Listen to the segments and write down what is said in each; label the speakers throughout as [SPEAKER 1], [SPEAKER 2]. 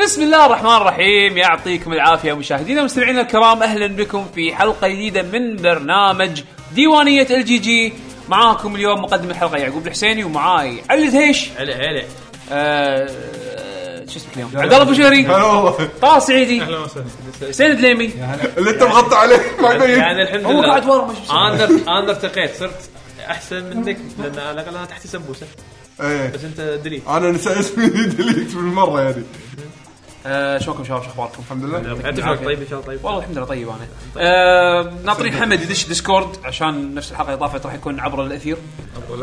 [SPEAKER 1] بسم الله الرحمن الرحيم يعطيكم العافيه مشاهدينا ومستمعينا الكرام اهلا بكم في حلقه جديده من برنامج ديوانيه ال جي جي معاكم اليوم مقدم الحلقه يعقوب الحسيني ومعاي علي الهيش
[SPEAKER 2] هلا هلا
[SPEAKER 1] آه، آه، شو اسمك اليوم عبد الله بوشيري
[SPEAKER 3] هلا والله
[SPEAKER 1] طه سعيدي
[SPEAKER 2] اهلا وسهلا
[SPEAKER 1] حسين الدليمي
[SPEAKER 3] اللي انت مغطى عليه مع الميت
[SPEAKER 2] يعني الحمد
[SPEAKER 1] هو
[SPEAKER 2] لله
[SPEAKER 1] قاعد ورا ما شفت
[SPEAKER 2] انا انا ارتقيت صرت احسن منك لان على الاقل انا تحتي سمبوسه
[SPEAKER 3] إيه.
[SPEAKER 2] بس انت دليل
[SPEAKER 3] انا نسى اسمي ديليت بالمره يعني
[SPEAKER 1] آه، شلونكم شباب شو اخباركم؟
[SPEAKER 3] الحمد لله
[SPEAKER 2] انت شلونك طيب ان شاء الله طيب
[SPEAKER 1] والله الحمد لله طيب انا آه، ناطرين حمد يدش ديسكورد عشان نفس الحلقه اللي طافت راح يكون عبر الاثير
[SPEAKER 4] طبعا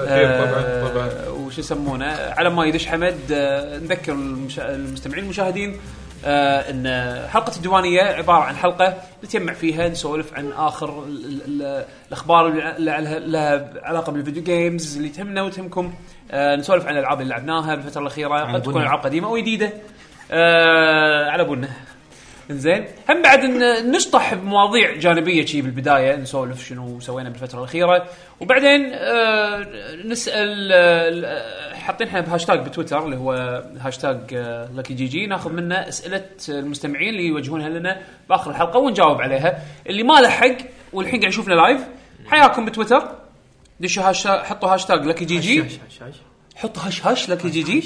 [SPEAKER 4] طبعا
[SPEAKER 1] آه، وش يسمونه على ما يدش حمد آه، نذكر المشا- المستمعين المشاهدين آه، ان آه، حلقه الديوانيه عباره عن حلقه نتجمع فيها نسولف عن اخر ال- ال- ال- الاخبار اللي ع- اللي عليها- لها علاقه بالفيديو جيمز اللي تهمنا وتهمكم آه، نسولف عن الالعاب اللي لعبناها بالفتره الاخيره قد تكون العاب قديمه او جديده آه، على بنا زين هم بعد ان نشطح بمواضيع جانبيه شي بالبدايه نسولف شنو سوينا بالفتره الاخيره وبعدين آه نسال آه حاطين احنا بهاشتاج بتويتر اللي هو هاشتاج آه لكي جي جي ناخذ منه اسئله المستمعين اللي يوجهونها لنا باخر الحلقه ونجاوب عليها اللي ما لحق والحين قاعد يشوفنا لايف حياكم بتويتر دشوا هاشتاج حطوا هاشتاج لكي جي جي حطوا هش هش لك جي جي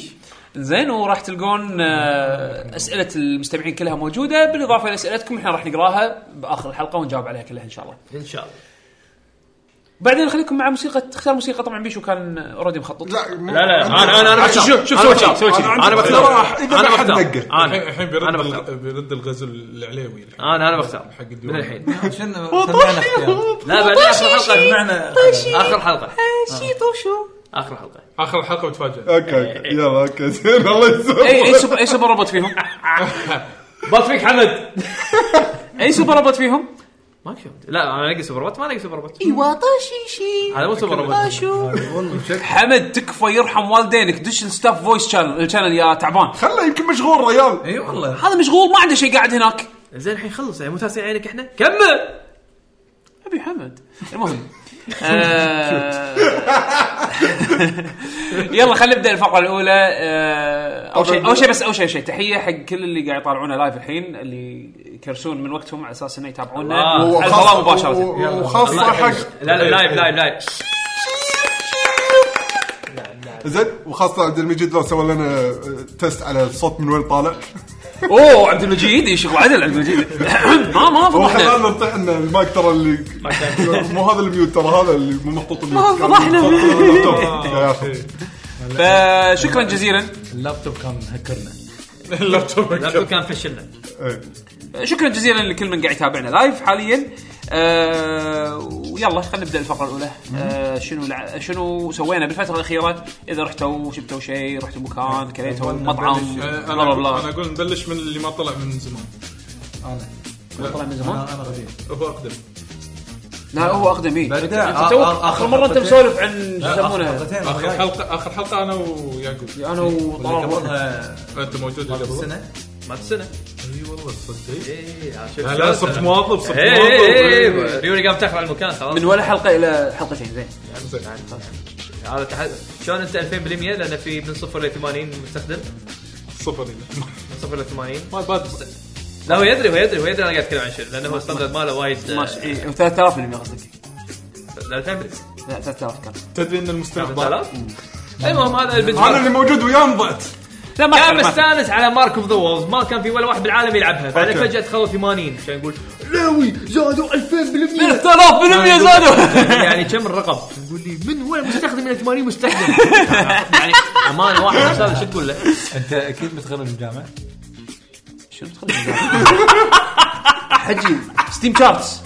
[SPEAKER 1] زين وراح تلقون آه، اسئله المستمعين كلها موجوده بالاضافه الى اسئلتكم احنا راح نقراها باخر الحلقه ونجاوب عليها كلها ان شاء الله.
[SPEAKER 2] ان شاء الله
[SPEAKER 1] بعدين خليكم مع موسيقى تختار موسيقى طبعا بيشو كان اوريدي مخطط.
[SPEAKER 3] لا م-
[SPEAKER 2] لا لا انا انا انا
[SPEAKER 1] شوف- شوف- شوف سوي
[SPEAKER 2] أنا بختار.
[SPEAKER 1] شي- سوي شي.
[SPEAKER 2] انا أنا
[SPEAKER 3] اقتراح،
[SPEAKER 2] بختار
[SPEAKER 3] إذا
[SPEAKER 2] انا
[SPEAKER 3] ما حد
[SPEAKER 2] بختار
[SPEAKER 3] نقى.
[SPEAKER 2] انا
[SPEAKER 4] الحين
[SPEAKER 2] انا
[SPEAKER 4] بيرد
[SPEAKER 2] بختار
[SPEAKER 4] ال- بيرد الغزل العليوي الحين
[SPEAKER 2] انا انا بختار
[SPEAKER 4] حق
[SPEAKER 2] من
[SPEAKER 4] الديوان.
[SPEAKER 2] الحين
[SPEAKER 5] شنو سمعنا اختيار
[SPEAKER 2] لا بعدين اخر حلقه
[SPEAKER 5] سمعنا
[SPEAKER 2] اخر حلقه آه.
[SPEAKER 1] شي طوشو.
[SPEAKER 2] اخر حلقه
[SPEAKER 4] اخر الحلقه بتفاجئ
[SPEAKER 3] اوكي اوكي يلا اوكي زين الله
[SPEAKER 2] إيه.
[SPEAKER 1] اي اي
[SPEAKER 3] يسلمك
[SPEAKER 1] سوبر اي سوبر روبوت فيهم؟
[SPEAKER 2] بط فيك حمد
[SPEAKER 1] اي سوبر روبوت فيهم؟
[SPEAKER 2] ما شفت لا انا الاقي سوبر روبوت ما الاقي سوبر روبوت
[SPEAKER 1] ايوه طاشيشي
[SPEAKER 2] هذا مو سوبر روبوت
[SPEAKER 1] حمد تكفى يرحم والدينك دش الستاف فويس شانل الشانل يا تعبان
[SPEAKER 3] خله يمكن مشغول ريال
[SPEAKER 4] إيه.
[SPEAKER 5] اي والله
[SPEAKER 1] هذا مشغول ما عنده شيء قاعد هناك
[SPEAKER 2] زين الحين خلص يعني مو تاسع عينك احنا كمل
[SPEAKER 1] ابي حمد المهم آه، يلا خلينا نبدا الفقره الاولى آه، اول شيء اول شيء بس اول شيء شيء تحيه حق كل اللي قاعد يطالعونا لايف الحين اللي يكرسون من وقتهم على اساس انه يتابعونا
[SPEAKER 2] الله.
[SPEAKER 1] على الهواء مباشره
[SPEAKER 3] وخاصه حق
[SPEAKER 2] لا لا لايف لايف لايف
[SPEAKER 3] زين وخاصه عبد المجيد لو سوى لنا آه، تيست على الصوت من وين طالع
[SPEAKER 1] اوه عبد المجيد يشغل عدل عبد المجيد ما ما
[SPEAKER 3] هو
[SPEAKER 1] فضحنا
[SPEAKER 3] حلال نطيح ان المايك ترى اللي مو هذا الميوت ترى هذا اللي مو محطوط الميوت
[SPEAKER 1] ما فضحنا.
[SPEAKER 3] فضحنا
[SPEAKER 1] فشكرا جزيلا
[SPEAKER 5] اللابتوب كان هكرنا
[SPEAKER 4] اللابتوب
[SPEAKER 2] لا كان فشلنا
[SPEAKER 1] شكرا جزيلا لكل من قاعد يتابعنا لايف حاليا آه ويلا خلينا نبدا الفقره الاولى آه شنو لع... شنو سوينا بالفتره الاخيره اذا رحتوا شفتوا شيء رحتوا مكان كليتوا مطعم
[SPEAKER 2] يعني
[SPEAKER 4] انا
[SPEAKER 1] بلا
[SPEAKER 4] إيه، أقول- انا
[SPEAKER 1] بلا
[SPEAKER 4] اقول نبلش من اللي ما طلع من زمان
[SPEAKER 5] انا
[SPEAKER 1] طلع من زمان
[SPEAKER 5] انا غبي
[SPEAKER 4] هو اقدم
[SPEAKER 1] لا هو اقدم إيه. انت
[SPEAKER 5] بدأ. آ-
[SPEAKER 1] تو-
[SPEAKER 5] آ- آخر
[SPEAKER 1] اخر مره انت
[SPEAKER 5] حلقتين.
[SPEAKER 1] مسولف عن شو يسمونه
[SPEAKER 5] حلقتين
[SPEAKER 4] اخر حلقه اخر حلقه انا ويعقوب
[SPEAKER 1] انا وطلال
[SPEAKER 5] قبلها
[SPEAKER 4] انت موجود اللي قبل
[SPEAKER 5] سنه
[SPEAKER 2] ما تسنه
[SPEAKER 4] اي والله صدق
[SPEAKER 2] ايه عشان
[SPEAKER 4] لا لا صرت موظف صرت
[SPEAKER 2] ايه ايه
[SPEAKER 4] موظف
[SPEAKER 2] ايه ريوني قام تخلع المكان خلاص
[SPEAKER 1] من ولا حلقه الى حلقتين زين
[SPEAKER 4] زين.
[SPEAKER 2] هذا تح- شلون انت 2000% لان في من صفر ل 80 مستخدم
[SPEAKER 4] صفر
[SPEAKER 2] من صفر ل 80
[SPEAKER 4] ما بعد
[SPEAKER 2] لا هو يدري هو يدري هو يدري انا قاعد اتكلم عن شنو لانه هو الستاندرد ماله وايد آه،
[SPEAKER 1] ماشي إيه، 3000 اللي قصدك
[SPEAKER 2] لا 2000
[SPEAKER 1] لا 3000 كان
[SPEAKER 4] تدري ان المستقبل
[SPEAKER 2] 3000 المهم هذا
[SPEAKER 3] انا
[SPEAKER 2] البنج
[SPEAKER 3] اللي موجود وياهم ضعت
[SPEAKER 1] لا ما
[SPEAKER 2] كان
[SPEAKER 1] أدري، ما أدري.
[SPEAKER 2] مستانس على مارك اوف ذا وولز ما كان في ولا واحد بالعالم يلعبها بعدين
[SPEAKER 3] أوكي.
[SPEAKER 2] فجاه دخلوا 80 عشان نقول
[SPEAKER 1] 3000
[SPEAKER 5] آه،
[SPEAKER 1] بالمية زادوا
[SPEAKER 2] يعني كم الرقم؟ يقول لي من وين مستخدم الى 80 مستخدم؟ يعني امانه واحد استاذ شو تقول له؟
[SPEAKER 5] انت اكيد بتخرج من الجامعه
[SPEAKER 1] شنو تخلي حجي ستيم شارتس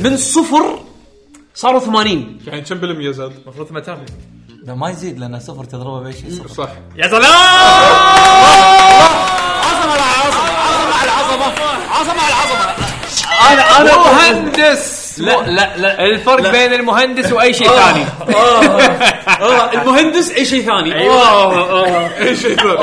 [SPEAKER 1] من صفر صاروا 80
[SPEAKER 4] يعني كم بالمية زاد
[SPEAKER 2] المفروض 8000
[SPEAKER 5] لا ما يزيد لان صفر تضربه باي شيء صفر
[SPEAKER 4] صح
[SPEAKER 2] يا سلام
[SPEAKER 1] عظمه على عظمه عظمه على عظمه عظمه على عظمه انا انا مهندس لا لا لا
[SPEAKER 2] الفرق بين المهندس واي شيء ثاني
[SPEAKER 1] يعني. آه، المهندس اي شيء ثاني
[SPEAKER 5] أيوة.
[SPEAKER 1] آه.
[SPEAKER 4] اي شيء ثاني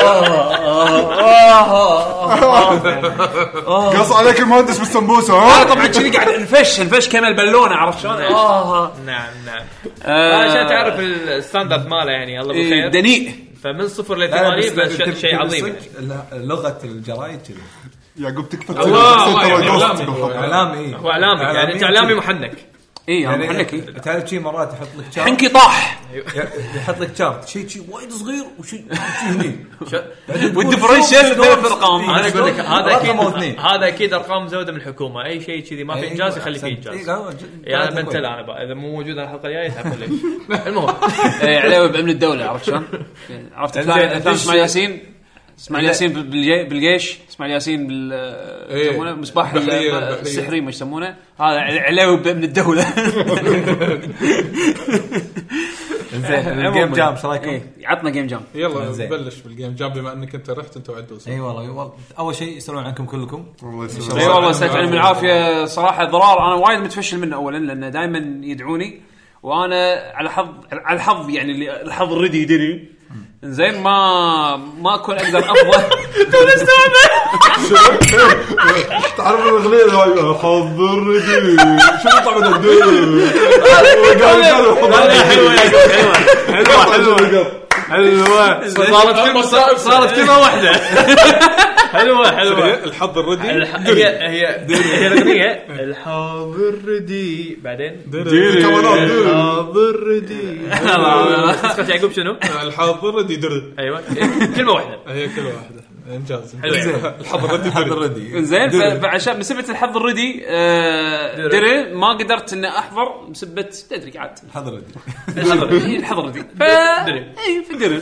[SPEAKER 3] قص عليك المهندس بالسمبوسه ها
[SPEAKER 6] آه،
[SPEAKER 1] انا طبعا كذي قاعد انفش انفش كان البالونه عرفت شلون؟
[SPEAKER 6] آه.
[SPEAKER 7] نعم.
[SPEAKER 2] آه. نعم نعم عشان تعرف الستاندرد ماله يعني الله بالخير
[SPEAKER 1] دنيء
[SPEAKER 2] فمن صفر ل
[SPEAKER 7] لا، بس
[SPEAKER 2] 80 بس
[SPEAKER 7] تبي-
[SPEAKER 2] شيء- شيء
[SPEAKER 7] تبي
[SPEAKER 2] عظيم
[SPEAKER 7] صدق، لا، لغه الجرايد كذي
[SPEAKER 3] يعقوب تكفى
[SPEAKER 2] الله، الله،
[SPEAKER 3] تسيطر الجوست
[SPEAKER 4] إعلامي.
[SPEAKER 3] بالحلقة.
[SPEAKER 7] اعلامي إيه.
[SPEAKER 2] آه. هو اعلامي يعني انت اعلامي محنك
[SPEAKER 6] اي انا
[SPEAKER 7] يعني
[SPEAKER 6] محلكي
[SPEAKER 7] تعرف شي مرات يحط لك شارت
[SPEAKER 6] حنكي طاح
[SPEAKER 7] يحط لك شارت شي شي وايد صغير وشي شي هني بعدين تقول
[SPEAKER 6] والديفرنشل
[SPEAKER 7] شلون-
[SPEAKER 6] ثلاث أرقام.
[SPEAKER 7] إيه،
[SPEAKER 2] انا اقول لك
[SPEAKER 7] شلون؟
[SPEAKER 2] هذا
[SPEAKER 7] رقم أو
[SPEAKER 2] اكيد
[SPEAKER 7] اثنين.
[SPEAKER 2] هذا اكيد ارقام مزوده من الحكومه اي شيء كذي ما في
[SPEAKER 7] أيوة،
[SPEAKER 2] انجاز يخلي فيه
[SPEAKER 7] أحسنت.
[SPEAKER 2] انجاز
[SPEAKER 7] إيه، لا، ج-
[SPEAKER 2] يا
[SPEAKER 7] قاعد
[SPEAKER 2] بنتل
[SPEAKER 7] أقول.
[SPEAKER 2] انا بقى. اذا مو موجود الحلقه الجايه تعرفون ليش المهم
[SPEAKER 6] إيه، علاوي بامن الدوله عرفت شلون؟ يعني عرفت
[SPEAKER 7] إنزين،
[SPEAKER 6] كلام اسماعيل
[SPEAKER 7] ليش-
[SPEAKER 6] ياسين اسماعيل ياسين بال- بالجي- بالجيش اسماعيل ياسين بال
[SPEAKER 4] إيه.
[SPEAKER 6] يسمونه مصباح ال-
[SPEAKER 4] البحرية- البحرية.
[SPEAKER 6] السحري ما يسمونه هذا علاوي بامن الدوله
[SPEAKER 7] زين
[SPEAKER 6] عموماً.
[SPEAKER 7] الجيم جام ايش رايكم؟
[SPEAKER 6] إيه، عطنا جيم جام
[SPEAKER 4] يلا
[SPEAKER 7] زين.
[SPEAKER 4] بلش بالجيم جاب بما انك انت رحت انت وعدوس
[SPEAKER 7] اي إيه، والله والله. اول شيء يسالون عنكم كلكم
[SPEAKER 3] الله
[SPEAKER 6] اي
[SPEAKER 3] يسلمك
[SPEAKER 6] والله يسعدكم العافيه صراحه ضرار انا وايد متفشل منه اولا لانه دائما يدعوني وانا على حظ على الحظ يعني اللي الحظ الردي يدري زين ما ما اكون اقدر افضل
[SPEAKER 3] تعرف الاغنيه هاي حضرني شو يطلع من الدنيا حلوه حلوه حلوه
[SPEAKER 2] حلوه صارت كلمه صارت كلمه واحده حلوه حلوه
[SPEAKER 4] الحظ الردي
[SPEAKER 2] إيه. الح- هي هي هي الاغنيه الحاضر ردي بعدين
[SPEAKER 4] آه.
[SPEAKER 2] الحاضر ردي نسخه يعقوب شنو؟
[SPEAKER 4] الحظ الردي دري
[SPEAKER 2] ايوه كلمه واحده
[SPEAKER 4] هي كل واحده انجاز
[SPEAKER 2] حلو يعني.
[SPEAKER 4] الحظ الردي دري
[SPEAKER 7] اوريدي
[SPEAKER 6] زين ف- فعشان بسبه الحظ الردي آه،
[SPEAKER 2] دري.
[SPEAKER 6] دري ما قدرت ان احضر بسبه تدري قعدت
[SPEAKER 7] حضرتي
[SPEAKER 6] الحظ الردي ف إيه،
[SPEAKER 2] دري.
[SPEAKER 6] اي في دري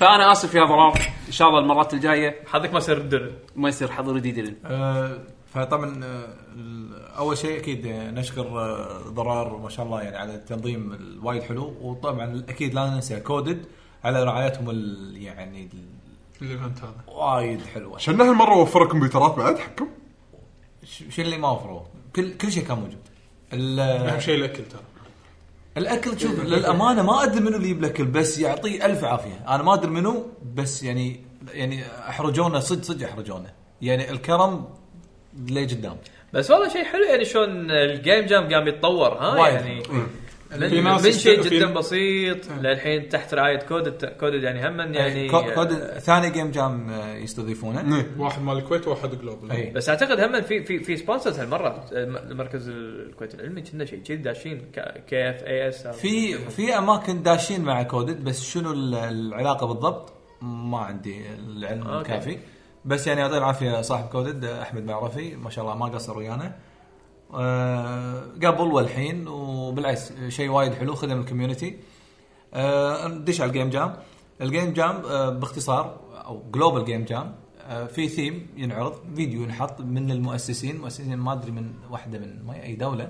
[SPEAKER 6] فانا اسف يا ضرار ان شاء الله المرات الجايه
[SPEAKER 2] حظك ما صير درن
[SPEAKER 6] ما يصير حظ ردي دري
[SPEAKER 7] آه، فطبعا آه، ال- اول شيء اكيد آه، نشكر آه، ضرار ما شاء الله يعني على التنظيم الوايد حلو وطبعا اكيد لا ننسى كودد على رعايتهم ال- يعني ال-
[SPEAKER 4] الايفنت هذا
[SPEAKER 7] وايد حلوه
[SPEAKER 3] عشان هالمره وفر كمبيوترات بعد حكم
[SPEAKER 7] ش- شو اللي ما وفروه كل كل شيء كان موجود ال-
[SPEAKER 4] اهم شيء الاكل ترى
[SPEAKER 7] الاكل شوف للامانه ما ادري منو اللي يجيب الاكل بس يعطيه الف عافيه انا ما ادري منو بس يعني يعني احرجونا صدق صدق احرجونا يعني الكرم لقدام
[SPEAKER 2] بس والله شيء حلو يعني شلون الجيم جام قام يتطور ها
[SPEAKER 7] وايد.
[SPEAKER 2] يعني
[SPEAKER 4] في
[SPEAKER 2] من,
[SPEAKER 4] ناس
[SPEAKER 2] من شيء
[SPEAKER 4] يست- في-
[SPEAKER 2] جدا بسيط للحين تحت رعايه كودد كودد يعني هم يعني
[SPEAKER 7] إيه. كو- كود ثاني جيم جام آه، يستضيفونه
[SPEAKER 4] واحد مال الكويت وواحد جلوبال
[SPEAKER 7] اي
[SPEAKER 2] بس اعتقد هم في في في سبونسرز هالمره المركز الكويت العلمي كنا شيء كذي داشين إيه كي اف اي اس
[SPEAKER 7] في في اماكن داشين مع كودد بس شنو ال- العلاقه بالضبط ما عندي العلم
[SPEAKER 2] أوكي.
[SPEAKER 7] الكافي بس يعني يعطيه العافيه صاحب كودد احمد معرفي ما شاء الله ما قصر ويانا آه، قبل والحين وبالعكس شيء وايد حلو خدم الكوميونتي آه، ندش على الجيم جام الجيم جام آه، باختصار او جلوبال جيم جام آه، في ثيم ينعرض فيديو ينحط من المؤسسين مؤسسين ما ادري من واحده من ما اي دوله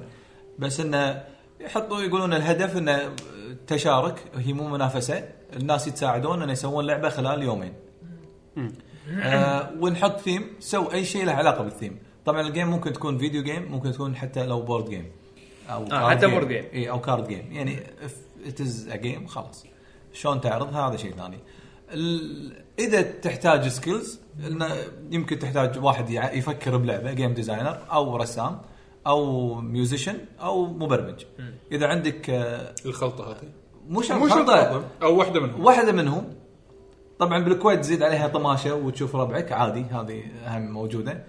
[SPEAKER 7] بس انه يحطوا يقولون الهدف انه تشارك هي مو منافسه الناس يتساعدون انه يسوون لعبه خلال يومين آه ونحط ثيم سو اي شيء له علاقه بالثيم طبعا الجيم ممكن تكون فيديو جيم ممكن تكون حتى لو بورد جيم او
[SPEAKER 2] آه،
[SPEAKER 7] card
[SPEAKER 2] حتى
[SPEAKER 7] game.
[SPEAKER 2] board game.
[SPEAKER 7] اي او كارد جيم يعني اتز ا جيم خلاص شلون تعرضها هذا شيء ثاني ال- اذا تحتاج سكيلز يمكن تحتاج واحد يع- يفكر بلعبه جيم ديزاينر او رسام او ميوزيشن او مبرمج اذا عندك آه،
[SPEAKER 4] الخلطه هذه
[SPEAKER 7] مو شرط
[SPEAKER 3] مو شرط
[SPEAKER 7] خلطة.
[SPEAKER 4] او واحده منهم
[SPEAKER 7] واحده منهم طبعا بالكويت تزيد عليها طماشه وتشوف ربعك عادي هذه هم موجوده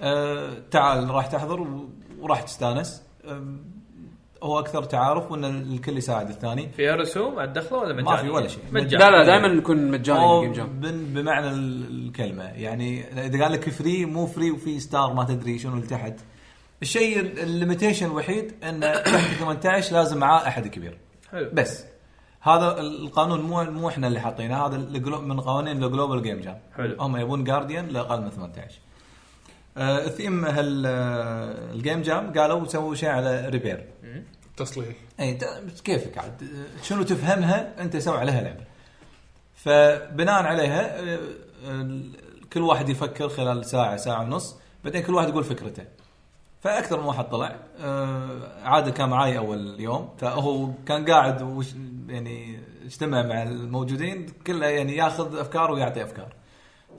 [SPEAKER 7] آه تعال راح تحضر و- وراح تستانس آم، هو اكثر تعارف وان الكل يساعد الثاني
[SPEAKER 2] فيها رسوم على الدخله ولا مجاني؟
[SPEAKER 7] ما في ولا شيء.
[SPEAKER 2] مجاني
[SPEAKER 6] لا لا دائما نكون مجاني
[SPEAKER 7] أو
[SPEAKER 6] الجيم جام
[SPEAKER 7] بن- بمعنى ال- الكلمه يعني اذا قال لك فري مو فري وفي ستار ما تدري شنو اللي تحت الشيء ال- الليميتيشن الوحيد انه تحت 18 لازم معاه احد كبير
[SPEAKER 2] حلو
[SPEAKER 7] بس هذا القانون مو مو احنا اللي حاطينه هذا الجلو- من قوانين الجلوبال جيم جام
[SPEAKER 2] حلو.
[SPEAKER 7] هم يبون جارديان لاقل من 18 آه، الثيم هال آه، الجيم جام قالوا سووا شيء على ريبير
[SPEAKER 4] تصليح
[SPEAKER 7] اي تا- بس إيه، كيفك عاد آه، شنو تفهمها انت سوي عليها لعبه فبناء عليها آه، آه، كل واحد يفكر خلال ساعه ساعه ونص بعدين كل واحد يقول فكرته فاكثر من واحد طلع آه، عادل كان معاي اول يوم فهو كان قاعد وش يعني اجتمع مع الموجودين كله يعني ياخذ افكار ويعطي افكار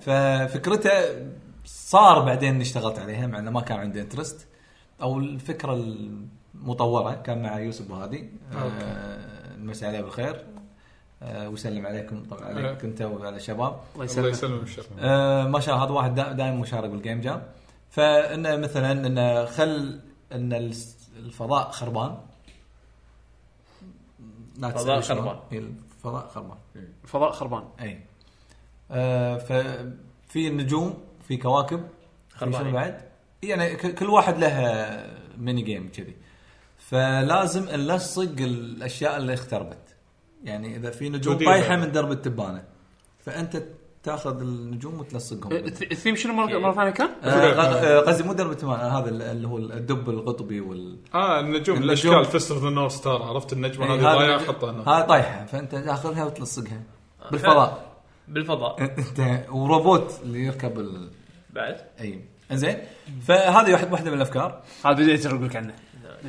[SPEAKER 7] ففكرته صار بعدين اشتغلت عليها مع انه ما كان عندي انترست او الفكره المطوره كان مع يوسف وهادي آه، مسي عليه بالخير آه، ويسلم عليكم طبعا
[SPEAKER 4] أه.
[SPEAKER 7] عليك انت وعلى الشباب
[SPEAKER 1] الله
[SPEAKER 4] الله
[SPEAKER 1] يسلمك
[SPEAKER 4] يسلمك الشر
[SPEAKER 7] آه، ما شاء الله هذا واحد دا- دائما مشارك بالجيم جام فانه مثلا انه خل ان الس- الفضاء خربان لا
[SPEAKER 2] فضاء
[SPEAKER 7] تسألني شلون.
[SPEAKER 2] خربان.
[SPEAKER 7] إي، الفضاء خربان
[SPEAKER 6] فضاء خربان
[SPEAKER 7] اي آه، ففي نجوم في كواكب في شنو
[SPEAKER 2] خربانين.
[SPEAKER 7] بعد يعني ك- كل واحد له ميني جيم كذي فلازم نلصق الاشياء اللي اختربت يعني اذا في نجوم
[SPEAKER 4] وديها.
[SPEAKER 7] طايحه من درب التبانه فانت تاخذ النجوم وتلصقهم
[SPEAKER 4] إيه،
[SPEAKER 6] آه، الث- الثيم شنو مرة مرة ثانية كان؟
[SPEAKER 7] آه، غ- آه، قصدي مو درب التبانه آه، هذا اللي هو الدب القطبي وال
[SPEAKER 4] اه النجوم
[SPEAKER 7] النجوم. إيه،
[SPEAKER 4] الاشكال فيست اوف ذا نورث ستار عرفت النجمه هذه ضايعه حطها هنا آه،
[SPEAKER 7] هاي طايحه فانت تاخذها وتلصقها بالفضاء
[SPEAKER 2] بالفضاء
[SPEAKER 7] انت وروبوت اللي يركب ال...
[SPEAKER 2] بعد
[SPEAKER 7] اي انزين فهذه واحد واحده من الافكار
[SPEAKER 6] هذا بديت اقول لك عنه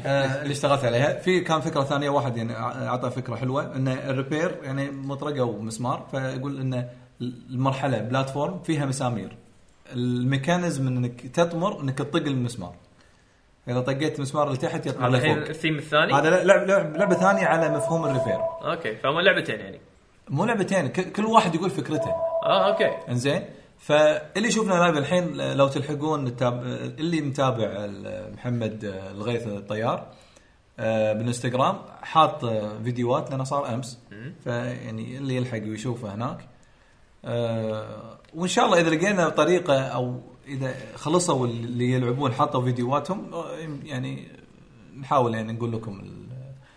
[SPEAKER 7] آه، اللي اشتغلت عليها في كان فكره ثانيه واحد يعني اعطى فكره حلوه انه الريبير يعني مطرقه ومسمار فيقول انه المرحله بلاتفورم فيها مسامير الميكانيزم انك تطمر انك تطق المسمار اذا طقيت المسمار اللي تحت يطمر
[SPEAKER 2] هذا الحين
[SPEAKER 7] لفوق
[SPEAKER 2] الثيم الثاني
[SPEAKER 7] هذا لعب لعب- لعبه ثانيه على مفهوم الريبير
[SPEAKER 2] اوكي فهم لعبتين يعني
[SPEAKER 7] مو لعبتين ك- كل واحد يقول فكرته
[SPEAKER 2] اه اوكي
[SPEAKER 7] انزين فاللي يشوفنا لايف الحين لو تلحقون التاب... اللي متابع ال- محمد آه، الغيث الطيار آه، بالانستغرام حاط آه، فيديوهات لانه صار امس فيعني اللي يلحق ويشوفه هناك آه، وان شاء الله اذا لقينا طريقه او اذا خلصوا اللي يلعبون حطوا فيديوهاتهم آه، يعني نحاول يعني نقول لكم ال-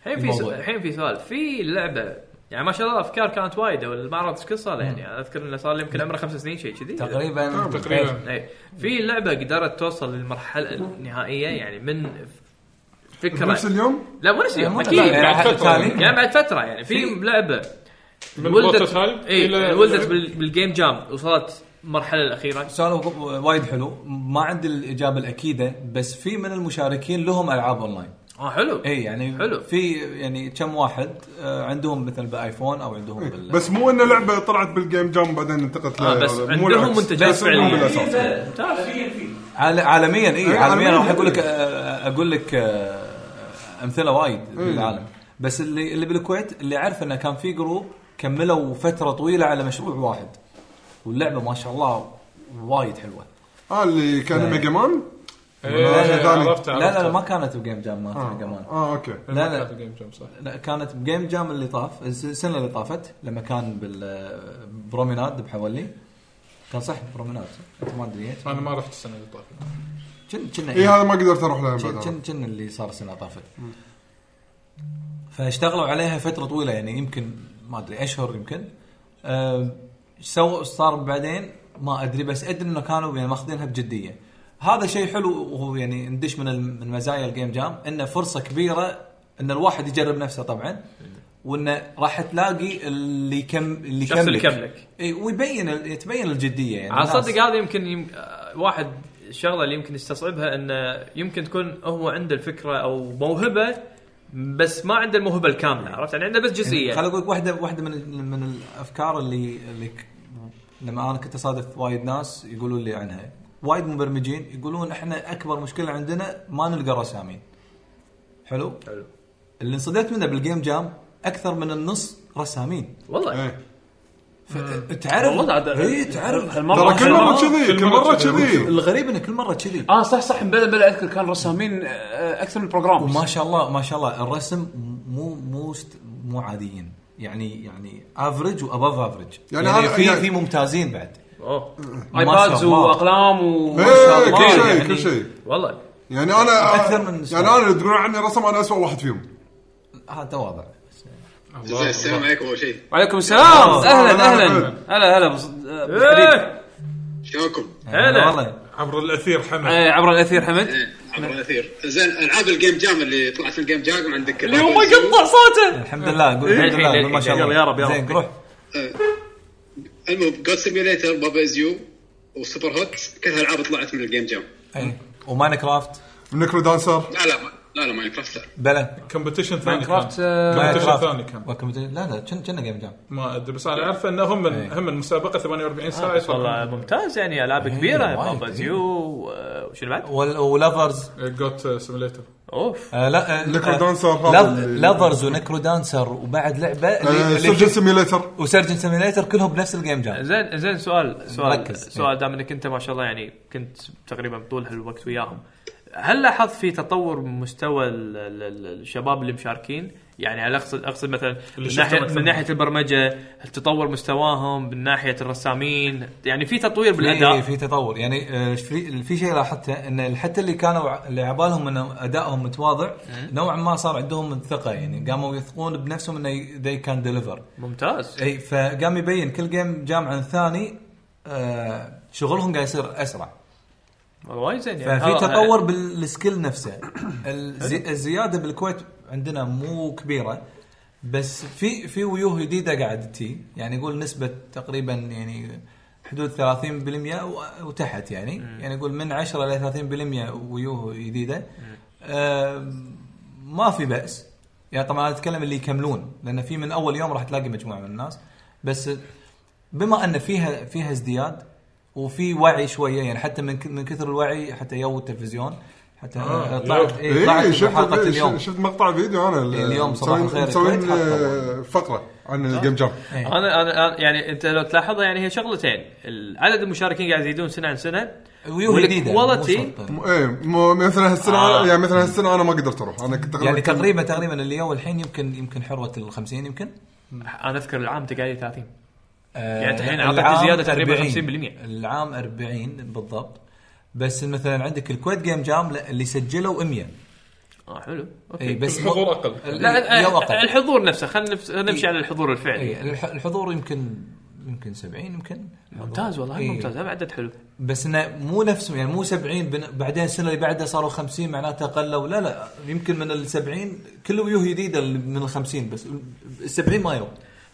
[SPEAKER 2] الحين في س-
[SPEAKER 7] الموضوع.
[SPEAKER 2] الحين في سؤال في لعبه يعني ما شاء الله افكار كانت وايده والمعرض ايش كل صار له يعني أنا اذكر انه صار لي يمكن عمره خمس سنين شيء كذي
[SPEAKER 7] تقريبا
[SPEAKER 4] تقريبا
[SPEAKER 2] اي في لعبه قدرت توصل للمرحله النهائيه يعني من فكره
[SPEAKER 3] نفس اليوم
[SPEAKER 2] لا مو نفس اليوم
[SPEAKER 7] مو
[SPEAKER 2] اكيد
[SPEAKER 7] يعني
[SPEAKER 2] يعني
[SPEAKER 7] بعد
[SPEAKER 4] فترة.
[SPEAKER 7] تالي.
[SPEAKER 2] يعني بعد فتره يعني في
[SPEAKER 7] في-
[SPEAKER 2] لعبه
[SPEAKER 4] من بروتوتايب
[SPEAKER 2] اي
[SPEAKER 4] إلى-
[SPEAKER 2] إيه، يعني ولدت بال- بالجيم جام وصلت المرحله الاخيره
[SPEAKER 7] سؤال وايد حلو ما عندي الاجابه الاكيده بس في من المشاركين لهم العاب اونلاين
[SPEAKER 2] اه حلو
[SPEAKER 7] اي يعني
[SPEAKER 2] حلو.
[SPEAKER 7] في يعني كم واحد آه، عندهم مثلا بايفون او عندهم بال
[SPEAKER 3] إيه، بس مو ان لعبه طلعت بالجيم جام بعدين انتقلت
[SPEAKER 2] آه
[SPEAKER 3] ل-
[SPEAKER 2] بس
[SPEAKER 3] مو
[SPEAKER 2] عندهم
[SPEAKER 3] العكس.
[SPEAKER 2] منتجات
[SPEAKER 3] بس عندهم بالأساس.
[SPEAKER 7] إيه.
[SPEAKER 2] فعليه
[SPEAKER 7] عال- عالميا اي
[SPEAKER 3] إيه،
[SPEAKER 7] عالميا
[SPEAKER 3] عالمياً.
[SPEAKER 7] راح اقول لك آه، اقول لك آه، امثله وايد
[SPEAKER 3] إيه.
[SPEAKER 7] بالعالم بس اللي اللي بالكويت اللي عارف انه كان في جروب كملوا فتره طويله على مشروع واحد واللعبه ما شاء الله وايد حلوه
[SPEAKER 3] اه اللي كان ميجا مان
[SPEAKER 4] إيه،
[SPEAKER 3] ثاني.
[SPEAKER 4] عرفت
[SPEAKER 7] لا لا لا
[SPEAKER 4] عرفت
[SPEAKER 7] ما كانت بجيم جام ما كانت كمان
[SPEAKER 3] اه اوكي
[SPEAKER 7] لا لا
[SPEAKER 4] كانت الجيم جام صح
[SPEAKER 7] لا كانت بجيم جام اللي طاف الس- السنه اللي طافت لما كان بالبروميناد بحوالي كان صح بروميناد صح؟ انت ما ادري إيه.
[SPEAKER 4] انا ما رحت السنه اللي طافت
[SPEAKER 7] كن كنا
[SPEAKER 3] اي إيه، هذا ما قدرت اروح لها
[SPEAKER 7] كن
[SPEAKER 3] بعد
[SPEAKER 7] كن- كن اللي صار السنه اللي طافت فاشتغلوا عليها فتره طويله يعني يمكن ما ادري اشهر يمكن أم، ايش سووا صار بعدين ما ادري بس ادري انه كانوا يعني ماخذينها بجديه هذا شيء حلو وهو يعني ندش من الم- من مزايا الجيم جام انه فرصه كبيره ان الواحد يجرب نفسه طبعا وانه راح تلاقي اللي يكم اللي
[SPEAKER 2] الشخص اللي
[SPEAKER 7] يكملك.
[SPEAKER 2] يكملك.
[SPEAKER 7] إي، ويبين ال- تبين الجديه يعني
[SPEAKER 2] على
[SPEAKER 7] الناس-
[SPEAKER 2] آه، صدق هذا يمكن يم... آه، واحد الشغله اللي يمكن يستصعبها انه يمكن تكون هو عنده الفكره او موهبه بس ما عنده الموهبه الكامله عرفت يعني عنده بس جزئيه
[SPEAKER 7] خل اقول لك واحده واحده من من الافكار اللي اللي ك- لما انا كنت اصادف وايد ناس يقولوا لي عنها وايد مبرمجين يقولون احنا اكبر مشكله عندنا ما نلقى رسامين حلو
[SPEAKER 2] حلو.
[SPEAKER 7] اللي انصدمت منه بالجيم جام اكثر من النص رسامين
[SPEAKER 2] والله
[SPEAKER 3] إيه.
[SPEAKER 7] ف- تعرف
[SPEAKER 6] والله عاد-
[SPEAKER 7] اي تعرف
[SPEAKER 6] هالمرة
[SPEAKER 3] ترى كل مره
[SPEAKER 7] كل
[SPEAKER 3] كذي كل مره كذي
[SPEAKER 7] الغريب انه كل مره كذي
[SPEAKER 6] اه صح صح بلا بلا اذكر كان رسامين آه، اكثر من بروجرام
[SPEAKER 7] وما شاء الله ما شاء الله الرسم مو مو است- مو عاديين يعني يعني افريج وابف افريج
[SPEAKER 3] يعني
[SPEAKER 7] يعني, يعني
[SPEAKER 3] هذا-
[SPEAKER 7] في
[SPEAKER 3] يعني-
[SPEAKER 7] في ممتازين بعد
[SPEAKER 2] اوه
[SPEAKER 7] ما
[SPEAKER 6] ايبادز
[SPEAKER 7] شاء الله.
[SPEAKER 6] واقلام و
[SPEAKER 7] شاء
[SPEAKER 3] ايه
[SPEAKER 7] الله،
[SPEAKER 3] كل شيء
[SPEAKER 7] يعني-
[SPEAKER 3] كل شيء
[SPEAKER 2] والله
[SPEAKER 3] يعني انا
[SPEAKER 7] أكثر من
[SPEAKER 3] يعني انا اللي تقولون عني رسم انا اسوء واحد فيهم
[SPEAKER 7] هذا آه، تواضع
[SPEAKER 8] زين السلام عليكم اول شيء
[SPEAKER 6] وعليكم السلام اهلا
[SPEAKER 3] أهلا،
[SPEAKER 6] اهلا
[SPEAKER 3] أهلا.
[SPEAKER 6] هلا هلا بص- آه، بحبيب.
[SPEAKER 2] إيه!
[SPEAKER 8] شلونكم؟
[SPEAKER 2] هلا.
[SPEAKER 7] والله
[SPEAKER 4] عبر الاثير حمد
[SPEAKER 6] آه، عبر الاثير حمد
[SPEAKER 8] إيه، عبر
[SPEAKER 7] نعم.
[SPEAKER 8] الاثير زين العاب الجيم جام اللي طلعت من الجيم جام عندك اليوم
[SPEAKER 6] صوته
[SPEAKER 7] الحمد لله قول الحمد
[SPEAKER 2] الحين-
[SPEAKER 7] لله قول ما شاء
[SPEAKER 2] الحين.
[SPEAKER 7] الله
[SPEAKER 2] إيه. يلا يا رب، يا
[SPEAKER 7] زين
[SPEAKER 2] رب.
[SPEAKER 7] روح
[SPEAKER 8] المهم جود سيميوليتر بابا ازيو وسوبر هوت كلها العاب طلعت من الجيم جام
[SPEAKER 7] إيه. أي. وماينكرافت
[SPEAKER 3] نيكرو دانسر
[SPEAKER 8] لا لا ما- لا لا ماين كرافت لا
[SPEAKER 7] بلا
[SPEAKER 4] كومبتيشن ثاني
[SPEAKER 6] ماينكرافت، آه،
[SPEAKER 4] كان. كومبتيشن ثاني كان
[SPEAKER 7] وكم- لا لا كنا كنا جيم جام
[SPEAKER 4] ما ادري بس انا اعرف انه هم من هم المسابقه 48 ساعه
[SPEAKER 2] بس آه، والله
[SPEAKER 4] يصير
[SPEAKER 2] ممتاز يعني العاب
[SPEAKER 7] إيه،
[SPEAKER 2] كبيره
[SPEAKER 7] وايد،
[SPEAKER 2] بابا
[SPEAKER 7] إيه.
[SPEAKER 2] زيو و- وشنو بعد؟
[SPEAKER 7] وال- ولافرز
[SPEAKER 4] جوت سيميليتر
[SPEAKER 2] اوف
[SPEAKER 7] آه، لا آه،
[SPEAKER 3] نكرو
[SPEAKER 7] آه،
[SPEAKER 3] دانسر هذا
[SPEAKER 7] لاف-
[SPEAKER 3] اللي- آه،
[SPEAKER 7] لافرز ونكرو دانسر وبعد لعبه اللي- اللي-
[SPEAKER 3] سجن سيميليتر
[SPEAKER 7] وسيرجن سيميليتر كلهم بنفس الجيم جام
[SPEAKER 2] زين زين سؤال سؤال
[SPEAKER 7] ركز.
[SPEAKER 2] سؤال دام انك انت ما شاء الله يعني كنت تقريبا طول هالوقت وياهم هل لاحظت في تطور مستوى ال- ال- ال- الشباب اللي مشاركين؟ يعني هل اقصد اقصد مثلا من
[SPEAKER 4] شفته
[SPEAKER 2] ناحيه
[SPEAKER 4] مثلاً.
[SPEAKER 2] من ناحيه البرمجه، هل تطور مستواهم من ناحيه الرسامين، يعني في تطوير بالاداء
[SPEAKER 7] في في تطور يعني آه، في في شيء لاحظته ان حتى اللي كانوا ع- اللي عبالهم ان ادائهم متواضع نوعا ما صار عندهم الثقه يعني قاموا يثقون بنفسهم انه ذي كان ديليفر
[SPEAKER 2] ممتاز
[SPEAKER 7] اي فقام يبين كل جيم جام عن الثاني آه، شغلهم قاعد يصير اسرع
[SPEAKER 2] والله وايد زين يعني
[SPEAKER 7] ففي
[SPEAKER 2] هذا-
[SPEAKER 7] تطور بالسكيل نفسه الزي- الزياده بالكويت عندنا مو كبيره بس في في ويوه جديده قاعد تي يعني يقول نسبه تقريبا يعني حدود 30% و- وتحت يعني يعني يقول من 10 ل 30% ويوه جديده آم، ما في بأس يعني طبعا انا اتكلم اللي يكملون لان في من اول يوم راح تلاقي مجموعه من الناس بس بما ان فيها فيها ازدياد وفي وعي شويه يعني حتى من ك- من كثر الوعي حتى يو التلفزيون حتى آه طلعت إيه طلعت
[SPEAKER 3] إيه،
[SPEAKER 7] في حلقه
[SPEAKER 3] إيه،
[SPEAKER 7] اليوم
[SPEAKER 3] شفت مقطع فيديو انا ال-
[SPEAKER 7] اليوم صباح
[SPEAKER 3] مسوين-
[SPEAKER 7] الخير إيه،
[SPEAKER 3] مسوين
[SPEAKER 7] الكويت حطوا.
[SPEAKER 3] آه، فقره عن الجيم جام
[SPEAKER 7] إيه.
[SPEAKER 2] انا انا أنا- يعني انت لو تلاحظها يعني هي شغلتين عدد المشاركين قاعد يزيدون سنه عن سنه
[SPEAKER 7] ويوه جديده
[SPEAKER 2] والكواليتي.
[SPEAKER 7] مو شرط.
[SPEAKER 3] م- ايه م- مثلا هالسنه
[SPEAKER 2] آه.
[SPEAKER 3] يعني مثلا هالسنه انا ما قدرت اروح انا كنت
[SPEAKER 7] يعني تقريبا تقريبا اللي يو الحين يمكن يمكن حروه ال 50 يمكن
[SPEAKER 2] انا اذكر العام تقالي 30
[SPEAKER 7] آه،
[SPEAKER 2] يعني أنت الحين أعطيت
[SPEAKER 7] العام
[SPEAKER 2] زيادة تقريباً
[SPEAKER 7] 40.
[SPEAKER 2] 50%.
[SPEAKER 7] العام 40 بالضبط بس مثلا عندك الكويت جيم جام لا، اللي سجلوا 100
[SPEAKER 2] اه حلو
[SPEAKER 7] اي
[SPEAKER 2] اوكي
[SPEAKER 7] إيه، بس مو-
[SPEAKER 4] حضور اقل
[SPEAKER 7] ال-
[SPEAKER 2] لا
[SPEAKER 7] يو
[SPEAKER 2] آه،
[SPEAKER 7] اقل
[SPEAKER 2] الحضور نفسه خلينا نفس-
[SPEAKER 7] إيه.
[SPEAKER 2] نمشي على الحضور الفعلي
[SPEAKER 7] اي الح- الحضور يمكن يمكن 70 يمكن إيه.
[SPEAKER 2] ممتاز والله
[SPEAKER 7] إي.
[SPEAKER 2] ممتاز هذا عدد حلو
[SPEAKER 7] بس انه مو نفسه يعني مو 70 بن- بعدين السنه اللي بعدها صاروا 50 معناته قلوا لا لا يمكن من ال 70 كل ويوه جديده اللي من ال 50 بس ال 70 ما يو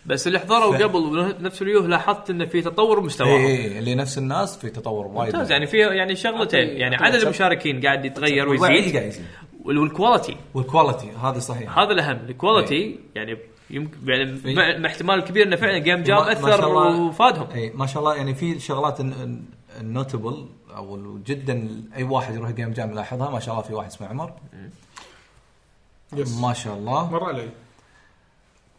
[SPEAKER 2] بس اللي حضروا
[SPEAKER 7] ف-
[SPEAKER 2] قبل نفس اليوه لاحظت انه في تطور مستواهم
[SPEAKER 7] اي إيه، اللي نفس الناس في تطور وايد
[SPEAKER 2] ممتاز يعني في يعني شغلتين يعني عدد المشاركين قاعد يتغير
[SPEAKER 7] والوعي
[SPEAKER 2] ويزيد
[SPEAKER 7] قاعد يزيد
[SPEAKER 2] وال- والكواليتي
[SPEAKER 7] والكواليتي هذا صحيح
[SPEAKER 2] هذا الاهم الكواليتي يعني يمكن يعني
[SPEAKER 7] إي.
[SPEAKER 2] مع- مع احتمال كبير انه فعلا جيم جام
[SPEAKER 7] ما- ما
[SPEAKER 2] اثر
[SPEAKER 7] شاء الله-
[SPEAKER 2] وفادهم
[SPEAKER 7] اي ما شاء الله يعني في شغلات النوتبل او ال- جدا اي واحد يروح جيم جام يلاحظها ما شاء الله في واحد اسمه عمر
[SPEAKER 4] يس
[SPEAKER 7] ما شاء الله
[SPEAKER 4] مر علي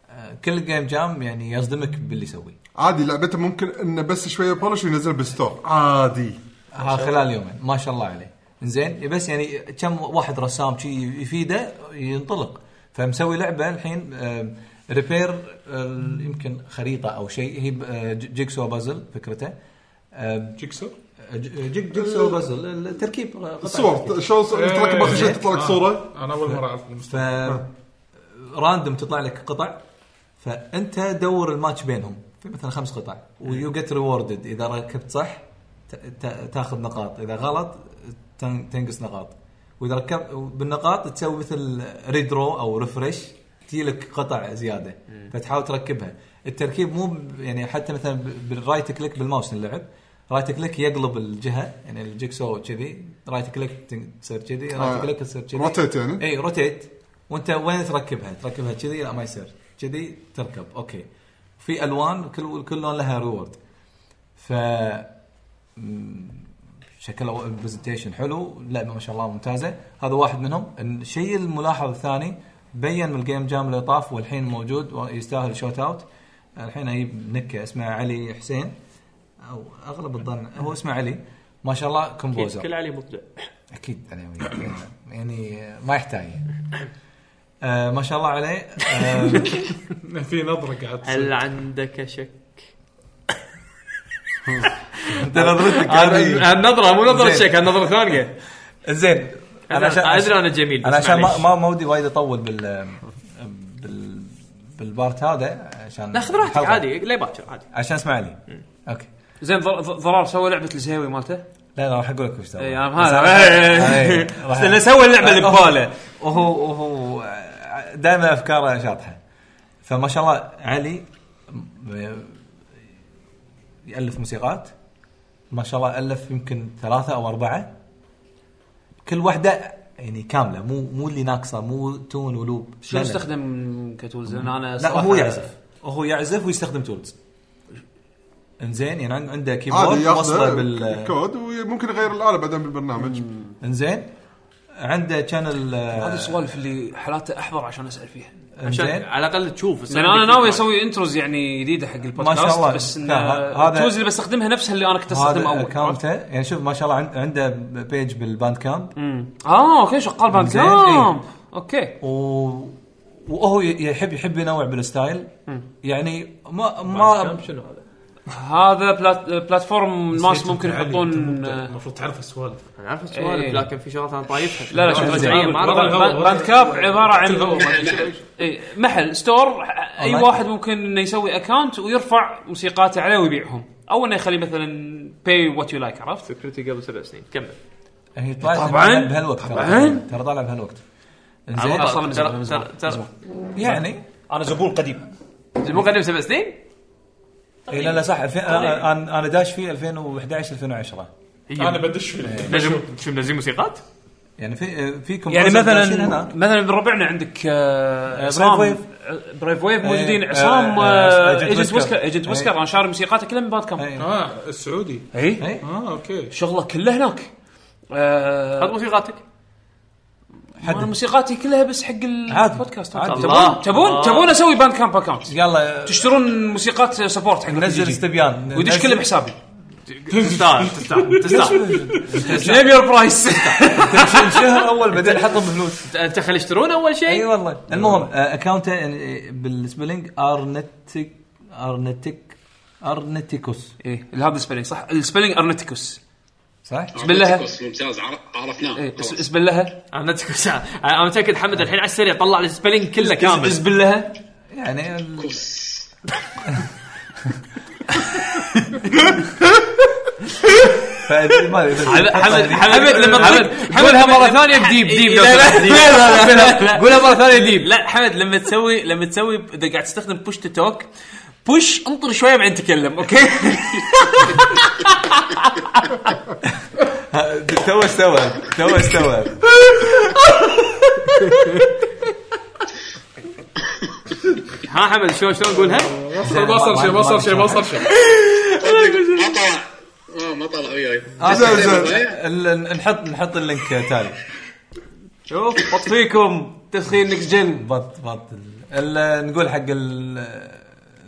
[SPEAKER 7] آه، كل جيم جام يعني يصدمك باللي يسويه
[SPEAKER 3] عادي لعبته ممكن انه بس شويه بولش وينزل بالستور عادي
[SPEAKER 7] ها خلال يومين ما شاء الله عليه زين بس يعني كم واحد رسام شي يفيده ينطلق فمسوي لعبه الحين آم، ريبير آم، يمكن خريطه او شيء هي ب- آه، ج- جيكسو بازل فكرته آم،
[SPEAKER 4] جيكسر
[SPEAKER 7] ج- جيك- جيكسو بازل التركيب قطع
[SPEAKER 3] الصور
[SPEAKER 7] تركيب.
[SPEAKER 3] شلون تركب اخر شيء تطلع لك
[SPEAKER 4] إيه. آه.
[SPEAKER 3] صوره
[SPEAKER 4] انا اول مره اعرف المست-
[SPEAKER 7] ف راندوم تطلع لك قطع فانت دور الماتش بينهم في مثلا خمس قطع ويو جيت ريوردد اذا ركبت صح ت- ت- تاخذ نقاط اذا غلط تن- تنقص نقاط واذا ركبت بالنقاط تسوي مثل ريدرو او ريفرش تجي لك قطع زياده فتحاول تركبها التركيب مو ب- يعني حتى مثلا ب- بالرايت كليك بالماوس نلعب رايت كليك يقلب الجهه يعني الجيكسو كذي رايت كليك تن- تصير كذي رايت
[SPEAKER 3] آه.
[SPEAKER 7] كليك تصير كذي
[SPEAKER 3] روتيت يعني
[SPEAKER 7] اي روتيت وانت وين تركبها؟ تركبها كذي لا ما يصير كذي تركب اوكي في الوان كل كل لون لها ريورد ف م- شكله البرزنتيشن حلو اللعبه ما شاء الله ممتازه هذا واحد منهم الشيء الملاحظ الثاني بين من الجيم جام اللي طاف والحين موجود ويستاهل شوت اوت الحين اجيب نكه اسمه علي حسين او اغلب الظن هو اسمه علي ما شاء الله كومبوزر
[SPEAKER 2] كل علي مبدع
[SPEAKER 7] اكيد انا وياك. يعني ما يحتاج آه ما شاء الله عليه آه
[SPEAKER 4] في نظره قاعد
[SPEAKER 2] هل
[SPEAKER 4] تصير.
[SPEAKER 2] عندك شك؟
[SPEAKER 7] انت نظرتك هذه-
[SPEAKER 2] النظرة مو نظرة
[SPEAKER 7] زين.
[SPEAKER 2] شك نظرة ثانية
[SPEAKER 7] زين
[SPEAKER 2] أنا أدري أنا جميل، بس
[SPEAKER 7] انا عشان ما
[SPEAKER 2] معليش.
[SPEAKER 7] ما ما ودي وايد اطول بال بال بالبارت هذا عشان
[SPEAKER 2] لا خذ راحتك
[SPEAKER 7] الحلقة.
[SPEAKER 2] عادي ليه باكر عادي
[SPEAKER 7] عشان اسمع علي اوكي
[SPEAKER 6] زين ضر- ضر- ضرار سوى لعبه الزهاوي مالته
[SPEAKER 7] لا لا راح اقول لك وش سوى إيه.
[SPEAKER 6] اي انا
[SPEAKER 7] إي،
[SPEAKER 6] إيه، هذا
[SPEAKER 7] راح-
[SPEAKER 6] استنى سوى اللعبه اللي
[SPEAKER 7] آه،
[SPEAKER 6] بباله
[SPEAKER 7] وهو وهو دائما افكاره شاطحه فما شاء الله علي م- يالف موسيقات ما شاء الله الف يمكن ثلاثه او اربعه كل واحده يعني كامله مو مو اللي ناقصه مو تون ولوب
[SPEAKER 1] شو
[SPEAKER 7] لا، لا.
[SPEAKER 1] استخدم كتولز لان انا
[SPEAKER 7] لا
[SPEAKER 1] صراحة-
[SPEAKER 7] هو يعزف هو يعزف ويستخدم تولز انزين يعني عن- عنده كيبورد
[SPEAKER 3] عادي
[SPEAKER 7] موصله
[SPEAKER 3] ياخذه
[SPEAKER 7] بال
[SPEAKER 3] بالكود وممكن يغير الاله بعدين بالبرنامج
[SPEAKER 7] انزين عنده شانل
[SPEAKER 1] هذا السوالف اللي حالاته احضر عشان اسال فيها
[SPEAKER 2] عشان
[SPEAKER 7] انزين
[SPEAKER 2] على الاقل تشوف
[SPEAKER 1] لان انا ناوي اسوي انتروز يعني جديده حق البودكاست
[SPEAKER 7] ما شاء الله.
[SPEAKER 1] بس ان
[SPEAKER 7] لا، هذا-
[SPEAKER 1] التولز اللي بستخدمها نفسها اللي انا كنت استخدمها اول
[SPEAKER 7] هذا
[SPEAKER 1] عرفت؟
[SPEAKER 7] اكونته يعني شوف ما شاء الله عن- عنده بيج بالباند كامب
[SPEAKER 1] مم.
[SPEAKER 6] آه،
[SPEAKER 1] اه اوكي شغال باند
[SPEAKER 7] زين،
[SPEAKER 1] كامب اوكي
[SPEAKER 7] و... وهو ي- يحب يحب ينوع بالستايل يعني ما ما
[SPEAKER 2] شنو هذا؟
[SPEAKER 1] هذا بلات... بلاتفورم الناس
[SPEAKER 4] نسيت
[SPEAKER 1] ممكن
[SPEAKER 4] أنت علي،
[SPEAKER 1] يحطون
[SPEAKER 4] أنت مبدع. المفروض تعرف السوالف
[SPEAKER 2] انا عارف السوالف
[SPEAKER 1] إيه.
[SPEAKER 2] لكن في شغلات انا طايفها
[SPEAKER 1] لا لا شوف
[SPEAKER 2] شغلات
[SPEAKER 1] رجع.
[SPEAKER 2] رجعية ما
[SPEAKER 4] والله
[SPEAKER 2] أعرف.
[SPEAKER 4] الهواء.
[SPEAKER 1] باند باند كاب عباره عن
[SPEAKER 8] محل.
[SPEAKER 1] إيه، محل ستور اي
[SPEAKER 7] أونلاين.
[SPEAKER 1] واحد ممكن انه يسوي اكونت ويرفع موسيقاته عليه ويبيعهم او انه يخليه مثلا باي وات يو لايك عرفت؟
[SPEAKER 2] سكيورتي قبل سبع سنين كمل
[SPEAKER 7] هي طلعت
[SPEAKER 1] طبعاً.
[SPEAKER 7] بهالوقت ترى.
[SPEAKER 1] طبعاً.
[SPEAKER 7] ترى طالع بهالوقت
[SPEAKER 1] والله
[SPEAKER 7] انزين
[SPEAKER 1] صار من زمان، من زمان،
[SPEAKER 2] ترى- ترى-
[SPEAKER 7] يعني
[SPEAKER 1] انا زبون قديم
[SPEAKER 2] مو قديم سبع سنين؟
[SPEAKER 7] إيه لا لا صح الفين- انا أنا- انا داش فيه 2011 2010
[SPEAKER 1] إيه.
[SPEAKER 4] انا بدش فيه
[SPEAKER 2] نجم شو منزلين موسيقات؟
[SPEAKER 7] يعني في في
[SPEAKER 1] يعني مثلا
[SPEAKER 7] هناك
[SPEAKER 1] مثلا بربعنا عندك آه، عصام
[SPEAKER 7] ويف.
[SPEAKER 1] بريف ويف موجودين
[SPEAKER 7] آه،
[SPEAKER 1] عصام
[SPEAKER 7] آه،
[SPEAKER 1] آه،
[SPEAKER 7] Agent
[SPEAKER 1] ايجنت
[SPEAKER 7] Whisker.
[SPEAKER 1] ويسكر ايجنت
[SPEAKER 7] إيه.
[SPEAKER 1] ويسكر انا شاري موسيقاته كلها من باد كامب
[SPEAKER 7] إيه.
[SPEAKER 4] اه السعودي
[SPEAKER 1] اي
[SPEAKER 7] إيه.
[SPEAKER 4] اه اوكي
[SPEAKER 1] شغله كله هناك آه،
[SPEAKER 2] حط موسيقاتك
[SPEAKER 1] انا موسيقاتي كلها بس حق
[SPEAKER 7] عادي. آه.
[SPEAKER 1] البودكاست
[SPEAKER 7] عادي.
[SPEAKER 1] تبون تبون
[SPEAKER 2] الله.
[SPEAKER 1] تبون اسوي باند كامب اكونت
[SPEAKER 7] يلا
[SPEAKER 1] تشترون موسيقات سبورت حق
[SPEAKER 7] نزل
[SPEAKER 1] RPG.
[SPEAKER 7] استبيان
[SPEAKER 1] ويدش كله بحسابي
[SPEAKER 2] تستاهل تستاهل تستاهل
[SPEAKER 1] نيم يور برايس
[SPEAKER 7] شهر اول بعدين حطهم بفلوس
[SPEAKER 2] انت خلي يشترون اول شيء
[SPEAKER 7] اي إيه. والله المهم آه، اكاونته آه، بالسبلينج ارنتيك ارنتيك ارنتيكوس
[SPEAKER 1] ايه هذا السبيلينج صح السبيلينج ارنتيكوس
[SPEAKER 7] صح؟
[SPEAKER 1] بالله.
[SPEAKER 8] ممتاز عر- عرفناه
[SPEAKER 7] إيه،
[SPEAKER 1] ايه
[SPEAKER 8] خلاص.
[SPEAKER 1] اسبل لها
[SPEAKER 2] انا متأكد- انا متاكد حمد الحين على السريع طلع السبيلنج كله كامل
[SPEAKER 1] اسبل لها
[SPEAKER 7] يعني ال- فما
[SPEAKER 2] حمد حمد حمد لما تطق- حمد
[SPEAKER 1] قولها
[SPEAKER 2] لما-
[SPEAKER 1] مرة
[SPEAKER 2] لما-
[SPEAKER 1] ثانية بديب، ديب،
[SPEAKER 2] لا لا
[SPEAKER 1] ديب.
[SPEAKER 2] لا لا لا لا.
[SPEAKER 1] إيه، قولها مره ثانيه ديب لا حمد لما تسوي لما تسوي اذا قاعد تستخدم بوش تو توك بوش انطر شويه بعدين تكلم اوكي
[SPEAKER 7] تو استوى تو استوى
[SPEAKER 2] ها حمد شلون شلون قولها؟
[SPEAKER 4] ما صار شيء ما صار شيء ما صار شيء
[SPEAKER 8] طيب، ما طلع آه، ما طلع وياي
[SPEAKER 7] زين،
[SPEAKER 8] زين.
[SPEAKER 7] إيه. ال- نحط نحط اللينك تالي
[SPEAKER 1] شوف بط فيكم تسخين نكس جن
[SPEAKER 7] بط بط ال- نقول حق ال-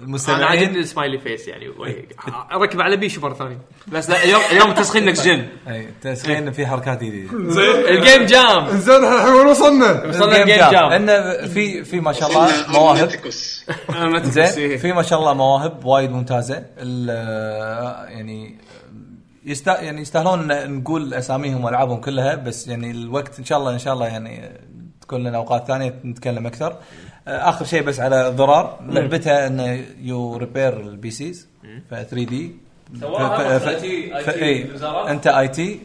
[SPEAKER 2] انا عاجبني
[SPEAKER 7] المستمعين
[SPEAKER 2] السمايلي فيس يعني وجهك. ركب على بيشو مره ثانيه
[SPEAKER 1] بس لا اليوم اليوم تسخين نكس جن
[SPEAKER 7] اي إيه، تسخين في حركات جديده
[SPEAKER 2] الجيم جام
[SPEAKER 3] زين احنا الحين وين وصلنا؟
[SPEAKER 2] وصلنا الجيم جام
[SPEAKER 7] لان في في ما شاء
[SPEAKER 8] قلنا
[SPEAKER 7] الله مواهب
[SPEAKER 8] أرناتيكوس.
[SPEAKER 2] إيه.
[SPEAKER 7] زين في ما شاء الله مواهب وايد ممتازه ال- يعني يست يعني يستاهلون إن نقول اساميهم والعابهم كلها بس يعني الوقت ان شاء الله ان شاء الله يعني تكون لنا اوقات ثانيه نتكلم اكثر اخر شيء بس على ضرار لعبتها انه يو ريبير البي سيز ف 3 دي
[SPEAKER 1] سواها IT بالوزارة؟
[SPEAKER 7] انت اي تي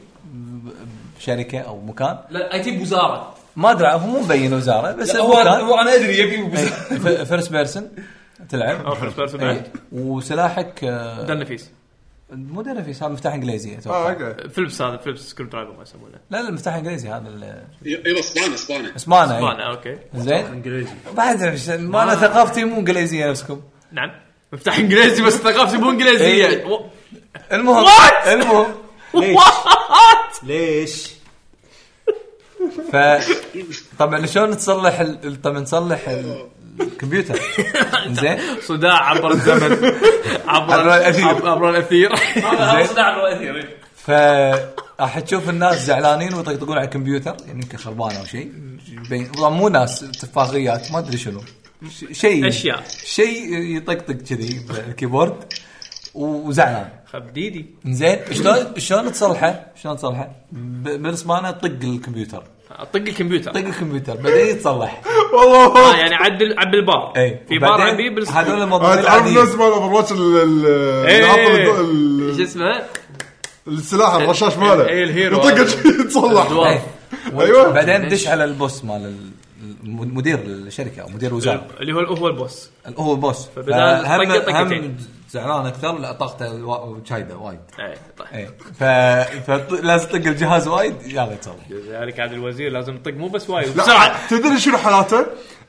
[SPEAKER 7] شركه او مكان
[SPEAKER 1] لا اي تي بوزاره
[SPEAKER 7] ما ادري هو مو مبين وزاره بس المكان.
[SPEAKER 1] انا ادري يبي بوزاره
[SPEAKER 7] فيرست بيرسون تلعب
[SPEAKER 2] Oh,
[SPEAKER 7] إيه. وسلاحك آه،
[SPEAKER 2] ده النفيس
[SPEAKER 7] مو درفيس هذا مفتاح انجليزي
[SPEAKER 3] اه
[SPEAKER 7] اتوقع
[SPEAKER 3] اوكي
[SPEAKER 2] فيلبس هذا فيلبس سكرو درايفر ما يسمونه
[SPEAKER 7] لا لا المفتاح الانجليزي هذا ال-
[SPEAKER 8] يلا اسبانه اسبانه
[SPEAKER 7] اسمانه
[SPEAKER 2] طبعاً،
[SPEAKER 7] إيه.
[SPEAKER 2] اوكي
[SPEAKER 7] زين إيه. بعد مش- ما انا ثقافتي مو انجليزيه نفسكم
[SPEAKER 2] نعم مفتاح انجليزي بس ثقافتي مو انجليزيه
[SPEAKER 7] إيه. المهم
[SPEAKER 2] What؟
[SPEAKER 7] المهم
[SPEAKER 9] ليش؟
[SPEAKER 2] وات
[SPEAKER 9] ليش؟
[SPEAKER 7] ف طبعا شلون تصلح ال... ال- طبعا تصلح ال- الكمبيوتر زين
[SPEAKER 2] صداع عبر الزمن عبر
[SPEAKER 7] عبر الأثير.
[SPEAKER 2] عبر- عبر الاثير
[SPEAKER 7] زين.
[SPEAKER 1] زين
[SPEAKER 2] إيه.
[SPEAKER 7] ف راح تشوف الناس زعلانين ويطقطقون على الكمبيوتر يعني يمكن خربان او شيء يبين- والله مو ناس تفاهيات ما ادري شنو ش- شيء
[SPEAKER 2] أشياء.
[SPEAKER 7] شيء يطقطق كذي بالكيبورد وزعلان
[SPEAKER 2] خبديدي
[SPEAKER 7] زين شلون شلون تصلحه؟ شلون تصلحه؟ ب- بالاسبانه طق الكمبيوتر
[SPEAKER 2] طق الكمبيوتر
[SPEAKER 7] طق الكمبيوتر بعدين يتصلح
[SPEAKER 3] والله
[SPEAKER 2] آه، يعني عدل عب البار
[SPEAKER 7] اي
[SPEAKER 2] في بار
[SPEAKER 7] إيه. وبعدين
[SPEAKER 2] عبيه بالسكرو.
[SPEAKER 7] هذول الموظفين
[SPEAKER 3] آه، تعرف الناس
[SPEAKER 7] العاديين
[SPEAKER 3] مال اوفر واتش اللي
[SPEAKER 2] إيه.
[SPEAKER 3] حاط الد- ال-
[SPEAKER 2] شو اسمه؟
[SPEAKER 3] السلاح الرشاش ماله
[SPEAKER 2] إيه، الهيرو.
[SPEAKER 3] يطق يتصلح
[SPEAKER 7] إيه.
[SPEAKER 2] الدوار
[SPEAKER 3] ايوه
[SPEAKER 7] بعدين دش على البوس مال ال- الم- مدير الشركه او مدير الوزاره
[SPEAKER 2] اللي هو هو البوس
[SPEAKER 7] هو بوس
[SPEAKER 2] فبدال
[SPEAKER 7] فهم
[SPEAKER 2] طقة طقتين.
[SPEAKER 7] هم زعلان اكثر لا طاقته وا- شايده وايد
[SPEAKER 2] إيه، طيب.
[SPEAKER 7] اي ف... فلازم تطق الجهاز وايد يلا يتصور
[SPEAKER 2] لذلك عاد الوزير لازم يطق مو بس وايد
[SPEAKER 3] لا تدري شنو حالاته؟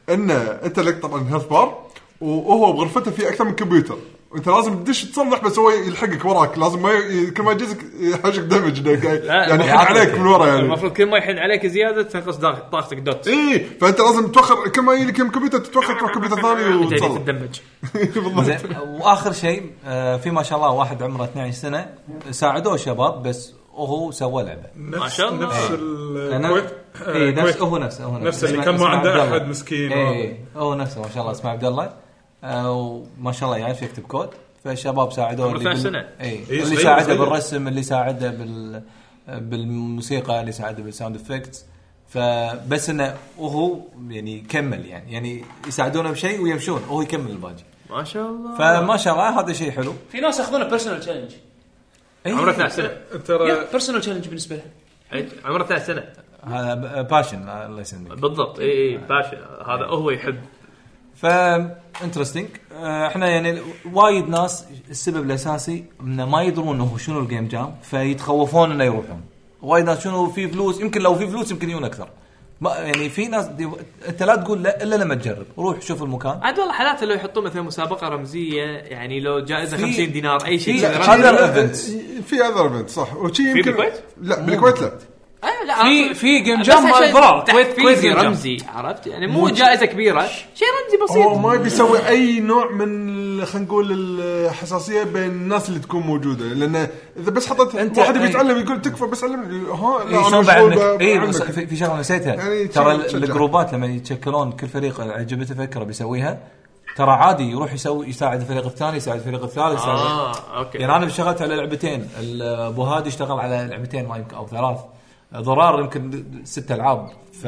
[SPEAKER 3] انه انت لك طبعا هيلث بار وهو بغرفته في اكثر من كمبيوتر وانت لازم تدش تصلح بس هو يلحقك وراك لازم ما ي... كل ما يجزك يحوشك دمج يعني يحن
[SPEAKER 7] يعطيك.
[SPEAKER 3] عليك من ورا يعني
[SPEAKER 2] المفروض كل ما يحن عليك زياده تنقص دا- طاقتك دوت
[SPEAKER 3] اي فانت إيه، لازم توخر كل ما يجي لك كمبيوتر تتوخر تروح كمبيوتر ثاني
[SPEAKER 2] انت اللي
[SPEAKER 3] وتصلح
[SPEAKER 2] تتدمج
[SPEAKER 3] بالضبط
[SPEAKER 7] زين واخر شيء آه، في ما شاء الله واحد عمره 12 سنه ساعدوه شباب بس وهو سوى لعبه
[SPEAKER 2] ما شاء الله.
[SPEAKER 4] نفس
[SPEAKER 7] لأن-
[SPEAKER 4] الكويت
[SPEAKER 7] اي نفس
[SPEAKER 4] الكويت.
[SPEAKER 7] هو نفسه هو نفسه
[SPEAKER 4] نفس آه، اللي كان ما عنده أحد مسكين
[SPEAKER 7] اي إيه، هو نفسه ما شاء الله اسمه عبد الله آه، وما شاء الله يعرف يكتب كود فالشباب ساعدوه
[SPEAKER 2] عمره 12 سنة.
[SPEAKER 7] اي
[SPEAKER 4] إي،
[SPEAKER 7] اللي
[SPEAKER 4] إيه، صغير،
[SPEAKER 7] ساعده
[SPEAKER 4] صغير.
[SPEAKER 7] بالرسم اللي ساعده بال بالموسيقى اللي ساعده بالساوند افكتس فبس انه وهو يعني كمل يعني يعني يساعدونه بشيء ويمشون وهو يكمل الباقي
[SPEAKER 2] ما شاء الله
[SPEAKER 7] فما شاء الله هذا شيء حلو إيه.
[SPEAKER 1] في ناس ياخذونه بيرسونال تشالنج
[SPEAKER 7] إي.
[SPEAKER 2] عمره 12 سنه
[SPEAKER 1] آه.
[SPEAKER 4] ترى
[SPEAKER 1] بيرسونال تشالنج بالنسبه لهم
[SPEAKER 2] عد- عمره 12 سنه
[SPEAKER 7] هذا آه، ب- باشن الله يسلمك
[SPEAKER 2] بالضبط اي اي باشا هذا هو يحب
[SPEAKER 7] ف انترستنج احنا يعني وايد ناس السبب الاساسي انه ما يدرون هو شنو الجيم جام فيتخوفون انه يروحون وايد ناس شنو في فلوس يمكن لو في فلوس يمكن يجون اكثر ما يعني في ناس دي انت لا تقول لا الا لما تجرب روح شوف المكان
[SPEAKER 2] عاد والله حالاته لو يحطون مثلا مسابقه رمزيه يعني لو جائزه
[SPEAKER 7] في-
[SPEAKER 2] 50 دينار اي شيء
[SPEAKER 7] في-
[SPEAKER 2] كذا
[SPEAKER 7] هذا-
[SPEAKER 2] رمزي.
[SPEAKER 3] في اذر ايفنت صح وشي يمكن
[SPEAKER 2] بالكويت؟
[SPEAKER 3] لا بالكويت لا
[SPEAKER 2] آه، لا
[SPEAKER 1] في-
[SPEAKER 2] أنا-
[SPEAKER 1] في جيم
[SPEAKER 2] بس
[SPEAKER 1] جام مال
[SPEAKER 2] عشان
[SPEAKER 1] ضرار. كويت-
[SPEAKER 2] تحفيز
[SPEAKER 1] كويت جيم جام.
[SPEAKER 2] رمزي عرفت يعني مو جائزه كبيره شيء رمزي
[SPEAKER 3] هو
[SPEAKER 2] بسيط
[SPEAKER 3] ما يبي يسوي اي نوع من ال- خلينا نقول الحساسيه بين الناس اللي تكون موجوده لان اذا بس حطيت
[SPEAKER 7] أنت- إيه.
[SPEAKER 3] واحد يبي
[SPEAKER 7] أي.
[SPEAKER 3] يتعلم يقول تكفى بس علمني ها
[SPEAKER 7] اي
[SPEAKER 3] لا انا
[SPEAKER 7] شلون
[SPEAKER 3] مشغول
[SPEAKER 7] بعلمك
[SPEAKER 3] ب-
[SPEAKER 7] اي إيه، بس
[SPEAKER 3] بعلمك.
[SPEAKER 7] في في شغله نسيتها
[SPEAKER 3] يعني
[SPEAKER 7] ترى
[SPEAKER 3] تشجع- تشجع.
[SPEAKER 7] الجروبات لما يتشكلون كل فريق عجبته فكره بيسويها ترى عادي يروح يسوي يساعد الفريق الثاني يساعد الفريق الثالث يساعد
[SPEAKER 2] اه اوكي
[SPEAKER 7] آه. يعني انا اشتغلت على لعبتين ال- ابو هادي اشتغل على لعبتين ما يمكن او ثلاث ضرار يمكن ست العاب ف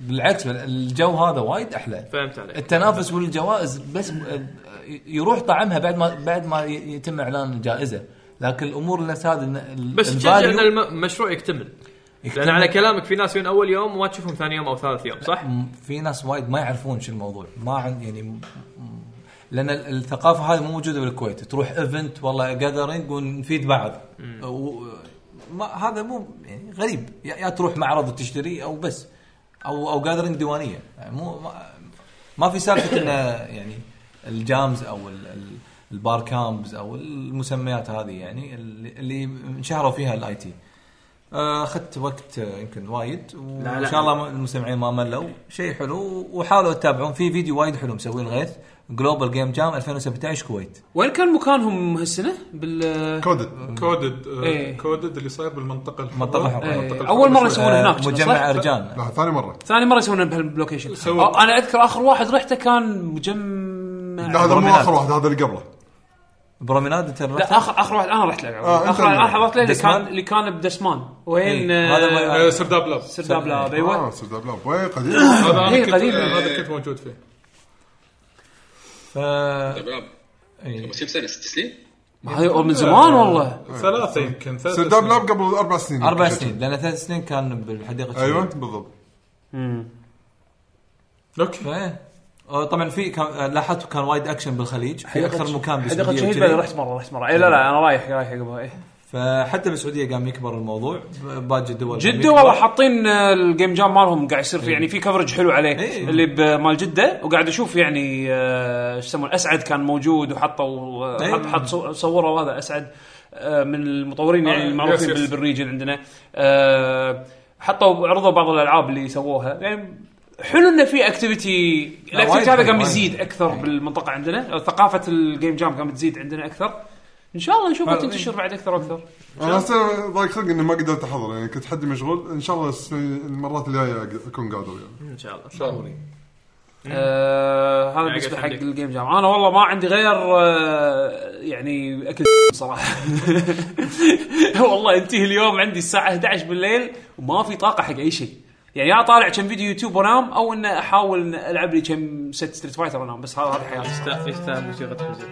[SPEAKER 7] بالعكس الجو هذا وايد احلى
[SPEAKER 2] فهمت عليك
[SPEAKER 7] التنافس والجوائز بس يروح طعمها بعد ما بعد ما يتم اعلان الجائزه لكن الامور اللي هذا ال-
[SPEAKER 2] بس
[SPEAKER 7] ال-
[SPEAKER 2] تشجع
[SPEAKER 7] value
[SPEAKER 2] ان الم- المشروع يكتمل لان على كلامك في ناس يجون اول يوم وما تشوفهم ثاني يوم او ثالث يوم صح؟
[SPEAKER 7] م- في ناس وايد ما يعرفون شو الموضوع ما عن يعني م- م- لان ال- الثقافه هذه مو موجوده بالكويت تروح ايفنت والله جاذرينج ونفيد بعض و... ما هذا مو يعني غريب يا, يا تروح معرض وتشتري او بس او او جاذرينج ديوانيه يعني مو ما, ما في سالفه انه يعني الجامز او ال... ال... البار كامبز او المسميات هذه يعني اللي اللي انشهروا فيها الاي تي اخذت وقت آه، يمكن وايد وان شاء الله المستمعين ما ملوا شيء حلو وحاولوا تتابعون في فيديو وايد حلو مسويه الغيث جلوبال جيم جام 2017 كويت
[SPEAKER 1] وين كان مكانهم هالسنه؟ بال
[SPEAKER 3] كودد
[SPEAKER 4] كودد
[SPEAKER 1] إيه.
[SPEAKER 4] آه، كودد اللي صاير بالمنطقه الحمراء
[SPEAKER 7] منطقة حمراء.
[SPEAKER 1] إيه،
[SPEAKER 4] منطقة
[SPEAKER 1] اول مره
[SPEAKER 4] الحمراء.
[SPEAKER 1] يسوون
[SPEAKER 7] آه،
[SPEAKER 1] هناك كنا، صح؟
[SPEAKER 7] مجمع رجال
[SPEAKER 3] لا ثاني مره
[SPEAKER 1] ثاني مره يسوونه بهالبلوكيشن
[SPEAKER 4] سووا-
[SPEAKER 1] آه، انا اذكر اخر واحد رحته كان مجمع
[SPEAKER 7] آه،
[SPEAKER 3] لا هذا مو
[SPEAKER 7] برومينات.
[SPEAKER 3] اخر واحد هذا اللي قبله
[SPEAKER 7] بروميناد انت
[SPEAKER 1] لا اخر اخر واحد انا رحت له
[SPEAKER 3] آه، أنت
[SPEAKER 1] اخر واحد انا
[SPEAKER 3] اللي-
[SPEAKER 1] حضرت له اللي
[SPEAKER 7] دسمان؟
[SPEAKER 1] كان اللي كان بدسمان وين
[SPEAKER 7] إيه، هذا ما-
[SPEAKER 1] آه،
[SPEAKER 4] آه، سرداب لاب
[SPEAKER 1] سرداب لاب
[SPEAKER 7] أيوة.
[SPEAKER 1] ايوه
[SPEAKER 3] اه سرداب لا وين قديم
[SPEAKER 4] هذا
[SPEAKER 1] إيه،
[SPEAKER 4] انا كنت
[SPEAKER 1] قديم.
[SPEAKER 4] هذا كنت موجود فيه
[SPEAKER 7] ف آه.
[SPEAKER 8] طيب،
[SPEAKER 7] إيه.
[SPEAKER 8] كم سنه ست سنين؟
[SPEAKER 1] هذا من زمان والله
[SPEAKER 4] ثلاثه يمكن ثلاثة
[SPEAKER 3] سرداب
[SPEAKER 4] سنين.
[SPEAKER 3] لاب قبل اربع سنين
[SPEAKER 7] اربع سنين لان ثلاث سنين كان بالحديقه
[SPEAKER 3] ايوه بالضبط
[SPEAKER 4] اوكي
[SPEAKER 7] إيه. آه، طبعا في كان لاحظت كان وايد اكشن بالخليج في اكثر مكان
[SPEAKER 1] حديقه
[SPEAKER 7] بالسعوديه
[SPEAKER 1] شهيد
[SPEAKER 7] وكذي.
[SPEAKER 1] بعدين رحت مره رحت مره اي لا لا انا رايح رايح قبل إيه.
[SPEAKER 7] فحتى بالسعوديه قام يكبر الموضوع ب- باقي الدول قام
[SPEAKER 1] جده
[SPEAKER 7] يكبر.
[SPEAKER 1] والله حاطين آه، الجيم جام مالهم قاعد يصير في يعني في كفرج حلو عليه
[SPEAKER 7] إيه.
[SPEAKER 1] اللي بمال جده وقاعد اشوف يعني آه، ايش يسمونه اسعد كان موجود وحطوا آه،
[SPEAKER 7] إيه.
[SPEAKER 1] حط حط صو- صوروا هذا اسعد آه، من المطورين يعني
[SPEAKER 4] آه،
[SPEAKER 1] المعروفين
[SPEAKER 4] يس، يس.
[SPEAKER 1] بال- بالريجن عندنا آه، حطوا عرضوا بعض الالعاب اللي سووها يعني حلو انه في اكتيفيتي
[SPEAKER 7] لا، وايد
[SPEAKER 1] الاكتيفيتي هذا
[SPEAKER 7] حلو،
[SPEAKER 1] قام
[SPEAKER 7] وايد. إيه.
[SPEAKER 1] يزيد اكثر بالمنطقه عندنا ثقافه الجيم جام قامت تزيد عندنا اكثر ان شاء الله نشوفها
[SPEAKER 7] حلو، إيه.
[SPEAKER 1] تنتشر بعد اكثر واكثر
[SPEAKER 3] انا هسه ضايق خلق اني ما قدرت احضر يعني كنت حد مشغول ان شاء الله السنة- المرات الجايه أق- اكون قادر يعني
[SPEAKER 2] ان شاء الله
[SPEAKER 1] آه هذا
[SPEAKER 2] يعني
[SPEAKER 1] بالنسبه
[SPEAKER 2] قلت
[SPEAKER 1] حق
[SPEAKER 2] عندك.
[SPEAKER 1] الجيم جام انا والله ما عندي غير آه يعني اكل صراحه والله ينتهي اليوم عندي الساعه 11 بالليل وما في طاقه حق اي شيء يعني يا طالع كم فيديو يوتيوب وانام او ان احاول إن العب لي كم ست ستريت فايتر وانام بس هذا هذا حياتي
[SPEAKER 2] يستاهل يستاهل موسيقى حزن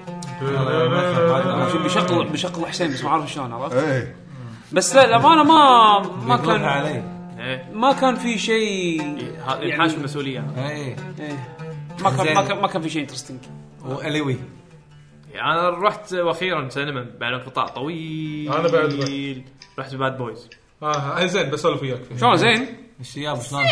[SPEAKER 1] أنا شو بشغل بشغل حسين بس ما اعرف شلون عرفت
[SPEAKER 3] ايه
[SPEAKER 1] بس لا الامانه ما ما
[SPEAKER 7] يقولها
[SPEAKER 1] كان
[SPEAKER 7] علي
[SPEAKER 2] ايه
[SPEAKER 1] ما كان في شيء
[SPEAKER 2] إيه،
[SPEAKER 1] يعني-
[SPEAKER 2] ينحاش مسؤوليه
[SPEAKER 7] اي
[SPEAKER 1] إيه. ما كان ما كان ما كان في شيء انترستنج
[SPEAKER 7] والوي
[SPEAKER 2] انا رحت واخيرا سينما بعد انقطاع طويل
[SPEAKER 4] أنا بعد
[SPEAKER 2] رحت باد بويز
[SPEAKER 4] آه زين بسولف وياك فيه.
[SPEAKER 1] شلون زين؟
[SPEAKER 7] الشياب شلون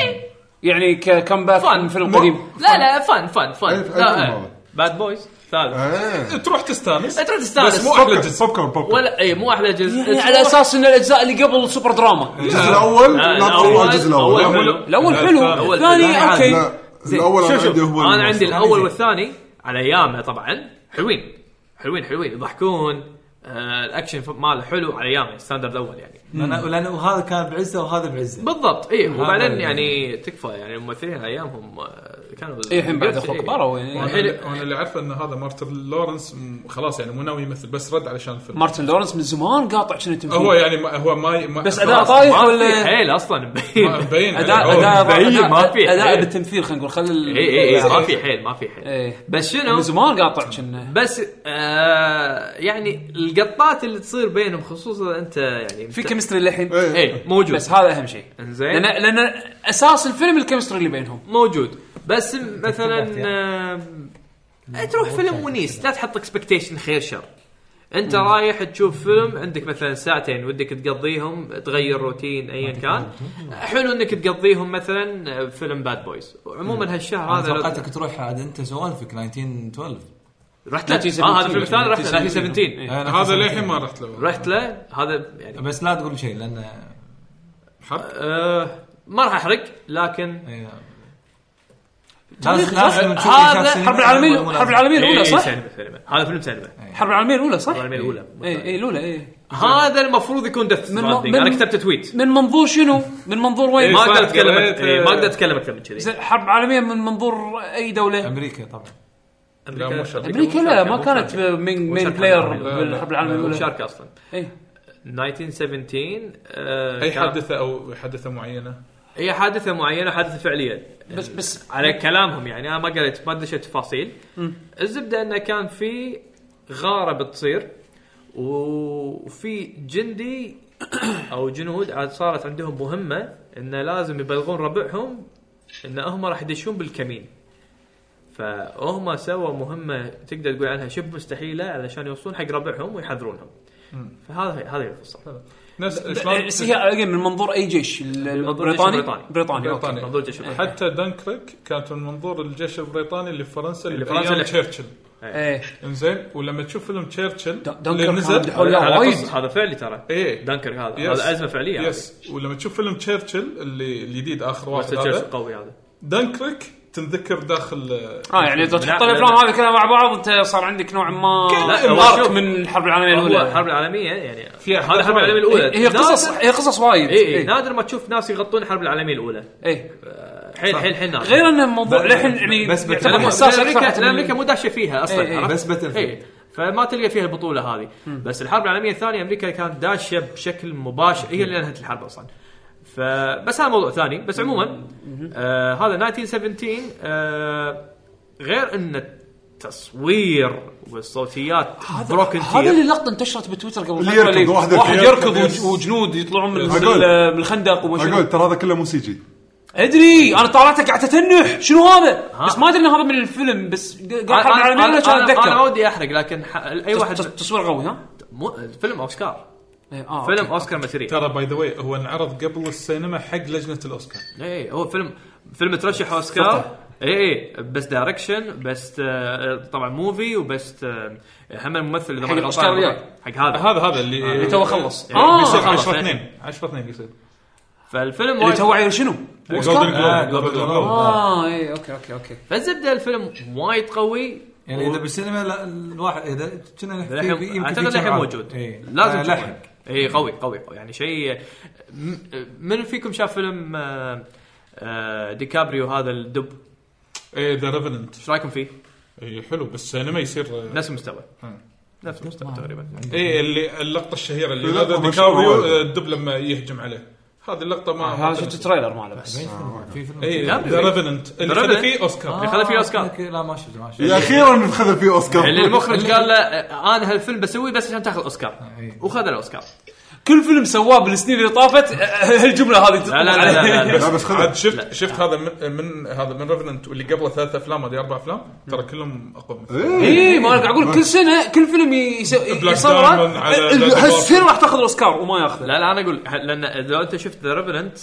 [SPEAKER 1] يعني ككمباك من فيلم قديم
[SPEAKER 2] لا لا فن فن
[SPEAKER 3] أي-
[SPEAKER 2] فن
[SPEAKER 3] أي
[SPEAKER 2] لا
[SPEAKER 3] فيلم هذا؟
[SPEAKER 2] باد بويز ثالث
[SPEAKER 3] إيه.
[SPEAKER 4] تروح تستانس
[SPEAKER 2] تروح تستانس
[SPEAKER 4] بس مو أحلى جزء.
[SPEAKER 3] بوب كورن بوب كورن
[SPEAKER 2] ولا اي مو احلى جزء إيه،
[SPEAKER 1] يعني على اساس ان الاجزاء اللي قبل سوبر دراما
[SPEAKER 3] الجزء الاول
[SPEAKER 2] لا،
[SPEAKER 3] لا تطلع
[SPEAKER 2] الأول-
[SPEAKER 3] الجزء الاول
[SPEAKER 2] أول
[SPEAKER 3] لا،
[SPEAKER 2] حلو.
[SPEAKER 1] الاول حلو
[SPEAKER 2] الأول-
[SPEAKER 1] الثاني
[SPEAKER 7] الثاني
[SPEAKER 1] اوكي
[SPEAKER 3] لا
[SPEAKER 2] إيه. زين.
[SPEAKER 3] الاول انا
[SPEAKER 2] شوف شوف
[SPEAKER 3] عندي هو
[SPEAKER 2] انا
[SPEAKER 3] المنصف.
[SPEAKER 2] عندي الاول والثاني على ايامه طبعا حلوين حلوين حلوين يضحكون آه الاكشن ف- ماله حلو على ايامه ستاندرد الاول يعني
[SPEAKER 7] لان لان هذا كان بعزه وهذا بعزه
[SPEAKER 2] بالضبط اي وبعدين
[SPEAKER 7] هذا-
[SPEAKER 2] يعني تكفى يعني الممثلين على ايامهم آه، كانوا
[SPEAKER 1] اي الحين بعد اخوك
[SPEAKER 2] إيه.
[SPEAKER 1] كبارة يعني
[SPEAKER 4] أنا اللي- أنا اللي عارفه ان هذا مارتن لورنس م- خلاص يعني مو ناوي يمثل بس رد علشان الفيلم
[SPEAKER 1] مارتن لورنس من زمان قاطع شنو تمثيل
[SPEAKER 4] هو يعني ما هو ما, ما
[SPEAKER 1] بس أداء
[SPEAKER 4] خلاص.
[SPEAKER 1] طايح
[SPEAKER 2] ما في
[SPEAKER 1] ولا-
[SPEAKER 2] حيل اصلا مبين
[SPEAKER 4] ما- مبين
[SPEAKER 1] اداء
[SPEAKER 4] أوه،
[SPEAKER 1] اداء
[SPEAKER 2] مبين، ما في
[SPEAKER 1] اداء اداء
[SPEAKER 2] حيل.
[SPEAKER 1] بالتمثيل خلينا نقول خل ال-
[SPEAKER 2] اي اي اي إيه، ما في حيل ما في حيل
[SPEAKER 1] إيه.
[SPEAKER 2] بس شنو
[SPEAKER 1] من زمان قاطع كنا
[SPEAKER 2] بس آه يعني القطات اللي تصير بينهم خصوصا انت يعني
[SPEAKER 1] في كيمستري للحين
[SPEAKER 3] إيه.
[SPEAKER 2] اي موجود
[SPEAKER 1] بس هذا اهم شيء لان
[SPEAKER 2] انزين
[SPEAKER 1] لان اساس الفيلم الكيمستري اللي بينهم
[SPEAKER 2] موجود بس مثلا آه، تروح فيلم ونيس لا تحط اكسبكتيشن خير شر انت رايح تشوف فيلم عندك مثلا ساعتين ودك تقضيهم تغير روتين ايا كان حلو انك تقضيهم مثلا آه، فيلم باد بويز عموما هالشهر
[SPEAKER 7] هذا
[SPEAKER 2] هذا لو-
[SPEAKER 7] توقعتك تروح عاد انت سوالفك 1912
[SPEAKER 2] رحت له اه هذا الفيلم الثاني رحت له 1917
[SPEAKER 7] أنا
[SPEAKER 4] هذا
[SPEAKER 7] كنت-
[SPEAKER 4] للحين ما رحت له
[SPEAKER 2] رحت له هذا يعني
[SPEAKER 7] بس لا تقول شيء لان
[SPEAKER 4] حرب
[SPEAKER 2] آه، ما راح احرق لكن
[SPEAKER 7] إي نعم. لازم لازم نشوف اللي شاف
[SPEAKER 1] هذا
[SPEAKER 7] سينما
[SPEAKER 1] حرب العالميه
[SPEAKER 7] أول مو لازم.
[SPEAKER 1] الحرب العالميه
[SPEAKER 2] إيه،
[SPEAKER 1] الاولى صح؟
[SPEAKER 2] سينما سينما هذا فيلم سينما
[SPEAKER 1] الحرب العالميه الاولى صح؟ إيه،
[SPEAKER 2] العالمية الأولى.
[SPEAKER 1] اي اي الاولى اي
[SPEAKER 2] إيه. هذا المفروض يكون دث
[SPEAKER 1] من-
[SPEAKER 2] انا
[SPEAKER 1] من-
[SPEAKER 2] كتبت تويت
[SPEAKER 1] من منظور شنو؟ من منظور وين؟
[SPEAKER 2] ما
[SPEAKER 4] صح،
[SPEAKER 2] اقدر اتكلم
[SPEAKER 4] قريت،
[SPEAKER 2] إيه، ما
[SPEAKER 4] آه.
[SPEAKER 2] اقدر اتكلم اكثر من كذي
[SPEAKER 1] زين، حرب عالميه من منظور اي دوله؟
[SPEAKER 7] امريكا طبعا
[SPEAKER 4] لا، مو شرط.
[SPEAKER 1] امريكا لا ما كانت مين مين بلاير بالحرب العالميه الاولى
[SPEAKER 2] مشاركه اصلا
[SPEAKER 1] إيه.
[SPEAKER 2] 1917 آه،
[SPEAKER 4] اي
[SPEAKER 2] كان-
[SPEAKER 4] حادثه او حادثه معينه
[SPEAKER 2] اي حادثه معينه حادثه فعليه
[SPEAKER 1] بس بس
[SPEAKER 2] على كلامهم يعني انا ما قريت ما دشيت تفاصيل الزبده انه كان في غاره بتصير وفي جندي او جنود عاد صارت عندهم مهمه انه لازم يبلغون ربعهم ان هم راح يدشون بالكمين فهم سووا مهمه تقدر تقول عنها شبه مستحيله علشان يوصلون حق ربعهم ويحذرونهم فهذا هذه القصه
[SPEAKER 4] نفس
[SPEAKER 1] إيه، بس
[SPEAKER 4] شلون
[SPEAKER 1] هي again من منظور اي جيش ال-
[SPEAKER 2] منظور الجيش
[SPEAKER 1] البريطاني
[SPEAKER 2] البريطاني.
[SPEAKER 1] بريطاني أوكي.
[SPEAKER 4] بريطانيا.
[SPEAKER 2] موضوع الجيش البريطاني.
[SPEAKER 4] حتى دنكرك كانت من منظور الجيش البريطاني اللي في فرنسا اللي
[SPEAKER 2] اللي في
[SPEAKER 4] بأيام
[SPEAKER 2] فرنسا اللي-
[SPEAKER 4] تشرشل
[SPEAKER 1] ايه
[SPEAKER 4] انزين ولما تشوف فيلم تشرشل
[SPEAKER 1] دن- دنكرك
[SPEAKER 4] اللي
[SPEAKER 1] كان
[SPEAKER 4] نزل
[SPEAKER 1] دحول. لا،
[SPEAKER 2] هذا
[SPEAKER 1] وايد.
[SPEAKER 2] قصة- هذا فعلي ترى
[SPEAKER 4] ايه
[SPEAKER 2] دنكر هذا
[SPEAKER 4] يس.
[SPEAKER 2] هذا ازمه فعليه هذه.
[SPEAKER 4] يس ولما تشوف فيلم تشرشل اللي الجديد اخر
[SPEAKER 2] بس
[SPEAKER 4] واحد
[SPEAKER 2] الجيش
[SPEAKER 4] هذا
[SPEAKER 2] قوي هذا
[SPEAKER 4] دنكرك تنذكر داخل آه،
[SPEAKER 1] اه يعني اذا تحط
[SPEAKER 2] لا،
[SPEAKER 1] الافلام
[SPEAKER 2] لا.
[SPEAKER 1] هذه كلها مع بعض انت صار عندك نوع ما
[SPEAKER 2] لا، هو
[SPEAKER 1] ارك
[SPEAKER 2] شوف.
[SPEAKER 1] من الحرب العالميه
[SPEAKER 2] هو
[SPEAKER 1] الاولى
[SPEAKER 2] الحرب العالميه يعني فيها هذا الحرب العالميه الاولى
[SPEAKER 1] إيه، هي هي قصص إيه.
[SPEAKER 2] نادر-
[SPEAKER 1] هي قصص وايد
[SPEAKER 2] اي اي نادر ما تشوف ناس يغطون الحرب العالميه الاولى
[SPEAKER 1] ايه
[SPEAKER 2] حيل حيل حيل نادر
[SPEAKER 1] غير انه الموضوع للحين يعني
[SPEAKER 7] بس- بس-
[SPEAKER 1] يعتبر
[SPEAKER 7] لأن-
[SPEAKER 1] حساس
[SPEAKER 2] لأن
[SPEAKER 1] اكثر
[SPEAKER 2] امريكا
[SPEAKER 1] حتى
[SPEAKER 2] لأن
[SPEAKER 1] من-
[SPEAKER 2] امريكا مو داشه فيها اصلا
[SPEAKER 1] إي إي.
[SPEAKER 2] عرفت؟
[SPEAKER 7] بس باتل
[SPEAKER 2] اي فما تلقى فيها البطوله هذه بس الحرب العالميه الثانيه امريكا كانت داشه بشكل مباشر هي اللي انهت الحرب اصلا فبس هذا موضوع ثاني بس عموما آه هذا 1917 آه غير ان التصوير والصوتيات بروكن
[SPEAKER 1] هذا اللي لقطه انتشرت بتويتر قبل
[SPEAKER 3] اللي
[SPEAKER 1] فترة
[SPEAKER 3] يركض،
[SPEAKER 1] اللي
[SPEAKER 3] واحد
[SPEAKER 1] واحد يركض
[SPEAKER 3] يركض يس.
[SPEAKER 1] وج- وجنود يطلعون من
[SPEAKER 3] أقول.
[SPEAKER 1] ال- من الخندق وما شنو
[SPEAKER 3] اقول ترى هذا كله مو سي جي
[SPEAKER 1] ادري انا طالعته قاعد تتنح شنو هذا
[SPEAKER 2] ها.
[SPEAKER 1] بس ما ادري انه هذا من الفيلم بس قاعد
[SPEAKER 2] انا
[SPEAKER 1] الحرب العالميه الاولى كان
[SPEAKER 2] أنا- أنا ما
[SPEAKER 1] اتذكر
[SPEAKER 2] ودي احرق لكن ح- اي
[SPEAKER 1] تص-
[SPEAKER 2] واحد
[SPEAKER 1] تص- تصوير قوي ها
[SPEAKER 2] مو فيلم اوسكار
[SPEAKER 1] إيه، آه،
[SPEAKER 2] فيلم
[SPEAKER 1] أوكي.
[SPEAKER 2] اوسكار ماتيريال
[SPEAKER 4] ترى باي ذا واي هو انعرض قبل السينما حق لجنه الاوسكار
[SPEAKER 2] اي إيه، هو فيلم فيلم ترشح اوسكار اي اي بس دايركشن بس آه، طبعا موفي وبس آه، هم الممثل اذا
[SPEAKER 1] حق
[SPEAKER 2] ماني
[SPEAKER 1] الأوسكار
[SPEAKER 2] غلطان
[SPEAKER 1] وياك.
[SPEAKER 2] حق آه، هذا
[SPEAKER 4] هذا هذا اللي
[SPEAKER 1] اللي تو خلص
[SPEAKER 2] يعني
[SPEAKER 1] اه
[SPEAKER 4] آه، بيصير
[SPEAKER 2] آه، خلاص.
[SPEAKER 4] 10 2 10 2 بيصير
[SPEAKER 2] فالفيلم
[SPEAKER 1] اللي
[SPEAKER 2] وايد-
[SPEAKER 1] تو عيل شنو؟
[SPEAKER 4] جولدن
[SPEAKER 1] أوسكار؟
[SPEAKER 7] آه،
[SPEAKER 4] جلوب
[SPEAKER 7] جولدن
[SPEAKER 4] جولدن
[SPEAKER 7] جلوب.
[SPEAKER 4] جلوب
[SPEAKER 1] اه
[SPEAKER 4] آه.
[SPEAKER 1] اي اوكي اوكي اوكي
[SPEAKER 2] فالزبده الفيلم وايد قوي
[SPEAKER 7] يعني اذا بالسينما لا- الواحد اذا كنا نحكي
[SPEAKER 2] للحين-
[SPEAKER 7] في- يمكن في
[SPEAKER 2] اعتقد
[SPEAKER 7] كم
[SPEAKER 2] الحين
[SPEAKER 7] عرض.
[SPEAKER 2] موجود
[SPEAKER 1] إيه.
[SPEAKER 7] إي.
[SPEAKER 2] لازم
[SPEAKER 7] آه،
[SPEAKER 2] تشوفه.
[SPEAKER 7] لحق
[SPEAKER 2] اي قوي قوي قوي يعني شيء م- آه، من فيكم شاف فيلم آه، آه، ديكابريو هذا الدب
[SPEAKER 4] اي ذا ريفننت
[SPEAKER 2] ايش رايكم فيه؟
[SPEAKER 4] اي إيه، حلو بالسينما يصير
[SPEAKER 2] نفس المستوى
[SPEAKER 4] مم.
[SPEAKER 2] نفس المستوى تقريبا
[SPEAKER 4] اي اللي اللقطه الشهيره اللي
[SPEAKER 3] اللقطة
[SPEAKER 4] هذا
[SPEAKER 3] مشهورة
[SPEAKER 4] ديكابريو
[SPEAKER 3] وايد.
[SPEAKER 4] آه، الدب لما يهجم عليه هذه اللقطه ما
[SPEAKER 1] هذا شفت التريلر ماله بس
[SPEAKER 7] في فيلم
[SPEAKER 4] اي
[SPEAKER 2] ديكابريو.
[SPEAKER 4] ذا ريفننت اللي
[SPEAKER 2] The
[SPEAKER 4] خذ
[SPEAKER 2] Revenant. آه.
[SPEAKER 4] فيه اوسكار
[SPEAKER 2] اللي خذ يعني فيه أوسكار.
[SPEAKER 7] آه، أوكي، لا ما شفته ما شفته
[SPEAKER 3] اخيرا خذ
[SPEAKER 2] يعني
[SPEAKER 3] فيه اوسكار
[SPEAKER 2] اللي المخرج قال له آه، انا هالفيلم بسويه بس عشان تاخذ اوسكار
[SPEAKER 7] إيه.
[SPEAKER 2] وخذ الاوسكار
[SPEAKER 1] كل فيلم سواه بالسنين اللي طافت آه، هالجمله هذه
[SPEAKER 2] لا لا لا, لا, لا,
[SPEAKER 3] بس,
[SPEAKER 2] لا.
[SPEAKER 3] بس خذ
[SPEAKER 4] عاد شفت شفت هذا من, من هذا من ريفننت واللي قبله ثلاث افلام هذه اربع افلام ترى كلهم اقوى من
[SPEAKER 3] إيه.
[SPEAKER 2] إيه،
[SPEAKER 1] اي ما انا قاعد اقول كل سنه كل فيلم يس-
[SPEAKER 4] بلاك
[SPEAKER 1] يصوره
[SPEAKER 4] دايموند على
[SPEAKER 1] آه،
[SPEAKER 4] بلاك
[SPEAKER 1] هالسنه راح تاخذ الاوسكار وما ياخذه
[SPEAKER 2] لا لا انا اقول لان اذا انت شفت ذا ريفننت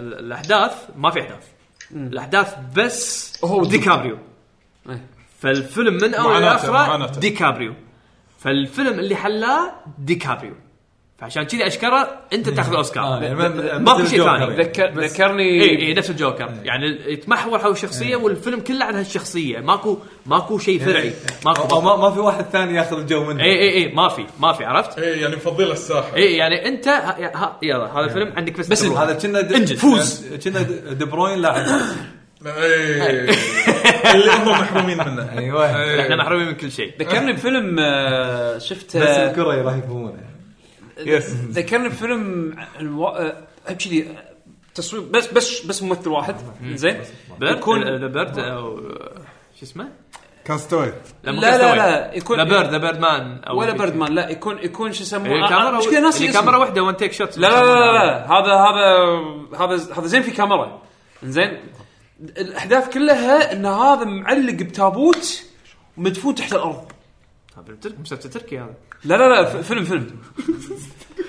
[SPEAKER 2] الاحداث ما في احداث الاحداث بس هو ديكابريو
[SPEAKER 1] إيه.
[SPEAKER 2] فالفيلم من اول
[SPEAKER 4] معاناته-
[SPEAKER 2] لاخره
[SPEAKER 4] معاناته.
[SPEAKER 2] ديكابريو فالفيلم اللي حلاه ديكابريو فعشان كذي اشكره انت تاخذ
[SPEAKER 7] آه،
[SPEAKER 2] اوسكار
[SPEAKER 7] يعني ما-
[SPEAKER 2] ما في
[SPEAKER 7] مثل
[SPEAKER 2] شيء
[SPEAKER 7] الجوكر
[SPEAKER 2] ثاني
[SPEAKER 7] يعني. إيه.
[SPEAKER 1] ذكر ذكرني
[SPEAKER 2] اي اي نفس الجوكر يعني يتمحور حول الشخصيه والفيلم كله عن هالشخصيه ماكو ماكو شيء فرعي
[SPEAKER 7] إيه. أو- أو
[SPEAKER 2] ماكو
[SPEAKER 7] ما ما في واحد ثاني ياخذ الجو منه
[SPEAKER 2] اي اي اي ما في ما في عرفت
[SPEAKER 4] اي يعني مفضله الساحه
[SPEAKER 2] اي يعني انت ه- ه- يلا هذا الفيلم عندك بس
[SPEAKER 1] بس
[SPEAKER 2] تروح.
[SPEAKER 7] إيه. هذا كنا د- يعني
[SPEAKER 2] انجز. فوز.
[SPEAKER 7] كنا د- دي بروين لاعب
[SPEAKER 4] اي إيه. اللي هم محرومين منه
[SPEAKER 7] ايوه
[SPEAKER 4] إيه.
[SPEAKER 2] احنا محرومين من كل شيء
[SPEAKER 1] ذكرني بفيلم آه،
[SPEAKER 7] بس
[SPEAKER 1] شفته
[SPEAKER 7] الكره راح يفهمونه
[SPEAKER 4] يس
[SPEAKER 1] ذكرني بفيلم الو... آه، كذي آه، تصوير بس بس بس ممثل واحد زين
[SPEAKER 2] بيرد
[SPEAKER 1] يكون-
[SPEAKER 2] ذا بيرد او شو اسمه؟
[SPEAKER 3] كاستوي
[SPEAKER 2] مو
[SPEAKER 1] لا- لا-
[SPEAKER 2] كاستاوي.
[SPEAKER 1] لا، يكون-
[SPEAKER 2] ذا بيرد ذا بيرد مان أو
[SPEAKER 1] ولا بيردمان لا يكون يكون شو يسمونه
[SPEAKER 2] إيه،
[SPEAKER 1] آه، آه،
[SPEAKER 2] كاميرا
[SPEAKER 1] مشكلة ناسي
[SPEAKER 2] اللي
[SPEAKER 1] اسمه.
[SPEAKER 2] كاميرا واحده وان تيك شوت
[SPEAKER 1] لا لا لا, لا, لا. هذا هذا هذا هذا زين في كاميرا زين الاحداث كلها ان هذا معلق بتابوت مدفون تحت الارض
[SPEAKER 2] لا مسلسل تركي هذا
[SPEAKER 1] لا لا لا ف- فيلم فيلم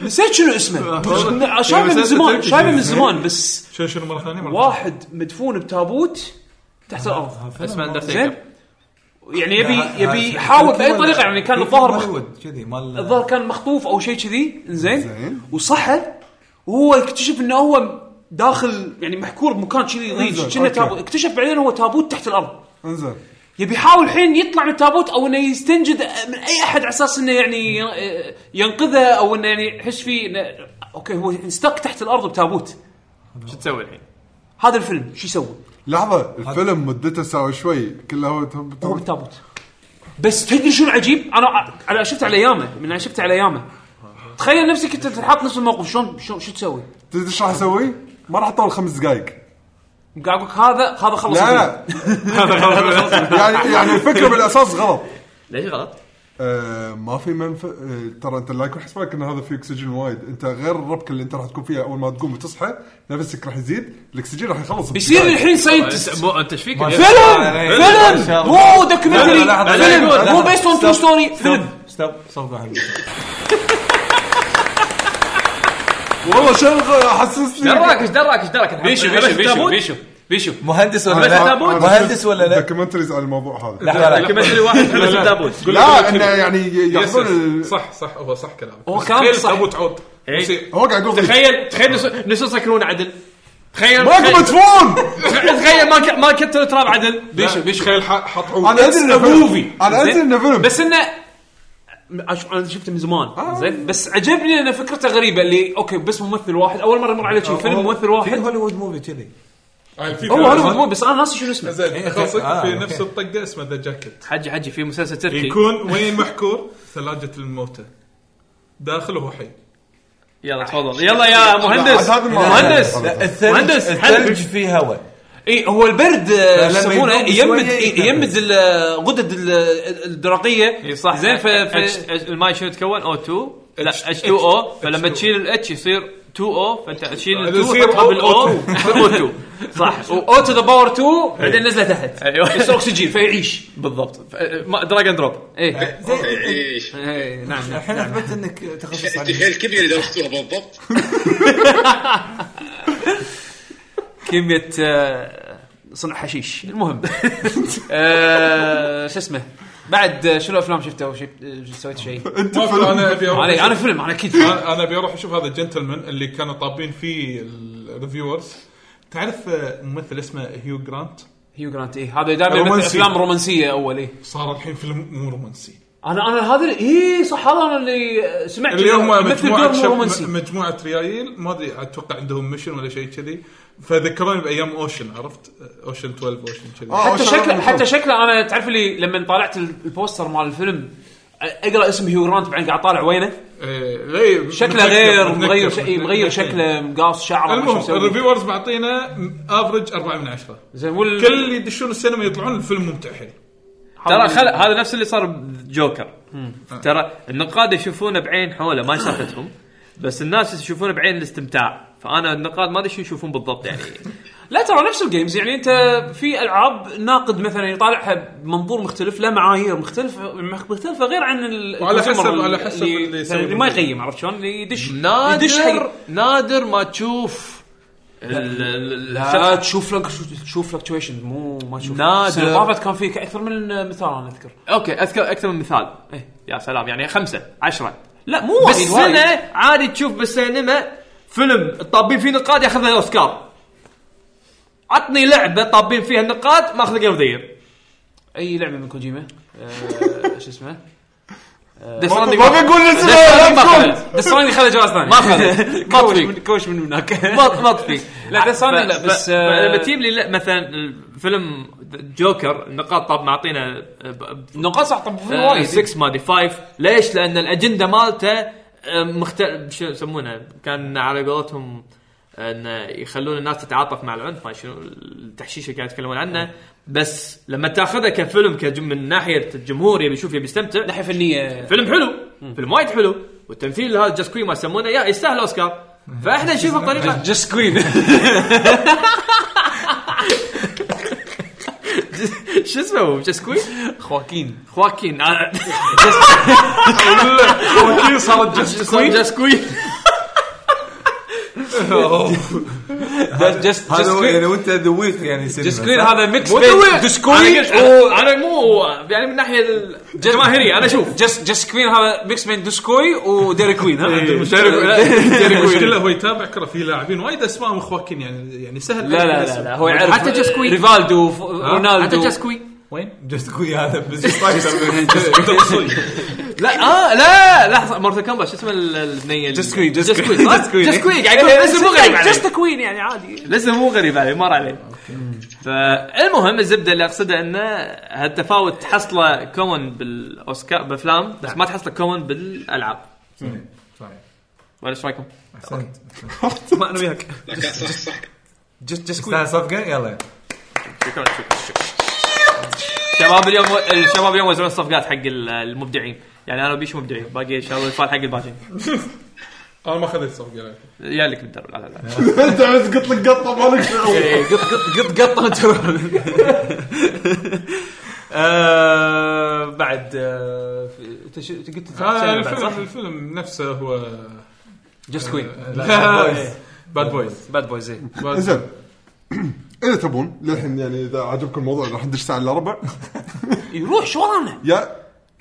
[SPEAKER 1] نسيت شنو اسمه
[SPEAKER 2] إيه،
[SPEAKER 1] شايفه من
[SPEAKER 7] مسلسل
[SPEAKER 1] زمان
[SPEAKER 7] تركي.
[SPEAKER 1] شايفه من زمان بس
[SPEAKER 4] شنو شنو مره ثانيه مرة
[SPEAKER 1] واحد مدفون بتابوت تحت الارض
[SPEAKER 2] اسمه
[SPEAKER 1] زين
[SPEAKER 2] اندرتيكر
[SPEAKER 1] يعني يبي يبي
[SPEAKER 7] هذا-
[SPEAKER 1] يحاول باي
[SPEAKER 7] هذا-
[SPEAKER 1] طريقه يعني كان
[SPEAKER 7] في
[SPEAKER 1] الظاهر مخ-
[SPEAKER 7] هوليوود كذي مال
[SPEAKER 1] الظاهر كان مخطوف او شيء كذي زين
[SPEAKER 3] زين.
[SPEAKER 1] وصحى وهو يكتشف انه هو داخل يعني محكور بمكان كذي
[SPEAKER 3] إنزين،
[SPEAKER 1] ضيق كنا
[SPEAKER 3] أوكي.
[SPEAKER 1] تابوت اكتشف بعدين هو تابوت تحت الارض
[SPEAKER 3] انزل
[SPEAKER 1] يبي يحاول الحين يطلع من التابوت او انه يستنجد من اي احد على اساس انه يعني ي- ينقذه او انه يعني يحس فيه انه اوكي هو انستك تحت الارض بتابوت
[SPEAKER 2] شو تسوي الحين؟
[SPEAKER 1] هذا الفيلم شو يسوي؟
[SPEAKER 3] لحظه الفيلم مدته ساعه وشوي كله هو
[SPEAKER 1] هو بالتابوت بس تدري شو العجيب؟ انا انا شفت على ايامه من انا شفت على ايامه تخيل نفسك انت تنحط نفس الموقف شلون شو شو تسوي؟
[SPEAKER 3] تدري ايش راح اسوي؟ ما راح اطول خمس دقائق
[SPEAKER 1] قاعد اقول لك هذا هذا خلص
[SPEAKER 3] لا
[SPEAKER 1] الفيلم.
[SPEAKER 3] لا يعني يعني الفكره بالاساس غلط
[SPEAKER 2] ليش غلط؟
[SPEAKER 3] آه، ما في منف آه، ترى انت لا يكون حسبك ان هذا فيه اكسجين وايد انت غير الربكه اللي انت راح تكون فيها اول ما تقوم وتصحى نفسك راح يزيد الاكسجين راح يخلص
[SPEAKER 1] بيصير الحين
[SPEAKER 2] أنت-
[SPEAKER 1] ساينتست
[SPEAKER 2] مو- انت ايش فيك؟
[SPEAKER 1] فيلم
[SPEAKER 7] لا، لا،
[SPEAKER 1] فيلم
[SPEAKER 7] لا، لا.
[SPEAKER 1] مو دوكيومنتري
[SPEAKER 7] لا، لا، لا،
[SPEAKER 1] فيلم
[SPEAKER 7] لا، لا،
[SPEAKER 1] مو
[SPEAKER 7] لا.
[SPEAKER 1] بيست اون ترو ستوري فيلم
[SPEAKER 7] ستوب ستوب واحد
[SPEAKER 3] والله شغل حسسني
[SPEAKER 2] ايش دراك ايش دراك ايش دراك؟
[SPEAKER 1] بيشو
[SPEAKER 2] نحط-
[SPEAKER 1] بيشو بيشو
[SPEAKER 2] تابوت؟
[SPEAKER 1] بيشو بيشو
[SPEAKER 7] مهندس ولا
[SPEAKER 2] بس
[SPEAKER 7] لا؟
[SPEAKER 2] تابوت؟
[SPEAKER 7] مهندس ولا لا؟
[SPEAKER 3] دوكيومنتريز آه. على الموضوع هذا
[SPEAKER 7] لحظه لحظة.
[SPEAKER 2] كمثل واحد يحبس التابوت
[SPEAKER 3] لا انه يعني ي-
[SPEAKER 4] يس
[SPEAKER 3] ياخذون ال-
[SPEAKER 4] يس. صح صح هو صح كلامك
[SPEAKER 1] هو كلامك
[SPEAKER 4] تخيل
[SPEAKER 1] صح.
[SPEAKER 4] تابوت عود
[SPEAKER 2] إيه.
[SPEAKER 4] يصير.
[SPEAKER 3] هو قاعد يقول
[SPEAKER 2] تخيل تخيل نس- نسوا يسكرون عدل تخيل
[SPEAKER 3] ماكو
[SPEAKER 2] تخيل-
[SPEAKER 3] مدفون
[SPEAKER 2] تخيل ما ك- ما كتلوا تراب عدل
[SPEAKER 1] بيشو بيشو
[SPEAKER 4] تخيل ح- حط عود
[SPEAKER 3] انا ادري انه
[SPEAKER 1] movie.
[SPEAKER 3] فيلم انا ادري انه فيلم
[SPEAKER 1] بس انه أش- انا شفته من
[SPEAKER 7] آه.
[SPEAKER 1] زمان زين بس عجبني ان فكرته غريبه اللي اوكي بس ممثل واحد اول مره مر علي شي فيلم ممثل
[SPEAKER 7] آه، في
[SPEAKER 1] واحد
[SPEAKER 7] هوليوود موفي كذي
[SPEAKER 4] آه، في
[SPEAKER 1] هو
[SPEAKER 4] فيلم.
[SPEAKER 1] هوليوود مو بس انا ناسي شنو اسمه
[SPEAKER 4] زين خاصك
[SPEAKER 7] آه،
[SPEAKER 4] في
[SPEAKER 7] أوكي.
[SPEAKER 4] نفس الطقه اسمه ذا جاكيت
[SPEAKER 2] حجي حجي في مسلسل تركي
[SPEAKER 4] يكون وين محكور ثلاجه الموتى داخل وهو حي
[SPEAKER 2] يلا تفضل يلا يا مهندس
[SPEAKER 3] هذا ما-
[SPEAKER 2] مهندس
[SPEAKER 7] لا، الثلج
[SPEAKER 2] مهندس،
[SPEAKER 7] الثلج
[SPEAKER 2] حلو.
[SPEAKER 7] فيه هواء
[SPEAKER 1] اي إيه، هو البرد آه، شو
[SPEAKER 7] فلما
[SPEAKER 1] يسمونه
[SPEAKER 7] يذوب
[SPEAKER 1] يمد
[SPEAKER 7] شوية
[SPEAKER 1] إي-
[SPEAKER 7] يتنفس.
[SPEAKER 1] يمد ال- آه، غدد ال- آه، الدرقيه
[SPEAKER 2] اي إيه، صح
[SPEAKER 1] زين ف
[SPEAKER 2] أتش-
[SPEAKER 1] ف-
[SPEAKER 2] أتش- الماي شنو يتكون او 2 لا
[SPEAKER 4] H-
[SPEAKER 2] اتش 2 او
[SPEAKER 4] H2O.
[SPEAKER 2] فلما تشيل الاتش يصير 2 او فانت تشيل ال 2
[SPEAKER 4] يصير
[SPEAKER 2] وتحط بالاو
[SPEAKER 4] O2.
[SPEAKER 2] او 2 صح و-
[SPEAKER 1] او تو ذا باور
[SPEAKER 7] أيوه.
[SPEAKER 1] 2 بعدين نزله تحت
[SPEAKER 2] أيوة.
[SPEAKER 1] يصير اكسجين فيعيش
[SPEAKER 2] بالضبط ف- ما- دراج اند دروب
[SPEAKER 7] إيه.
[SPEAKER 1] ايه
[SPEAKER 7] طيب.
[SPEAKER 8] ايش
[SPEAKER 1] إيه، نعم نعم.
[SPEAKER 7] الحين اثبت انك تخصص
[SPEAKER 8] تخيل الكميه اللي درستوها بالضبط
[SPEAKER 1] كميه آه، صنع حشيش المهم آه، شو اسمه بعد آه، شنو الافلام شفتها او شي- آه، سويت شيء
[SPEAKER 4] ما في- انا ابي
[SPEAKER 1] ما
[SPEAKER 4] اروح
[SPEAKER 1] علي انا فيلم انا اكيد فيلم.
[SPEAKER 4] انا ابي اروح اشوف هذا الجنتلمان اللي كانوا طابين فيه الريفيورز تعرف آه، ممثل اسمه هيو جرانت
[SPEAKER 1] هيو جرانت ايه هذا دائما يمثل
[SPEAKER 4] رومانسي.
[SPEAKER 1] افلام رومانسيه اول ايه
[SPEAKER 4] صار الحين فيلم مو رومانسي
[SPEAKER 1] انا انا هذا اي صح هذا انا اللي سمعت
[SPEAKER 4] اللي هم
[SPEAKER 1] مثل دور
[SPEAKER 4] مجموعه
[SPEAKER 1] مو
[SPEAKER 4] شب-
[SPEAKER 1] رومانسي
[SPEAKER 4] م- مجموعه ريايل ما ادري اتوقع عندهم ميشن ولا شيء كذي فذكروني بايام اوشن عرفت اوشن 12 اوشن كذي
[SPEAKER 3] آه،
[SPEAKER 1] حتى
[SPEAKER 3] وش
[SPEAKER 1] شكله
[SPEAKER 3] الرقم
[SPEAKER 1] حتى شكله انا تعرف لي لما طالعت ال- البوستر مال الفيلم أ- اقرا اسم هيو جرانت بعدين قاعد طالع وينه
[SPEAKER 4] إيه، غير-
[SPEAKER 1] شكله
[SPEAKER 4] متذكر-
[SPEAKER 1] غير
[SPEAKER 4] متذكر-
[SPEAKER 1] مغير شيء
[SPEAKER 4] متذكر.
[SPEAKER 1] مغير شكله مقاص شعره ما شو
[SPEAKER 4] المهم
[SPEAKER 1] مسوي.
[SPEAKER 4] الريفيورز معطينا افرج 4 من 10
[SPEAKER 1] زين وال
[SPEAKER 4] كل اللي يدشون السينما يطلعون الفيلم ممتع حلو
[SPEAKER 2] ترى خل... هذا نفس اللي صار بجوكر ترى النقاد يشوفونه بعين حوله ما يسافتهم بس الناس يشوفونه بعين الاستمتاع فانا النقاد ما ادري شو يشوفون بالضبط يعني
[SPEAKER 1] لا ترى نفس الجيمز يعني انت في العاب ناقد مثلا يطالعها بمنظور مختلف لا معايير مختلفه مختلفه غير عن ال-
[SPEAKER 4] وعلى حسب-
[SPEAKER 1] الconsumer
[SPEAKER 4] على حسب
[SPEAKER 1] اللي,
[SPEAKER 4] اللي
[SPEAKER 1] اللي,
[SPEAKER 4] يسوي
[SPEAKER 1] اللي ما يقيم عرفت شلون؟ اللي يدش يدش حق-
[SPEAKER 7] نادر نادر ما تشوف
[SPEAKER 2] ال- ال-
[SPEAKER 1] لا تشوف لك تشوف فلكتويشن مو ما تشوف
[SPEAKER 7] نادر.
[SPEAKER 1] السنة اللي طافت كان في اكثر من مثال انا اذكر
[SPEAKER 2] اوكي اذكر اكثر من مثال إيه يا سلام يعني خمسه عشرة
[SPEAKER 1] لا مو وايد وايد.
[SPEAKER 2] بالسنه عادي تشوف بالسينما فيلم طابين فيه نقاد ياخذ الاوسكار عطني لعبه طابين فيها النقاد ماخذ جيم ذير
[SPEAKER 1] اي لعبه من كوجيما آه، شو اسمه
[SPEAKER 2] ديث راندينج
[SPEAKER 3] ما بنقول اسمه
[SPEAKER 1] بس راني خذ جواز ثاني
[SPEAKER 2] ما أخذ. ما
[SPEAKER 1] كوش
[SPEAKER 2] تفيق.
[SPEAKER 1] من كوش من هناك
[SPEAKER 2] ما ما تطفي
[SPEAKER 1] لا، بس أنا لا، بس، آه،
[SPEAKER 2] لما تجيب لي لا، مثلا فيلم جوكر النقاط طب معطينا آه،
[SPEAKER 1] نقاط صح طب في وايد
[SPEAKER 2] 6 ما ادري 5 ليش؟ لان الاجنده مالته آه، مختلف شو يسمونه كان على قولتهم ان يخلون الناس تتعاطف مع العنف ما شنو التحشيش اللي قاعد يتكلمون
[SPEAKER 1] نعم.
[SPEAKER 2] عنه بس لما تاخذه كفيلم كجم من ناحيه الجمهور يبي يشوف يبي يستمتع
[SPEAKER 1] ناحيه فنيه
[SPEAKER 2] فيلم حلو فيلم وايد حلو والتمثيل هذا جاست كوين ما يسمونه يا يستاهل اوسكار فاحنا نشوفه بطريقه
[SPEAKER 1] جست كوين
[SPEAKER 2] شو اسمه هو جاست كوين
[SPEAKER 1] خواكين
[SPEAKER 2] خواكين
[SPEAKER 4] وكيل صارت جست كوين
[SPEAKER 2] جاست كوين
[SPEAKER 1] جست
[SPEAKER 7] هذا هو
[SPEAKER 1] كوين
[SPEAKER 7] يعني وانت ذا ويك يعني
[SPEAKER 1] جست كوين هذا ميكس
[SPEAKER 2] أنا-
[SPEAKER 1] بين ديسكوين
[SPEAKER 2] أنا- انا مو يعني من ناحيه الجماهيريه انا اشوف
[SPEAKER 1] جست جست كوين هذا ميكس بين ديسكوي وديري كوين
[SPEAKER 2] إيه.
[SPEAKER 1] ها
[SPEAKER 4] المشكله يعني هو يتابع كره في لاعبين وايد اسمائهم اخوكين يعني يعني سهل
[SPEAKER 1] لا لا لا, لا هو يعرف
[SPEAKER 2] حتى جست كوين.
[SPEAKER 1] ريفالدو ف- رونالدو
[SPEAKER 2] حتى جاست كوين
[SPEAKER 7] جست كوي هذا بس سترايكر.
[SPEAKER 2] لا اه لا لحظه مورتال كومبات شو اسمه ال- البنيه جاست
[SPEAKER 1] كوين، جست
[SPEAKER 2] جست
[SPEAKER 1] كوين.
[SPEAKER 2] كوين
[SPEAKER 1] جست كوين.
[SPEAKER 2] جست كوين قاعد يقول لازم مو غريب علي.
[SPEAKER 1] جست كوين يعني عادي
[SPEAKER 2] لسه مو غريب علي مر علي فالمهم الزبده اللي اقصدها انه هالتفاوت تحصله كومن بالاوسكار بافلام بس ما تحصله كومن بالالعاب ولا ايش رايكم؟
[SPEAKER 7] احسنت
[SPEAKER 2] ما انا وياك
[SPEAKER 8] لا، صح صح
[SPEAKER 1] جست كوين
[SPEAKER 7] تستاهل صفقه يلا
[SPEAKER 2] شكرا شكرا شباب اليوم الشباب اليوم يوزعون الصفقات حق ال- المبدعين يعني انا وبيش مبدعين باقي ان شاء الله يفال حق الباجين
[SPEAKER 4] انا ما خذيت صفقه
[SPEAKER 2] يا لك بالدرب لا لا لا
[SPEAKER 3] انت بس قلت لك قطه مالك شغل
[SPEAKER 2] إيه.
[SPEAKER 1] إيه، قط قط قط قطه وتروح. آه، بعد آه، في- انت شو- أنت قلت
[SPEAKER 4] آه،
[SPEAKER 1] تسأل بعد، صح؟
[SPEAKER 4] الفيلم الفيلم نفسه هو آه،
[SPEAKER 1] جست كوين
[SPEAKER 4] باد بويز
[SPEAKER 1] باد بوي
[SPEAKER 2] إيه.
[SPEAKER 1] زين
[SPEAKER 3] زين اذا تبون للحين يعني اذا عجبكم الموضوع راح ندش ساعه الا ربع
[SPEAKER 1] يروح شو ورانا
[SPEAKER 3] يا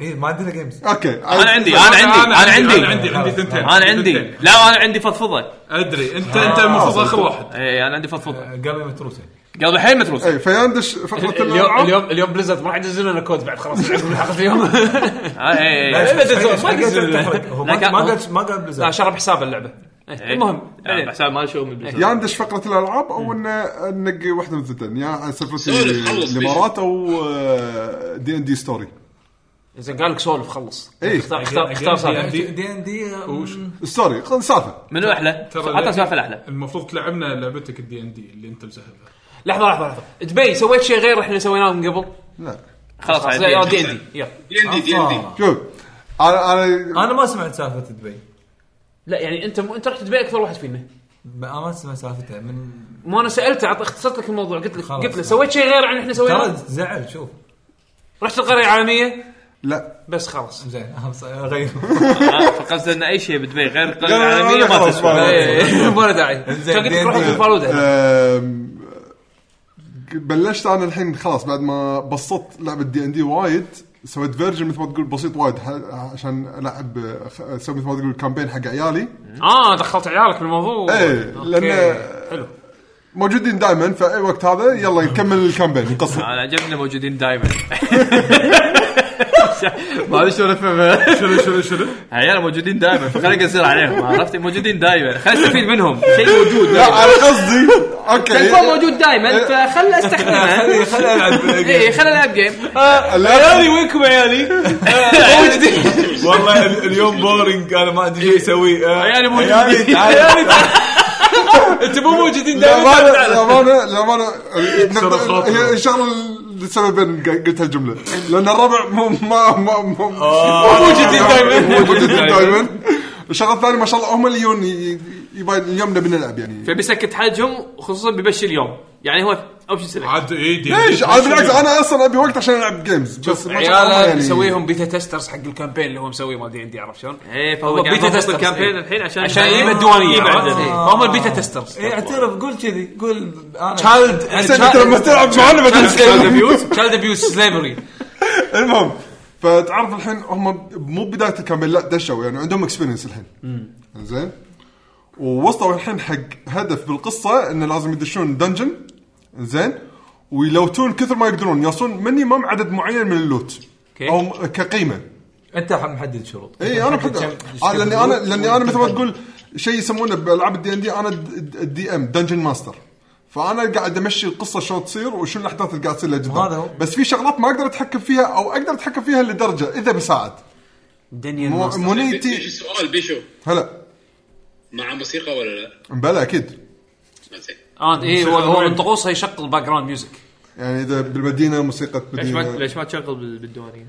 [SPEAKER 7] اي ما عندنا جيمز
[SPEAKER 3] اوكي
[SPEAKER 2] انا عندي انا عندي انا عندي
[SPEAKER 4] انا عندي عندي ثنتين
[SPEAKER 2] انا عندي
[SPEAKER 4] ثنتين.
[SPEAKER 2] لا انا عندي فضفضه
[SPEAKER 4] ادري انت انت المفروض
[SPEAKER 1] آه.
[SPEAKER 4] اخر واحد
[SPEAKER 2] اي انا عندي فضفضه
[SPEAKER 7] قبل متروسه
[SPEAKER 2] قبل الحين متروس
[SPEAKER 3] اي فيندش فقره
[SPEAKER 1] اليوم
[SPEAKER 3] الالعاب
[SPEAKER 1] اليوم اليوم بليزرد ما راح ينزل لنا كود بعد خلاص العقب الحلقه اليوم
[SPEAKER 2] آه، إي، إي، إي.
[SPEAKER 1] لا، لا، ما تنزل.
[SPEAKER 7] هو
[SPEAKER 6] uh,
[SPEAKER 7] ما
[SPEAKER 2] لا،
[SPEAKER 7] ما
[SPEAKER 2] هو-
[SPEAKER 7] قال ما قال
[SPEAKER 1] لا
[SPEAKER 7] بليزرد
[SPEAKER 1] شرب حساب اللعبه إيه، المهم
[SPEAKER 2] يعني
[SPEAKER 1] بعدين.
[SPEAKER 2] بحساب ما شو من بليزرد.
[SPEAKER 3] يا عندش فقره الالعاب او انه نقي واحده من الثنتين يا سفرة
[SPEAKER 8] سولف، خلص
[SPEAKER 3] الامارات او آه، دي ان دي ستوري
[SPEAKER 1] زين قال لك سولف خلص
[SPEAKER 3] إيه.
[SPEAKER 1] اختار اختار اختار سالفة.
[SPEAKER 7] دي ان
[SPEAKER 6] uh,
[SPEAKER 7] دي
[SPEAKER 3] ستوري خل سالفه
[SPEAKER 2] منو احلى؟
[SPEAKER 4] ترى-
[SPEAKER 2] عطنا سوالف الاحلى
[SPEAKER 4] المفروض تلعبنا لعبتك الدي ان دي اللي انت مسهلها
[SPEAKER 1] لحظه لحظه لحظه دبي سويت شيء غير احنا سويناه من قبل
[SPEAKER 3] لا
[SPEAKER 2] خلاص
[SPEAKER 1] خلاص
[SPEAKER 2] عادي.
[SPEAKER 1] لا دي ان دي يلا
[SPEAKER 8] دي ان دي دي ان دي
[SPEAKER 3] شوف انا انا
[SPEAKER 7] انا ما سمعت سالفه دبي
[SPEAKER 1] لا يعني انت م... انت رحت دبي اكثر واحد فينا
[SPEAKER 7] ما ما سمعت سالفتها من
[SPEAKER 1] ما انا سالته عط اختصرت لك الموضوع قلت لك
[SPEAKER 7] خلاص.
[SPEAKER 1] قلت له سويت شيء غير عن احنا
[SPEAKER 6] Oh,
[SPEAKER 7] ترى
[SPEAKER 1] سويناه
[SPEAKER 7] زعل شوف
[SPEAKER 1] رحت القريه العالميه
[SPEAKER 3] لا
[SPEAKER 1] بس خلاص
[SPEAKER 7] زين أهم- غير
[SPEAKER 2] آه، فقصد ان اي شيء بدبي غير القريه
[SPEAKER 3] لا، لا، لا،
[SPEAKER 2] العالميه ما
[SPEAKER 3] خلاص،
[SPEAKER 2] تسوى
[SPEAKER 3] ما-
[SPEAKER 1] إيه، ما له داعي
[SPEAKER 7] إنزين،
[SPEAKER 1] عشان قلت لك
[SPEAKER 7] دين-
[SPEAKER 1] روح
[SPEAKER 7] دين.
[SPEAKER 1] في فالوده
[SPEAKER 3] أم، بلشت انا الحين خلاص بعد ما بسطت لعبه دي ان دي وايد سويت فيرجن مثل ما تقول بسيط وايد ح- عشان العب أخ- اسوي مثل ما تقول كامبين حق عيالي
[SPEAKER 1] اه دخلت عيالك بالموضوع
[SPEAKER 3] ايه
[SPEAKER 1] أوكي.
[SPEAKER 3] لان
[SPEAKER 1] حلو
[SPEAKER 3] موجودين دائما فاي وقت هذا يلا نكمل الكامبين نقصها
[SPEAKER 2] انا عجبني موجودين دائما ما ادري شلون افهم
[SPEAKER 4] شنو شنو شنو؟
[SPEAKER 2] عيال موجودين دائما فخليني اقصر عليهم عرفت موجودين دائما خليني استفيد منهم شيء موجود
[SPEAKER 3] لا انا قصدي اوكي
[SPEAKER 2] تلفون موجود دائما فخل استخدمه
[SPEAKER 7] خليني العب
[SPEAKER 2] اي خل العب جيم
[SPEAKER 3] لا،
[SPEAKER 1] وينكم عيالي؟
[SPEAKER 7] والله ال- اليوم بورنج انا ما ادري شو
[SPEAKER 6] Oh,
[SPEAKER 7] اسوي آه،
[SPEAKER 2] عيالي موجودين.
[SPEAKER 7] عيالي تعال
[SPEAKER 1] انت مو موجودين
[SPEAKER 3] للامانه للامانه للامانه
[SPEAKER 4] شغلة
[SPEAKER 3] نقطة-
[SPEAKER 4] خاطئة.
[SPEAKER 3] هي الشغله اللي سبب إن ق- قلت هالجمله لان الربع مو ما ما مو آه،
[SPEAKER 1] موجودين دائما
[SPEAKER 3] موجودين دائما الشغله الثانيه ما شاء الله هم اللي يجون ي- ي- يبا- اليوم نبي نلعب يعني
[SPEAKER 2] فبيسكت حاجهم خصوصا بيمشي اليوم يعني هو اوبشن سلكت
[SPEAKER 4] عاد إيه، ايدي
[SPEAKER 3] ليش؟ انا بالعكس انا اصلا ابي وقت عشان العب جيمز بس ما شاء الله
[SPEAKER 6] عياله
[SPEAKER 3] يعني
[SPEAKER 6] مسويهم بيتا تيسترز حق الكامبين اللي هو مسويه ما ادري عندي عرفت شلون؟
[SPEAKER 2] ايه
[SPEAKER 6] هو
[SPEAKER 2] فهو قاعد
[SPEAKER 6] بيتا
[SPEAKER 2] يضبط
[SPEAKER 6] تستر.
[SPEAKER 2] الكامبين
[SPEAKER 6] إيه.
[SPEAKER 2] الحين عشان إيه،
[SPEAKER 6] عشان يجيب الديوانيه
[SPEAKER 2] بعد. إيه.
[SPEAKER 6] فهم البيتا تيسترز
[SPEAKER 7] اي اعترف قول كذي قول انا
[SPEAKER 6] تشايلد
[SPEAKER 3] زين انت لما تلعب معنا بعدين
[SPEAKER 6] تشايلد
[SPEAKER 3] تتكلم.
[SPEAKER 6] ابيوز تشايلد ابيوز سليفري
[SPEAKER 3] المهم فتعرف الحين هم ب- مو بدايه الكامبين لا دشوا يعني عندهم اكسبيرينس الحين زين ووصلوا الحين حق هدف بالقصه انه لازم يدشون دنجن زين ويلوتون كثر ما يقدرون يوصلون مينيمم عدد معين من اللوت او م- كقيمه
[SPEAKER 7] انت محدد شروط
[SPEAKER 3] اي انا بحب آه، لاني انا لاني انا مثل ما تقول شيء يسمونه بالعاب الدي ان دي انا الدي ام دنجن ماستر فانا قاعد امشي القصه شلون تصير وشنو الاحداث اللي قاعد تصير لها
[SPEAKER 7] وهذا هو.
[SPEAKER 3] قدام بس في شغلات ما اقدر اتحكم فيها او اقدر اتحكم فيها لدرجه اذا بساعد
[SPEAKER 6] دانيال
[SPEAKER 3] مو-
[SPEAKER 6] مونستر.
[SPEAKER 1] إيه.
[SPEAKER 8] ايش
[SPEAKER 3] مونيتي
[SPEAKER 8] السؤال بيشو
[SPEAKER 3] هلا
[SPEAKER 8] مع موسيقى ولا لا؟
[SPEAKER 3] بلا اكيد
[SPEAKER 8] زين
[SPEAKER 6] اه
[SPEAKER 2] إيه،
[SPEAKER 6] اي هو هو منطقوصه يشغل باك جراوند ميوزك
[SPEAKER 3] يعني اذا بالمدينه موسيقى
[SPEAKER 2] ليش ما
[SPEAKER 3] مدينه
[SPEAKER 2] إيه. ليش ما تشغل بال- بالديوانيه؟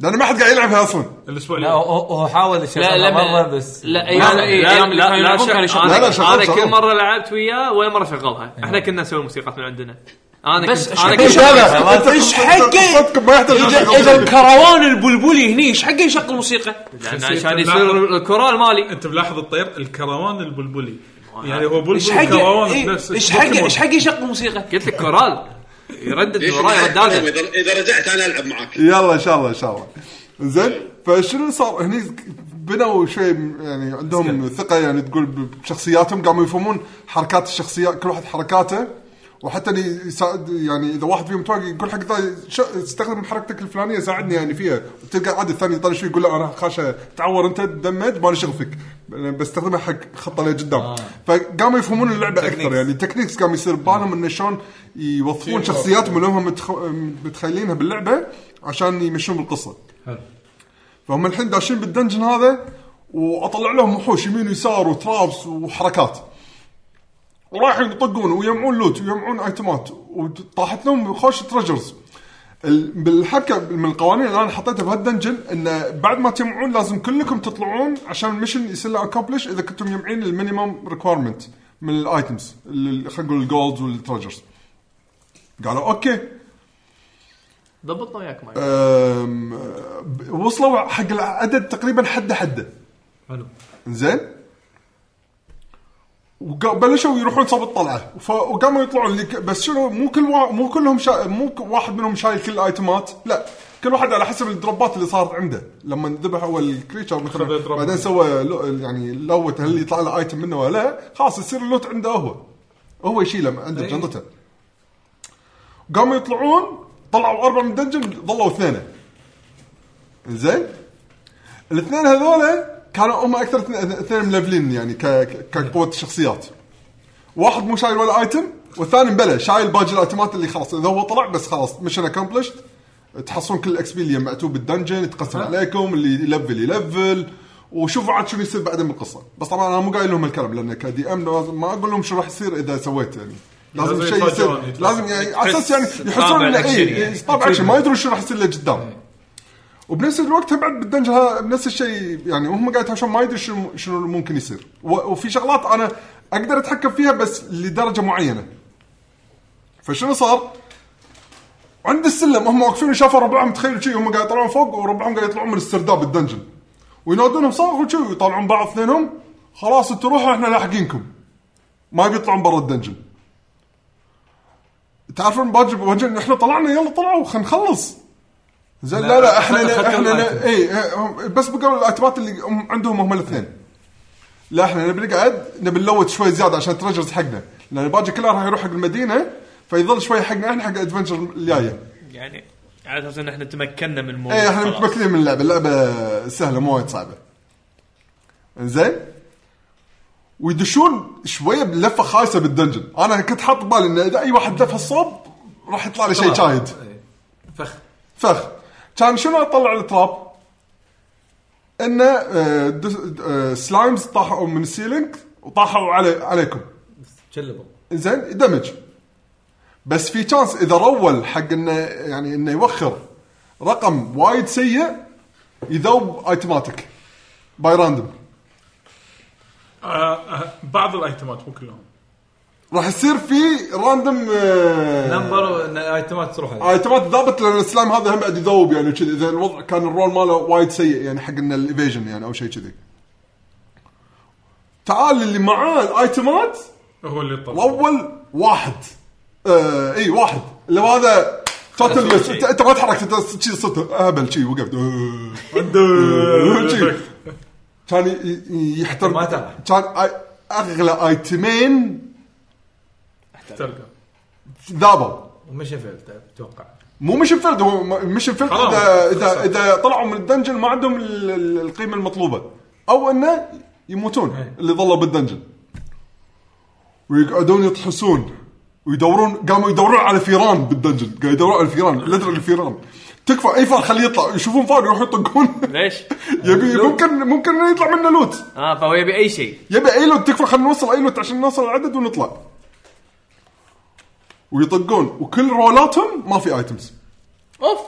[SPEAKER 3] لان ما حد قاعد يلعبها اصلا
[SPEAKER 4] الاسبوع
[SPEAKER 7] لا
[SPEAKER 4] اللي
[SPEAKER 7] هو- هو هو حاول يشغلها مره بس
[SPEAKER 6] لا ايام
[SPEAKER 2] لا
[SPEAKER 6] إيه،
[SPEAKER 2] لا
[SPEAKER 6] ايام
[SPEAKER 2] لا لا شغل-
[SPEAKER 3] لا، لا،
[SPEAKER 6] انا
[SPEAKER 3] شغل.
[SPEAKER 2] انا أنا
[SPEAKER 3] شغل. إيه.
[SPEAKER 2] كل مره لعبت وياه ولا مره شغلها احنا كنا نسوي موسيقى من عندنا انا
[SPEAKER 6] بس
[SPEAKER 2] كنت-
[SPEAKER 6] إيش
[SPEAKER 2] انا
[SPEAKER 6] حق- إيش
[SPEAKER 2] كنت
[SPEAKER 3] لا انت
[SPEAKER 6] إيش
[SPEAKER 3] قصتك-
[SPEAKER 6] حقي؟
[SPEAKER 3] قصتك ما يحتاج
[SPEAKER 6] اذا
[SPEAKER 3] أشغل
[SPEAKER 6] اذا
[SPEAKER 3] فيديو.
[SPEAKER 6] الكروان البلبلي هني ايش حقه يشغل موسيقى؟
[SPEAKER 2] لأن
[SPEAKER 4] خسيت
[SPEAKER 2] عشان
[SPEAKER 4] اللحظة.
[SPEAKER 2] يصير الكورال مالي
[SPEAKER 4] انت ملاحظ الطير الكروان البلبلي يعني هو بلبل
[SPEAKER 6] ايش حقه؟
[SPEAKER 4] كروان
[SPEAKER 6] إيه،
[SPEAKER 4] بنفس
[SPEAKER 6] ايش
[SPEAKER 4] البوكيمون.
[SPEAKER 6] حقه؟ ايش حقه يشغل موسيقى؟
[SPEAKER 2] قلت لك كورال يردد
[SPEAKER 8] ليش
[SPEAKER 2] وراي رداده
[SPEAKER 8] إذا- اذا رجعت انا العب معاك
[SPEAKER 3] يلا ان شاء الله ان شاء الله زين فشنو اللي صار هني بنوا شيء يعني عندهم ثقه يعني تقول بشخصياتهم قاموا يفهمون حركات الشخصيات كل واحد حركاته وحتى اللي يساعد يعني اذا واحد فيهم توقع يقول حق ذا ش- استخدم حركتك الفلانيه ساعدني يعني فيها تلقى عاد الثاني يطلع شوي يقول لا انا خاشه تعور انت تدمج مالي شغل فيك أنا يعني بستخدمها حق خطه اللي قدام آه. فقاموا يفهمون اللعبه اكثر يعني التكنيكس قام يصير ببالهم انه شلون يوظفون شخصياتهم اللي هم متخ... متخيلينها باللعبه عشان يمشون بالقصه فهم الحين داشين بالدنجن هذا واطلع لهم وحوش يمين ويسار وترابس وحركات ورايحين يطقون ويجمعون لوت ويجمعون ايتمات وطاحت لهم خوش تريجرز ال- بالحبكه من القوانين اللي انا حطيتها بهالدنجن ان بعد ما تجمعون لازم كلكم تطلعون عشان المشن يصير له اكمبلش اذا كنتم مجمعين المينيمم ريكوايرمنت من الايتمز ال- خلينا نقول الجولد والتريجرز قالوا اوكي
[SPEAKER 2] ضبطنا وياك معي
[SPEAKER 6] آه.
[SPEAKER 3] أم، ب- وصلوا حق العدد تقريبا حده حده
[SPEAKER 4] حلو.
[SPEAKER 3] زين وبلشوا يروحون صوب الطلعه ف- وقاموا يطلعون اللي ك- بس شنو مو كل وا... مو كلهم شا... مو ك- واحد منهم شايل كل الايتمات لا كل واحد على حسب الدروبات اللي صارت عنده لما ذبح اول كريتشر
[SPEAKER 4] خذ
[SPEAKER 3] مثلا
[SPEAKER 4] دروب.
[SPEAKER 3] بعدين سوى لو... يعني لوت هل يطلع له ايتم منه ولا لا خلاص يصير اللوت عنده هو هو يشيله عنده
[SPEAKER 4] إيه.
[SPEAKER 3] بجنطته قاموا يطلعون طلعوا اربع من الدنجن ظلوا اثنين زين الاثنين هذول كانوا هم اكثر اثنين- اثنين ملفلين يعني ك- ك- كقوه الشخصيات واحد مو شايل ولا ايتم والثاني مبلى شايل باقي الايتمات اللي خلاص اذا هو طلع بس خلاص مشن اكمبلشت تحصلون كل الاكس بي اللي جمعتوه بالدنجن يتقسم عليكم اللي يلفل يلفل وشوفوا عاد شنو يصير بعدين بالقصه بس طبعا انا مو قايل لهم الكلام لان كدي ام لازم ما اقول لهم شو راح يصير اذا سويت يعني لازم
[SPEAKER 4] لازم
[SPEAKER 3] شيء يصير
[SPEAKER 4] يتفاجئون، يتفاجئون.
[SPEAKER 3] لازم يعني على اساس يعني
[SPEAKER 6] تحس
[SPEAKER 3] يحسون
[SPEAKER 6] طابع
[SPEAKER 3] انه
[SPEAKER 6] أكشن
[SPEAKER 3] اي
[SPEAKER 6] يعني.
[SPEAKER 3] طابع اكشن ما يدرون شو راح يصير اللي قدام وبنفس الوقت هم بعد بالدنجن ها- بنفس الشيء يعني وهم قاعد يتهاوشون ما يدري شنو شنو اللي ممكن يصير و- وفي شغلات انا اقدر اتحكم فيها بس لدرجه معينه فشنو صار؟ عند السلم هم واقفين شافوا ربعهم تخيلوا شي هم قاعد يطلعون فوق وربعهم قاعد يطلعون من السرداب الدنجن وينادونهم صاخوا شي ويطالعون بعض اثنينهم خلاص انتوا روحوا احنا لاحقينكم ما بيطلعون برا الدنجن تعرفون باجي بوجه إن احنا طلعنا يلا طلعوا خلينا نخلص زين لا, لا لا احنا
[SPEAKER 7] أخذتوا
[SPEAKER 3] احنا
[SPEAKER 7] الأيتم.
[SPEAKER 3] اي بس بقوا الايتمات اللي هم- عندهم هم الاثنين لا احنا نبي نقعد نبي نلوت شوي زياده عشان التريجرز حقنا لان الباجي كلها راح يروح حق المدينه فيظل شوي حقنا احنا حق الادفنشر الجايه
[SPEAKER 2] يعني على اساس ان احنا تمكنا من الموضوع
[SPEAKER 6] إيه.
[SPEAKER 3] اي احنا
[SPEAKER 2] خلاص.
[SPEAKER 3] إيه، متمكنين من اللعبه اللعبه سهله مو وايد صعبه زين ويدشون شويه بلفه خايسه بالدنجن انا كنت حاط ببالي ان اذا اي واحد لف الصوب راح يطلع لي شيء شايد
[SPEAKER 7] فخ
[SPEAKER 3] فخ كان شنو اطلع التراب؟ انه آه، دس- آه، سلايمز طاحوا من السيلينج وطاحوا علي عليكم
[SPEAKER 7] تشلبل
[SPEAKER 3] زين دمج بس في تشانس اذا رول حق انه يعني انه يوخر رقم وايد سيء يذوب ايتماتك باي راندوم
[SPEAKER 4] آه، آه، بعض الايتمات مو كلهم
[SPEAKER 3] راح يصير في راندم
[SPEAKER 7] نمبر نعم، إن ايتمات تروح عليه
[SPEAKER 3] ايتمات ضابط لان السلايم هذا هم قاعد يذوب يعني كذي اذا الوضع كان الرول ماله وايد سيء يعني حق ان الايفيجن يعني او شيء كذي تعال اللي معاه الايتمات
[SPEAKER 4] هو اللي طلع
[SPEAKER 3] واول واحد آه اي واحد اللي هذا توتل بس انت انت ما تحركت انت شي صرت اهبل شي وقفت آه، آه، شي. كان ي- ي- يحترم
[SPEAKER 7] ما ترى.
[SPEAKER 3] كان آي- اغلى ايتمين
[SPEAKER 4] تلقى
[SPEAKER 3] ذابوا
[SPEAKER 7] ومشى فيل اتوقع
[SPEAKER 3] مو مش فيلد هو م- مش فيلد
[SPEAKER 4] حرام.
[SPEAKER 3] اذا اذا
[SPEAKER 4] خسارة.
[SPEAKER 3] اذا طلعوا من الدنجن ما عندهم ال- ال- القيمه المطلوبه او انه يموتون اللي ظلوا بالدنجن ويقعدون يطحسون ويدورون قاموا يدورون على فيران بالدنجن قاعد يدورون على فيران لدرجه الفيران تكفى اي فار خليه يطلع يشوفون فار يروحون يطقون
[SPEAKER 2] ليش؟
[SPEAKER 3] يبي ممكن ممكن إنه يطلع منه لوت
[SPEAKER 2] اه فهو يبي اي شيء
[SPEAKER 3] يبي اي لوت تكفى خلينا نوصل اي لوت عشان نوصل العدد ونطلع ويطقون وكل رولاتهم ما في ايتمز
[SPEAKER 2] اوف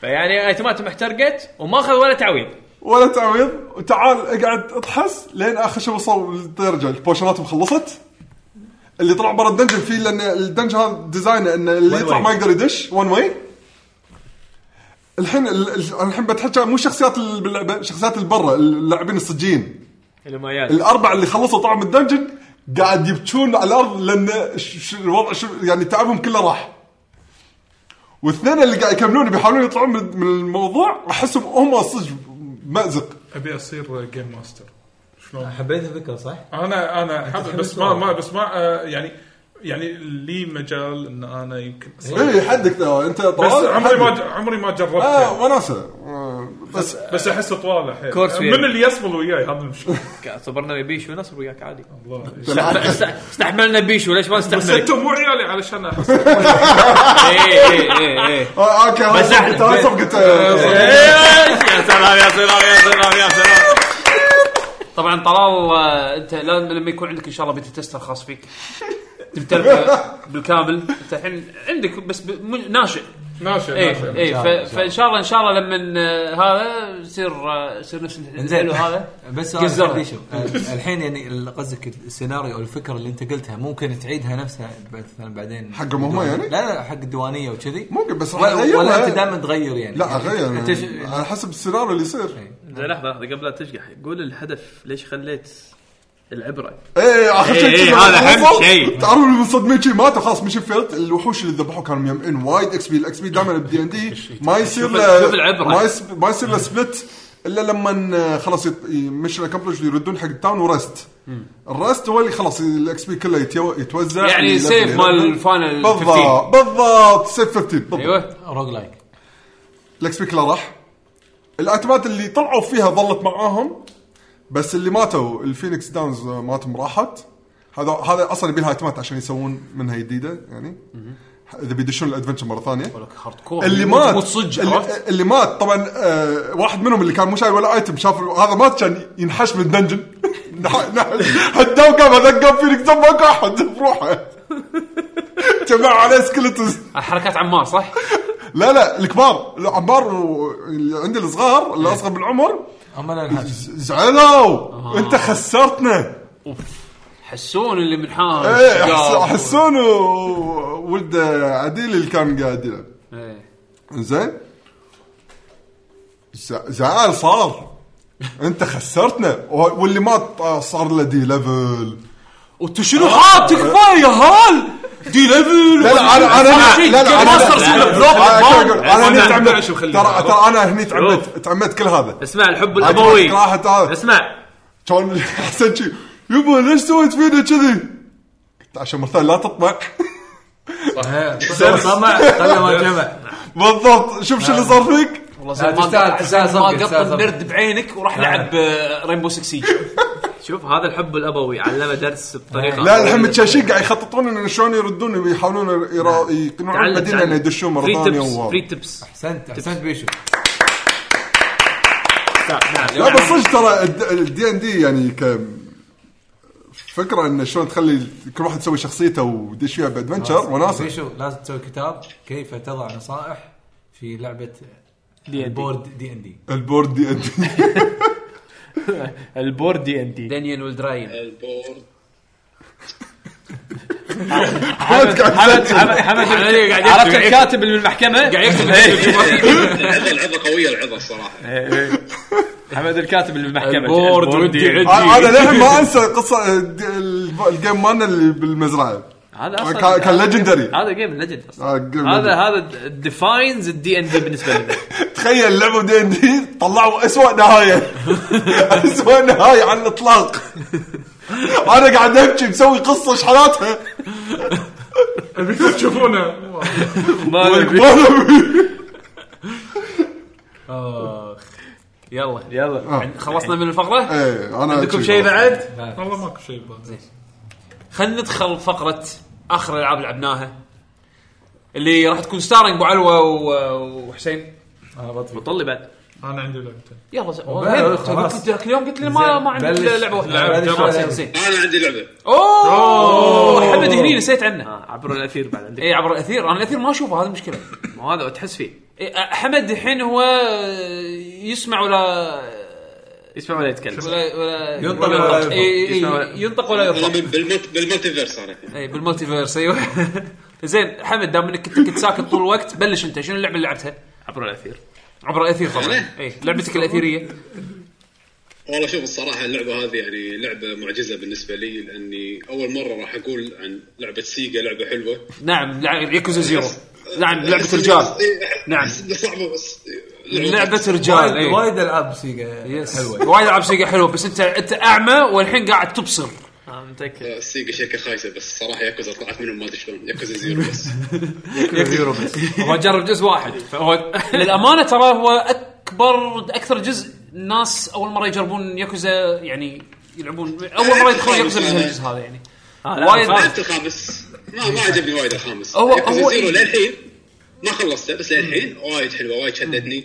[SPEAKER 2] فيعني آه، ايتماتهم احترقت وما اخذ ولا تعويض
[SPEAKER 3] ولا تعويض وتعال اقعد اطحس لين اخر شيء وصل للدرجه البوشنات مخلصت اللي طلع برا الدنجن فيه لان الدنجن هذا ديزاينه ان اللي
[SPEAKER 7] One
[SPEAKER 3] يطلع
[SPEAKER 7] way.
[SPEAKER 3] ما يقدر يدش وان واي الحين ال- ال- الحين بتحكى مو شخصيات ال- باللعبه شخصيات البرا اللاعبين الصجيين
[SPEAKER 2] المايات
[SPEAKER 3] الاربعه اللي خلصوا طلعوا من الدنجن قاعد يبكون على الارض لان ش- ش- الوضع ش- يعني تعبهم كله راح والاثنين اللي قاعد يكملون بيحاولون يطلعون من من الموضوع احسهم هم صدق مازق
[SPEAKER 4] ابي اصير جيم ماستر شلون
[SPEAKER 7] حبيت الفكره صح؟
[SPEAKER 4] انا انا حابب
[SPEAKER 7] تحب
[SPEAKER 4] بس ما ما
[SPEAKER 7] الصورة.
[SPEAKER 4] بس ما آه، يعني يعني لي مجال ان انا يمكن أصير.
[SPEAKER 3] اي حدك ترى انت
[SPEAKER 4] بس
[SPEAKER 3] طوال
[SPEAKER 4] عمري ما
[SPEAKER 3] حدك.
[SPEAKER 4] ج- عمري ما جربت
[SPEAKER 3] اه
[SPEAKER 4] يعني.
[SPEAKER 3] وناسه آه، بس
[SPEAKER 4] بس احس طواله حيل
[SPEAKER 2] كورس
[SPEAKER 4] آه،
[SPEAKER 2] وياي.
[SPEAKER 4] من اللي يصبل وياي هذا المشكله
[SPEAKER 2] صبرنا بيشو نصبر وياك عادي
[SPEAKER 4] والله
[SPEAKER 2] است- استحملنا بيشو ليش ما
[SPEAKER 4] بس
[SPEAKER 2] نستحملك؟
[SPEAKER 4] انتم مو عيالي علشان احس
[SPEAKER 6] إيه،
[SPEAKER 2] ايه ايه ايه ايه
[SPEAKER 3] آه، اوكي بس
[SPEAKER 2] أحلى.
[SPEAKER 3] انت هسه قلت آه،
[SPEAKER 2] يا سلام يا سلام يا سلام يا سلام
[SPEAKER 6] طبعا طلال آه، انت لازم لما يكون عندك ان شاء الله بيتا تستر خاص فيك تمتلكه بالكامل انت الحين عندك بس ب- م- ناشئ
[SPEAKER 4] ناشئ
[SPEAKER 6] اي
[SPEAKER 4] ناشئ
[SPEAKER 6] اي ف- فان شاء الله ان شاء الله لما آه، هذا يصير آه، يصير نفس
[SPEAKER 7] زين
[SPEAKER 6] الحلو هذا
[SPEAKER 7] بس
[SPEAKER 6] جزرة.
[SPEAKER 7] انا عندي شوف الحين يعني ال- قصدك السيناريو او الفكره اللي انت قلتها ممكن تعيدها نفسها مثلا بعدين
[SPEAKER 3] حقهم هم يعني؟
[SPEAKER 7] لا لا حق الديوانيه وكذي
[SPEAKER 3] ممكن بس راح
[SPEAKER 7] ولا, ولا انت
[SPEAKER 3] اغيرها
[SPEAKER 7] دائما تغير يعني
[SPEAKER 3] لا
[SPEAKER 7] يعني
[SPEAKER 3] اغير
[SPEAKER 7] انت ش-
[SPEAKER 3] على حسب السيناريو اللي يصير
[SPEAKER 2] زين لحظه لحظه قبل لا تشقح قول الهدف ليش خليت العبره
[SPEAKER 3] اي اخر شيء
[SPEAKER 2] إيه، إيه،
[SPEAKER 3] كذا
[SPEAKER 2] هذا أهم
[SPEAKER 3] وصل.
[SPEAKER 2] شيء.
[SPEAKER 3] تعرفون اللي منصدمين شيء ماتوا خلاص مش فيلت الوحوش اللي ذبحوه كانوا مجمعين وايد اكس بي الاكس بي دائما بدي ان دي ما يصير له-
[SPEAKER 6] شوف العبرة.
[SPEAKER 3] ما يس- ما يصير له سبلت الا لما آه، خلاص مش اكمبلش يردون حق التاون ورست الرست هو اللي خلاص الاكس بي كله يتيو- يتوزع
[SPEAKER 6] يعني
[SPEAKER 3] يلفل-
[SPEAKER 6] سيف مال
[SPEAKER 3] يلفل.
[SPEAKER 6] الفاينل 15.
[SPEAKER 3] بالضبط بالضبط سيف 15 بالضبط.
[SPEAKER 6] ايوه
[SPEAKER 7] روج لايك
[SPEAKER 3] الاكس بي كله راح الايتمات اللي طلعوا فيها ظلت معاهم بس اللي ماتوا الفينيكس داونز ماتهم راحت هذا هذا اصلا يبي لها ايتمات عشان يسوون منها جديده يعني اذا بيدشون الادفنشر مره ثانيه
[SPEAKER 6] هارد كور
[SPEAKER 3] اللي مات
[SPEAKER 6] صدق عرفت؟
[SPEAKER 3] اللي, اللي مات طبعا آه واحد منهم اللي كان مو شايل ولا ايتم شاف هذا مات كان ينحش من الدنجن نح- نح- حتى وقام هذا قام فينيكس داون ماكو احد بروحه جمعوا عليه سكلتز
[SPEAKER 6] حركات عمار صح؟
[SPEAKER 3] لا لا الكبار العمار و- اللي عندي الصغار اللي اصغر بالعمر
[SPEAKER 7] اما انا الحاج
[SPEAKER 3] ز- زعلوا انت خسرتنا
[SPEAKER 6] حسون اللي منحاش
[SPEAKER 4] إيه،
[SPEAKER 3] ايه حس- حسون و- وولد عديل اللي كان قاعد يلعب
[SPEAKER 6] إيه.
[SPEAKER 3] زين ز- زعل صار انت خسرتنا و- واللي مات آه، صار له دي ليفل
[SPEAKER 6] وانت شنو
[SPEAKER 2] آه،
[SPEAKER 6] حاط تكفى يا هال دي ليفل
[SPEAKER 3] لا لا انا انا لا لا
[SPEAKER 6] جيم ماستر
[SPEAKER 3] انا
[SPEAKER 6] سيلف بلوك
[SPEAKER 3] أنا-
[SPEAKER 6] بوم.
[SPEAKER 3] انا هني
[SPEAKER 4] عزمنا
[SPEAKER 3] تعمدت
[SPEAKER 4] نعيش
[SPEAKER 3] ترى
[SPEAKER 4] وخلينا.
[SPEAKER 3] ترى انا هني تعمدت تعمدت كل هذا
[SPEAKER 2] اسمع الحب
[SPEAKER 3] عجبك
[SPEAKER 2] الابوي
[SPEAKER 3] راحت هذا
[SPEAKER 2] اسمع
[SPEAKER 3] كان احسن شيء يبا ليش سويت فينا كذي؟ قلت عشان مثلا لا تطمع
[SPEAKER 7] طيب، طمع قبل ما جمع
[SPEAKER 3] بالضبط شوف شو اللي صار فيك
[SPEAKER 7] لا،
[SPEAKER 6] والله زين ما-
[SPEAKER 7] تستاهل- تستاهل
[SPEAKER 6] ما
[SPEAKER 7] صدق،
[SPEAKER 6] قط
[SPEAKER 7] تستاهل صدق.
[SPEAKER 6] النرد بعينك وراح آه، لعب رينبو 6 سيج
[SPEAKER 2] شوف هذا الحب الابوي علمه درس بطريقه
[SPEAKER 3] لا الحين متشاشين قاعد يخططون ان شلون يردون يحاولون يرا- يقنعون المدينه ان يدشون مره ثانيه و-
[SPEAKER 2] فري تبس
[SPEAKER 7] احسنت احسنت بيشو
[SPEAKER 3] لا بس صدق ترى الدي ان دي يعني ك فكره انه شلون تخلي كل واحد يسوي شخصيته ويدش فيها بادفنشر وناسه
[SPEAKER 7] بيشو لازم تسوي كتاب كيف تضع نصائح في لعبه دي ان بورد دي ان دي
[SPEAKER 3] البورد دي ان دي
[SPEAKER 2] البورد دي ان دي
[SPEAKER 7] دانيال والدراين
[SPEAKER 8] البورد
[SPEAKER 2] حمد حمد حمد- حمد عرفت الكاتب اللي إيه. بالمحكمه
[SPEAKER 1] قاعد يكتب
[SPEAKER 8] العظه العظه قويه العظه
[SPEAKER 1] إيه.
[SPEAKER 8] الصراحه
[SPEAKER 2] حمد الكاتب اللي بالمحكمه
[SPEAKER 7] البورد والدي
[SPEAKER 2] والدي
[SPEAKER 7] ان.
[SPEAKER 3] انا أنا للحين ما انسى قصه د- ال- الجيم مالنا اللي بالمزرعه
[SPEAKER 2] هذا
[SPEAKER 3] كان- كان legendary.
[SPEAKER 2] هذا جيم ليجند اصلا
[SPEAKER 3] آه، الجيم
[SPEAKER 2] هذا
[SPEAKER 3] legendary.
[SPEAKER 2] هذا ديفاينز الدي ان دي بالنسبه لنا
[SPEAKER 3] تخيل لعبوا دي ان دي طلعوا اسوء نهايه اسوء نهايه على الاطلاق انا قاعد ابكي مسوي قصه شحناتها
[SPEAKER 4] ابيكم تشوفونه
[SPEAKER 2] ما نبي.
[SPEAKER 1] اخ يلا
[SPEAKER 2] يلا
[SPEAKER 1] خلصنا من الفقره
[SPEAKER 3] ايه انا
[SPEAKER 1] عندكم
[SPEAKER 3] شي
[SPEAKER 1] شيء
[SPEAKER 3] خلاص.
[SPEAKER 1] بعد
[SPEAKER 4] والله ماكو شيء بهذا.
[SPEAKER 1] خلينا ندخل فقره اخر العاب لعبناها اللي راح تكون ستارينج ابو علوه و- وحسين
[SPEAKER 2] بطل لي بعد
[SPEAKER 4] انا عندي لعبتين
[SPEAKER 1] يلا ز-
[SPEAKER 7] بلا،
[SPEAKER 1] والله
[SPEAKER 7] خلاص.
[SPEAKER 1] كنت ذاك اليوم قلت لي ما ما عندك
[SPEAKER 7] بلش.
[SPEAKER 1] لعبه واحده
[SPEAKER 7] بلش.
[SPEAKER 1] يلا، زين زين
[SPEAKER 8] انا عندي لعبه
[SPEAKER 1] اوه حمد هني نسيت عنه
[SPEAKER 2] آه، عبر الاثير بعد عندك
[SPEAKER 1] اي عبر الاثير انا الاثير ما اشوفه هذه مشكله
[SPEAKER 2] ما هو هذا تحس فيه
[SPEAKER 1] إيه، حمد الحين هو يسمع ولا
[SPEAKER 2] يسمع ولا يتكلم
[SPEAKER 1] ولا ولا
[SPEAKER 7] ينطق
[SPEAKER 1] ولا-
[SPEAKER 7] ولا
[SPEAKER 1] إيه،
[SPEAKER 7] يرفع.
[SPEAKER 1] إيه،
[SPEAKER 2] يسمع
[SPEAKER 1] إيه،
[SPEAKER 2] ولا-
[SPEAKER 1] ينطق ولا
[SPEAKER 8] والله
[SPEAKER 1] يرفع
[SPEAKER 8] من- بالملت- بالملتيفيرس انا
[SPEAKER 1] اي بالمالتيفيرس ايوه زين حمد دام انك كنت كنت ساكت طول الوقت بلش انت شنو اللعبه اللي لعبتها؟
[SPEAKER 2] عبر الاثير
[SPEAKER 1] عبر الاثير طبعا
[SPEAKER 8] أنا؟
[SPEAKER 1] اي لعبتك الاثيريه
[SPEAKER 8] والله شوف الصراحه اللعبه هذه يعني لعبه معجزه بالنسبه لي لاني اول مره راح اقول عن لعبه سيجا لعبه حلوه
[SPEAKER 1] نعم لع- ياكوزا زيرو نعم لعبه رجال نعم.
[SPEAKER 8] أحس إنه صعبه إيه، بس
[SPEAKER 1] لعبه رجال
[SPEAKER 7] وايد-
[SPEAKER 1] اي
[SPEAKER 7] طيب، وايد العاب سيجا
[SPEAKER 1] يس
[SPEAKER 7] حلوه
[SPEAKER 1] وايد العاب سيجا حلوه بس انت انت اعمى والحين قاعد تبصر
[SPEAKER 2] آه، متاكد
[SPEAKER 8] السيجا شركه خايسه بس الصراحه ياكوزا طلعت منهم ما ادري شلون ياكوزا زيرو بس
[SPEAKER 1] هو جرب جزء واحد فهو للامانه ترى هو اكبر اكثر جزء الناس اول مره يجربون ياكوزا يعني يلعبون اول مره يدخلون ياكوزا من الجزء هذا يعني
[SPEAKER 2] آه، لا،
[SPEAKER 1] وايد
[SPEAKER 2] فاهم.
[SPEAKER 8] لعبت الخامس ما ما عجبني وايد الخامس
[SPEAKER 1] هو-
[SPEAKER 8] ياكوزا
[SPEAKER 1] هو
[SPEAKER 8] زيرو
[SPEAKER 1] إيه.
[SPEAKER 8] للحين ما خلصته بس للحين وايد حلوه وايد شدتني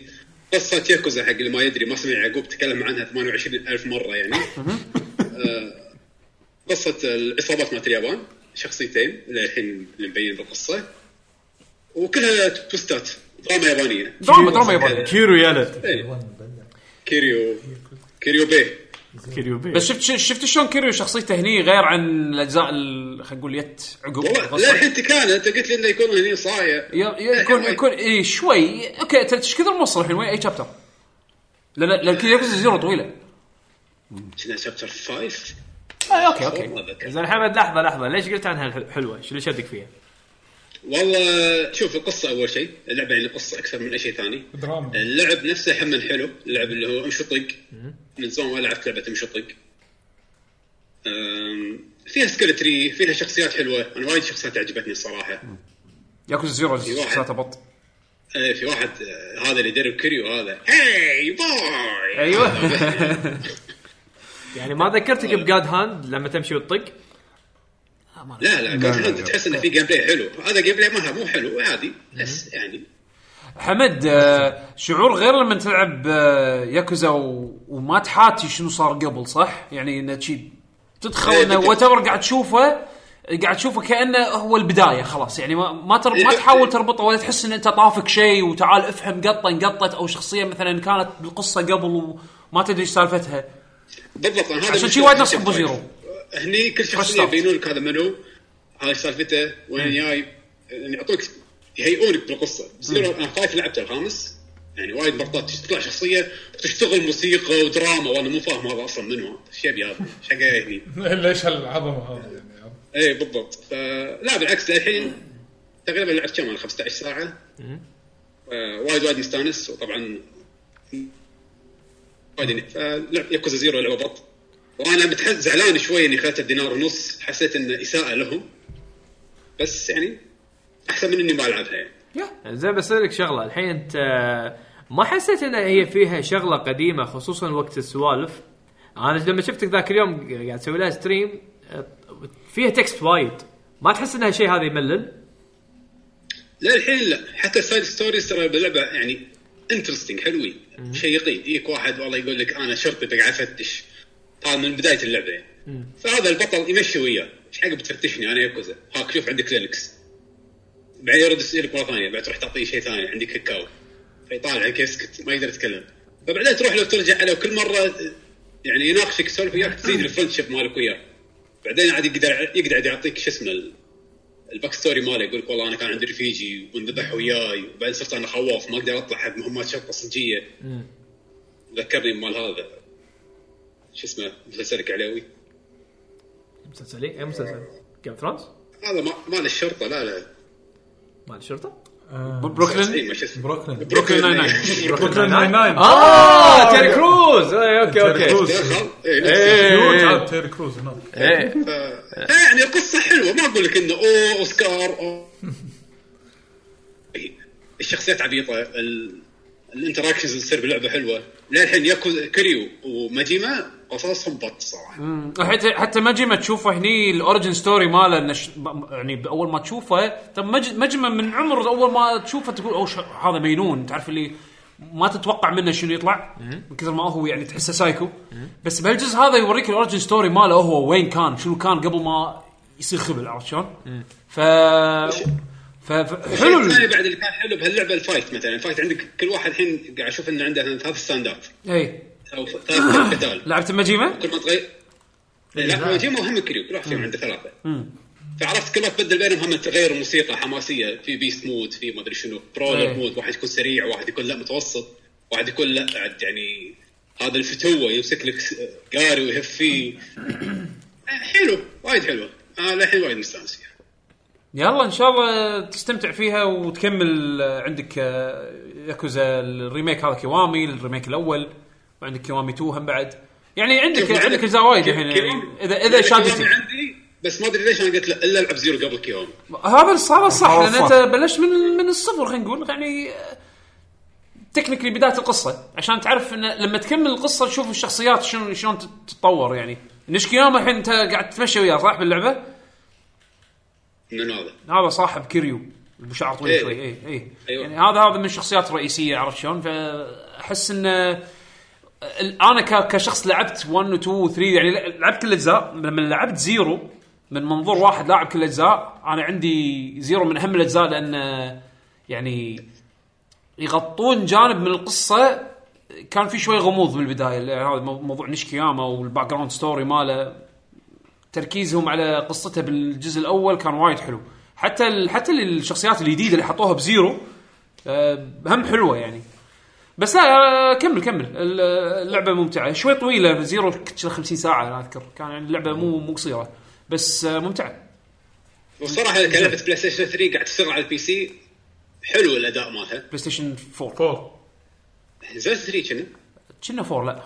[SPEAKER 8] قصة ياكوزا حق اللي ما يدري ما سمع يعقوب تكلم عنها 28 ألف مرة يعني آه، قصة العصابات مالت اليابان شخصيتين للحين اللي مبين بالقصة وكلها توستات دراما يابانية
[SPEAKER 1] دراما دراما ياباني
[SPEAKER 2] كيرو يالت
[SPEAKER 8] إيه. كيريو كيريو بيه
[SPEAKER 2] كيريو بي
[SPEAKER 1] بس شفت شفت شلون كيريو شخصيته هني غير عن الاجزاء ال- خلينا نقول يت عقب
[SPEAKER 8] والله
[SPEAKER 1] فصل.
[SPEAKER 8] للحين كان انت قلت لي انه يكون هني صايع
[SPEAKER 1] ي- ي- يكون يكون اي شوي اوكي انت ايش كثر موصل الحين وين اي شابتر؟ لان لان كذا ياكوزا زيرو طويله
[SPEAKER 8] كنا شابتر 5
[SPEAKER 1] آه اوكي اوكي
[SPEAKER 8] والله ذكر.
[SPEAKER 2] زين حمد لحظه لحظه ليش قلت عنها الح- حلوه؟ شو اللي شدك فيها؟
[SPEAKER 8] والله شوف القصه اول شيء اللعبه يعني قصه اكثر من اي شيء ثاني
[SPEAKER 4] دراما
[SPEAKER 8] اللعب نفسه حمل حلو اللعب اللي هو مشطق من زمان ما لعبت لعبه مشطق أم، فيها سكرتري فيها شخصيات حلوه انا وايد شخصيات عجبتني الصراحه
[SPEAKER 1] ياكوزا زيرو
[SPEAKER 8] واحد.
[SPEAKER 1] شخصيته بط
[SPEAKER 8] آه، في واحد آه، هذا اللي يدرب كريو هذا هاي باي
[SPEAKER 1] ايوه
[SPEAKER 2] يعني ما ذكرتك بجاد هاند لما تمشي وتطق
[SPEAKER 8] لا لا
[SPEAKER 3] لا،
[SPEAKER 8] قاعد
[SPEAKER 3] لا.
[SPEAKER 8] تحس انه في جيم بلاي حلو هذا جيم بلاي مالها مو حلو عادي بس يعني
[SPEAKER 1] حمد آه، شعور غير لما تلعب آه، ياكوزا و- وما تحاتي شنو صار قبل صح؟ يعني انه شي تدخل
[SPEAKER 8] إيه،
[SPEAKER 1] انه
[SPEAKER 8] بالضبط.
[SPEAKER 1] وات قاعد تشوفه قاعد تشوفه كانه هو البدايه خلاص يعني ما ما, تر... ما تحاول تربطه ولا تحس ان انت طافك شيء وتعال افهم قطه انقطت او شخصيه مثلا كانت بالقصه قبل وما تدري ايش سالفتها
[SPEAKER 8] بالضبط أنا هذا
[SPEAKER 1] عشان
[SPEAKER 8] مش-
[SPEAKER 1] شي وايد
[SPEAKER 8] مش
[SPEAKER 1] نفس أبو
[SPEAKER 8] شخصية.
[SPEAKER 1] زيرو.
[SPEAKER 8] هني كل
[SPEAKER 1] Fresh
[SPEAKER 8] شخصيه
[SPEAKER 1] start.
[SPEAKER 8] يبينون لك هذا منو هاي سالفته وين جاي يعني يعطوك يهيئونك بالقصه زيرو انا خايف لعبته الخامس يعني وايد مرات تطلع شخصيه تشتغل موسيقى ودراما وانا مو فاهم هذا اصلا منو هذا ايش يبي هذا ايش حق جاي هني
[SPEAKER 4] ليش هالعظمه هذه يعني عرفت؟
[SPEAKER 8] اي إيه، بالضبط فلا بالعكس الحين تقريبا لعبت كم انا 15 ساعه آه، وايد وايد مستانس وطبعا وايد يعني فلعب ياكوزا زيرو لعبه بط وانا متح- زعلان شوي اني اخذت الدينار ونص حسيت انه اساءه لهم بس يعني احسن من اني ما العبها يعني
[SPEAKER 2] زين بس لك شغله الحين انت آه، ما حسيت ان هي فيها شغله قديمه خصوصا وقت السوالف انا لما شفتك ذاك اليوم قاعد تسوي لها ستريم آه، فيها تكست وايد ما تحس انها شيء هذا يملل
[SPEAKER 8] لا الحين لا حتى السايد ستوريز ترى باللعبه يعني انترستنج حلوين شيقين يجيك واحد والله يقول لك انا شرطي بقعد افتش هذا من بدايه اللعبه يعني فهذا البطل يمشي وياه ايش حق بتفتشني انا ياكوزا هاك شوف عندك لينكس بعدين يرد يسالك مره ثانيه بعد تروح تعطيه شيء ثاني عندك كاكاو فيطالعك يسكت ما يقدر يتكلم فبعدين تروح لو ترجع له كل مره يعني يناقشك سولف وياك تزيد الفرندشيب مالك وياه بعدين عاد يقدر يقعد يعطيك شو اسمه ال- الباك ستوري ماله يقول لك والله انا كان عندي رفيجي وانذبح وياي وبعدين صرت انا خواف ما اقدر اطلع حق مهمات شرطه صجيه ذكرني بمال هذا شو اسمه مسلسلك علاوي
[SPEAKER 2] مسلسل اي مسلسل جيم فرانس
[SPEAKER 8] هذا ما- مال الشرطه لا لا
[SPEAKER 2] مال الشرطه
[SPEAKER 8] إي، ما شو اسمه إيه.
[SPEAKER 7] بروكلين
[SPEAKER 8] بروكلين ناين
[SPEAKER 4] بروكلين ناين ناين
[SPEAKER 2] اه تيري كروز إي، اوكي اوكي
[SPEAKER 8] إيه، ناين
[SPEAKER 4] كيوت عاد تيري كروز هناك
[SPEAKER 2] إي.
[SPEAKER 8] يعني القصه حلوه ما اقول لك انه اوه اوسكار أوه. الشخصيات عبيطه ال- الانتراكشنز اللي تصير باللعبه حلوه للحين ياكو كريو وماجيما قصصهم بط صراحه
[SPEAKER 1] حتى حتى ماجما تشوفه هني الاوريجن ستوري ماله إنه ش- ب- يعني اول ما تشوفه طب مج- ماجما من عمر اول ما تشوفه تقول اوه ش- هذا مينون تعرف اللي ما تتوقع منه شنو يطلع من كثر ما هو يعني تحسه سايكو بس بهالجزء هذا يوريك الاوريجن ستوري ماله هو وين كان شنو كان قبل ما يصير خبل عرفت شلون؟ ف ف- ف- حلو ال-
[SPEAKER 8] الثاني بعد اللي كان حلو بهاللعبه الفايت مثلا الفايت عندك كل واحد الحين قاعد اشوف انه عنده مثلاً ثلاث ستاندات
[SPEAKER 1] اي
[SPEAKER 8] او ثلاث قتال
[SPEAKER 1] إيه. لعبت ماجيما؟
[SPEAKER 8] كل ما تغير لا هو جيم مهم كريو كل واحد فيهم عنده ثلاثه فعرفت كل ما تبدل بينهم هم تغير الموسيقى حماسيه في بيست مود في ما ادري شنو برولر
[SPEAKER 1] إيه.
[SPEAKER 8] مود واحد يكون سريع واحد يكون لا متوسط واحد يكون لا عاد يعني هذا الفتوه يمسك لك س- قاري ويهف فيه آه، حلو وايد حلو انا للحين وايد مستانس فيها
[SPEAKER 1] يلا ان شاء الله تستمتع فيها وتكمل آه، عندك آه، ياكوزا الريميك هذا كيوامي الريميك الاول وعندك كيوامي 2 هم بعد يعني عندك
[SPEAKER 8] شوف،
[SPEAKER 1] عندك اجزاء وايد
[SPEAKER 8] كي-
[SPEAKER 1] الحين يعني
[SPEAKER 8] كيوامي-
[SPEAKER 1] اذا اذا
[SPEAKER 8] كيوامي
[SPEAKER 1] شادتك
[SPEAKER 8] إيه، عندي بس ما ادري ليش انا قلت لا الا العب زيرو قبل كيوم
[SPEAKER 1] هذا اللي صار صح
[SPEAKER 3] هذا
[SPEAKER 1] لان
[SPEAKER 3] صح.
[SPEAKER 1] انت بلشت من من الصفر خلينا نقول يعني تكنيكلي بدايه القصه عشان تعرف ان لما تكمل القصه تشوف الشخصيات شلون شلون تت- تتطور يعني نشكياما الحين انت قاعد تتمشى وياه صح باللعبه؟
[SPEAKER 8] من هذا
[SPEAKER 1] هذا صاحب كيريو ابو شعر طويل
[SPEAKER 8] إيه.
[SPEAKER 1] شوي اي اي
[SPEAKER 8] أيوة.
[SPEAKER 1] يعني هذا هذا من الشخصيات الرئيسيه عرفت شلون فاحس انه ال- انا ك- كشخص لعبت 1 و 2 و 3 يعني ل- لعبت كل الاجزاء لما لعبت زيرو من منظور واحد لاعب كل الاجزاء انا عندي زيرو من اهم الاجزاء لان يعني يغطون جانب من القصه كان في شوي غموض بالبدايه اللي هذا مو- موضوع نشكياما والباك جراوند ستوري ماله تركيزهم على قصته بالجزء الاول كان وايد حلو حتى ال... حتى الشخصيات الجديده اللي حطوها بزيرو آه، هم حلوه يعني بس لا آه، كمل كمل ال- اللعبه ممتعه شوي طويله زيرو كت- 50 ساعه انا اذكر كان يعني اللعبه مو مو قصيره بس آه، ممتعه
[SPEAKER 8] وصراحه كلفه بلاي ستيشن 3 قاعد تصير على البي سي حلو الاداء مالها
[SPEAKER 1] بلاي ستيشن 4
[SPEAKER 4] فور
[SPEAKER 8] نزلت 3 كنا
[SPEAKER 1] كنا 4 لا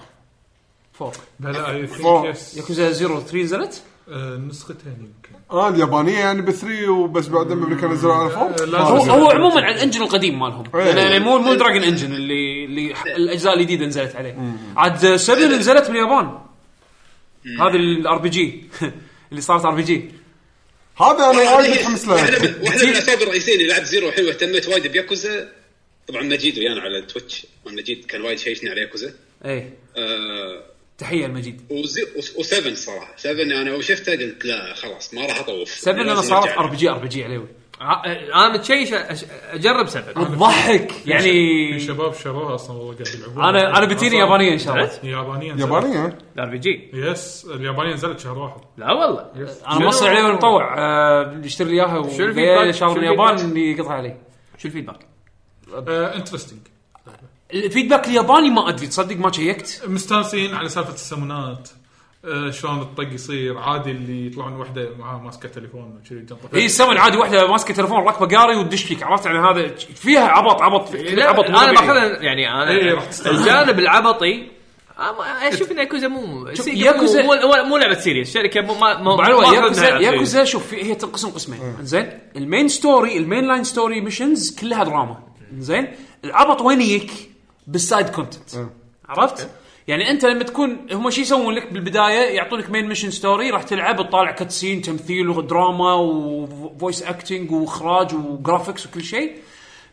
[SPEAKER 1] 4
[SPEAKER 4] لا لا اي ثينك
[SPEAKER 3] فور.
[SPEAKER 4] يس
[SPEAKER 1] ياكوزا زيرو 3 نزلت
[SPEAKER 4] آه، نسختين يمكن
[SPEAKER 3] اه اليابانيه يعني ب 3 وبس بعد الامريكان نزلوا على 4
[SPEAKER 1] هو
[SPEAKER 4] لازم
[SPEAKER 1] هو عموما على الانجن القديم مالهم
[SPEAKER 3] إيه.
[SPEAKER 1] يعني مو مو دراجون انجن اللي اللي ح- الاجزاء الجديده نزلت عليه عاد 7
[SPEAKER 2] إيه.
[SPEAKER 1] نزلت باليابان هذه الار بي جي اللي صارت ار بي جي
[SPEAKER 3] هذا انا وايد
[SPEAKER 8] واحدة
[SPEAKER 3] متحمس له
[SPEAKER 8] من- واحدة من الاسباب الرئيسيه اللي لعبت زيرو حلوه اهتميت وايد بياكوزا طبعا مجيد ويانا على تويتش مجيد كان وايد شايشني على ياكوزا
[SPEAKER 1] اي
[SPEAKER 8] آه
[SPEAKER 1] تحيه إيه. المجيد
[SPEAKER 8] و7 صراحه 7 انا اول شفتها قلت لا خلاص ما راح اطوف
[SPEAKER 1] 7 انا
[SPEAKER 8] لازم
[SPEAKER 1] صارت
[SPEAKER 8] أرجع.
[SPEAKER 1] ار بي جي ار بي جي عليوي
[SPEAKER 2] ع- انا تشيش أش- اجرب سبب
[SPEAKER 1] تضحك يعني
[SPEAKER 4] في شباب شروها اصلا والله قاعد يلعبونها
[SPEAKER 1] انا انا بتجيني يابانيه ان شاء
[SPEAKER 2] إيه؟
[SPEAKER 1] الله
[SPEAKER 4] يابانيه نزلت.
[SPEAKER 3] يابانيه
[SPEAKER 2] الار بي جي
[SPEAKER 4] يس اليابانيه نزلت شهر واحد
[SPEAKER 2] لا والله
[SPEAKER 1] انا موصي عليه المطوع آه، يشتري لي اياها
[SPEAKER 2] شنو الفيدباك؟
[SPEAKER 1] وجاي شهر
[SPEAKER 2] شنو
[SPEAKER 1] من اليابان
[SPEAKER 2] الفيدباك؟
[SPEAKER 1] يقطع علي
[SPEAKER 2] شو الفيدباك؟
[SPEAKER 4] آه، انترستنج
[SPEAKER 1] الفيدباك الياباني ما ادري تصدق ما شيكت
[SPEAKER 4] مستانسين على سالفه السمونات آه، شلون الطق يصير عادي اللي يطلعون وحده معاه ماسكه تليفون وشذي جنطه
[SPEAKER 1] اي سمن عادي واحده ماسكه تليفون راكبه قاري وتدش فيك عرفت يعني هذا فيها عبط عبط
[SPEAKER 2] لا
[SPEAKER 1] عبط مو
[SPEAKER 2] انا
[SPEAKER 1] طبيعي.
[SPEAKER 2] باخذها يعني
[SPEAKER 4] إيه،
[SPEAKER 2] انا
[SPEAKER 4] راح تستانس.
[SPEAKER 2] الجانب العبطي أنا اشوف ان ياكوزا مو
[SPEAKER 1] شوف، ياكوزا-
[SPEAKER 2] ياكوزا مو, مو, مو لعبه سيريس شركه مو ما ما
[SPEAKER 1] وعلى
[SPEAKER 2] ما
[SPEAKER 1] الوقت
[SPEAKER 2] أخذنا
[SPEAKER 1] ياكوزا
[SPEAKER 2] على سيريس.
[SPEAKER 1] ياكوزا شوف في- هي تنقسم قسمين زين المين ستوري المين لاين ستوري ميشنز كلها دراما زين العبط وين يجيك بالسايد كونتنت عرفت؟ يعني انت لما تكون هم شو يسوون لك بالبدايه يعطونك مين ميشن ستوري راح تلعب تطالع كاتسين تمثيل ودراما وفويس اكتنج واخراج وجرافكس وكل شيء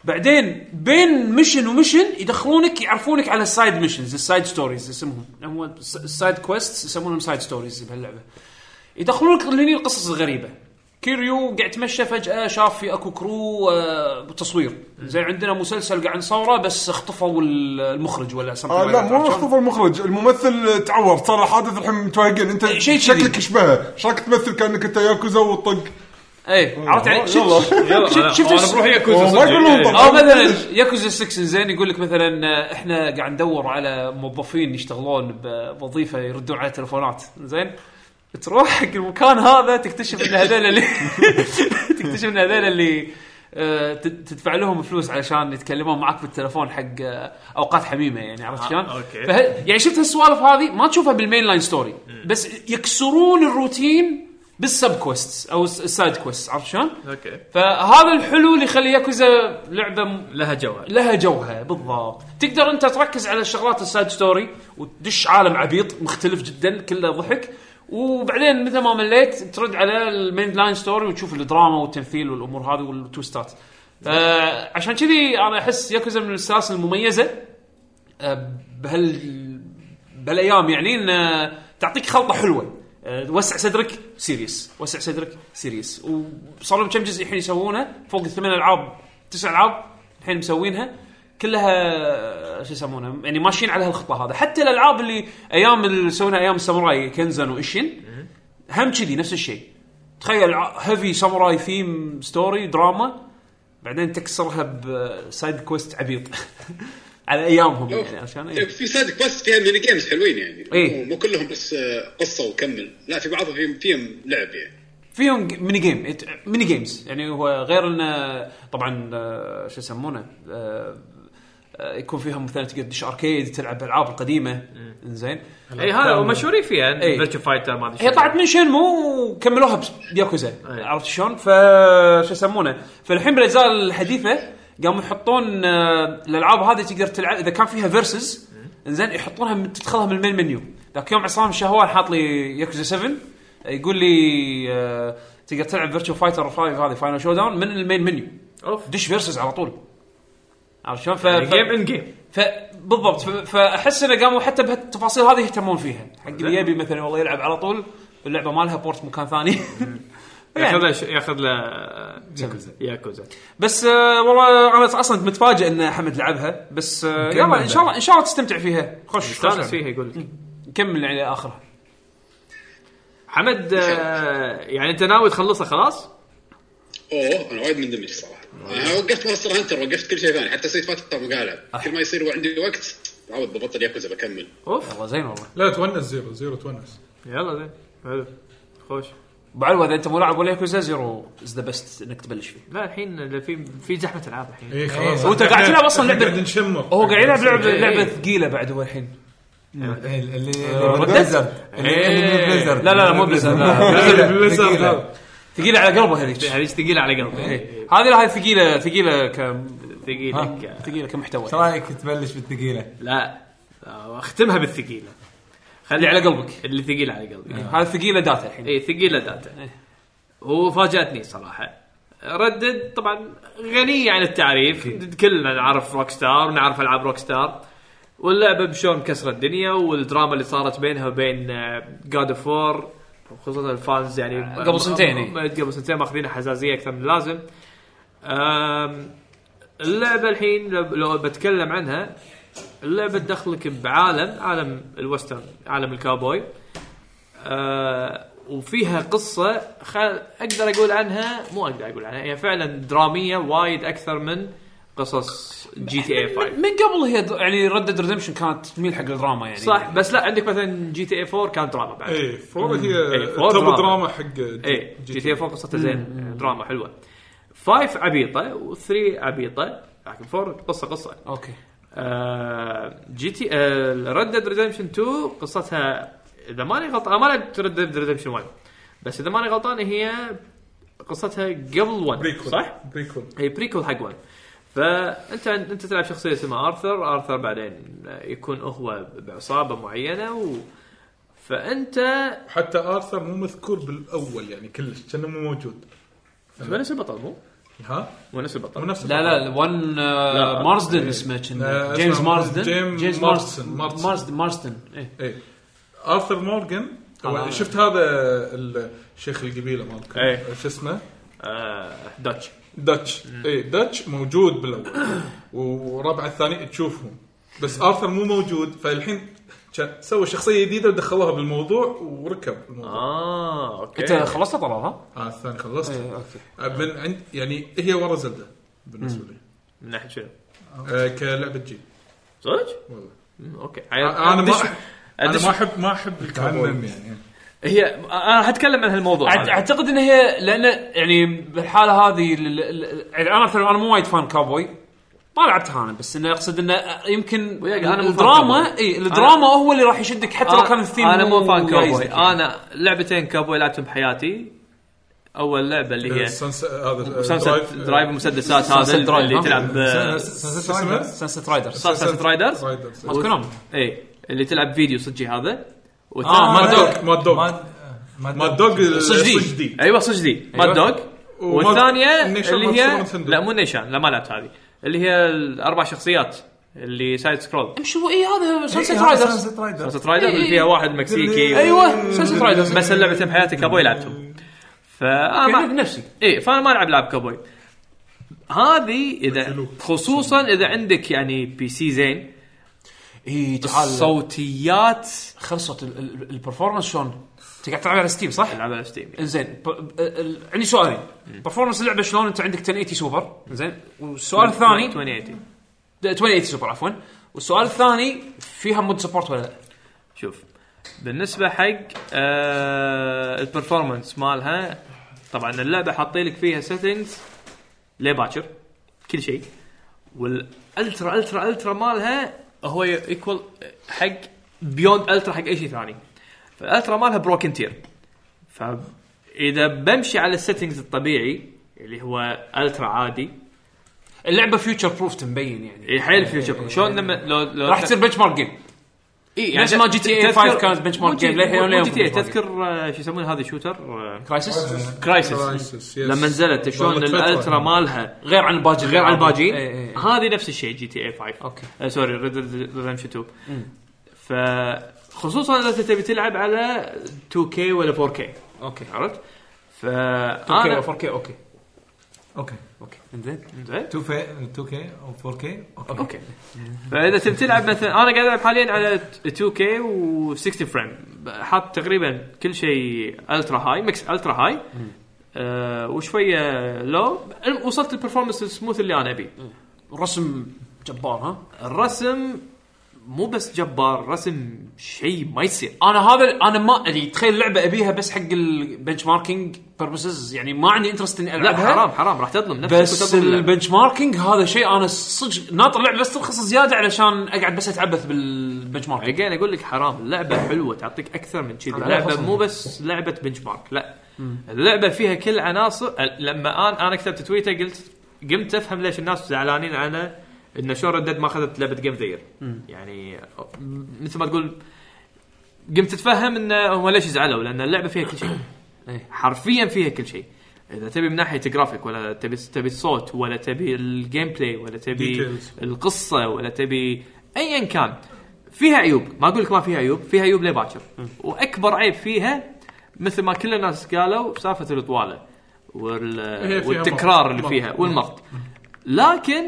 [SPEAKER 1] بعدين بين ميشن وميشن يدخلونك يعرفونك على السايد ميشنز السايد ستوريز اسمهم هم السايد كويست يسمونهم سايد ستوريز بهاللعبه يدخلونك لهني القصص الغريبه كيريو قاعد يتمشى فجاه شاف في اكو كرو آه، بتصوير زين عندنا مسلسل قاعد نصوره بس اخطفوا ال- المخرج ولا something
[SPEAKER 3] آه
[SPEAKER 1] like
[SPEAKER 3] لا
[SPEAKER 1] that.
[SPEAKER 3] مو
[SPEAKER 1] عرفت شلون؟
[SPEAKER 3] اختفى المخرج الممثل تعور صار له حادث الحين متوهقين انت
[SPEAKER 1] إيه، شيء
[SPEAKER 3] شكلك
[SPEAKER 1] كذي.
[SPEAKER 3] شبهه ايش رايك تمثل كانك انت ياكوزا وتطق
[SPEAKER 1] اي إيه، عرفت علي؟ شفت-
[SPEAKER 3] يلا.
[SPEAKER 2] يلا،
[SPEAKER 1] شفت-
[SPEAKER 2] أنا-
[SPEAKER 1] شفت
[SPEAKER 2] أنا
[SPEAKER 1] الس-
[SPEAKER 2] بروح ياكوزا
[SPEAKER 3] والله
[SPEAKER 2] صدق.
[SPEAKER 3] ما يقولون طبعاً.
[SPEAKER 1] او مثلا ياكوزا 6 زين يقول لك مثلا آه، احنا قاعد ندور على موظفين يشتغلون بوظيفه يردون على تلفونات زين تروح حق المكان هذا تكتشف ان هذول اللي تكتشف ان هذول اللي آه، ت- تدفع لهم فلوس علشان يتكلمون معك بالتلفون حق آه، اوقات حميمه يعني عرفت شلون؟
[SPEAKER 2] آه، أوكي.
[SPEAKER 1] فه- يعني شفت هالسوالف هذه ما تشوفها بالمين لاين ستوري بس يكسرون الروتين بالسب كويست او الس- السايد كويست عرفت شلون؟
[SPEAKER 2] اوكي
[SPEAKER 1] فهذا الحلو اللي يخلي ياكوزا لعبه م-
[SPEAKER 2] لها جوها
[SPEAKER 1] لها جوها بالضبط تقدر انت تركز على الشغلات السايد ستوري وتدش عالم عبيط مختلف جدا كله ضحك وبعدين مثل ما مليت ترد على المين لاين ستوري وتشوف الدراما والتمثيل والامور هذه والتوستات آه عشان كذي انا احس ياكوزا من السلاسل المميزه آه بهال بهالايام يعني ان آه، تعطيك خلطه حلوه آه، وسع صدرك سيريس وسع صدرك سيريس وصار لهم كم جزء الحين يسوونه فوق الثمان العاب تسع العاب الحين مسوينها كلها شو يسمونها يعني ماشيين على هالخطه هذا حتى الالعاب اللي ايام اللي سوينا ايام الساموراي كنزن واشن هم كذي نفس الشيء تخيل هيفي ساموراي ثيم ستوري دراما بعدين تكسرها بسايد كويست عبيط على ايامهم يعني عشان إيه.
[SPEAKER 8] طيب، في صدق بس فيها ميني جيمز حلوين يعني
[SPEAKER 1] إيه.
[SPEAKER 8] مو- مو كلهم بس آه، قصه وكمل لا في بعضهم فيهم فيهم لعب يعني
[SPEAKER 1] فيهم ج- ميني جيم إت- ميني جيمز يعني هو غير انه طبعا آه، شو يسمونه آه، آه، يكون فيهم مثلا تقدر تدش اركيد تلعب الالعاب القديمه زين
[SPEAKER 2] اي هذا مشهورين فيها
[SPEAKER 1] إي.
[SPEAKER 2] فيرتشو فايتر ما ادري
[SPEAKER 1] هي
[SPEAKER 2] شو.
[SPEAKER 1] طلعت من شنمو وكملوها بياكوزا
[SPEAKER 2] أي.
[SPEAKER 1] عرفت شلون؟ ف شو يسمونه؟ فالحين بالاجزاء الحديثه قاموا يحطون آه، الالعاب هذه تقدر تلعب اذا كان فيها فيرسز زين يحطونها من تدخلها من المين منيو ذاك يوم عصام الشهوان حاط لي ياكوزا 7 يقول لي آه، تقدر تلعب فيرتشو فايتر 5 هذه فاينل شو داون من المين منيو
[SPEAKER 2] اوف
[SPEAKER 1] دش فيرسز على طول عرفت شلون؟ ف...
[SPEAKER 2] جيم ان جيم
[SPEAKER 1] فبالضبط ف- فاحس انه قاموا حتى بهالتفاصيل هذه يهتمون فيها حق اللي يبي مثلا والله يلعب على طول اللعبه ما لها بورت مكان ثاني
[SPEAKER 2] ياخذ
[SPEAKER 1] يعني
[SPEAKER 2] له ش- ياخذ له ياكوزا
[SPEAKER 1] بس آه، والله انا اصلا متفاجئ ان حمد لعبها بس آه، يلا ان شاء الله ان شاء الله تستمتع فيها خش خش
[SPEAKER 2] استانس
[SPEAKER 1] لعب.
[SPEAKER 2] فيها يقول لك
[SPEAKER 1] كمل يعني لاخرها
[SPEAKER 2] حمد آه، يعني انت ناوي تخلصها خلاص؟
[SPEAKER 8] اوه انا وايد مندمج صراحه انا وقفت ماستر هانتر وقفت كل شيء ثاني حتى سيت فاتر ما قاعد العب كل ما يصير عندي وقت عود ببطل ياكوزا بكمل
[SPEAKER 2] اوف
[SPEAKER 1] والله زين والله
[SPEAKER 4] لا تونس زيرو زيرو تونس
[SPEAKER 2] يلا زين حلو خوش
[SPEAKER 1] ابو علوه اذا انت مو لاعب ولا ياكوزا زيرو از ذا بيست انك تبلش فيه
[SPEAKER 2] لا الحين في في زحمه العاب الحين
[SPEAKER 4] اي إيه، خلاص
[SPEAKER 1] وأنت إيه، قاعد تلعب أصلاً لعبة-
[SPEAKER 4] قاعد نشمر
[SPEAKER 1] هو قاعد يلعب لعبه لعبه ثقيله بعد هو الحين
[SPEAKER 7] اللي اللي
[SPEAKER 1] ردت؟
[SPEAKER 7] بليزرد
[SPEAKER 1] إيه. لا، لا، لا، مو Blizzard، لا.
[SPEAKER 4] بليزرد
[SPEAKER 1] ثقيله على قلبه هذيك
[SPEAKER 2] هذه ثقيله على قلبي
[SPEAKER 1] هذه لا، هذه ثقيله ثقيله ك
[SPEAKER 2] ثقيله ك-
[SPEAKER 1] ثقيله كمحتوى
[SPEAKER 7] ايش رايك تبلش بالثقيله؟
[SPEAKER 2] لا آه، اختمها بالثقيله خلي
[SPEAKER 1] اللي على قلبك. إيه.
[SPEAKER 2] اللي ثقيل على قلبي إيه،
[SPEAKER 1] هذه ثقيله داتا الحين
[SPEAKER 2] اي ثقيله
[SPEAKER 1] إيه.
[SPEAKER 2] داتا وفاجاتني صراحه ردد طبعا غنيه عن التعريف كلنا نعرف روك ستار ونعرف العاب روك ستار واللعبه بشلون كسرت الدنيا والدراما اللي صارت بينها وبين آه، جاد اوف وور خصوصا الفانز يعني
[SPEAKER 1] قبل سنتين، إيه. إي.
[SPEAKER 2] م- قبل سنتين ماخذين حساسيه اكثر من اللازم أم، اللعبه الحين لو- لو بتكلم عنها اللعبه تدخلك بعالم عالم الوسترن عالم الكاوبوي آه وفيها قصه خل... اقدر اقول عنها مو اقدر اقول عنها هي فعلا دراميه وايد اكثر من قصص جي تي إيه اي 5
[SPEAKER 4] إيه.
[SPEAKER 1] من من قبل هي د- يعني ردد ريدمشن كانت تميل حق الدراما يعني
[SPEAKER 2] صح بس لا عندك مثلا جي تي اي 4 كان دراما بعد
[SPEAKER 4] اي فور هي
[SPEAKER 2] إيه، فور
[SPEAKER 4] توب
[SPEAKER 2] دراما.
[SPEAKER 4] دراما حق
[SPEAKER 1] إيه.
[SPEAKER 2] اي جي تي اي 4 قصته زين دراما حلوه 5 عبيطه و3 عبيطه لكن 4 قصه قصه
[SPEAKER 1] اوكي
[SPEAKER 2] آه، جي تي آه، ريد ديد ريدمشن 2 قصتها اذا ماني غلطان أنا ما لعبت ريد ديد ريدمشن 1 بس اذا ماني غلطان هي قصتها قبل 1
[SPEAKER 4] بريكول
[SPEAKER 2] صح؟
[SPEAKER 4] بريكول
[SPEAKER 2] هي بريكول حق 1 فانت انت تلعب شخصيه اسمها ارثر ارثر بعدين يكون هو بعصابه معينه و فانت
[SPEAKER 4] حتى ارثر مو مذكور بالاول يعني كلش كانه مو موجود
[SPEAKER 2] هو نفس البطل مو؟
[SPEAKER 4] ها
[SPEAKER 2] مو نفس
[SPEAKER 4] مو
[SPEAKER 2] البطل
[SPEAKER 4] نفس
[SPEAKER 1] لا لا وان
[SPEAKER 2] لا.
[SPEAKER 1] مارسدن اسمه كان.
[SPEAKER 4] إيه. لا،
[SPEAKER 1] جيمس
[SPEAKER 4] اسمه
[SPEAKER 1] مارسدن
[SPEAKER 4] جيم
[SPEAKER 1] جيمس
[SPEAKER 4] مارسن،
[SPEAKER 1] مارسدن مارسدن
[SPEAKER 4] مارسن.
[SPEAKER 1] مارسدن إيه.
[SPEAKER 4] اي ارثر مورغان هو شفت هذا الشيخ القبيله مالكم
[SPEAKER 2] إيه.
[SPEAKER 4] شو اسمه؟
[SPEAKER 2] آه، داتش
[SPEAKER 4] داتش اي داتش إيه، موجود بالاول وربع الثاني تشوفهم بس ارثر مو موجود فالحين كان- سوى شخصيه جديده ودخلوها بالموضوع وركب الموضوع
[SPEAKER 2] اه اوكي
[SPEAKER 1] انت خلصت طلال ها؟
[SPEAKER 4] إيه. آه الثاني خلصت
[SPEAKER 1] اوكي
[SPEAKER 4] من عند يعني هي ورا زلده بالنسبه لي
[SPEAKER 2] من ناحيه شنو؟
[SPEAKER 4] آه كلعبه جي
[SPEAKER 2] صدق؟
[SPEAKER 4] والله
[SPEAKER 2] مم، اوكي
[SPEAKER 4] آه، انا ما
[SPEAKER 2] أدش-
[SPEAKER 4] انا
[SPEAKER 2] أدش-
[SPEAKER 4] ما احب ما احب التعمم يعني
[SPEAKER 2] هي انا راح اتكلم عن هالموضوع
[SPEAKER 1] أعت-
[SPEAKER 2] هذا.
[SPEAKER 1] اعتقد ان هي لان يعني بالحاله هذه ال- ال- ال- يعني انا مثلا انا مو وايد فان كاوبوي ما لعبتها انا بس انه اقصد انه يمكن
[SPEAKER 2] وياك أنا مو فان
[SPEAKER 1] الدراما
[SPEAKER 2] كاوبوي.
[SPEAKER 1] اي الدراما هو اللي راح يشدك حتى لو كان الثيم
[SPEAKER 2] انا مو فان كاوبوي
[SPEAKER 1] يعيزك.
[SPEAKER 2] انا لعبتين كاوبوي لعبتهم بحياتي اول لعبه اللي هي
[SPEAKER 4] إيه. آه، Sunset- هذا
[SPEAKER 2] سانست درايف المسدسات هذا
[SPEAKER 1] Sunset Drive،
[SPEAKER 2] اللي
[SPEAKER 1] ها؟
[SPEAKER 2] تلعب
[SPEAKER 7] سانست رايدرز
[SPEAKER 1] سانست رايدرز
[SPEAKER 4] آه،
[SPEAKER 2] سانست رايدرز
[SPEAKER 4] رايدرز
[SPEAKER 1] مات كونامي
[SPEAKER 2] اي إيه. اللي تلعب فيديو صجي هذا
[SPEAKER 7] آه،
[SPEAKER 2] والثاني
[SPEAKER 7] مات دوغ.
[SPEAKER 4] ماد دوغ. ماد دوغ
[SPEAKER 1] صجدي.
[SPEAKER 4] صجدي.
[SPEAKER 2] ايوه صجدي ماد دوغ
[SPEAKER 4] وماد-
[SPEAKER 2] والثانيه
[SPEAKER 4] النيشان
[SPEAKER 2] اللي
[SPEAKER 4] مال
[SPEAKER 2] هي
[SPEAKER 4] سوبر نتندو.
[SPEAKER 2] لا مو نيشان لا ما لعبت هذه اللي هي الاربع شخصيات اللي سايد سكرول
[SPEAKER 1] شو اي هذا سانست رايدرز
[SPEAKER 7] رايدرز
[SPEAKER 2] سانست رايدر
[SPEAKER 1] إيه.
[SPEAKER 2] اللي فيها واحد مكسيكي
[SPEAKER 1] ايوه سانست رايدرز
[SPEAKER 2] بس اللعبتين بحياتي كابوي لعبتهم فانا ما-
[SPEAKER 1] نفسي
[SPEAKER 2] اي فانا ما العب لعب كابوي هذه اذا
[SPEAKER 4] بتلوك.
[SPEAKER 2] خصوصا اذا عندك يعني بي سي زين
[SPEAKER 1] اي تعال
[SPEAKER 2] الصوتيات
[SPEAKER 1] خلصت ال- ال- البرفورمانس شلون؟ انت قاعد تلعب على ستيم صح؟
[SPEAKER 2] العب على ستيم
[SPEAKER 1] انزين ب- ب- ال- عندي سؤالين برفورمانس اللعبه شلون انت عندك 1080 سوبر زين والسؤال الثاني
[SPEAKER 2] 2080
[SPEAKER 1] 2080 سوبر عفوا والسؤال الثاني فيها مود سبورت ولا لا؟
[SPEAKER 2] شوف بالنسبه حق آه البرفورمانس مالها طبعا اللعبه حاطين لك فيها سيتنجز لباكر كل شيء والالترا الترا الترا مالها هو ايكوال حق بيوند الترا حق اي شيء ثاني فالالترا مالها بروكن تير فاذا بمشي على السيتنجز الطبيعي اللي هو الترا عادي
[SPEAKER 1] اللعبه فيوتشر بروف تبين يعني
[SPEAKER 2] إيه، حيل فيوتشر شلون لما لو لو
[SPEAKER 1] راح تصير بنش مارك جيم
[SPEAKER 2] إيه
[SPEAKER 1] نفس ما GTA
[SPEAKER 2] تذكر-
[SPEAKER 1] 5 كانت benchmark
[SPEAKER 2] مو
[SPEAKER 1] game،
[SPEAKER 2] جي-
[SPEAKER 1] للحين
[SPEAKER 2] مو- مو
[SPEAKER 1] لليوم
[SPEAKER 2] جي تي إيه،
[SPEAKER 1] benchmark game.
[SPEAKER 2] تذكر آه، شو يسمون هذا شوتر آه،
[SPEAKER 1] كرايسس
[SPEAKER 2] كرايسس
[SPEAKER 4] Crisis، yes.
[SPEAKER 2] لما نزلت شلون
[SPEAKER 4] ضلت فترة.
[SPEAKER 2] الالترا مالها
[SPEAKER 1] غير عن الباجي
[SPEAKER 2] غير عن الباجي
[SPEAKER 1] إيه، إيه، إيه.
[SPEAKER 2] هذه نفس الشيء جي تي اي 5
[SPEAKER 1] أوكي.
[SPEAKER 2] آه، سوري ريد ريدمشن 2 ف خصوصا اذا أنت تبي تلعب على 2 كي ولا 4 كي
[SPEAKER 1] اوكي
[SPEAKER 2] عرفت؟ ف
[SPEAKER 1] 2K
[SPEAKER 2] انا
[SPEAKER 1] و 4K اوكي
[SPEAKER 7] اوكي
[SPEAKER 1] اوكي انزين
[SPEAKER 2] زين
[SPEAKER 7] 2 كي او 4 كي اوكي
[SPEAKER 2] اوكي فاذا تبي تلعب مثلا انا قاعد العب حاليا على 2 كي و 60 فريم حاط تقريبا كل شيء الترا هاي ميكس الترا هاي آه وشويه لو وصلت البرفورمانس السموث اللي انا ابيه
[SPEAKER 1] رسم جبار ها
[SPEAKER 2] الرسم مو بس جبار رسم شيء ما يصير
[SPEAKER 1] انا هذا انا ما يعني تخيل لعبه ابيها بس حق البنش ماركينج بيربسز يعني ما عندي انترست اني
[SPEAKER 2] لا
[SPEAKER 1] العبها
[SPEAKER 2] حرام حرام راح تظلم نفسك
[SPEAKER 1] بس
[SPEAKER 2] وتظلم اللعبة.
[SPEAKER 1] البنش ماركينج هذا شيء انا صدق ناطر لعبه بس ترخص زياده علشان اقعد بس اتعبث بالبنش ماركينج
[SPEAKER 2] اجين اقول لك حرام اللعبه حلوه تعطيك اكثر من كذي
[SPEAKER 1] على
[SPEAKER 2] اللعبه
[SPEAKER 1] خصم.
[SPEAKER 2] مو بس لعبه بنش مارك لا اللعبه فيها كل عناصر لما انا انا كتبت تويتر قلت قمت افهم ليش الناس زعلانين على ان شو ردد ما اخذت لعبه جيم ذير يعني مثل ما تقول قمت اتفهم ان هم ليش زعلوا لان اللعبه فيها كل شيء
[SPEAKER 1] إيه.
[SPEAKER 2] حرفيا فيها كل شيء اذا تبي من ناحيه جرافيك ولا تبي تبي الصوت ولا تبي الجيم بلاي ولا تبي
[SPEAKER 4] Details.
[SPEAKER 2] القصه ولا تبي ايا كان فيها عيوب ما اقول لك ما فيها عيوب فيها عيوب ليه باكر واكبر عيب فيها مثل ما كل الناس قالوا سالفه الطواله
[SPEAKER 4] هي
[SPEAKER 2] وال...
[SPEAKER 4] فيها
[SPEAKER 2] والتكرار
[SPEAKER 4] مط.
[SPEAKER 2] اللي
[SPEAKER 4] مط.
[SPEAKER 2] فيها والمط لكن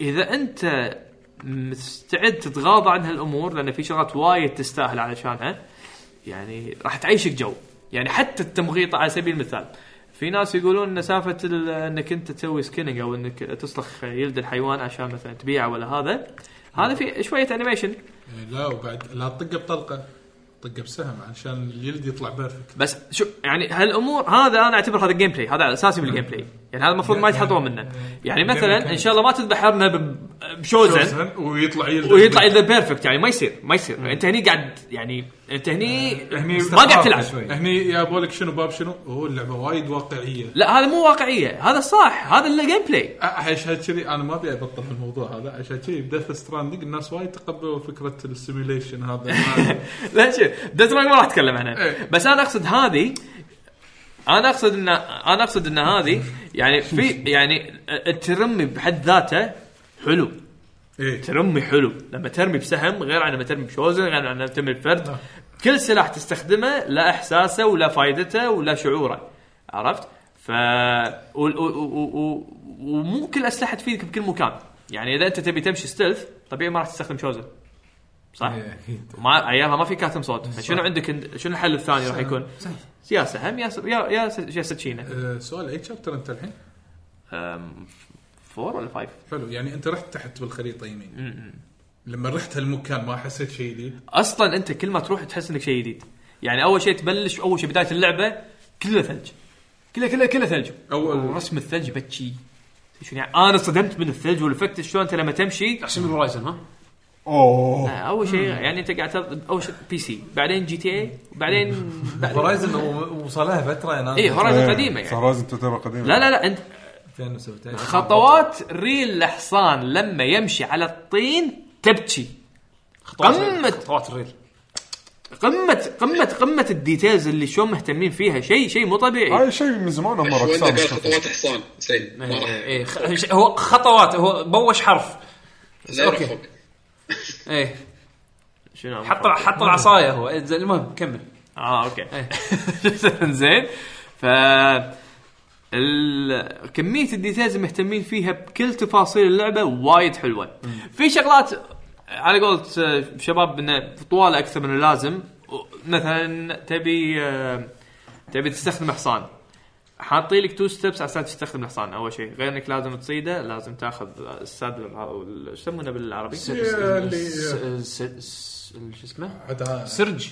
[SPEAKER 2] اذا انت مستعد تتغاضى عن هالامور لان في شغلات وايد تستاهل علشانها يعني راح تعيشك جو يعني حتى التمغيط على سبيل المثال في ناس يقولون ان سالفه ال- انك انت تسوي سكيننج او انك تسلخ يلد الحيوان عشان مثلا تبيعه ولا هذا هذا في شويه انيميشن
[SPEAKER 4] إيه، لا وبعد لا تطقه بطلقه طقه بسهم عشان اليلد يطلع بيرفكت
[SPEAKER 2] بس شو يعني هالامور هذا انا اعتبر هذا الجيم بلاي هذا اساسي بالجيم بلاي يعني هذا المفروض ما يتحطون منه يعني مثلا ان شاء الله ما تذبح ارنب ب- بشوزن
[SPEAKER 4] ويطلع يلد
[SPEAKER 2] ويطلع اذا بيرفكت يعني ما يصير ما يصير انت هني قاعد يعني انت هني ما قاعد تلعب
[SPEAKER 4] هني يابوا لك شنو باب شنو هو اللعبه وايد واقعيه
[SPEAKER 2] لا هذا مو واقعيه هذا صح هذا اللي جيم بلاي
[SPEAKER 4] أ- عشان كذي انا ما ابي ابطل في الموضوع هذا عشان كذي بديث ستراندنج الناس وايد تقبلوا فكره السيميليشن هذا
[SPEAKER 2] لا شوف ديث ما راح اتكلم عنها
[SPEAKER 4] إيه.
[SPEAKER 2] بس انا اقصد هذه انا اقصد ان انا اقصد ان هذه يعني في يعني الترمي بحد ذاته حلو
[SPEAKER 4] ايه
[SPEAKER 2] ترمي حلو لما ترمي بسهم غير عن لما ترمي بشوزن غير عن لما ترمي بفرد كل سلاح تستخدمه لا احساسه ولا فائدته ولا شعوره عرفت؟ ف وال- و- و- و- ومو كل الاسلحه تفيدك بكل مكان يعني اذا انت تبي تمشي ستيلث طبيعي ما راح تستخدم شوزن صح؟
[SPEAKER 4] إيه.
[SPEAKER 2] ما ايامها ما في كاتم صوت فشنو عندك انت- شنو الحل الثاني راح يكون؟ يا سهم يا س- يا يا س- يا سكينه
[SPEAKER 4] آه، سؤال اي شابتر انت الحين؟
[SPEAKER 2] أم، فور ولا فايف؟
[SPEAKER 4] حلو يعني انت رحت تحت بالخريطه يمين لما رحت هالمكان ما حسيت شيء جديد
[SPEAKER 2] اصلا انت كل ما تروح تحس انك شيء جديد يعني اول شيء تبلش اول شيء بدايه اللعبه كله ثلج كله كله كله ثلج
[SPEAKER 4] أول-
[SPEAKER 2] رسم الثلج بتشي شنو يعني انا صدمت من الثلج والافكت شلون انت لما تمشي
[SPEAKER 1] احسن من هورايزن ها
[SPEAKER 2] آه،
[SPEAKER 3] اوه
[SPEAKER 2] اول شيء يعني انت قاعد تض- اول شيء بي سي بعدين جي تي اي وبعدين بعدين
[SPEAKER 7] هورايزن هو- وصل لها فتره انا
[SPEAKER 2] اي
[SPEAKER 3] إيه.
[SPEAKER 2] هورايزن قديمه يعني
[SPEAKER 3] هورايزن تعتبر قديمه
[SPEAKER 2] لا لا لا انت
[SPEAKER 7] 2017
[SPEAKER 2] خطوات ريل الحصان لما يمشي على الطين تبكي قمة
[SPEAKER 1] خطوات الريل
[SPEAKER 2] قمة قمة قمة الديتيلز اللي شلون مهتمين فيها شيء شيء مو طبيعي
[SPEAKER 3] هاي شيء من زمان هم
[SPEAKER 8] شوي
[SPEAKER 3] رقصان
[SPEAKER 8] قال خطوات حصان زين
[SPEAKER 1] إيه.
[SPEAKER 8] ما راح
[SPEAKER 1] اي خ- ش- هو خطوات هو بوش حرف
[SPEAKER 8] لا
[SPEAKER 1] أوكي.
[SPEAKER 8] يروح فوق
[SPEAKER 1] اي
[SPEAKER 2] شنو
[SPEAKER 1] حط حط العصايه هو إيه، زين، المهم كمل
[SPEAKER 2] اه اوكي
[SPEAKER 1] إيه.
[SPEAKER 2] زين ف ال- كميه الديتيلز مهتمين فيها بكل تفاصيل اللعبه وايد حلوه في شغلات على قولة آه، شباب انه طواله اكثر من اللازم و- مثلا تبي آه، تبي تستخدم حصان حاطين لك تو ستبس على اساس تستخدم الحصان اول شيء غير انك لازم تصيده لازم تاخذ السادل الع- ال- شو يسمونه بالعربي؟
[SPEAKER 1] س-
[SPEAKER 4] اللي
[SPEAKER 1] س- س- شو اسمه
[SPEAKER 4] عاد
[SPEAKER 1] سرج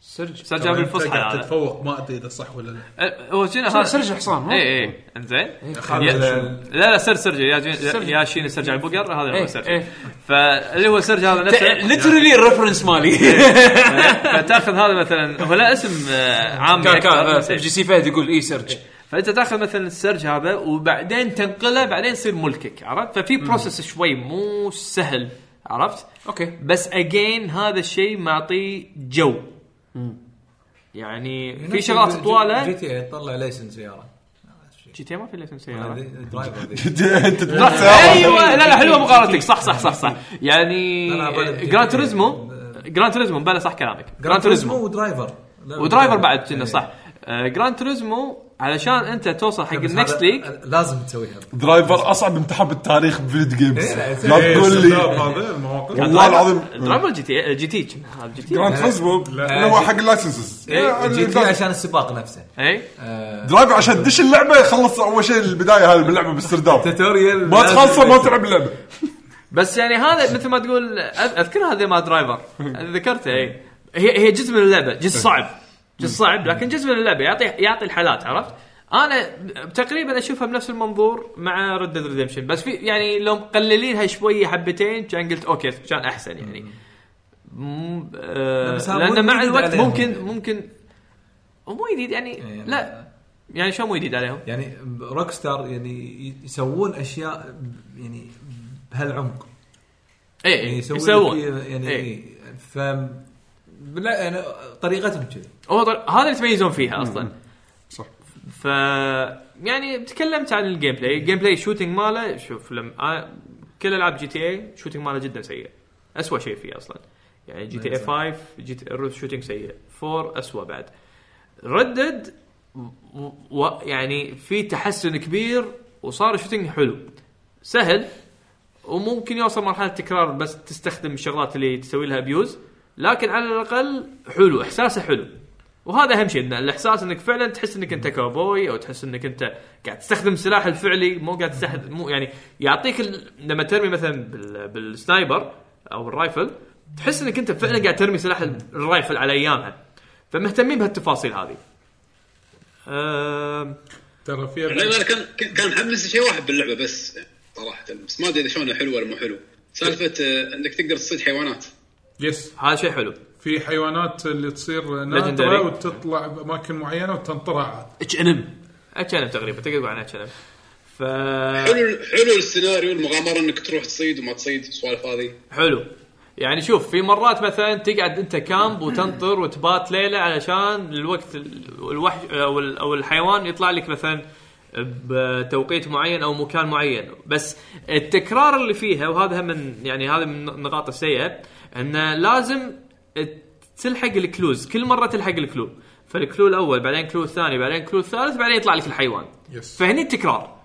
[SPEAKER 1] سرج
[SPEAKER 2] سجل
[SPEAKER 4] أنت
[SPEAKER 2] بالفصحى
[SPEAKER 4] قاعد
[SPEAKER 2] هذا
[SPEAKER 4] تتفوق ما ادري اذا صح ولا لا
[SPEAKER 2] أه، هو شنو إيه، هذا؟
[SPEAKER 1] سرج حصان مو؟
[SPEAKER 2] اي اي انزين
[SPEAKER 4] هذا
[SPEAKER 7] ال-
[SPEAKER 2] لا لا سر سرجة يا جين يا شين سرجة على البقر هذا هو
[SPEAKER 1] إيه،
[SPEAKER 2] سرجة
[SPEAKER 1] إيه.
[SPEAKER 2] فاللي هو سرجة هذا نفسه
[SPEAKER 1] ليترلي الريفرنس مالي
[SPEAKER 2] فتاخذ هذا مثلا هو لا اسم آه، عام
[SPEAKER 1] كان كان إيه،
[SPEAKER 2] أكثر.
[SPEAKER 1] جي سي فهد يقول اي سرج
[SPEAKER 2] فانت تاخذ مثلا السرج هذا وبعدين تنقله بعدين يصير ملكك عرفت ففي بروسس شوي مو سهل عرفت
[SPEAKER 1] اوكي
[SPEAKER 2] بس اجين هذا الشيء معطيه جو يعني في شغلات
[SPEAKER 7] جي
[SPEAKER 2] طواله
[SPEAKER 7] تي اي تطلع ليسن سياره
[SPEAKER 2] جي تي إيه ما في ليش سيارة
[SPEAKER 7] الدرايفر ذي.
[SPEAKER 3] انت تروح سياره
[SPEAKER 2] ايوه لا لا حلوه مقارنتك صح صح صح صح يعني
[SPEAKER 7] أيوة، لا، لا، بلد-
[SPEAKER 2] جران توريزمو جران توريزمو بلا صح كلامك جران توريزمو
[SPEAKER 7] ودرايفر لا،
[SPEAKER 2] ودرايفر بعد
[SPEAKER 7] إيه.
[SPEAKER 2] كنا صح آه، جران توريزمو علشان انت توصل حق
[SPEAKER 7] إيه. بس
[SPEAKER 2] النكست
[SPEAKER 7] هذا
[SPEAKER 2] ليج
[SPEAKER 7] لازم تسويها
[SPEAKER 3] درايفر اصعب امتحان بالتاريخ بفيديو جيمز
[SPEAKER 7] إيه، لا،
[SPEAKER 3] لا تقول لي
[SPEAKER 4] هذا المواقف
[SPEAKER 3] والله العظيم
[SPEAKER 2] درايفر جي تي جي تي كنا، هذا جي تي
[SPEAKER 3] جراند فيزبو اللي هو حق اللايسنسز
[SPEAKER 7] جي تي عشان السباق نفسه
[SPEAKER 2] اي
[SPEAKER 3] درايفر عشان تدش اللعبه خلص اول شيء البدايه هاي باللعبه باسترداد
[SPEAKER 7] توتوريال
[SPEAKER 3] ما تخلصه ما تلعب اللعبه
[SPEAKER 2] بس يعني هذا مثل ما تقول أذ- اذكر هذا ما درايفر ذكرته اي هي هي جزء من اللعبه جزء صعب جزء صعب لكن جزء من اللعبه يعطي يعطي الحالات عرفت؟ انا تقريبا اشوفها بنفس المنظور مع ريد ديد ريدمشن بس في يعني لو مقللينها شويه حبتين كان قلت اوكي كان احسن يعني مم، آه،
[SPEAKER 7] بس هذا مو
[SPEAKER 2] لان مع
[SPEAKER 7] جديد
[SPEAKER 2] الوقت
[SPEAKER 7] عليهم.
[SPEAKER 2] ممكن ممكن هو مو جديد يعني
[SPEAKER 7] إيه.
[SPEAKER 2] لا يعني شو مو جديد عليهم
[SPEAKER 7] يعني روك ستار يعني يسوون اشياء ب- يعني بهالعمق
[SPEAKER 2] اي
[SPEAKER 7] يعني
[SPEAKER 2] إيه، يسوون
[SPEAKER 7] لك يعني
[SPEAKER 2] إيه.
[SPEAKER 7] إيه. ف لا يعني طريقتهم كذي
[SPEAKER 2] هو طل- هذا اللي يتميزون فيها اصلا
[SPEAKER 3] صح.
[SPEAKER 2] ف يعني تكلمت عن الجيم بلاي، الجيم بلاي شوتنج ماله شوف لم... أنا... كل العاب جي تي اي شوتنج ماله جدا سيء. اسوء شيء فيه اصلا. يعني جي تي اي 5 جي تي شوتنج سيء، 4 اسوء بعد. ردد و... و... يعني في تحسن كبير وصار الشوتنج حلو. سهل وممكن يوصل مرحله تكرار بس تستخدم الشغلات اللي تسوي لها ابيوز لكن على الاقل حلو احساسه حلو وهذا اهم شيء ان الاحساس انك فعلا تحس انك انت كاوبوي او تحس انك انت قاعد تستخدم السلاح الفعلي مو قاعد تستخدم مو يعني يعطيك ال... لما ترمي مثلا بال... بالسنايبر او بالرايفل تحس انك انت فعلا قاعد ترمي سلاح ال- الرايفل على ايامها فمهتمين بهالتفاصيل هذه. أم...
[SPEAKER 4] ترى
[SPEAKER 8] لا
[SPEAKER 4] فيها
[SPEAKER 8] لا كان كان محمس شيء واحد باللعبه بس صراحه بس ما ادري اذا شلونه حلو ولا مو حلو سالفه آه، انك تقدر تصيد حيوانات
[SPEAKER 4] يس
[SPEAKER 2] هذا شيء حلو.
[SPEAKER 4] في حيوانات اللي تصير نادره وتطلع باماكن معينه وتنطرها عاد
[SPEAKER 1] اتش ان ام
[SPEAKER 2] اتش تقريبا تقدر تقول عن اتش ف
[SPEAKER 1] آه.
[SPEAKER 8] حلو حلو السيناريو المغامره انك تروح تصيد وما تصيد السوالف هذه
[SPEAKER 2] حلو يعني شوف في مرات مثلا تقعد انت كامب وتنطر وتبات ليله علشان الوقت ال- الوحش او ال- او الحيوان يطلع لك مثلا بتوقيت معين او مكان معين بس التكرار اللي فيها وهذا هم من يعني هذا من النقاط السيئه انه لازم تلحق الكلوز كل مره تلحق الكلو فالكلو الاول بعدين كلو الثاني بعدين كلو الثالث بعدين يطلع لك الحيوان
[SPEAKER 4] يس
[SPEAKER 2] فهني التكرار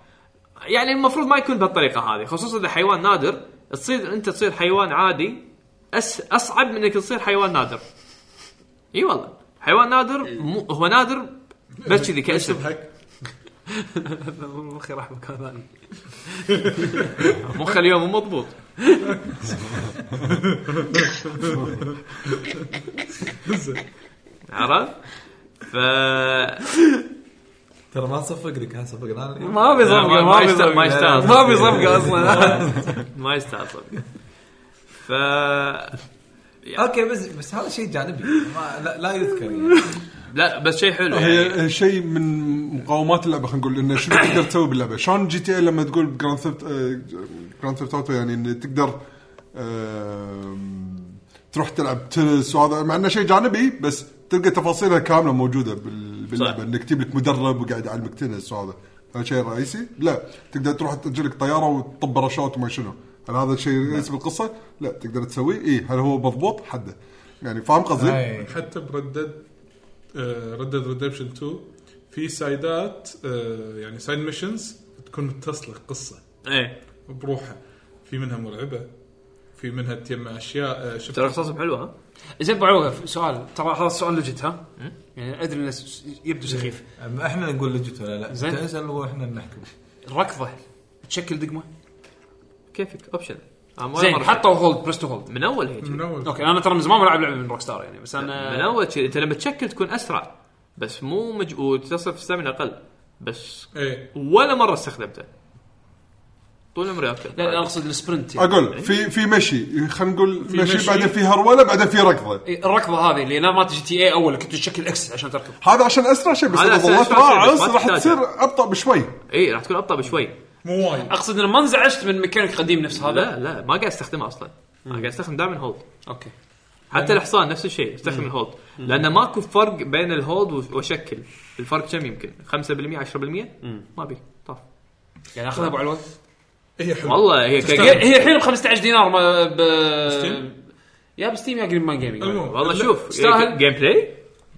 [SPEAKER 2] يعني المفروض ما يكون بهالطريقه هذه خصوصا اذا حيوان نادر تصير انت تصير حيوان عادي أس اصعب من انك تصير حيوان نادر اي والله حيوان نادر مو هو نادر بس كذي كاسم
[SPEAKER 4] تضحك
[SPEAKER 1] مخي راح مكان ثاني
[SPEAKER 2] مخه اليوم مو مضبوط عرفت؟ ف
[SPEAKER 7] ترى ما صفق لك ها صفق انا
[SPEAKER 1] ما ابي صفقه آه، ما ابي
[SPEAKER 2] يست-
[SPEAKER 1] صفقه
[SPEAKER 2] ما يستاهل
[SPEAKER 1] ما ابي صفقه اصلا
[SPEAKER 2] ما يستاهل صدق. ف
[SPEAKER 7] اوكي بس بس هذا شيء جانبي ما لا, لا يذكر يعني.
[SPEAKER 2] لا بس شيء حلو يعني
[SPEAKER 3] هي شيء من مقاومات اللعبه خلينا نقول انه شنو تقدر تسوي باللعبه شلون جي تي اي لما تقول آه، جراند ثيفت جراند ثيفت اوتو يعني ان تقدر آم، تروح تلعب تنس وهذا مع انه شيء جانبي بس تلقى تفاصيلها كامله موجوده بال- باللعبه انك تجيب لك مدرب وقاعد يعلمك تنس وهذا هذا شيء رئيسي لا تقدر تروح تاجلك طياره وتطب رشوت وما شنو هل هذا الشيء رئيسي
[SPEAKER 2] نعم.
[SPEAKER 3] بالقصه؟ لا تقدر تسويه اي هل هو مضبوط؟ حده يعني فاهم قصدي؟
[SPEAKER 7] أي.
[SPEAKER 4] حتى آه، بردد ردد ريدمشن 2 في سايدات آه، يعني سايد ميشنز تكون متصله قصه
[SPEAKER 2] ايه
[SPEAKER 4] بروحها في منها مرعبه في منها تجمع اشياء آه، شفت
[SPEAKER 2] ترى قصصهم حلوه ها
[SPEAKER 1] زين ابو عوف سؤال ترى هذا السؤال لجت ها يعني ادري انه س- يبدو سخيف
[SPEAKER 7] أما احنا نقول لجت ولا لا
[SPEAKER 1] زين.
[SPEAKER 7] انت اسال واحنا نحكم
[SPEAKER 1] الركضه تشكل دقمه
[SPEAKER 2] كيفك اوبشن
[SPEAKER 1] زين حطوا هولد بريست هولد
[SPEAKER 2] من اول هيك
[SPEAKER 4] من اول
[SPEAKER 1] اوكي انا ترى من زمان ما العب لعبه من روك ستار يعني بس
[SPEAKER 2] من
[SPEAKER 1] انا
[SPEAKER 2] اول شيء انت لما تشكل تكون اسرع بس مو مجهود تصرف ستامين اقل بس
[SPEAKER 4] ايه
[SPEAKER 2] ولا مره استخدمته طول عمري اكل
[SPEAKER 1] لا لا، اقصد السبرنت يعني
[SPEAKER 3] اقول في في مشي خلينا نقول مشي,
[SPEAKER 4] مشي.
[SPEAKER 3] بعدين في هروله بعدين في ركضه
[SPEAKER 1] الركضه هذه اللي انا ما تجي تي اي اول كنت تشكل اكس عشان تركض
[SPEAKER 3] هذا عشان اسرع شيء بس
[SPEAKER 2] هذا
[SPEAKER 3] اذا
[SPEAKER 2] عشان
[SPEAKER 3] ظلت
[SPEAKER 2] أسرع شيء، بس
[SPEAKER 3] راعس
[SPEAKER 2] ما
[SPEAKER 3] راح
[SPEAKER 2] تحتاجه.
[SPEAKER 3] تصير ابطا بشوي
[SPEAKER 2] اي إيه، راح تكون ابطا بشوي
[SPEAKER 4] مو وايد
[SPEAKER 1] اقصد انه ما انزعجت من ميكانيك قديم نفس هذا
[SPEAKER 2] لا لا ما قاعد استخدمه اصلا انا قاعد استخدم دائما هولد
[SPEAKER 1] اوكي يعني
[SPEAKER 2] حتى الحصان نفس الشيء استخدم الهولد لان ماكو فرق بين الهولد و- واشكل الفرق كم يمكن 5% 10% ما بي طاف
[SPEAKER 1] يعني اخذها ابو علوان
[SPEAKER 4] هي حلوه
[SPEAKER 2] والله إيه. هي
[SPEAKER 1] هي
[SPEAKER 2] كجيم
[SPEAKER 1] هي الحين ب 15 دينار ما ب
[SPEAKER 4] ستيم؟
[SPEAKER 1] يا بستيم يا جرين مان جيمنج
[SPEAKER 4] المهم،
[SPEAKER 2] والله
[SPEAKER 4] لا،
[SPEAKER 2] شوف
[SPEAKER 1] تستاهل.
[SPEAKER 2] جيم بلاي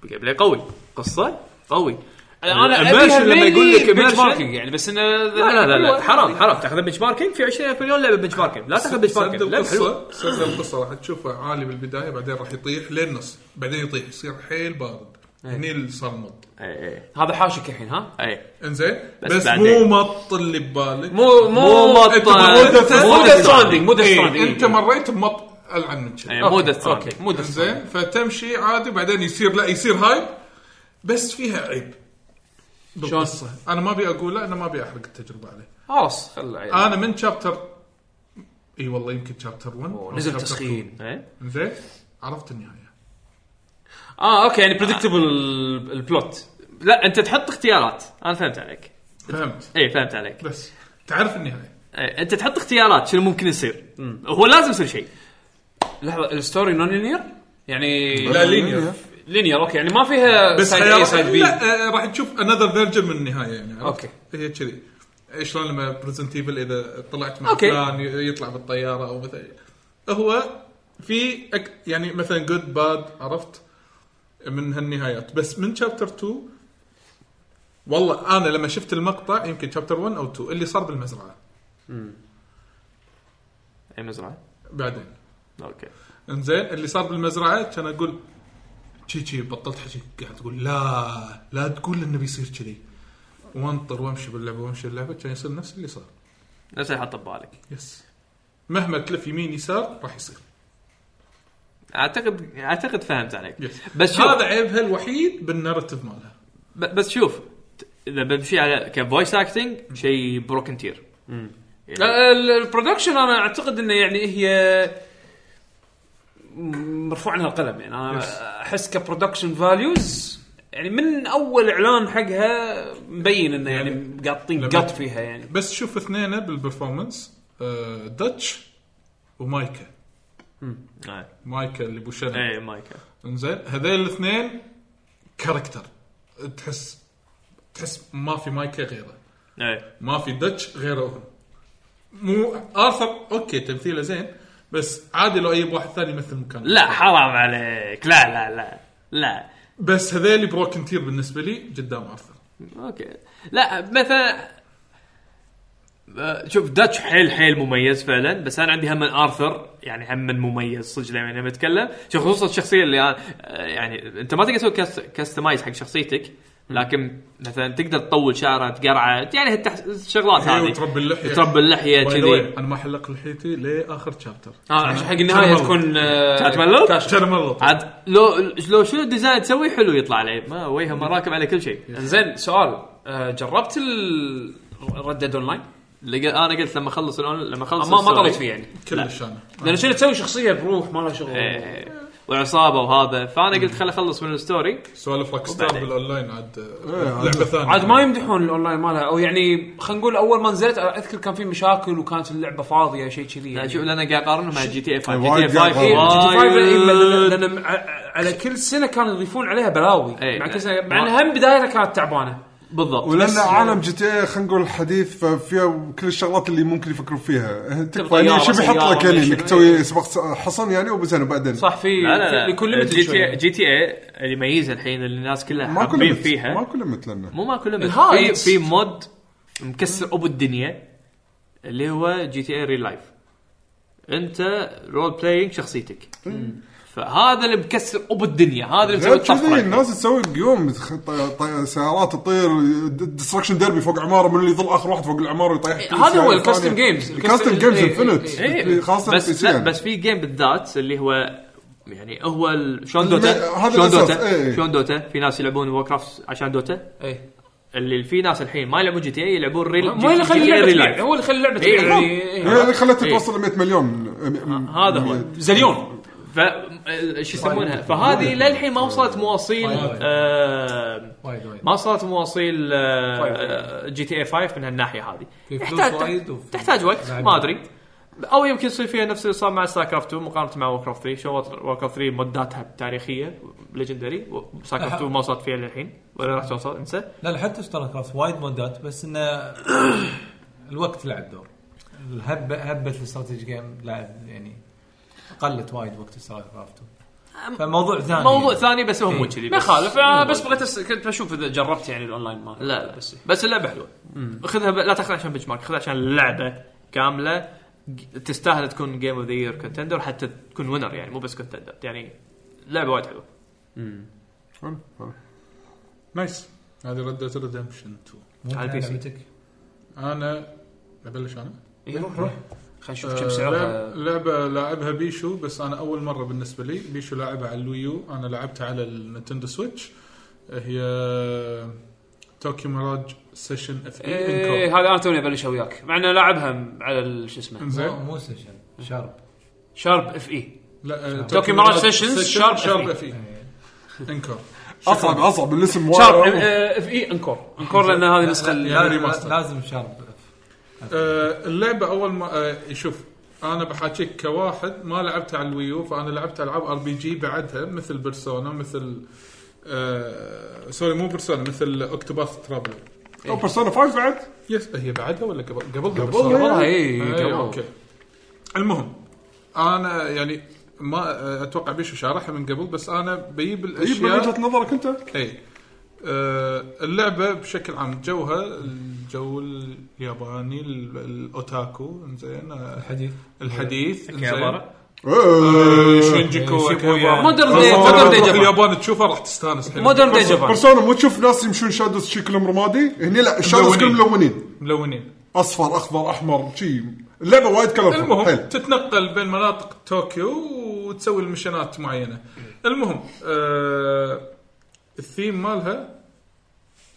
[SPEAKER 2] جيم بلاي قوي قصه قوي
[SPEAKER 1] انا
[SPEAKER 2] Immersion
[SPEAKER 1] ابيها
[SPEAKER 2] لما يقول لك
[SPEAKER 1] بنش
[SPEAKER 2] immersion.
[SPEAKER 1] ماركينج يعني بس انه
[SPEAKER 2] لا لا لا, لا حرام حرام تاخذ بنش ماركينج في 20000 مليون لعبه بنش ماركينج لا تاخذ بنش ماركينج
[SPEAKER 4] سرد
[SPEAKER 2] لا حلوه
[SPEAKER 4] القصه سرد القصه راح تشوفه عالي بالبدايه بعدين راح يطيح للنص بعدين يطيح يصير حيل بارد
[SPEAKER 2] إيه.
[SPEAKER 4] هني اللي صار مط
[SPEAKER 2] اي
[SPEAKER 1] هذا حاشك الحين ها
[SPEAKER 2] اي
[SPEAKER 4] انزين
[SPEAKER 2] بس
[SPEAKER 4] بس, بس مو
[SPEAKER 2] بعدين.
[SPEAKER 4] مط اللي ببالك
[SPEAKER 1] مو مو
[SPEAKER 2] مو
[SPEAKER 4] أنت
[SPEAKER 2] مط
[SPEAKER 4] مريت-
[SPEAKER 1] مو
[SPEAKER 4] أنت-
[SPEAKER 1] ديث ستراندينج مو ديث
[SPEAKER 4] إيه،
[SPEAKER 1] ستراندينج
[SPEAKER 4] انت مريت بمط العن من كذا
[SPEAKER 2] إيه، مو
[SPEAKER 1] أوكي،
[SPEAKER 2] ديث ستراندينج.
[SPEAKER 1] أوكي، مو ديث ستراندينج.
[SPEAKER 4] زين فتمشي عادي بعدين يصير لا يصير هايب بس فيها عيب بالقصه انا ما ابي اقوله انا ما ابي احرق التجربه عليه
[SPEAKER 1] خلاص خل يعني.
[SPEAKER 4] انا من شابتر اي والله يمكن شابتر 1 أو
[SPEAKER 1] نزل
[SPEAKER 4] chapter
[SPEAKER 1] تسخين
[SPEAKER 2] إيه.
[SPEAKER 4] 2. زين عرفت النهايه
[SPEAKER 2] آه،
[SPEAKER 1] اه اوكي يعني بريدكتبل البلوت
[SPEAKER 2] لا انت تحط اختيارات انا فهمت عليك
[SPEAKER 4] فهمت
[SPEAKER 2] اي فهمت عليك
[SPEAKER 4] بس تعرف النهايه
[SPEAKER 2] إيه، انت تحط اختيارات شنو ممكن يصير هو لازم يصير شيء
[SPEAKER 1] لحظه الستوري نون لينير يعني
[SPEAKER 4] لا لينير
[SPEAKER 1] لينير اوكي يعني ما فيها
[SPEAKER 4] بس
[SPEAKER 1] سايد اي
[SPEAKER 4] خيارات
[SPEAKER 1] سايد بي
[SPEAKER 4] لا آه، راح تشوف انذر فيرجن من النهايه يعني عرفت؟
[SPEAKER 1] أوكي.
[SPEAKER 4] هي كذي شلون لما بريزنت ايفل اذا طلعت مع
[SPEAKER 1] أوكي.
[SPEAKER 4] فلان ي- يطلع بالطياره او مثلا هو في أك يعني مثلا جود باد عرفت من هالنهايات بس من شابتر 2 والله انا لما شفت المقطع يمكن شابتر 1 او 2 اللي صار بالمزرعه
[SPEAKER 2] اي مزرعه
[SPEAKER 4] بعدين
[SPEAKER 2] اوكي
[SPEAKER 4] انزين اللي صار بالمزرعه كان اقول شي شي بطلت حكي قاعد تقول لا لا تقول انه بيصير كذي وانطر وامشي باللعبه وامشي باللعبه كان يصير نفس اللي صار
[SPEAKER 2] نفس اللي حاطه ببالك
[SPEAKER 4] يس مهما تلف يمين يسار راح يصير
[SPEAKER 2] اعتقد اعتقد فهمت عليك
[SPEAKER 4] يس
[SPEAKER 2] بس شوف
[SPEAKER 4] هذا عيبها الوحيد بالنارتيف مالها
[SPEAKER 2] ب- بس شوف ت- اذا بمشي على كفويس اكتنج شيء بروكن تير يعني
[SPEAKER 1] لا، ال- البرودكشن انا اعتقد انه يعني هي مرفوع عنها القلم يعني انا احس كبرودكشن فاليوز يعني من اول اعلان حقها مبين انه يعني قاطين
[SPEAKER 4] لما-
[SPEAKER 1] قط فيها يعني
[SPEAKER 4] بس شوف اثنين بالبرفورمانس آه، داتش ومايكا
[SPEAKER 2] آه.
[SPEAKER 4] مايكا اللي بوشنا
[SPEAKER 1] إيه،
[SPEAKER 2] اي مايكا
[SPEAKER 4] انزين هذيل الاثنين كاركتر تحس تحس ما في مايكا غيره
[SPEAKER 2] اي
[SPEAKER 1] إيه.
[SPEAKER 4] ما في دتش غيرهم مو ارثر اوكي تمثيله زين بس عادي لو اي واحد ثاني يمثل مكانه
[SPEAKER 2] لا حرام عليك لا لا لا لا
[SPEAKER 4] بس هذيلي بروكن تير بالنسبه لي قدام ارثر
[SPEAKER 2] اوكي لا مثلا آه، شوف داتش حيل حيل مميز فعلا بس انا عندي هم ارثر يعني هم مميز صدق لما لما اتكلم شوف خصوصا الشخصيه اللي أنا آه، يعني انت ما تقدر تسوي كاست- كاستمايز حق شخصيتك لكن مثلا تقدر تطول شعره تقرعه يعني هالتح- الشغلات
[SPEAKER 4] إيه،
[SPEAKER 2] هذه
[SPEAKER 4] وتربي اللحية.
[SPEAKER 2] تربي اللحيه
[SPEAKER 4] By the
[SPEAKER 2] كذي
[SPEAKER 4] way، انا ما حلق لحيتي لاخر شابتر
[SPEAKER 1] اه عشان حق النهايه تكون آه،
[SPEAKER 2] تتملل؟
[SPEAKER 1] كاش.
[SPEAKER 4] عشان امرض
[SPEAKER 2] عاد لو لو شنو الديزاين تسوي حلو يطلع عليه ما وجهه مراكب على كل شيء
[SPEAKER 1] زين سؤال آه، جربت ال ردد اون لاين؟
[SPEAKER 2] لقى- انا قلت لما اخلص الأون- لما اخلص
[SPEAKER 1] ما ما
[SPEAKER 2] السوري.
[SPEAKER 1] طريت فيه يعني
[SPEAKER 4] كلش انا
[SPEAKER 1] لان شنو تسوي شخصيه بروح ما لها شغل
[SPEAKER 2] آه. إيه، وعصابه وهذا فانا قلت خل اخلص من الستوري
[SPEAKER 4] سوالف روك ستار
[SPEAKER 2] وبعدين.
[SPEAKER 4] بالاونلاين عاد
[SPEAKER 3] إيه،
[SPEAKER 4] لعبه ثانيه
[SPEAKER 1] عاد ما يمدحون الاونلاين مالها او يعني خلينا نقول اول ما نزلت اذكر كان في مشاكل وكانت اللعبه فاضيه شيء كذي
[SPEAKER 2] لا
[SPEAKER 1] يعني
[SPEAKER 2] شوف لان قاعد اقارنه مع جي تي اي 5
[SPEAKER 3] وايد
[SPEAKER 2] جي تي اي 5
[SPEAKER 3] قاعد
[SPEAKER 2] آه،
[SPEAKER 1] GTA five لأن- لأن-
[SPEAKER 2] وايد
[SPEAKER 1] لان ع- على كل سنه كانوا يضيفون عليها بلاوي
[SPEAKER 2] إيه،
[SPEAKER 1] مع كل
[SPEAKER 2] إيه.
[SPEAKER 1] سنه مع انها هم بدايتها كانت تعبانه
[SPEAKER 2] بالضبط
[SPEAKER 3] ولان عالم جي تي اي خلينا نقول حديث ففيها كل الشغلات اللي ممكن يفكروا فيها تكفى
[SPEAKER 1] طيارة،
[SPEAKER 3] يعني شو بيحط
[SPEAKER 1] سيارة،
[SPEAKER 3] لك يعني
[SPEAKER 1] شنو
[SPEAKER 3] انك تسوي سباق حصن يعني وبزين وبعدين
[SPEAKER 1] صح في
[SPEAKER 2] لا لا
[SPEAKER 1] في-
[SPEAKER 2] لا
[SPEAKER 1] لكل ليمت
[SPEAKER 2] جي تي إيه-
[SPEAKER 1] شوية.
[SPEAKER 2] جي تي اي اللي يميزها الحين اللي الناس كلها
[SPEAKER 3] ماكو
[SPEAKER 2] حابين
[SPEAKER 3] ليمت
[SPEAKER 2] فيها
[SPEAKER 3] ماكو ليمت لانه
[SPEAKER 2] مو ماكو ليمت في
[SPEAKER 1] الهايتس.
[SPEAKER 2] في مود مكسر ابو الدنيا اللي هو جي تي إيه اي ريل لايف انت رول بلاينج شخصيتك فهذا اللي مكسر ابو الدنيا هذا اللي مسوي
[SPEAKER 3] غير كذي
[SPEAKER 2] الطفره
[SPEAKER 3] الناس تسوي قيوم تخ- طي- طي- سيارات تطير ديستركشن ديربي فوق عماره من اللي يظل اخر واحد فوق العماره يطيح كل
[SPEAKER 1] هذا هو
[SPEAKER 3] سيارة
[SPEAKER 1] الكاستم
[SPEAKER 3] ثانية.
[SPEAKER 1] جيمز.
[SPEAKER 3] الكاستم
[SPEAKER 1] الكاستم-
[SPEAKER 3] جيمز
[SPEAKER 1] إيه، إيه،
[SPEAKER 3] انفنت
[SPEAKER 2] إيه
[SPEAKER 3] خاصه البي
[SPEAKER 2] بس
[SPEAKER 3] سي
[SPEAKER 2] لا
[SPEAKER 3] يعني.
[SPEAKER 2] بس في جيم بالذات اللي هو يعني هو ال- شلون دوتا
[SPEAKER 3] هذا
[SPEAKER 2] شلون
[SPEAKER 3] الأساس،
[SPEAKER 2] دوتا
[SPEAKER 3] إيه.
[SPEAKER 2] شلون دوتا في ناس يلعبون وور كرافت عشان دوتا
[SPEAKER 1] إيه.
[SPEAKER 2] اللي في ناس الحين ما يلعبون جي تي اي يلعبون ريل
[SPEAKER 1] مو هو اللي خلى اللعبه تبيع، هو اللي خلى اللعبه تبيع
[SPEAKER 2] إيه.
[SPEAKER 1] يعني إيه.
[SPEAKER 3] هي اللي خلتها توصل ل 100 مليون
[SPEAKER 2] هذا
[SPEAKER 3] إيه.
[SPEAKER 2] هو.
[SPEAKER 1] زليون
[SPEAKER 2] ف ال- شو يسمونها فهذه للحين ما وصلت مواصيل
[SPEAKER 7] وايد.
[SPEAKER 2] آه،
[SPEAKER 7] وايد وايد
[SPEAKER 2] ما وصلت مواصيل آه،
[SPEAKER 1] وايد.
[SPEAKER 2] جي تي اي 5 من هالناحيه هذه
[SPEAKER 7] في فلوس وايد
[SPEAKER 2] تحتاج
[SPEAKER 7] وفي-
[SPEAKER 2] تحتاج وقت
[SPEAKER 7] لاعبين.
[SPEAKER 2] ما ادري او يمكن يصير فيها نفس اللي صار مع ستار كرافت 2 مقارنه مع ووركرافت 3 شو ووركرافت 3 موداتها تاريخيه ليجندري ستار كرافت 2 ما وصلت فيها للحين ولا راح توصل انسى
[SPEAKER 7] لا لا حتى ستار كرافت وايد مودات بس انه الوقت لعب دور الهبه هبه الاستراتيجي جيم لعب يعني قلت وايد وقت ستار كرافت فموضوع ثاني
[SPEAKER 2] موضوع ثاني بس هو
[SPEAKER 7] إيه.
[SPEAKER 2] مو كذي
[SPEAKER 1] ما
[SPEAKER 2] بس-
[SPEAKER 1] يخالف أنا بس بغيت أس- كنت بشوف اذا جربت يعني الاونلاين مال
[SPEAKER 2] لا لا
[SPEAKER 1] بس
[SPEAKER 2] بس بس اللعبه حلوه خذها ب... لا تاخذها عشان بنش مارك خذها عشان اللعبه كامله ج- تستاهل تكون جيم اوف ذا يير كونتندر حتى تكون وينر يعني مو بس كونتندر يعني لعبه وايد حلوه
[SPEAKER 4] نايس هذه ردة ريدمشن 2
[SPEAKER 2] على البي سي.
[SPEAKER 4] انا ابلش انا
[SPEAKER 1] روح روح خلينا نشوف كم
[SPEAKER 4] آه،
[SPEAKER 1] سعرها
[SPEAKER 4] لعب- لعبه لاعبها بيشو بس انا اول مره بالنسبه لي بيشو لاعبها على الويو انا لعبتها على النينتندو سويتش هي توكيو ميراج سيشن إيه، اف بي
[SPEAKER 1] ايه هذا انا توني ابلش وياك مع انه لاعبها على ال- شو اسمه
[SPEAKER 7] مو
[SPEAKER 4] انزين
[SPEAKER 7] مو سيشن شارب
[SPEAKER 1] شارب E. اف اي
[SPEAKER 4] لا
[SPEAKER 1] آه، توكيو ميراج سيشنز، شارب إيه.
[SPEAKER 4] شارب
[SPEAKER 1] FE.
[SPEAKER 4] اف انكر
[SPEAKER 3] اصعب اصعب الاسم
[SPEAKER 1] شارب
[SPEAKER 3] وايد.
[SPEAKER 2] إيه.
[SPEAKER 1] اف اي انكور انكور لان هذه النسخه اللي-
[SPEAKER 4] يعني
[SPEAKER 7] لازم-
[SPEAKER 4] ريماستر.
[SPEAKER 7] لازم شارب
[SPEAKER 4] آه، اللعبه اول ما آه، شوف انا بحاكيك كواحد ما لعبتها على الويو فانا لعبت العاب ار بي جي بعدها مثل بيرسونا مثل آه سوري مو بيرسونا مثل اوكتوباث ترابل
[SPEAKER 3] او بيرسونا 5 بعد
[SPEAKER 4] يس هي بعدها ولا قبل قبل إيه،
[SPEAKER 3] قبل.
[SPEAKER 4] قبل
[SPEAKER 1] والله اي
[SPEAKER 4] اي اوكي المهم انا يعني ما آه، اتوقع بيشو شارحها من قبل بس انا بجيب
[SPEAKER 3] جيب من
[SPEAKER 4] الاشياء
[SPEAKER 3] وجهه نظرك انت
[SPEAKER 4] اي آه، اللعبه بشكل عام جوها الجو الياباني ال- الاوتاكو زين
[SPEAKER 7] الحديث
[SPEAKER 4] الحديث زين
[SPEAKER 2] كيابارا.
[SPEAKER 3] إيه.
[SPEAKER 4] شينجيكو
[SPEAKER 7] شيبويا.
[SPEAKER 1] Modern
[SPEAKER 4] بس
[SPEAKER 1] day-
[SPEAKER 4] لما
[SPEAKER 1] modern day
[SPEAKER 4] إيه،
[SPEAKER 1] Japan.
[SPEAKER 4] تروح اليابان تشوفه راح تستانس حيل.
[SPEAKER 1] مودرن دي جابان
[SPEAKER 3] بيرسونا مو تشوف ناس يمشون شادوس شكلهم رمادي هني لا الشادوس
[SPEAKER 4] ملونين.
[SPEAKER 3] كلهم ملونين
[SPEAKER 4] ملونين
[SPEAKER 3] اصفر اخضر احمر شي اللعبه وايد كلام
[SPEAKER 4] المهم
[SPEAKER 3] حلو
[SPEAKER 4] تتنقل بين مناطق طوكيو وتسوي المشنات معينه المهم آه الثيم مالها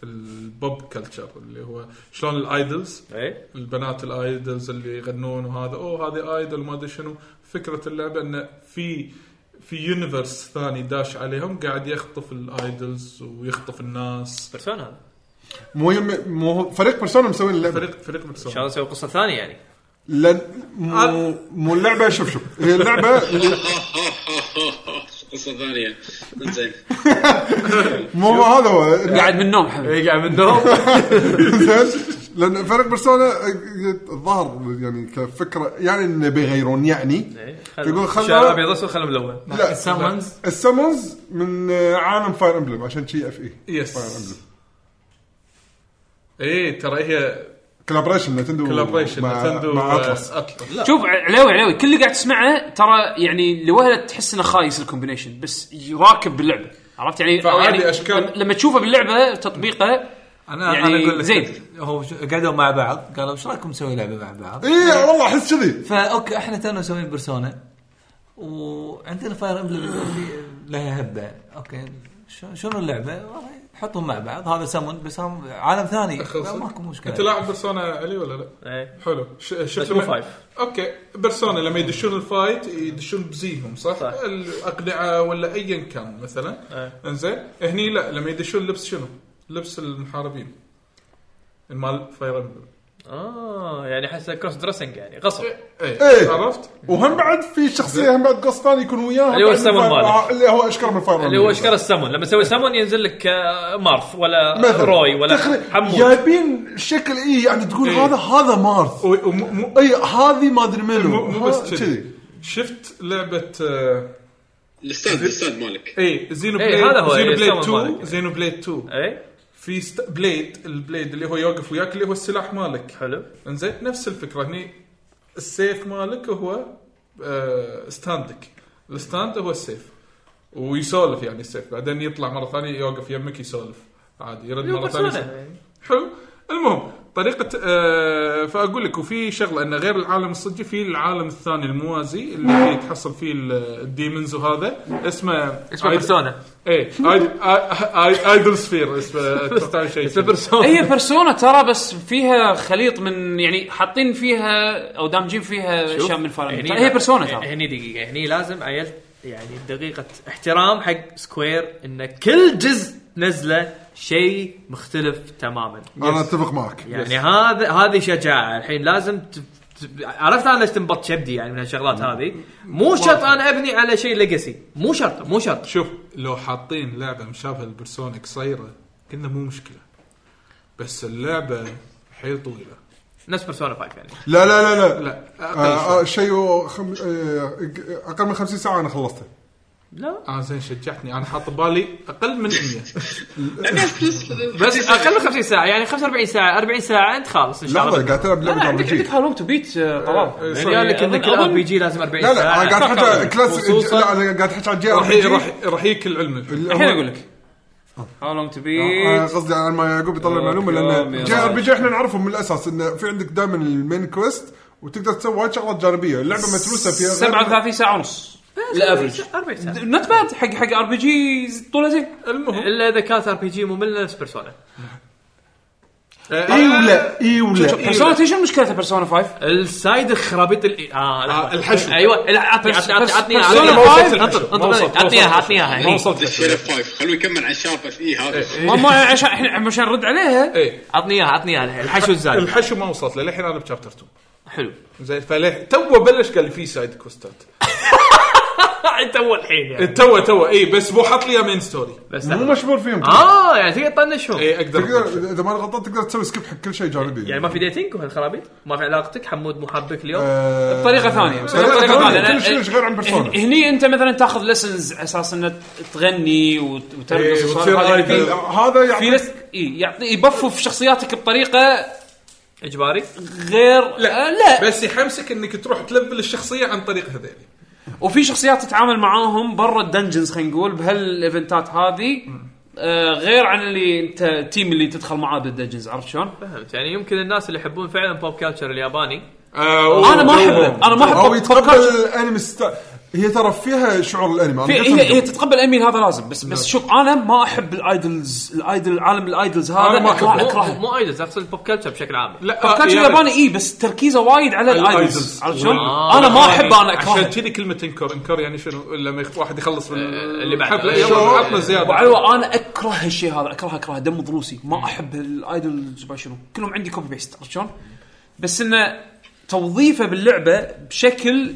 [SPEAKER 4] البوب كلتشر اللي هو شلون الايدلز
[SPEAKER 2] اي
[SPEAKER 4] البنات الايدلز اللي يغنون وهذا اوه هذه ايدل ما ادري شنو فكره اللعبه انه في في يونيفرس ثاني داش عليهم قاعد يخطف الايدلز ويخطف الناس
[SPEAKER 2] بيرسونا هذا
[SPEAKER 3] مو يم... مو فريق بيرسونا مسوي اللعبه
[SPEAKER 4] فريق فريق
[SPEAKER 2] ان شاء
[SPEAKER 4] بيرسونا
[SPEAKER 2] الله اسوي قصه ثانيه يعني
[SPEAKER 3] لان مو مو اللعبه شوف شوف هي اللعبه
[SPEAKER 8] قصه ثانيه زين
[SPEAKER 3] مو هذا هو
[SPEAKER 1] قاعد إيه، من النوم حبيبي
[SPEAKER 2] قاعد من دوم
[SPEAKER 3] زين لان فريق بيرسونا الظاهر يعني كفكره يعني انه بيغيرون يعني
[SPEAKER 2] إيه،
[SPEAKER 3] يقول خلنا-
[SPEAKER 2] شعر ابيض اسود خلهم ملون
[SPEAKER 3] لا
[SPEAKER 7] السامونز
[SPEAKER 3] السمونز من آه، عالم فاير امبلم عشان شي اف اي
[SPEAKER 4] يس.
[SPEAKER 3] فاير امبلم
[SPEAKER 4] اي إيه، ترى هي
[SPEAKER 3] كولابريشن نتندو
[SPEAKER 4] كولابريشن
[SPEAKER 3] مع,
[SPEAKER 4] نتندو
[SPEAKER 3] مع اطلس
[SPEAKER 4] اطلس
[SPEAKER 1] شوف علاوي علاوي كل اللي قاعد تسمعه ترى يعني لوهله تحس انه خايس الكومبينيشن بس راكب باللعبه عرفت يعني
[SPEAKER 4] فعادي
[SPEAKER 1] يعني
[SPEAKER 4] أشكال.
[SPEAKER 1] لما تشوفه باللعبه تطبيقه
[SPEAKER 7] انا
[SPEAKER 1] يعني
[SPEAKER 7] انا اقول لك
[SPEAKER 1] زين.
[SPEAKER 7] هو ش- قعدوا مع بعض قالوا ايش رايكم نسوي لعبه مع بعض؟
[SPEAKER 3] اي إيه، والله احس كذي
[SPEAKER 7] فاوكي احنا تونا مسويين بيرسونا وعندنا فاير امبلم اللي لها هبه اوكي ش- شنو اللعبه؟ والله حطهم مع بعض هذا سمون بس هم عالم ثاني
[SPEAKER 4] أخلص.
[SPEAKER 7] لا، ماكو مشكله
[SPEAKER 4] انت لاعب بيرسونا علي ولا لا؟
[SPEAKER 2] إيه.
[SPEAKER 4] حلو ش- شفت
[SPEAKER 2] بس مو فايف.
[SPEAKER 4] اوكي بيرسونا لما يدشون الفايت يدشون بزيهم صح؟
[SPEAKER 2] صح.
[SPEAKER 4] الاقنعه ولا ايا كان مثلا
[SPEAKER 2] إيه.
[SPEAKER 4] انزين هني لا لما يدشون لبس شنو؟ لبس المحاربين المال فاير امبلم
[SPEAKER 2] اه يعني احس كروس دريسنج يعني غصب
[SPEAKER 4] اي
[SPEAKER 3] إيه.
[SPEAKER 4] عرفت؟
[SPEAKER 3] وهم بعد في شخصيه هم بعد قص ثاني يكون وياها
[SPEAKER 2] اللي هو
[SPEAKER 3] بعد
[SPEAKER 2] السمن
[SPEAKER 3] من فاير-
[SPEAKER 2] ماله.
[SPEAKER 3] آه، اللي هو اشكر من فاير
[SPEAKER 2] اللي هو اشكال السمون لما تسوي سمون ينزل لك آه، مارف ولا روي ولا حمود
[SPEAKER 3] جايبين شكل اي يعني تقول
[SPEAKER 4] إيه.
[SPEAKER 3] هذا هذا مارث
[SPEAKER 4] و- ومو مو-
[SPEAKER 3] اي هذه ما ادري منو
[SPEAKER 4] مو مو بس
[SPEAKER 3] ها-
[SPEAKER 4] كذي شفت لعبه آه،
[SPEAKER 8] الاستاذ الاستاذ مالك
[SPEAKER 4] اي زينو
[SPEAKER 2] إيه،
[SPEAKER 4] بليد
[SPEAKER 2] هذا هو،
[SPEAKER 4] زينو
[SPEAKER 2] إيه،
[SPEAKER 4] بليد
[SPEAKER 2] السمن
[SPEAKER 4] 2
[SPEAKER 2] مالك. آه.
[SPEAKER 4] زينو بليد 2
[SPEAKER 2] اي
[SPEAKER 4] في ست بليد البليد اللي هو يوقف وياك اللي هو السلاح مالك
[SPEAKER 2] حلو
[SPEAKER 4] انزين نفس الفكره هني السيف مالك هو آه ستاندك الستاند هو السيف ويسولف يعني السيف بعدين يطلع مره ثانيه يوقف يمك يسولف عادي يرد مره ثانيه يسولف.
[SPEAKER 2] بيرسونا.
[SPEAKER 4] حلو المهم طريقة آه فأقول لك وفي شغلة أن غير العالم الصجي في العالم الثاني الموازي اللي فيه تحصل فيه ال- الديمونز وهذا اسمه
[SPEAKER 2] اسمه بيرسونا
[SPEAKER 4] ايه آيد- آي- آي- ايدل سفير اسمه اتوقع شيء
[SPEAKER 2] اسمه
[SPEAKER 4] كذي.
[SPEAKER 2] بيرسونا
[SPEAKER 1] هي بيرسونا ترى بس فيها خليط من يعني حاطين فيها او دامجين فيها اشياء من
[SPEAKER 4] يعني
[SPEAKER 1] فاير
[SPEAKER 2] هني-
[SPEAKER 1] ترى طيب، هي بيرسونا ترى
[SPEAKER 2] هني دقيقه هني لازم عيل يعني دقيقه احترام حق سكوير ان كل جزء نزله شيء مختلف تماما
[SPEAKER 3] انا اتفق معك
[SPEAKER 2] يعني هذا هذه شجاعه الحين لازم ت... ت- عرفت انا ليش تنبط شبدي يعني من هالشغلات هذه مو شرط انا ابني على شيء ليجاسي مو شرط مو شرط
[SPEAKER 4] شوف لو حاطين لعبة مشابهة لبرسونا قصيرة كنا مو مشكلة بس اللعبة حيل طويلة
[SPEAKER 2] نفس بيرسونا 5 يعني
[SPEAKER 3] لا لا لا لا
[SPEAKER 4] لا اقل
[SPEAKER 3] آه، آه،
[SPEAKER 4] شوي.
[SPEAKER 3] شيء وخم... آه، اقل من 50 ساعه انا خلصته
[SPEAKER 2] لا
[SPEAKER 4] اه زين شجعتني انا حاط بالي اقل من 100
[SPEAKER 2] بس اقل من 50 ساعه يعني 45 ساعه 40 ساعه انت خالص ان شاء
[SPEAKER 3] لحظه
[SPEAKER 2] الله
[SPEAKER 3] قاعد تلعب لعبه ار بي
[SPEAKER 1] عندك
[SPEAKER 3] جي
[SPEAKER 1] عندك هالو تو بيت آه، طلال
[SPEAKER 2] يعني قال لك ان كل ار بي جي لازم 40
[SPEAKER 3] لا
[SPEAKER 2] ساعه
[SPEAKER 3] لا انا قاعد احكي على كلاس
[SPEAKER 4] خصوصاً-
[SPEAKER 3] لا انا قاعد احكي على الجي ار
[SPEAKER 4] راح
[SPEAKER 3] بي
[SPEAKER 4] راح
[SPEAKER 3] جي
[SPEAKER 4] راح يجيك العلم الحين
[SPEAKER 1] الحين اقول لك هاو لونج تو
[SPEAKER 3] آه،
[SPEAKER 1] بيت
[SPEAKER 3] قصدي على ما يعقوب يطلع المعلومه
[SPEAKER 1] يوم، يا
[SPEAKER 3] لان جي ار بي
[SPEAKER 1] رجل.
[SPEAKER 3] جي احنا نعرفهم من الاساس انه في عندك دائما المين كويست وتقدر تسوي وايد شغلات جانبيه اللعبه متروسه فيها
[SPEAKER 1] 37 ساعه ونص الافرج
[SPEAKER 2] 40 ساعه
[SPEAKER 1] نوت باد حق حق ار بي جي طوله زين
[SPEAKER 4] إيه. المهم
[SPEAKER 2] الا اذا كانت ار بي جي ممله نفس بيرسونا
[SPEAKER 3] اي ولا اي ولا
[SPEAKER 1] بيرسونا تدري شنو مشكلتها بيرسونا 5
[SPEAKER 2] السايد خرابيط ال... اه لحظة.
[SPEAKER 4] آه، الحشو.
[SPEAKER 2] ايوه لا عطني عطني
[SPEAKER 1] بس-
[SPEAKER 2] عطني
[SPEAKER 1] بس-
[SPEAKER 2] عطني
[SPEAKER 1] بس- ما وصلت
[SPEAKER 2] عطني
[SPEAKER 4] الحشو.
[SPEAKER 2] انطر-
[SPEAKER 4] ما
[SPEAKER 2] انطر
[SPEAKER 4] وصلت-
[SPEAKER 2] عطني
[SPEAKER 4] ما
[SPEAKER 2] اياها
[SPEAKER 4] وصلت
[SPEAKER 2] عطني اياها
[SPEAKER 4] ما
[SPEAKER 2] هني.
[SPEAKER 4] وصلت
[SPEAKER 8] الشرف فايف خلوه يكمل عن شارف اي هذا
[SPEAKER 1] ما ما عشان احنا عشان نرد عليها
[SPEAKER 4] ايه
[SPEAKER 2] عطني اياها عطني اياها الحين. الحشو الزايد
[SPEAKER 4] الحشو ما وصلت له للحين انا بشابتر 2
[SPEAKER 2] حلو
[SPEAKER 4] زين فليه تو بلش قال لي في سايد كوستات
[SPEAKER 2] انت اول الحين يعني
[SPEAKER 4] تو تو اي إيه، بس مو حاط لي إياه مين ستوري
[SPEAKER 2] بس
[SPEAKER 3] مو
[SPEAKER 2] لحظة.
[SPEAKER 3] مشمول فيهم
[SPEAKER 2] اه يعني تقدر تطنشهم
[SPEAKER 4] اي اقدر إيه، أخش.
[SPEAKER 3] تقدر اذا ما أنا غلطان تقدر تسوي سكيب حق كل شيء جانبي
[SPEAKER 2] يعني ما في ديتنج وهالخرابيط ما في علاقتك حمود مو حابك اليوم
[SPEAKER 4] إيه.
[SPEAKER 3] آه،
[SPEAKER 1] بطريقه ثانيه
[SPEAKER 3] طريقه
[SPEAKER 1] بطريقة
[SPEAKER 3] ثانيه
[SPEAKER 1] لأن-
[SPEAKER 3] كلش كلش غير عن بيرسونا
[SPEAKER 1] إيه. هني انت مثلا تاخذ ليسنز اساس انك تغني وت- وترقص
[SPEAKER 4] إيه،
[SPEAKER 1] وسوالف
[SPEAKER 4] وتصير
[SPEAKER 1] هذه.
[SPEAKER 4] آيدل.
[SPEAKER 1] في-
[SPEAKER 3] هذا
[SPEAKER 1] في
[SPEAKER 3] يعني
[SPEAKER 1] لس اي يعطي يبفوا في إيه، شخصياتك بطريقه
[SPEAKER 2] اجباري
[SPEAKER 1] غير
[SPEAKER 4] لا.
[SPEAKER 1] آه لا
[SPEAKER 4] بس يحمسك انك تروح تلفل الشخصيه عن طريق هذيلي
[SPEAKER 1] وفي شخصيات تتعامل معاهم برا الدنجنز خلينا نقول بهالايفنتات هذه آه غير عن اللي انت التيم اللي تدخل معاه بالدنجنز عرفت شلون؟
[SPEAKER 2] فهمت يعني يمكن الناس اللي يحبون فعلا بوب كلتشر الياباني
[SPEAKER 4] آه،
[SPEAKER 1] انا ما احبه انا ما
[SPEAKER 3] او
[SPEAKER 1] احبه
[SPEAKER 3] يتقبل الانمي ستا... هي ترى فيها شعور الانمي
[SPEAKER 1] في
[SPEAKER 3] انا قلت
[SPEAKER 1] هي هي
[SPEAKER 3] لك.
[SPEAKER 1] تتقبل اميل هذا لازم بس
[SPEAKER 4] نعم.
[SPEAKER 1] بس شوف انا ما احب الايدلز الايدل عالم الايدلز هذا
[SPEAKER 4] أنا ما
[SPEAKER 1] اكره
[SPEAKER 4] أحبه.
[SPEAKER 2] مو
[SPEAKER 1] اكرهه
[SPEAKER 2] مو ايدز اقصد البوب كلتشر بشكل عام
[SPEAKER 4] لا آه،
[SPEAKER 1] فكاتش
[SPEAKER 4] يعني-
[SPEAKER 1] الياباني اي بس تركيزه وايد على
[SPEAKER 4] الأيدلز.
[SPEAKER 1] الايدلز عرفت شلون؟
[SPEAKER 2] آه.
[SPEAKER 1] انا ما احبه انا
[SPEAKER 4] عشان
[SPEAKER 1] اكرهه
[SPEAKER 4] كذي كلمه انكر انكر يعني شنو لما يخ- واحد يخلص من
[SPEAKER 1] آه،
[SPEAKER 2] اللي بعده.
[SPEAKER 4] الحفله
[SPEAKER 2] شو-
[SPEAKER 4] يلا عطنا زياده
[SPEAKER 1] وعلوة انا اكره هالشيء هذا اكره اكره دم ضروسي ما احب الايدلز ما شنو كلهم عندي كوبي بيست عرفت شلون؟ بس انه توظيفه باللعبه بشكل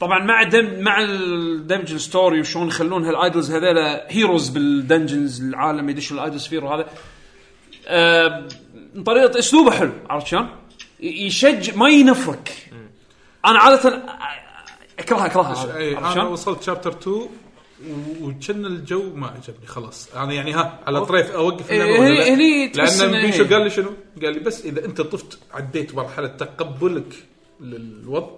[SPEAKER 1] طبعا مع دم مع الدنجن ستوري وشلون يخلون هالايدلز هذيلا هيروز بالدنجنز العالم يدشوا الايدلز فير وهذا آه، طريقه اسلوبه حلو عرفت شلون؟ ي- يشج ما ينفرك انا عاده آه، اكرهها اكرهها
[SPEAKER 4] اي
[SPEAKER 1] عرفت
[SPEAKER 4] انا
[SPEAKER 1] شلون؟
[SPEAKER 4] إيه، وصلت شابتر 2 وكان الجو ما عجبني خلاص انا يعني ها على طريف اوقف اللعبه ولا لا؟
[SPEAKER 1] هني- هني تحس
[SPEAKER 4] لان
[SPEAKER 1] إنه
[SPEAKER 4] بيشو
[SPEAKER 1] إيه.
[SPEAKER 4] قال لي شنو؟ قال لي بس اذا انت طفت عديت مرحله تقبلك للوضع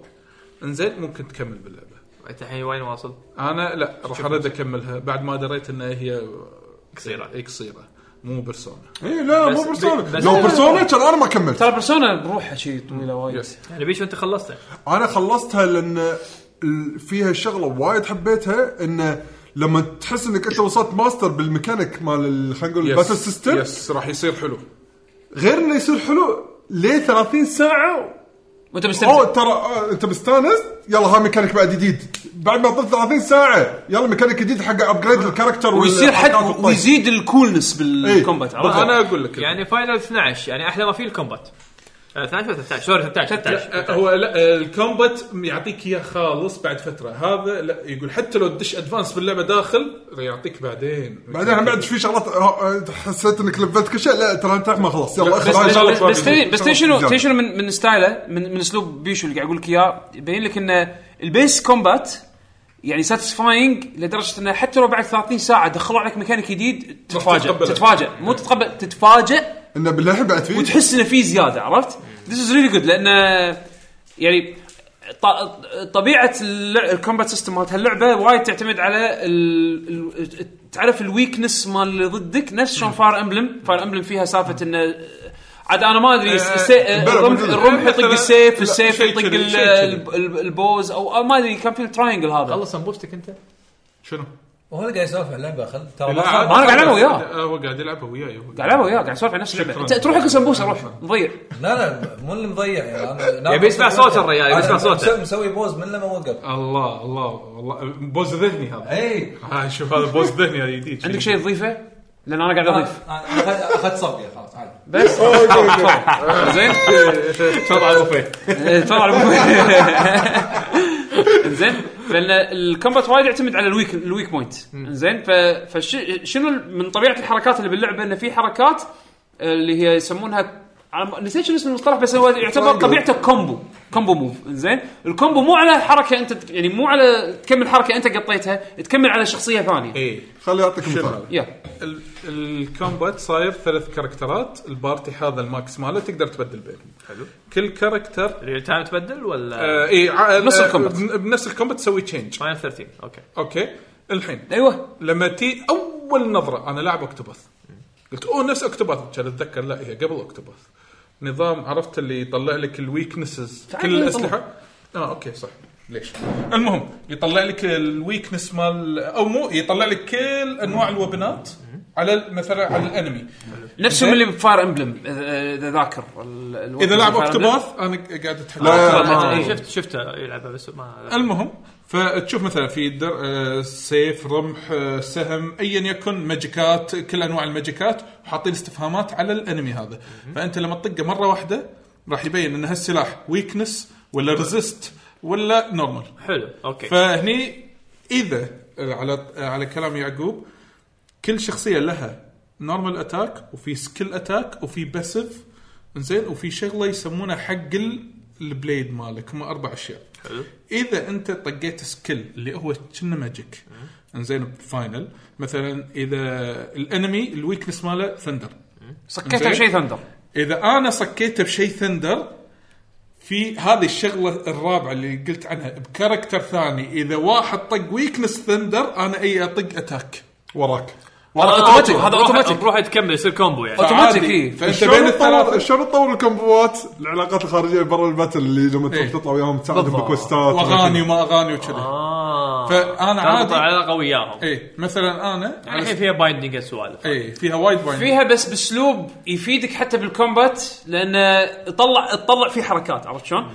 [SPEAKER 4] انزين ممكن تكمل باللعبه
[SPEAKER 2] انت الحين وين واصل؟
[SPEAKER 4] انا لا راح ارد اكملها بعد ما دريت انها هي
[SPEAKER 2] قصيرة.
[SPEAKER 4] إي قصيره مو بيرسونا
[SPEAKER 3] اي لا مو
[SPEAKER 2] بس-
[SPEAKER 3] بيرسونا
[SPEAKER 2] بس-
[SPEAKER 3] لو بيرسونا كان انا ما كملت
[SPEAKER 1] ترى بيرسونا بروحها شيء طويله وايد
[SPEAKER 4] يس
[SPEAKER 2] يعني بيشو انت خلصته
[SPEAKER 3] انا خلصتها لان ال- فيها شغله وايد حبيتها انه لما تحس انك انت وصلت ماستر بالميكانيك مال ال- خلينا نقول الباتل سيستم
[SPEAKER 4] يس راح يصير حلو
[SPEAKER 3] غير انه يصير حلو ليه 30 ساعه
[SPEAKER 1] وانت مستمتع
[SPEAKER 3] اوه ترى آه، انت مستانس يلا ها ميكانيك بعد جديد بعد ما طلت 30 ساعه يلا ميكانيك جديد حق ابجريد الكاركتر
[SPEAKER 1] آه. ويصير حد
[SPEAKER 3] والحركات والطق.
[SPEAKER 1] ويزيد الكولنس بالكومبات عرفت؟
[SPEAKER 4] انا اقول لك
[SPEAKER 2] يعني فاينل 12 يعني احلى ما فيه الكومبات آه، 12 ولا 13 سوري 13
[SPEAKER 4] لا
[SPEAKER 1] آه،
[SPEAKER 2] 13
[SPEAKER 4] هو لا الكومبات يعطيك اياه خالص بعد فتره هذا لا يقول حتى لو تدش ادفانس باللعبه داخل يعطيك بعدين
[SPEAKER 3] بعدين هم بعد في شغلات آه، آه، حسيت انك لفلت كل شيء لا ترى انت ما خلاص يلا
[SPEAKER 4] بس-
[SPEAKER 3] اخذ
[SPEAKER 1] بس
[SPEAKER 3] هاي
[SPEAKER 1] بس,
[SPEAKER 3] الشغلة.
[SPEAKER 1] بس, بس, تدري- بس تدري شنو
[SPEAKER 3] زيادة.
[SPEAKER 1] تدري شنو من من ستايله من من اسلوب بيشو اللي قاعد اقول لك اياه يبين لك ان البيس كومبات يعني ساتيسفاينج لدرجه انه حتى لو بعد 30 ساعه دخلوا عليك ميكانيك جديد تتفاجئ
[SPEAKER 4] تتقبله.
[SPEAKER 1] تتفاجئ مو تتقبل تتفاجئ
[SPEAKER 3] انه بالله بعد فيه
[SPEAKER 1] وتحس انه في زياده عرفت؟ ذيس از ريلي جود لان يعني ط- طبيعه اللع- الكومبات سيستم مالت هاللعبه وايد تعتمد على ال... ال... تعرف الويكنس مال اللي ضدك نفس شلون فاير امبلم فاير امبلم فيها سالفه انه عاد انا ما ادري
[SPEAKER 4] آه،
[SPEAKER 1] الس- الس-
[SPEAKER 3] بلا-
[SPEAKER 1] الرمح
[SPEAKER 3] بلا-
[SPEAKER 1] الرمح يطق
[SPEAKER 4] مثلاً-
[SPEAKER 1] السيف
[SPEAKER 4] لا،
[SPEAKER 1] السيف
[SPEAKER 4] شيء
[SPEAKER 1] يطق
[SPEAKER 4] كذي،
[SPEAKER 1] ال-
[SPEAKER 4] شيء كذي.
[SPEAKER 1] الب- الب- البوز او أو ما ادري كان في التراينجل هذا
[SPEAKER 2] خلص انبوبتك انت
[SPEAKER 4] شنو؟
[SPEAKER 7] وهو اللي قاعد يسولف عن اللعبه خل ترى
[SPEAKER 4] لا،
[SPEAKER 7] ما
[SPEAKER 4] عاد-
[SPEAKER 7] خل-
[SPEAKER 1] ما أنا قاعد ألعبه وياه.
[SPEAKER 4] آه، هو قاعد يلعبها وياي هو
[SPEAKER 1] قاعد العبها وياه قاعد اسولف عن نفس اللعبه
[SPEAKER 4] شكراً.
[SPEAKER 1] انت تروح اكل سمبوسه روح مضيع
[SPEAKER 7] لا لا مو اللي مضيع يعني انا
[SPEAKER 2] يبي يسمع صوت الرجال، يبي
[SPEAKER 7] أنا
[SPEAKER 2] يسمع صوته.
[SPEAKER 7] مسوي- مسوي بوز من لما وقف
[SPEAKER 4] الله الله والله بوز ذهني هذا
[SPEAKER 7] اي
[SPEAKER 4] آه شوف هذا بوز ذهني هذا جديد
[SPEAKER 1] عندك شيء تضيفه؟ لان انا قاعد اضيف
[SPEAKER 7] أنا اخذت صبقه خلاص عادي
[SPEAKER 1] بس زين
[SPEAKER 2] شوط على البوفيه
[SPEAKER 1] إيه، طبعا زين فالكومبات وايد يعتمد على الويك الويك بوينت زين فشنو من طبيعه الحركات اللي باللعبه ان في حركات آه، اللي هي يسمونها أنا ما- نسيت شنو اسم المصطلح بس هو يعتبر طبيعته كومبو كومبو موف زين الكومبو مو على حركه انت يعني مو على تكمل حركه انت قطيتها تكمل على شخصيه ثانيه
[SPEAKER 4] اي
[SPEAKER 3] خليني اعطيك
[SPEAKER 4] شنو؟
[SPEAKER 3] مثال
[SPEAKER 1] يا
[SPEAKER 4] ال- الكومبات صاير ثلاث كاركترات البارتي هذا الماكس ماله تقدر تبدل بينهم حلو كل كاركتر
[SPEAKER 2] ريل تايم تبدل ولا
[SPEAKER 4] آه اي ع-
[SPEAKER 1] نفس
[SPEAKER 4] آه،
[SPEAKER 1] الكومبات.
[SPEAKER 4] بن- بنفس الكومبات تسوي تشينج
[SPEAKER 2] فاينل 13 اوكي
[SPEAKER 1] آه،
[SPEAKER 4] اوكي الحين
[SPEAKER 1] ايوه
[SPEAKER 4] لما تي اول نظره انا لاعب اكتوباث قلت اوه نفس اكتوباث كان اتذكر لا هي قبل اكتوباث نظام عرفت اللي يطلع لك الويكنسز كل
[SPEAKER 1] يطلع.
[SPEAKER 4] الاسلحه اه اوكي صح ليش المهم يطلع لك الويكنس مال او مو يطلع لك كل انواع الوبنات على ال- مثلا على الانمي
[SPEAKER 1] نفسهم اللي بفاير امبلم اذا آه، ذاكر ال- ال-
[SPEAKER 4] اذا لعب
[SPEAKER 1] Fire Emblem.
[SPEAKER 4] اكتوباث انا قاعد اتحكى
[SPEAKER 3] لا،
[SPEAKER 4] عن
[SPEAKER 1] آه.
[SPEAKER 2] إيه،
[SPEAKER 4] أكتوباث.
[SPEAKER 2] شفت شفته يلعبها بس ما
[SPEAKER 4] المهم فتشوف مثلا في در... آه، سيف رمح آه، سهم ايا يكن ماجيكات كل انواع الماجيكات وحاطين استفهامات على الانمي هذا فانت لما تطقه مره واحده راح يبين ان هالسلاح ويكنس ولا ريزست ولا نورمال
[SPEAKER 2] حلو اوكي
[SPEAKER 4] فهني اذا على على كلام يعقوب كل شخصيه لها نورمال اتاك وفي سكيل اتاك وفي باسيف زين وفي شغله يسمونها حق ال- البليد مالك هم اربع اشياء
[SPEAKER 2] حلو.
[SPEAKER 4] اذا انت طقيت سكيل اللي هو كنا ماجيك انزين بفاينل مثلا اذا الانمي الويكنس ماله ثندر
[SPEAKER 1] سكيتها بشيء ثندر
[SPEAKER 4] اذا انا صكيته بشيء ثندر في هذه الشغله الرابعه اللي قلت عنها بكاركتر ثاني اذا واحد طق ويكنس ثندر انا اي اطق اتاك وراك
[SPEAKER 2] آه،
[SPEAKER 1] هذا اوتوماتيك آه، هذا اوتوماتيك
[SPEAKER 2] بروح تكمل يصير كومبو يعني
[SPEAKER 1] اوتوماتيك
[SPEAKER 4] عادي.
[SPEAKER 1] إيه.
[SPEAKER 4] فانت بين
[SPEAKER 3] شلون
[SPEAKER 4] الثلاثه
[SPEAKER 3] تطور شلون تطور الكومبوات العلاقات الخارجيه برا الباتل اللي لما تروح
[SPEAKER 4] إيه.
[SPEAKER 3] تطلع وياهم تساعدهم بكوستات
[SPEAKER 4] واغاني وما اغاني وكذا
[SPEAKER 1] آه.
[SPEAKER 2] اه
[SPEAKER 4] فانا
[SPEAKER 2] تربط
[SPEAKER 4] عادي إيه.
[SPEAKER 2] علاقه وياهم
[SPEAKER 4] اي مثلا انا
[SPEAKER 2] يعني
[SPEAKER 4] على
[SPEAKER 2] الحين فيها بايندينج السوالف
[SPEAKER 4] اي إيه، فيها وايد باين
[SPEAKER 1] فيها بس باسلوب يفيدك حتى بالكومبات لانه تطلع تطلع فيه حركات عرفت شلون؟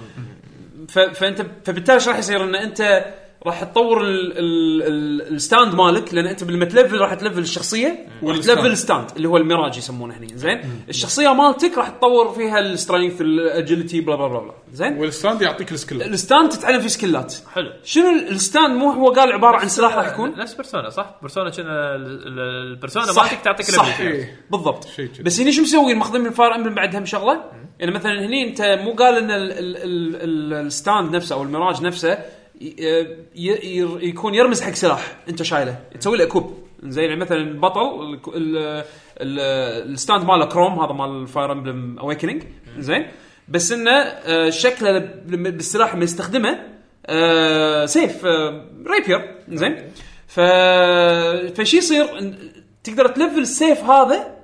[SPEAKER 1] ف... فانت فبالتالي ايش راح يصير ان انت راح تطور ال- ال- ال- الستاند مالك لان انت بالمتلفل راح تلفل الشخصيه وتلفل الستاند اللي هو الميراج يسمونه هني زين الشخصيه مالتك راح تطور فيها السترينث الاجيلتي بلا بلا بلا بلا، زين
[SPEAKER 4] والستاند يعطيك السكيل
[SPEAKER 1] الستاند تتعلم فيه سكلات حلو شنو ال- الستاند مو هو قال عباره عن سلاح راح يكون
[SPEAKER 2] نفس بيرسونا صح؟ بيرسونا كنا ال- ال- البيرسونا
[SPEAKER 1] صح.
[SPEAKER 2] مالتك تعطيك
[SPEAKER 1] صح. إيه.
[SPEAKER 2] level فيها.
[SPEAKER 1] بالضبط
[SPEAKER 4] شيء كذي.
[SPEAKER 1] بس هني شو مسوين ماخذين من فاير امبلم بعد هم شغله يعني مثلا هني انت مو قال ان ال ال ال ال الستاند نفسه او المراج نفسه ي- ي- ير- يكون يرمز حق سلاح انت شايله تسوي له كوب زين يعني مثلا البطل ال- ال- ال- الستاند ماله كروم هذا مال الفاير امبلم اويكننج زين بس انه آه، شكله لما- بالسلاح اللي يستخدمه آه، سيف آه، ريبير زين ف فشي يصير إن- تقدر تلفل السيف هذا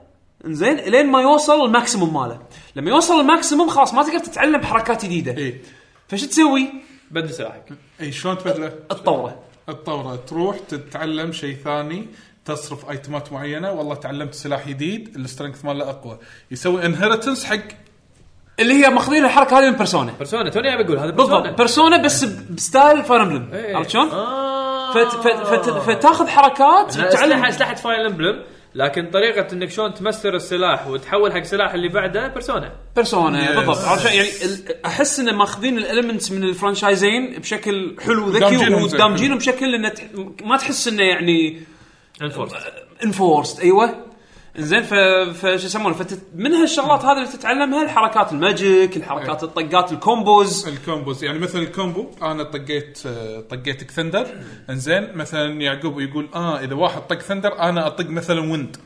[SPEAKER 1] زين لين ما يوصل الماكسيموم ماله لما يوصل الماكسيموم خلاص ما تقدر تتعلم حركات جديده
[SPEAKER 2] إيه.
[SPEAKER 4] اي
[SPEAKER 1] فشو تسوي؟
[SPEAKER 2] بدل سلاحك
[SPEAKER 4] اي إيه. شلون تبدله؟
[SPEAKER 1] تطوره
[SPEAKER 4] الطورة تروح تتعلم شيء ثاني تصرف ايتمات معينه والله تعلمت سلاح جديد السترينث ماله اقوى يسوي انهرتنس حق
[SPEAKER 1] اللي هي ماخذين الحركه هذه من بيرسونا
[SPEAKER 2] بيرسونا توني عم بقول هذا
[SPEAKER 1] بالضبط بيرسونا بس ب- بستايل فاير امبلم
[SPEAKER 2] إيه.
[SPEAKER 1] عرفت شلون؟
[SPEAKER 2] آه.
[SPEAKER 1] فت فت فت فتاخذ حركات
[SPEAKER 2] لا، اسلحه
[SPEAKER 1] وتتعلم
[SPEAKER 2] اسلحه فاير امبلم لكن طريقه انك شلون تمستر السلاح وتحول حق سلاح اللي بعده بيرسونا
[SPEAKER 1] بيرسونا
[SPEAKER 4] Yes.
[SPEAKER 1] بالضبط عرفت شلون؟ يعني ال- احس انه ماخذين الالمنتس من الفرانشايزين بشكل حلو وذكي
[SPEAKER 4] دامجينهم زين.
[SPEAKER 1] ودامجينهم بشكل انه ت- ما تحس انه يعني
[SPEAKER 2] انفورس
[SPEAKER 1] انفورست ايوه زين ف فشو يسمونه فت... من هالشغلات هذه اللي تتعلمها الحركات الماجيك
[SPEAKER 4] أيوة.
[SPEAKER 1] الحركات الطقات الكومبوز
[SPEAKER 4] الكومبوز يعني مثلا الكومبو انا طقيت آه، طقيتك ثندر انزين مثلا يعقوب يقول اه اذا واحد طق ثندر انا اطق مثلا ويند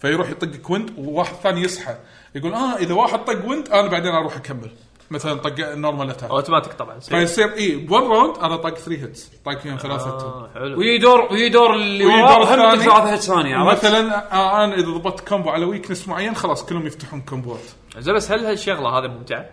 [SPEAKER 4] فيروح يطقك ويند وواحد ثاني يصحى يقول اه اذا واحد طق ويند انا بعدين اروح اكمل مثلا طق نورمال اتاك
[SPEAKER 2] اوتوماتيك طبعا يصير.
[SPEAKER 4] فيصير إيه، اي بون راوند انا طق 3 هيتس طق فيهم ثلاثه آه.
[SPEAKER 2] آه، حلو
[SPEAKER 1] ويدور ويدور اللي
[SPEAKER 4] ويدور
[SPEAKER 1] وراه هم
[SPEAKER 4] الثاني.
[SPEAKER 1] يعطيك ثلاثة هيتس ثانيه عرفت؟
[SPEAKER 4] مثلا آه انا اذا ضبطت كومبو على ويكنس معين خلاص كلهم يفتحون كومبوات
[SPEAKER 2] زين بس هل هالشغله هذه ممتعه؟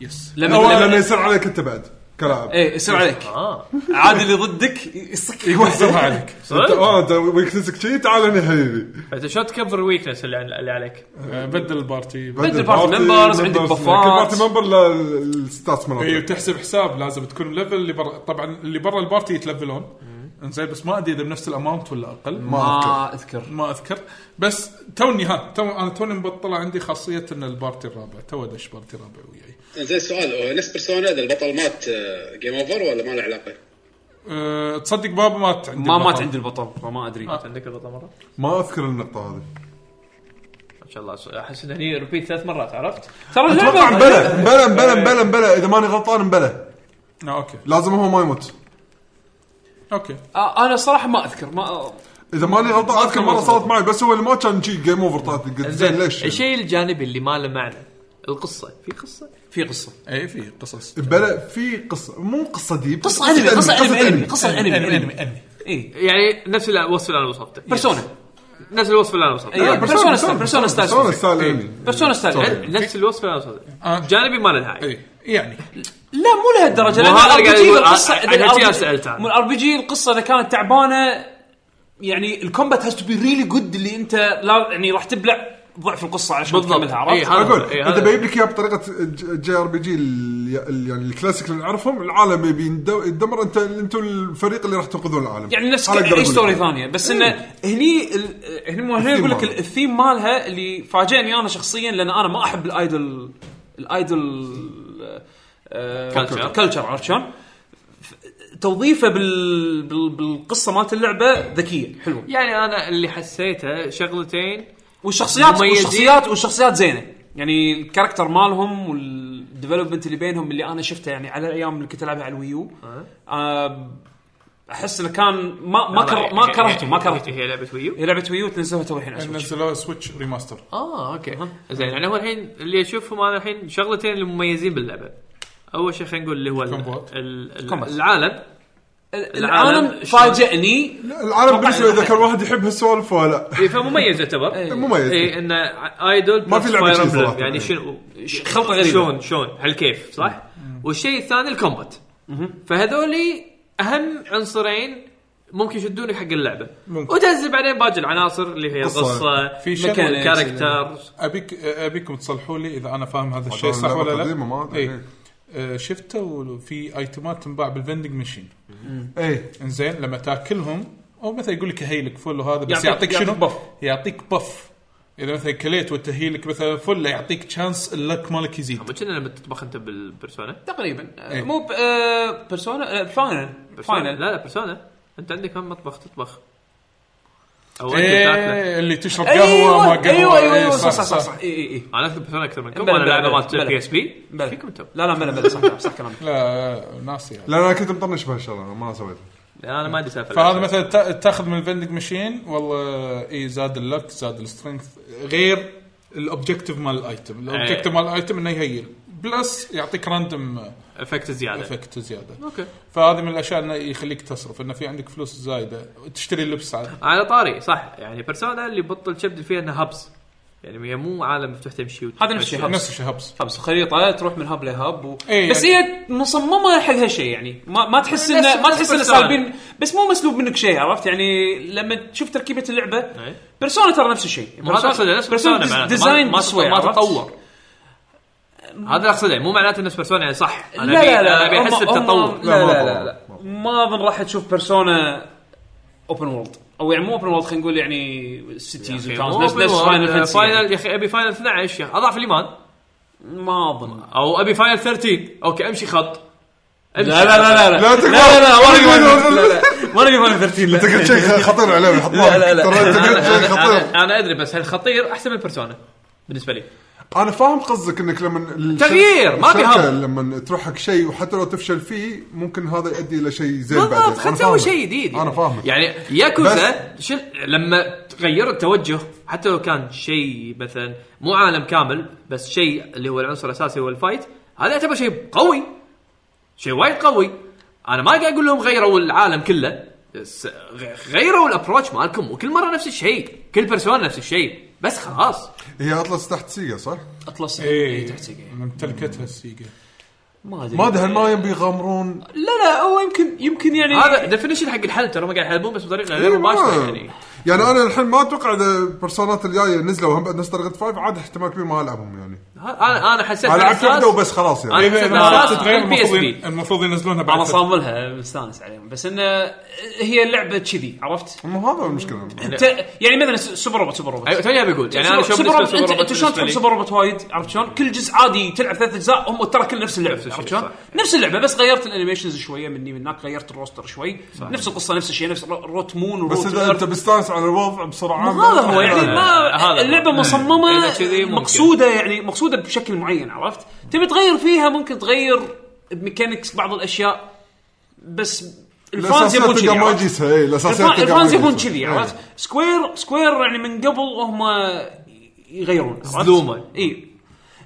[SPEAKER 4] يس
[SPEAKER 1] لما
[SPEAKER 3] هو لما
[SPEAKER 1] لما
[SPEAKER 3] يصير عليك انت بعد كلاعب
[SPEAKER 1] ايه يصير عليك
[SPEAKER 2] اه
[SPEAKER 1] عادي اللي ضدك يصك
[SPEAKER 4] يوزرها عليك
[SPEAKER 3] انت
[SPEAKER 2] صدق؟
[SPEAKER 3] اه انت ويكنسك شي تعال هنا حبيبي
[SPEAKER 2] انت شلون تكفر الويكنس اللي, اللي عليك؟
[SPEAKER 4] آه، بدل البارتي
[SPEAKER 1] بدل بارتي ممبرز، عندك
[SPEAKER 3] ممبرز. كل
[SPEAKER 1] بفات.
[SPEAKER 3] بارتي ممبر له الستاتس
[SPEAKER 4] اي
[SPEAKER 3] مالته
[SPEAKER 4] إيه، وتحسب حساب لازم تكون ليفل اللي برا طبعا اللي برا البارتي يتلفلون انزين بس ما ادري اذا بنفس الاماونت ولا اقل ما
[SPEAKER 1] ما اذكر
[SPEAKER 4] ما اذكر بس توني ها تو انا توني مبطله عندي خاصيه ان البارتي الرابع تو دش بارتي رابع وياي
[SPEAKER 8] زين سؤال هو نفس بيرسونا ذا البطل مات آه، جيم اوفر ولا ما له علاقه؟
[SPEAKER 4] أه تصدق ما مات عندي
[SPEAKER 1] ما مات
[SPEAKER 4] البطل.
[SPEAKER 1] عند البطل فما ادري
[SPEAKER 3] آه.
[SPEAKER 2] انت عندك البطل مره؟
[SPEAKER 3] ما اذكر النقطه هذه
[SPEAKER 2] ما شاء الله احس انه هني ريبيت ثلاث مرات عرفت؟
[SPEAKER 1] ترى
[SPEAKER 3] اتوقع
[SPEAKER 1] اللعبه
[SPEAKER 3] مبلى مبلى مبلى مبلى مبلى اذا ماني غلطان مبلى
[SPEAKER 4] آه اوكي
[SPEAKER 3] لازم هو ما يموت
[SPEAKER 4] اوكي
[SPEAKER 1] آه، انا صراحه ما اذكر ما
[SPEAKER 3] اذا ماني غلطان اذكر مره صارت معي بس هو اللي ما كان شي جيم اوفر طلعت قلت زين ليش؟
[SPEAKER 2] الشيء الجانبي اللي ما له معنى القصه في قصه؟
[SPEAKER 1] في قصه
[SPEAKER 4] اي إيه، في قصص
[SPEAKER 3] بلا في قصه مو قصه ديب
[SPEAKER 1] قصه انمي قصه انمي انمي قصه انمي
[SPEAKER 4] انمي
[SPEAKER 1] انمي
[SPEAKER 4] انمي انمي
[SPEAKER 1] اي
[SPEAKER 2] يعني نفس الوصف اللي انا وصفته
[SPEAKER 1] بيرسونا
[SPEAKER 2] نفس الوصف اللي انا وصفته
[SPEAKER 1] إيه. بيرسونا ستايل، بيرسونا ستايل.
[SPEAKER 3] بيرسونا ستايل
[SPEAKER 1] إيه.
[SPEAKER 3] انمي
[SPEAKER 1] بيرسونا ستايل
[SPEAKER 2] نفس الوصف اللي انا وصفته
[SPEAKER 4] آه.
[SPEAKER 2] جانبي ما له داعي
[SPEAKER 4] اي يعني
[SPEAKER 1] لا مو لهالدرجه لان
[SPEAKER 2] مو هذا اللي
[SPEAKER 1] الار
[SPEAKER 2] قاعد
[SPEAKER 1] بي جي
[SPEAKER 2] يقول.
[SPEAKER 1] القصه
[SPEAKER 2] أنا- أنا
[SPEAKER 1] إذا
[SPEAKER 2] هالشي
[SPEAKER 1] ال
[SPEAKER 2] أسألت
[SPEAKER 1] RPG
[SPEAKER 2] عنه.
[SPEAKER 1] مو الار بي جي القصه اذا كانت تعبانه يعني الكومبات هاز تو بي ريلي جود اللي انت لا يعني راح تبلع ضعف القصه عشان
[SPEAKER 2] بالضبط
[SPEAKER 1] تكملها عرفت؟
[SPEAKER 2] إيه، هذا
[SPEAKER 3] اقول
[SPEAKER 2] هو. إيه،
[SPEAKER 3] انت
[SPEAKER 2] هذا-
[SPEAKER 3] بيجيب لك اياها بطريقه جي ار بي جي يعني الكلاسيك اللي نعرفهم العالم يبي يندو- يتدمر انت انتم الفريق اللي راح تنقذون العالم
[SPEAKER 1] يعني نفس
[SPEAKER 3] أنا أقدر
[SPEAKER 1] اي
[SPEAKER 3] أقول
[SPEAKER 1] ستوري
[SPEAKER 3] لك.
[SPEAKER 1] ثانيه بس انه
[SPEAKER 2] إيه.
[SPEAKER 1] هني ال- هني مو هني
[SPEAKER 3] الثيم
[SPEAKER 1] اقول لك
[SPEAKER 3] مالها.
[SPEAKER 1] ال- الثيم مالها اللي فاجئني انا شخصيا لان انا ما احب الايدل الايدل
[SPEAKER 2] Culture.
[SPEAKER 1] كلتشر آه، عرفت شلون؟ ف- توظيفه بال... بال... بالقصه مالت اللعبه ذكيه حلوه
[SPEAKER 2] يعني انا اللي حسيته شغلتين
[SPEAKER 1] والشخصيات
[SPEAKER 2] مميزين.
[SPEAKER 1] والشخصيات والشخصيات زينه يعني الكاركتر مالهم والديفلوبمنت اللي بينهم اللي انا شفته يعني على الايام اللي كنت العبها على الويو آه، احس انه كان ما ما كر... ما
[SPEAKER 2] هي-
[SPEAKER 1] كرهته ما
[SPEAKER 2] هي-
[SPEAKER 1] كرهته
[SPEAKER 2] يعني هي لعبه ويو
[SPEAKER 1] هي لعبه ويو تنزلها تو الحين على السويتش.
[SPEAKER 4] نزلوها سويتش ريماستر
[SPEAKER 1] آه،
[SPEAKER 2] اه اوكي زين يعني هو الحين اللي اشوفهم انا الحين شغلتين اللي مميزين باللعبه اول شيء خلينا نقول اللي هو ال-
[SPEAKER 4] الكومبوات.
[SPEAKER 2] ال- ال-
[SPEAKER 1] الكومبوات.
[SPEAKER 2] العالم
[SPEAKER 1] العالم
[SPEAKER 2] العالم شلون-
[SPEAKER 1] فاجئني
[SPEAKER 3] العالم بالنسبه اذا كان واحد يحب هالسوالف ولا لا
[SPEAKER 2] إيه، فمميز يعتبر
[SPEAKER 3] مميز
[SPEAKER 1] إيه.
[SPEAKER 2] اي انه ايدول
[SPEAKER 3] ما في
[SPEAKER 2] plus
[SPEAKER 3] لعبة
[SPEAKER 2] Fire
[SPEAKER 3] شي
[SPEAKER 2] Emblem.
[SPEAKER 3] صراحة.
[SPEAKER 2] يعني شنو
[SPEAKER 1] ش- خلطة غريبة.
[SPEAKER 2] شلون شلون هالكيف صح؟ والشيء الثاني الكومبات فهذولي اهم عنصرين ممكن يشدونك حق اللعبه
[SPEAKER 4] ممكن.
[SPEAKER 2] وتنزل بعدين باقي العناصر اللي هي
[SPEAKER 3] قصة.
[SPEAKER 2] القصه
[SPEAKER 4] في شغلة-
[SPEAKER 2] كاركتر
[SPEAKER 4] ابيك ابيكم تصلحوا لي اذا انا فاهم هذا
[SPEAKER 3] طبعاً
[SPEAKER 4] الشيء صح
[SPEAKER 3] اللعبة
[SPEAKER 4] ولا لا
[SPEAKER 3] قديمة ما أدري.
[SPEAKER 4] إي. آه، شفته في ايتمات تنباع بالفندنج ماشين
[SPEAKER 3] اي
[SPEAKER 4] انزين لما تاكلهم او مثلا يقول لك هيلك فل وهذا بس
[SPEAKER 1] يعطيك-
[SPEAKER 4] يعطيك, شنو؟
[SPEAKER 1] يعطيك buff.
[SPEAKER 4] يعطيك بف اذا مثلا كليت وانت هيلك مثلا فل يعطيك تشانس اللك مالك يزيد
[SPEAKER 2] أما كنا لما تطبخ انت بالبرسونا
[SPEAKER 1] تقريبا آه، مو ب- آه، بيرسونا آه، فاينل
[SPEAKER 2] برسونا
[SPEAKER 1] فاينل
[SPEAKER 2] لا لا برسونا انت عندك هم مطبخ تطبخ او انت تاكله
[SPEAKER 4] ايه اللي تشرب قهوه
[SPEAKER 1] ايوه
[SPEAKER 4] ما قهوه
[SPEAKER 1] ايوه ايوه
[SPEAKER 4] إيه،
[SPEAKER 1] صح صح صح, صح. اي اي اي
[SPEAKER 2] انا اذكر بيرسونا اكثر منكم
[SPEAKER 1] بلى،
[SPEAKER 2] انا لعبه
[SPEAKER 1] بلى،
[SPEAKER 2] مالت
[SPEAKER 1] بلى.
[SPEAKER 2] بي اس بي
[SPEAKER 1] بلى.
[SPEAKER 2] فيكم انتم
[SPEAKER 1] لا لا ملا ملا صح كلام- صح كلامك
[SPEAKER 4] لا ناسي هذا.
[SPEAKER 3] لا انا كنت مطنش بهالشغله أنا ما سويتها
[SPEAKER 2] انا ما عندي سالفه
[SPEAKER 4] فهذا مثلا تا- تاخذ من الفندنج ماشين والله اي زاد اللك زاد السترينث غير الاوبجيكتيف مال الايتم
[SPEAKER 1] إيه.
[SPEAKER 4] الاوبجيكتيف مال الايتم انه يهيل بلس يعطيك راندوم
[SPEAKER 2] افكت زياده
[SPEAKER 4] افكت زياده
[SPEAKER 2] اوكي
[SPEAKER 4] فهذه من الاشياء انه يخليك تصرف انه في عندك فلوس زايده تشتري لبس عاد
[SPEAKER 2] على طاري صح يعني بيرسونا اللي بطل شبدل فيها انها هبس يعني هي مو عالم مفتوح تمشي
[SPEAKER 1] هذا نفس الشيء
[SPEAKER 4] يعني نفس الشيء هبس
[SPEAKER 1] خمس خريطه تروح من هاب لهاب و...
[SPEAKER 4] إيه
[SPEAKER 1] بس
[SPEAKER 4] يعني.
[SPEAKER 1] هي مصممه حق هالشيء يعني ما, ما تحس انه ما
[SPEAKER 2] نفس
[SPEAKER 1] تحس انه
[SPEAKER 2] بيرسونا.
[SPEAKER 1] سالبين بس مو مسلوب منك شيء عرفت يعني لما تشوف تركيبه اللعبه
[SPEAKER 2] إيه.
[SPEAKER 1] بيرسونا ترى نفس الشيء
[SPEAKER 2] مو هذا اقصده نفس
[SPEAKER 1] بيرسونا
[SPEAKER 2] بيرسونا
[SPEAKER 1] ديز-
[SPEAKER 2] معناته.
[SPEAKER 1] ديزاين
[SPEAKER 2] ما
[SPEAKER 1] بيرسونا،
[SPEAKER 2] تطور ما
[SPEAKER 1] عرفت؟
[SPEAKER 2] تطور هذا اللي اقصده مو معناته نفس بيرسونا يعني صح
[SPEAKER 1] لا
[SPEAKER 2] انا أبي-
[SPEAKER 1] لا لا
[SPEAKER 2] أنا ابي احس
[SPEAKER 1] هم- هم-
[SPEAKER 2] بتطور
[SPEAKER 1] لا
[SPEAKER 3] لا،
[SPEAKER 1] لا
[SPEAKER 3] ما
[SPEAKER 1] لا, لا. ما اظن راح تشوف بيرسونا اوبن وورلد او يعني مو اوبن وورلد خلينا نقول يعني سيتيز نفس نفس فاينل فانتسي
[SPEAKER 2] فاينل يا اخي ابي فاينل 12 يا اخي اضعف الايمان
[SPEAKER 1] ما اظن
[SPEAKER 2] او ابي فاينل 13 اوكي امشي خط
[SPEAKER 1] لا لا لا لا
[SPEAKER 3] لا تقول-
[SPEAKER 1] لا لا ولا
[SPEAKER 3] تقول-
[SPEAKER 1] يبغى- لا، لا. ولا يبغى 13 لا
[SPEAKER 3] انت قلت شيء خطير عليهم
[SPEAKER 1] لا، لا، لا.
[SPEAKER 3] ترى انت قلت شيء خطير
[SPEAKER 2] انا ادري بس هالخطير احسن من بيرسونا بالنسبه لي
[SPEAKER 3] انا فاهم قصدك انك لما الش-
[SPEAKER 2] تغيير، ما في
[SPEAKER 3] الشركة
[SPEAKER 2] هم.
[SPEAKER 3] لما تروح حق شيء وحتى لو تفشل فيه ممكن هذا يؤدي الى شيء زين بعدين
[SPEAKER 2] بالضبط خلينا
[SPEAKER 3] أنا
[SPEAKER 2] نسوي
[SPEAKER 3] فاهمك.
[SPEAKER 2] شيء جديد
[SPEAKER 3] انا فاهمك
[SPEAKER 2] يعني ياكوزا شل لما تغير التوجه حتى لو كان شيء مثلا مو عالم كامل بس شيء اللي هو العنصر الاساسي هو الفايت هذا يعتبر شيء قوي شيء وايد قوي انا ما قاعد اقول لهم غيروا العالم كله بس غ- غيروا الابروتش مالكم وكل مره نفس الشيء كل بيرسونا نفس الشيء بس خلاص
[SPEAKER 3] هي اطلس تحت سيجا صح؟
[SPEAKER 1] اطلس
[SPEAKER 4] اي
[SPEAKER 1] إيه، تحت سيجا.
[SPEAKER 4] ممتلكتها السيجا
[SPEAKER 1] ما ادري
[SPEAKER 3] ما ادري هل ما يبي يغامرون
[SPEAKER 1] لا لا هو يمكن يمكن يعني
[SPEAKER 2] هذا ديفينيشن حق الحل ترى ما قاعد يحلبون بس بطريقه
[SPEAKER 1] إيه،
[SPEAKER 2] غير مباشره يعني
[SPEAKER 3] إيه، يعني انا الحين ما اتوقع اذا البرسونات الجايه نزلوا هم بعد نفس طريقه فايف عاد احتمال كبير ما العبهم يعني
[SPEAKER 2] ه- انا انا حسيت
[SPEAKER 3] انا لعبت
[SPEAKER 2] بالإحساس-
[SPEAKER 3] واحده وبس خلاص يعني
[SPEAKER 2] أنا
[SPEAKER 4] اذا
[SPEAKER 2] حسيت
[SPEAKER 4] إذا ما
[SPEAKER 2] بالإحساس
[SPEAKER 4] تتغير
[SPEAKER 2] حق PSP.
[SPEAKER 4] المفروض ين- المفروض ينزلونها
[SPEAKER 1] انا
[SPEAKER 4] بعد فترة.
[SPEAKER 1] صاملها مستانس عليهم بس انه هي اللعبه كذي عرفت؟
[SPEAKER 3] مو هذا المشكله
[SPEAKER 1] انت يعني مثلا س- سوبر روبوت سوبر روبوت
[SPEAKER 2] ايوه توني بقول يعني انا
[SPEAKER 1] سوبر-
[SPEAKER 2] شو
[SPEAKER 1] سوبر روبوت انت, انت شلون
[SPEAKER 2] بالنسبة
[SPEAKER 1] تحب
[SPEAKER 2] لي.
[SPEAKER 1] سوبر روبوت وايد عرفت شلون؟ كل جزء عادي تلعب ثلاث اجزاء هم ترى كل نفس اللعبه
[SPEAKER 2] الشيء،
[SPEAKER 1] عرفت شلون؟
[SPEAKER 2] صح.
[SPEAKER 1] نفس اللعبه بس غيرت الانيميشنز شويه مني من هناك غيرت الروستر شوي نفس القصه نفس الشيء نفس رو- روت مون وروت
[SPEAKER 3] بس اذا انت مستانس على الوضع بسرعه
[SPEAKER 1] ما هذا هو يعني
[SPEAKER 2] هذا هو.
[SPEAKER 1] ما اللعبه
[SPEAKER 2] إذا
[SPEAKER 1] مصممه
[SPEAKER 2] كذي ممكن.
[SPEAKER 1] مقصوده يعني مقصوده بشكل معين عرفت؟ تبي تغير فيها ممكن تغير بميكانكس بعض الاشياء بس الفانز يبون
[SPEAKER 3] الاساسيات
[SPEAKER 1] كذي
[SPEAKER 3] تلقى ما
[SPEAKER 1] عرفت؟
[SPEAKER 3] يجيسها اي الاساسيات
[SPEAKER 1] الفا-
[SPEAKER 3] تلقى ما
[SPEAKER 1] الفانز يبون
[SPEAKER 3] يجيسها.
[SPEAKER 1] كذي
[SPEAKER 3] إيه.
[SPEAKER 1] عرفت؟ سكوير سكوير يعني من قبل وهم يغيرون عرفت؟
[SPEAKER 2] زلومة. آه،
[SPEAKER 1] اي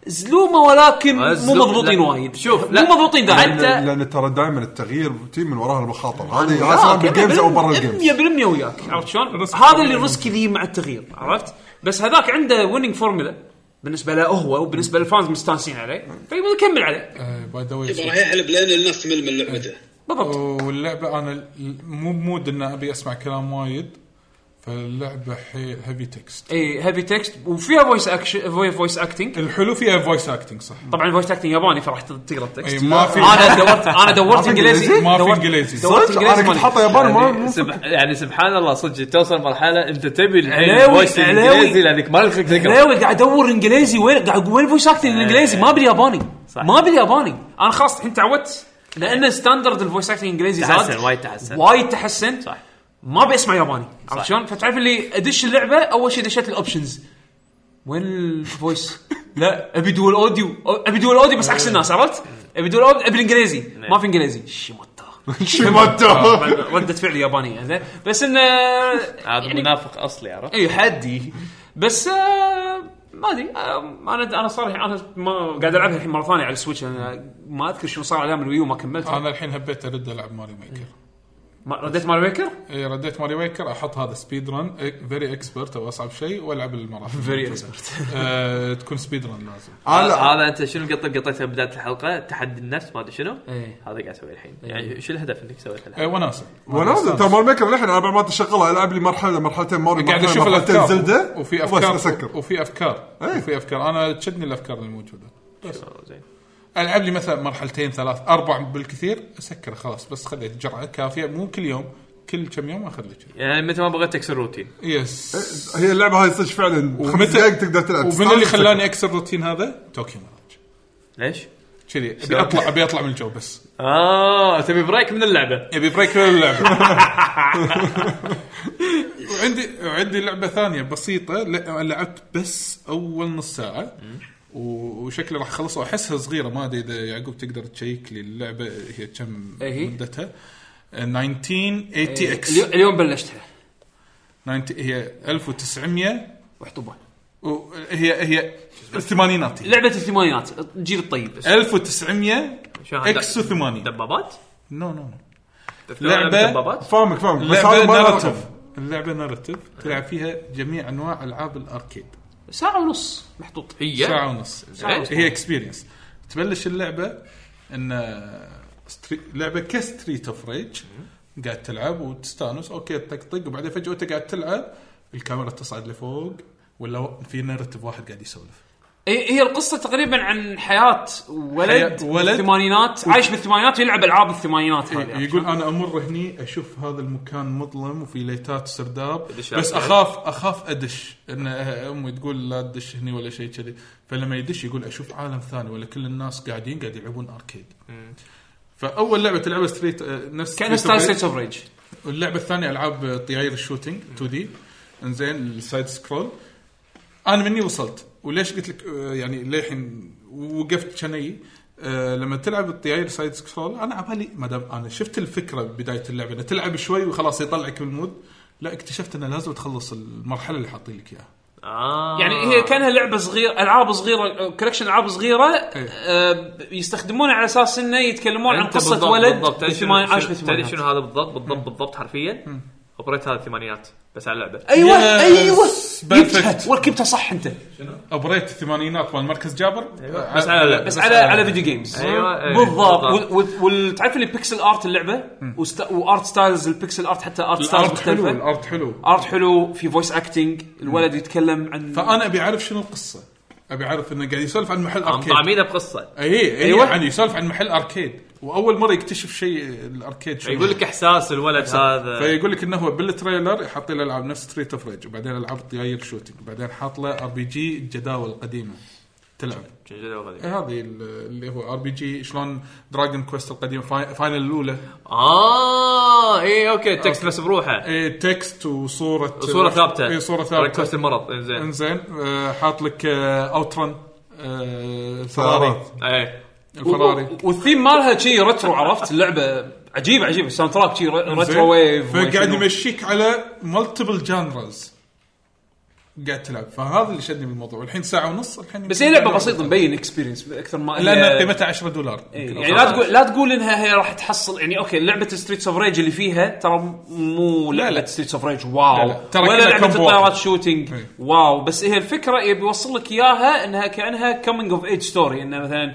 [SPEAKER 1] زلومه ولكن مو
[SPEAKER 2] زلومة،
[SPEAKER 1] مضبوطين
[SPEAKER 2] لا.
[SPEAKER 1] وايد
[SPEAKER 2] شوف، لا.
[SPEAKER 1] مو مضبوطين داعي
[SPEAKER 2] حتى-
[SPEAKER 3] لأن- لان ترى دائما التغيير تجي من وراها المخاطر هذه هذه سواء بالجيمز او برا الجيمز
[SPEAKER 1] 100% وياك عرفت شلون؟ هذا اللي الريسك ذي مع التغيير عرفت؟ بس هذاك عنده ويننج فورمولا بالنسبه له هو وبالنسبه للفانز مستانسين عليه فيبغى يكمل عليه
[SPEAKER 4] باي ذا
[SPEAKER 8] يبا
[SPEAKER 1] إيه.
[SPEAKER 4] واي
[SPEAKER 8] راح يحلب لين الناس تمل من لعبته
[SPEAKER 1] بالضبط
[SPEAKER 4] واللعبه انا ال- مو بمود ان ابي اسمع كلام وايد فاللعبه حيل هيفي تكست
[SPEAKER 1] اي هيفي تكست إيه، وفيها فويس اكشن فويس اكتنج
[SPEAKER 4] الحلو فيها فويس اكتنج صح
[SPEAKER 1] طبعا الفويس اكتنج ياباني فراح تقرا التكست
[SPEAKER 4] اي ما في
[SPEAKER 1] انا دورت انا دورت
[SPEAKER 3] في
[SPEAKER 1] انجليزي
[SPEAKER 3] إنجليزي؟
[SPEAKER 4] ما في
[SPEAKER 1] دورت-
[SPEAKER 4] إنجليزي.
[SPEAKER 1] دورت
[SPEAKER 3] صدق؟ انا كنت
[SPEAKER 1] انجليزي
[SPEAKER 3] حاطه ياباني ما
[SPEAKER 2] يعني
[SPEAKER 3] مو-
[SPEAKER 2] سب... يعني سبحان الله صدق توصل مرحله انت تبي
[SPEAKER 1] علاوي،
[SPEAKER 2] الحين فويس
[SPEAKER 1] علاوي.
[SPEAKER 2] الانجليزي لانك ما لك
[SPEAKER 1] لا
[SPEAKER 2] ذكر
[SPEAKER 1] وي، قاعد ادور انجليزي وين قاعد أقول وين فويس اكتنج الانجليزي ما بالياباني
[SPEAKER 2] إيه. صح.
[SPEAKER 1] ما بالياباني انا خلاص الحين تعودت لان ستاندرد الفويس اكتنج الانجليزي زاد
[SPEAKER 2] تحسن وايد تحسن
[SPEAKER 1] وايد تحسنت
[SPEAKER 2] صح.
[SPEAKER 1] ما ابي اسمع ياباني عرفت شلون؟ فتعرف اللي ادش اللعبه اول شيء دشيت الاوبشنز وين الفويس؟ لا ابي دول اوديو ابي دول اوديو بس
[SPEAKER 2] إيه.
[SPEAKER 1] عكس الناس عرفت؟ ابي دول اوديو ابي الانجليزي ما في انجليزي شيموتا
[SPEAKER 3] شي ما
[SPEAKER 1] آه،
[SPEAKER 3] انت-
[SPEAKER 1] رده فعلي يابانيه زين بس انه
[SPEAKER 2] هذا منافق اصلي عرفت
[SPEAKER 1] اي إيه، حدي بس آه، ما ادري آه، انا انا صار الحين- انا ما قاعد العبها الحين مره ثانيه على السويتش انا ما اذكر شنو صار على ايام الويو ما
[SPEAKER 2] آه.
[SPEAKER 1] كملتها
[SPEAKER 4] انا الحين هبيت ارد العب ماري ميكر
[SPEAKER 1] ما- رديت ماري ويكر
[SPEAKER 4] إيه، رديت ماري ميكر احط هذا إيه، سبيد رن فيري اكسبرت او اصعب شيء والعب المراحل
[SPEAKER 1] فيري اكسبرت
[SPEAKER 4] آه، تكون سبيد رن لازم
[SPEAKER 3] أنا لا.
[SPEAKER 2] هذا انت شنو قطه قطيتها بدايه الحلقه تحدي النفس ما ادري شنو
[SPEAKER 1] إيه.
[SPEAKER 2] هذا قاعد اسوي الحين يعني شو الهدف انك سويت الحين
[SPEAKER 4] إيه، وناسه آه.
[SPEAKER 3] ونازل ترى مال ميكر الحين انا بعد ما تشغلها العب لي مرحله مرحلتين ماري
[SPEAKER 4] إيه، قاعد
[SPEAKER 3] مرحلة-
[SPEAKER 4] اشوف
[SPEAKER 3] مرحلتين
[SPEAKER 4] الافكار
[SPEAKER 3] زلده
[SPEAKER 4] وفي
[SPEAKER 3] وبس
[SPEAKER 4] افكار
[SPEAKER 3] اسكر
[SPEAKER 4] وفي افكار
[SPEAKER 3] إيه.
[SPEAKER 4] وفي افكار انا تشدني الافكار الموجوده
[SPEAKER 2] زين
[SPEAKER 4] العب لي مثلا مرحلتين ثلاث اربع بالكثير اسكره خلاص بس خذيت جرعه كافيه مو كل يوم كل كم يوم اخذ لي كذي.
[SPEAKER 2] يعني متى ما بغيت تكسر روتين
[SPEAKER 4] يس
[SPEAKER 3] هي اللعبه هاي صدق فعلا خمس دقائق تقدر تلعب
[SPEAKER 4] ومن اللي خلاني اكسر الروتين هذا؟ طوكيو ميراج
[SPEAKER 2] ليش؟
[SPEAKER 4] كذي ابي اطلع ابي اطلع من الجو بس
[SPEAKER 2] اه تبي بريك من اللعبه
[SPEAKER 4] يبي بريك من اللعبه وعندي وعندي لعبه ثانيه بسيطه ل- لعبت بس اول نص ساعه و- وشكلي راح اخلصها واحسها صغيره ما ادري اذا يعقوب تقدر تشيك لي اللعبه هي كم
[SPEAKER 1] إيه هي؟ إيه،
[SPEAKER 4] مدتها آه، 1980 اكس
[SPEAKER 1] اليو- اليوم بلشتها
[SPEAKER 4] 90 هي 1900
[SPEAKER 1] وحطوبه
[SPEAKER 4] وهي هي الثمانينات هي.
[SPEAKER 1] لعبه الثمانينات الجيل الطيب
[SPEAKER 4] 1900
[SPEAKER 2] شو هذا؟
[SPEAKER 4] اكس 80
[SPEAKER 2] إيه. دبابات؟
[SPEAKER 4] نو نو نو لعبة-
[SPEAKER 2] لعبة دبابات؟
[SPEAKER 3] فاهمك فاهمك بس
[SPEAKER 4] اللعبه
[SPEAKER 3] هذا ما رقم.
[SPEAKER 4] نارتيف اللعبه نارتيف تلعب فيها جميع انواع العاب الاركيد
[SPEAKER 1] ساعه ونص محطوط
[SPEAKER 2] هي
[SPEAKER 4] ساعه ونص
[SPEAKER 2] ساعة ونص.
[SPEAKER 4] هي اكسبيرينس تبلش اللعبه ان ستري... لعبه كستريت اوف ريج قاعد تلعب وتستانس اوكي طقطق وبعدين فجاه وانت قاعد تلعب الكاميرا تصعد لفوق ولا في نارتيف واحد قاعد يسولف
[SPEAKER 1] إيه، هي هي القصه تقريبا عن حياه ولد
[SPEAKER 4] حياة ولد.
[SPEAKER 1] بالثمانينات عايش بالثمانينات ويلعب العاب الثمانينات
[SPEAKER 2] إيه،
[SPEAKER 1] هذه
[SPEAKER 4] يقول انا امر هني اشوف هذا المكان مظلم وفي ليتات سرداب
[SPEAKER 2] أدش
[SPEAKER 4] بس
[SPEAKER 2] على
[SPEAKER 4] اخاف اخاف ادش ان امي تقول لا تدش هني ولا شيء كذي فلما يدش يقول اشوف عالم ثاني ولا كل الناس قاعدين قاعد يلعبون اركيد فاول لعبه تلعبها ستريت آه، نفس
[SPEAKER 1] كانها
[SPEAKER 4] ستريت
[SPEAKER 1] ستايل
[SPEAKER 4] أوف ريج.
[SPEAKER 1] ستيتس اوف ريج
[SPEAKER 4] واللعبه الثانيه العاب طياير الشوتينج 2 دي انزين السايد سكرول انا مني وصلت وليش قلت لك آه، يعني للحين وقفت شني آه، لما تلعب الطياير سايد سكرول انا على بالي ما دام انا شفت الفكره ببدايه اللعبه انه تلعب شوي وخلاص يطلعك بالمود لا اكتشفت انه لازم تخلص المرحله اللي حاطين لك اياها
[SPEAKER 2] اه
[SPEAKER 1] يعني هي كانها لعبه صغيره العاب صغيره كولكشن العاب صغيره آه، يستخدمونها على اساس انه يتكلمون عن
[SPEAKER 2] إيه. أنت
[SPEAKER 1] قصه
[SPEAKER 2] بالضبط-
[SPEAKER 1] ولد
[SPEAKER 2] بالضبط تعرف شنو-
[SPEAKER 1] بالثمان- عاش
[SPEAKER 2] شنو- تعرف شنو
[SPEAKER 1] بالثمانينات
[SPEAKER 2] هذا بالضبط بالضبط بالضبط حرفيا اوبريت هذا الثمانينات بس على اللعبه
[SPEAKER 6] أيوة.
[SPEAKER 1] ايوه
[SPEAKER 4] Yes.
[SPEAKER 1] ايوه
[SPEAKER 4] Perfect.
[SPEAKER 1] جبتها وركبتها صح انت
[SPEAKER 4] ابريت الثمانينات مال مركز جابر آه،
[SPEAKER 2] بس على اللعبه
[SPEAKER 1] بس على على فيديو جيمز
[SPEAKER 2] أيوة، أيوة، بالضبط.
[SPEAKER 1] بالضبط وال- وال- تعرف اللي بيكسل ارت اللعبه وست- وارت ستايلز البيكسل ارت حتى ارت ستايلز
[SPEAKER 4] الارت حلو
[SPEAKER 1] مختلفه
[SPEAKER 4] الارت حلو
[SPEAKER 1] ارت حلو في فويس اكتنج الولد يتكلم عن
[SPEAKER 4] فانا ابي اعرف شنو القصه ابي اعرف انه قاعد يسولف عن محل
[SPEAKER 2] عم
[SPEAKER 4] اركيد
[SPEAKER 2] طعمينه بقصه
[SPEAKER 4] اي ايوه
[SPEAKER 1] أيوة.
[SPEAKER 4] يعني يسولف عن محل اركيد واول مره يكتشف شيء الاركيد شو
[SPEAKER 2] يقول لك آه. احساس الولد هذا
[SPEAKER 4] فيقول لك انه هو بالتريلر حاط له العاب نفس ستريت اوف ريج وبعدين العاب الطياير شوتنج وبعدين حاط له ار بي جي الجداول القديمه تلعب إيه هذه ال- اللي هو ار بي جي شلون دراجون كويست القديم فاي- فاينل الاولى
[SPEAKER 2] اه اي اوكي تكست بس بروحه
[SPEAKER 4] إيه تكست وصوره
[SPEAKER 2] صوره ثابته
[SPEAKER 4] اي صوره
[SPEAKER 2] ركبت
[SPEAKER 4] ثابته
[SPEAKER 2] المرض زين
[SPEAKER 4] انزين آه، حاط لك آه، اوترن فراري
[SPEAKER 3] سيارات.
[SPEAKER 2] اي
[SPEAKER 4] الفراري
[SPEAKER 1] والثيم مالها شي ريترو عرفت اللعبه عجيبه عجيبه الساوند تراك شي ر-
[SPEAKER 4] زين.
[SPEAKER 1] ريترو ويف
[SPEAKER 4] فقاعد
[SPEAKER 1] وشنو.
[SPEAKER 4] يمشيك على مالتيبل جانرز قاعد تلعب فهذا اللي شدني بالموضوع الحين ساعه ونص الحين
[SPEAKER 1] بس هي لعبه بسيطه مبين اكسبيرينس اكثر ما هي-
[SPEAKER 4] لان قيمتها 10 دولار
[SPEAKER 1] يعني إيه، يعني لا تقول لا تقول انها هي راح تحصل يعني اوكي لعبه ستريتس اوف ريج اللي فيها ترى مو
[SPEAKER 4] لا.
[SPEAKER 1] لعبه ستريتس اوف ريج واو
[SPEAKER 4] لا، لا. ترى
[SPEAKER 1] ولا
[SPEAKER 4] كلها
[SPEAKER 1] لعبه
[SPEAKER 4] كومبو
[SPEAKER 1] الطيارات
[SPEAKER 4] واحد.
[SPEAKER 1] شوتينج
[SPEAKER 4] إيه.
[SPEAKER 1] واو بس هي الفكره يبي يوصل لك اياها انها كانها كومينج اوف ايج ستوري انه مثلا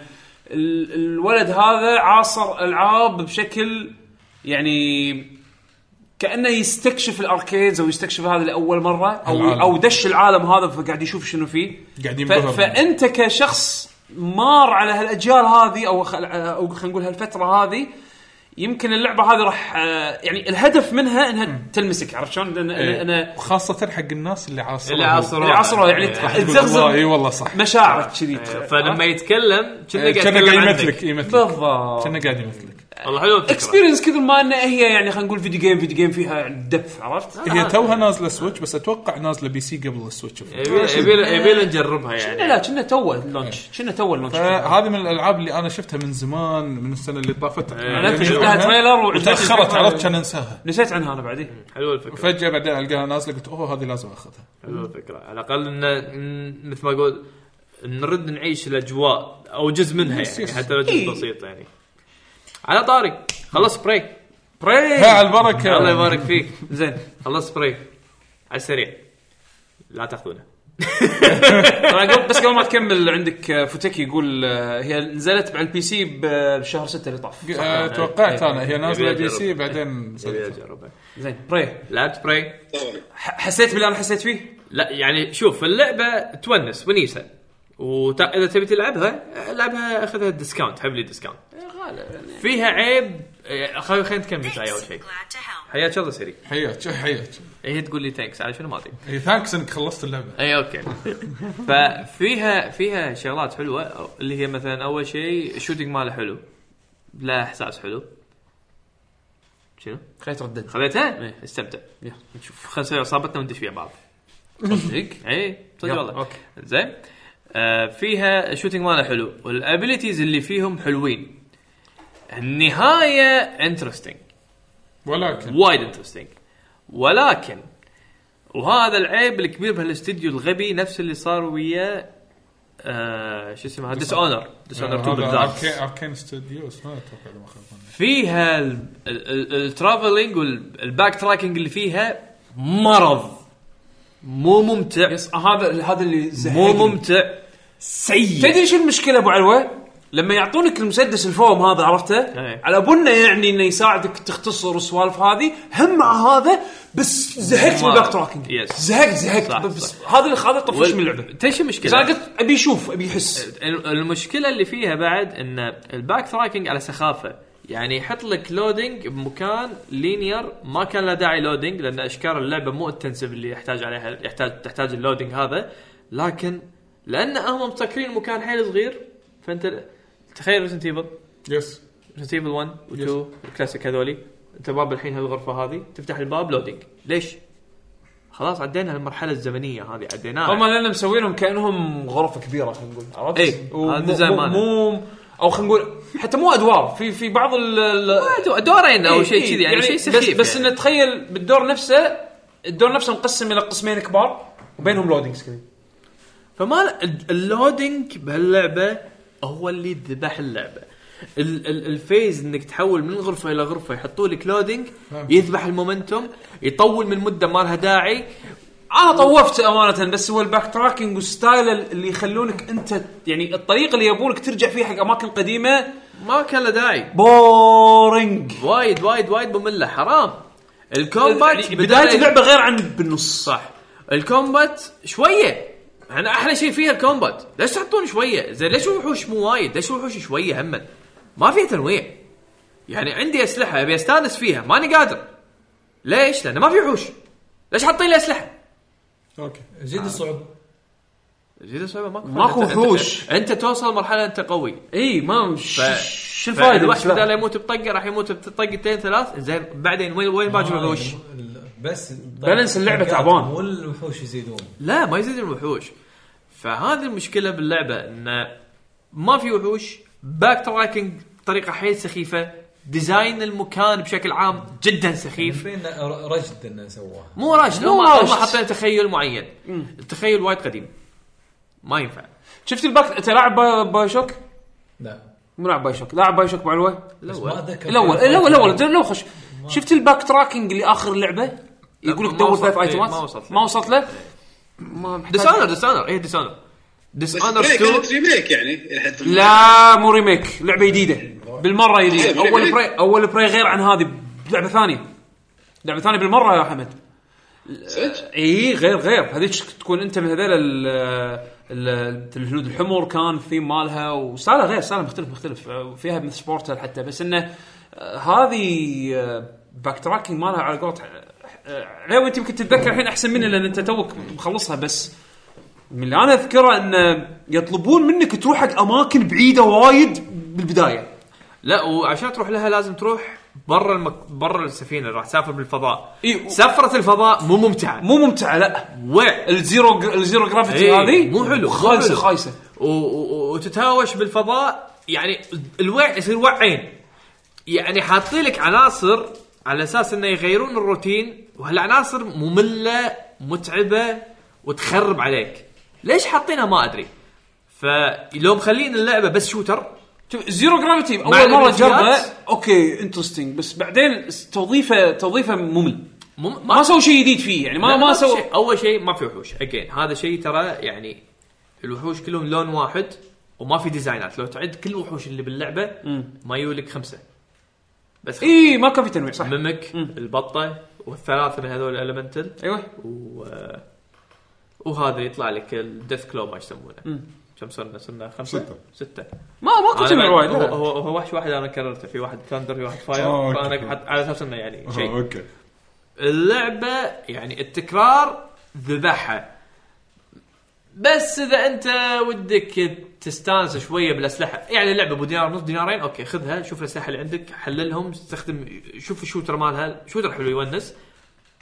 [SPEAKER 1] ال- الولد هذا عاصر العاب بشكل يعني كانه يستكشف الاركيدز او يستكشف هذا لاول مره او
[SPEAKER 4] العالم.
[SPEAKER 1] او دش العالم هذا فقاعد يشوف شنو فيه
[SPEAKER 4] قاعد
[SPEAKER 1] ف...
[SPEAKER 4] ينبهر.
[SPEAKER 1] فانت كشخص مار على هالاجيال هذه او خل... او خلينا نقول هالفتره هذه يمكن اللعبه هذه راح آه، يعني الهدف منها انها تلمسك عرفت شلون؟ لان
[SPEAKER 4] إيه.
[SPEAKER 1] انا
[SPEAKER 4] وخاصه حق الناس اللي عاصروا
[SPEAKER 2] اللي عاصروا.
[SPEAKER 1] اللي عصره يعني
[SPEAKER 2] راح
[SPEAKER 4] تقول والله اي
[SPEAKER 1] تزغزغ
[SPEAKER 4] والله صح
[SPEAKER 1] مشاعرك كذي
[SPEAKER 4] آه.
[SPEAKER 2] فلما يتكلم كنا قاعد
[SPEAKER 4] كان
[SPEAKER 2] يتكلم
[SPEAKER 4] قاعد
[SPEAKER 2] عنك
[SPEAKER 4] يمثلك يمثلك
[SPEAKER 1] بالضبط
[SPEAKER 4] كان قاعد يمثلك
[SPEAKER 2] والله حلوه الفكره
[SPEAKER 1] اكسبيرينس كثر ما انها هي يعني خلينا نقول فيديو جيم فيديو جيم فيها يعني دبث عرفت؟
[SPEAKER 4] هي توها نازله سويتش بس اتوقع نازله بي سي قبل السويتش
[SPEAKER 1] إيه،
[SPEAKER 2] يبينا- يبينا يبينا نجربها يعني
[SPEAKER 1] لا لا كنا تو
[SPEAKER 4] إيه.
[SPEAKER 1] اللونش كنا تو اللونش
[SPEAKER 4] هذه من الالعاب اللي انا شفتها من زمان من السنه اللي طافت يعني
[SPEAKER 1] أنا شفت لها تريلر وعجبتني
[SPEAKER 4] وتاخرت
[SPEAKER 1] الفكرة.
[SPEAKER 4] عرفت كان انساها
[SPEAKER 1] نسيت عنها انا بعدين
[SPEAKER 2] حلوه الفكره
[SPEAKER 4] فجاه بعدين القاها نازله قلت اوه هذه لازم اخذها
[SPEAKER 2] حلوه الفكره على الاقل إن- إن مثل ما اقول نرد نعيش الاجواء او جزء منها
[SPEAKER 4] يس،
[SPEAKER 2] يعني
[SPEAKER 4] يس.
[SPEAKER 2] حتى لو
[SPEAKER 1] إي.
[SPEAKER 2] جزء بسيط يعني على طارق خلص بريك
[SPEAKER 4] ها على البركه
[SPEAKER 2] الله يبارك فيك
[SPEAKER 1] زين
[SPEAKER 2] خلص بريك على السريع لا تاخذونه
[SPEAKER 1] طبعا قبل- بس قبل ما تكمل عندك آه، فوتيكي يقول آه، هي نزلت على البي سي ب- بشهر 6 اللي طاف
[SPEAKER 2] يعني
[SPEAKER 4] آه، توقعت انا هي نازله
[SPEAKER 2] يبي
[SPEAKER 4] بي سي
[SPEAKER 2] أجرب.
[SPEAKER 4] بعدين
[SPEAKER 2] ابي اجربه
[SPEAKER 1] زين بري
[SPEAKER 2] إيه، لعبت بريك
[SPEAKER 8] طبعا
[SPEAKER 1] ح- حسيت باللي انا حسيت فيه؟
[SPEAKER 2] لا يعني شوف اللعبه تونس ونيسه واذا تبي تلعبها العبها اخذها ديسكاونت حبلي ديسكاونت فيها عيب آه، خل- خلينا نتكمل شوي اول شيء
[SPEAKER 10] Glad to help.
[SPEAKER 2] حياك الله سري
[SPEAKER 4] حياك حياك
[SPEAKER 2] هي تقول لي ثانكس على شنو ما ادري
[SPEAKER 4] اي ثانكس انك خلصت اللعبه
[SPEAKER 2] اي اوكي ففيها فيها شغلات حلوه اللي هي مثلا اول شيء الشوتنج ماله حلو لا احساس حلو شنو؟
[SPEAKER 1] خليت ردد
[SPEAKER 2] خذيتها؟ إيه، استمتع
[SPEAKER 1] يلا،
[SPEAKER 2] نشوف خلينا نسوي عصابتنا وندش فيها بعض
[SPEAKER 1] صدق
[SPEAKER 2] اي صدق
[SPEAKER 1] يلا،
[SPEAKER 2] والله
[SPEAKER 1] أوكي.
[SPEAKER 2] زين آه فيها الشوتنج ماله حلو والابيلتيز اللي فيهم حلوين النهايه انترستنج
[SPEAKER 4] ولكن
[SPEAKER 2] وايد انترستنج ولكن وهذا العيب الكبير بهالاستديو الغبي نفس اللي صار ويا آه شو اسمها ديس اونر ديس اونر 2 بالذات
[SPEAKER 4] اركين ستوديوز ما اتوقع لما خاب ظني.
[SPEAKER 2] فيها ال- ال- ال- الترافلينج والباك تراكنج اللي فيها مرض مو ممتع
[SPEAKER 1] يس هذا هذا اللي
[SPEAKER 2] مو
[SPEAKER 1] زهقني.
[SPEAKER 2] ممتع
[SPEAKER 1] سيء تدري شو المشكله ابو علوه؟ لما يعطونك المسدس الفوم هذا عرفته؟
[SPEAKER 2] إيه.
[SPEAKER 1] على بنا يعني انه يساعدك تختصر السوالف هذه هم مع هذا بس زهقت من
[SPEAKER 2] مرة.
[SPEAKER 1] الباك تراكنج
[SPEAKER 2] يس.
[SPEAKER 1] زهقت زهقت
[SPEAKER 2] صح، إيه.
[SPEAKER 1] بس هذا اللي هذا طفش من اللعبه
[SPEAKER 2] تدري شو
[SPEAKER 1] بس انا
[SPEAKER 2] المشكله؟
[SPEAKER 1] قلت ابي اشوف ابي احس
[SPEAKER 2] ال- المشكله اللي فيها بعد ان الباك تراكنج على سخافه يعني يحط لك لودنج بمكان لينير ما كان له داعي لودنج لان اشكال اللعبه مو انتنسف اللي يحتاج عليها يحتاج تحتاج اللودنج هذا لكن لان هم مسكرين مكان حيل صغير فانت تخيل ريزنت ايفل
[SPEAKER 4] يس
[SPEAKER 2] ريزنت ايفل 1 و2 الكلاسيك هذولي انت باب الحين هالغرفه هذه تفتح الباب لودنج ليش؟ خلاص عدينا المرحله الزمنيه هذه عديناها
[SPEAKER 1] هم لان مسوينهم كانهم غرفه كبيره خلينا نقول عرفت؟
[SPEAKER 2] إيه،
[SPEAKER 1] ومو-
[SPEAKER 2] هذا الديزاين
[SPEAKER 1] مو-
[SPEAKER 2] ماله.
[SPEAKER 1] مو او خلينا نقول حتى مو ادوار في في بعض ال- ال-
[SPEAKER 2] دو- دورين او
[SPEAKER 1] إيه،
[SPEAKER 2] شيء
[SPEAKER 1] إيه،
[SPEAKER 2] كذي يعني شيء
[SPEAKER 1] بس,
[SPEAKER 2] سخيف
[SPEAKER 1] بس
[SPEAKER 2] يعني.
[SPEAKER 1] انه تخيل بالدور نفسه الدور نفسه مقسم الى قسمين كبار وبينهم لودينج سكرين
[SPEAKER 2] فما ل- ال- اللودينج بهاللعبه هو اللي ذبح اللعبه ال- ال- الفيز انك تحول من غرفه الى غرفه يحطوا لك لودينج يذبح المومنتوم يطول من مده ما لها داعي
[SPEAKER 1] انا
[SPEAKER 2] آه،
[SPEAKER 1] طوفت امانه بس هو الباك تراكنج والستايل اللي يخلونك انت يعني الطريق اللي يبونك ترجع فيه حق اماكن قديمه
[SPEAKER 2] ما كان له داعي
[SPEAKER 1] بورينج
[SPEAKER 2] وايد وايد وايد ممله حرام الكومبات
[SPEAKER 1] بدايه اللعبه غير عن بالنص
[SPEAKER 2] صح الكومبات شويه انا احلى شيء فيها الكومبات ليش تحطون شويه زين ليش الوحوش مو وايد ليش الوحوش شويه هم ما فيها تنويع يعني عندي اسلحه ابي استانس فيها ماني قادر ليش لان ما في وحوش ليش حاطين لي اسلحه
[SPEAKER 4] اوكي
[SPEAKER 7] زيد الصعوبه
[SPEAKER 2] زيد الصعوبه ماكو
[SPEAKER 1] ماكو
[SPEAKER 2] أنت- أنت-
[SPEAKER 1] وحوش.
[SPEAKER 2] انت توصل مرحله انت قوي
[SPEAKER 1] اي ما
[SPEAKER 2] ف-
[SPEAKER 1] شو الفائده
[SPEAKER 2] فالواحد بدل
[SPEAKER 1] بالسلاح؟
[SPEAKER 2] يموت بطقه راح يموت بطقتين ثلاث زين بعدين وين وين باجي الوحوش؟
[SPEAKER 7] بس
[SPEAKER 1] بالانس اللعبة تعبان.
[SPEAKER 7] والوحوش يزيدون
[SPEAKER 2] لا ما يزيد الوحوش فهذه المشكله باللعبه ان ما في وحوش باك تراكنج بطريقه حيل سخيفه ديزاين المكان بشكل عام جدا سخيف
[SPEAKER 7] في رجد انه سواه
[SPEAKER 2] مو راشد
[SPEAKER 1] مو
[SPEAKER 2] هم
[SPEAKER 1] راشد.
[SPEAKER 2] هم حاطين تخيل معين التخيل وايد قديم ما ينفع
[SPEAKER 1] شفت الباك انت لاعب با- باي شوك؟
[SPEAKER 7] لا
[SPEAKER 1] مو لاعب باي شوك لاعب باي شوك بعلوه
[SPEAKER 7] بس ما اتذكر
[SPEAKER 1] الاول الاول الاول انت لو خش شفت الباك تراكنج اللي اخر اللعبه يقول لك
[SPEAKER 2] ما
[SPEAKER 1] دور
[SPEAKER 2] وصلت
[SPEAKER 1] ثلاث
[SPEAKER 2] لي،
[SPEAKER 1] ايتمات
[SPEAKER 2] ما وصلت لي.
[SPEAKER 1] ما وصلت له ما محتاج-
[SPEAKER 2] ديسانر ديسانر اي ديسانر
[SPEAKER 8] بس
[SPEAKER 2] ديسانر
[SPEAKER 1] إيه،
[SPEAKER 8] بريك
[SPEAKER 2] 2
[SPEAKER 8] كانت ريميك يعني لحد
[SPEAKER 1] لا مو ريميك لعبه جديده بالمره
[SPEAKER 8] إيه،
[SPEAKER 1] جديده
[SPEAKER 8] بري-
[SPEAKER 1] اول
[SPEAKER 8] بري-
[SPEAKER 1] براي اول براي غير عن هذه لعبه ثانيه لعبه ثانيه بالمره يا حمد
[SPEAKER 8] صدق
[SPEAKER 1] اي غير غير هذيك تكون انت من هذول ال- ال- الهنود الحمر كان الثيم مالها وسالة غير سالة مختلف مختلف فيها من سبورتل حتى بس انه آه، هذه باك تراكنج مالها على قولت علاوي انت يمكن تتذكر الحين احسن مني لان انت توك مخلصها بس من اللي انا اذكره انه يطلبون منك تروح حق اماكن بعيده وايد بالبدايه
[SPEAKER 2] لا وعشان تروح لها لازم تروح برا المك... برا السفينه راح تسافر بالفضاء
[SPEAKER 1] إي، إيه، و-
[SPEAKER 2] سفره الفضاء مو ممتعه
[SPEAKER 1] مو ممتعه لا
[SPEAKER 2] وع
[SPEAKER 1] الزيرو الزيرو جرافيتي
[SPEAKER 2] إيه،
[SPEAKER 1] هذه
[SPEAKER 2] مو حلو، مو
[SPEAKER 1] خايسه
[SPEAKER 2] حلو.
[SPEAKER 1] خايسه
[SPEAKER 2] و- و- وتتهاوش بالفضاء يعني الوع يصير وعين يعني حاطين لك عناصر على اساس انه يغيرون الروتين وهالعناصر ممله متعبه وتخرب عليك ليش حاطينها ما ادري فلو مخلين اللعبه بس شوتر
[SPEAKER 1] شوف زيرو جرافيتي
[SPEAKER 2] مع
[SPEAKER 1] اول مره جربه
[SPEAKER 2] الانفجارات.
[SPEAKER 1] اوكي انترستنج بس بعدين س- توظيفه توظيفه ممل
[SPEAKER 2] مم-
[SPEAKER 1] ما سووا شيء جديد فيه يعني ما
[SPEAKER 2] لا،
[SPEAKER 1] ما
[SPEAKER 2] في
[SPEAKER 1] سووا
[SPEAKER 2] شيء. اول شيء ما في وحوش اجين هذا شيء ترى يعني الوحوش كلهم لون واحد وما في ديزاينات لو تعد كل الوحوش اللي باللعبه ما يولك خمسه بس خمسة.
[SPEAKER 1] اي إيه، ما كان في تنويع صح
[SPEAKER 2] ميمك البطه والثلاثه من هذول الالمنتل
[SPEAKER 1] ايوه
[SPEAKER 2] و... وهذا اللي يطلع لك الديث كلو ما يسمونه كم صرنا؟ صرنا خمسه؟
[SPEAKER 3] ستة.
[SPEAKER 2] سته
[SPEAKER 1] ما ماكو
[SPEAKER 2] أنا
[SPEAKER 1] تمر
[SPEAKER 2] بعد-
[SPEAKER 1] وايد
[SPEAKER 2] هو,
[SPEAKER 1] لا.
[SPEAKER 2] هو هو وحش واحد انا كررته في واحد ثاندر في واحد
[SPEAKER 3] آه،
[SPEAKER 2] فاير
[SPEAKER 3] أوكي.
[SPEAKER 2] فانا حط على اساس انه يعني
[SPEAKER 3] آه،
[SPEAKER 2] شيء
[SPEAKER 3] اوكي
[SPEAKER 2] اللعبه يعني التكرار ذبحها بس اذا انت ودك تستانس شويه بالاسلحه يعني اللعبه ابو دينار نص دينارين اوكي خذها شوف الاسلحه اللي عندك حللهم استخدم شوف الشوتر مالها شوتر حلو يونس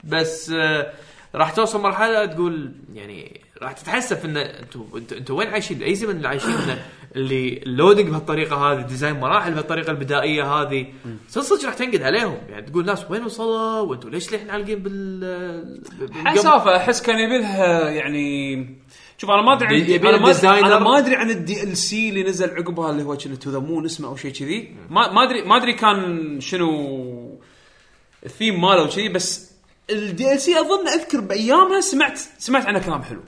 [SPEAKER 2] بس آه، راح توصل مرحله تقول يعني راح تتحسف ان انتوا انتوا انتوا وين عايشين؟ اي زمن اللي عايشين إن اللي اللودنج بهالطريقه هذه ديزاين مراحل بهالطريقه البدائيه هذه صدق صدق راح تنقد عليهم يعني تقول ناس وين وصلوا وانتوا ليش للحين عالقين بال آه، بالقمر؟
[SPEAKER 1] حسافه احس كان يبي لها يعني شوف انا ما ادري عن-
[SPEAKER 2] يبي
[SPEAKER 1] أنا ما-
[SPEAKER 2] الديزاينر.
[SPEAKER 1] انا ما ادري عن الدي ال سي اللي نزل عقبها اللي هو كنا تو ذا مون اسمه او شيء كذي ما ما ادري ما ادري كان شنو الثيم ماله وكذي بس الدي ال سي اظن اذكر بايامها سمعت سمعت عنه كلام حلو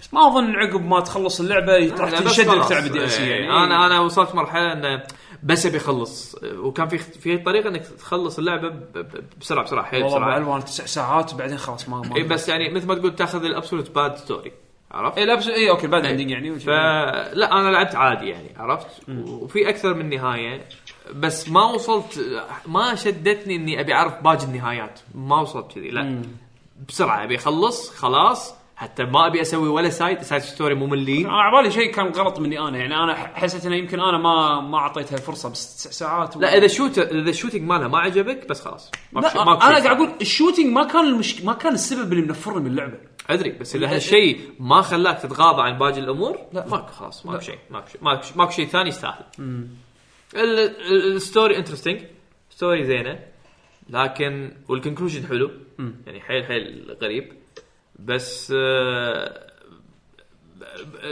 [SPEAKER 1] بس ما اظن عقب ما تخلص اللعبه راح
[SPEAKER 2] لا، بس
[SPEAKER 1] تنشد انك
[SPEAKER 2] خلاص.
[SPEAKER 1] تلعب الدي ال سي
[SPEAKER 2] إيه،
[SPEAKER 1] يعني
[SPEAKER 2] انا انا وصلت مرحله انه بس ابي اخلص وكان في في طريقه انك تخلص اللعبه ب- ب- بسرعه بسرعه حيل
[SPEAKER 1] والله أبو
[SPEAKER 2] بسرعه
[SPEAKER 1] علوان تسع ساعات بعدين خلاص ما ما
[SPEAKER 2] اي بس يعني مثل ما تقول تاخذ الابسولوت باد ستوري عرفت؟
[SPEAKER 1] اي لا اي اوكي بعد
[SPEAKER 2] إيه.
[SPEAKER 1] اندنج يعني وش-
[SPEAKER 2] فلا انا لعبت عادي يعني عرفت؟ وفي اكثر من نهايه بس ما وصلت ما شدتني اني ابي اعرف باقي النهايات ما وصلت كذي لا بسرعه ابي اخلص خلاص حتى ما ابي اسوي ولا سايد سايد ستوري مملين
[SPEAKER 1] انا على بالي شيء كان غلط مني انا يعني انا ح- حسيت انه يمكن انا ما ما اعطيتها الفرصه بس تسع ساعات و...
[SPEAKER 2] لا اذا شوت اذا الشوتنج ماله ما عجبك بس خلاص ماكو شي-
[SPEAKER 1] لا
[SPEAKER 2] ماكو
[SPEAKER 1] انا
[SPEAKER 2] شي.
[SPEAKER 1] قاعد اقول الشوتينج ما كان المشك... ما كان السبب اللي منفرني من اللعبه
[SPEAKER 2] ادري بس اذا هالشيء ما خلاك تتغاضى عن باقي الامور لا ماكو خلاص ماكو شيء ماكو شيء ماكو شيء- ماكو شيء ثاني يستاهل ال- ال- الستوري انترستنج ستوري زينه لكن والكونكلوجن حلو يعني حيل حيل غريب بس آه،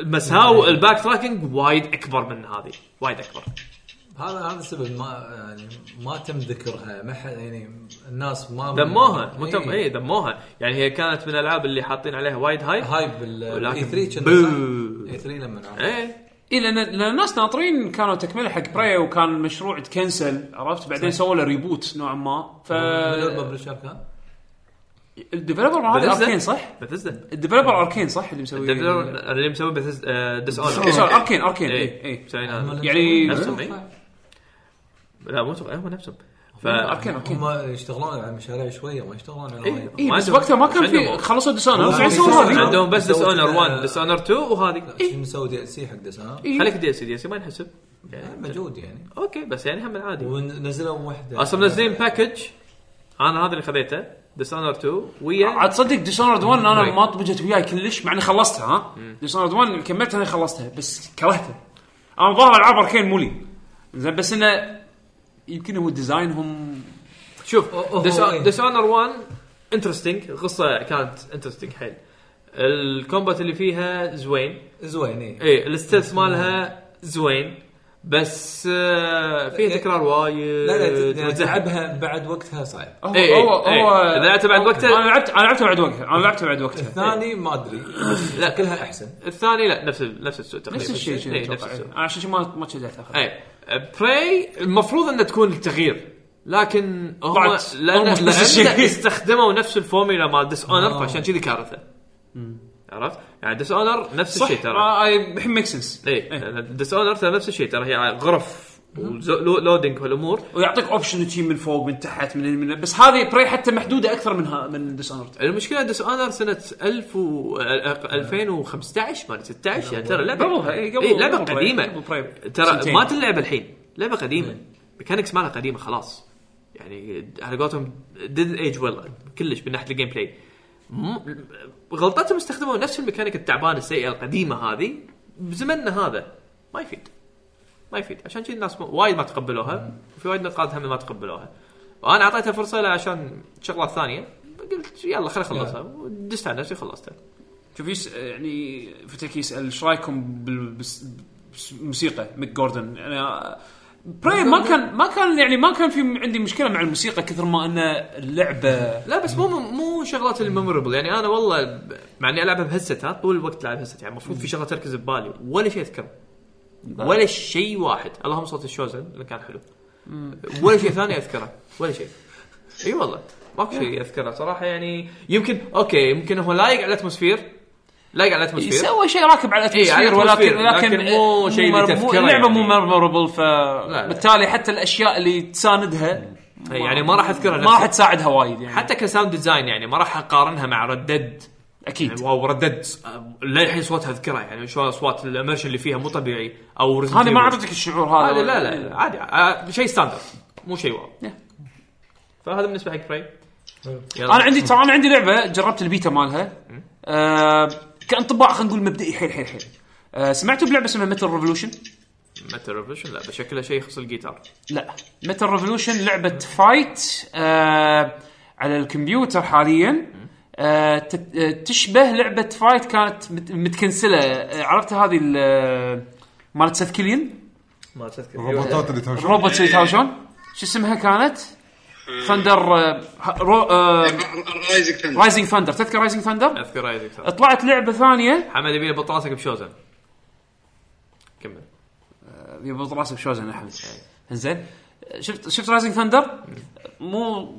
[SPEAKER 2] مساو الباك تراكنج وايد اكبر من هذه وايد اكبر
[SPEAKER 7] هذا هذا السبب ما يعني ما تم ذكرها ما حد يعني الناس ما إيه،
[SPEAKER 2] دموها مو تم اي دموها يعني هي كانت من الالعاب اللي حاطين عليها وايد هايب
[SPEAKER 7] هايب E بال
[SPEAKER 2] ولكن
[SPEAKER 7] اي 3
[SPEAKER 2] بوو.
[SPEAKER 7] اي 3 E لما نعرف.
[SPEAKER 2] ايه
[SPEAKER 1] اي لان إيه، لأن الناس ناطرين كانوا تكمله حق براي وكان المشروع تكنسل عرفت بعدين سووا له ريبوت نوعا ما ف
[SPEAKER 7] من الببلشر كان
[SPEAKER 1] الديفلوبر ما هذا
[SPEAKER 2] بثزدا.
[SPEAKER 1] اركين آه، صح؟
[SPEAKER 2] بثزدا
[SPEAKER 1] الديفلوبر اركين صح اللي مسوي
[SPEAKER 2] الديفلوبر آه، اللي مسوي آه، بث ديس
[SPEAKER 1] إيه،
[SPEAKER 2] اونر
[SPEAKER 1] سوري، اركين اركين
[SPEAKER 2] اي
[SPEAKER 1] اي
[SPEAKER 2] اي
[SPEAKER 1] اي
[SPEAKER 2] مسويين هذا
[SPEAKER 1] يعني
[SPEAKER 2] آه، نفسهم إيه. اي لا مو توقع هم نفسهم ف
[SPEAKER 1] اركين اركين
[SPEAKER 7] هم يشتغلون على مشاريع شويه ما يشتغلون على وايد.
[SPEAKER 1] اي
[SPEAKER 2] ما
[SPEAKER 1] إيه، بس
[SPEAKER 2] عندهم-
[SPEAKER 1] وقتها ما كان
[SPEAKER 2] مش عندهم
[SPEAKER 1] في خلصوا ديسونر
[SPEAKER 7] خلصوا
[SPEAKER 1] قاعد يسوون
[SPEAKER 7] Dishonored.
[SPEAKER 1] هذه
[SPEAKER 2] عندهم بس ديس اونر
[SPEAKER 7] مسوي-
[SPEAKER 2] 1 ديس اونر 2 وهذه
[SPEAKER 7] شو مسوي دي ال سي حق دسام
[SPEAKER 1] إيه.
[SPEAKER 2] خليك دي اس دي اس ما ينحسب يعني
[SPEAKER 7] مجهود يعني
[SPEAKER 2] اوكي بس يعني هم عادي
[SPEAKER 7] ونزلوا وحده
[SPEAKER 2] اصلا منزلين باكج انا هذا اللي خذيته ديس اونر 2 ويا
[SPEAKER 1] عاد تصدق ديسونرد 1 انا
[SPEAKER 2] طيب.
[SPEAKER 1] ما طبجت وياي كلش مع اني خلصتها ها ديسونرد 1 كملتها انا خلصتها بس كرهتها انا ظاهر العاب اركين مولي زين بس انه يمكن هو ديزاينهم
[SPEAKER 2] شوف
[SPEAKER 7] أوه، أوه،
[SPEAKER 2] ديس اونر 1 انترستنج القصه كانت انترستنج حيل الكومبات اللي فيها زوين
[SPEAKER 7] زوين إيه. اي
[SPEAKER 2] ايه الستيلز مالها زوين بس آه
[SPEAKER 1] إيه.
[SPEAKER 2] فيها تكرار وايد
[SPEAKER 7] لا لا ت- يعني
[SPEAKER 2] وتزهق.
[SPEAKER 7] تلعبها بعد وقتها صعب
[SPEAKER 1] هو
[SPEAKER 2] إيه،
[SPEAKER 1] هو
[SPEAKER 2] إيه.
[SPEAKER 1] هو
[SPEAKER 2] إذا لعبتها بعد وقتها-
[SPEAKER 1] انا لعبت انا لعبتها بعد وقتها انا لعبتها بعد وقتها
[SPEAKER 7] الثاني ما ادري بس
[SPEAKER 2] لا.
[SPEAKER 7] شكلها احسن
[SPEAKER 2] الثاني لا نفس ال- نفس السوء تقريبا
[SPEAKER 1] نفس الشيء شيء
[SPEAKER 2] إيه، نفس إيه،
[SPEAKER 1] أتوقع.
[SPEAKER 2] السوء
[SPEAKER 1] انا عشان شي ما ما شجعت اخذها
[SPEAKER 2] اي براي المفروض انها تكون تغيير لكن هم
[SPEAKER 1] طلعت
[SPEAKER 2] لان
[SPEAKER 1] almost نفس
[SPEAKER 2] لأن
[SPEAKER 1] الشيء.
[SPEAKER 2] استخدموا نفس الفورميلا مال ديس اونر
[SPEAKER 7] آه.
[SPEAKER 2] فعشان كذي كارثه عرفت؟ يعني ديس اونر نفس الشيء ترى
[SPEAKER 1] آه، إيه. اي الحين ميك سنس
[SPEAKER 2] اي ديس اونر ترى نفس الشيء ترى هي غرف ولودنج والامور
[SPEAKER 1] ويعطيك اوبشن تجي من فوق من تحت من, من بس هذه براي حتى محدوده اكثر منها من ديسونرد
[SPEAKER 2] المشكله ديس اونر سنه 1000 و 2015 ما أدري 16 يعني ترى لعبه
[SPEAKER 1] قبلها، إي، قبل-
[SPEAKER 2] إي، لعبه
[SPEAKER 1] قبل Prey،
[SPEAKER 2] قديمه
[SPEAKER 1] قبل Prey.
[SPEAKER 2] ترى
[SPEAKER 1] سنتين.
[SPEAKER 2] ما تلعب الحين لعبه قديمه ميكانكس مالها قديمه خلاص يعني على قولتهم ديد ايج ويل كلش من ناحيه الجيم بلاي م- غلطتهم استخدموا نفس الميكانيك التعبانه السيئه القديمه هذه بزمننا هذا ما يفيد ما يفيد عشان كذي الناس م- وايد ما تقبلوها وفي وايد نقاط هم ما تقبلوها وانا اعطيتها فرصه عشان شغلات ثانيه قلت يلا خليني اخلصها ودست على نفسي خلصتها
[SPEAKER 1] شوف يس يعني فتك يسال ايش رايكم بال- بس- بالموسيقى ميك جوردن انا براي ما كان ما كان يعني ما كان في عندي مشكله مع الموسيقى كثر ما ان اللعبه
[SPEAKER 2] لا بس مو مو شغلات الميموربل يعني انا والله ب- مع اني العبها بهيدسيت ها طول الوقت العب هيدسيت يعني المفروض في شغله تركز ببالي ولا شيء اذكره ولا شيء واحد اللهم صوت الشوزن اللي كان حلو ولا شيء ثاني اذكره ولا شيء اي والله ماكو شيء اذكره صراحه يعني يمكن اوكي يمكن هو لايق على الاتموسفير لايق على الاتموسفير
[SPEAKER 1] سوى شيء راكب على
[SPEAKER 2] إيه،
[SPEAKER 1] الاتموسفير
[SPEAKER 2] على
[SPEAKER 1] ولكن
[SPEAKER 2] الأتموسفير،
[SPEAKER 1] لكن,
[SPEAKER 2] لكن مو شيء
[SPEAKER 1] مر-
[SPEAKER 2] لتذكرة
[SPEAKER 1] اللعبه
[SPEAKER 2] يعني.
[SPEAKER 1] مو ميموربل
[SPEAKER 2] لا.
[SPEAKER 1] فبالتالي حتى الاشياء اللي تساندها
[SPEAKER 2] إيه، يعني ما راح اذكرها
[SPEAKER 1] ما راح
[SPEAKER 2] نفسي.
[SPEAKER 1] تساعدها وايد يعني
[SPEAKER 2] حتى كساوند ديزاين يعني ما راح اقارنها مع ردد
[SPEAKER 1] اكيد
[SPEAKER 2] يعني واو ردد للحين صوتها اذكرها يعني شو اصوات الامرشن اللي فيها مو طبيعي او Resident
[SPEAKER 1] هذه ما
[SPEAKER 2] Evil.
[SPEAKER 1] اعطتك الشعور هذا
[SPEAKER 2] هذا لا لا عادي آه، شيء ستاندرد مو شيء واو
[SPEAKER 1] Yeah.
[SPEAKER 2] نعم. فهذا بالنسبه حق فري يلا.
[SPEAKER 1] انا عندي ترى انا عندي لعبه جربت البيتا مالها آه كانطباع خلينا نقول مبدئي حيل حيل حيل آه سمعتوا بلعبه اسمها متل ريفولوشن؟
[SPEAKER 2] متل ريفولوشن لا بشكله شيء يخص الجيتار
[SPEAKER 1] لا متل ريفولوشن لعبه فايت آه على الكمبيوتر حاليا آه تت- آه، تشبه لعبه فايت كانت مت- متكنسله آه، عرفتها هذه ال- آه، مالت سيف كيليان
[SPEAKER 2] ما تذكر
[SPEAKER 3] الروبوتات اللي تهاوشون
[SPEAKER 1] الروبوت اللي تهاوشون شو اسمها كانت؟ ثندر آه رو آه
[SPEAKER 8] رايزنج ثندر
[SPEAKER 1] رايزنج ثندر تذكر رايزنج ثندر؟
[SPEAKER 2] اذكر هاي اكثر
[SPEAKER 1] طلعت لعبه ثانيه
[SPEAKER 2] حمد يبي يبط راسك بشوزن كمل
[SPEAKER 1] يبط راسه بشوزن احمد زين شفت شفت رايزنج ثندر مو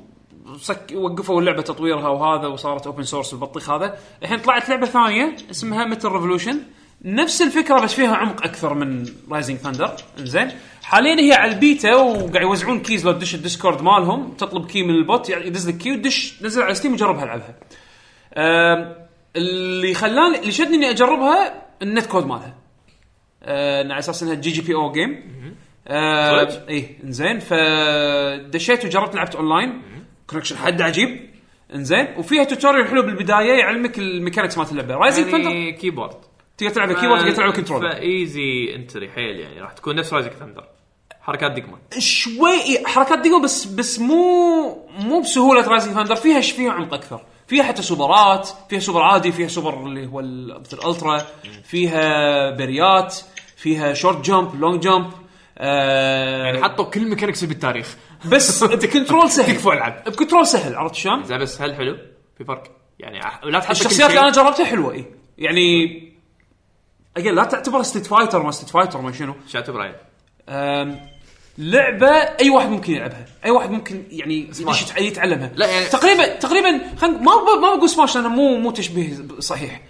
[SPEAKER 1] سك وقفوا اللعبه تطويرها وهذا وصارت اوبن سورس والبطيخ هذا الحين طلعت لعبه ثانيه اسمها متل ريفولوشن نفس الفكره بس فيها عمق اكثر من رايزنج ثندر زين حاليا هي على البيتا وقاعد يوزعون كيز لو تدش الديسكورد مالهم تطلب كي من البوت يعني يدز لك كي ودش نزل على ستيم وجربها العبها أم، اللي خلاني اللي شدني اني اجربها النت كود مالها أه، على اساس انها جي جي بي او جيم
[SPEAKER 2] صدق؟
[SPEAKER 1] اي انزين إيه، فدشيت وجربت لعبت اونلاين كونكشن حد عجيب انزين وفيها توتوريال حلو بالبدايه يعلمك الميكانكس مالت اللعبه رايزنج ثندر
[SPEAKER 2] يعني كيبورد
[SPEAKER 1] تقدر
[SPEAKER 2] يعني
[SPEAKER 1] تلعب كيبورد تقدر تلعب كنترول
[SPEAKER 2] فايزي انتري حيل يعني راح تكون نفس رايزك ثندر حركات دقمه
[SPEAKER 1] شوي إي، حركات دقيقه بس بس مو مو بسهوله رايزنج ثندر فيها ش- فيها عمق اكثر فيها حتى سوبرات فيها سوبر عادي فيها سوبر اللي هو ال- مثل الالترا فيها بريات فيها شورت جمب لونج جمب آه
[SPEAKER 2] يعني حطوا كل ميكانكس بالتاريخ
[SPEAKER 1] بس بكنترول سهل
[SPEAKER 2] تكفى العب
[SPEAKER 1] بكنترول سهل عرفت شلون؟
[SPEAKER 2] زين بس هل حلو في فرق يعني أح- لا تحط
[SPEAKER 1] الشخصيات اللي انا جربتها حلوه اي يعني اجل لا تعتبر ستيت فايتر ما ستيت فايتر ما شنو
[SPEAKER 2] شاتو براين
[SPEAKER 1] أم، لعبه اي واحد ممكن يلعبها اي واحد ممكن يعني يدش يتع- يتعلمها
[SPEAKER 2] لا يعني-
[SPEAKER 1] تقريبا تقريبا خل... ما ب... ما بقول سماش لانه مو مو تشبيه صحيح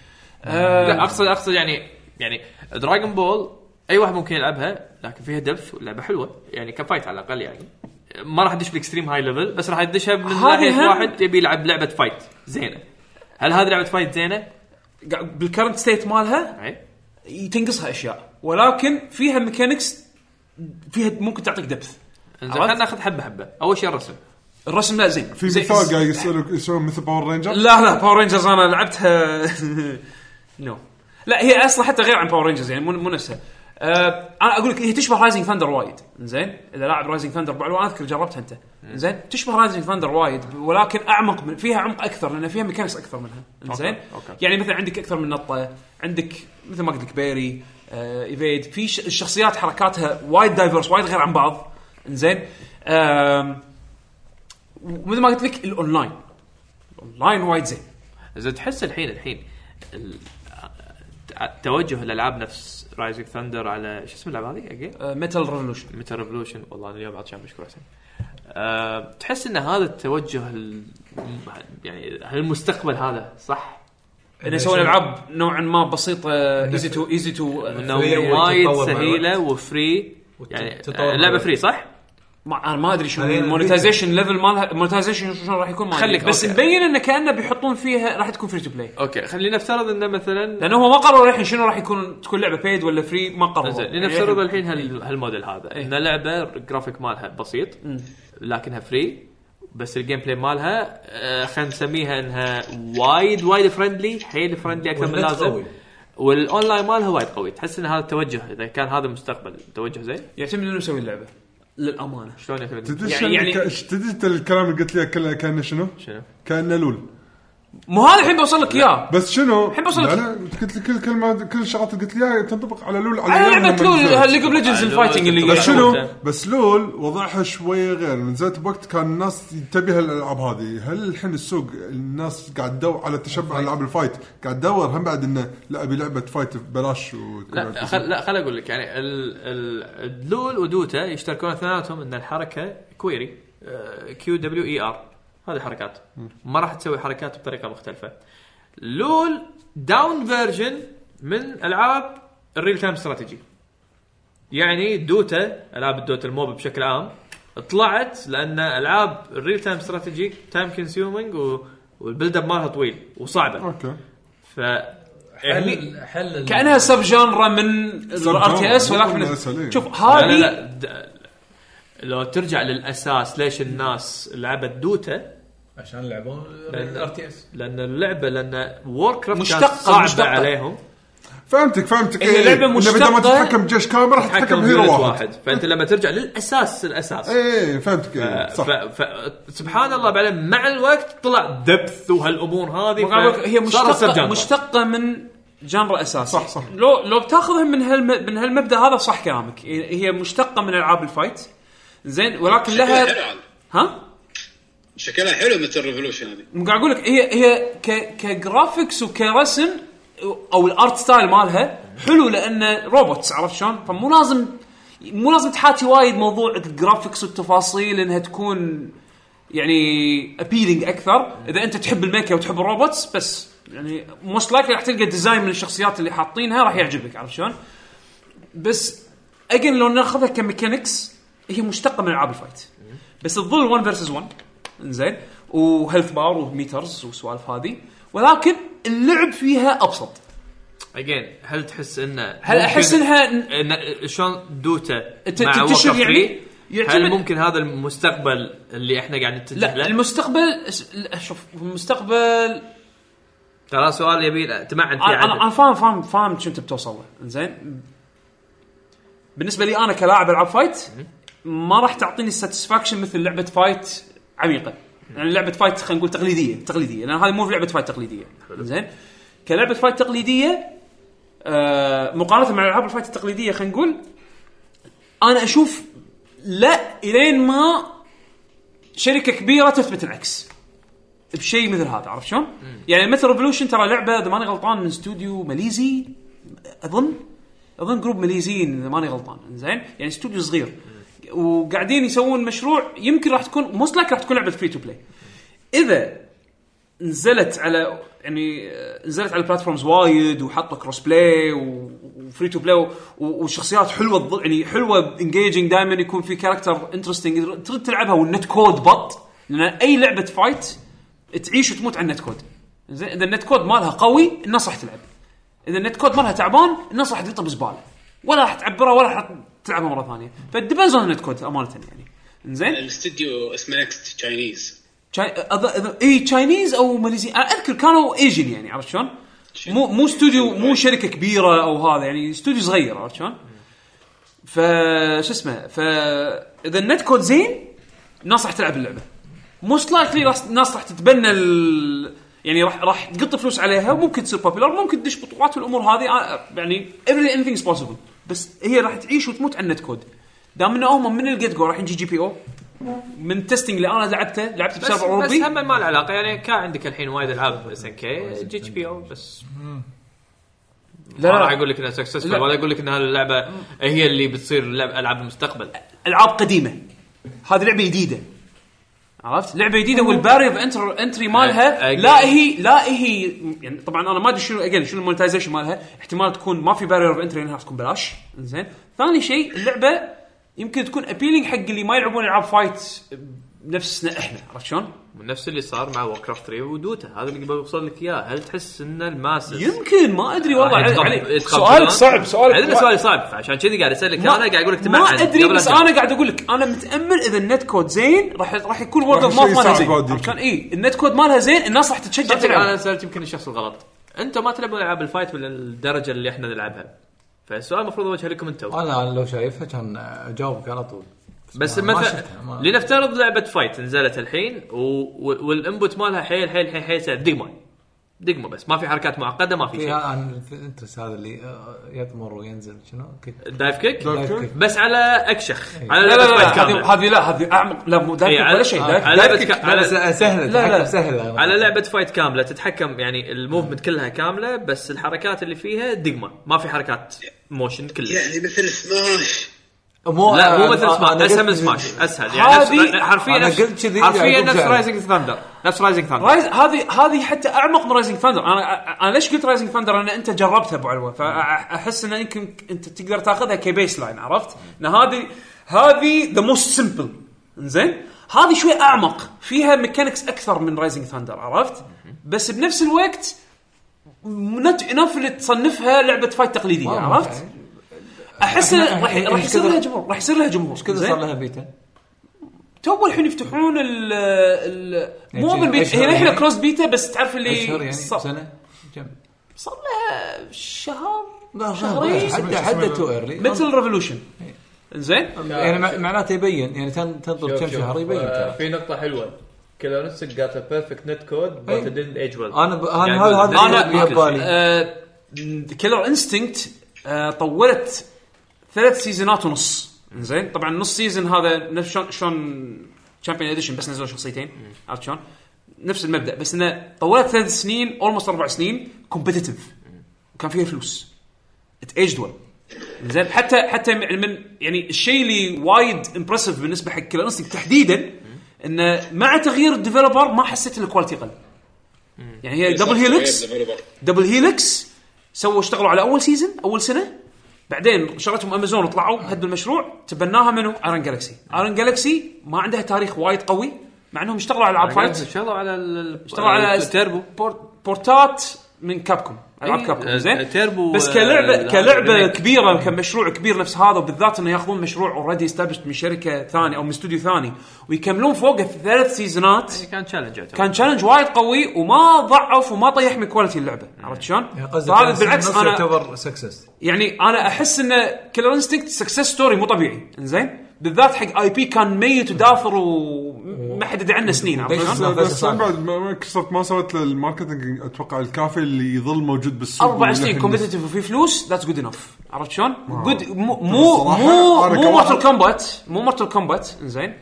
[SPEAKER 1] آه.
[SPEAKER 2] لا اقصد اقصد يعني يعني دراجون بول اي واحد ممكن يلعبها لكن فيها دبث ولعبه حلوه يعني كفايت على الاقل يعني ما راح ادش بالاكستريم هاي ليفل بس راح ادشها من
[SPEAKER 1] هذه هم-
[SPEAKER 2] ناحيه واحد يبي يلعب لعبه فايت زينه هل هذه لعبه فايت زينه؟
[SPEAKER 1] قاعد- بالكرنت ستيت مالها
[SPEAKER 2] أي.
[SPEAKER 1] تنقصها اشياء ولكن فيها ميكانكس فيها ممكن تعطيك دبث
[SPEAKER 2] زين
[SPEAKER 1] عرفت؟
[SPEAKER 2] خلينا ناخذ حبه حبه اول شيء الرسم
[SPEAKER 1] الرسم لا زين
[SPEAKER 3] في
[SPEAKER 1] زين-
[SPEAKER 3] مثال قاعد يسألك يسوون مثل باور رينجر
[SPEAKER 1] لا لا باور رينجرز انا لعبتها نو لا هي اصلا حتى غير عن باور رينجرز يعني مو مو نفسها أه انا اقول لك هي تشبه رايزنج ثاندر وايد زين اذا لاعب رايزنج ثاندر بعد انا اذكر جربتها انت زين تشبه رايزنج ثاندر وايد ولكن اعمق من فيها عمق اكثر لان فيها ميكانكس اكثر منها زين
[SPEAKER 2] أوكي.
[SPEAKER 1] يعني مثلا عندك اكثر من نطه عندك مثل ما قلت لك بيري آه ايفيد في ش- الشخصيات حركاتها وايد دايفرس وايد غير عن بعض زين مثل ما قلت لك الاونلاين الاونلاين وايد زين
[SPEAKER 2] اذا تحس الحين الحين ال- ع- توجه الالعاب نفس رايزنج ثندر على شو اسم اللعبه هذه اجين
[SPEAKER 1] ميتال ريفولوشن
[SPEAKER 2] متى ريفولوشن والله انا اليوم عطشان مشكور حسين أه تحس ان هذا التوجه ال... يعني هل المستقبل هذا صح؟
[SPEAKER 1] انه يسوون العاب نوعا ما آه، بسيطه ايزي تو ايزي تو
[SPEAKER 2] انه
[SPEAKER 7] فري
[SPEAKER 2] وايد
[SPEAKER 7] وتتطور مع
[SPEAKER 2] سهيله وفري
[SPEAKER 7] وت-
[SPEAKER 2] يعني
[SPEAKER 7] تتطور
[SPEAKER 2] آه،
[SPEAKER 7] مع
[SPEAKER 2] لعبه
[SPEAKER 7] الوقت.
[SPEAKER 2] فري صح؟
[SPEAKER 1] ما انا ما ادري شنو
[SPEAKER 7] هذه
[SPEAKER 1] المونتايزيشن ليفل مالها المونتايزيشن شلون راح يكون ما أدري.
[SPEAKER 2] خليك-
[SPEAKER 1] بس
[SPEAKER 2] أوكي.
[SPEAKER 1] مبين انه كانه بيحطون فيها راح تكون فري تو بلاي
[SPEAKER 2] اوكي خلينا نفترض انه مثلا
[SPEAKER 1] لانه هو ما قرروا الحين شنو راح يكون تكون لعبه بيد ولا فري ما قرروا
[SPEAKER 2] زين
[SPEAKER 1] يعني
[SPEAKER 2] لنفترض
[SPEAKER 1] الحين-
[SPEAKER 2] الحين
[SPEAKER 7] إيه.
[SPEAKER 2] هال... هالموديل هذا ان لعبه الجرافيك مالها بسيط لكنها فري بس الجيم بلاي مالها آه خلينا نسميها انها وايد وايد فرندلي حيل فرندلي اكثر من
[SPEAKER 7] والنت
[SPEAKER 2] اللازم
[SPEAKER 7] قوي.
[SPEAKER 2] والاونلاين مالها وايد قوي تحس ان هذا التوجه اذا كان هذا المستقبل توجه زين
[SPEAKER 1] يعتمد انه يسوي اللعبه للامانه
[SPEAKER 2] شلون يعتمد؟
[SPEAKER 3] تدري
[SPEAKER 1] يعني- يعني-
[SPEAKER 3] شنو- تدري انت الكلام اللي قلت لي كله كانه شنو؟
[SPEAKER 2] شنو؟
[SPEAKER 3] كانه لول
[SPEAKER 1] مو هذا الحين بوصل لك اياه
[SPEAKER 3] بس شنو؟
[SPEAKER 1] الحين بوصلت.
[SPEAKER 3] لا لا قلت لي كل كلمه كل الشغلات اللي قلت لي اياها تنطبق على لول
[SPEAKER 1] على
[SPEAKER 3] يوم
[SPEAKER 1] لعبه
[SPEAKER 3] لما
[SPEAKER 1] لول
[SPEAKER 3] نزلت.
[SPEAKER 1] هالليج اوف ليجندز
[SPEAKER 2] على
[SPEAKER 1] الفايتنج
[SPEAKER 2] لول
[SPEAKER 1] اللي
[SPEAKER 3] بس
[SPEAKER 2] تنطبق.
[SPEAKER 3] شنو؟
[SPEAKER 2] أوكي.
[SPEAKER 3] بس لول وضعها شويه غير نزلت بوقت كان الناس تبي هالالعاب هذه، هل الحين السوق الناس قاعد تدور على تشبع العاب الفايت، قاعد تدور هم بعد انه لا ابي لعبه فايت ببلاش وتكون
[SPEAKER 2] لا خل لا خل اقول لك يعني ال- ال- اللول ودوتا يشتركون اثنيناتهم ان الحركه كويري آه، E كيو دبليو اي ار هذه حركات ما راح تسوي حركات بطريقه مختلفه لول داون فيرجن من العاب الريل تايم استراتيجي يعني دوتا العاب الدوتا الموب بشكل عام طلعت لان العاب الريل تايم استراتيجي تايم كونسيومينج والبيلد اب مالها طويل وصعبه
[SPEAKER 3] اوكي
[SPEAKER 2] ف هني-
[SPEAKER 10] حل حل ال-
[SPEAKER 1] كانها سب جانرا من الار تي اس ولكن
[SPEAKER 3] من RTS إيه.
[SPEAKER 1] من- شوف
[SPEAKER 2] لا لا
[SPEAKER 1] هذه
[SPEAKER 2] لا د- لو ترجع للاساس ليش الناس لعبت دوتا
[SPEAKER 10] عشان يلعبون
[SPEAKER 2] لأن-
[SPEAKER 10] ار تي اس
[SPEAKER 2] لان اللعبه لان وور كرافت
[SPEAKER 1] مشتقة-
[SPEAKER 2] صعبه
[SPEAKER 1] مشتقة.
[SPEAKER 2] عليهم
[SPEAKER 3] فهمتك فهمتك
[SPEAKER 1] هي
[SPEAKER 3] إيه،
[SPEAKER 1] لعبة
[SPEAKER 3] إنه بدل ما
[SPEAKER 1] مشتقة.
[SPEAKER 3] تتحكم بجيش كامل راح
[SPEAKER 2] حكم
[SPEAKER 3] تتحكم بهيرو
[SPEAKER 2] واحد.
[SPEAKER 3] واحد
[SPEAKER 2] واحد فانت لما ترجع للاساس الاساس
[SPEAKER 3] ايه فهمتك إيه،
[SPEAKER 2] ف...
[SPEAKER 3] صح
[SPEAKER 2] ف... سبحان الله بعدين مع الوقت طلع دبث وهالامور هذه
[SPEAKER 1] وقاعد أقول لك هي
[SPEAKER 2] صارت
[SPEAKER 1] مشتقه
[SPEAKER 2] سبجانرا.
[SPEAKER 1] مشتقه من جانرا اساسي
[SPEAKER 3] صح، صح.
[SPEAKER 1] لو لو بتاخذها من هالم... من هالمبدا هذا صح كلامك هي مشتقه من العاب الفايت زين ولكن
[SPEAKER 8] شكلها
[SPEAKER 1] لها
[SPEAKER 8] حلو عاد.
[SPEAKER 1] ها
[SPEAKER 8] شكلها حلو مثل الريفولوشن هذه
[SPEAKER 1] قاعد اقول لك هي هي ك... كجرافكس وكرسم او الارت ستايل مالها حلو لانه روبوتس عرفت شلون؟ فمو لازم مو لازم تحاتي وايد موضوع الجرافكس والتفاصيل انها تكون يعني ابيلينج اكثر اذا انت تحب الميكا وتحب الروبوتس بس يعني موست لايكلي راح تلقى ديزاين من الشخصيات اللي حاطينها راح يعجبك عرفت شلون؟ بس اجين لو ناخذها كميكانكس هي مشتقه من العاب الفايت بس تظل 1 فيرسز 1 زين وهيلث بار وميترز وسوالف هذه ولكن اللعب فيها ابسط
[SPEAKER 2] اجين هل تحس انه
[SPEAKER 1] هل احس
[SPEAKER 2] ممكن-
[SPEAKER 1] انها ن-
[SPEAKER 2] إن شلون دوتا
[SPEAKER 1] ت-
[SPEAKER 2] مع
[SPEAKER 1] تنتشر
[SPEAKER 2] وقف
[SPEAKER 1] يعني؟
[SPEAKER 2] فيه؟ هل
[SPEAKER 1] يعتمد-
[SPEAKER 2] ممكن هذا المستقبل اللي احنا قاعدين نتجه
[SPEAKER 1] لا
[SPEAKER 2] له؟
[SPEAKER 1] المستقبل اس- لا، شوف المستقبل
[SPEAKER 2] ترى سؤال يبي تمعن فيه
[SPEAKER 1] انا انا
[SPEAKER 2] عدل.
[SPEAKER 1] فاهم فاهم فاهم شو انت بتوصل له زين بالنسبه لي انا كلاعب العاب فايت ما راح تعطيني ساتسفاكشن مثل لعبه فايت عميقه يعني لعبه فايت خلينا نقول تقليديه تقليديه لان هذه مو لعبه فايت تقليديه زين كلعبه فايت تقليديه آه مقارنه مع العاب الفايت التقليديه خلينا نقول انا اشوف لا الين ما شركه كبيره تثبت العكس بشيء مثل هذا عرفت شلون؟ يعني مثل ريفولوشن ترى لعبه اذا ماني غلطان من استوديو ماليزي اظن اظن جروب ماليزيين اذا ماني غلطان زين يعني استوديو صغير وقاعدين يسوون مشروع يمكن راح تكون موست راح تكون لعبه فري تو بلاي اذا نزلت على يعني آه، نزلت على بلاتفورمز وايد وحطوا كروس بلاي وفري تو بلاي وشخصيات حلوه تظل- يعني حلوه انجيجنج دائما يكون في كاركتر انترستنج ترد تلعبها والنت كود بط لان اي لعبه فايت تعيش وتموت على النت كود زين اذا النت كود مالها قوي الناس راح تلعب اذا النت كود مالها تعبان الناس راح تقطب زباله ولا راح تعبرها ولا راح تلعبها مره ثانيه فالديبنز اون النت كود امانه يعني زين
[SPEAKER 8] الاستديو اسمه نكست تشاينيز
[SPEAKER 1] تشاي... أض... أض... اي تشاينيز او إيه، ماليزي انا اذكر كانوا ايجن يعني عرفت شلون؟ مو مو استوديو مو شركه كبيره او هذا يعني استوديو صغير عرفت شلون؟ ف شو اسمه ف اذا النت كود زين الناس راح تلعب اللعبه موست لايكلي الناس راح تتبنى ال... يعني راح راح تقط فلوس عليها وممكن تصير بوبيلر ممكن تدش بطولات والامور هذه آه، يعني every anything is possible بس هي راح تعيش وتموت على النت كود دام انه هم من الجيت جو رايحين جي جي بي او من التستنج اللي انا لعبته لعبته
[SPEAKER 2] بس,
[SPEAKER 1] بسيرفر
[SPEAKER 2] بس
[SPEAKER 1] اوروبي
[SPEAKER 2] هم ما له علاقه يعني كان عندك الحين وايد العاب اس ان كي جي اتش بي او بس
[SPEAKER 1] لا
[SPEAKER 2] ما راح
[SPEAKER 1] لا
[SPEAKER 2] اقول لك انها سكسسفل
[SPEAKER 1] لا.
[SPEAKER 2] ولا اقول لك ان هاللعبه هي اللي بتصير لعب العاب المستقبل
[SPEAKER 1] العاب قديمه هذه لعبه جديده عرفت لعبه جديده والباري اوف انتر انتري مالها
[SPEAKER 2] أ-
[SPEAKER 1] لا هي لا هي يعني طبعا انا ما ادري شنو اجين شنو المونتايزيشن مالها احتمال تكون ما في باري اوف انتري انها راح تكون بلاش زين ثاني شيء اللعبه يمكن تكون ابيلينج حق اللي ما يلعبون العاب فايت نفسنا احنا عرفت شون؟
[SPEAKER 2] نفس اللي صار مع وور كرافت 3 ودوتا هذا اللي بوصل لك اياه هل تحس ان الماسس
[SPEAKER 1] يمكن ما ادري والله
[SPEAKER 2] راح
[SPEAKER 1] علي,
[SPEAKER 2] يتقب-
[SPEAKER 1] علي
[SPEAKER 2] يتقبلون؟
[SPEAKER 1] سؤالك يعني صعب سؤالك
[SPEAKER 2] ادري سؤالي صعب عشان كذي قاعد اسالك انا قاعد اقول لك
[SPEAKER 1] ما
[SPEAKER 2] تبعد
[SPEAKER 1] ادري بس انا قاعد اقول لك انا متامل اذا النت كود زين راح راح يكون وورد اوف
[SPEAKER 3] يصير
[SPEAKER 1] ماوث مالها
[SPEAKER 3] صعب
[SPEAKER 1] زين
[SPEAKER 3] بعد يمكن.
[SPEAKER 1] عشان اي النت كود مالها زين الناس راح تتشجع
[SPEAKER 2] صدق انا
[SPEAKER 1] تلعب
[SPEAKER 2] سالت يمكن الشخص الغلط انتم ما تلعبون العاب الفايت بالدرجه اللي احنا نلعبها فالسؤال المفروض اوجهه لكم انتم
[SPEAKER 7] انا لو شايفها كان اجاوبك على طول
[SPEAKER 2] بس
[SPEAKER 7] ما- ما
[SPEAKER 2] مثلا
[SPEAKER 7] شفتها، ما-
[SPEAKER 2] لنفترض لعبه فايت نزلت الحين و... و... والانبوت مالها حيل حيل حيل حيل سهل دقمه دقمه بس ما في حركات معقده ما في
[SPEAKER 7] في
[SPEAKER 2] شيء
[SPEAKER 7] الانترست إيه، هذا اللي آه، يطمر وينزل شنو كيك
[SPEAKER 2] دايف كيك
[SPEAKER 7] دايف كيك.
[SPEAKER 2] بس على اكشخ على
[SPEAKER 1] إيه. لا لا
[SPEAKER 2] لعبه فايت
[SPEAKER 1] لا هذه
[SPEAKER 2] كامله
[SPEAKER 1] هذه لا هذه اعمق لا مو
[SPEAKER 2] إي،
[SPEAKER 1] دايك
[SPEAKER 2] على-
[SPEAKER 1] ولا شيء دايك
[SPEAKER 2] على لعبه ك-
[SPEAKER 7] على
[SPEAKER 2] على-
[SPEAKER 7] سهله
[SPEAKER 1] لا، لا.
[SPEAKER 7] تحكم سهله
[SPEAKER 2] على لعبه فايت كامله تتحكم يعني الموفمنت كلها كامله بس الحركات اللي فيها دقمه ما في حركات موشن كلها
[SPEAKER 8] يعني مثل سماش
[SPEAKER 7] مو
[SPEAKER 2] لا مو
[SPEAKER 1] آه،
[SPEAKER 7] أنا-
[SPEAKER 2] مثل
[SPEAKER 7] أنا
[SPEAKER 2] سماش
[SPEAKER 7] قلت
[SPEAKER 2] اسهل من
[SPEAKER 7] كذي.
[SPEAKER 2] سماش اسهل يعني نفس-
[SPEAKER 1] هذه-
[SPEAKER 2] حرفيا
[SPEAKER 7] أنا
[SPEAKER 2] نفس
[SPEAKER 7] قلت كذي،
[SPEAKER 2] حرفيا
[SPEAKER 1] يعني
[SPEAKER 7] يعقوب
[SPEAKER 2] نفس
[SPEAKER 7] زعل.
[SPEAKER 2] رايزنج ثاندر نفس رايزنج ثاندر
[SPEAKER 1] رايز هذه هذه حتى اعمق من رايزنج ثاندر انا انا ليش قلت رايزنج ثاندر لان انت جربتها ابو علوه فاحس ان يمكن انت تقدر تاخذها كبيس لاين عرفت؟ ان هذه هذه ذا موست سمبل زين هذه شوي اعمق فيها ميكانكس اكثر من رايزنج ثاندر عرفت؟ بس بنفس الوقت نت انف اللي تصنفها لعبه فايت تقليديه عرفت؟ احس إن راح
[SPEAKER 7] إحنا-
[SPEAKER 1] راح
[SPEAKER 7] إيش
[SPEAKER 1] يصير
[SPEAKER 7] كثر-
[SPEAKER 1] لها جمهور راح يصير لها جمهور
[SPEAKER 7] ايش كذا
[SPEAKER 1] زين؟
[SPEAKER 7] صار لها بيتا؟
[SPEAKER 1] تو الحين يفتحون ال ال مو
[SPEAKER 7] يعني
[SPEAKER 1] من بيتا
[SPEAKER 7] أشهر
[SPEAKER 1] هي الحين
[SPEAKER 7] يعني؟
[SPEAKER 1] كروس بيتا بس تعرف اللي
[SPEAKER 7] اشهر يعني
[SPEAKER 1] صار-
[SPEAKER 7] سنه كم؟
[SPEAKER 1] صار لها شهر شهرين.
[SPEAKER 7] حتى حتى تو ايرلي
[SPEAKER 1] مثل ريفولوشن
[SPEAKER 7] إيه.
[SPEAKER 1] زين
[SPEAKER 7] يعني مع- معناته يبين يعني تن- تنطر كم
[SPEAKER 11] شوف،
[SPEAKER 7] شهر يبين
[SPEAKER 11] آه،
[SPEAKER 7] ترى
[SPEAKER 11] في نقطة حلوة كلارنسك قالت له بيرفكت نت كود
[SPEAKER 7] أي.
[SPEAKER 11] بس didn't ايج ويل
[SPEAKER 7] انا ب...
[SPEAKER 2] يعني
[SPEAKER 7] انا هذا هذا
[SPEAKER 2] أنا-
[SPEAKER 7] اللي ببالي
[SPEAKER 1] كيلر انستنكت آه، طولت ثلاث سيزونات ونص زين طبعا نص سيزون هذا نفس شلون شلون تشامبيون اديشن بس نزلوا شخصيتين عرفت شلون؟ نفس المبدا بس انه طولت ثلاث سنين اولموست اربع سنين كومبتتف وكان فيها فلوس اتايجد ويل زين حتى حتى يعني من يعني الشيء اللي وايد امبرسيف بالنسبه حق كيلر انستنكت تحديدا انه مع تغيير الديفلوبر ما حسيت ان الكواليتي قل يعني هي دبل هيلكس دبل هيلكس سووا اشتغلوا على اول سيزون اول سنه بعدين شرتهم امازون وطلعوا هدوا المشروع تبناها منو؟ ايرون جالكسي ايرون جالكسي ما عندها تاريخ وايد قوي مع انهم اشتغلوا على العاب
[SPEAKER 7] إيه،
[SPEAKER 1] فايت
[SPEAKER 2] اشتغلوا على ال-
[SPEAKER 1] اشتغلوا على
[SPEAKER 2] التيربو
[SPEAKER 1] بورت- بورتات من كابكوم العاب
[SPEAKER 2] آه، إيه،
[SPEAKER 1] كابكوم
[SPEAKER 2] آه،
[SPEAKER 1] زين
[SPEAKER 2] تيربو،
[SPEAKER 1] بس
[SPEAKER 2] آه،
[SPEAKER 1] كلعبه
[SPEAKER 2] آه،
[SPEAKER 1] كلعبه
[SPEAKER 2] ريميك.
[SPEAKER 1] كبيره كمشروع كبير نفس هذا وبالذات انه ياخذون مشروع اوريدي استابشت من شركه ثانيه او من استوديو ثاني ويكملون فوقه في ثلاث سيزونات
[SPEAKER 2] كان تشالنج
[SPEAKER 1] كان تشالنج وايد قوي وما ضعف وما طيح من كواليتي اللعبه عرفت شلون؟ فهذا طيب، بالعكس انا
[SPEAKER 7] يعتبر سكسس
[SPEAKER 1] يعني انا احس ان كيلر انستنكت سكسس ستوري مو طبيعي انزين بالذات حق اي بي كان ميت ودافر وما حد يدري عنه سنين عرفت
[SPEAKER 7] بس-
[SPEAKER 1] شلون؟
[SPEAKER 3] بس
[SPEAKER 7] صعب.
[SPEAKER 3] من بعد ما- مايكروسوفت ما سوت له الماركتنج اتوقع الكافي اللي يظل موجود بالسوق
[SPEAKER 1] اربع سنين
[SPEAKER 3] والحين-
[SPEAKER 1] كومبتتف وفي فلوس ذاتس جود انف عرفت شلون؟ جود مو
[SPEAKER 3] بصراحة
[SPEAKER 1] مو
[SPEAKER 3] أنا
[SPEAKER 1] مو
[SPEAKER 3] كواحد-
[SPEAKER 1] مورتل كومبات مو مورتل كومبات انزين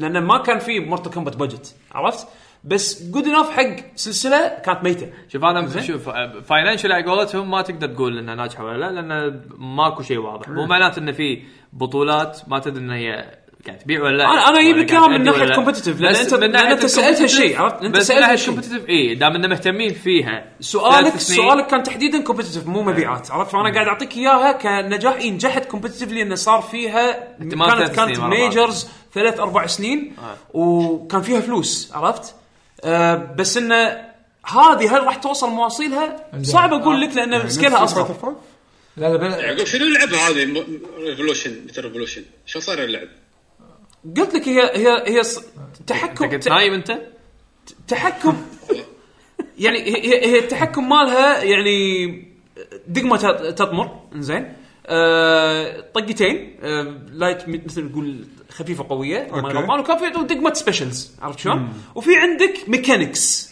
[SPEAKER 1] لان ما كان في مورتل كومبات بجت عرفت؟ بس جود انف حق سلسله كانت ميته
[SPEAKER 2] شوف انا شوف فاينانشال على قولتهم ما تقدر تقول انها ناجحه ولا لا لان ماكو شيء واضح مو معناته انه في بطولات ما تدري ان هي قاعد تبيع ولا لا
[SPEAKER 1] أنا- أنا أجيب
[SPEAKER 2] ولا
[SPEAKER 1] لك
[SPEAKER 2] قاعد
[SPEAKER 1] إياها من
[SPEAKER 2] تأدي ولا
[SPEAKER 1] ناحية
[SPEAKER 2] لا.
[SPEAKER 1] competitive، لأن
[SPEAKER 2] بس
[SPEAKER 1] أنت-
[SPEAKER 2] من
[SPEAKER 1] لأن
[SPEAKER 2] ناحية
[SPEAKER 1] أنت سألتها
[SPEAKER 2] competitive-
[SPEAKER 1] شيء، عرفت؟ أنت
[SPEAKER 2] بس من
[SPEAKER 1] سألتها
[SPEAKER 2] ناحية
[SPEAKER 1] شيء.
[SPEAKER 2] competitive اي دام انه مهتمين فيها
[SPEAKER 1] سؤالك
[SPEAKER 2] ثلاث سنين. إيه.
[SPEAKER 1] سؤالك كان تحديدا كومبتتف مو مبيعات عرفت فانا قاعد اعطيك اياها كنجاح إي نجحت كومبتتفلي انه صار فيها
[SPEAKER 2] اهتمام
[SPEAKER 1] كانت
[SPEAKER 2] ثلاث
[SPEAKER 1] كانت
[SPEAKER 2] سنين آه. ورا بعض.
[SPEAKER 1] ميجرز ثلاث اربع سنين وكان فيها فلوس عرفت آه بس انه هذه هل راح توصل مواصيلها؟ صعب اقول لك لان سكيلها
[SPEAKER 3] نفس
[SPEAKER 1] اصغر
[SPEAKER 3] Street Fighter
[SPEAKER 7] لا لا بلا
[SPEAKER 8] يعقوب شنو اللعبه هذه ريفولوشن مثل ريفولوشن شو صار اللعب؟
[SPEAKER 1] قلت لك هي هي هي ص-
[SPEAKER 2] انت
[SPEAKER 1] تحكم
[SPEAKER 2] كنت نايم انت؟
[SPEAKER 1] تحكم يعني هي- هي هي التحكم مالها يعني دقمه تط- تطمر زين آه طقتين آه لايت م- مثل نقول خفيفه قويه ما
[SPEAKER 3] أوكي.
[SPEAKER 1] غلطان وكان في عندهم دقمه سبيشلز عرفت شلون؟ وفي عندك ميكانكس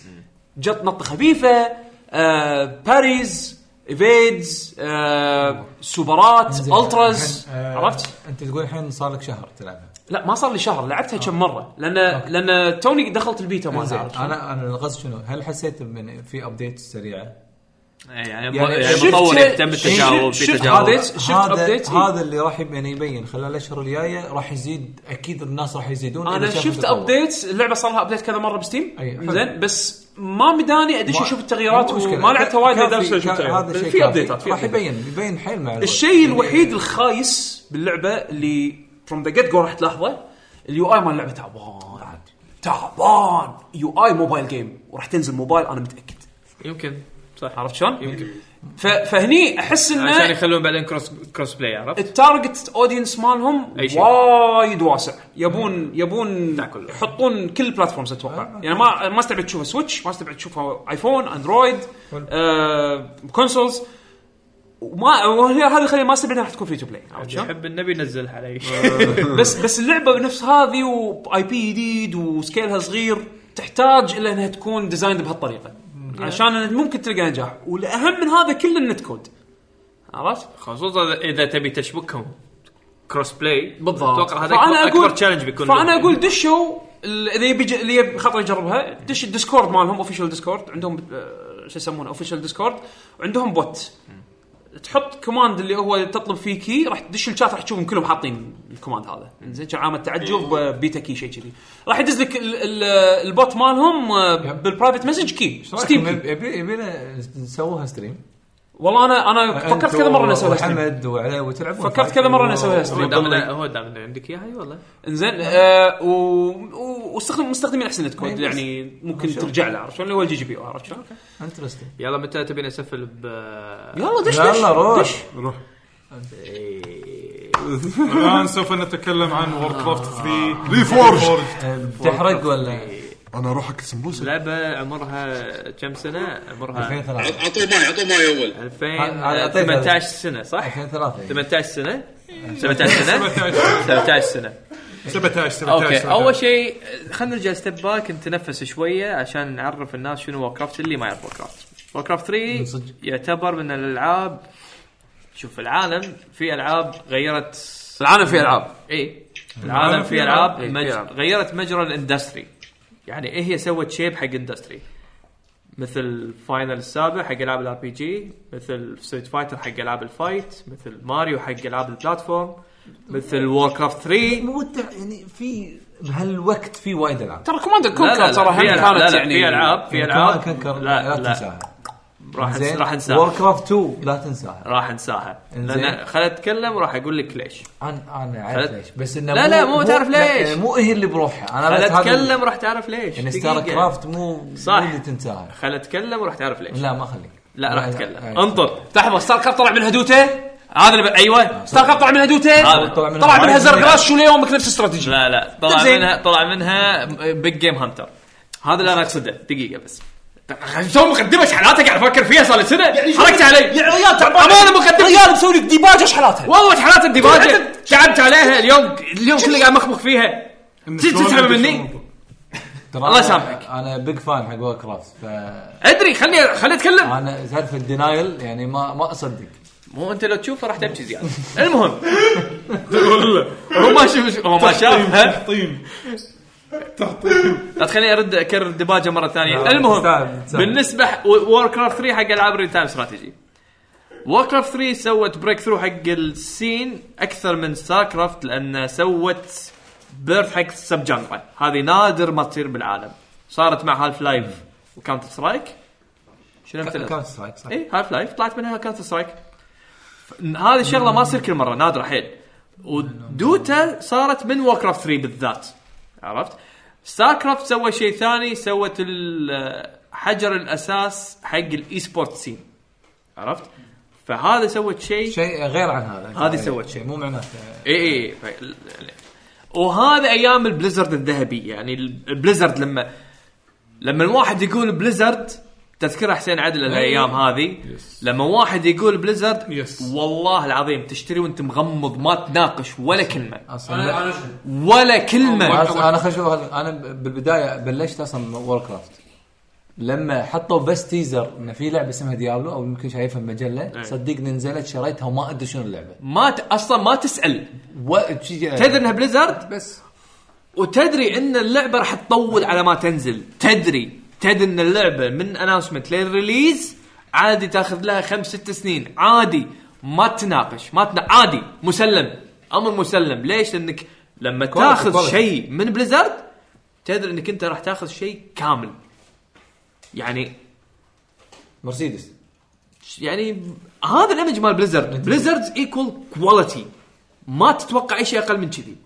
[SPEAKER 1] جت نطه خفيفه آه باريز ايفيدز آه سوبرات التراز
[SPEAKER 7] آه.
[SPEAKER 1] عرفت؟
[SPEAKER 7] انت تقول الحين صار لك شهر تلعبها
[SPEAKER 1] لا ما صار لي شهر لعبتها كم مره لان لان توني دخلت البيتا
[SPEAKER 7] زين
[SPEAKER 1] مالها
[SPEAKER 7] انا انا الغز شنو هل حسيت من في ابديت سريعه
[SPEAKER 2] إي، يعني
[SPEAKER 7] يعني
[SPEAKER 2] يعني
[SPEAKER 7] شفت-
[SPEAKER 2] مطور يهتم
[SPEAKER 1] شفت-
[SPEAKER 2] بالتجارب في
[SPEAKER 1] شفت
[SPEAKER 2] تجارب
[SPEAKER 1] updates؟ شفت update؟ إيه.
[SPEAKER 7] هذا اللي راح يب- يعني يبين خلال الاشهر الجايه راح يزيد اكيد الناس راح يزيدون إذا
[SPEAKER 1] انا
[SPEAKER 7] شافوا
[SPEAKER 1] شفت
[SPEAKER 7] تطور.
[SPEAKER 1] ابديت اللعبه صار لها ابديت كذا مره بستيم
[SPEAKER 7] أي، حلو.
[SPEAKER 1] زين بس ما مداني ادش
[SPEAKER 7] ما-
[SPEAKER 1] اشوف التغييرات
[SPEAKER 7] مو مشكلة.
[SPEAKER 1] وما لعبتها وايد
[SPEAKER 7] كافي-
[SPEAKER 1] لدرجة شفت
[SPEAKER 7] كا-
[SPEAKER 1] التغييرات.
[SPEAKER 7] هذا شيء
[SPEAKER 1] في
[SPEAKER 7] كافي.
[SPEAKER 1] ابديتات في
[SPEAKER 7] راح
[SPEAKER 1] أبديتات.
[SPEAKER 7] يبين يبين حيل مع الوقت.
[SPEAKER 1] الشيء الوحيد الخايس باللعبه اللي فروم ذا جيت جو راح تلاحظه اليو اي مال اللعبه تعبان تعبان يو اي موبايل جيم وراح تنزل موبايل انا متاكد
[SPEAKER 2] يمكن صح
[SPEAKER 1] عرفت شلون؟ يمكن فهني احس انه
[SPEAKER 2] عشان يخلون بعدين كروس كروس بلاي عرفت؟
[SPEAKER 1] التارجت اودينس مالهم
[SPEAKER 2] أي شيء.
[SPEAKER 1] وايد واسع يبون يبون يحطون كل البلاتفورمز اتوقع
[SPEAKER 2] آه.
[SPEAKER 1] يعني ما ما استبعد تشوفها سويتش ما استبعد تشوفها ايفون اندرويد آه، كونسولز وما وهي- هذا خلي ما استبعد إنها راح تكون فري تو بلاي عرفت شلون؟
[SPEAKER 2] يحب النبي نزلها علي
[SPEAKER 1] آه. بس بس اللعبه بنفس هذه واي بي جديد وسكيلها صغير تحتاج الى انها تكون ديزايند بهالطريقه عشان ممكن تلقى نجاح والاهم من هذا كله النت كود عرفت؟
[SPEAKER 2] خصوصا اذا تبي تشبكهم كروس بلاي
[SPEAKER 1] بالضبط
[SPEAKER 2] اتوقع هذا اكبر, أكبر تشالنج بيكون
[SPEAKER 1] فانا
[SPEAKER 2] لهم.
[SPEAKER 1] اقول دشوا ال- اللي يبي يج- اللي يبي خاطر يجربها دش الديسكورد مالهم اوفيشال ديسكورد عندهم آه، شو يسمونه اوفيشال ديسكورد وعندهم بوت تحط كوماند اللي هو تطلب فيه كي راح تدش الشات راح تشوفهم كلهم حاطين الكوماند هذا زين كان عامل تعجب
[SPEAKER 2] إيه.
[SPEAKER 1] آه، بيتا كي شيء كذي راح يدز لك ال- ال- البوت مالهم آه، بالبرايفت مسج كي ستيم
[SPEAKER 2] إيه؟
[SPEAKER 1] كي
[SPEAKER 7] يبي يبينا نسويها ستريم
[SPEAKER 1] والله انا انا فكرت كذا مره نسوي ستريم
[SPEAKER 7] حمد وعلي وتلعب
[SPEAKER 1] فكرت كذا مرة نسويها ستريم.
[SPEAKER 2] هو دام إنه- هو دام إنه عندك اياها اي والله
[SPEAKER 1] انزين
[SPEAKER 2] نعم.
[SPEAKER 1] آه و- و- واستخدم مستخدمين احسن نت كود يعني ممكن ترجع له عرفت شلون اللي هو الجي جي بي او عرفت شلون؟
[SPEAKER 7] انترستنج
[SPEAKER 2] يلا متى تبين اسفل ب
[SPEAKER 1] يلا دش دش
[SPEAKER 7] يلا روح
[SPEAKER 1] دش
[SPEAKER 3] روح
[SPEAKER 4] الان سوف نتكلم عن وورد كرافت
[SPEAKER 2] آه.
[SPEAKER 4] 3
[SPEAKER 3] Reforged.
[SPEAKER 7] تحرق ولا
[SPEAKER 3] انا اروح اقسم روسي
[SPEAKER 2] لعبه عمرها كم سنه؟ عمرها
[SPEAKER 7] 2003
[SPEAKER 8] اعطوه ماي اعطوه ماي اول
[SPEAKER 7] هذا
[SPEAKER 2] 2000
[SPEAKER 7] أعطيك هذا.
[SPEAKER 2] 18 سنه صح؟
[SPEAKER 7] 2003
[SPEAKER 2] 18 سنه 17 سنه 17 سنه
[SPEAKER 4] 17 17
[SPEAKER 2] اوكي اول شيء خلينا نرجع ستيب باك نتنفس شويه عشان نعرف الناس شنو ووركرافت اللي ما يعرف ووركرافت ووركرافت 3 يعتبر من الالعاب شوف العالم في العاب غيرت
[SPEAKER 1] العالم فيه العاب
[SPEAKER 2] اي العالم في العاب
[SPEAKER 1] إيه،
[SPEAKER 2] مج...
[SPEAKER 1] في ألعاب.
[SPEAKER 2] غيرت مجرى الاندستري يعني إيه هي سوت شيب حق اندستري مثل فاينل السابع حق العاب الار بي جي مثل ستريت فايتر حق العاب الفايت مثل ماريو حق العاب البلاتفورم مثل وور كرافت 3
[SPEAKER 7] ممتع يعني في بهالوقت في وايد العاب
[SPEAKER 1] ترى كوماند كونكر ترى هم
[SPEAKER 2] في ألعاب- لا،
[SPEAKER 1] كانت
[SPEAKER 2] لا،
[SPEAKER 1] يعني
[SPEAKER 2] في العاب في العاب
[SPEAKER 7] كنكر
[SPEAKER 2] لا
[SPEAKER 7] لا
[SPEAKER 2] لا
[SPEAKER 7] تنساها
[SPEAKER 2] راح
[SPEAKER 7] زين
[SPEAKER 2] راح
[SPEAKER 7] وور
[SPEAKER 2] انساها
[SPEAKER 7] كرافت 2 لا تنساها
[SPEAKER 2] راح انساها
[SPEAKER 7] إنزين.
[SPEAKER 2] لان خل اتكلم وراح اقول لك ليش
[SPEAKER 7] انا انا
[SPEAKER 2] خلت-
[SPEAKER 7] عارف ليش بس انه
[SPEAKER 2] لا، لا، مو تعرف ليش.
[SPEAKER 7] يعني مو هي اللي بروحها انا
[SPEAKER 2] خل
[SPEAKER 7] بس هذا-
[SPEAKER 2] اتكلم راح تعرف ليش
[SPEAKER 7] يعني ستار
[SPEAKER 2] دقيقة.
[SPEAKER 7] كرافت مو
[SPEAKER 2] صح.
[SPEAKER 7] مو اللي تنساها
[SPEAKER 2] خل اتكلم وراح تعرف ليش
[SPEAKER 7] لا ما خليك
[SPEAKER 2] لا راح اتكلم انطر
[SPEAKER 1] لحظه ستار كاب طلع من هدوته
[SPEAKER 2] هذا اللي ب- ايوه
[SPEAKER 1] أيوة. ستار كاب طلع من هدوته
[SPEAKER 2] هذا.
[SPEAKER 7] طلع منها
[SPEAKER 1] طلع
[SPEAKER 7] وايد
[SPEAKER 1] منها
[SPEAKER 7] منها.
[SPEAKER 1] زرقراش شو ليومك نفس استراتيجي
[SPEAKER 2] لا لا طلع
[SPEAKER 1] زين.
[SPEAKER 2] منها طلع منها بيج جيم هانتر هذا اللي انا اقصده دقيقه بس
[SPEAKER 1] تو مقدمه شحناتها قاعد افكر فيها صار لي سنه حركت علي يعني يا عيال تعبان
[SPEAKER 2] أمانة مقدمة.
[SPEAKER 1] عيال مسوي لك ديباجه شحناتها
[SPEAKER 2] والله شحنات الديباجه تعبت عليها اليوم اليوم كله قاعد مخمخ فيها تسحب مني
[SPEAKER 7] ترى
[SPEAKER 2] الله
[SPEAKER 7] أنا-
[SPEAKER 2] يسامحك.
[SPEAKER 7] انا بيج فان حق وور كرافت
[SPEAKER 2] ادري خلني خلني اتكلم
[SPEAKER 7] فانا سالفه الدينايل يعني ما ما اصدق
[SPEAKER 2] مو انت لو تشوفه راح تبكي زياده المهم هو ما شوف هو ما شافها
[SPEAKER 4] تحطيم تحطيم
[SPEAKER 2] لا تخليني ارد اكرر الديباجه مره ثانيه
[SPEAKER 7] لا،
[SPEAKER 2] المهم
[SPEAKER 7] تستاهل، تستاهل.
[SPEAKER 2] بالنسبه وور كرافت 3 حق العاب ريل تايم استراتيجي وور كرافت 3 سوت بريك ثرو حق السين اكثر من ستار كرافت لان سوت بيرث حق السب جنرا هذه نادر ما تصير بالعالم صارت مع هالف لايف وكانتر سترايك شنو مثل
[SPEAKER 7] كانت سترايك صح
[SPEAKER 2] اي هاف لايف طلعت منها كانتر سترايك ف- هذه الشغله ما تصير كل مره نادره حيل ودوتا صارت من وور كرافت 3 بالذات عرفت ستار كرافت سوى شيء ثاني سوت ال- حجر الاساس حق الاي سبورت سين عرفت فهذا سوت شيء
[SPEAKER 7] شيء إيه، غير عن هذا
[SPEAKER 2] هذه سوت شيء.
[SPEAKER 7] مو معناته
[SPEAKER 2] اي اي ف- إيه، وهذا ايام البليزرد الذهبي يعني ال- البليزرد لما لما الواحد يقول بليزرد تذكر حسين عدل الايام هذه لما واحد يقول بليزرد
[SPEAKER 4] Yes.
[SPEAKER 2] والله العظيم تشتري وانت مغمض ما تناقش ولا كلمه
[SPEAKER 7] اصلا لا-
[SPEAKER 2] ولا كلمه
[SPEAKER 7] أنا- انا خل شوف هذا- انا ب- بالبدايه بلشت اصلا وور كرافت لما حطوا بس تيزر ان في لعبه اسمها ديابلو او يمكن شايفها بمجله صدقني نزلت شريتها وما ادري شنو اللعبه
[SPEAKER 2] ما ت... اصلا ما تسال
[SPEAKER 7] و... أيوة.
[SPEAKER 2] تدري انها بليزرد
[SPEAKER 7] بس
[SPEAKER 2] وتدري ان اللعبه راح تطول على ما تنزل تدري تدري ان اللعبه من اناونسمنت للريليز عادي تاخذ لها خمس ست سنين عادي ما تناقش ما تنا... عادي مسلم امر مسلم ليش لانك لما تاخذ
[SPEAKER 7] quality.
[SPEAKER 2] شيء من بليزرد تدري انك انت راح تاخذ شيء كامل يعني
[SPEAKER 7] مرسيدس
[SPEAKER 2] يعني هذا الايمج مال بليزرد بليزرد ايكول كواليتي ما تتوقع اي شيء اقل من كذي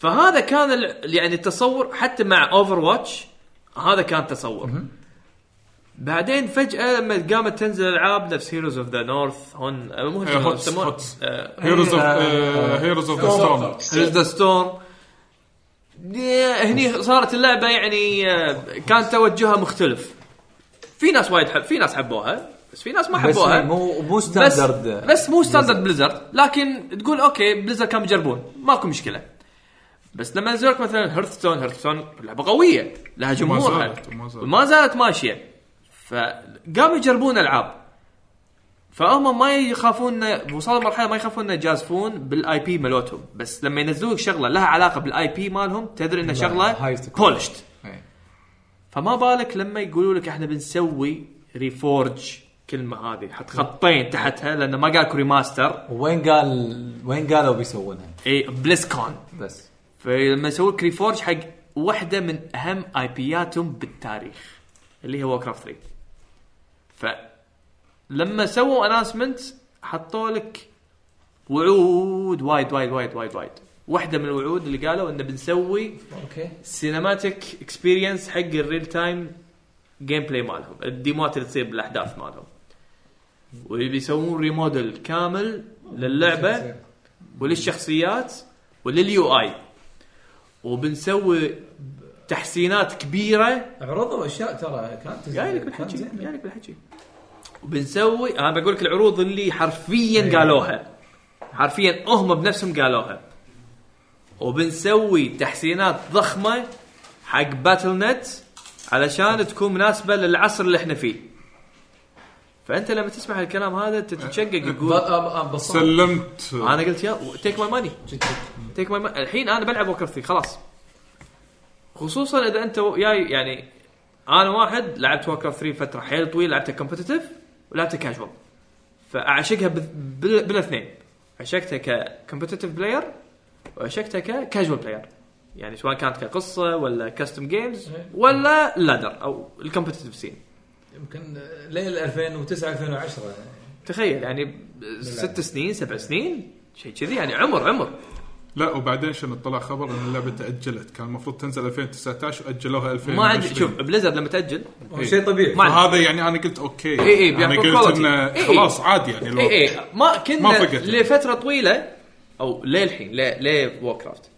[SPEAKER 2] فهذا كان ال- يعني التصور حتى مع اوفر واتش هذا كان تصور بعدين فجاه لما قامت تنزل العاب نفس هيروز اوف ذا نورث هون آه، مو
[SPEAKER 4] آه،
[SPEAKER 2] هيروز
[SPEAKER 4] Hots- Hots.
[SPEAKER 7] Heroes
[SPEAKER 4] هيروز اوف
[SPEAKER 7] of- إيه،
[SPEAKER 4] هيروز اوف ذا ستورم
[SPEAKER 2] ذا ستورم هني صارت اللعبه يعني آه، كان توجهها مختلف في ناس وايد حب في ناس حبوها بس في ناس ما
[SPEAKER 7] بس
[SPEAKER 2] حبوها
[SPEAKER 7] مو مو
[SPEAKER 2] بس
[SPEAKER 7] ستاندرد
[SPEAKER 2] بس مو ستاندرد بليزرد لكن تقول اوكي بليزرد كانوا يجربون ماكو مشكله بس لما نزل لك مثلا هيرثستون هيرثستون لعبه قويه لها جمهورها
[SPEAKER 4] زالت، وما زالت.
[SPEAKER 2] وما زالت ماشيه فقاموا يجربون العاب فهم ما يخافون إنه- وصلوا مرحله ما يخافون انه يجازفون بالاي بي مالتهم بس لما ينزلوا لك شغله لها علاقه بالاي بي مالهم تدري ان شغله
[SPEAKER 7] high tech.
[SPEAKER 2] بولشت
[SPEAKER 7] إيه.
[SPEAKER 2] فما بالك لما يقولوا لك احنا بنسوي ريفورج كلمه هذه حط خطين تحتها لانه ما قال ريماستر
[SPEAKER 7] وين قال وين قالوا بيسوونها
[SPEAKER 2] اي بليسكون
[SPEAKER 7] بس
[SPEAKER 2] فلما يسوون لك ريفورج حق واحده من اهم اي بياتهم بالتاريخ اللي هي ووركرافت 3 فلما سووا اناونسمنت حطوا لك وعود وايد وايد وايد وايد وايد واحده من الوعود اللي قالوا انه بنسوي
[SPEAKER 7] اوكي
[SPEAKER 2] سينماتيك اكسبيرينس حق الريل تايم جيم بلاي مالهم الديمات اللي تصير بالاحداث مالهم وبيسوون ريموديل كامل للعبه وللشخصيات ولليو اي وبنسوي تحسينات كبيره
[SPEAKER 7] عرضوا اشياء ترى كانت
[SPEAKER 2] جاي لك بالحكي جاي لك بالحكي وبنسوي انا بقول لك العروض اللي حرفيا قالوها حرفيا هم بنفسهم قالوها وبنسوي تحسينات ضخمه حق باتل نت علشان تكون مناسبه للعصر اللي احنا فيه فانت لما تسمع الكلام هذا أنت تتشقق تقول
[SPEAKER 7] بس
[SPEAKER 3] سلمت
[SPEAKER 2] انا قلت يا تيك ماي ماني تيك ماي الحين انا بلعب وكر 3 خلاص خصوصا اذا انت و- جاي يعني انا واحد لعبت وكر 3 فتره حيل طويله لعبتها كومبتتف ولعبتها كاجوال فاعشقها بال- بال- بالاثنين عشقتها ككومبتتف بلاير وعشقتها ككاجوال بلاير يعني سواء كانت كقصه ولا كاستم جيمز ولا لادر او الكومبتتف سين
[SPEAKER 7] يمكن ليل 2009 2010
[SPEAKER 2] إيه. تخيل يعني ست سنين سبع سنين شيء كذي يعني عمر عمر
[SPEAKER 4] لا وبعدين شنو طلع خبر ان اللعبه تاجلت كان المفروض تنزل 2019 واجلوها 2020
[SPEAKER 2] ما عندي شوف بليزرد لما تاجل
[SPEAKER 7] شيء طبيعي
[SPEAKER 2] ما عندي
[SPEAKER 4] هذا يعني انا قلت اوكي
[SPEAKER 2] إي إي،
[SPEAKER 4] انا
[SPEAKER 2] بيعطوك
[SPEAKER 4] قلت
[SPEAKER 2] quality.
[SPEAKER 4] انه
[SPEAKER 2] إي إي.
[SPEAKER 4] خلاص عادي يعني لو
[SPEAKER 2] اي اي إيه، ما كنا
[SPEAKER 4] ما
[SPEAKER 2] ما
[SPEAKER 4] فقت يعني.
[SPEAKER 2] لفتره طويله او للحين ل- ل ووركرافت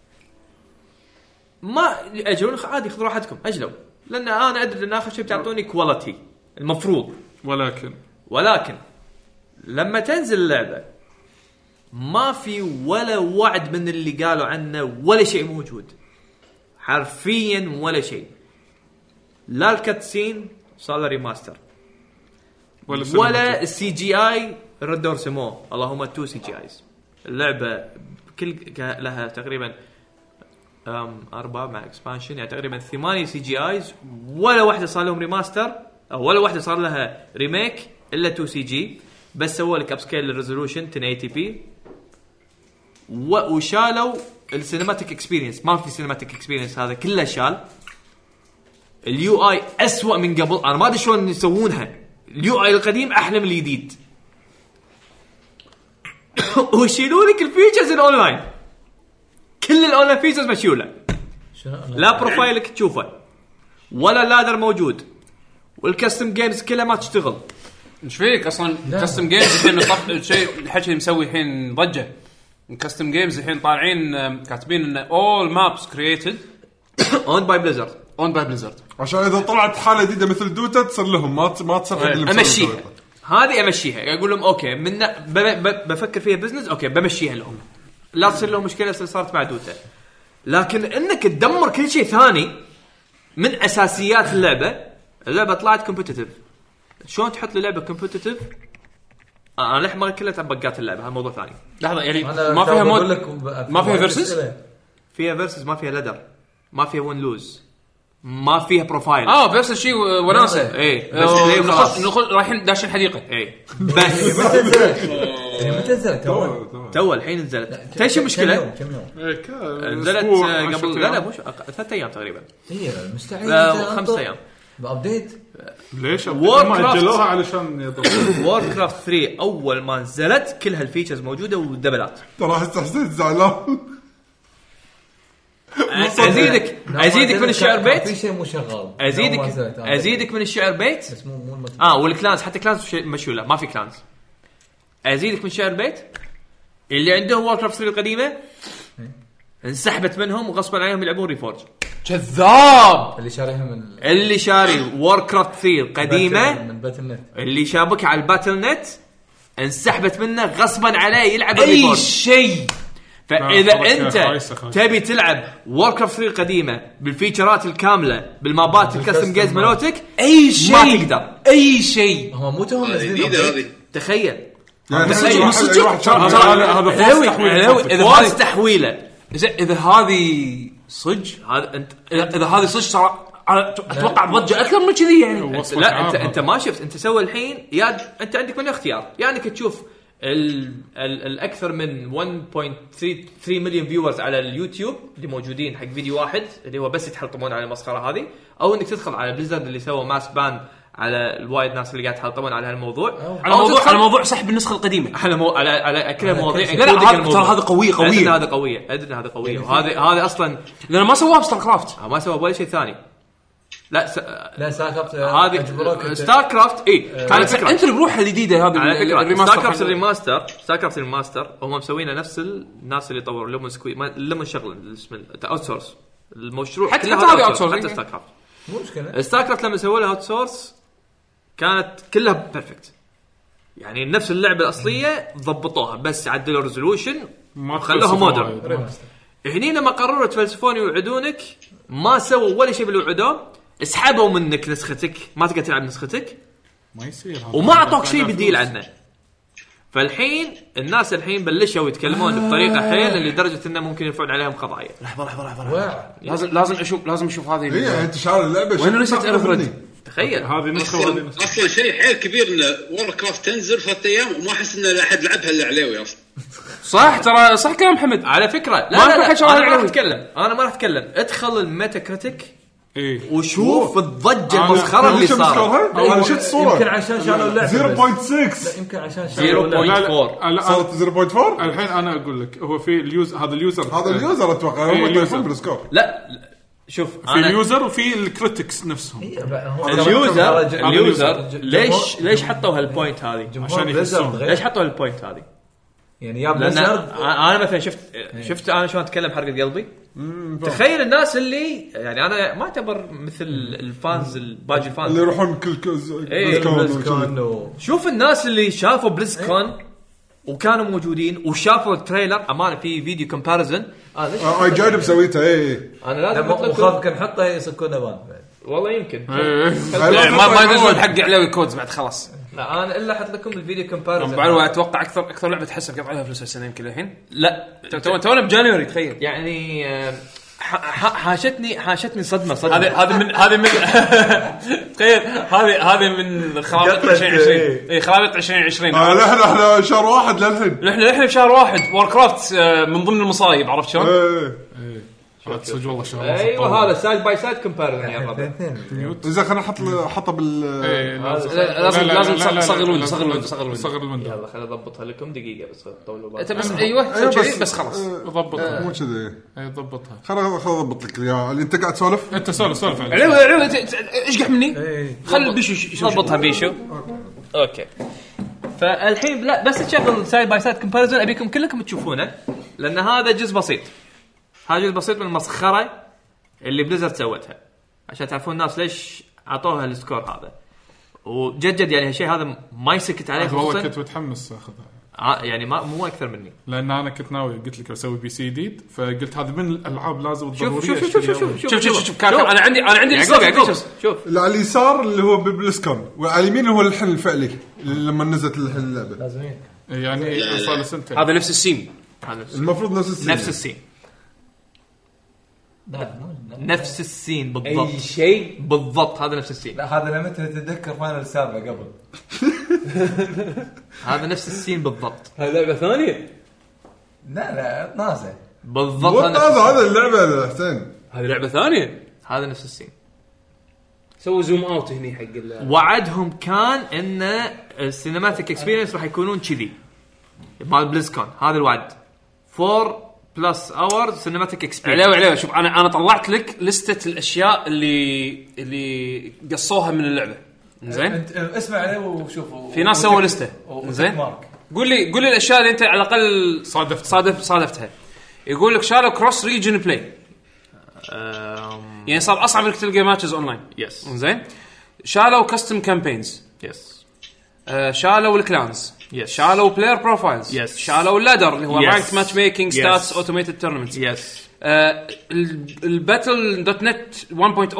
[SPEAKER 2] ما اجلون خ- عادي خذوا راحتكم اجلوا لان انا ادري ان اخر شيء بتعطوني كواليتي المفروض
[SPEAKER 4] ولكن
[SPEAKER 2] ولكن لما تنزل اللعبه ما في ولا وعد من اللي قالوا عنه ولا شيء موجود حرفيا ولا شيء لا الكاتسين صار له ريماستر
[SPEAKER 4] ولا سنة
[SPEAKER 2] ولا السي جي اي ردوا رسموه اللهم تو سي جي ايز اللعبه كل ك- لها تقريبا أم، اربع مع اكسبانشن يعني تقريبا ثمانيه سي جي ايز ولا واحده صار لهم ريماستر او ولا واحده صار لها ريميك الا 2 سي جي بس سووا لك اب سكيل للريزولوشن 1080 بي وشالوا السينماتيك اكسبيرينس ما في سينماتيك اكسبيرينس هذا كله شال اليو اي اسوء من قبل انا ما ادري شلون يسوونها اليو اي القديم احلى من الجديد ويشيلوا لك الفيتشرز الاونلاين كل الاونلاين فيتشرز مشيوله لا بروفايلك تشوفه ولا لادر موجود والكستم جيمز كلها ما تشتغل
[SPEAKER 6] ايش فيك اصلا كاستم جيمز الحين طب- شيء الحكي اللي مسوي الحين ضجه كاستم جيمز الحين طالعين آم، كاتبين ان اول مابس كرييتد
[SPEAKER 2] اون باي بليزرد
[SPEAKER 6] اون باي بليزرد
[SPEAKER 3] عشان اذا طلعت حاله جديده مثل دوتا تصير لهم ما تص- ما تصير حق اللي مسوي
[SPEAKER 2] امشيها
[SPEAKER 3] دوتا.
[SPEAKER 2] هذه امشيها اقول لهم اوكي من ب- ب- بفكر فيها بزنس اوكي بمشيها لهم لا تصير لهم مشكله اللي صارت مع دوتا لكن انك تدمر كل شيء ثاني من اساسيات اللعبه اللعبه طلعت كومبتتف شلون تحط لي لعبه كومبتتف انا للحين ما كلها بقات اللعبه هذا موضوع ثاني
[SPEAKER 6] لحظه يعني ما فيها مود ما فيها versus؟
[SPEAKER 7] إيه.
[SPEAKER 2] فيها فيرسز ما فيها لدر ما فيها ون لوز ما فيها بروفايل
[SPEAKER 6] اه
[SPEAKER 1] آه،
[SPEAKER 6] بنفس الشيء و- وناسه
[SPEAKER 2] ايه
[SPEAKER 1] إيه.
[SPEAKER 2] بس
[SPEAKER 6] آه،
[SPEAKER 2] ليه
[SPEAKER 6] نخش
[SPEAKER 2] آه. خلاص
[SPEAKER 6] نخش رايحين داشين حديقه
[SPEAKER 1] يعني
[SPEAKER 2] ايه بس
[SPEAKER 7] إيه، متى نزلت
[SPEAKER 3] تمام، تمام.
[SPEAKER 2] تو الحين نزلت تدري شو المشكله؟
[SPEAKER 7] كم يوم
[SPEAKER 4] إيه، كان
[SPEAKER 2] نزلت
[SPEAKER 4] أسبوع،
[SPEAKER 2] آه،
[SPEAKER 4] عشرة
[SPEAKER 2] قبل لا لا
[SPEAKER 4] أيام.
[SPEAKER 2] مش أق- ثلاث ايام تقريبا
[SPEAKER 7] إيه، اي مستحيل
[SPEAKER 2] آه،
[SPEAKER 7] أنت
[SPEAKER 2] خمسة
[SPEAKER 7] أنطر.
[SPEAKER 2] أيام.
[SPEAKER 7] بابديت
[SPEAKER 4] ليش
[SPEAKER 2] Warcraft.
[SPEAKER 4] هم اجلوها علشان يضبطون
[SPEAKER 2] وور كرافت 3 اول ما نزلت كل هالفيتشرز موجوده ودبلات
[SPEAKER 3] ترى احس حسيت زعلان
[SPEAKER 2] ازيدك
[SPEAKER 7] لا، ما
[SPEAKER 2] ازيدك
[SPEAKER 7] نزلت،
[SPEAKER 2] من الشعر
[SPEAKER 7] كان- كان في
[SPEAKER 2] بيت
[SPEAKER 7] شيء مو شغال لا، ما
[SPEAKER 2] ازيدك
[SPEAKER 7] نزلت، آه.
[SPEAKER 2] ازيدك من الشعر بيت
[SPEAKER 7] بس مو مو المت-
[SPEAKER 2] اه والكلانز حتى كلانز مش- مشولة ما في كلانز ازيدك من شعر البيت اللي عندهم وور كرافت 3 القديمه انسحبت منهم وغصبا عليهم يلعبون ريفورج كذاب
[SPEAKER 7] اللي شاريها من
[SPEAKER 2] اللي شاري وور كرافت 3 القديمه
[SPEAKER 7] من باتل نت
[SPEAKER 2] اللي شابك على الباتل نت انسحبت منه غصبا عليه يلعب
[SPEAKER 1] اي
[SPEAKER 2] الريفورج.
[SPEAKER 1] شيء
[SPEAKER 2] فاذا
[SPEAKER 4] خلاص كده،
[SPEAKER 2] انت
[SPEAKER 4] خايسة، خايسة.
[SPEAKER 2] تبي تلعب وور كرافت 3 القديمه بالفيتشرات الكامله بالمابات الكاستم جيمز مالوتك
[SPEAKER 1] اي شيء
[SPEAKER 2] ما تقدر
[SPEAKER 1] اي شيء
[SPEAKER 7] هم مو توهم
[SPEAKER 8] هذه
[SPEAKER 7] نازلين
[SPEAKER 8] جديده
[SPEAKER 7] update.
[SPEAKER 8] هذه
[SPEAKER 2] تخيل
[SPEAKER 3] يعني
[SPEAKER 1] بس
[SPEAKER 3] صدق-
[SPEAKER 1] أيوة،
[SPEAKER 3] صدق-
[SPEAKER 1] صدق.
[SPEAKER 3] واحد شاف-
[SPEAKER 1] ترى-
[SPEAKER 3] هذا هذا
[SPEAKER 1] علاوي-
[SPEAKER 3] فوز تحويل
[SPEAKER 1] علاوي،
[SPEAKER 3] صافي.
[SPEAKER 1] إذا
[SPEAKER 2] فاز
[SPEAKER 1] هذه-
[SPEAKER 2] تحويله
[SPEAKER 1] زين اذا هذه صج
[SPEAKER 2] هذا انت
[SPEAKER 1] اذا هذه صج ترى أنا اتوقع ضجه اكثر من كذي يعني
[SPEAKER 4] وصفة
[SPEAKER 2] لا انت
[SPEAKER 4] عامة.
[SPEAKER 2] انت ما شفت انت سوى الحين يا انت عندك من الاختيار يا انك تشوف ال... ال... الاكثر من 1.33 مليون فيورز على اليوتيوب اللي موجودين حق فيديو واحد اللي هو بس يتحلطمون على المسخره هذه او انك تدخل على بليزرد اللي سوى ماس بان على الوايد ناس اللي قاعد يتحلطمون على هالموضوع
[SPEAKER 1] على
[SPEAKER 2] أو
[SPEAKER 1] موضوع
[SPEAKER 2] تدخل-
[SPEAKER 1] على موضوع سحب النسخه القديمه
[SPEAKER 2] على مو... على على كل المواضيع
[SPEAKER 1] لا لا هذا ترى هذا قوي
[SPEAKER 2] قوية
[SPEAKER 1] قوي
[SPEAKER 2] ادري إن هذا قوية ادري إن هذا قوية وهذا هذا اصلا
[SPEAKER 1] لان ما سواه بستار كرافت
[SPEAKER 2] ما سوى ولا شيء ثاني لا س... آه،
[SPEAKER 10] لا ساكت أجبروك
[SPEAKER 2] هذه
[SPEAKER 10] أنت. آه،
[SPEAKER 2] ستار كرافت اي
[SPEAKER 1] على
[SPEAKER 2] كانت
[SPEAKER 1] فكره
[SPEAKER 2] فكرة آه،
[SPEAKER 1] انت اللي بروحها الجديده هذه
[SPEAKER 2] على فكره
[SPEAKER 1] الريماستر
[SPEAKER 2] ستار كرافت
[SPEAKER 1] حق-
[SPEAKER 2] الريماستر ستار كرافت الريماستر هم مسوينه نفس الناس اللي طوروا لهم سكوي ما لهم شغله اسمه اوت سورس المشروع
[SPEAKER 1] حتى-
[SPEAKER 2] كله
[SPEAKER 1] حتى
[SPEAKER 2] هذا
[SPEAKER 1] هذه
[SPEAKER 2] outsource،
[SPEAKER 1] outsourcing.
[SPEAKER 2] حتى ستار كرافت
[SPEAKER 10] مو مشكله
[SPEAKER 2] ستار كرافت لما سووا لها اوت سورس كانت كلها بيرفكت يعني نفس اللعبه الاصليه ضبطوها بس عدلوا ريزولوشن وخلوها مودرن
[SPEAKER 10] ريماستر.
[SPEAKER 2] هني لما قرروا تفلسفون يوعدونك ما سووا ولا شيء باللي وعدوه سحبوا منك نسختك ما تقدر تلعب نسختك
[SPEAKER 4] ما يصير هذا.
[SPEAKER 2] وما اعطوك شيء
[SPEAKER 4] فلوس.
[SPEAKER 2] بالديل عنه فالحين الناس الحين بلشوا يتكلمون بطريقه
[SPEAKER 4] آه.
[SPEAKER 2] حيل لدرجه انه ممكن يرفعون عليهم قضايا
[SPEAKER 10] واع.
[SPEAKER 1] لازم لازم اشوف لازم اشوف هذه ال-
[SPEAKER 3] هي انت شعار اللعبه
[SPEAKER 1] وين ريست ايرث ريد؟
[SPEAKER 2] تخيل
[SPEAKER 4] هذه النسخه وهذه
[SPEAKER 8] اصلا
[SPEAKER 4] النسخه
[SPEAKER 8] اصلا شيء حيل كبير ان وور كرافت تنزل ثلاث ايام وما احس ان لا احد لعبها الا عليوي اصلا
[SPEAKER 1] صح ترى صح كلام محمد
[SPEAKER 2] على فكره لا
[SPEAKER 1] ما
[SPEAKER 2] لا,
[SPEAKER 1] في
[SPEAKER 2] لا,
[SPEAKER 1] حد شغال
[SPEAKER 2] انا ما راح
[SPEAKER 1] عليهم.
[SPEAKER 2] اتكلم انا ما راح اتكلم ادخل الميتا كريتيك
[SPEAKER 4] اي
[SPEAKER 2] وشوف الضجه
[SPEAKER 4] إيه. أنا-
[SPEAKER 2] المسخره اللي
[SPEAKER 3] شفت
[SPEAKER 2] صارت
[SPEAKER 3] مشكلة
[SPEAKER 4] أيوة،
[SPEAKER 3] هاي؟ انا شفت
[SPEAKER 10] يمكن
[SPEAKER 3] الصوره
[SPEAKER 10] عشان شالوا اللعبه
[SPEAKER 3] 0.6
[SPEAKER 10] بس. يمكن عشان
[SPEAKER 2] 0.4.
[SPEAKER 10] شالوا
[SPEAKER 4] لا لا
[SPEAKER 2] فور.
[SPEAKER 4] لا،
[SPEAKER 3] صارت 0.4
[SPEAKER 4] الحين انا اقول لك هو في اليوز هذا اليوزر
[SPEAKER 3] هذا اليوزر اتوقع
[SPEAKER 4] إيه،
[SPEAKER 3] هم
[SPEAKER 4] اليوزر.
[SPEAKER 3] يدرسون بالسكور
[SPEAKER 2] لا لا، شوف
[SPEAKER 4] في
[SPEAKER 2] انا
[SPEAKER 4] اليوزر وفي الكريتكس نفسهم
[SPEAKER 2] اليوزر
[SPEAKER 10] اليوزر
[SPEAKER 2] اليوزر
[SPEAKER 10] اليوزر.
[SPEAKER 2] ليش ليش حطوا هالبوينت هذه؟
[SPEAKER 4] عشان يحسون.
[SPEAKER 2] ليش حطوا هالبوينت هذه؟
[SPEAKER 10] يعني يا
[SPEAKER 2] لان
[SPEAKER 10] بليزرد
[SPEAKER 2] انا مثلا شفت شفت انا شلون اتكلم حرقه قلبي تخيل الناس اللي يعني انا ما اعتبر مثل الفانز الباقي
[SPEAKER 3] اللي
[SPEAKER 2] الفانز
[SPEAKER 3] يروحون كل كز-
[SPEAKER 2] إيه،
[SPEAKER 3] كون وكذي.
[SPEAKER 10] بلزكون و-
[SPEAKER 2] شوف الناس اللي شافوا بليز كون وكانوا موجودين وشافوا التريلر امانه في فيديو كومباريزن
[SPEAKER 10] آه، ليش؟
[SPEAKER 3] آه، اي جايب إيه. سويته اي
[SPEAKER 2] انا لازم
[SPEAKER 10] لما-
[SPEAKER 2] اطلق
[SPEAKER 10] وخاف كان حطه يسكون بان بعد.
[SPEAKER 2] والله يمكن
[SPEAKER 1] يعني ما ما ينزلون حق عليوي كودز بعد خلاص
[SPEAKER 2] لا انا الا احط لكم الفيديو كومباريزن
[SPEAKER 1] بعد اتوقع اكثر اكثر لعبه تحسب قطع عليها فلوس السنه يمكن الحين
[SPEAKER 2] لا
[SPEAKER 1] تو- تو- تونا بجانيوري تخيل
[SPEAKER 2] يعني آه، ح- ح- حاشتني حاشتني صدمه صدمه
[SPEAKER 1] هذه هذه من هذه من تخيل هذه هذه من خرابيط
[SPEAKER 10] قطعة،
[SPEAKER 1] 2020
[SPEAKER 10] إيه.
[SPEAKER 1] اي خرابيط 2020
[SPEAKER 3] آه، لا احنا احنا شهر واحد للحين
[SPEAKER 1] نحن نحن بشهر واحد وور كرافت آه، من ضمن المصايب عرفت شلون؟
[SPEAKER 3] إيه.
[SPEAKER 4] صدق والله شغل
[SPEAKER 1] آه.
[SPEAKER 2] ايوه هذا سايد باي سايد كومباريزن يا ربع
[SPEAKER 10] الاثنين
[SPEAKER 3] زين خلينا نحط حطه بال
[SPEAKER 1] لا- لازم لازم صغر الويندو صغر الويندو صغر الويندو
[SPEAKER 4] صغر الويندو
[SPEAKER 2] يلا خليني اضبطها لكم دقيقه بس طولوا
[SPEAKER 1] انت
[SPEAKER 2] بالكم
[SPEAKER 1] بس ايوه
[SPEAKER 3] أيوة،
[SPEAKER 1] سوي كذي بس خلاص
[SPEAKER 3] آه،
[SPEAKER 4] ضبطها
[SPEAKER 3] مو كذي
[SPEAKER 1] إيه،
[SPEAKER 4] اي ضبطها
[SPEAKER 3] خلينا خلينا اضبط لك اياه اللي انت قاعد تسولف
[SPEAKER 4] انت سولف سولف عليه
[SPEAKER 1] عليوي عليوي ت- ت- اشقح إيه، مني خل بيشو
[SPEAKER 2] ضبطها بيشو اوكي فالحين لا بس تشغل سايد باي سايد كومباريزون ابيكم كلكم تشوفونه لان هذا جزء بسيط هذا جزء بسيط من المسخره اللي بليزرد سوتها عشان تعرفون الناس ليش اعطوها السكور هذا وجدجد يعني هالشيء هذا ما يسكت
[SPEAKER 1] إيه،
[SPEAKER 2] عليه
[SPEAKER 4] والله
[SPEAKER 2] خصوصا
[SPEAKER 4] كنت متحمس اخذها
[SPEAKER 2] آه، يعني ما مو اكثر مني
[SPEAKER 4] لان انا كنت ناوي قلت لك بسوي بي سي جديد فقلت هذه من الالعاب لازم
[SPEAKER 2] شوف
[SPEAKER 4] ضروريه
[SPEAKER 2] شوف شوف شوف شوف شوف
[SPEAKER 1] شوف شوف شوف شوف كان- انا عندي انا عندي
[SPEAKER 2] يعقوب
[SPEAKER 1] لسة
[SPEAKER 2] يعقوب
[SPEAKER 1] features.
[SPEAKER 2] شوف
[SPEAKER 3] اللي على اليسار اللي هو بالبلسكون وعلى اليمين هو الحين الفعلي اللي لما نزلت الحين اللعبه
[SPEAKER 10] لازمين
[SPEAKER 4] يعني صار لي سنتين
[SPEAKER 1] هذا نفس السين
[SPEAKER 2] هذا الس-
[SPEAKER 3] المفروض نفس السنة
[SPEAKER 2] نفس السين
[SPEAKER 10] لا مو- لا.
[SPEAKER 2] نفس السين بالضبط
[SPEAKER 10] اي شيء
[SPEAKER 2] بالضبط هذا نفس السين
[SPEAKER 10] لا هذا لما تتذكر فاينل السابع قبل
[SPEAKER 2] هذا نفس السين بالضبط
[SPEAKER 10] هاي لعبه ثانيه لا لا نازل
[SPEAKER 2] بالضبط
[SPEAKER 3] والله
[SPEAKER 2] هذا نفس
[SPEAKER 3] هذا
[SPEAKER 2] السين.
[SPEAKER 3] هذا اللعبه يا حسين
[SPEAKER 1] هذه لعبه ثانيه
[SPEAKER 2] هذا نفس السين
[SPEAKER 1] سووا زوم اوت هني حق ال-
[SPEAKER 2] وعدهم كان ان السينماتيك اكسبيرينس راح يكونون كذي مال بليزكون هذا الوعد 4 بلس اور سينماتيك اكسبيرينس
[SPEAKER 1] عليوي عليوي شوف انا انا طلعت لك لسته الاشياء اللي اللي قصوها من اللعبه زين
[SPEAKER 10] انت اسمع عليه وشوف
[SPEAKER 1] في ناس سووا لسته
[SPEAKER 10] زين
[SPEAKER 1] زين
[SPEAKER 10] مارك
[SPEAKER 1] قول لي قول لي الاشياء اللي انت على الاقل
[SPEAKER 4] صادفت.
[SPEAKER 1] صادف صادفتها يقول لك شالوا كروس ريجن بلاي يعني صار اصعب انك تلقى ماتشز اونلاين
[SPEAKER 2] يس
[SPEAKER 1] زين شالوا كاستم كامبينز
[SPEAKER 2] يس
[SPEAKER 1] آه، شالوا الكلانز
[SPEAKER 2] Yes.
[SPEAKER 1] شالوا بلاير بروفايلز
[SPEAKER 2] Yes.
[SPEAKER 1] شالوا اللادر اللي هو
[SPEAKER 2] Yes.
[SPEAKER 1] رانك ماتش ميكينج
[SPEAKER 2] Yes.
[SPEAKER 1] ستاتس اوتوميتد تورنمنتس
[SPEAKER 2] يس
[SPEAKER 1] الباتل دوت نت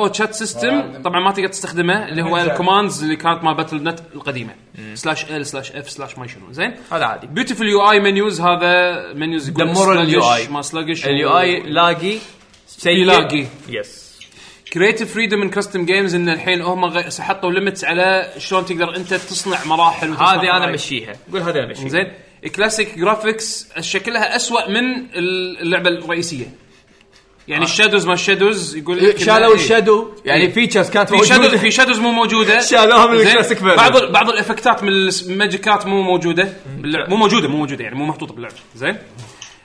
[SPEAKER 1] 1.0 شات سيستم طبعا ما تقدر تستخدمه اللي هو الكوماندز اللي كانت مال باتل نت القديمه سلاش ال سلاش اف سلاش ما شنو زين
[SPEAKER 2] هذا عادي
[SPEAKER 1] بيوتيفل يو اي منيوز هذا منيوز يقول
[SPEAKER 2] دمروا ال
[SPEAKER 1] sluggish،
[SPEAKER 2] UI.
[SPEAKER 1] ما سلاجش
[SPEAKER 2] اليو اي لاقي
[SPEAKER 1] في لاقي.
[SPEAKER 2] يس
[SPEAKER 6] كريتيف فريدم ان كاستم جيمز ان الحين هم غ- حطوا ليمتس على شلون تقدر انت تصنع مراحل وتصنع
[SPEAKER 2] هذه انا
[SPEAKER 6] مراحل.
[SPEAKER 2] مشيها قول هذه انا مشيها
[SPEAKER 6] زين كلاسيك جرافيكس شكلها أسوأ من اللعبه الرئيسيه يعني الشادوز ما الشادوز يقول لك إنها
[SPEAKER 12] شالوا
[SPEAKER 6] إيه.
[SPEAKER 12] الشادو يعني فيتشرز كانت
[SPEAKER 6] في شادوز
[SPEAKER 12] موجوده
[SPEAKER 6] في شادوز مو موجوده
[SPEAKER 12] شالوها من
[SPEAKER 6] زين؟
[SPEAKER 12] الكلاسيك فيرجن.
[SPEAKER 6] بعض ال- بعض الافكتات من الس- الماجيكات مو موجوده باللعب مو موجوده مو موجوده يعني مو محطوطه باللعب زين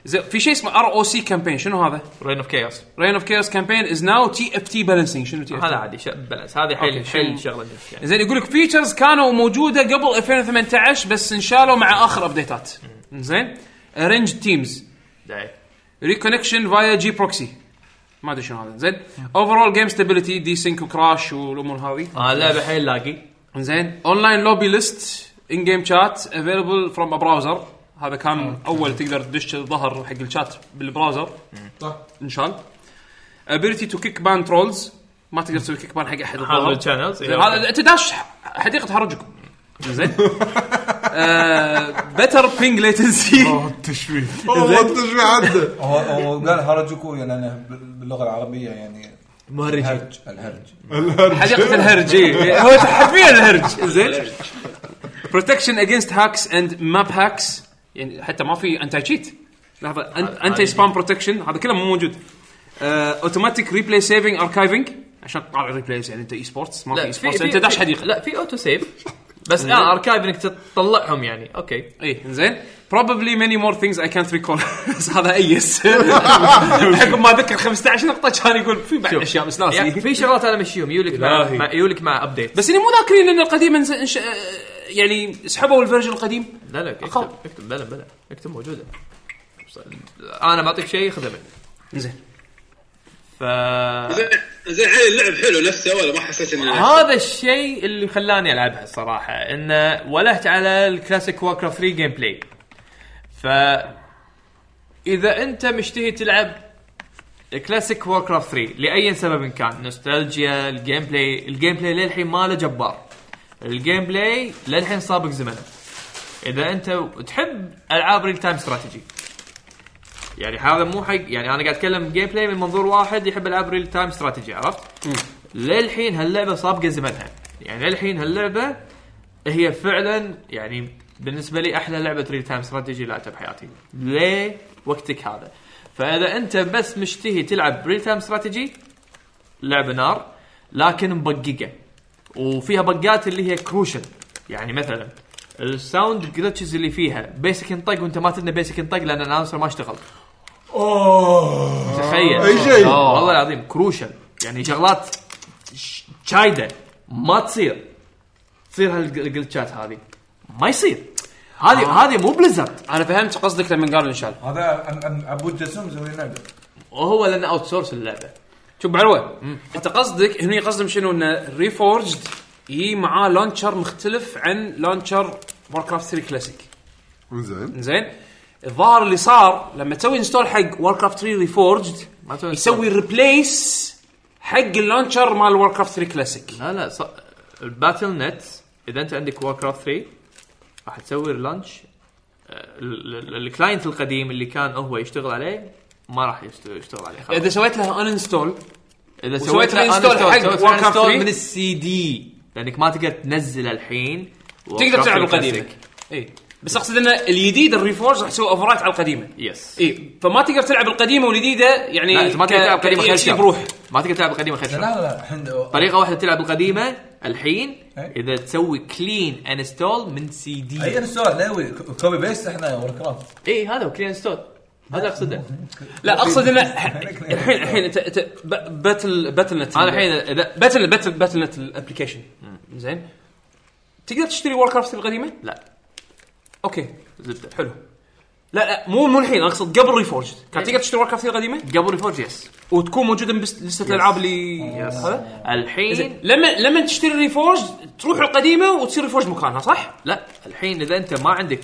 [SPEAKER 6] زين في شيء اسمه ار او سي كامبين شنو هذا؟
[SPEAKER 2] رين اوف كيوس
[SPEAKER 6] رين اوف كيرس كامبين از ناو تي اف تي بالانسنج شنو تي اف
[SPEAKER 2] هذا عادي بلس هذه
[SPEAKER 6] أوكي،
[SPEAKER 2] حيل
[SPEAKER 6] شيل.
[SPEAKER 2] حيل شغله جديدة يعني.
[SPEAKER 6] زين يقول لك فيتشرز كانوا موجوده قبل 2018 بس انشالوا مع اخر ابديتات زين رينج تيمز
[SPEAKER 2] داعي.
[SPEAKER 6] ريكونكشن فايا جي بروكسي ما ادري شنو هذا زين اوفرول جيم ستابيليتي دي سينك وكراش والامور هذه
[SPEAKER 2] اه لعبه حيل لاقي
[SPEAKER 6] زين اونلاين لوبي ليست ان جيم شات افيلبل فروم براوزر هذا كان اول تقدر تدش ظهر حق الشات بالبراوزر
[SPEAKER 13] صح.
[SPEAKER 6] ان شاء الله ابيلتي تو كيك بان ترولز ما تقدر تسوي كيك بان حق احد
[SPEAKER 2] هذا
[SPEAKER 6] الظهر
[SPEAKER 2] الشانلز
[SPEAKER 6] زين، هذا انت داش حديقه هرجكم زين آه، بيتر بينج ليتنسي
[SPEAKER 3] التشويه والله التشويه عنده
[SPEAKER 4] هو هو قال هرجوكو لانه باللغه العربيه يعني الهرج الهرج
[SPEAKER 6] حديقه الهرج
[SPEAKER 2] إيه.
[SPEAKER 6] إي. هو حرفيا الهرج زين بروتكشن اجينست هاكس اند ماب هاكس يعني حتى ما في انتي تشيت لحظه
[SPEAKER 2] آه،
[SPEAKER 6] انتي سبام بروتكشن هذا كله مو موجود آه، اوتوماتيك ريبلاي سيفنج اركايفنج عشان تطالع ريبلايز يعني انت اي سبورتس ما في
[SPEAKER 2] لا
[SPEAKER 6] اي
[SPEAKER 2] في
[SPEAKER 6] سبورتس
[SPEAKER 2] في-
[SPEAKER 6] انت داش
[SPEAKER 2] في-
[SPEAKER 6] حديقه
[SPEAKER 2] لا في اوتو سيف بس اه اركايف انك تطلعهم يعني اوكي
[SPEAKER 6] اي إيه، زين probably many more things I can't recall بس هذا ايس حكم ما ذكر 15 نقطه كان يقول في بعد
[SPEAKER 2] شوف.
[SPEAKER 6] اشياء بس
[SPEAKER 2] يعني
[SPEAKER 6] ناسي
[SPEAKER 2] في شغلات انا مشيهم يولك مع
[SPEAKER 6] إلهي.
[SPEAKER 2] مع- يولك مع ابديت
[SPEAKER 6] بس اني مو ذاكرين ان القديم انس- انش... آه، يعني سحبوا الفيرجن القديم
[SPEAKER 2] لا لا اكتب
[SPEAKER 6] أقل.
[SPEAKER 2] اكتب بلا بلا اكتب موجوده بس- انا بعطيك شيء خذه مني
[SPEAKER 6] زين
[SPEAKER 2] ف
[SPEAKER 8] زين زين علي اللعب حلو نفسه ولا ما حسيت انه
[SPEAKER 2] هذا الشيء اللي خلاني العبها الصراحه انه ولهت على الكلاسيك ووركر 3 جيم بلاي ف اذا انت مشتهي تلعب كلاسيك ووركرافت 3 لاي سبب كان نوستالجيا الجيم بلاي الجيم بلاي للحين ما له جبار الجيم بلاي للحين سابق زمنه اذا انت تحب العاب ريل تايم استراتيجي يعني هذا مو حق يعني انا قاعد اتكلم جيم بلاي من منظور واحد يحب العاب ريل تايم استراتيجي عرفت؟ للحين هاللعبه سابقه زمنها يعني للحين هاللعبه هي فعلا يعني بالنسبه لي احلى لعبه ريل تايم استراتيجي لعبتها بحياتي ليه وقتك هذا فاذا انت بس مشتهي تلعب ريل تايم استراتيجي لعبه نار لكن مبققه وفيها بقات اللي هي كروشل يعني مثلا الساوند جلتشز اللي فيها بيسك ينطق وانت ما تدري بيسك ينطق لان الانسر ما اشتغل
[SPEAKER 3] اوه
[SPEAKER 2] تخيل
[SPEAKER 3] أي شيء.
[SPEAKER 2] آه، والله العظيم كروشل يعني شغلات ش- شايده ما تصير تصير هالجلتشات هذه ما يصير هذه هذه مو بليزرد
[SPEAKER 6] انا آه. فهمت قصدك لما قال ان شاء الله
[SPEAKER 4] هذا أم- أم- عبود جسم زي لعبه
[SPEAKER 2] وهو لانه اوت سورس اللعبه
[SPEAKER 6] شوف بعروه انت قصدك هني قصدهم شنو انه ريفورجد يجي معاه لانشر مختلف عن لانشر واركرافت 3 كلاسيك
[SPEAKER 3] زين
[SPEAKER 6] زين الظاهر اللي صار لما تسوي انستول حق واركرافت 3 ريفورجد
[SPEAKER 2] ما تسوي
[SPEAKER 6] يسوي ريبليس حق اللانشر مال واركرافت 3 كلاسيك
[SPEAKER 2] لا لا ص... الباتل نت اذا انت عندك وور كرافت 3 راح تسوي آه، لانش الكلاينت القديم اللي كان هو يشتغل عليه ما راح يشت- يشتغل عليه خلاص
[SPEAKER 6] اذا سويت لها ان انستول
[SPEAKER 2] اذا
[SPEAKER 6] وسويت
[SPEAKER 2] له
[SPEAKER 6] reinstall
[SPEAKER 2] uninstall،
[SPEAKER 6] حق
[SPEAKER 2] سويت له
[SPEAKER 6] Warcraft
[SPEAKER 2] uninstall
[SPEAKER 6] 3.
[SPEAKER 2] من السي دي لانك ما تقدر تنزل الحين
[SPEAKER 6] تقدر تلعب القديمه
[SPEAKER 2] القديم
[SPEAKER 6] اي بس اقصد ان الجديد الريفورج راح يسوي اوفرايت على القديمه
[SPEAKER 2] يس
[SPEAKER 6] اي فما تقدر تلعب القديمه والجديده يعني
[SPEAKER 2] لا انت ما تقدر
[SPEAKER 6] ك-
[SPEAKER 2] تلعب القديمه
[SPEAKER 6] ك-
[SPEAKER 2] خير
[SPEAKER 6] EXE
[SPEAKER 2] شر.
[SPEAKER 6] بروح
[SPEAKER 2] ما تقدر تلعب القديمه خير
[SPEAKER 4] لا
[SPEAKER 2] شر.
[SPEAKER 4] لا لا الحين
[SPEAKER 2] طريقه واحده تلعب القديمه الحين
[SPEAKER 4] إيه.
[SPEAKER 2] اذا تسوي كلين انستول من سي دي
[SPEAKER 6] أيوة.
[SPEAKER 4] اي السؤال لا يوي، كوبي بيست احنا وركرافت
[SPEAKER 2] اي
[SPEAKER 6] إيه،
[SPEAKER 2] هذا هو كلين انستول هذا اقصده
[SPEAKER 6] لا اقصد انه الحين الحين انت انت ب- باتل باتل نت
[SPEAKER 2] انا الحين اذا
[SPEAKER 6] باتل باتل باتل نت الابلكيشن زين تقدر تشتري وور كرافت القديمه؟
[SPEAKER 2] لا
[SPEAKER 6] اوكي
[SPEAKER 2] زبده
[SPEAKER 6] حلو لا لا مو مو الحين اقصد قبل ريفورج كان تقدر تشتري وور كرافت القديمه
[SPEAKER 2] إيه. قبل ريفورج يس
[SPEAKER 6] وتكون موجوده بس- لسته الالعاب اللي هذا زين
[SPEAKER 2] الحين
[SPEAKER 6] لما لما تشتري ريفورج تروح القديمه وتصير ريفورج مكانها صح؟
[SPEAKER 2] لا الحين اذا انت ما عندك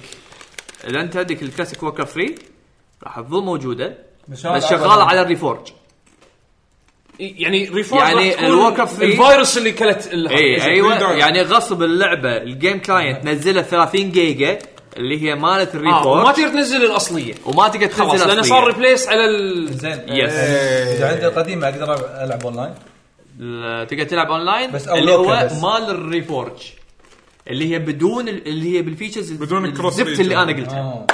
[SPEAKER 2] اذا انت عندك الكلاسيك ووكر فري راح تظل موجوده بس شغاله على الريفورج
[SPEAKER 6] يعني ريفورج
[SPEAKER 2] يعني
[SPEAKER 6] راح تكون
[SPEAKER 2] الوور كرافت ثري-
[SPEAKER 6] الفيروس اللي كلت ال-
[SPEAKER 2] اي
[SPEAKER 13] دولار.
[SPEAKER 2] ايوه يعني غصب اللعبه الجيم كلاينت نزلها 30 جيجا اللي هي مالت
[SPEAKER 6] إيه. آه، ما
[SPEAKER 2] الريفورج
[SPEAKER 6] تقدر تنزل الاصليه
[SPEAKER 2] وما تقدر تنزل
[SPEAKER 6] خلاص لانه
[SPEAKER 2] أصلية.
[SPEAKER 6] صار ريبليس على ال
[SPEAKER 4] زين
[SPEAKER 2] يس.
[SPEAKER 7] آه،
[SPEAKER 4] اذا عندي القديمه اقدر العب اونلاين
[SPEAKER 2] ال- تقدر تلعب اونلاين
[SPEAKER 7] بس أو
[SPEAKER 2] اللي هو
[SPEAKER 7] لوكال بس.
[SPEAKER 2] مال الريفورج اللي هي بدون ال- اللي هي بالفيتشرز
[SPEAKER 4] بدون الكروس
[SPEAKER 2] الزفت
[SPEAKER 4] ريجن.
[SPEAKER 2] اللي انا قلتها
[SPEAKER 7] آه.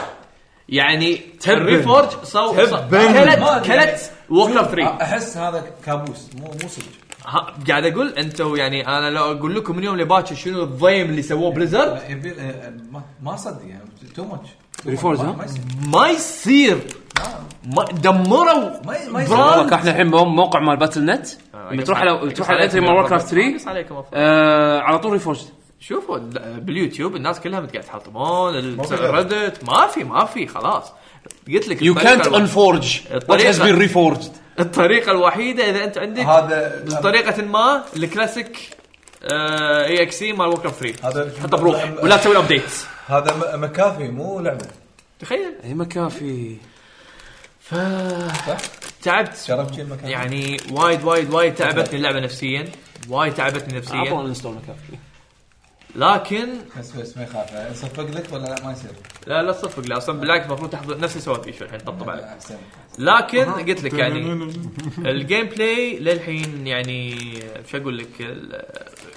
[SPEAKER 2] يعني الريفورج صو صو- كلت كلت ووكر 3
[SPEAKER 7] احس آه، هذا كابوس مو مو صدق
[SPEAKER 2] ها، قاعد اقول انتم يعني انا لو اقول لكم من يوم لباكر شنو الضيم اللي سووه بليزرد
[SPEAKER 7] يبي آه، ما- ما اصدق يعني تو ماتش
[SPEAKER 6] ريفورز، ها؟
[SPEAKER 2] ما يصير ما دمروا
[SPEAKER 7] نعم. ما ما
[SPEAKER 6] والله
[SPEAKER 7] يصير
[SPEAKER 6] احنا الحين مو- موقع مال باتل نت
[SPEAKER 2] آه،
[SPEAKER 6] لما تروح على تروح على انتري مال وور كرافت 3
[SPEAKER 2] عليكم
[SPEAKER 6] آه، على طول ريفورجد
[SPEAKER 2] شوفوا ال- باليوتيوب الناس كلها قاعد تحطمون الريدت ما في ما في خلاص قلت لك
[SPEAKER 6] يو
[SPEAKER 2] الطريقة
[SPEAKER 6] كانت
[SPEAKER 2] الوا-
[SPEAKER 6] انفورج وات
[SPEAKER 2] الطريقة-
[SPEAKER 6] هاز بين ريفورجد
[SPEAKER 2] الطريقه الوحيده اذا انت عندك
[SPEAKER 7] هذا
[SPEAKER 2] بطريقه ما الكلاسيك آه، اي اكس سي مال ووكر 3
[SPEAKER 7] هذا
[SPEAKER 2] حطه بروحي ولا تسوي له ابديت
[SPEAKER 7] هذا م- مكافي مو لعبه
[SPEAKER 2] تخيل
[SPEAKER 6] اي ما كافي
[SPEAKER 2] ف تعبت
[SPEAKER 7] شرف شي المكافي
[SPEAKER 2] يعني وايد وايد وايد تعبتني اللعبه نفسيا وايد تعبتني
[SPEAKER 6] عطوا
[SPEAKER 2] نفسيا
[SPEAKER 6] انستول ما كافي
[SPEAKER 2] لكن
[SPEAKER 7] بس بس ما يخاف صفق لك ولا لا ما يصير
[SPEAKER 2] لا لا تصفق لا اصلا بالعكس المفروض تحضر نفس اللي سويت فيه شوي الحين طبطب عليك
[SPEAKER 7] احسن
[SPEAKER 2] لكن قلت لك يعني الجيم بلاي للحين يعني شو اقول لك ال-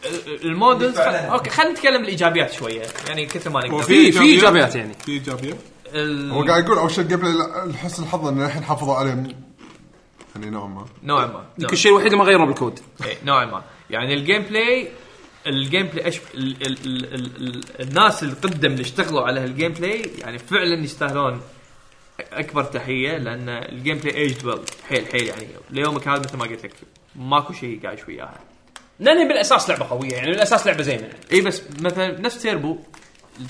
[SPEAKER 2] ال- المودلز خل...
[SPEAKER 7] فعلاً.
[SPEAKER 2] اوكي خلينا نتكلم الايجابيات شويه يعني كثر ما نقدر
[SPEAKER 4] وفي-
[SPEAKER 6] في في ايجابيات يعني
[SPEAKER 4] في ايجابيه
[SPEAKER 2] ال-
[SPEAKER 3] هو قاعد يقول اول شيء قبل لحسن الحظ ان الحين حافظوا عليه يعني نوعا ما
[SPEAKER 2] نوعا ما نوعاً
[SPEAKER 6] يمكن الشيء الوحيد اللي ما غيروا بالكود
[SPEAKER 2] إيه، نوعا ما يعني الجيم بلاي الجيم بلاي ايش ال ال ال ال الناس القدم اللي اشتغلوا على هالجيم بلاي يعني فعلا يستاهلون اكبر تحيه لان الجيم بلاي ايج ويل حيل حيل يعني ليومك هذا مثل ما قلت لك ماكو شيء قاعد وياها
[SPEAKER 1] لان هي بالاساس لعبه قويه يعني بالاساس لعبه زينه يعني.
[SPEAKER 2] اي إيه، بس مثلا نفس تيربو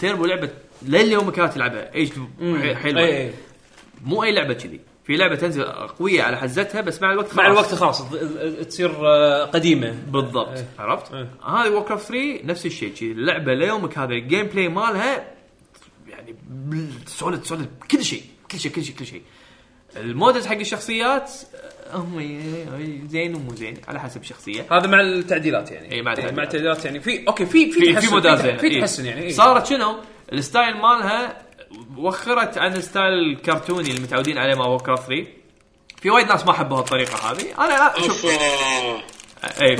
[SPEAKER 2] تيربو لعبه لليوم كانت تلعبها ايج حيل
[SPEAKER 1] اي
[SPEAKER 2] حيل
[SPEAKER 1] اي
[SPEAKER 2] مو اي لعبه كذي في لعبه تنزل قويه على حزتها بس مع الوقت خلاص
[SPEAKER 1] مع الوقت خلاص ت- ت- تصير آه، قديمه
[SPEAKER 2] بالضبط
[SPEAKER 1] إيه.
[SPEAKER 2] عرفت؟
[SPEAKER 1] إيه.
[SPEAKER 2] هذه ووك اوف 3 نفس الشيء شي اللعبه ليومك هذا الجيم بلاي مالها يعني سوليد سوليد كل شيء كل شيء كل شيء كل شيء المودلز حق الشخصيات آه، هم ي- زين ومو زين على حسب الشخصيه
[SPEAKER 1] هذا مع التعديلات يعني
[SPEAKER 2] إي، مع التعديلات.
[SPEAKER 1] مع التعديلات يعني في اوكي في في
[SPEAKER 2] في
[SPEAKER 1] تحسن،
[SPEAKER 2] في موديل زين
[SPEAKER 1] في
[SPEAKER 2] إيه.
[SPEAKER 1] تحسن يعني إيه.
[SPEAKER 2] صارت شنو؟ الستايل مالها وخرت عن الستايل الكرتوني اللي متعودين عليه مع ووك اوف 3 في وايد ناس ما حبوا هالطريقه هذه انا أ- شوف
[SPEAKER 8] اوف
[SPEAKER 2] اي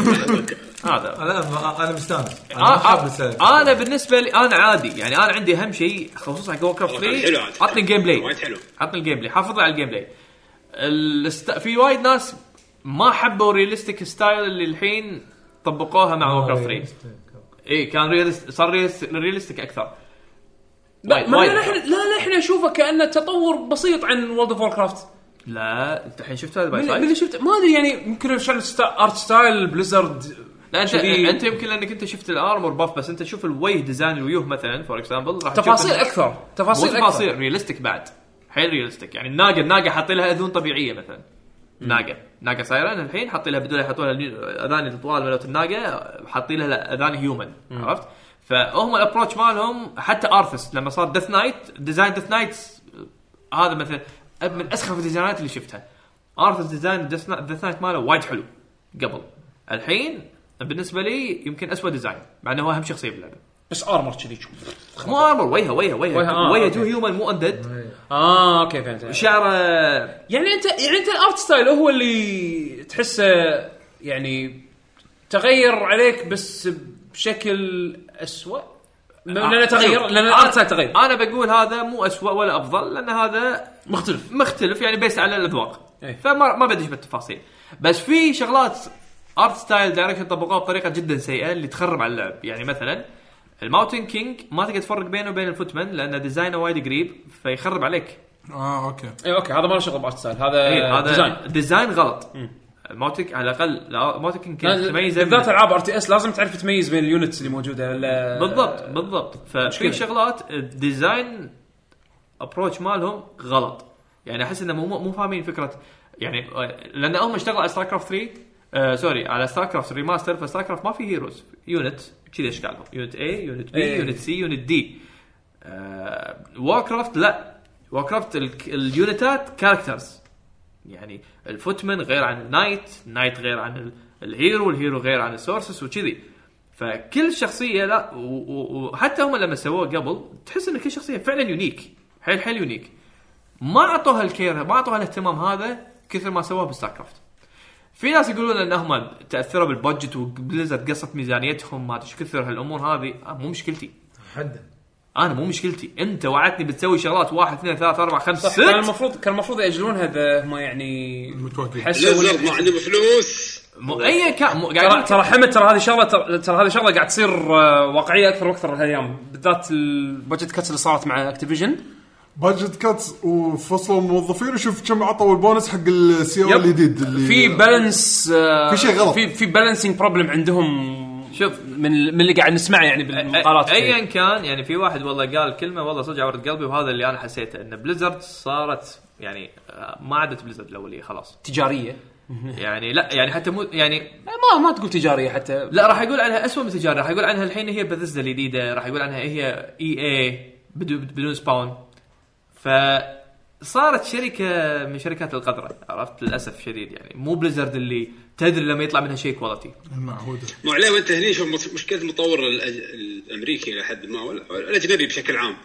[SPEAKER 2] هذا
[SPEAKER 7] انا ما- انا مستانس انا ما حاب السالفة.
[SPEAKER 2] آه انا بالنسبه لي انا عادي يعني انا عندي اهم شيء خصوصا حق ووكر
[SPEAKER 8] والله حلو
[SPEAKER 2] 3
[SPEAKER 8] عاد.
[SPEAKER 2] عطني الجيم بلاي
[SPEAKER 8] وايد حلو.
[SPEAKER 2] عطني الجيم بلاي حافظ على الجيم بلاي الست... في وايد ناس ما حبوا الريالستيك ستايل اللي الحين طبقوها مع
[SPEAKER 7] آه،
[SPEAKER 2] ووكر 3 اي كان ريالست... صار ريالست... ريالستيك اكثر
[SPEAKER 1] لا
[SPEAKER 2] وايد-
[SPEAKER 1] ما
[SPEAKER 2] وايد.
[SPEAKER 1] لا نحن لا نحن نشوفه كانه تطور بسيط عن وورد اوف كرافت
[SPEAKER 2] لا انت الحين شفت هذا
[SPEAKER 1] من
[SPEAKER 2] باي
[SPEAKER 1] من
[SPEAKER 2] سايد
[SPEAKER 1] اللي شفت ما ادري يعني يمكن عشان الستا- ارت ستايل بليزرد
[SPEAKER 2] لا انت
[SPEAKER 1] كذي-
[SPEAKER 2] انت يمكن لانك انت شفت الارمور باف بس انت شوف الوجه ديزاين الويوه مثلا فور اكزامبل راح تشوف
[SPEAKER 1] تفاصيل
[SPEAKER 2] إنه-
[SPEAKER 1] اكثر
[SPEAKER 2] مو
[SPEAKER 1] تفاصيل اكثر
[SPEAKER 2] تفاصيل ريالستيك بعد حيل ريالستيك يعني الناقه الناقه حاطين لها اذون طبيعيه مثلا ناقه ناقه سايرن الحين حاطين لها بدون يحطون لها اذان طوال مالت الناقه حاطين لها اذان هيومن عرفت فهم الابروتش مالهم حتى ارثس لما صار ديث نايت ديزاين ديث نايت هذا مثلا من اسخف الديزاينات اللي شفتها ارثس ديزاين ديث نايت ماله وايد حلو قبل الحين بالنسبه لي يمكن اسوء ديزاين مع انه هو اهم شخصيه باللعبه
[SPEAKER 1] بس ارمر كذي تشوف.
[SPEAKER 2] مو ارمر وجهه وجهه
[SPEAKER 1] وجهه،
[SPEAKER 2] وجهه
[SPEAKER 1] آه،
[SPEAKER 2] وجهه
[SPEAKER 1] أوكي.
[SPEAKER 2] تو هيومن مو اندد
[SPEAKER 1] اه اوكي فهمت
[SPEAKER 2] شعره
[SPEAKER 1] يعني انت يعني انت الارت ستايل هو اللي تحسه يعني تغير عليك بس بشكل اسوء م- لانه تغير
[SPEAKER 2] آه، شوف، آه،
[SPEAKER 1] لان
[SPEAKER 2] أنا-
[SPEAKER 1] الارت ستايل تغير
[SPEAKER 2] انا بقول هذا مو أسوأ ولا افضل لان هذا
[SPEAKER 1] مختلف.
[SPEAKER 2] مختلف يعني بيس على الاذواق
[SPEAKER 1] إيه.
[SPEAKER 2] فما ما بدش بالتفاصيل بس في شغلات ارت ستايل دايركشن طبقوها بطريقه جدا سيئه اللي تخرب على اللعب يعني مثلا الماوتن كينج ما تقدر تفرق بينه وبين الفوتمان لان ديزاينه وايد قريب فيخرب عليك
[SPEAKER 4] اه اوكي
[SPEAKER 1] اي اوكي إيه، هذا ما له شغل بارت ستايل هذا
[SPEAKER 2] إيه،
[SPEAKER 1] هذا ديزاين
[SPEAKER 2] هذا ديزاين غلط الماوتن على الاقل لا، الماوتن كينج
[SPEAKER 6] يعني
[SPEAKER 2] كانت تميزه من-
[SPEAKER 1] بالذات العاب ار تي اس لازم تعرف تميز بين اليونتس اللي موجوده لا-
[SPEAKER 2] بالضبط بالضبط ففي
[SPEAKER 1] مشكلة.
[SPEAKER 2] شغلات الديزاين ابروتش مالهم غلط يعني احس انهم مو مو فاهمين فكره يعني آه، لان هم اشتغلوا على ستار كرافت 3 آه سوري على ستار كرافت ريماستر فستار كرافت ما في هيروز يونت كذي اشكالهم يونت اي يونت بي
[SPEAKER 1] إيه.
[SPEAKER 2] يونت سي يونت دي آه واركرافت لا واركرافت اليونتات كاركترز يعني الفوتمن غير عن النايت النايت غير عن ال- الهيرو الهيرو غير عن السورسس وكذي فكل شخصيه لا و- و- وحتى هم لما سووه قبل تحس ان كل شخصيه فعلا يونيك حيل حيل يونيك ما اعطوها الكير ما اعطوها الاهتمام هذا كثر ما سووه بستار كرافت في ناس يقولون ان هم تاثروا بالبادجت وبليزرد قصت ميزانيتهم ما ادري إيش كثر هالامور هذه آه، مو مشكلتي
[SPEAKER 14] حد
[SPEAKER 2] انا مو مشكلتي انت وعدتني بتسوي شغلات واحد اثنين ثلاثة أربعة خمسة
[SPEAKER 6] كان
[SPEAKER 2] ست
[SPEAKER 6] المفروض كان المفروض ياجلونها اذا هم يعني
[SPEAKER 3] متوكل
[SPEAKER 6] حسوا
[SPEAKER 8] ليزر ما عندهم فلوس
[SPEAKER 2] مو- ايا كان مو- قاعد
[SPEAKER 6] ترى
[SPEAKER 2] أقول-
[SPEAKER 6] ترى حمد ترى هذه شغله ترى- ترى هذه شغله قاعد تصير آه، واقعيه اكثر واكثر هالايام بالذات البادجت كاتس اللي صارت مع اكتيفيجن
[SPEAKER 3] بادجت كاتس وفصلوا الموظفين وشوف كم عطوا البونس حق السي او
[SPEAKER 6] يب.
[SPEAKER 3] الجديد اللي
[SPEAKER 6] في بالانس
[SPEAKER 3] في شيء غلط.
[SPEAKER 6] في في بالانسنج بروبلم عندهم شوف من من اللي قاعد نسمعه يعني بالمقالات
[SPEAKER 2] ايا كان يعني في واحد والله قال كلمه والله صدق عورت قلبي وهذا اللي انا حسيته ان بليزرد صارت يعني آه، ما عادت بليزرد الاوليه خلاص
[SPEAKER 6] تجاريه
[SPEAKER 2] يعني لا يعني حتى مو يعني
[SPEAKER 6] ما ما تقول تجاريه حتى
[SPEAKER 2] لا راح يقول عنها اسوء من تجاري راح يقول عنها الحين هي بذزة الجديده راح يقول عنها هي اي اي بدون سباون فصارت شركه من شركات القذره عرفت للاسف شديد يعني مو بليزرد اللي تدري لما يطلع منها شيء كواليتي
[SPEAKER 4] المعهودة
[SPEAKER 8] مو عليه وانت هني شوف مش- مشكله المطور الأج- الامريكي الى حد ما ولا ولا الاجنبي بشكل عام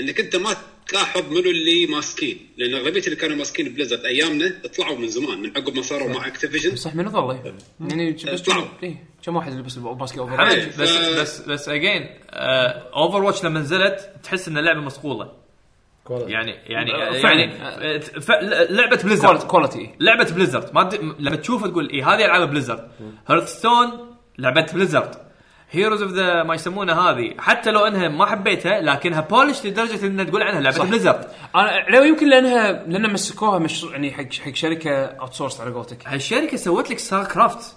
[SPEAKER 8] انك انت ما تلاحظ منو اللي ماسكين لان اغلبيه اللي كانوا ماسكين بليزرد ايامنا طلعوا من زمان من عقب ما صاروا مع اكتيفيجن
[SPEAKER 6] صح من والله يعني بس
[SPEAKER 8] اطلعوا.
[SPEAKER 6] كم- إيه، كم واحد يلبس الباسكت اوفر
[SPEAKER 8] عادي.
[SPEAKER 2] عادي بس
[SPEAKER 6] إيه.
[SPEAKER 8] ف-
[SPEAKER 2] بس بس اجين اوفر واتش لما نزلت تحس ان اللعبه مصقوله يعني يعني
[SPEAKER 6] فعلاً.
[SPEAKER 2] يعني آه، ف- لعبه
[SPEAKER 6] كواليتي-
[SPEAKER 2] بليزرد
[SPEAKER 6] كواليتي
[SPEAKER 2] لعبه بليزرد ما تد... لما تشوفها تقول اي هذه العاب بليزرد هيرثستون لعبه بليزرد هيروز اوف ذا ما يسمونها هذه حتى لو انها ما حبيتها لكنها بولش لدرجه انها تقول عنها لعبه بليزرد
[SPEAKER 6] انا لو يمكن لانها لان مسكوها مشروع يعني حق حق شركه اوت سورس على قولتك
[SPEAKER 2] هالشركه سوت لك ستار كرافت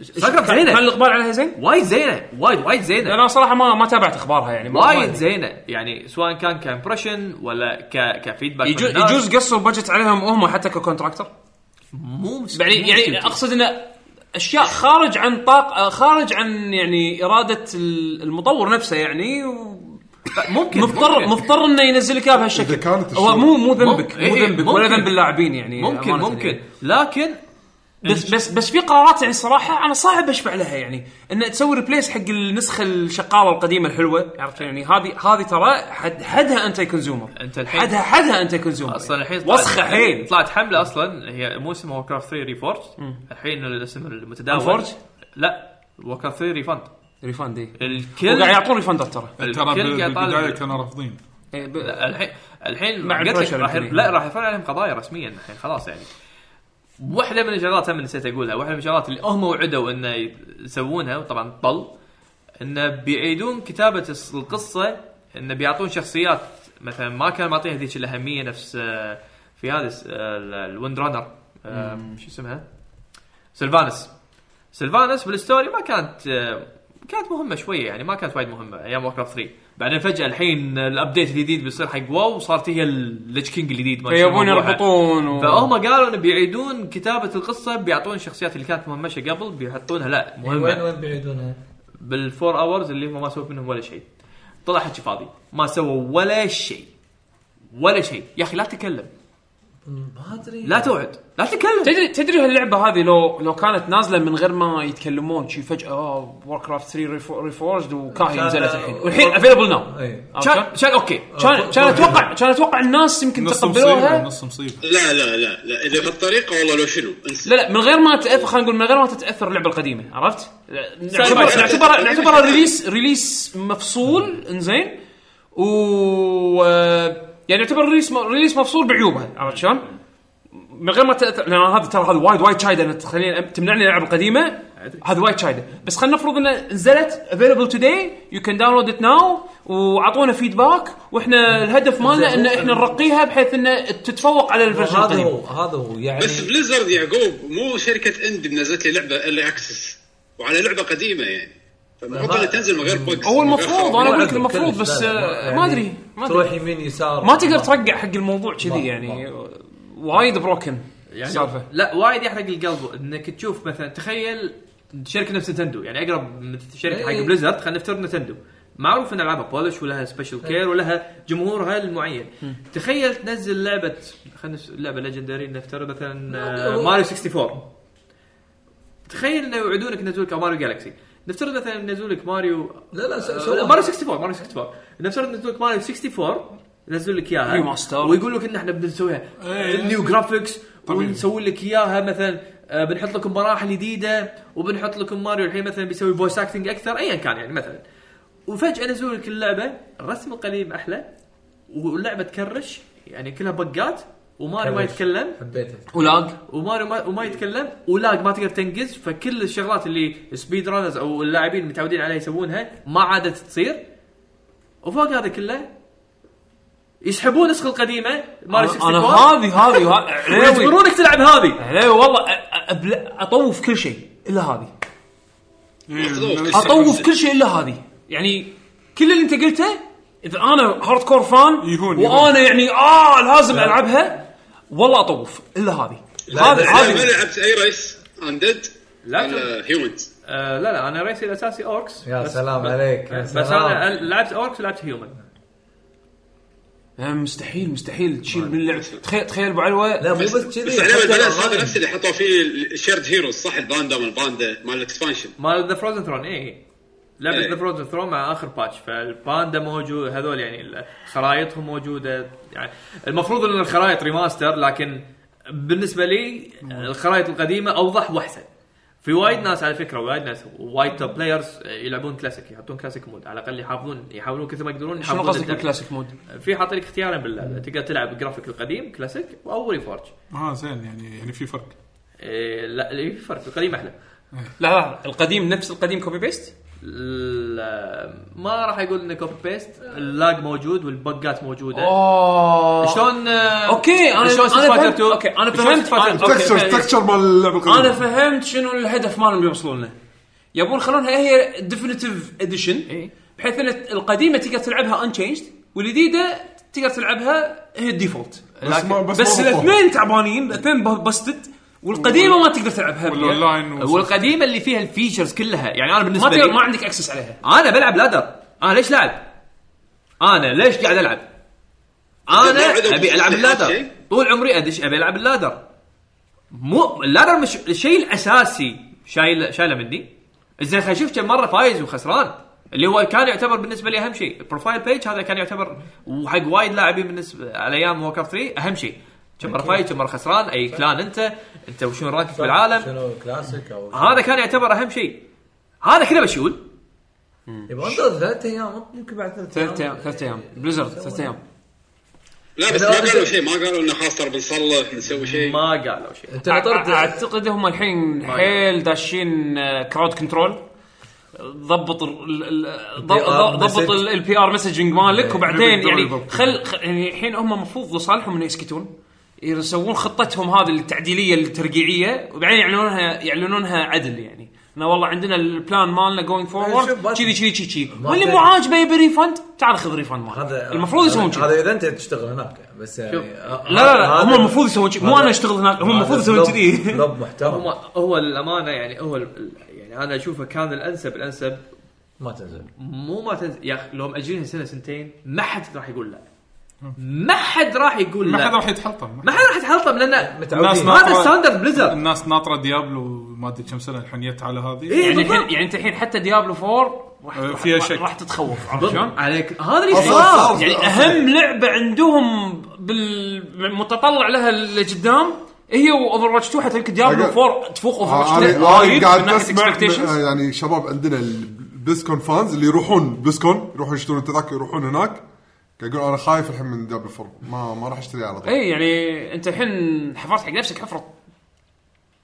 [SPEAKER 2] ستار كرافت زينه
[SPEAKER 6] كان الاقبال عليها زين؟
[SPEAKER 2] وايد زينه وايد وايد زينه
[SPEAKER 6] انا صراحه ما ما تابعت اخبارها يعني ما-
[SPEAKER 2] وايد
[SPEAKER 6] ما-
[SPEAKER 2] زينه يعني سواء كان كامبريشن ولا ك... كفيدباك
[SPEAKER 6] يجوز
[SPEAKER 2] من الناس.
[SPEAKER 6] يجوز قصوا البجت عليهم هم حتى ككونتراكتر
[SPEAKER 2] مو مس-
[SPEAKER 6] يعني
[SPEAKER 2] مو
[SPEAKER 6] يعني
[SPEAKER 2] مشكلتي.
[SPEAKER 6] اقصد انه اشياء خارج عن طاق خارج عن يعني اراده ال- المطور نفسه يعني و...
[SPEAKER 2] ممكن
[SPEAKER 6] مضطر
[SPEAKER 2] ممكن.
[SPEAKER 6] مضطر انه ينزل لك اياها بهالشكل
[SPEAKER 3] إذا كانت
[SPEAKER 6] هو
[SPEAKER 3] الشغل-
[SPEAKER 6] مو مو ذنبك
[SPEAKER 2] مم-
[SPEAKER 6] مو
[SPEAKER 2] إيه،
[SPEAKER 6] ذنبك
[SPEAKER 2] ممكن.
[SPEAKER 6] ولا ذنب اللاعبين يعني
[SPEAKER 2] ممكن
[SPEAKER 6] أمانة
[SPEAKER 2] ممكن
[SPEAKER 6] يعني.
[SPEAKER 2] لكن
[SPEAKER 6] بس بس بس في قرارات يعني صراحه انا صعب اشفع لها يعني ان تسوي ريبليس حق النسخه الشقاره القديمه الحلوه عرفت يعني هذه هذه ترى حد حدها انت كونسيومر
[SPEAKER 2] أنت الحين-
[SPEAKER 6] حدها حدها انت كونسيومر
[SPEAKER 2] اصلا الحين طلعت-
[SPEAKER 6] وسخه حيل
[SPEAKER 2] طلعت حمله اصلا هي مو اسمها ووركرافت 3 ريفورج الحين الاسم المتداول
[SPEAKER 6] Reforge؟
[SPEAKER 2] لا ووركرافت 3 ريفند
[SPEAKER 6] ريفاند إيه.
[SPEAKER 2] الكل
[SPEAKER 6] وقاعد يعطون ريفاندات ترى
[SPEAKER 4] ترى
[SPEAKER 2] الكل قاعد
[SPEAKER 4] بالبدايه
[SPEAKER 2] طالب
[SPEAKER 4] كانوا رافضين
[SPEAKER 6] إيه، ب-
[SPEAKER 2] لا، الحين الحين
[SPEAKER 6] مع
[SPEAKER 2] قلت لك
[SPEAKER 6] pressure
[SPEAKER 2] راح
[SPEAKER 6] الحين.
[SPEAKER 2] لا راح يفعل عليهم قضايا رسميا الحين خلاص يعني واحده من الشغلات هم نسيت اقولها واحده من الشغلات اللي هم وعدوا انه يسوونها وطبعا طل انه بيعيدون كتابه الس- القصه انه بيعطون شخصيات مثلا ما كان معطيها ذيك الاهميه نفس آه، في هذا الس- آه، ال- الويند رانر آه، شو اسمها سيلفانس سيلفانس بالستوري ما كانت آه، كانت مهمه شويه يعني ما كانت وايد مهمه ايام وورك 3 بعدين فجاه الحين الابديت الجديد بيصير حق واو صارت هي الليتش كينج الجديد ما شنو
[SPEAKER 6] يبون
[SPEAKER 2] موضوعها.
[SPEAKER 6] يربطون و...
[SPEAKER 2] فهم قالوا انه بيعيدون كتابه القصه بيعطون الشخصيات اللي كانت مهمشه قبل بيحطونها لا
[SPEAKER 7] إيه، وين
[SPEAKER 2] مهمه
[SPEAKER 7] وين بيعيدونها؟
[SPEAKER 2] بالفور اورز اللي هم ما سووا منهم ولا شيء طلع حكي فاضي ما سووا ولا شيء ولا شيء يا اخي لا تتكلم
[SPEAKER 7] ما ادري
[SPEAKER 2] لا توعد لا تتكلم
[SPEAKER 6] تدري تدري هاللعبه هذه لو لو كانت نازله من غير ما يتكلمون شي آه، فجاه وور كرافت 3 ريفورجد وكاهي
[SPEAKER 7] كان-
[SPEAKER 6] نزلت الحين والحين افيلبل ناو
[SPEAKER 7] اي
[SPEAKER 6] كان كان اوكي كان
[SPEAKER 7] فور-
[SPEAKER 6] كان
[SPEAKER 7] فور
[SPEAKER 6] اتوقع كان اتوقع الناس يمكن
[SPEAKER 4] نص مصيبه
[SPEAKER 6] تقبلوها
[SPEAKER 4] نص مصيبه
[SPEAKER 8] لا لا لا لا اذا بهالطريقه والله لو شنو انسى
[SPEAKER 6] لا لا من غير ما تاثر خلينا نقول من غير ما تتاثر اللعبه القديمه عرفت؟
[SPEAKER 8] باي
[SPEAKER 6] نعتبر
[SPEAKER 8] سايد.
[SPEAKER 6] نعتبر نعتبر ريليس ريليس مفصول انزين و يعني يعتبر ريليس ريليس مفصول بعيوبه عرفت شلون؟ من غير ما تاثر لان هذا ترى هذا وايد وايد شايده إنها تخليني تمنعني العب القديمه هذا وايد شايده بس خلينا نفرض انه نزلت افيلبل توداي يو كان داونلود ات ناو واعطونا فيدباك واحنا الهدف مالنا ان احنا نرقيها بحيث انه تتفوق على الفيرجن
[SPEAKER 7] هذا
[SPEAKER 6] القديم
[SPEAKER 7] هو هذا هو يعني
[SPEAKER 8] بس بليزرد يعقوب مو شركه اندي نزلت لي لعبه ايرلي اكسس وعلى لعبه قديمه يعني فالمفروض انها تنزل من غير بوكس
[SPEAKER 6] هو المفروض انا اقول لك
[SPEAKER 7] عدل
[SPEAKER 6] المفروض
[SPEAKER 7] كلش،
[SPEAKER 6] بس
[SPEAKER 7] لا،
[SPEAKER 6] آه،
[SPEAKER 7] يعني
[SPEAKER 6] ما ادري ما
[SPEAKER 7] تروح
[SPEAKER 6] ادري
[SPEAKER 7] يمين يسار
[SPEAKER 6] ما تقدر ترقع حق الموضوع كذي يعني
[SPEAKER 7] ما- يعني
[SPEAKER 6] وايد بروكن السالفه
[SPEAKER 2] لا وايد يحرق القلب انك تشوف مثلا تخيل شركه نفس نتندو يعني اقرب من شركه حق
[SPEAKER 7] إيه.
[SPEAKER 2] بليزرد خلينا نفترض نتندو معروف ان العابها بولش ولها سبيشل كير ولها جمهورها المعين تخيل تنزل لعبه خلينا نس- لعبه ليجندري نفترض مثلا آه، ماريو 64 تخيل انه يوعدونك ينزلوا لك أو ماريو جالكسي نفترض مثلا ينزلوا لك ماريو
[SPEAKER 7] لا لا سو-
[SPEAKER 2] آه،
[SPEAKER 7] سو-
[SPEAKER 2] لا، ماريو 64 ماريو 64 نفترض نزلوا لك ماريو 64 نزلوا لك اياها
[SPEAKER 6] ريماستر.
[SPEAKER 7] إيه.
[SPEAKER 2] ويقول لك ان احنا بنسويها نيو جرافيكس
[SPEAKER 3] طبيعي.
[SPEAKER 2] ونسوي لك اياها مثلا آه، بنحط لكم مراحل جديده وبنحط لكم ماريو الحين مثلا بيسوي فويس اكتنج اكثر ايا كان يعني مثلا وفجاه نزلوا لك اللعبه الرسم القديم احلى واللعبه تكرش يعني كلها بقات وماريو ما
[SPEAKER 7] كرش.
[SPEAKER 2] يتكلم
[SPEAKER 7] حبيته
[SPEAKER 6] ولاج
[SPEAKER 2] وماريو ما, وما يتكلم ولاج ما تقدر تنقز فكل الشغلات اللي سبيد رانرز او اللاعبين متعودين عليها يسوونها ما عادت تصير وفوق هذا كله يسحبون نسخه القديمه ماريو
[SPEAKER 6] انا
[SPEAKER 2] 64
[SPEAKER 6] هذه هذه وه- علاوي
[SPEAKER 2] ويجبرونك تلعب هذه
[SPEAKER 6] علاوي والله أ- أ- أبل- اطوف كل شيء الا هذه اطوف كل شيء الا هذه يعني كل اللي انت قلته اذا انا هارد كور فان
[SPEAKER 3] يهون،
[SPEAKER 6] وانا يعني اه لازم العبها والله اطوف الا هذه هذا
[SPEAKER 8] انا ما
[SPEAKER 6] هذه
[SPEAKER 8] لعبت اي ريس اندد
[SPEAKER 2] لا
[SPEAKER 8] ولا هيومنز
[SPEAKER 2] آه لا لا انا ريسي الاساسي اوركس
[SPEAKER 7] يا سلام عليك، يا
[SPEAKER 2] بس
[SPEAKER 7] سلام.
[SPEAKER 2] انا لعبت اوركس ولعبت هيومن
[SPEAKER 6] آه، مستحيل مستحيل تشيل من اللعب تخيل تخيل ابو علوه
[SPEAKER 7] لا مو بس كذي
[SPEAKER 8] بس علامه بلاش هذا نفس اللي حطوا فيه الشيرد هيروز صح الباندا مال الباندا مال الاكسبانشن
[SPEAKER 2] مال ذا فروزن ثرون اي لعبه
[SPEAKER 8] إيه.
[SPEAKER 2] ذا فروزن ثرون مع اخر باتش فالباندا موجود هذول يعني ال- خرايطهم موجوده يعني المفروض ان الخرايط ريماستر لكن بالنسبه لي الخرايط القديمه اوضح واحسن في وايد ناس على فكره وايد ناس وايد توب بلايرز يلعبون كلاسيك يحطون كلاسيك مود على الاقل يحافظون يحاولون كثر ما يقدرون
[SPEAKER 6] شنو
[SPEAKER 2] يحافظون
[SPEAKER 6] قصدك
[SPEAKER 2] الدم.
[SPEAKER 6] بالكلاسيك مود؟
[SPEAKER 2] في حاطين لك اختيارين باللعبه تقدر تلعب جرافيك القديم كلاسيك او ريفورج
[SPEAKER 4] اه زين يعني يعني في فرق
[SPEAKER 2] إيه لا إيه، في فرق القديم احلى
[SPEAKER 6] لا لا القديم نفس القديم كوبي بيست
[SPEAKER 2] لا، ما راح اقول انه كوبي بيست اللاج موجود والبقات موجوده
[SPEAKER 6] اوه
[SPEAKER 2] شلون آه،
[SPEAKER 6] اوكي انا
[SPEAKER 2] شلون Street
[SPEAKER 6] انا
[SPEAKER 2] Fighter
[SPEAKER 6] فهمت
[SPEAKER 2] 2
[SPEAKER 6] اوكي انا
[SPEAKER 2] شلون
[SPEAKER 6] فهمت
[SPEAKER 2] Street Fighter
[SPEAKER 6] أوكي،
[SPEAKER 3] تكشر
[SPEAKER 6] فهمت.
[SPEAKER 3] تكشر مال اللعبه القديمه
[SPEAKER 6] انا فهمت شنو الهدف مالهم يوصلون له يبون يخلونها هي ديفينيتيف
[SPEAKER 2] إيه.
[SPEAKER 6] اديشن بحيث ان القديمه تقدر تلعبها انشينجد والجديده تقدر تلعبها هي الديفولت
[SPEAKER 3] بس ما- بس
[SPEAKER 6] بس,
[SPEAKER 3] ما
[SPEAKER 6] بس
[SPEAKER 3] ضبطوها.
[SPEAKER 6] الاثنين تعبانين الاثنين بستد والقديمه ما تقدر تلعبها
[SPEAKER 4] والأونلاين و-
[SPEAKER 2] والقديمه اللي فيها الفيشرز كلها يعني انا
[SPEAKER 6] ما
[SPEAKER 2] بالنسبه
[SPEAKER 6] تقدر ما
[SPEAKER 2] لي
[SPEAKER 6] عندك اكسس عليها
[SPEAKER 2] انا بلعب لادر انا ليش لاعب؟ انا ليش قاعد العب؟
[SPEAKER 8] عندهم
[SPEAKER 2] انا ابي العب اللادر
[SPEAKER 8] شيء؟
[SPEAKER 2] طول عمري ادش ابي العب اللادر مو اللادر مش الشيء الاساسي شايل شايله مني زين خلينا نشوف كم مره فايز وخسران اللي هو كان يعتبر بالنسبه لي اهم شيء البروفايل بيج هذا كان يعتبر وحق وايد لاعبين بالنسبه على ايام وور 3 اهم شيء كم مره فايز كم مره خسران اي كلان انت انت وشو رانكك في العالم
[SPEAKER 7] شنو كلاسيك او
[SPEAKER 2] هذا كان يعتبر اهم شيء هذا كله مشيول
[SPEAKER 7] يبغى انتظر ثلاث ايام يمكن بعد
[SPEAKER 6] ثلاث ايام ثلاث ايام بليزرد ثلاث ايام
[SPEAKER 8] لا بس ما قالوا شيء ما قالوا انه خلاص ترى بنصلح بنسوي شيء
[SPEAKER 2] ما قالوا شيء
[SPEAKER 7] انت نطرت
[SPEAKER 6] اعتقد هم الحين حيل داشين آه، كراود كنترول ضبط ال- ال- ال-
[SPEAKER 7] PR
[SPEAKER 6] ض-
[SPEAKER 7] مسج.
[SPEAKER 6] ضبط البي ار مسجنج مالك وبعدين
[SPEAKER 3] البي آر
[SPEAKER 6] يعني
[SPEAKER 3] يضبط.
[SPEAKER 6] خل خ- يعني الحين هم المفروض لصالحهم انه يسكتون يسوون خطتهم هذه التعديليه الترقيعيه وبعدين يعلنونها يعلنونها عدل يعني انه والله عندنا البلان مالنا جوينج
[SPEAKER 7] إيه، شوف
[SPEAKER 6] فورورد
[SPEAKER 7] بس-
[SPEAKER 6] كذي كذي كذي كذي
[SPEAKER 7] ما
[SPEAKER 6] واللي
[SPEAKER 7] في-
[SPEAKER 6] مو عاجبه يبي ريفند تعال خذ ريفند مالك
[SPEAKER 7] هذا
[SPEAKER 6] المفروض يسوون
[SPEAKER 7] هذا-
[SPEAKER 6] كذي
[SPEAKER 7] هذا اذا انت تشتغل هناك بس يعني آه،
[SPEAKER 6] لا لا لا
[SPEAKER 7] هذا-
[SPEAKER 6] هم المفروض يسوون كذي مو
[SPEAKER 7] هذا-
[SPEAKER 6] انا اشتغل هناك هم
[SPEAKER 7] هذا
[SPEAKER 6] المفروض يسوون
[SPEAKER 7] كلوب-
[SPEAKER 6] كذي
[SPEAKER 7] كلوب محترم
[SPEAKER 2] هو هو الامانه يعني هو ال- ال- يعني انا اشوفه كان الانسب الانسب
[SPEAKER 7] ما تنزل
[SPEAKER 2] مو ما تنزل يا اخي لو ماجلينها سنه سنتين ما حد راح يقول لا ما حد راح يقول
[SPEAKER 4] ما حد
[SPEAKER 2] لا
[SPEAKER 4] راح يتحطم
[SPEAKER 2] ما حد راح يتحطم لان
[SPEAKER 4] الناس
[SPEAKER 7] متعودين
[SPEAKER 4] ما-
[SPEAKER 2] هذا ستاندرد بليزر
[SPEAKER 4] الناس ناطره ديابلو ما ادري كم سنه الحين جت على
[SPEAKER 7] إيه.
[SPEAKER 4] هذه
[SPEAKER 6] يعني
[SPEAKER 2] يعني
[SPEAKER 6] الحين يعني انت الحين حتى ديابلو 4 راح
[SPEAKER 4] آه،
[SPEAKER 6] راح-
[SPEAKER 4] فيها
[SPEAKER 6] راح-
[SPEAKER 4] شك.
[SPEAKER 6] راح تتخوف عرفت شلون؟
[SPEAKER 2] عليك هذا اللي
[SPEAKER 3] أصلاً
[SPEAKER 2] صار
[SPEAKER 3] صار.
[SPEAKER 6] يعني اهم لعبه عندهم بالمتطلع لها اللي قدام هي اوفر واتش 2 حتى يمكن ديابلو
[SPEAKER 3] أقل.
[SPEAKER 6] 4 تفوق اوفر واتش 2
[SPEAKER 3] انا آه،
[SPEAKER 6] وايد
[SPEAKER 3] أنا
[SPEAKER 6] من
[SPEAKER 3] قاعد
[SPEAKER 6] ناحيه
[SPEAKER 3] اسمع
[SPEAKER 6] اكسبكتيشنز
[SPEAKER 3] آه، يعني شباب عندنا البسكون فانز اللي يروحون بسكون يروحون يشترون تذاكر يروحون هناك قاعد يقول انا خايف الحين من دبل فور ما ما راح اشتري على طول
[SPEAKER 6] اي يعني انت الحين حفرت حق نفسك حفره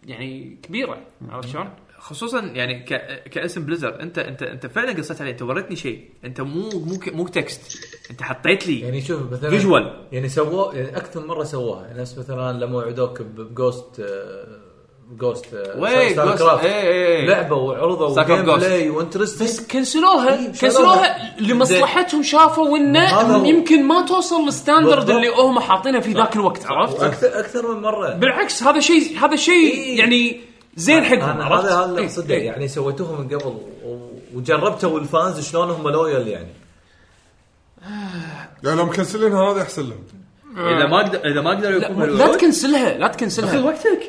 [SPEAKER 6] يعني كبيره عرفت شلون؟
[SPEAKER 2] خصوصا يعني ك... كاسم بليزر انت انت انت فعلا قصيت علي انت وريتني شيء انت مو مو ك- مو تكست انت حطيت لي
[SPEAKER 7] يعني شوف مثلا
[SPEAKER 2] فيجوال.
[SPEAKER 7] يعني سووه يعني اكثر مره سووها نفس مثلا لما وعدوك بجوست آه، جوست
[SPEAKER 2] وي جوست- إيه، إيه، إيه.
[SPEAKER 7] لعبه وعرضه
[SPEAKER 2] Sucker
[SPEAKER 7] وجيم
[SPEAKER 2] Ghost.
[SPEAKER 7] بلاي وانترستنج
[SPEAKER 6] كنسلوها
[SPEAKER 7] إي،
[SPEAKER 6] كنسلوها لمصلحتهم شافوا
[SPEAKER 7] هذا
[SPEAKER 6] انه
[SPEAKER 7] هو.
[SPEAKER 6] يمكن ما توصل للستاندرد
[SPEAKER 7] بالضبط.
[SPEAKER 6] اللي هم حاطينه في ذاك الوقت عرفت؟
[SPEAKER 7] واكثر اكثر من مره
[SPEAKER 6] بالعكس هذا شيء هذا شيء
[SPEAKER 7] إيه.
[SPEAKER 6] يعني زين حقهم
[SPEAKER 7] انا هذا هذا اللي
[SPEAKER 6] إيه،
[SPEAKER 7] اقصده
[SPEAKER 6] إيه.
[SPEAKER 7] يعني سويتوها من قبل و- وجربتوا الفانز شلون هم لويال يعني
[SPEAKER 3] يعني لو مكنسلينها هذا احسن لهم
[SPEAKER 2] اذا ما اقدر اذا ما اقدروا
[SPEAKER 6] لا,
[SPEAKER 2] يكملوا
[SPEAKER 6] لا تكنسلها لا تكنسلها
[SPEAKER 2] وقتك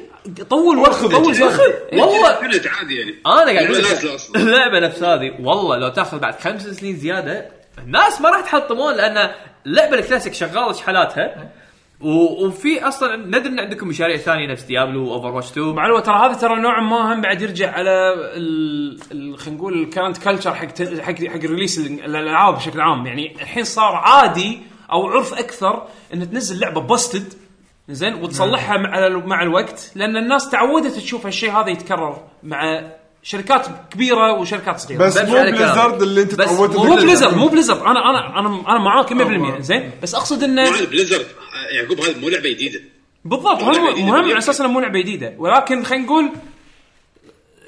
[SPEAKER 6] طول وقت طول زين
[SPEAKER 2] والله
[SPEAKER 8] كنت عادي يعني
[SPEAKER 2] انا قاعد اقول
[SPEAKER 8] اللعبة
[SPEAKER 2] لك
[SPEAKER 8] نازلة أصلاً.
[SPEAKER 2] اللعبه نفس هذه والله لو تاخذ بعد خمس سنين زياده الناس ما راح تحطمون لان اللعبه الكلاسيك شغاله شحالاتها و... وفي اصلا ندري ان عندكم مشاريع ثانيه نفس ديابلو واوفر واتش 2
[SPEAKER 6] مع الوقت ترى هذا ترى نوعا ما هم بعد يرجع على ال- ال- خلينا نقول الكرنت كلتشر حق تن- حق حق ريليس ال- الالعاب بشكل عام يعني الحين صار عادي او عرف اكثر ان تنزل لعبه بوستد زين وتصلحها مع ال- مع الوقت لان الناس تعودت تشوف هالشيء هذا يتكرر مع شركات كبيره وشركات صغيره
[SPEAKER 3] بس مو
[SPEAKER 2] على كلامك.
[SPEAKER 3] بليزرد اللي انت
[SPEAKER 2] بس
[SPEAKER 3] تعودت
[SPEAKER 6] مو
[SPEAKER 3] إنك-
[SPEAKER 6] بليزر مو بليزر انا انا انا انا معاك 100% زين بس اقصد انه
[SPEAKER 8] مع البليزرد آه، يعقوب هذه مو لعبه جديده
[SPEAKER 6] بالضبط
[SPEAKER 8] مو لعبة
[SPEAKER 6] مهم
[SPEAKER 8] جديدة
[SPEAKER 6] مهم على
[SPEAKER 8] باليد.
[SPEAKER 6] اساس انها مو لعبه جديده ولكن خلينا نقول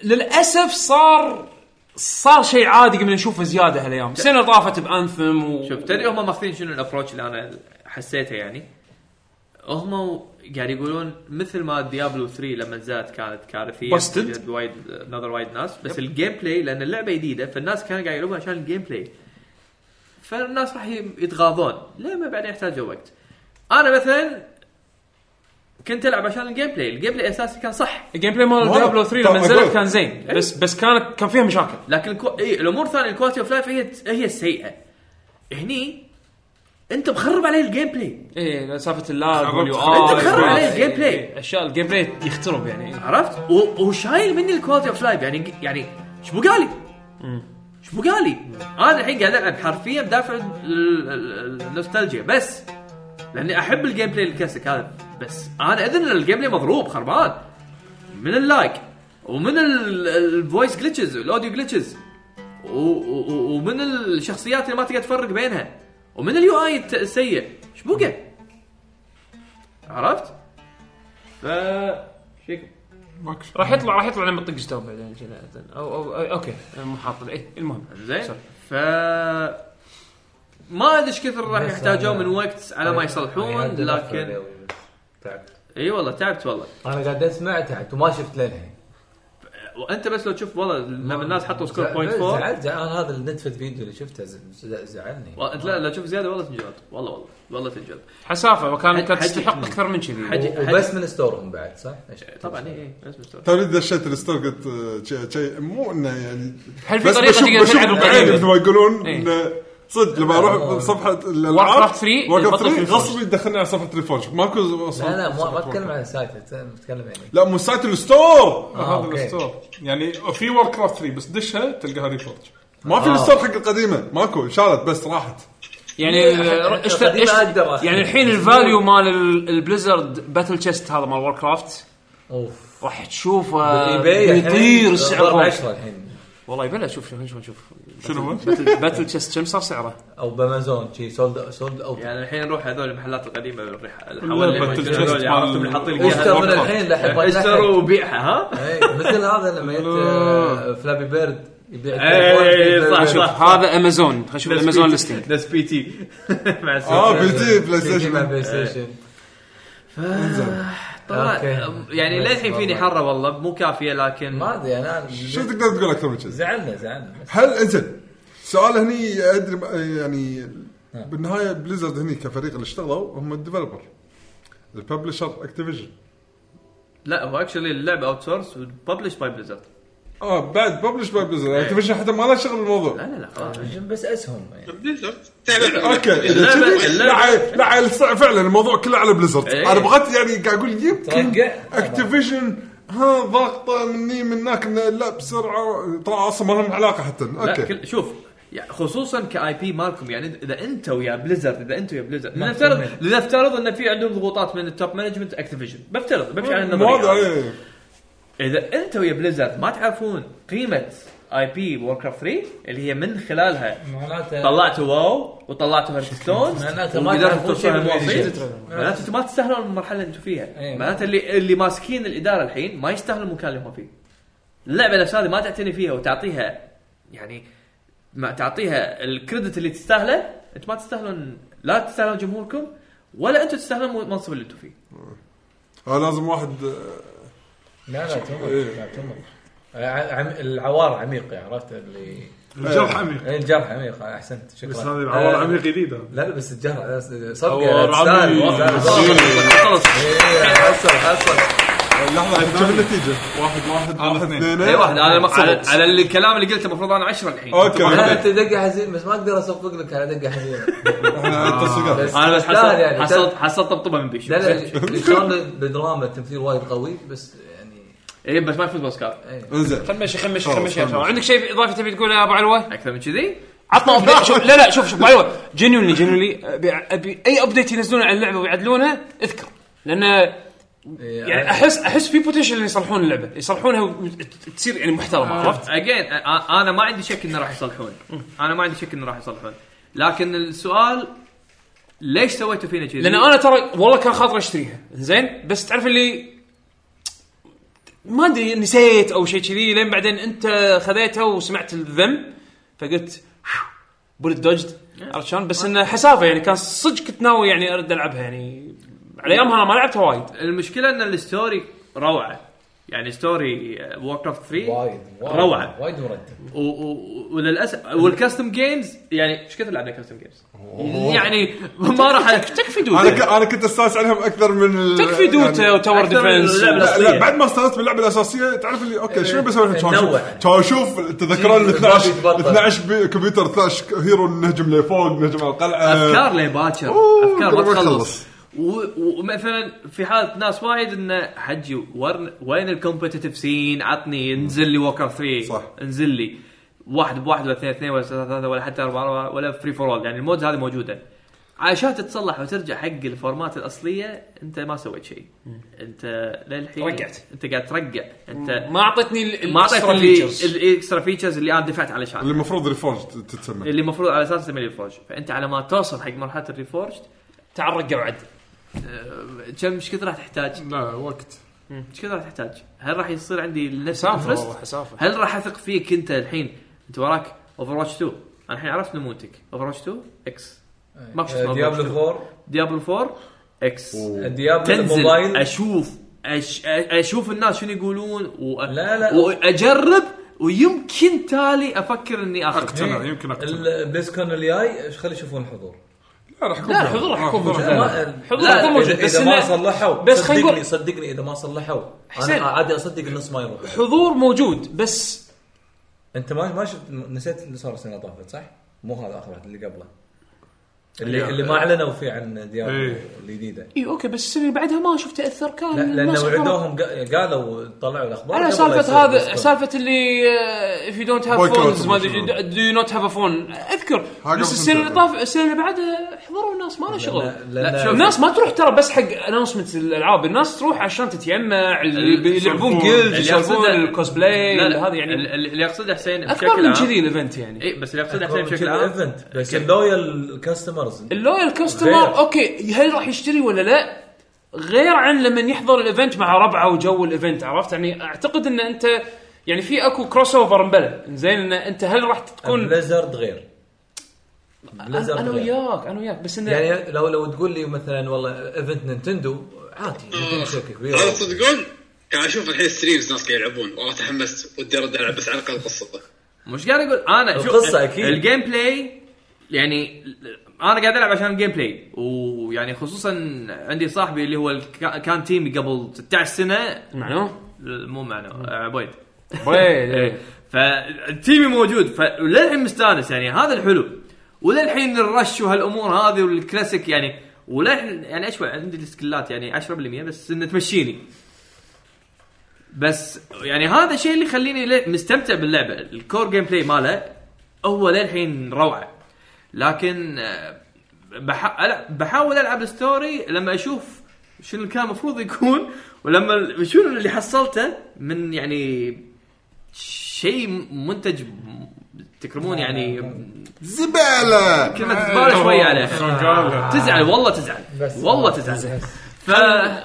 [SPEAKER 6] للاسف صار صار شيء عادي قبل نشوفه زياده هالايام السنه طافت بانثم و...
[SPEAKER 2] شوف تدري هم ماخذين شنو الابروتش اللي انا حسيته يعني هم قاعد يقولون مثل ما ديابلو 3 لما نزلت كانت كارثيه
[SPEAKER 6] Busted.
[SPEAKER 2] وجد وايد نظر وايد ناس بس الجيم بلاي لان اللعبه جديده فالناس كانوا قاعد يلعبون عشان الجيم بلاي فالناس راح ي- يتغاضون ليه ما بعدين يحتاجوا وقت انا مثلا كنت العب عشان الجيم بلاي الجيم بلاي اساسي كان صح
[SPEAKER 6] الجيم بلاي مال
[SPEAKER 3] والله.
[SPEAKER 6] ديابلو 3 لما
[SPEAKER 3] طبعاً
[SPEAKER 6] نزلت
[SPEAKER 3] أقول.
[SPEAKER 6] كان زين بس بس كانت كان فيها مشاكل
[SPEAKER 2] لكن الكو... إيه الامور الثانيه الكواليتي اوف لايف هي هي السيئه هني انت مخرب عليه الجيم بلاي
[SPEAKER 6] ايه سالفه اللاج واليو
[SPEAKER 2] أنت مخرب عليه الجيم بلاي.
[SPEAKER 6] اشياء الجيم بلاي يخترب يعني
[SPEAKER 2] عرفت و- وشايل مني الكواليتي اوف لايف يعني يعني ايش بقالي؟ ايش بقالي؟ انا الحين قاعد العب حرفيا بدافع ال- ال- ال- النوستالجيا بس لاني احب الجيم بلاي الكلاسيك هذا بس انا اذن إن الجيم بلاي مضروب خربان من اللايك ومن الفويس جلitches الاوديو جلitches ومن الشخصيات اللي ما تقدر تفرق بينها ومن اليو اي السيء ايش بقى؟ عرفت؟ ف شيك
[SPEAKER 6] راح يطلع راح يطلع لما تطق ستوب بعدين كذا. او او أو- اوكي مو حاط ايه المهم
[SPEAKER 2] زين ف ما ادري ايش كثر راح
[SPEAKER 7] بس
[SPEAKER 2] يحتاجون
[SPEAKER 7] أنا-
[SPEAKER 2] من وقت على ما يصلحون
[SPEAKER 7] عيال
[SPEAKER 2] لكن
[SPEAKER 7] دلفر. تعبت.
[SPEAKER 2] اي والله تعبت والله
[SPEAKER 7] انا قاعد اسمع تعبت وما شفت للحين
[SPEAKER 2] وانت بس لو تشوف والله لما الناس حطوا سكور بوينت
[SPEAKER 7] زعل-
[SPEAKER 2] 4
[SPEAKER 7] زعلت زعل انا هذا النتفت فيديو اللي شفته ز- ز- زعلني
[SPEAKER 2] والله انت لا لا تشوف زياده والله تنجلد والله والله والله تنجلد
[SPEAKER 6] حسافه وكان
[SPEAKER 2] حد-
[SPEAKER 6] كانت
[SPEAKER 2] حد
[SPEAKER 6] تستحق
[SPEAKER 2] يكمل.
[SPEAKER 6] اكثر من كذي
[SPEAKER 2] حجي حجي
[SPEAKER 7] وبس من ستورهم بعد صح؟ إيش-
[SPEAKER 2] طبعا اي اي بس مستوى.
[SPEAKER 3] توني دشيت الستور قلت آه، شي- شي مو انه يعني
[SPEAKER 6] هل في طريقه تقدر تلعب
[SPEAKER 3] بعيني
[SPEAKER 6] بعدين؟
[SPEAKER 3] مثل ما يقولون
[SPEAKER 6] إيه.
[SPEAKER 3] انه صدق لما
[SPEAKER 7] آه.
[SPEAKER 3] اروح صفحه الالعاب
[SPEAKER 6] Warcraft 3
[SPEAKER 3] وورك
[SPEAKER 6] يبطل
[SPEAKER 3] 3
[SPEAKER 6] Reforged.
[SPEAKER 3] غصب يدخلني على صفحه ريفورج ماكو
[SPEAKER 7] لا لا مو- ما اتكلم عن السايت اتكلم يعني
[SPEAKER 3] لا مو سايت الستور
[SPEAKER 7] آه،
[SPEAKER 4] هذا
[SPEAKER 7] أوكي.
[SPEAKER 4] الستور يعني في وور كرافت 3 بس دشها تلقاها ريفورج
[SPEAKER 3] ما
[SPEAKER 7] آه.
[SPEAKER 3] في الستور حق القديمه ماكو انشالت بس راحت
[SPEAKER 6] يعني
[SPEAKER 7] إيه، حتى
[SPEAKER 6] اشت...
[SPEAKER 7] قديمة
[SPEAKER 6] اشت...
[SPEAKER 7] أقدر أخذ.
[SPEAKER 6] يعني الحين الفاليو مال ال- البليزرد باتل تشيست هذا مال وور كرافت
[SPEAKER 7] اوف
[SPEAKER 6] راح تشوفه
[SPEAKER 7] بالإيباي إيه، الحين
[SPEAKER 6] بيطير
[SPEAKER 7] ضرب
[SPEAKER 6] السعر
[SPEAKER 7] 10 الحين
[SPEAKER 6] والله يبلا شوف شوف شوف شوف
[SPEAKER 3] شنو هو؟
[SPEAKER 6] باتل تشيست كم صار سعره؟
[SPEAKER 7] او بامازون شي سولد سولد اوت
[SPEAKER 2] يعني الحين نروح هذول المحلات القديمه الريح-
[SPEAKER 4] لا،
[SPEAKER 2] الحوالي
[SPEAKER 4] باتل
[SPEAKER 2] هذول
[SPEAKER 4] تشيست
[SPEAKER 2] اللي عرفتم
[SPEAKER 4] مال-
[SPEAKER 2] اللي حاطين
[SPEAKER 7] اشتر
[SPEAKER 2] لك
[SPEAKER 7] من الحين لحق
[SPEAKER 2] إياها. اشتروا وبيعها ها؟
[SPEAKER 7] إيه، مثل هذا لما جت آه، فلابي بيرد يبيع
[SPEAKER 2] إيه،
[SPEAKER 7] تليفون،
[SPEAKER 2] صح،
[SPEAKER 7] يبيع-
[SPEAKER 6] شوف هذا امازون خلينا نشوف الامازون ليستنج
[SPEAKER 2] ناس بي تي مع
[SPEAKER 3] اه
[SPEAKER 2] السلامه
[SPEAKER 3] بي تي بلاي
[SPEAKER 7] يجي مع
[SPEAKER 3] ستيشن
[SPEAKER 7] بلاي ستيشن
[SPEAKER 2] إيه. طلع
[SPEAKER 7] أوكي.
[SPEAKER 2] يعني للحين فيني حره والله مو كافيه لكن
[SPEAKER 7] ما ادري انا
[SPEAKER 3] شو تقدر تقول اكثر من كذا؟
[SPEAKER 7] زعلنا زعلنا بس
[SPEAKER 3] هل انزين سؤال هني ادري يعني بالنهايه بليزرد هني كفريق اللي اشتغلوا هم الديفلوبر الببلشر اكتيفيجن
[SPEAKER 2] لا هو اكشلي اللعبه اوت سورس وببلش باي بليزرد
[SPEAKER 3] اه بعد ببلش باي بليزرد اكتيفيجن يعني حتى ما لها شغل بالموضوع
[SPEAKER 2] لا لا لا خلاص
[SPEAKER 7] بس اسهم يعني
[SPEAKER 8] بليزرد تعبان
[SPEAKER 3] اوكي اذا
[SPEAKER 2] اللعبة-
[SPEAKER 3] كذي لا
[SPEAKER 2] اللعبة-
[SPEAKER 3] عيل- لا عيل صع- فعلا الموضوع كله على بليزرد
[SPEAKER 2] إيه.
[SPEAKER 3] انا بغيت يعني قاعد اقول يمكن
[SPEAKER 7] توقع.
[SPEAKER 3] اكتيفيجن ها ضغطه مني من هناك من- لا بسرعه طلع اصلا ما لهم علاقه حتى
[SPEAKER 2] لا
[SPEAKER 3] اوكي
[SPEAKER 2] كل- شوف يعني خصوصا كاي بي مالكم يعني اذا انت ويا بليزرد اذا انت ويا بليزرد لنفترض لنفترض ان في عندهم ضغوطات من التوب مانجمنت اكتيفيجن بفترض يعني بمشي على
[SPEAKER 3] الموضوع
[SPEAKER 2] النظريه
[SPEAKER 3] إيه.
[SPEAKER 2] اذا انت ويا بليزرد ما تعرفون قيمه اي بي وور كرافت 3 اللي هي من خلالها
[SPEAKER 7] معناته
[SPEAKER 2] طلعتوا واو وطلعتوا هيرستون
[SPEAKER 7] معناته ما
[SPEAKER 2] وقدرتوا
[SPEAKER 7] تعرفون
[SPEAKER 2] توصلوا
[SPEAKER 7] شيء بالموضوع.
[SPEAKER 2] المواصيل معناته انتم ما تستاهلون المرحله اللي انتم فيها
[SPEAKER 7] إيه.
[SPEAKER 2] معناته اللي اللي ماسكين الاداره الحين ما يستاهلون المكان اللي هم فيه اللعبه نفسها اللي ما تعتني فيها وتعطيها يعني ما تعطيها الكريدت اللي تستاهله انت ما تستاهلون لا تستاهلون جمهوركم ولا انتم تستاهلون المنصب اللي انتم فيه
[SPEAKER 3] آه، لازم واحد آه،
[SPEAKER 7] لا لا تمر
[SPEAKER 2] إيه.
[SPEAKER 7] لا تمر ع- عم- العوار عميق يعني، عرفت اللي
[SPEAKER 4] الجرح عميق
[SPEAKER 7] إيه، الجرح عميق احسنت شكرا
[SPEAKER 4] بس هذه العوار
[SPEAKER 7] آه،
[SPEAKER 4] عميق جديده
[SPEAKER 7] لا لا بس الجرح صدق
[SPEAKER 4] عوار عميق.
[SPEAKER 7] حصل حصل
[SPEAKER 4] يعني
[SPEAKER 3] لحظه كم النتيجه؟
[SPEAKER 4] واحد
[SPEAKER 3] واحد
[SPEAKER 4] واحد انا آه، اثنين
[SPEAKER 3] اثنين
[SPEAKER 2] اي واحد انا المقصود على,
[SPEAKER 6] على-
[SPEAKER 2] على الكلام اللي قلته المفروض انا 10 الحين
[SPEAKER 3] اوكي
[SPEAKER 10] انا
[SPEAKER 3] واحد.
[SPEAKER 10] كنت دقه حزين بس ما اقدر اصفق لك على دقه حزينه
[SPEAKER 3] احنا
[SPEAKER 4] آه.
[SPEAKER 3] التصفيقات
[SPEAKER 2] انا بس
[SPEAKER 10] تستاهل
[SPEAKER 7] يعني
[SPEAKER 2] حصلت حصلت حصلت طبطبه من بيشو
[SPEAKER 10] لا لا شلون بدراما التمثيل وايد قوي بس يعني
[SPEAKER 2] اي إيه، بس ما يفوز اوسكار
[SPEAKER 3] انزين
[SPEAKER 6] خمش خمش
[SPEAKER 3] خلاص،
[SPEAKER 6] خمش يا
[SPEAKER 3] خمش.
[SPEAKER 6] شباب. عندك شيء اضافي تبي تقوله يا ابو علوه؟
[SPEAKER 2] اكثر من كذي
[SPEAKER 6] عطنا update. شوف لا لا شوف شوف ابو علوه جنوني جنوني ابي ابي اي ابديت ينزلونه على اللعبه ويعدلونه اذكر لان
[SPEAKER 7] إيه،
[SPEAKER 6] يعني احس احس في بوتنشل يصلحون اللعبه يصلحونها وتصير يعني محترمه
[SPEAKER 7] آه.
[SPEAKER 6] عرفت؟
[SPEAKER 2] اجين انا ما عندي شك انه راح يصلحون انا ما عندي شك انه راح يصلحون لكن السؤال ليش سويتوا فينا كذي؟
[SPEAKER 6] لان انا ترى والله كان خاطري اشتريها زين بس تعرف اللي ما ادري نسيت او شيء كذي لين بعدين انت خذيتها وسمعت الذم فقلت بولت دوجد عرفت شلون؟ بس انه حسافه يعني كان صدق كنت ناوي يعني ارد العبها يعني على ايامها انا ما لعبتها وايد
[SPEAKER 2] المشكله ان الستوري روعه يعني ستوري وورك اوف 3
[SPEAKER 10] وايد وايد-
[SPEAKER 2] روعه
[SPEAKER 10] وايد مرتب
[SPEAKER 2] و- و- وللاسف والكستم جيمز يعني ايش كثر لعبنا كاستم جيمز؟ يعني ما راح
[SPEAKER 6] تكفي
[SPEAKER 3] انا ك-
[SPEAKER 6] دوتا
[SPEAKER 3] انا كنت استانس عليهم اكثر من ال-
[SPEAKER 6] تكفي دوتا
[SPEAKER 3] يعني-
[SPEAKER 6] وتاور
[SPEAKER 2] أكثر
[SPEAKER 6] ديفنس
[SPEAKER 2] اللعبة
[SPEAKER 6] و-
[SPEAKER 3] لا, لا بعد ما استانست باللعبه الاساسيه تعرف اللي اوكي شنو بسوي الحين؟ كان
[SPEAKER 10] نوع.
[SPEAKER 3] اشوف كان اشوف تذكرون ال
[SPEAKER 10] جيب
[SPEAKER 3] 12
[SPEAKER 10] يتبطل.
[SPEAKER 3] 12 بي- كمبيوتر 12 هيرو نهجم لفوق نهجم على آه، القلعه
[SPEAKER 2] افكار لي باكر
[SPEAKER 3] أوه،
[SPEAKER 2] افكار
[SPEAKER 3] قبل
[SPEAKER 2] ما
[SPEAKER 3] ما
[SPEAKER 2] تخلص
[SPEAKER 3] يخلص.
[SPEAKER 2] و- ومثلا في حاله ناس وايد انه حجي ورن- وين الكومبتتف سين عطني انزل لي ووكر 3
[SPEAKER 3] صح.
[SPEAKER 2] انزل لي واحد بواحد ولا اثنين اثنين ولا ثلاثه ثلاثه ولا حتى اربعه أربعة، ولا فري فور اول يعني المودز هذه موجوده عشان تتصلح وترجع حق الفورمات الاصليه انت ما سويت شيء انت للحين
[SPEAKER 6] رقعت.
[SPEAKER 2] انت قاعد ترقع انت
[SPEAKER 6] ما اعطتني ال- ال-
[SPEAKER 2] ما اعطيت
[SPEAKER 6] extra
[SPEAKER 2] اللي
[SPEAKER 6] features.
[SPEAKER 2] الاكسترا فيتشرز اللي انا دفعت علشان
[SPEAKER 3] اللي المفروض ريفورج تتسمى
[SPEAKER 2] اللي المفروض على اساس تسميه ريفورج فانت على ما توصل حق مرحله الريفورج
[SPEAKER 6] تعال رقع وعد
[SPEAKER 2] آه، كم ايش كثر راح تحتاج؟
[SPEAKER 4] لا وقت
[SPEAKER 2] ايش كثر راح تحتاج؟ هل راح يصير عندي نفس
[SPEAKER 6] حسافه والله
[SPEAKER 2] الانترست؟
[SPEAKER 6] حسافه
[SPEAKER 2] هل راح اثق فيك انت الحين؟ انت وراك اوفر واتش 2 انا الحين عرفت نموذجك اوفر واتش 2 اكس ماكو
[SPEAKER 10] آه،
[SPEAKER 2] شيء اسمه Overwatch
[SPEAKER 10] ديابلو 4
[SPEAKER 2] ديابل 4 اكس
[SPEAKER 10] ديابلو
[SPEAKER 2] تنزل
[SPEAKER 10] الموبايل
[SPEAKER 2] اشوف أش... أ- اشوف الناس شنو يقولون و...
[SPEAKER 10] لا، لا.
[SPEAKER 2] واجرب ويمكن تالي افكر اني اخذ
[SPEAKER 4] اقتنع يمكن اقتنع
[SPEAKER 10] البليزكون الجاي إيش خلي يشوفون الحضور
[SPEAKER 4] لا راح يكون آه،
[SPEAKER 6] لا
[SPEAKER 4] بعد.
[SPEAKER 6] حضور راح يكون موجود
[SPEAKER 10] لا،
[SPEAKER 6] حضور
[SPEAKER 10] لا،
[SPEAKER 6] راح يكون موجود،
[SPEAKER 10] إذا-
[SPEAKER 6] بس
[SPEAKER 10] اذا ما
[SPEAKER 6] إنه-
[SPEAKER 10] صلحوا
[SPEAKER 6] بس خلينا
[SPEAKER 10] صدقني
[SPEAKER 6] نقول-
[SPEAKER 10] صدقني اذا ما صلحوا
[SPEAKER 6] حسين.
[SPEAKER 10] انا عادي اصدق النص ما يروح
[SPEAKER 6] حضور موجود بس
[SPEAKER 10] انت ما ما شفت نسيت اللي صار السنه اللي طافت صح؟ مو هذا اخر واحد اللي قبله اللي, اللي ما اعلنوا فيه عن ديابلو
[SPEAKER 4] إيه.
[SPEAKER 10] الجديده
[SPEAKER 6] اي اوكي بس السنه اللي بعدها ما شفت اثر كان
[SPEAKER 10] لا لان
[SPEAKER 6] الناس خبرة.
[SPEAKER 10] وعدوهم قا- قالوا طلعوا الاخبار
[SPEAKER 6] انا
[SPEAKER 10] قبل
[SPEAKER 6] سالفه
[SPEAKER 10] لا يصير
[SPEAKER 6] هذا
[SPEAKER 10] البليزكون.
[SPEAKER 6] سالفه اللي آه، اف يو دونت هاف
[SPEAKER 3] Boycott
[SPEAKER 6] فونز ما ادري
[SPEAKER 3] وشنو.
[SPEAKER 6] دو يو نوت هاف فون اذكر
[SPEAKER 3] قبل
[SPEAKER 6] بس السنه اللي
[SPEAKER 3] سنتين.
[SPEAKER 6] طاف السنه اللي بعدها حضروا الناس ما له شغل
[SPEAKER 10] لا، لا،
[SPEAKER 6] لا
[SPEAKER 10] لا.
[SPEAKER 6] شوف الناس ما تروح ترى بس حق اناونسمنت الالعاب الناس تروح عشان تتيمع اللي يلعبون جلد
[SPEAKER 2] اللي يقصده-
[SPEAKER 6] يسولفون الكوسبلاي
[SPEAKER 2] لا لا
[SPEAKER 6] هذا
[SPEAKER 2] هذا يعني
[SPEAKER 6] يعني
[SPEAKER 2] اللي يقصده حسين
[SPEAKER 6] اكبر
[SPEAKER 2] بشكل
[SPEAKER 6] من
[SPEAKER 2] عام إيه،
[SPEAKER 6] كذي الايفنت يعني
[SPEAKER 2] اي بس اللي يقصده
[SPEAKER 10] أكبر
[SPEAKER 2] حسين
[SPEAKER 10] من
[SPEAKER 2] بشكل
[SPEAKER 10] كذا
[SPEAKER 2] عام
[SPEAKER 10] ايفنت بس اللويال كاستمرز
[SPEAKER 6] اللويال
[SPEAKER 10] غير.
[SPEAKER 6] كاستمر اوكي هل راح يشتري ولا لا؟ غير عن لما يحضر الايفنت مع ربعه وجو الايفنت عرفت يعني اعتقد ان انت يعني في اكو كروس اوفر مبلى زين ان انت هل راح تكون
[SPEAKER 10] بليزرد غير
[SPEAKER 6] انا
[SPEAKER 10] بليزرد
[SPEAKER 6] أنا
[SPEAKER 10] غير
[SPEAKER 6] وياك انا وياك بس انه يعني
[SPEAKER 10] يعني لو لو تقول لي مثلا والله ايفنت نينتندو عادي نينتندو شركه كبيره
[SPEAKER 8] هذا تصدقون كان اشوف الحين ستريمز ناس قاعد يلعبون والله تحمست ودي ارد العب بس على الاقل قصته
[SPEAKER 2] مش قاعد اقول انا شوف
[SPEAKER 10] القصة أكيد.
[SPEAKER 2] الجيم بلاي يعني انا قاعد العب عشان الجيم بلاي ويعني خصوصا عندي صاحبي اللي هو الكا- كان تيمي قبل 16 سنه
[SPEAKER 6] معنوه؟
[SPEAKER 2] مو معنا آه، إيه. عبيد
[SPEAKER 6] ويل
[SPEAKER 2] فتيمي موجود فللحين مستانس يعني هذا الحلو وللحين الرش وهالامور هذه والكلاسيك يعني وللحين يعني اشوى عندي السكلات يعني 10% بس انه تمشيني بس يعني هذا الشيء اللي يخليني ل- مستمتع باللعبه الكور جيم بلاي ماله هو للحين روعه لكن آه، بح... ألع- بحاول العب الستوري لما اشوف شنو اللي كان المفروض يكون ولما ال- شنو اللي حصلته من يعني شيء منتج م- تكرمون يعني
[SPEAKER 3] زباله
[SPEAKER 2] كلمه
[SPEAKER 3] آه،
[SPEAKER 2] زباله شوي عليه
[SPEAKER 4] قال
[SPEAKER 2] تزعل والله تزعل والله تزعل ف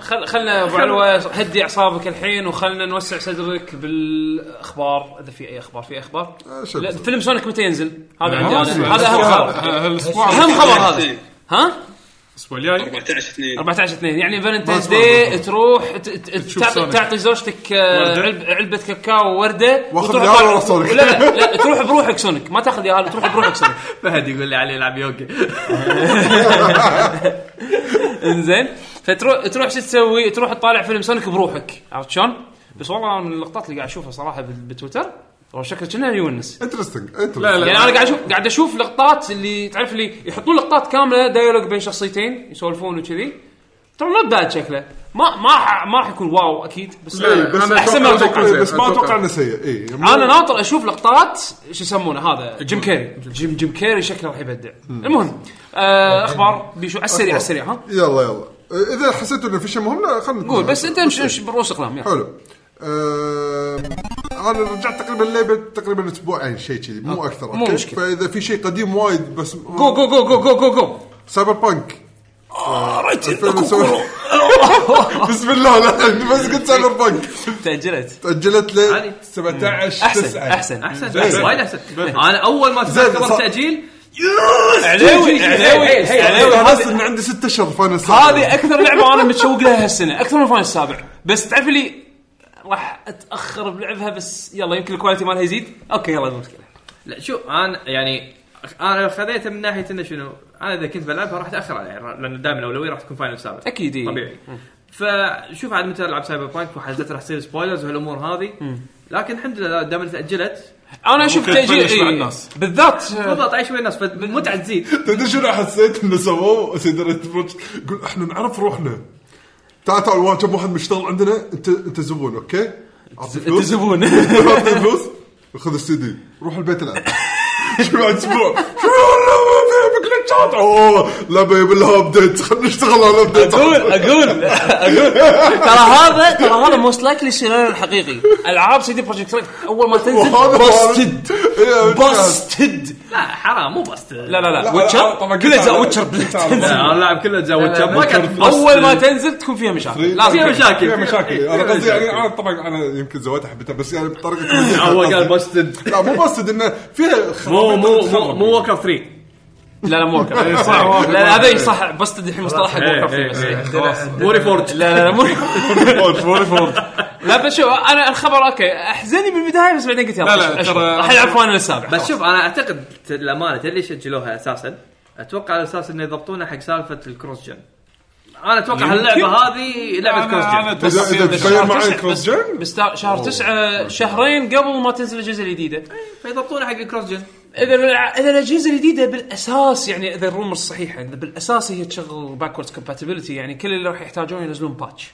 [SPEAKER 6] خل خلنا ابو علوه هدي اعصابك الحين وخلنا نوسع صدرك بالاخبار اذا في اي اخبار في اخبار
[SPEAKER 3] شو
[SPEAKER 6] لا،
[SPEAKER 3] بس.
[SPEAKER 6] فيلم سونيك متى ينزل؟ هذا عندي
[SPEAKER 4] ما أدري.
[SPEAKER 6] أنا. هذا اهم خبر
[SPEAKER 4] ه- هالاسبوع
[SPEAKER 6] اهم خبر هذا
[SPEAKER 8] 2
[SPEAKER 6] ها؟
[SPEAKER 4] الاسبوع الجاي
[SPEAKER 8] 14 2
[SPEAKER 6] 14 2 يعني فالنتاينز
[SPEAKER 3] ما أسمع
[SPEAKER 6] دي تروح ت- ت- تعطي
[SPEAKER 4] سونيك.
[SPEAKER 6] تعطي زوجتك آه،
[SPEAKER 4] وردة.
[SPEAKER 6] علب- علبه كاكاو ورده
[SPEAKER 3] وآخذ
[SPEAKER 6] وتروح
[SPEAKER 3] ياهل
[SPEAKER 6] طالع-
[SPEAKER 3] ولا سونيك؟
[SPEAKER 6] لا لا لا تروح بروحك سونيك ما تاخذ ياهل تروح بروحك سونيك
[SPEAKER 2] فهد يقول لي علي العب يوكي
[SPEAKER 6] انزين فتروح تروح شو تسوي؟ تروح تطالع فيلم سونيك بروحك عرفت شلون؟ بس والله أنا من اللقطات اللي قاعد اشوفها صراحه بال- بتويتر والله شكله كنا يونس
[SPEAKER 3] انترستنج
[SPEAKER 4] لا لا
[SPEAKER 6] يعني انا قاعد اشوف قاعد اشوف لقطات اللي تعرف اللي يحطون لقطات كامله دايلوج بين شخصيتين يسولفون وكذي ترى نوت باد شكله ما ما ح- ما راح يكون واو اكيد بس
[SPEAKER 4] لا،
[SPEAKER 3] بس
[SPEAKER 4] أنا
[SPEAKER 3] احسن
[SPEAKER 4] أتوقع-
[SPEAKER 3] ما اتوقع
[SPEAKER 4] أتوقع-
[SPEAKER 3] بس ما اتوقع
[SPEAKER 4] أتوقع.
[SPEAKER 3] انه سيء إيه، اي
[SPEAKER 6] انا ناطر اشوف لقطات شو يسمونه هذا جيم كيري جيم جيم كيري شكله راح يبدع المهم آه اخبار بيشو على السريع على السريع ها
[SPEAKER 3] يلا يلا اذا حسيتوا انه في شيء مهم لا خلينا
[SPEAKER 6] قول بس انت امشي امشي بالرؤوس اقلام يلا
[SPEAKER 3] حلو أم، انا رجعت تقريبا اللعبه تقريبا اسبوعين شيء كذي مو اكثر
[SPEAKER 6] مو
[SPEAKER 3] أوكي؟
[SPEAKER 6] مشكلة.
[SPEAKER 3] فاذا في شيء قديم وايد بس آه،
[SPEAKER 6] جو جو جو جو جو جو جو
[SPEAKER 3] سايبر بانك
[SPEAKER 6] آه،
[SPEAKER 3] آه، بسم الله لا بس قلت سايبر بانك
[SPEAKER 2] تاجلت
[SPEAKER 3] تاجلت
[SPEAKER 2] عادي.
[SPEAKER 3] ل 17
[SPEAKER 6] احسن
[SPEAKER 3] 9
[SPEAKER 6] احسن احسن
[SPEAKER 2] احسن بس وايد احسن انا اول ما
[SPEAKER 3] زين،
[SPEAKER 2] تذكرت إيه،
[SPEAKER 3] صح. إيه،
[SPEAKER 2] تاجيل
[SPEAKER 6] علاوي علاوي علاوي
[SPEAKER 3] انا أيوة، حاسس
[SPEAKER 6] هذه-
[SPEAKER 3] ان عندي ست اشهر فاينل
[SPEAKER 6] هذه اكثر لعبه انا متشوق لها هالسنه اكثر من الفاينل السابع بس تعرف لي راح اتاخر بلعبها بس يلا يمكن الكواليتي مالها يزيد اوكي يلا مو مشكله
[SPEAKER 2] لا شو انا يعني انا خذيتها من ناحيه انه شنو انا اذا كنت بلعبها راح اتاخر عليها لان دائما الاولويه راح تكون فاينل سابع
[SPEAKER 6] أكيد، إي.
[SPEAKER 2] طبيعي فشوف عاد متى العب سايبر بانك وحزتها راح تصير سبويلرز والامور هذه لكن الحمد لله دائما تاجلت
[SPEAKER 6] انا اشوف
[SPEAKER 4] ممكن
[SPEAKER 6] تاجيل
[SPEAKER 4] تبلش مع
[SPEAKER 6] إيه.
[SPEAKER 4] الناس.
[SPEAKER 6] بالذات آه،
[SPEAKER 2] بالضبط اي شوي الناس فالمتعه تزيد
[SPEAKER 3] تدري شنو حسيت انه سووه سيدرة بروجكت يقول احنا نعرف روحنا تعال تعال واجه كم واحد مشتغل عندنا انت انت زبون اوكي؟ أعطي فلوس.
[SPEAKER 6] انت زبون
[SPEAKER 3] اعطي فلوس خذ السي دي روح البيت العب شو بعد اسبوع شو لا ما في بكلتشات اوه لا بيبي لها ابديت خلينا نشتغل على ابديت
[SPEAKER 6] اقول اقول اقول ترى هذا ترى هذا موست لايكلي سيناريو الحقيقي العاب سي دي بروجكت ريد اول ما تنزل
[SPEAKER 3] وهذا
[SPEAKER 6] بستد
[SPEAKER 3] إيه،
[SPEAKER 6] بستد
[SPEAKER 2] لا آه، حرام مو بس لا
[SPEAKER 6] لا لا لا ويتشر كلها زا ويتشر
[SPEAKER 2] انا العب كله تزوج كم ما قعدت
[SPEAKER 6] اول ما تنزل تكون فيها مشاكل لازم
[SPEAKER 2] فيها مشاكل
[SPEAKER 3] فيها مشاكل انا إيه. قصدي يعني انا طبعا انا يمكن زوايا حبيتها بس يعني بطريقه كوميدية.
[SPEAKER 2] هو قال
[SPEAKER 3] قصدي.
[SPEAKER 2] بوستد
[SPEAKER 3] لا مو بس انه فيها
[SPEAKER 2] مو
[SPEAKER 3] خرابيط
[SPEAKER 2] مو مو-
[SPEAKER 3] تتخرب.
[SPEAKER 2] مو ووكر 3
[SPEAKER 6] لا لا مو وكر. لا لا هذا صح بستد الحين مصطلح حق
[SPEAKER 2] إيه،
[SPEAKER 6] وكر فيه
[SPEAKER 2] إيه،
[SPEAKER 6] بس
[SPEAKER 2] إيه.
[SPEAKER 15] خلاص
[SPEAKER 2] موري فورج
[SPEAKER 6] لا لا لا مو
[SPEAKER 4] فورج فورج فورج
[SPEAKER 6] لا بس شو انا الخبر اوكي احزني بالبدايه بس بعدين قلت يلا
[SPEAKER 4] لا، لا،
[SPEAKER 6] أشوف.
[SPEAKER 4] ترى-
[SPEAKER 6] راح يلعب فاينل السابع
[SPEAKER 2] بس شوف انا اعتقد ت- الامانه تدري ليش اجلوها اساسا؟ اتوقع على اساس انه يضبطونها حق سالفه الكروس جن. انا اتوقع هاللعبه هذه لعبه كروس
[SPEAKER 4] انا
[SPEAKER 2] جن.
[SPEAKER 4] بس
[SPEAKER 3] إذا- إذا تخيل معي كروس جن
[SPEAKER 6] يعني بس تا- شهر تسعة شهرين قبل ما تنزل الاجهزه الجديده
[SPEAKER 2] فيضبطونها حق الكروس جن.
[SPEAKER 6] اذا الع- اذا الاجهزه الجديده بالاساس يعني اذا الرومر صحيحه اذا بالاساس هي تشغل باكوردز كومباتيبلتي يعني كل اللي راح يحتاجون ينزلون باتش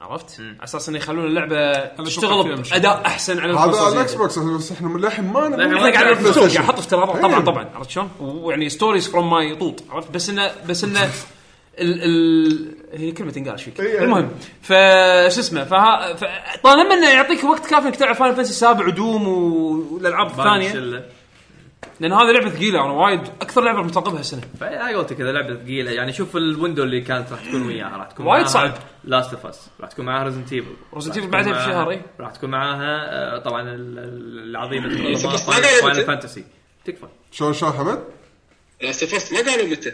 [SPEAKER 6] عرفت؟ على اساس انه يخلون اللعبه
[SPEAKER 4] فيها
[SPEAKER 6] تشتغل
[SPEAKER 4] مشكلة.
[SPEAKER 6] باداء احسن على
[SPEAKER 3] هذا
[SPEAKER 6] الكونسولز
[SPEAKER 3] على الاكس
[SPEAKER 6] الجديدة.
[SPEAKER 3] بوكس بس احنا من للحين ما
[SPEAKER 2] للحين
[SPEAKER 6] احنا يعني قاعد نلعب
[SPEAKER 2] بلاي
[SPEAKER 6] بالسوق،
[SPEAKER 3] ستيشن.
[SPEAKER 6] قاعد احط افتراضات طبعا
[SPEAKER 3] إيه.
[SPEAKER 6] طبعا عرفت شلون؟ ويعني ستوريز فروم ماي طوط عرفت بس انه بس انه ال ال هي كلمه تنقال ايش فيك؟
[SPEAKER 3] إيه.
[SPEAKER 6] المهم ف شو اسمه فها ف- طالما انه يعطيك وقت كافي انك تلعب فاينل فانسي السابع ودوم و- والالعاب الثانيه
[SPEAKER 2] الشلة.
[SPEAKER 6] لان هذه لعبه ثقيله انا وايد اكثر لعبه مترقبها السنه
[SPEAKER 2] فانا قلت كذا لعبه ثقيله يعني شوف الويندو اللي كانت راح تكون وياها راح تكون
[SPEAKER 6] وايد صعب.
[SPEAKER 2] لاست اوف اس راح تكون معاها ريزنت ايفل
[SPEAKER 6] Resident Evil بعدها بشهر، إي.
[SPEAKER 2] راح تكون معاها آه، طبعا ال- ال- العظيمه
[SPEAKER 8] بس ما قالت.
[SPEAKER 2] فاينل فانتسي تكفى
[SPEAKER 3] شلون شلون حمد؟
[SPEAKER 8] لاست اوف اس ما قالوا متى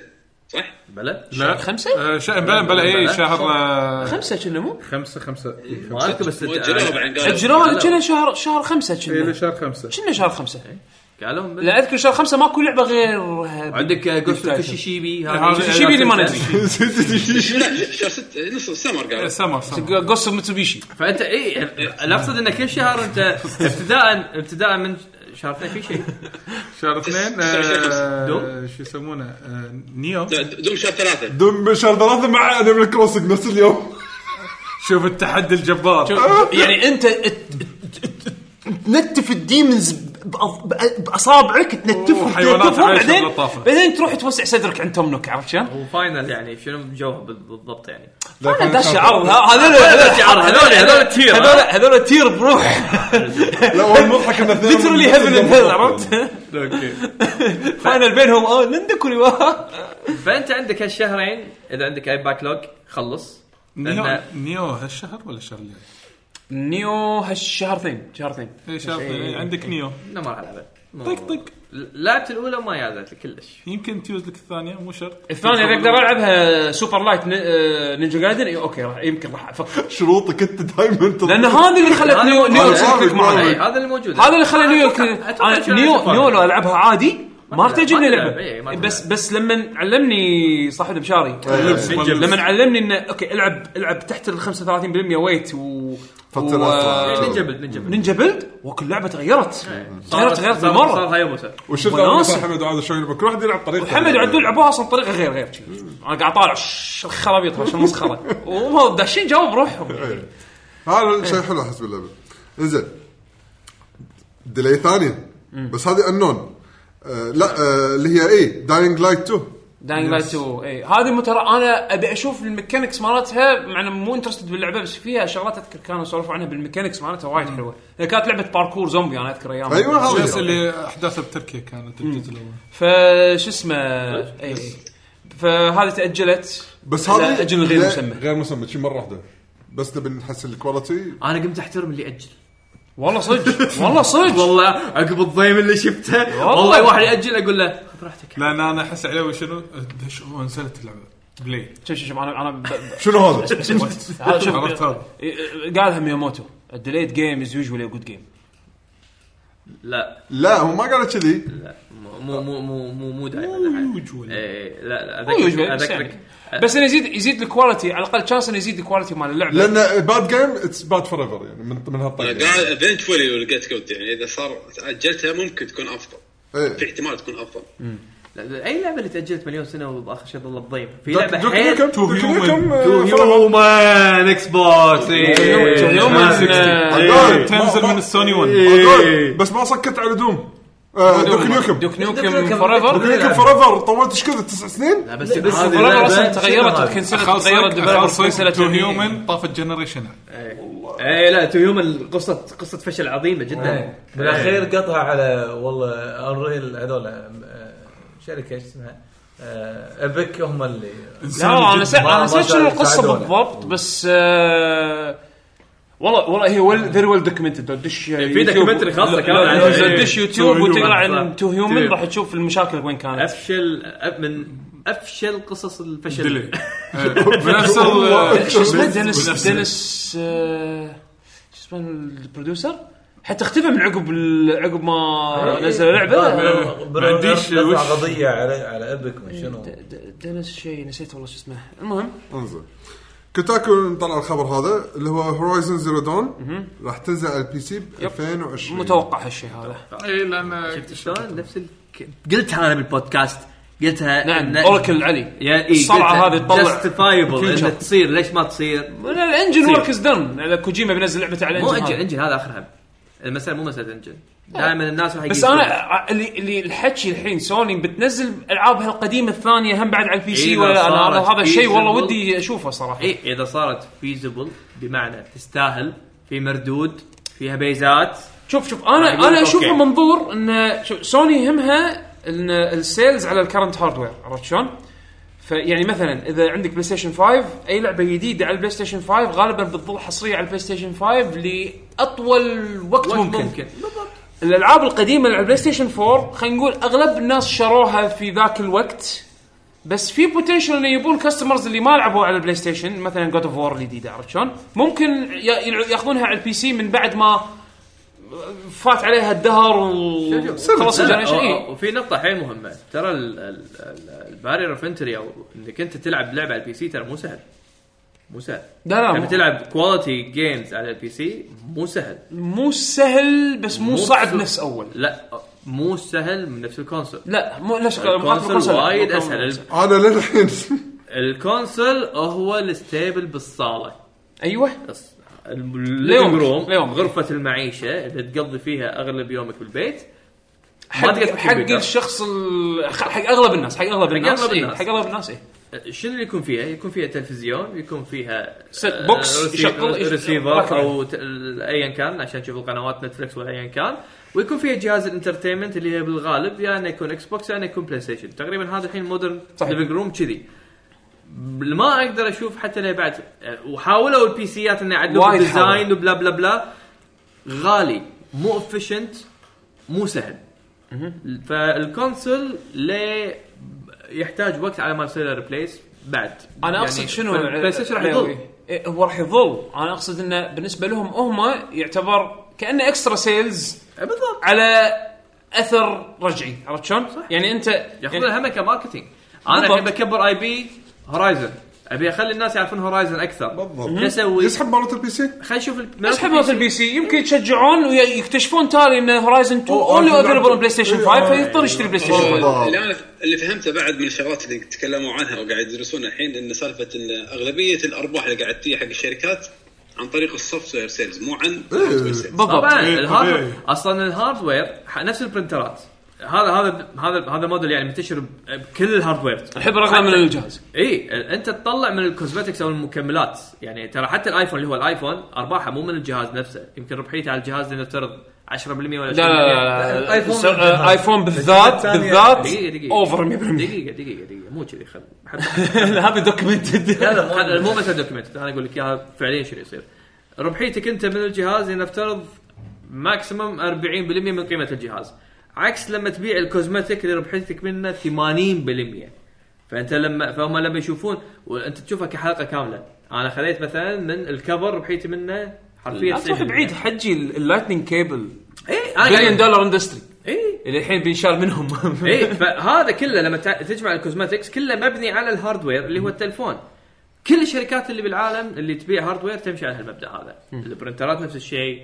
[SPEAKER 8] صح؟
[SPEAKER 2] بلا
[SPEAKER 4] لا
[SPEAKER 6] خمسة؟
[SPEAKER 4] آه، شا- بلا بلا اي شهر آه،
[SPEAKER 6] خمسة كنا مو؟
[SPEAKER 4] خمسة خمسة إيه،
[SPEAKER 2] ما اذكر بس
[SPEAKER 8] وأجلوها
[SPEAKER 2] آه،
[SPEAKER 8] بعدين قالوا
[SPEAKER 6] اجلوها
[SPEAKER 2] لا. إيه،
[SPEAKER 6] كنا شهر شهر خمسة
[SPEAKER 4] إلى
[SPEAKER 6] كنا
[SPEAKER 4] شهر خمسة
[SPEAKER 6] كنا شهر خمسة
[SPEAKER 2] قالوا بال-
[SPEAKER 6] لا اذكر شهر خمسة ماكو لعبة غير
[SPEAKER 2] عندك آه، جوست
[SPEAKER 6] Titan.
[SPEAKER 2] كوشيشيبي
[SPEAKER 4] هذا-
[SPEAKER 6] شيبي اللي ما ندري
[SPEAKER 8] لا شهر 6 نص السمر قالوا
[SPEAKER 4] إيه، سمر سمر
[SPEAKER 6] قصة متسوبيشي
[SPEAKER 2] فانت اي اقصد ان كل شهر انت ابتداء ابتداء من شهر اثنين في شيء
[SPEAKER 4] شهر اثنين آه،
[SPEAKER 2] دوم.
[SPEAKER 4] شو يسمونه آه، نيو
[SPEAKER 8] لا، دوم شهر ثلاثة
[SPEAKER 3] دم شهر ثلاثة مع انيمال كروسنج نفس اليوم
[SPEAKER 4] شوف التحدي الجبار
[SPEAKER 6] يعني انت تنتف الديمنز باصابعك تنتفهم
[SPEAKER 4] وحيوانات
[SPEAKER 6] تنتفهم
[SPEAKER 4] عايشة
[SPEAKER 6] بعدين
[SPEAKER 4] باللطافة.
[SPEAKER 6] بعدين تروح توسع صدرك عند توم نوك عرفت شلون؟
[SPEAKER 2] وفاينل يعني شنو جوه بالضبط يعني
[SPEAKER 6] انا ده الشعار هذول
[SPEAKER 2] الشعار، هذول- هذول التير، ها؟
[SPEAKER 6] هذول هذول تير بروح
[SPEAKER 3] لا هو المضحك انه اثنين
[SPEAKER 6] ليترلي
[SPEAKER 3] من-
[SPEAKER 6] هيفن اند هيل عرفت؟
[SPEAKER 4] اوكي
[SPEAKER 6] فاينل بينهم اه نندك ولوا
[SPEAKER 2] فانت عندك هالشهرين اذا عندك اي باك لوج خلص
[SPEAKER 4] نيو
[SPEAKER 2] لأن-
[SPEAKER 4] نيو هالشهر ولا الشهر اللي جاي؟
[SPEAKER 6] نيو هالشهرتين شهرتين
[SPEAKER 4] إيه، شهر اثنين إيه، عندك نيو
[SPEAKER 2] لا ما راح العبها ما-
[SPEAKER 4] طق طق
[SPEAKER 2] لعبت الاولى ما يازت لي كلش
[SPEAKER 4] يمكن تيوز لك الثانية مو شرط
[SPEAKER 6] الثانية اذا اقدر العبها سوبر لايت ن- آه، نينجا جايدن إيه، اوكي راح يمكن راح افكر
[SPEAKER 3] شروطك انت دايما تض-
[SPEAKER 6] لان هذا اللي خلت نيو نيو
[SPEAKER 3] هذا-
[SPEAKER 6] تكلك معي
[SPEAKER 2] إي، هذا اللي آه، موجود
[SPEAKER 6] هذا اللي خلى نيو
[SPEAKER 2] أتوقع-
[SPEAKER 6] يمكن-
[SPEAKER 2] أتوقع
[SPEAKER 6] أنا
[SPEAKER 2] شنو
[SPEAKER 6] نيو
[SPEAKER 2] أشوفها.
[SPEAKER 6] نيو لو العبها عادي ما ارتجلني
[SPEAKER 2] ما
[SPEAKER 6] لعبه
[SPEAKER 2] تلعب، إيه، ما تلعب.
[SPEAKER 6] بس بس لما علمني صاحب بشاري
[SPEAKER 3] اللبس مال اللبس.
[SPEAKER 6] لما علمني انه اوكي العب العب تحت ال 35% ويت و
[SPEAKER 3] فترة
[SPEAKER 6] و-
[SPEAKER 3] أسرع.
[SPEAKER 2] نينجا بلد نينجا بلد
[SPEAKER 6] نينجا بيلد وكل لعبه تغيرت
[SPEAKER 2] صارت
[SPEAKER 6] تغيرت
[SPEAKER 2] صارت
[SPEAKER 6] تغيرت
[SPEAKER 2] صار
[SPEAKER 6] بالمره
[SPEAKER 2] هايبوسا
[SPEAKER 3] وشفت
[SPEAKER 6] وناس.
[SPEAKER 3] أول مرة حمد وعاد شلون يلعب. كل واحد يلعب طريقه
[SPEAKER 6] محمد وعدول لعبوها اصلا بطريقه غير غير شي. انا قاعد اطالع ش- الخرابيط عشان مسخره وهم داشين جواب روحهم
[SPEAKER 3] هذا
[SPEAKER 6] إيه.
[SPEAKER 3] شيء حلو احس باللعبه انزين ديلي ثانيه بس هذه انون آه لا آه اللي هي اي داينج لايت 2
[SPEAKER 6] داينج لايت 2 اي إيه. هذه مو ترى انا ابي اشوف الميكانكس مالتها مع اني مو انترستد باللعبه بس فيها شغلات اذكر كانوا يسولفوا عنها بالميكانكس مالتها وايد حلوه لأن كانت لعبه باركور زومبي انا اذكر ايام
[SPEAKER 3] ايوه
[SPEAKER 4] بس
[SPEAKER 3] هذه
[SPEAKER 4] اللي احداثه بتركيا كانت الجزء الاول
[SPEAKER 6] فش اسمه إيه. اي فهذه تاجلت
[SPEAKER 3] بس
[SPEAKER 6] لا،
[SPEAKER 3] هذه
[SPEAKER 6] أجل غير
[SPEAKER 3] لا،
[SPEAKER 6] مسمى.
[SPEAKER 3] غير مسمى شي مره واحده بس نبي نحس الكواليتي
[SPEAKER 2] انا قمت احترم اللي اجل
[SPEAKER 6] والله صدق والله صدق
[SPEAKER 2] والله عقب الضيم اللي شفته
[SPEAKER 6] والله.
[SPEAKER 2] والله واحد ياجل اقول له خذ راحتك
[SPEAKER 4] لان انا احس عليه شنو دش هو نزلت اللعبه بلاي
[SPEAKER 6] شوف شوف شوف انا انا ب- ب-
[SPEAKER 3] شنو هذا؟
[SPEAKER 6] هذا شوف
[SPEAKER 4] عرفت هذا
[SPEAKER 6] قالها مياموتو الديليت جيم از يوجوالي جود جيم
[SPEAKER 2] لا
[SPEAKER 3] لا هو ما قال كذي
[SPEAKER 2] لا مو مو مو مو مو دائما
[SPEAKER 4] يوجوال.
[SPEAKER 2] إيه، لا لا
[SPEAKER 6] مو usual،
[SPEAKER 2] اذكرك
[SPEAKER 6] بس
[SPEAKER 2] اذكرك
[SPEAKER 6] بس انه يزيد يزيد الكواليتي على الاقل شانس انه يزيد الكواليتي مال اللعبه
[SPEAKER 3] لان باد جيم اتس باد فور ايفر يعني من, من هالطريقه
[SPEAKER 8] قال ايفنتولي لقيت جود يعني اذا صار تاجلتها ممكن تكون افضل في
[SPEAKER 3] إيه.
[SPEAKER 8] احتمال تكون افضل
[SPEAKER 2] لا، لا، اي لعبه اللي تاجلت مليون سنه واخر شيء ظل الضيم في
[SPEAKER 3] دوك-
[SPEAKER 2] لعبه
[SPEAKER 3] دوك
[SPEAKER 2] حيل
[SPEAKER 3] نيوكم- دوك نيوكم، آه،
[SPEAKER 2] تو
[SPEAKER 3] فور إيفر.
[SPEAKER 2] هيومن اكس بوكس
[SPEAKER 6] إيه، تو هيومن، آه،
[SPEAKER 3] عدول.
[SPEAKER 4] تنزل
[SPEAKER 3] ما-
[SPEAKER 4] من السوني 1
[SPEAKER 6] Oh, إيه،
[SPEAKER 3] عدول. بس ما سكت على دوم آه، دوك نيوكم دوك
[SPEAKER 6] دوك نيوكم فور ايفر
[SPEAKER 3] نيوكم فور ايفر طولت ايش كذا تسع سنين
[SPEAKER 2] بس
[SPEAKER 10] بس
[SPEAKER 2] هذه
[SPEAKER 10] لا،
[SPEAKER 6] فور
[SPEAKER 10] لا،
[SPEAKER 2] لعبة-
[SPEAKER 6] اصلا
[SPEAKER 10] لا،
[SPEAKER 6] تغيرت
[SPEAKER 10] شنو هذا؟
[SPEAKER 6] يمكن سنه تغيرت
[SPEAKER 4] خلصت
[SPEAKER 6] الديفلوبرز كل سنه
[SPEAKER 4] خلصت تو
[SPEAKER 6] تغيير.
[SPEAKER 4] هيومن طافت جنريشن
[SPEAKER 2] اي إيه، لا تو هيومن قصه قصه فشل عظيمه
[SPEAKER 6] إيه.
[SPEAKER 2] جدا
[SPEAKER 10] بالاخير قطع على والله انريل هذول آه، شركه ايش اسمها آه، ايبك هم اللي
[SPEAKER 6] لا انا سا-
[SPEAKER 10] ما-
[SPEAKER 6] انا
[SPEAKER 10] ما
[SPEAKER 6] نسيت شنو
[SPEAKER 10] ساعدونا.
[SPEAKER 6] القصه بالضبط بس آه، والله والله هي ويل فيري ويل دوكيومنتد دش في
[SPEAKER 2] يعني documentary خاصة كمان عن-
[SPEAKER 6] دش يوتيوب
[SPEAKER 2] To
[SPEAKER 6] وتقرا
[SPEAKER 2] Human.
[SPEAKER 6] عن تو هيومن
[SPEAKER 2] To-
[SPEAKER 6] راح تشوف المشاكل وين كانت
[SPEAKER 2] افشل أف- من افشل قصص الفشل
[SPEAKER 4] ديلي بنفس ال-
[SPEAKER 6] شو اسمه دينيس
[SPEAKER 4] بنفس-
[SPEAKER 6] دينيس آه، شو اسمه البروديوسر حتى اختفى من عقب ال- عقب ما
[SPEAKER 2] إيه.
[SPEAKER 6] نزل
[SPEAKER 2] آه.
[SPEAKER 6] اللعبه
[SPEAKER 4] ما عنديش وش.
[SPEAKER 10] رفع قضيه على على ايبك ما شنو
[SPEAKER 6] د- د- دينيس شيء نسيت والله شو اسمه المهم
[SPEAKER 3] انزين كوتاكو طلع الخبر هذا اللي هو هورايزن زيرو دون راح تنزل على البي سي ب 2020
[SPEAKER 6] متوقع هالشيء هذا
[SPEAKER 4] اي لان
[SPEAKER 2] شفت شلون نفس ال... قلتها انا بالبودكاست قلتها
[SPEAKER 6] نعم اوراكل علي
[SPEAKER 2] يا اي
[SPEAKER 6] الصرعه هذه تطلع
[SPEAKER 2] جاستيفايبل
[SPEAKER 6] Future.
[SPEAKER 2] انها تصير ليش ما تصير؟
[SPEAKER 6] الانجن ورك از دن كوجيما بينزل لعبته على
[SPEAKER 2] مو انجل
[SPEAKER 6] الانجن هذا.
[SPEAKER 2] انجل هذا اخر هم المساله مو مساله انجل دائما الناس راح
[SPEAKER 6] آه. بس
[SPEAKER 2] يقيسون.
[SPEAKER 6] انا اللي اللي الحكي الحين سوني بتنزل العابها القديمه الثانيه هم بعد على البي سي
[SPEAKER 2] إذا
[SPEAKER 6] ولا انا
[SPEAKER 2] إيه، صارت
[SPEAKER 6] هذا- هذا الشيء والله
[SPEAKER 2] feasible.
[SPEAKER 6] ودي اشوفه صراحه
[SPEAKER 2] اي اذا صارت فيزبل بمعنى تستاهل في مردود فيها بيزات
[SPEAKER 6] شوف شوف انا
[SPEAKER 2] أنا أقول
[SPEAKER 6] انا اشوفها
[SPEAKER 2] أوكي.
[SPEAKER 6] منظور ان شوف سوني يهمها ان السيلز على الكرنت هاردوير عرفت شلون؟ فيعني مثلا اذا عندك بلاي ستيشن 5 اي لعبه جديده على البلاي ستيشن 5 غالبا بتظل حصريه على البلاي ستيشن 5 لاطول وقت ممكن, ممكن.
[SPEAKER 2] ممكن
[SPEAKER 6] الالعاب القديمه اللي على البلاي ستيشن 4 خلينا نقول اغلب الناس شروها في ذاك الوقت بس في بوتنشل انه يبون كاستمرز اللي ما لعبوا على البلاي ستيشن مثلا جود اوف وور الجديده عرفت شلون؟ ممكن ي- يلع- ياخذونها على البي سي من بعد ما فات عليها الدهر وخلص
[SPEAKER 2] لا،
[SPEAKER 6] الجنريشن
[SPEAKER 2] أو-
[SPEAKER 6] اي
[SPEAKER 2] أو- وفي نقطة حيل مهمة ترى ال- ال- ال- البارير اوف انتري او انك انت تلعب لعبة على البي سي ترى مو سهل مو سهل
[SPEAKER 6] لا، لا،
[SPEAKER 2] لما
[SPEAKER 6] مو-
[SPEAKER 2] تلعب كواليتي جيمز على البي سي مو سهل
[SPEAKER 6] مو سهل بس مو
[SPEAKER 2] مو
[SPEAKER 6] صعب
[SPEAKER 2] سهل.
[SPEAKER 6] نفس اول
[SPEAKER 2] لا مو سهل من نفس الكونسول
[SPEAKER 6] لا مو نفس مقارنة
[SPEAKER 2] الكونسول
[SPEAKER 6] بالكونسول، لا.
[SPEAKER 2] وايد
[SPEAKER 6] مقارنة
[SPEAKER 2] اسهل
[SPEAKER 6] بالكونسول.
[SPEAKER 3] انا للحين
[SPEAKER 2] الكونسول هو الستيبل بالصالة
[SPEAKER 6] ايوه
[SPEAKER 2] الليفنج روم
[SPEAKER 6] ليومك.
[SPEAKER 2] غرفة المعيشة اللي تقضي فيها اغلب يومك بالبيت ما
[SPEAKER 6] حق
[SPEAKER 2] تقدر
[SPEAKER 6] حق
[SPEAKER 2] تكمبيوتر.
[SPEAKER 6] الشخص ال- خ- حق اغلب الناس حق اغلب الناس
[SPEAKER 2] أغلب
[SPEAKER 6] إي،
[SPEAKER 2] الناس.
[SPEAKER 6] حق اغلب الناس إيه. اي
[SPEAKER 2] شنو اللي يكون فيها؟ يكون فيها تلفزيون، يكون فيها
[SPEAKER 6] ست
[SPEAKER 1] Uh,
[SPEAKER 6] بوكس
[SPEAKER 2] آه، رسي-
[SPEAKER 6] يشغل- يشغل-
[SPEAKER 2] ريسيفر
[SPEAKER 6] ركبه.
[SPEAKER 2] او ت- ال- ايا كان عشان تشوف القنوات نتفلكس ولا ايا كان، ويكون فيها جهاز الانترتينمنت اللي هي بالغالب يا انه يكون اكس بوكس يا انه يكون بلاي ستيشن، تقريبا هذا الحين مودرن
[SPEAKER 6] صحيح.
[SPEAKER 2] ليفنج روم كذي. ما اقدر اشوف حتى ليه بعد آه، وحاولوا البي سيات انه يعدلوا
[SPEAKER 6] وايد
[SPEAKER 2] الديزاين
[SPEAKER 6] حاولوا.
[SPEAKER 2] وبلا بلا بلا غالي مو افشنت مو سهل. فالكونسول ليه يحتاج وقت على ما يصير له ريبليس بعد
[SPEAKER 6] انا
[SPEAKER 1] يعني
[SPEAKER 6] اقصد شنو
[SPEAKER 2] بلاي ستيشن راح
[SPEAKER 6] علاوي؟
[SPEAKER 2] يضل
[SPEAKER 6] إيه، هو راح يظل انا اقصد انه بالنسبه لهم هم يعتبر كانه اكسترا سيلز
[SPEAKER 2] بالضبط
[SPEAKER 6] على
[SPEAKER 1] اثر رجعي عرفت شلون؟ صح يعني انت يعني
[SPEAKER 2] ياخذون هم كماركتينج انا الحين
[SPEAKER 1] بالضبط.
[SPEAKER 2] بكبر اي بي هورايزن ابي اخلي الناس يعرفون هورايزن اكثر
[SPEAKER 3] بالضبط
[SPEAKER 2] شو اسوي؟
[SPEAKER 3] يسحب مالت البي سي
[SPEAKER 2] خلينا نشوف ال-
[SPEAKER 1] اسحب مالت البي سي يمكن يتشجعون ويكتشفون تالي ان هورايزن 2
[SPEAKER 3] أوه،
[SPEAKER 1] اونلي
[SPEAKER 3] أوه،
[SPEAKER 1] افيلبل
[SPEAKER 3] أوه.
[SPEAKER 1] بلاي ستيشن
[SPEAKER 3] أوه.
[SPEAKER 1] 5 فيضطر يشتري بلاي ستيشن 5
[SPEAKER 3] بالضبط.
[SPEAKER 8] اللي انا اللي فهمته بعد من الشغلات اللي تكلموا عنها وقاعد يدرسونها الحين ان سالفه ان اغلبيه الارباح اللي قاعد تجي حق الشركات عن طريق السوفت وير سيلز مو عن
[SPEAKER 2] إيه.
[SPEAKER 8] hardware sales.
[SPEAKER 1] بالضبط
[SPEAKER 2] طبعا
[SPEAKER 3] إيه،
[SPEAKER 2] الهاردوير
[SPEAKER 3] طبيعي.
[SPEAKER 2] اصلا الهاردوير ح- نفس البرنترات هذا هذا هذا هذا موديل يعني منتشر ب- بكل الهاردوير
[SPEAKER 1] الحب رغم من الجهاز
[SPEAKER 2] اي ال- انت تطلع من الكوزمتكس او المكملات يعني ترى حتى الايفون اللي هو الايفون ارباحه مو من الجهاز نفسه يمكن ربحيته على الجهاز لنفترض 10% ولا
[SPEAKER 1] لا
[SPEAKER 2] 20%
[SPEAKER 1] لا لا
[SPEAKER 6] الآيفون
[SPEAKER 1] س- آه، ايفون بالذات
[SPEAKER 6] الثانية-
[SPEAKER 1] بالذات
[SPEAKER 2] دقيقة دقيقة
[SPEAKER 1] اوفر 100%
[SPEAKER 2] دقيقة دقيقة دقيقة مو كذي خل حد-
[SPEAKER 1] هذا دوكيومنتد
[SPEAKER 2] لا لا هذا مو بس دوكيمنت انا اقول لك اياها فعليا شنو يصير ربحيتك انت من الجهاز لنفترض ماكسيمم 40% من قيمه الجهاز عكس لما تبيع الكوزمتيك اللي ربحيتك منه 80% فانت لما فهم لما يشوفون وانت تشوفها كحلقه كامله انا خذيت مثلا من الكفر ربحيتي منه حرفيا
[SPEAKER 1] لا تروح
[SPEAKER 2] 90%.
[SPEAKER 1] بعيد حجي اللايتنينج كيبل
[SPEAKER 2] اي انا
[SPEAKER 1] بليون دولار اندستري
[SPEAKER 2] اي
[SPEAKER 1] اللي الحين بينشال منهم
[SPEAKER 2] اي إيه، فهذا كله لما تع- تجمع الكوزماتكس كله مبني على الهاردوير اللي هو التلفون كل الشركات اللي بالعالم اللي تبيع هاردوير تمشي على هالمبدا هذا البرنترات نفس الشيء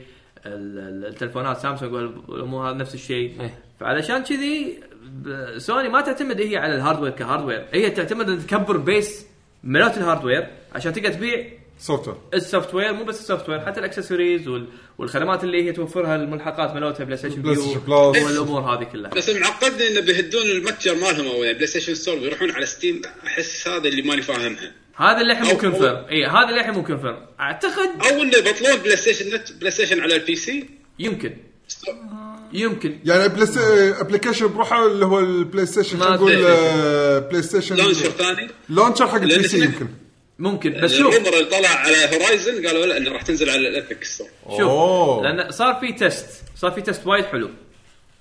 [SPEAKER 2] ال- ال- التلفونات سامسونج والامور هذه نفس الشيء
[SPEAKER 1] إيه.
[SPEAKER 2] فعلشان كذي ب- سوني ما تعتمد هي على الهاردوير كهاردوير هي تعتمد ان تكبر بيس ملوت الهاردوير عشان تقدر تبيع
[SPEAKER 3] سوفت وير
[SPEAKER 2] السوفت وير مو بس السوفت وير حتى الاكسسوارز وال- والخدمات اللي هي توفرها الملحقات ملوتها بلاي ستيشن
[SPEAKER 3] بلاي ستيشن
[SPEAKER 2] بيو
[SPEAKER 3] بلس.
[SPEAKER 2] والامور هذه كلها
[SPEAKER 8] بس معقدني انه بيهدون المتجر مالهم يعني او بلاي ستيشن ستور ويروحون على ستيم احس هذا اللي ماني فاهمها
[SPEAKER 2] هذا اللي الحين مو
[SPEAKER 8] أو-
[SPEAKER 2] كونفيرم اي هذا اللي الحين مو كونفيرم اعتقد
[SPEAKER 8] او انه يبطلون بلاي ستيشن نت بلاي ستيشن على البي سي
[SPEAKER 2] يمكن إيه. يمكن
[SPEAKER 3] يعني ابلكيشن بروحه اللي هو البلاي ستيشن
[SPEAKER 2] ما
[SPEAKER 3] خلينا نقول
[SPEAKER 8] أدري.
[SPEAKER 3] آه، بلاي ستيشن
[SPEAKER 8] لانشر ثاني
[SPEAKER 3] لونشر حق البي سي
[SPEAKER 8] لأن-
[SPEAKER 3] يمكن
[SPEAKER 2] ممكن بس شوف
[SPEAKER 8] الرومر اللي طلع على هورايزن قالوا لا انه راح تنزل على الابيك ستور
[SPEAKER 2] شوف
[SPEAKER 3] أوه.
[SPEAKER 2] لان صار في تيست صار في تيست وايد حلو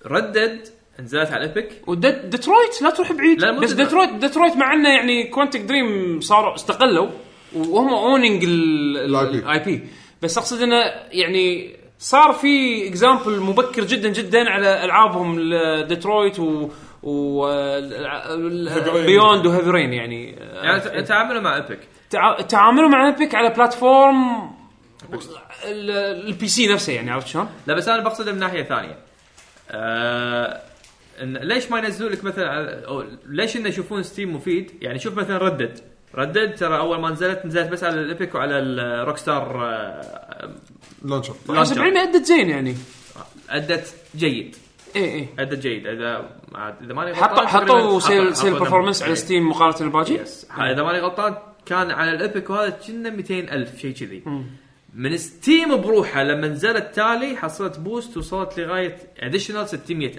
[SPEAKER 2] ردد نزلت على ايبك
[SPEAKER 1] وديترويت لا تروح بعيد
[SPEAKER 2] لا، مو
[SPEAKER 1] بس
[SPEAKER 2] Detroit.
[SPEAKER 1] ديترويت ديترويت مع انه يعني كوانتك دريم صاروا استقلوا وهم اونينج
[SPEAKER 3] ال
[SPEAKER 1] الاي بي بس اقصد انه يعني صار في اكزامبل مبكر جدا جدا على العابهم ال- ديترويت و و بيوند وهيفرين يعني
[SPEAKER 2] يعني ت- تعاملوا مع ايبك
[SPEAKER 1] تع- تعاملوا مع ايبك على بلاتفورم ال- البي سي نفسه يعني عرفت شلون؟
[SPEAKER 2] لا بس انا بقصد من ناحيه ثانيه آه إن ليش ما ينزلوا لك مثلا على- أو ليش انه يشوفون ستيم مفيد يعني شوف مثلا ردد ردد ترى اول ما نزلت نزلت بس على الايبك وعلى آه، الروك ستار
[SPEAKER 3] لونشر
[SPEAKER 1] حسب علمي ادت زين يعني
[SPEAKER 2] ادت جيد
[SPEAKER 1] اي اي
[SPEAKER 2] ادى جيد اذا عاد- اذا ماني
[SPEAKER 1] حطوا
[SPEAKER 2] غلطان
[SPEAKER 1] حطوا
[SPEAKER 2] تقريباً-
[SPEAKER 1] سيل
[SPEAKER 2] حطوا-
[SPEAKER 1] سيل
[SPEAKER 2] حطوا
[SPEAKER 1] برفورمانس
[SPEAKER 2] نمبر. إيه.
[SPEAKER 1] على ستيم مقارنه بالباقي
[SPEAKER 2] يس ح- اذا ماني غلطان كان على الابيك وهذا كنا 200000 شيء كذي من ستيم بروحه لما نزلت تالي حصلت بوست وصلت لغايه اديشنال 600000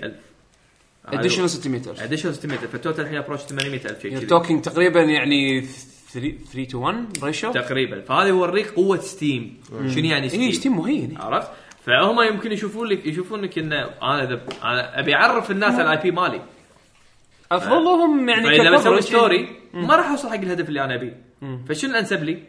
[SPEAKER 2] أيوه.
[SPEAKER 1] اديشنال 600000
[SPEAKER 2] اديشنال 600000 فالتوتال الحين ابروش 800000 شيء
[SPEAKER 1] يور
[SPEAKER 2] كذي
[SPEAKER 1] توكينج تقريبا يعني 3 3 تو 1 ريشيو
[SPEAKER 2] تقريبا فهذا يوريك قوه ستيم شنو يعني ستيم؟
[SPEAKER 1] اي ستيم إيه، مهين
[SPEAKER 2] عرفت؟ فهم يمكن يشوفون لك يشوفونك ان انا اذا انا ابي اعرف الناس على الاي بي مالي آه.
[SPEAKER 1] افضلهم يعني
[SPEAKER 2] فاذا بسوي
[SPEAKER 1] كفرج.
[SPEAKER 2] ستوري ما راح اوصل حق الهدف اللي انا ابيه فشنو الانسب لي؟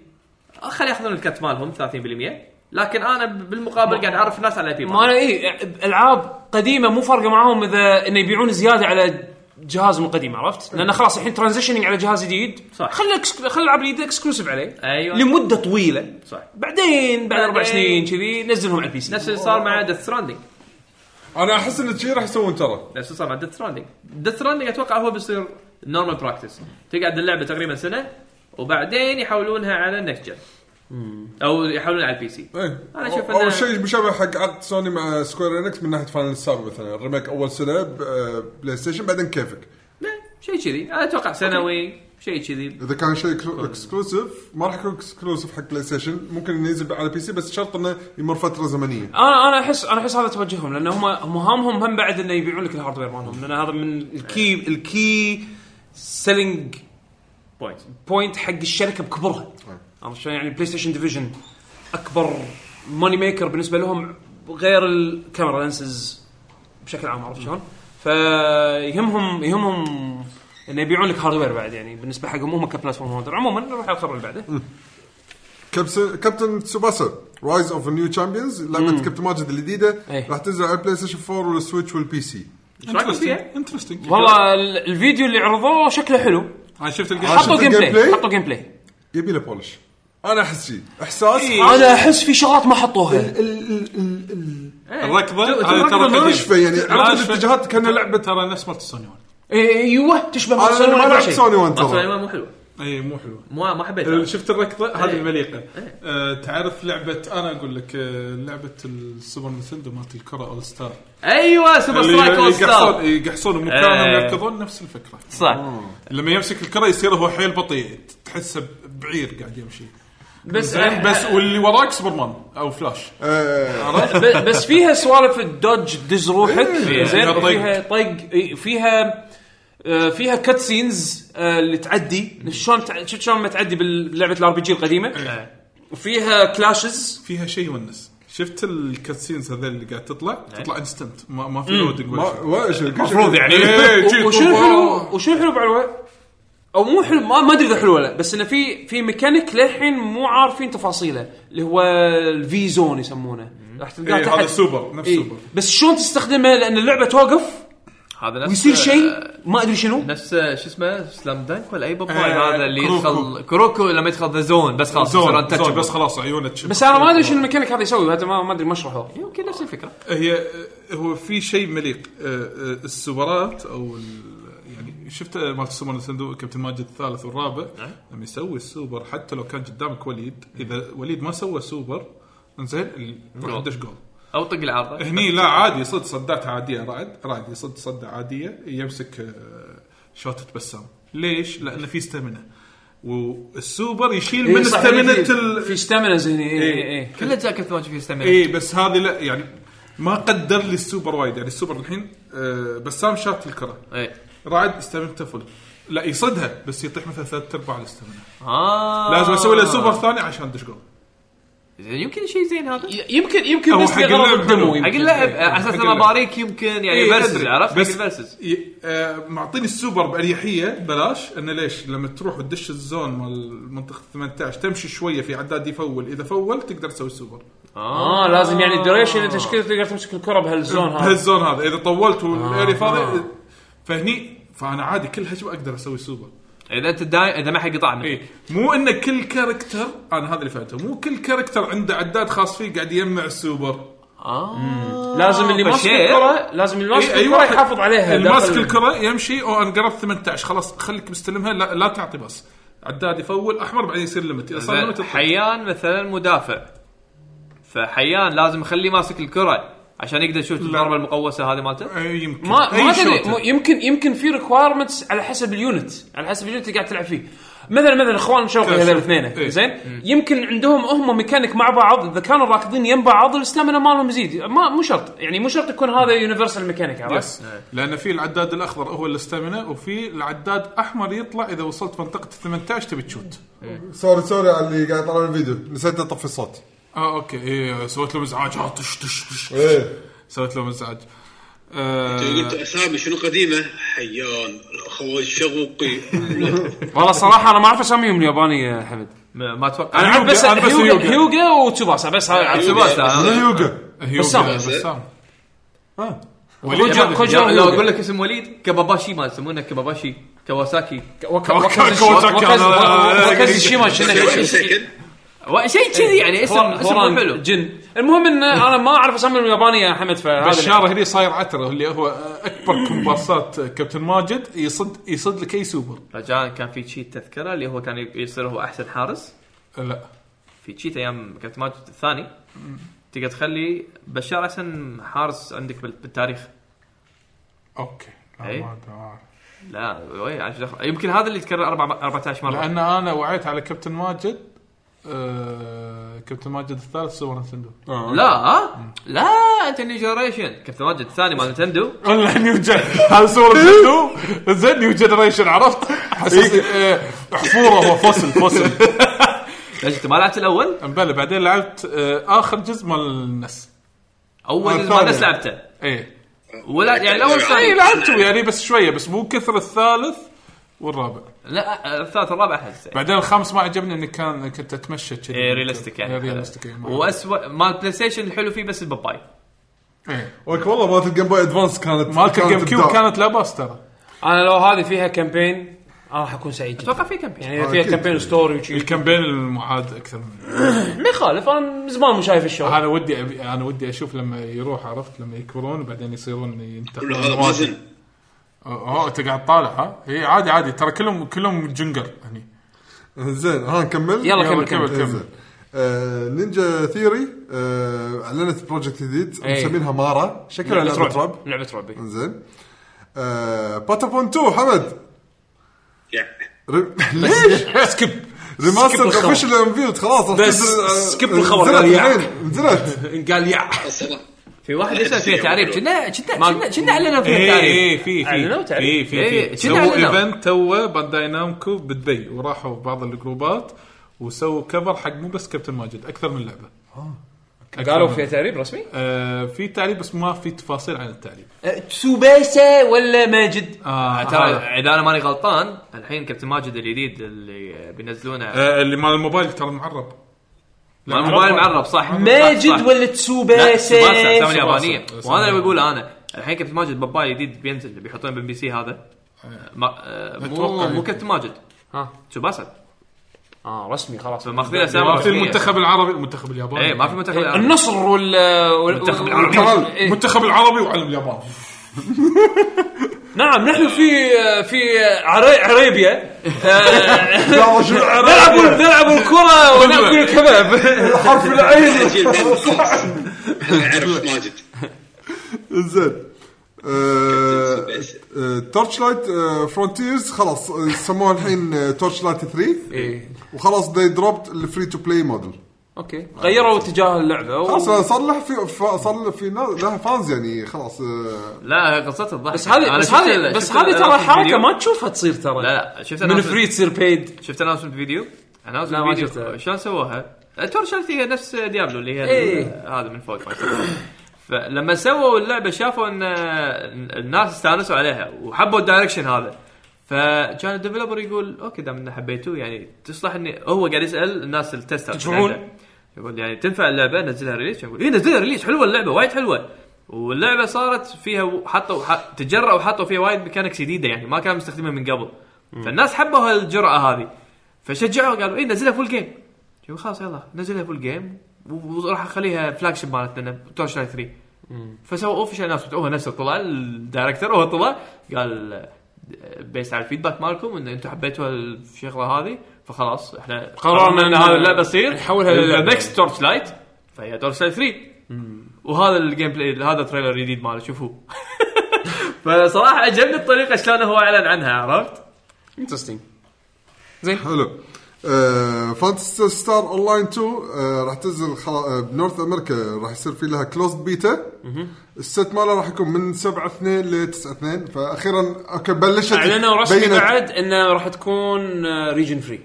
[SPEAKER 2] آه، خلي ياخذون الكت مالهم 30% لكن انا ب- بالمقابل قاعد اعرف الناس على اي
[SPEAKER 1] ما انا اي العاب قديمه مو فارقه معاهم اذا انه يبيعون زياده على جهازهم القديم عرفت؟ لان خلاص الحين ترانزيشننج على جهاز جديد
[SPEAKER 2] إيه. صح.
[SPEAKER 1] خلي الإكس- خلي الالعاب الجديده اكسكلوسيف عليه
[SPEAKER 2] أيوة.
[SPEAKER 1] لمده طويله
[SPEAKER 2] صح
[SPEAKER 1] بعدين بعد اربع
[SPEAKER 2] بعدين.
[SPEAKER 1] سنين كذي نزلهم على البي سي
[SPEAKER 2] نفس اللي صار مع ديث ستراندنج
[SPEAKER 3] انا احس ان شي راح يسوون ترى
[SPEAKER 2] نفس اللي صار مع ديث ستراندنج ديث ستراندنج اتوقع هو بيصير نورمال براكتس تقعد اللعبه تقريبا سنه وبعدين يحولونها على النكست جن او يحولونها على البي سي
[SPEAKER 3] ايه
[SPEAKER 2] أنا أشوف
[SPEAKER 3] اول
[SPEAKER 2] إنه-
[SPEAKER 3] شيء مشابه حق عقد سوني مع سكوير انكس من ناحيه فاينل السابق مثلا الريميك اول سنه ب- آه، بلاي ستيشن بعدين كيفك
[SPEAKER 2] شيء كذي انا اتوقع سنوي شيء كذي
[SPEAKER 3] اذا كان شيء إكسلو- اكسكلوسيف ما راح يكون اكسكلوسيف حق بلاي ستيشن ممكن انه ينزل على بي سي بس شرط انه يمر فتره زمنيه
[SPEAKER 1] انا انا احس انا احس هذا توجههم لان هم مهامهم هم بعد انه يبيعون لك الهاردوير مالهم لان هذا من الكي الكي سيلينج
[SPEAKER 2] بوينت
[SPEAKER 1] بوينت حق الشركه بكبرها
[SPEAKER 3] أي.
[SPEAKER 1] عرفت شلون يعني بلاي ستيشن ديفيجن اكبر ماني ميكر بالنسبه لهم غير الكاميرا لانسز بشكل عام عرفت شلون؟ فيهمهم يهمهم انه يبيعون لك هاردوير بعد يعني بالنسبه حقهم هم كبلاتفورم هولدر عموما نروح على الخبر اللي بعده
[SPEAKER 3] كابتن كابتن تسوباسا رايز اوف نيو تشامبيونز لعبه كابتن ماجد الجديده
[SPEAKER 1] أي.
[SPEAKER 3] راح تنزل على البلاي ستيشن 4 والسويتش والبي سي
[SPEAKER 2] ايش رايكم فيها؟
[SPEAKER 4] انترستنج
[SPEAKER 6] والله ال- الفيديو اللي عرضوه شكله حلو
[SPEAKER 4] انا شفت الجيم
[SPEAKER 6] حطوا جيم
[SPEAKER 3] الجيم
[SPEAKER 6] بلاي
[SPEAKER 3] بلاي؟
[SPEAKER 6] حطوا جيم بلاي
[SPEAKER 3] يبي له بولش انا احس شيء احساس
[SPEAKER 6] انا احس في شغلات ما حطوها
[SPEAKER 4] الركضه هذه
[SPEAKER 3] انا
[SPEAKER 4] ترى
[SPEAKER 3] ما
[SPEAKER 4] قديم.
[SPEAKER 3] اشفى يعني عرفت
[SPEAKER 4] أشفى.
[SPEAKER 3] الاتجاهات كان لعبه
[SPEAKER 4] ترى نفس مالت سوني 1
[SPEAKER 6] إيه،
[SPEAKER 1] أيوة،
[SPEAKER 6] ايوه تشبه ما
[SPEAKER 3] انا ما
[SPEAKER 6] تسوي
[SPEAKER 3] لعبت
[SPEAKER 6] شيء
[SPEAKER 3] سوني 1
[SPEAKER 2] اصلا
[SPEAKER 3] ترى
[SPEAKER 2] ما مو حلوه
[SPEAKER 4] اي مو حلوه
[SPEAKER 2] ما ما حبيت
[SPEAKER 4] ال- شفت الركضه هذه
[SPEAKER 2] إيه.
[SPEAKER 4] المليقه آه، تعرف لعبه انا اقول لك آه، لعبه السوبر نتندو مالت الكره اول ستار
[SPEAKER 2] ايوه سوبر
[SPEAKER 4] اللي
[SPEAKER 2] سترايك اول ستار
[SPEAKER 4] يقحصون يقحصون مكانهم
[SPEAKER 2] إيه.
[SPEAKER 4] يركضون نفس الفكره
[SPEAKER 2] صح
[SPEAKER 4] لما يمسك الكره يصير هو حيل بطيء تحسه ب- بعير قاعد يمشي
[SPEAKER 6] بس
[SPEAKER 4] زين بس واللي وراك سوبرمان او فلاش
[SPEAKER 6] ب- بس فيها سوالف الدوج دز روحك زين
[SPEAKER 4] فيها طق.
[SPEAKER 2] إيه.
[SPEAKER 6] فيها طق إي، فيها آه، فيها كات سينز
[SPEAKER 1] آه،
[SPEAKER 6] اللي تعدي شلون تع- شفت شلون ما تعدي بلعبه الار بي جي القديمه وفيها كلاشز
[SPEAKER 4] فيها شيء يونس شفت الكاتسينز هذول اللي قاعد تطلع تطلع انستنت ما, ما في لودنج
[SPEAKER 3] المفروض
[SPEAKER 4] يعني
[SPEAKER 6] وشنو حلو وشنو حلو بعلوه او مو حلو ما, ما ادري اذا حلو ولا لا، بس انه في في ميكانيك للحين مو عارفين تفاصيله اللي هو الفي زون يسمونه راح تلقاه
[SPEAKER 4] إيه،
[SPEAKER 6] تحت
[SPEAKER 4] هذا سوبر نفس
[SPEAKER 6] إيه.
[SPEAKER 4] سوبر
[SPEAKER 6] بس شلون تستخدمه لان اللعبه توقف
[SPEAKER 2] هذا نفس
[SPEAKER 4] إيه.
[SPEAKER 6] ويصير شيء ما ادري شنو
[SPEAKER 2] نفس شو اسمه سلام دانك ولا اي باباي
[SPEAKER 4] آه،
[SPEAKER 2] هذا اللي
[SPEAKER 4] كروكو.
[SPEAKER 2] يدخل كروكو لما يدخل ذا زون بس خلاص يصير
[SPEAKER 4] زون
[SPEAKER 2] untouchable.
[SPEAKER 4] زون بس خلاص عيونه تشب
[SPEAKER 6] بس انا ما ادري شنو الميكانيك هذا يسوي هذا ما ما ادري ما اشرحه
[SPEAKER 2] يمكن نفس الفكره
[SPEAKER 4] هي آه، هو في شيء مليق آه، آه، السوبرات او ال- يعني شفت آه، مالت السوبر نتندو كابتن ماجد الثالث والرابع لما يسوي السوبر حتى لو كان قدامك وليد اذا وليد ما سوى سوبر انزين ال- راح يدش جول
[SPEAKER 2] او طق العارضه
[SPEAKER 4] هني لا عادي صد صدات عاديه رعد رعد صد صده عاديه يمسك آه، شوتة بسام ليش؟ لانه في استمنه والسوبر يشيل من استمنه ال...
[SPEAKER 6] في استامنا زيني اي
[SPEAKER 4] إيه.
[SPEAKER 6] اي اي
[SPEAKER 2] كله جاكيت ماجي في استمر
[SPEAKER 4] اي بس هذه لا يعني ما قدر لي السوبر وايد يعني السوبر الحين آه، بسام شات الكره
[SPEAKER 2] إيه.
[SPEAKER 4] رعد استمنته فل لا يصدها بس يطيح مثلا ثلاث ارباع الاستمنه
[SPEAKER 2] اه
[SPEAKER 4] لازم اسوي له سوبر ثاني عشان دش جول
[SPEAKER 2] يمكن شيء زين هذا
[SPEAKER 6] يمكن يمكن
[SPEAKER 4] هو
[SPEAKER 6] بس
[SPEAKER 4] حق
[SPEAKER 6] لغرض
[SPEAKER 4] اللعب
[SPEAKER 6] الدمو
[SPEAKER 4] حلو.
[SPEAKER 2] حق
[SPEAKER 6] يمكن.
[SPEAKER 2] اللاعب على اساس
[SPEAKER 4] إيه. حق اللعب.
[SPEAKER 2] انه باريك يمكن يعني
[SPEAKER 4] إيه،
[SPEAKER 2] فيرسز
[SPEAKER 4] أدري.
[SPEAKER 2] عرفت
[SPEAKER 4] بس
[SPEAKER 2] بس فيرسز
[SPEAKER 4] ي- آه، معطيني السوبر باريحيه بلاش انه ليش؟ لما تروح وتدش الزون مال منطقه 18 تمشي شويه في عداد يفول اذا فول تقدر تسوي السوبر
[SPEAKER 6] اه لازم يعني الدوريشن تشكيل تقدر تمسك الكره بهالزون هذا
[SPEAKER 4] بهالزون هذا اذا طولت والاري فاضي فهني فانا عادي كل هجمه اقدر اسوي سوبر
[SPEAKER 2] اذا انت داي اذا ما حد قطع منك
[SPEAKER 4] اي مو ان كل كاركتر انا هذا اللي فهمته مو كل كاركتر عنده عداد خاص فيه قاعد يجمع السوبر
[SPEAKER 6] لازم اللي ماسك
[SPEAKER 2] فشيء.
[SPEAKER 6] الكره لازم اللي ماسك
[SPEAKER 4] إي، أي
[SPEAKER 6] الكره
[SPEAKER 4] واحد.
[SPEAKER 6] يحافظ عليها
[SPEAKER 4] اللي ماسك
[SPEAKER 6] داخل-
[SPEAKER 4] الكره يمشي او انا قربت 18 خلاص خليك مستلمها لا, لا تعطي بس عداد يفول احمر بعدين يصير ليمت اذا صار ليمت
[SPEAKER 2] زين، حيان مثلا مدافع فحيان لازم اخليه ماسك الكره عشان يقدر يشوف الضربه المقوسه هذه مالته
[SPEAKER 4] أي يمكن
[SPEAKER 6] ما
[SPEAKER 4] أي
[SPEAKER 6] ما ادري
[SPEAKER 4] شوتر.
[SPEAKER 6] مو- يمكن يمكن في ريكوايرمنتس على حسب اليونت على حسب اليونت اللي قاعد تلعب فيه مثلا مثلا اخوان شرقي هذول الاثنين
[SPEAKER 4] إيه.
[SPEAKER 6] زين يمكن عندهم هم ميكانيك مع بعض اذا كانوا راكضين يم بعض الاستامنا مالهم يزيد ما مو شرط يعني مو شرط يكون هذا يونيفرسال ميكانيك عرفت؟
[SPEAKER 4] بس لان في العداد الاخضر هو الاستامينا وفي العداد احمر يطلع اذا وصلت منطقه ال 18 تبي تشوت
[SPEAKER 3] سوري سوري على اللي قاعد يطلع الفيديو نسيت اطفي الصوت
[SPEAKER 4] اه اوكي إيه سويت لهم ازعاج آه، طش طش طش
[SPEAKER 3] ايه
[SPEAKER 4] سويت لهم ازعاج آه،
[SPEAKER 8] يعني قلت اسامي شنو قديمه؟ حيان الاخوه الشوقي
[SPEAKER 6] والله صراحه انا ما اعرف اساميهم الياباني يا حمد
[SPEAKER 2] ما ما اتوقع
[SPEAKER 6] انا اعرف بس
[SPEAKER 4] هيوغا- أنا إيه. بس
[SPEAKER 6] هيوغا
[SPEAKER 4] هيوغا.
[SPEAKER 6] هيوغا وتوباسا بس هاي
[SPEAKER 2] يعني.
[SPEAKER 6] أعرف.
[SPEAKER 2] سوباسا.
[SPEAKER 3] من يوجا
[SPEAKER 4] هيوغا-
[SPEAKER 6] بسام.
[SPEAKER 4] بسام
[SPEAKER 6] آه.
[SPEAKER 3] اه
[SPEAKER 4] وليد
[SPEAKER 6] كوجا-
[SPEAKER 4] هذا.
[SPEAKER 6] كوجا.
[SPEAKER 2] لو لو اقول لك اسم وليد كاباباشي ما يسمونه كاباباشي كواساكي
[SPEAKER 4] وكا-
[SPEAKER 6] وكا- وكازي-
[SPEAKER 4] كوزاكي.
[SPEAKER 6] وكازي-
[SPEAKER 4] أنا-
[SPEAKER 6] وكازي شيما
[SPEAKER 8] وين
[SPEAKER 6] شنو-
[SPEAKER 8] سكن؟
[SPEAKER 2] و- شيء كذي يعني اسم
[SPEAKER 6] هوران-
[SPEAKER 2] اسم
[SPEAKER 6] هوران
[SPEAKER 2] مو حلو
[SPEAKER 6] جن المهم ان انا ما اعرف اساميهم الياباني يا حمد فهذا
[SPEAKER 4] بشار هني صاير عتره اللي هو اكبر كومبارسات كابتن ماجد يصد يصد لك اي سوبر
[SPEAKER 2] رجاء كان في تشيت تذكره اللي هو كان ي- يصير هو احسن حارس
[SPEAKER 4] لا
[SPEAKER 2] في تشيت ايام كابتن ماجد الثاني تقدر تخلي بشار احسن حارس عندك بال- بالتاريخ
[SPEAKER 4] اوكي لا،
[SPEAKER 2] إيه.
[SPEAKER 4] ما أدري، ما أعرف.
[SPEAKER 2] لا وي- عشان- يمكن هذا اللي يتكرر أربع- 14 مره
[SPEAKER 4] لان انا وعيت على كابتن ماجد آه، كابتن ماجد الثالث سوبر نتندو
[SPEAKER 2] لا ها؟ لا انت نيو جنريشن كابتن ماجد الثاني مال نتندو
[SPEAKER 4] والله نيو جن هذا صور نتندو زين نيو جنريشن عرفت حسيت آه، حفوره هو فصل فصل
[SPEAKER 2] ليش انت ما لعبت الاول؟
[SPEAKER 4] بلى بعدين لعبت آه، اخر جزء مال النس
[SPEAKER 2] اول
[SPEAKER 3] آه،
[SPEAKER 2] جزء ما
[SPEAKER 3] الثاني.
[SPEAKER 2] بس لعبته
[SPEAKER 4] ايه
[SPEAKER 2] ولا يعني الاول
[SPEAKER 4] اي
[SPEAKER 2] الثاني
[SPEAKER 4] لعبته يعني بس شويه بس مو كثر الثالث والرابع
[SPEAKER 2] لا آه، الثالث الرابع احس
[SPEAKER 4] بعدين الخامس ما عجبني اني كان كنت اتمشى كذي
[SPEAKER 2] إيه، ريالستيك يعني
[SPEAKER 4] ريالستيك إيه، ما-
[SPEAKER 2] واسوء مال بلاي ستيشن الحلو فيه بس الباباي
[SPEAKER 3] ولك والله مالت الجيم بوي ادفانس كانت
[SPEAKER 4] إيه. مالت
[SPEAKER 3] كانت
[SPEAKER 4] الجيم كيوب
[SPEAKER 3] إبداع.
[SPEAKER 4] كانت لا باس ترى
[SPEAKER 6] انا لو هذه فيها كامبين انا راح اكون سعيد جدا
[SPEAKER 16] اتوقع في كامبين
[SPEAKER 6] يعني اذا فيها
[SPEAKER 3] أكيد.
[SPEAKER 6] كامبين ستوري وشي
[SPEAKER 4] الكامبين المعاد اكثر من
[SPEAKER 6] ما يخالف انا من زمان مو شايف الشو
[SPEAKER 4] انا ودي أبي انا ودي اشوف لما يروح عرفت لما يكبرون وبعدين يصيرون
[SPEAKER 8] كل
[SPEAKER 4] ينتقلون
[SPEAKER 8] هذا مازن
[SPEAKER 4] اه آه، انت قاعد طالع ها اي عادي عادي ترى كلهم كلهم يعني. جنقر هني
[SPEAKER 3] زين ها نكمل إيه،
[SPEAKER 6] يلا كمل،
[SPEAKER 4] كمل،
[SPEAKER 3] زين.
[SPEAKER 4] كمل.
[SPEAKER 3] آه، نينجا ثيري آه، اعلنت بروجكت جديد
[SPEAKER 6] إيه.
[SPEAKER 3] مسمينها مارا شكلها لعبه رعب
[SPEAKER 6] لعبه رعب
[SPEAKER 3] زين آه، باتابون 2 حمد
[SPEAKER 8] يعني
[SPEAKER 3] ري- ليش؟
[SPEAKER 6] سكيب
[SPEAKER 3] ريماستر
[SPEAKER 6] الخبر.
[SPEAKER 3] اوفشل انفيلد خلاص راح
[SPEAKER 6] بس
[SPEAKER 3] تنزل، آه،
[SPEAKER 6] سكيب الخبر،
[SPEAKER 3] نزلت
[SPEAKER 6] قال يا.
[SPEAKER 3] الحين، نزلت
[SPEAKER 6] قال يا
[SPEAKER 8] الصراحه
[SPEAKER 2] في واحد يسال فيها تعريف كنا كنا
[SPEAKER 6] ما-
[SPEAKER 2] كنا- كنا اعلنوا فيها
[SPEAKER 4] اي
[SPEAKER 2] تعريف
[SPEAKER 4] اي إيه، في
[SPEAKER 2] أعلنوا
[SPEAKER 4] في في
[SPEAKER 2] تعريف. إيه،
[SPEAKER 4] في في
[SPEAKER 2] كنا
[SPEAKER 4] سووا
[SPEAKER 2] أعلنوا.
[SPEAKER 4] ايفنت تو بانداي نامكو بدبي وراحوا بعض الجروبات وسووا كفر حق مو بس كابتن ماجد اكثر من لعبه
[SPEAKER 2] آه،
[SPEAKER 4] أكثر
[SPEAKER 6] قالوا
[SPEAKER 4] من-
[SPEAKER 6] فيها تعريب رسمي
[SPEAKER 4] آه في تعريب بس ما في تفاصيل عن التعريب
[SPEAKER 2] أه،
[SPEAKER 6] تسوبيسا ولا ماجد
[SPEAKER 4] آه
[SPEAKER 2] ترى
[SPEAKER 4] هذا.
[SPEAKER 2] اذا انا ماني غلطان الحين كابتن ماجد الجديد اللي بينزلونه
[SPEAKER 4] آه اللي مال الموبايل ترى معرب
[SPEAKER 2] مع الموبايل معرب صح صح،
[SPEAKER 1] طيب.
[SPEAKER 6] ماجد
[SPEAKER 2] صح.
[SPEAKER 6] ولا
[SPEAKER 2] لا، سوباسا،
[SPEAKER 6] تسوبيسا
[SPEAKER 2] سامي اليابانيه
[SPEAKER 4] سوباسا.
[SPEAKER 2] وانا اللي بقول انا الحين كابتن ماجد باباي جديد بينزل اللي بيحطونه بالبي سي هذا ما آه، مو
[SPEAKER 4] أتوقع.
[SPEAKER 2] مو كابتن ماجد
[SPEAKER 6] ها
[SPEAKER 2] تشوباسا
[SPEAKER 6] اه رسمي خلاص
[SPEAKER 2] فماخذين اسامي
[SPEAKER 4] ما في
[SPEAKER 2] رسمية.
[SPEAKER 4] المنتخب العربي المنتخب الياباني
[SPEAKER 2] ايه ما في منتخب العربي.
[SPEAKER 6] النصر ولا ولا-
[SPEAKER 2] المنتخب
[SPEAKER 6] ولا-
[SPEAKER 2] العربي.
[SPEAKER 6] ولا- إيه.
[SPEAKER 4] المنتخب العربي وعلم اليابان
[SPEAKER 6] نعم نحن في في عري- عريبيا آه،
[SPEAKER 3] لا، شو العرب؟
[SPEAKER 6] نلعب نلعب الكره وناكل الكباب
[SPEAKER 3] حرف العين
[SPEAKER 8] جيل بعد عرف ماجد
[SPEAKER 3] زين آه،
[SPEAKER 8] بس.
[SPEAKER 3] تورش لايت فرونتيرز آه، خلاص آه، سموها الحين تورش لايت
[SPEAKER 6] إيه.
[SPEAKER 3] 3 وخلاص دي دروبت الفري تو بلاي موديل
[SPEAKER 6] اوكي غيروا اتجاه اللعبه
[SPEAKER 3] خلاص
[SPEAKER 6] و...
[SPEAKER 3] آه، صار له في ف- صار له في نا- لها فانز يعني خلاص آه،
[SPEAKER 2] لا قصته الضحك
[SPEAKER 6] بس هذه
[SPEAKER 2] أنا
[SPEAKER 6] بس
[SPEAKER 2] شفت
[SPEAKER 6] هذه
[SPEAKER 2] ال-
[SPEAKER 6] بس
[SPEAKER 2] شفت
[SPEAKER 6] هذه ترى
[SPEAKER 2] الأناونسمنت
[SPEAKER 6] حركه
[SPEAKER 2] فيديو.
[SPEAKER 6] ما تشوفها تصير ترى
[SPEAKER 2] لا لا شفت
[SPEAKER 6] من
[SPEAKER 2] announcement-
[SPEAKER 6] فري تصير بيد
[SPEAKER 2] شفت اناونسمنت فيديو اناونسمنت
[SPEAKER 6] لا، ما
[SPEAKER 2] فيديو
[SPEAKER 6] شفتها.
[SPEAKER 2] شلون سووها؟ تورشلت هي نفس ديابلو اللي هي ال-
[SPEAKER 6] إيه.
[SPEAKER 2] هذا من فوق ما يسمونه. فلما سووا اللعبه شافوا ان الناس استانسوا عليها وحبوا الدايركشن هذا فكان الديفلوبر يقول اوكي دام انه حبيتوه يعني تصلح اني هو قاعد يسال الناس التستر
[SPEAKER 6] تدفعون؟
[SPEAKER 2] يقول يعني تنفع اللعبه نزلها ريليز كان يقول اي نزلها ريليز حلوه اللعبه وايد حلوه واللعبه صارت فيها و- حطوا ح- تجرأوا وحطوا فيها وايد ميكانكس جديده يعني ما كانوا مستخدمها من قبل فالناس حبوا هالجرأه هذه فشجعوا قالوا اي نزلها فول جيم يقول خلاص يلا نزلها فول جيم و- وراح اخليها فلاج شيب مالتنا تورش لايت 3 فسووا اوفشل اناونسمنت هو نفسه طلع الدايركتور هو طلع قال بيس على الفيدباك مالكم ان انتم حبيتوا الشغله هذه فخلاص احنا قررنا ان
[SPEAKER 6] إن-
[SPEAKER 2] هذه اللعبه تصير
[SPEAKER 6] نحولها للعبة.
[SPEAKER 2] نكست تورش لايت فهي تورش لايت 3 وهذا الجيم بلاي هذا التريلر الجديد ماله شوفوه فصراحه عجبني الطريقه شلون هو اعلن عنها عرفت؟
[SPEAKER 6] انترستنج
[SPEAKER 3] حلو آه، فانتسي ستار اون لاين 2 آه، راح تنزل خلا- آه، بنورث امريكا راح يصير في لها كلوزد بيتا الست ماله راح يكون من 7 2 ل 9 2 فاخيرا اوكي بلشت
[SPEAKER 6] اعلنوا آه، رسمي
[SPEAKER 3] بينت-
[SPEAKER 6] بعد انه راح تكون آه، ريجن فري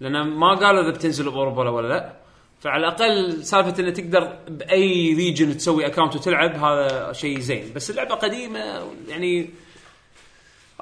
[SPEAKER 6] لان ما قالوا اذا بتنزل باوروبا ولا- ولا لا فعلى الاقل سالفه انه تقدر باي ريجن تسوي اكونت وتلعب هذا شيء زين بس اللعبه قديمه يعني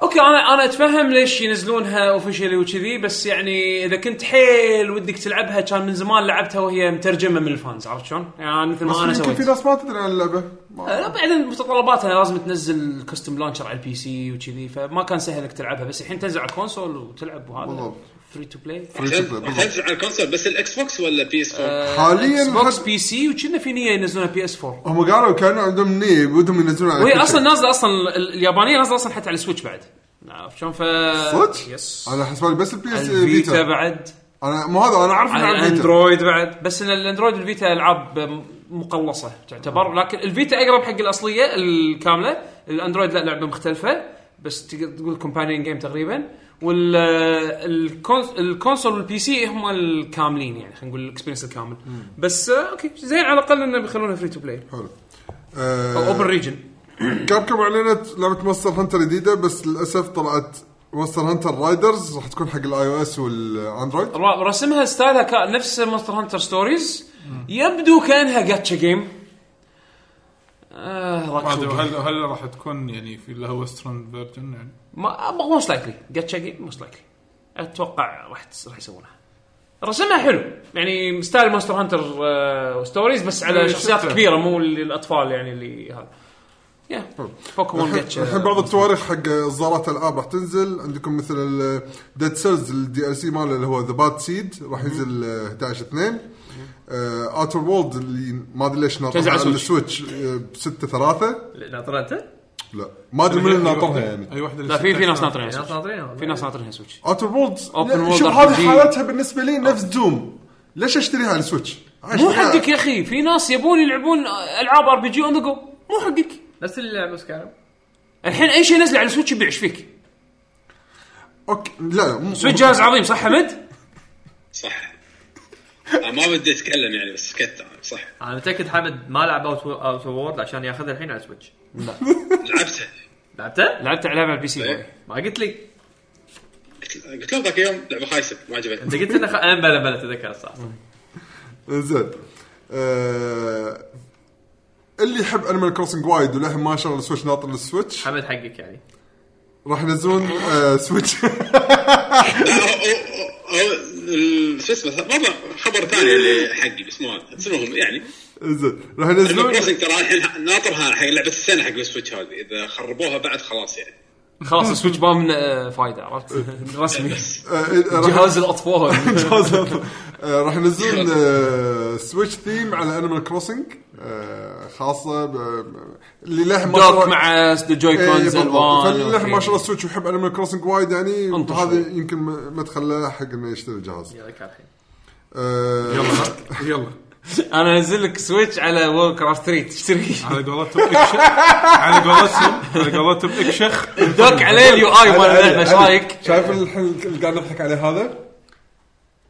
[SPEAKER 6] اوكي انا انا اتفهم ليش ينزلونها اوفشلي وكذي بس يعني اذا كنت حيل ودك تلعبها كان من زمان لعبتها وهي مترجمه من الفانز عرفت شلون؟ يعني مثل
[SPEAKER 3] بس
[SPEAKER 6] ما انا
[SPEAKER 3] يمكن
[SPEAKER 6] سويت
[SPEAKER 3] في ناس ما تدري عن اللعبه ما-
[SPEAKER 6] آه، لا بعدين متطلباتها لازم تنزل كاستم لانشر على البي سي وكذي فما كان سهل انك تلعبها بس الحين تنزل على الكونسول وتلعب وهذا
[SPEAKER 3] بالضبط.
[SPEAKER 6] فري تو بلاي
[SPEAKER 8] تنزل على الكونسول بس الاكس بوكس ولا بي اس
[SPEAKER 3] آه.
[SPEAKER 8] 4
[SPEAKER 3] حاليا
[SPEAKER 6] بوكس
[SPEAKER 3] حد-
[SPEAKER 6] بي سي وكنا في نيه ينزلونها بي اس 4
[SPEAKER 3] هم قالوا كانوا عندهم نيه بدهم ينزلون على
[SPEAKER 6] وهي
[SPEAKER 3] كل شيء.
[SPEAKER 6] اصلا نازله اصلا ال- اليابانيه نازله اصلا حتى على السويتش بعد عرفت شلون ف
[SPEAKER 3] صدق؟
[SPEAKER 6] يس
[SPEAKER 3] انا حسبالي بس البي اس
[SPEAKER 6] الفيتا
[SPEAKER 3] فيتا
[SPEAKER 6] بعد
[SPEAKER 3] انا مو هذا انا اعرف إنه
[SPEAKER 6] على
[SPEAKER 3] على الفيتا
[SPEAKER 6] الاندرويد بعد بس ان الاندرويد والفيتا العاب مقلصه تعتبر لكن الفيتا اقرب حق الاصليه الكامله الاندرويد لا لعبه مختلفه بس تقدر تقول كومبانيون جيم تقريبا والكونسول والبي سي هم الكاملين يعني خلينا نقول الاكسبيرينس الكامل بس آه، اوكي زين على الاقل انه بيخلونها فري تو بلاي
[SPEAKER 3] حلو
[SPEAKER 6] او اوبن
[SPEAKER 3] آه
[SPEAKER 6] ريجن
[SPEAKER 3] كابكم اعلنت لعبه مونستر هانتر جديده بس للاسف طلعت مونستر هانتر رايدرز راح تكون حق الاي او اس والاندرويد
[SPEAKER 6] را- رسمها ستايلها كا- نفس مونستر هانتر ستوريز يبدو كانها جاتشا جيم آه
[SPEAKER 4] ما أدري،
[SPEAKER 6] راكو
[SPEAKER 4] هل هل راح تكون يعني في اللي هو ويسترن فيرجن يعني
[SPEAKER 6] ما موست لايكلي جاتشا جيم موست لايكلي اتوقع راح تس- راح يسوونها
[SPEAKER 1] رسمها حلو يعني ستايل ماستر هانتر آه، ستوريز بس على
[SPEAKER 4] إيه،
[SPEAKER 1] شخصيات
[SPEAKER 4] شفته.
[SPEAKER 1] كبيره مو اللي- الاطفال يعني اللي هذا يا بوكيمون جيتش
[SPEAKER 3] الحين بعض التواريخ حق اصدارات العاب راح تنزل عندكم مثل ديد سيلز الدي ال سي ماله اللي هو ذا باد سيد راح ينزل آه، 11 2 اوتر وولد آه، اللي ما ادري ليش
[SPEAKER 1] تنزل
[SPEAKER 3] ناطرها
[SPEAKER 1] على
[SPEAKER 3] على السويتش آه، ب 6 3
[SPEAKER 2] ناطرته؟
[SPEAKER 3] لا ما ادري من اللي ناطرها يعني
[SPEAKER 4] اي واحده
[SPEAKER 1] لا في في ناس
[SPEAKER 2] في
[SPEAKER 1] ناطرينها
[SPEAKER 2] ناس
[SPEAKER 1] سويتش
[SPEAKER 2] ناطرينها والله.
[SPEAKER 1] في ناس ناطرينها سويتش
[SPEAKER 3] اوتر وولد
[SPEAKER 1] Outer Worlds
[SPEAKER 3] شوف
[SPEAKER 1] RPG.
[SPEAKER 3] هذه حالتها بالنسبه لي نفس دوم ليش اشتريها على السويتش؟
[SPEAKER 1] مو حقك يا اخي في ناس يبون يلعبون آه، العاب ار بي جي اون ذا جو مو حقك
[SPEAKER 2] نفس اللي لعبوا سكارم
[SPEAKER 1] الحين اي شيء نزل على السويتش يبيع ايش فيك؟
[SPEAKER 3] اوكي لا لا مو-
[SPEAKER 1] سويتش جهاز عظيم صح حمد؟
[SPEAKER 8] صح آه، ما بدي اتكلم يعني بس سكت أنا، صح
[SPEAKER 2] انا متاكد حمد ما لعب اوت اوت وورد عشان ياخذها الحين على سويتش
[SPEAKER 8] لعبته
[SPEAKER 2] لعبته؟
[SPEAKER 1] لعبت العاب على البي سي
[SPEAKER 8] إيه.
[SPEAKER 2] ما قلت لي
[SPEAKER 8] قلت- قلت له ذاك يوم لعبه خايسه ما عجبتني
[SPEAKER 2] انت قلت لنا خ... أنا بلا بلا تذكر صح
[SPEAKER 3] زين آه... اللي يحب انيمال كروسنج وايد وللحين ما شرى السويتش ناطر السويتش
[SPEAKER 2] حمد حقك يعني
[SPEAKER 3] راح ينزلون آه سويتش
[SPEAKER 8] أو- أو- أو- ال- شو اسمه والله خبر ثاني اللي حقي بس مو هذا بس المهم يعني
[SPEAKER 3] زين راح
[SPEAKER 8] أنيمال
[SPEAKER 3] ينزلون آه،
[SPEAKER 8] كروسنج ترى الحين ناطرها حق لعبه السنه حق السويتش هذه اذا خربوها بعد خلاص يعني
[SPEAKER 1] خلاص السويتش بام من آه، فايده عرفت؟ رسمي
[SPEAKER 3] آه، راح-
[SPEAKER 17] جهاز الاطفال
[SPEAKER 3] جهاز ناطر. آه، راح ينزلون آه سويتش ثيم على انيمال كروسنج آه خاصه ب... اللي للحين ما
[SPEAKER 1] دوك
[SPEAKER 3] شرى
[SPEAKER 1] مع الجوي
[SPEAKER 3] إيه،
[SPEAKER 1] كونز
[SPEAKER 3] فاللي للحين ما
[SPEAKER 1] الوان
[SPEAKER 3] شرى السويتش ويحب انيمال كروسنج وايد يعني
[SPEAKER 1] انطر
[SPEAKER 3] هذا يمكن ما ما تخلاه حق انه يشتري الجهاز
[SPEAKER 2] يلا كان الحين
[SPEAKER 3] آه
[SPEAKER 4] يلا يلا
[SPEAKER 6] انا انزل لك سويتش على وور كرافت 3 تشتري
[SPEAKER 4] على قولتهم اكشخ على قولتهم على قولتهم اكشخ
[SPEAKER 6] دوك عليه اليو اي مال
[SPEAKER 3] علي-
[SPEAKER 6] اللعبه ايش
[SPEAKER 3] علي.
[SPEAKER 6] رايك؟
[SPEAKER 3] شايف الحين اللي قاعد نضحك عليه هذا؟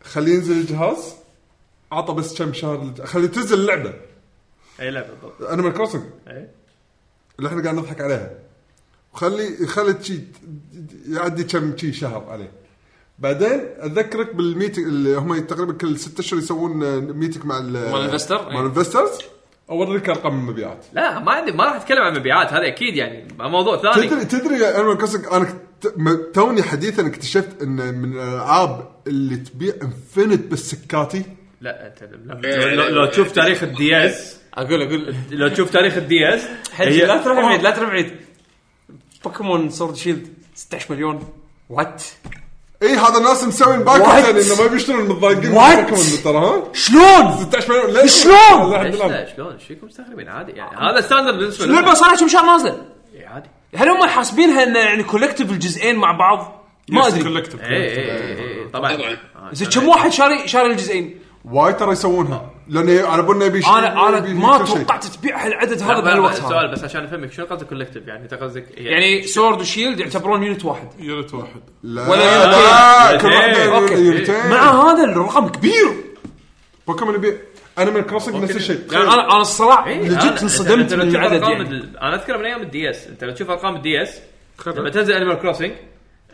[SPEAKER 3] خليه ينزل الجهاز عطى بس كم شهر للج- خليه تنزل اللعبه
[SPEAKER 2] اي لعبه بالضبط
[SPEAKER 3] انيمال كروسنج
[SPEAKER 2] إيه.
[SPEAKER 3] اللي احنا قاعد نضحك عليها وخلي خلي شي يعدي كم شي شهر عليه بعدين اذكرك بالميتنج اللي هم تقريبا كل ست اشهر يسوون ميتنج مع ال-
[SPEAKER 1] مال الانفستر؟
[SPEAKER 3] مال الانفسترز اوريك ارقام المبيعات
[SPEAKER 2] لا ما عندي ما راح اتكلم عن مبيعات هذا اكيد يعني موضوع ثاني
[SPEAKER 3] تدري تدري يا انيمال كروسنج انا كت- م- توني حديثا اكتشفت ان من الالعاب اللي تبيع انفنت بالسكاتي
[SPEAKER 2] لا انت لا- لو, لو, لو تشوف تاريخ الدي اس
[SPEAKER 6] اقول اقول
[SPEAKER 2] لو تشوف تاريخ الدي اس
[SPEAKER 6] هي لا تروح بعيد لا تروح بعيد بوكيمون سورد شيلد 16 مليون وات
[SPEAKER 3] اي هذا الناس مسوين باك
[SPEAKER 6] What?
[SPEAKER 3] يعني انه ما بيشترون متضايقين من
[SPEAKER 6] What?
[SPEAKER 3] بوكيمون ترى ها
[SPEAKER 6] شلون؟
[SPEAKER 3] 16 مليون ليش
[SPEAKER 6] شلون؟
[SPEAKER 3] والله الحمد
[SPEAKER 2] ليش
[SPEAKER 3] لله.
[SPEAKER 2] لا شلون ايش فيكم مستغربين عادي يعني
[SPEAKER 6] آه.
[SPEAKER 2] هذا ستاندرد بالنسبه لنا
[SPEAKER 6] اللعبه صار لها كم شهر نازله
[SPEAKER 2] إيه، عادي
[SPEAKER 6] هل هم حاسبينها انه يعني كولكتيف الجزئين مع بعض؟ ما ادري
[SPEAKER 4] كولكتف
[SPEAKER 2] اي اي اي طبعا
[SPEAKER 8] طبعا
[SPEAKER 6] زين كم واحد شاري شاري الجزئين؟
[SPEAKER 3] وايد ترى يسوونها لان على بالنا يبي يشتري-
[SPEAKER 6] انا انا
[SPEAKER 3] يبي
[SPEAKER 6] ما
[SPEAKER 3] يشتري شيء.
[SPEAKER 6] توقعت تبيع هالعدد
[SPEAKER 2] هذا
[SPEAKER 6] هذا بهالوقت
[SPEAKER 2] سؤال
[SPEAKER 6] هذا
[SPEAKER 2] بس عشان افهمك شنو قصدك كولكتيف يعني انت قصدك
[SPEAKER 6] يعني سورد وشيلد يعتبرون يونت واحد
[SPEAKER 4] يونت واحد
[SPEAKER 3] لا
[SPEAKER 6] ولا
[SPEAKER 3] لا،
[SPEAKER 6] يونتين.
[SPEAKER 3] لا، كل واحد
[SPEAKER 2] إيه،
[SPEAKER 6] أوكي.
[SPEAKER 3] يونتين.
[SPEAKER 6] مع هذا الرقم كبير
[SPEAKER 3] بوكيمون يبيع انيمال كروسنج نفس الشيء
[SPEAKER 6] يعني انا انا الصراحه
[SPEAKER 2] إيه، أنا-
[SPEAKER 6] لجيت
[SPEAKER 2] أنت- أنت
[SPEAKER 6] انصدمت
[SPEAKER 2] لو
[SPEAKER 6] من
[SPEAKER 2] تشوف
[SPEAKER 6] العدد
[SPEAKER 2] أرقام
[SPEAKER 6] يعني
[SPEAKER 2] ال- انا اذكر من ايام الدي اس انت لو تشوف ارقام الدي اس لما تنزل انيمال كروسنج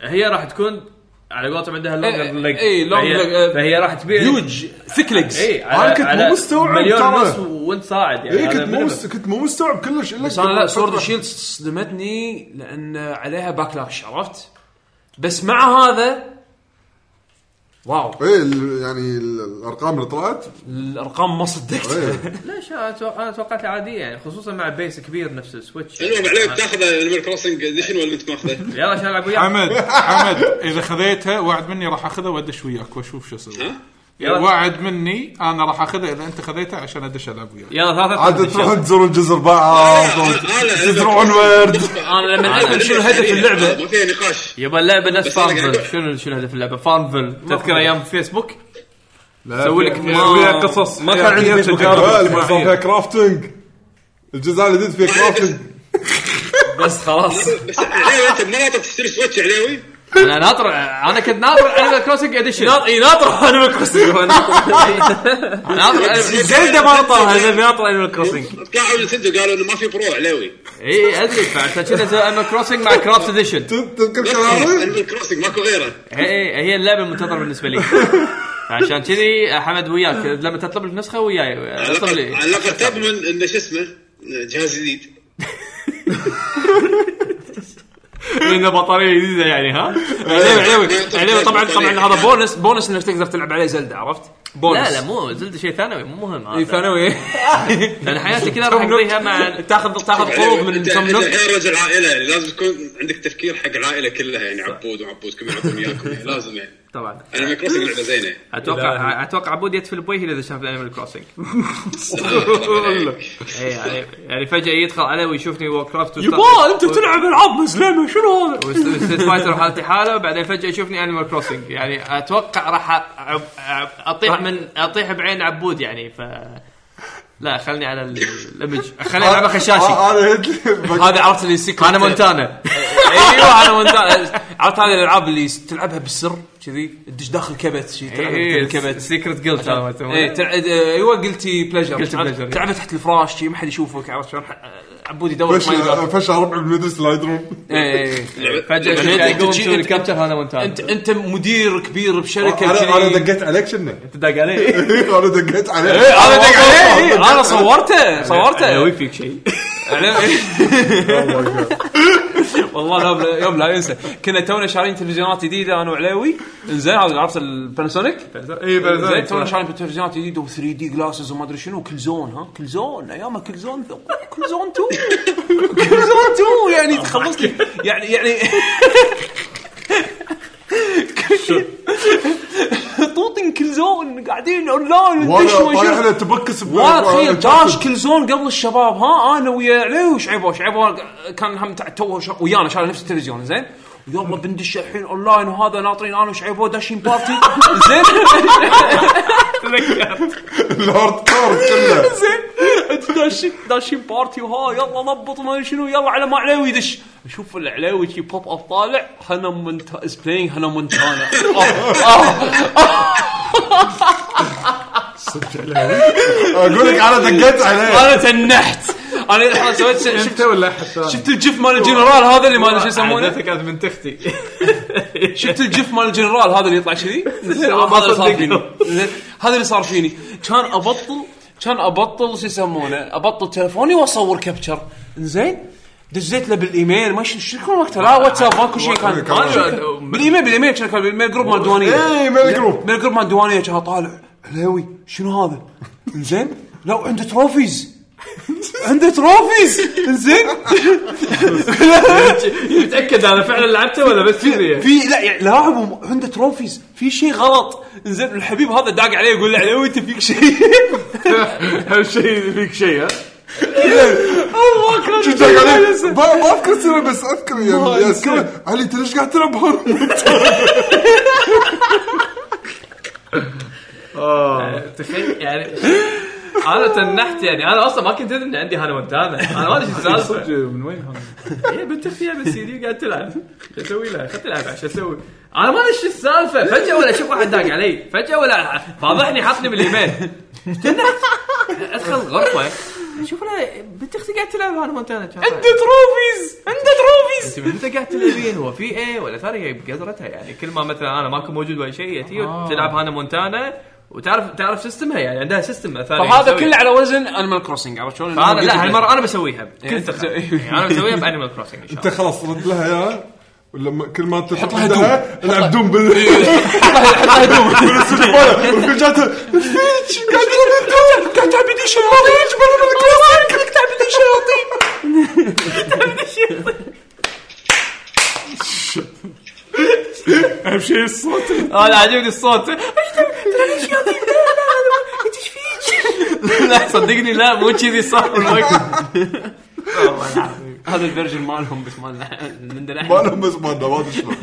[SPEAKER 2] هي راح تكون على قولتهم عندها
[SPEAKER 6] إيه،
[SPEAKER 2] لونج ليج
[SPEAKER 6] إيه، long leg،
[SPEAKER 2] فهي,
[SPEAKER 6] آه،
[SPEAKER 2] فهي راح تبيع
[SPEAKER 6] هيوج ثيك ليجز
[SPEAKER 2] اي على
[SPEAKER 3] أنا كنت مو
[SPEAKER 2] على
[SPEAKER 3] مستوعب
[SPEAKER 2] مليون
[SPEAKER 3] ترى.
[SPEAKER 2] ونص وانت صاعد يعني
[SPEAKER 6] إيه،
[SPEAKER 3] اي
[SPEAKER 2] هذا
[SPEAKER 3] إيه، كنت مو
[SPEAKER 2] minimum.
[SPEAKER 3] مس- كنت مو مستوعب كلش الا
[SPEAKER 6] بس انا لا سورد وشيلد صدمتني لان عليها باكلاش عرفت؟ بس مع هذا واو
[SPEAKER 3] اي يعني ال- الارقام اللي طلعت
[SPEAKER 6] الارقام ما صدقت
[SPEAKER 3] إيه.
[SPEAKER 2] ليش انا أتوقع- أنا توقعتها عاديه يعني خصوصا مع بيس كبير نفس السويتش آه.
[SPEAKER 8] المهم عليك تاخذ انيمال كروسنج اديشن ولا انت ماخذه؟
[SPEAKER 2] يلا عشان العب وياك
[SPEAKER 4] حمد حمد اذا خذيتها وعد مني راح اخذها وادش وياك واشوف شو
[SPEAKER 6] إيه؟
[SPEAKER 4] اسوي
[SPEAKER 8] ها؟
[SPEAKER 4] وعد مني انا راح اخذها اذا انت خذيتها عشان ادش العب وياك
[SPEAKER 2] يلا ثلاثة
[SPEAKER 3] عاد تروحون تزورون جزر بعض تزرعون ورد
[SPEAKER 6] انا لما افهم آه، شنو هدف اللعبه
[SPEAKER 8] يعني آه، ما فيها نقاش
[SPEAKER 2] يبا اللعبه نفس
[SPEAKER 8] بس أنا قاعد
[SPEAKER 2] فارمفل
[SPEAKER 8] أقول.
[SPEAKER 2] شنو شنو هدف اللعبه فارمفل تذكر ايام فيسبوك
[SPEAKER 4] سوي لك
[SPEAKER 6] ما-
[SPEAKER 4] فيها قصص
[SPEAKER 6] ما
[SPEAKER 4] فيها-
[SPEAKER 6] كان عندي
[SPEAKER 4] فيها
[SPEAKER 6] فيسبوك.
[SPEAKER 4] تجارب
[SPEAKER 3] اللي صار فيها
[SPEAKER 4] اجتماعية.
[SPEAKER 3] كرافتنج الجزء الجديد فيه كرافتنج
[SPEAKER 6] بس خلاص
[SPEAKER 8] بس يعني عليوي انت بمناطق تشتري سويتش عليوي
[SPEAKER 2] انا ناطر انا كنت ناطر انيمال كروسنج اديشن
[SPEAKER 6] ناط- إي، ناطر انيمال كروسنج
[SPEAKER 2] ناطر
[SPEAKER 6] زلدة ما نطرها زين ناطر انيمال كروسنج
[SPEAKER 8] طلعوا نتندو قالوا انه ما في برو عليوي
[SPEAKER 2] اي ادري فعشان كذا سوى انيمال كروسنج مع كرافت اديشن
[SPEAKER 3] تذكر
[SPEAKER 8] بس
[SPEAKER 3] كلامي؟
[SPEAKER 8] انيمال كروسنج ماكو غيره
[SPEAKER 6] آه،
[SPEAKER 2] هي هي اللعبه المنتظره بالنسبه لي عشان كذي حمد وياك لما تطلب لك نسخه وياي
[SPEAKER 8] على
[SPEAKER 2] اطلب
[SPEAKER 8] الأقل-
[SPEAKER 2] لي
[SPEAKER 8] على الاقل تضمن انه شو اسمه جهاز جديد
[SPEAKER 6] لان بطاريه جديده يعني ها عليوي عليوي عليوي طبعا طبعا هذا بونس بونس انك تقدر تلعب عليه زلده عرفت؟ بونس
[SPEAKER 2] لا لا مو زلده شيء ثانوي مو مهم
[SPEAKER 6] اي
[SPEAKER 2] هذا
[SPEAKER 6] إيه، ثانوي
[SPEAKER 2] لان حياتي كلها راح اقضيها مع
[SPEAKER 6] تاخذ تاخذ قروض من
[SPEAKER 8] انت
[SPEAKER 6] سم
[SPEAKER 8] انت
[SPEAKER 6] نوك
[SPEAKER 8] الحين رجل عائله يعني لازم تكون عندك تفكير حق العائله كلها يعني عبود وعبودكم يلعبون وياكم يعني لازم يعني
[SPEAKER 2] طبعا
[SPEAKER 8] انا مايكروسوفت لعبه زينه
[SPEAKER 2] اتوقع اتوقع عبود يتفل بوجهي اذا شاف انيمال كروسنج يعني يعني فجاه يدخل علي ويشوفني وور كرافت
[SPEAKER 6] يبا انت تلعب العاب مسلمه شنو هذا؟
[SPEAKER 2] وستريت فايتر وحالتي حاله بعدين فجاه يشوفني انيمال كروسنج يعني اتوقع راح أ- أ- أ- اطيح من اطيح بعين عبود يعني ف لا خلني على ال- الايمج خليني العبها خشاشي
[SPEAKER 3] انا هيت لي-
[SPEAKER 6] هذا عرفت اللي سيكرت
[SPEAKER 2] انا مونتانا
[SPEAKER 6] ايوه انا مونتانا عرفت هذه الالعاب اللي تلعبها بالسر كذي تدش داخل كبت شي تلعبها
[SPEAKER 2] إيه،
[SPEAKER 6] داخل الكبت
[SPEAKER 2] سيكرت جلت
[SPEAKER 6] ايه تلع- آه، ايوه قلتي بليجر
[SPEAKER 2] Guilty
[SPEAKER 6] عرفت؟
[SPEAKER 2] pleasure. إيه.
[SPEAKER 6] تلعبها تحت الفراش شي ما حد يشوفك عرفت شلون ح- آه، عبود يدور ما
[SPEAKER 3] فشل
[SPEAKER 6] يلقاك.
[SPEAKER 3] فشل ربع بالمدرسه لا يدرون
[SPEAKER 6] إيه، إيه، إيه.
[SPEAKER 2] فجاه
[SPEAKER 6] يعني
[SPEAKER 2] شفت
[SPEAKER 6] أنت
[SPEAKER 2] يقوم
[SPEAKER 6] تجي-
[SPEAKER 2] يسوي لي
[SPEAKER 6] أنت-
[SPEAKER 2] كابتشر هذا مونتانا
[SPEAKER 6] انت انت مدير كبير بشركه
[SPEAKER 3] انا انا
[SPEAKER 6] كذي.
[SPEAKER 3] دقيت عليك شنو
[SPEAKER 2] تدق علي
[SPEAKER 3] انا إيه، دقيت عليك
[SPEAKER 6] انا دق عليه انا إيه، صورته صورته يعني
[SPEAKER 2] اسوي فيك شيء
[SPEAKER 6] والله يوم لا يوم لا ينسى كنا تونا شارين تلفزيونات جديده انا وعليوي زين هذا عرفت الباناسونيك
[SPEAKER 7] اي
[SPEAKER 6] زين
[SPEAKER 7] بعد
[SPEAKER 6] تونا شارين تلفزيونات جديده و3 دي جلاسز وما ادري شنو كل زون ها كل زون ايامها كل زون كل زون 2 كل زون 2 يعني تخلص لي يعني يعني طوطن كل زون قاعدين اونلاين
[SPEAKER 3] وانا
[SPEAKER 6] ندش
[SPEAKER 3] طايح
[SPEAKER 6] ونشوف.
[SPEAKER 3] له تبكس
[SPEAKER 6] والله آه، تخيل داش كل زون قبل الشباب ها انا ويا علي وشعيبه شعيبه كان هم تع- تو شا- ويانا شال نفس التلفزيون زين يلا بندش الحين اونلاين وهذا ناطرين انا وشعيبه داشين بارتي زين
[SPEAKER 3] الهارد كور كله
[SPEAKER 6] زين داشين داشين بارتي وها يلا نبط ما أدري شنو يلا على ما عليوي يدش اشوف العليوي شي بوب اب طالع هنا مونتا از بلاينج هنا مونتانا
[SPEAKER 3] اقول لك انا دقيت عليه
[SPEAKER 6] انا تنحت انا الحين سويت شفت
[SPEAKER 7] انت ولا احد ثاني؟
[SPEAKER 6] شفت الجف مال الجنرال هذا اللي ما ادري شو يسمونه
[SPEAKER 7] عادتك كانت من تختي
[SPEAKER 6] شفت الجف مال الجنرال هذا اللي يطلع كذي هذا اللي صار فيني زين، هذا اللي صار فيني كان ابطل كان ابطل شو يسمونه ابطل تلفوني واصور كابتشر زين دزيت له بالايميل ما شو شو كان وقتها لا واتساب ماكو شيء كان بالايميل بالايميل كان كان بالايميل جروب مال ديوانيه
[SPEAKER 3] اي مال جروب
[SPEAKER 6] من القرب مال الديوانيه كان طالع عليوي شنو هذا؟ زين لا عنده تروفيز عنده تروفيز زين
[SPEAKER 2] متاكد انا فعلا لعبته ولا بس كذي
[SPEAKER 6] في لا يعني لاعب وم- عنده تروفيز في شيء غلط زين الحبيب هذا داق عليه يقول له عليوي انت فيك شيء
[SPEAKER 7] هالشيء فيك شيء ها؟
[SPEAKER 6] الله كان
[SPEAKER 3] دق عليك. ما ما اذكر السنه بس اذكر يعني اذكر علي انت ليش قاعد تلعب هارد
[SPEAKER 2] تخيل يعني انا تنحت يعني انا اصلا ما كنت ادري ان عندي هانا مونتانا انا ما ادري شو السالفه
[SPEAKER 7] صدق من وين هذا؟
[SPEAKER 2] هي إيه، بنت اختي بس دي قاعد تلعب شو اسوي لها؟ خلت تلعب عشان اسوي انا ما ادري شو السالفه فجاه ولا اشوف واحد داق علي فجاه ولا فاضحني حطني بالايميل ادخل غرفه شوف انا بنت اختي قاعد تلعب هانا مونتانا عنده
[SPEAKER 6] تروفيز عنده تروفيز
[SPEAKER 2] انت قاعد تلعبين هو في ايه ولا ثاني هي بقدرتها يعني كل ما مثلا انا ما اكون موجود ولا شيء هي تلعب هانا مونتانا وتعرف تعرف سيستمها يعني عندها سيستم ثاني
[SPEAKER 6] فهذا
[SPEAKER 2] تسويه.
[SPEAKER 6] كله على وزن انيمال كروسنج عرفت شلون؟
[SPEAKER 2] فانا لا هالمره انا بسويها بكل
[SPEAKER 6] أنت
[SPEAKER 2] ثقه
[SPEAKER 6] بتسوي-
[SPEAKER 2] يعني انا بسويها بانيمال كروسنج ان شاء
[SPEAKER 3] انت
[SPEAKER 2] الله
[SPEAKER 3] خلاص رد لها يا ولما كل ما انت حط
[SPEAKER 6] لها
[SPEAKER 3] العب دوم بال
[SPEAKER 6] حط لها دوم
[SPEAKER 3] بالسويتش ماله. وفي جاته فيش قاعد تلعب دوم قاعد تلعب اديشن لطيف
[SPEAKER 6] قلت تعب لي شرطي
[SPEAKER 7] اهم شيء الصوت
[SPEAKER 2] انا عاجبني آه، الصوت لا صدقني لا مو كذي صار المايكرو
[SPEAKER 6] هذا الفيرجن مالهم بس مالنا عندنا
[SPEAKER 3] ما
[SPEAKER 6] احنا
[SPEAKER 3] لهم بس ما ما ادري شلون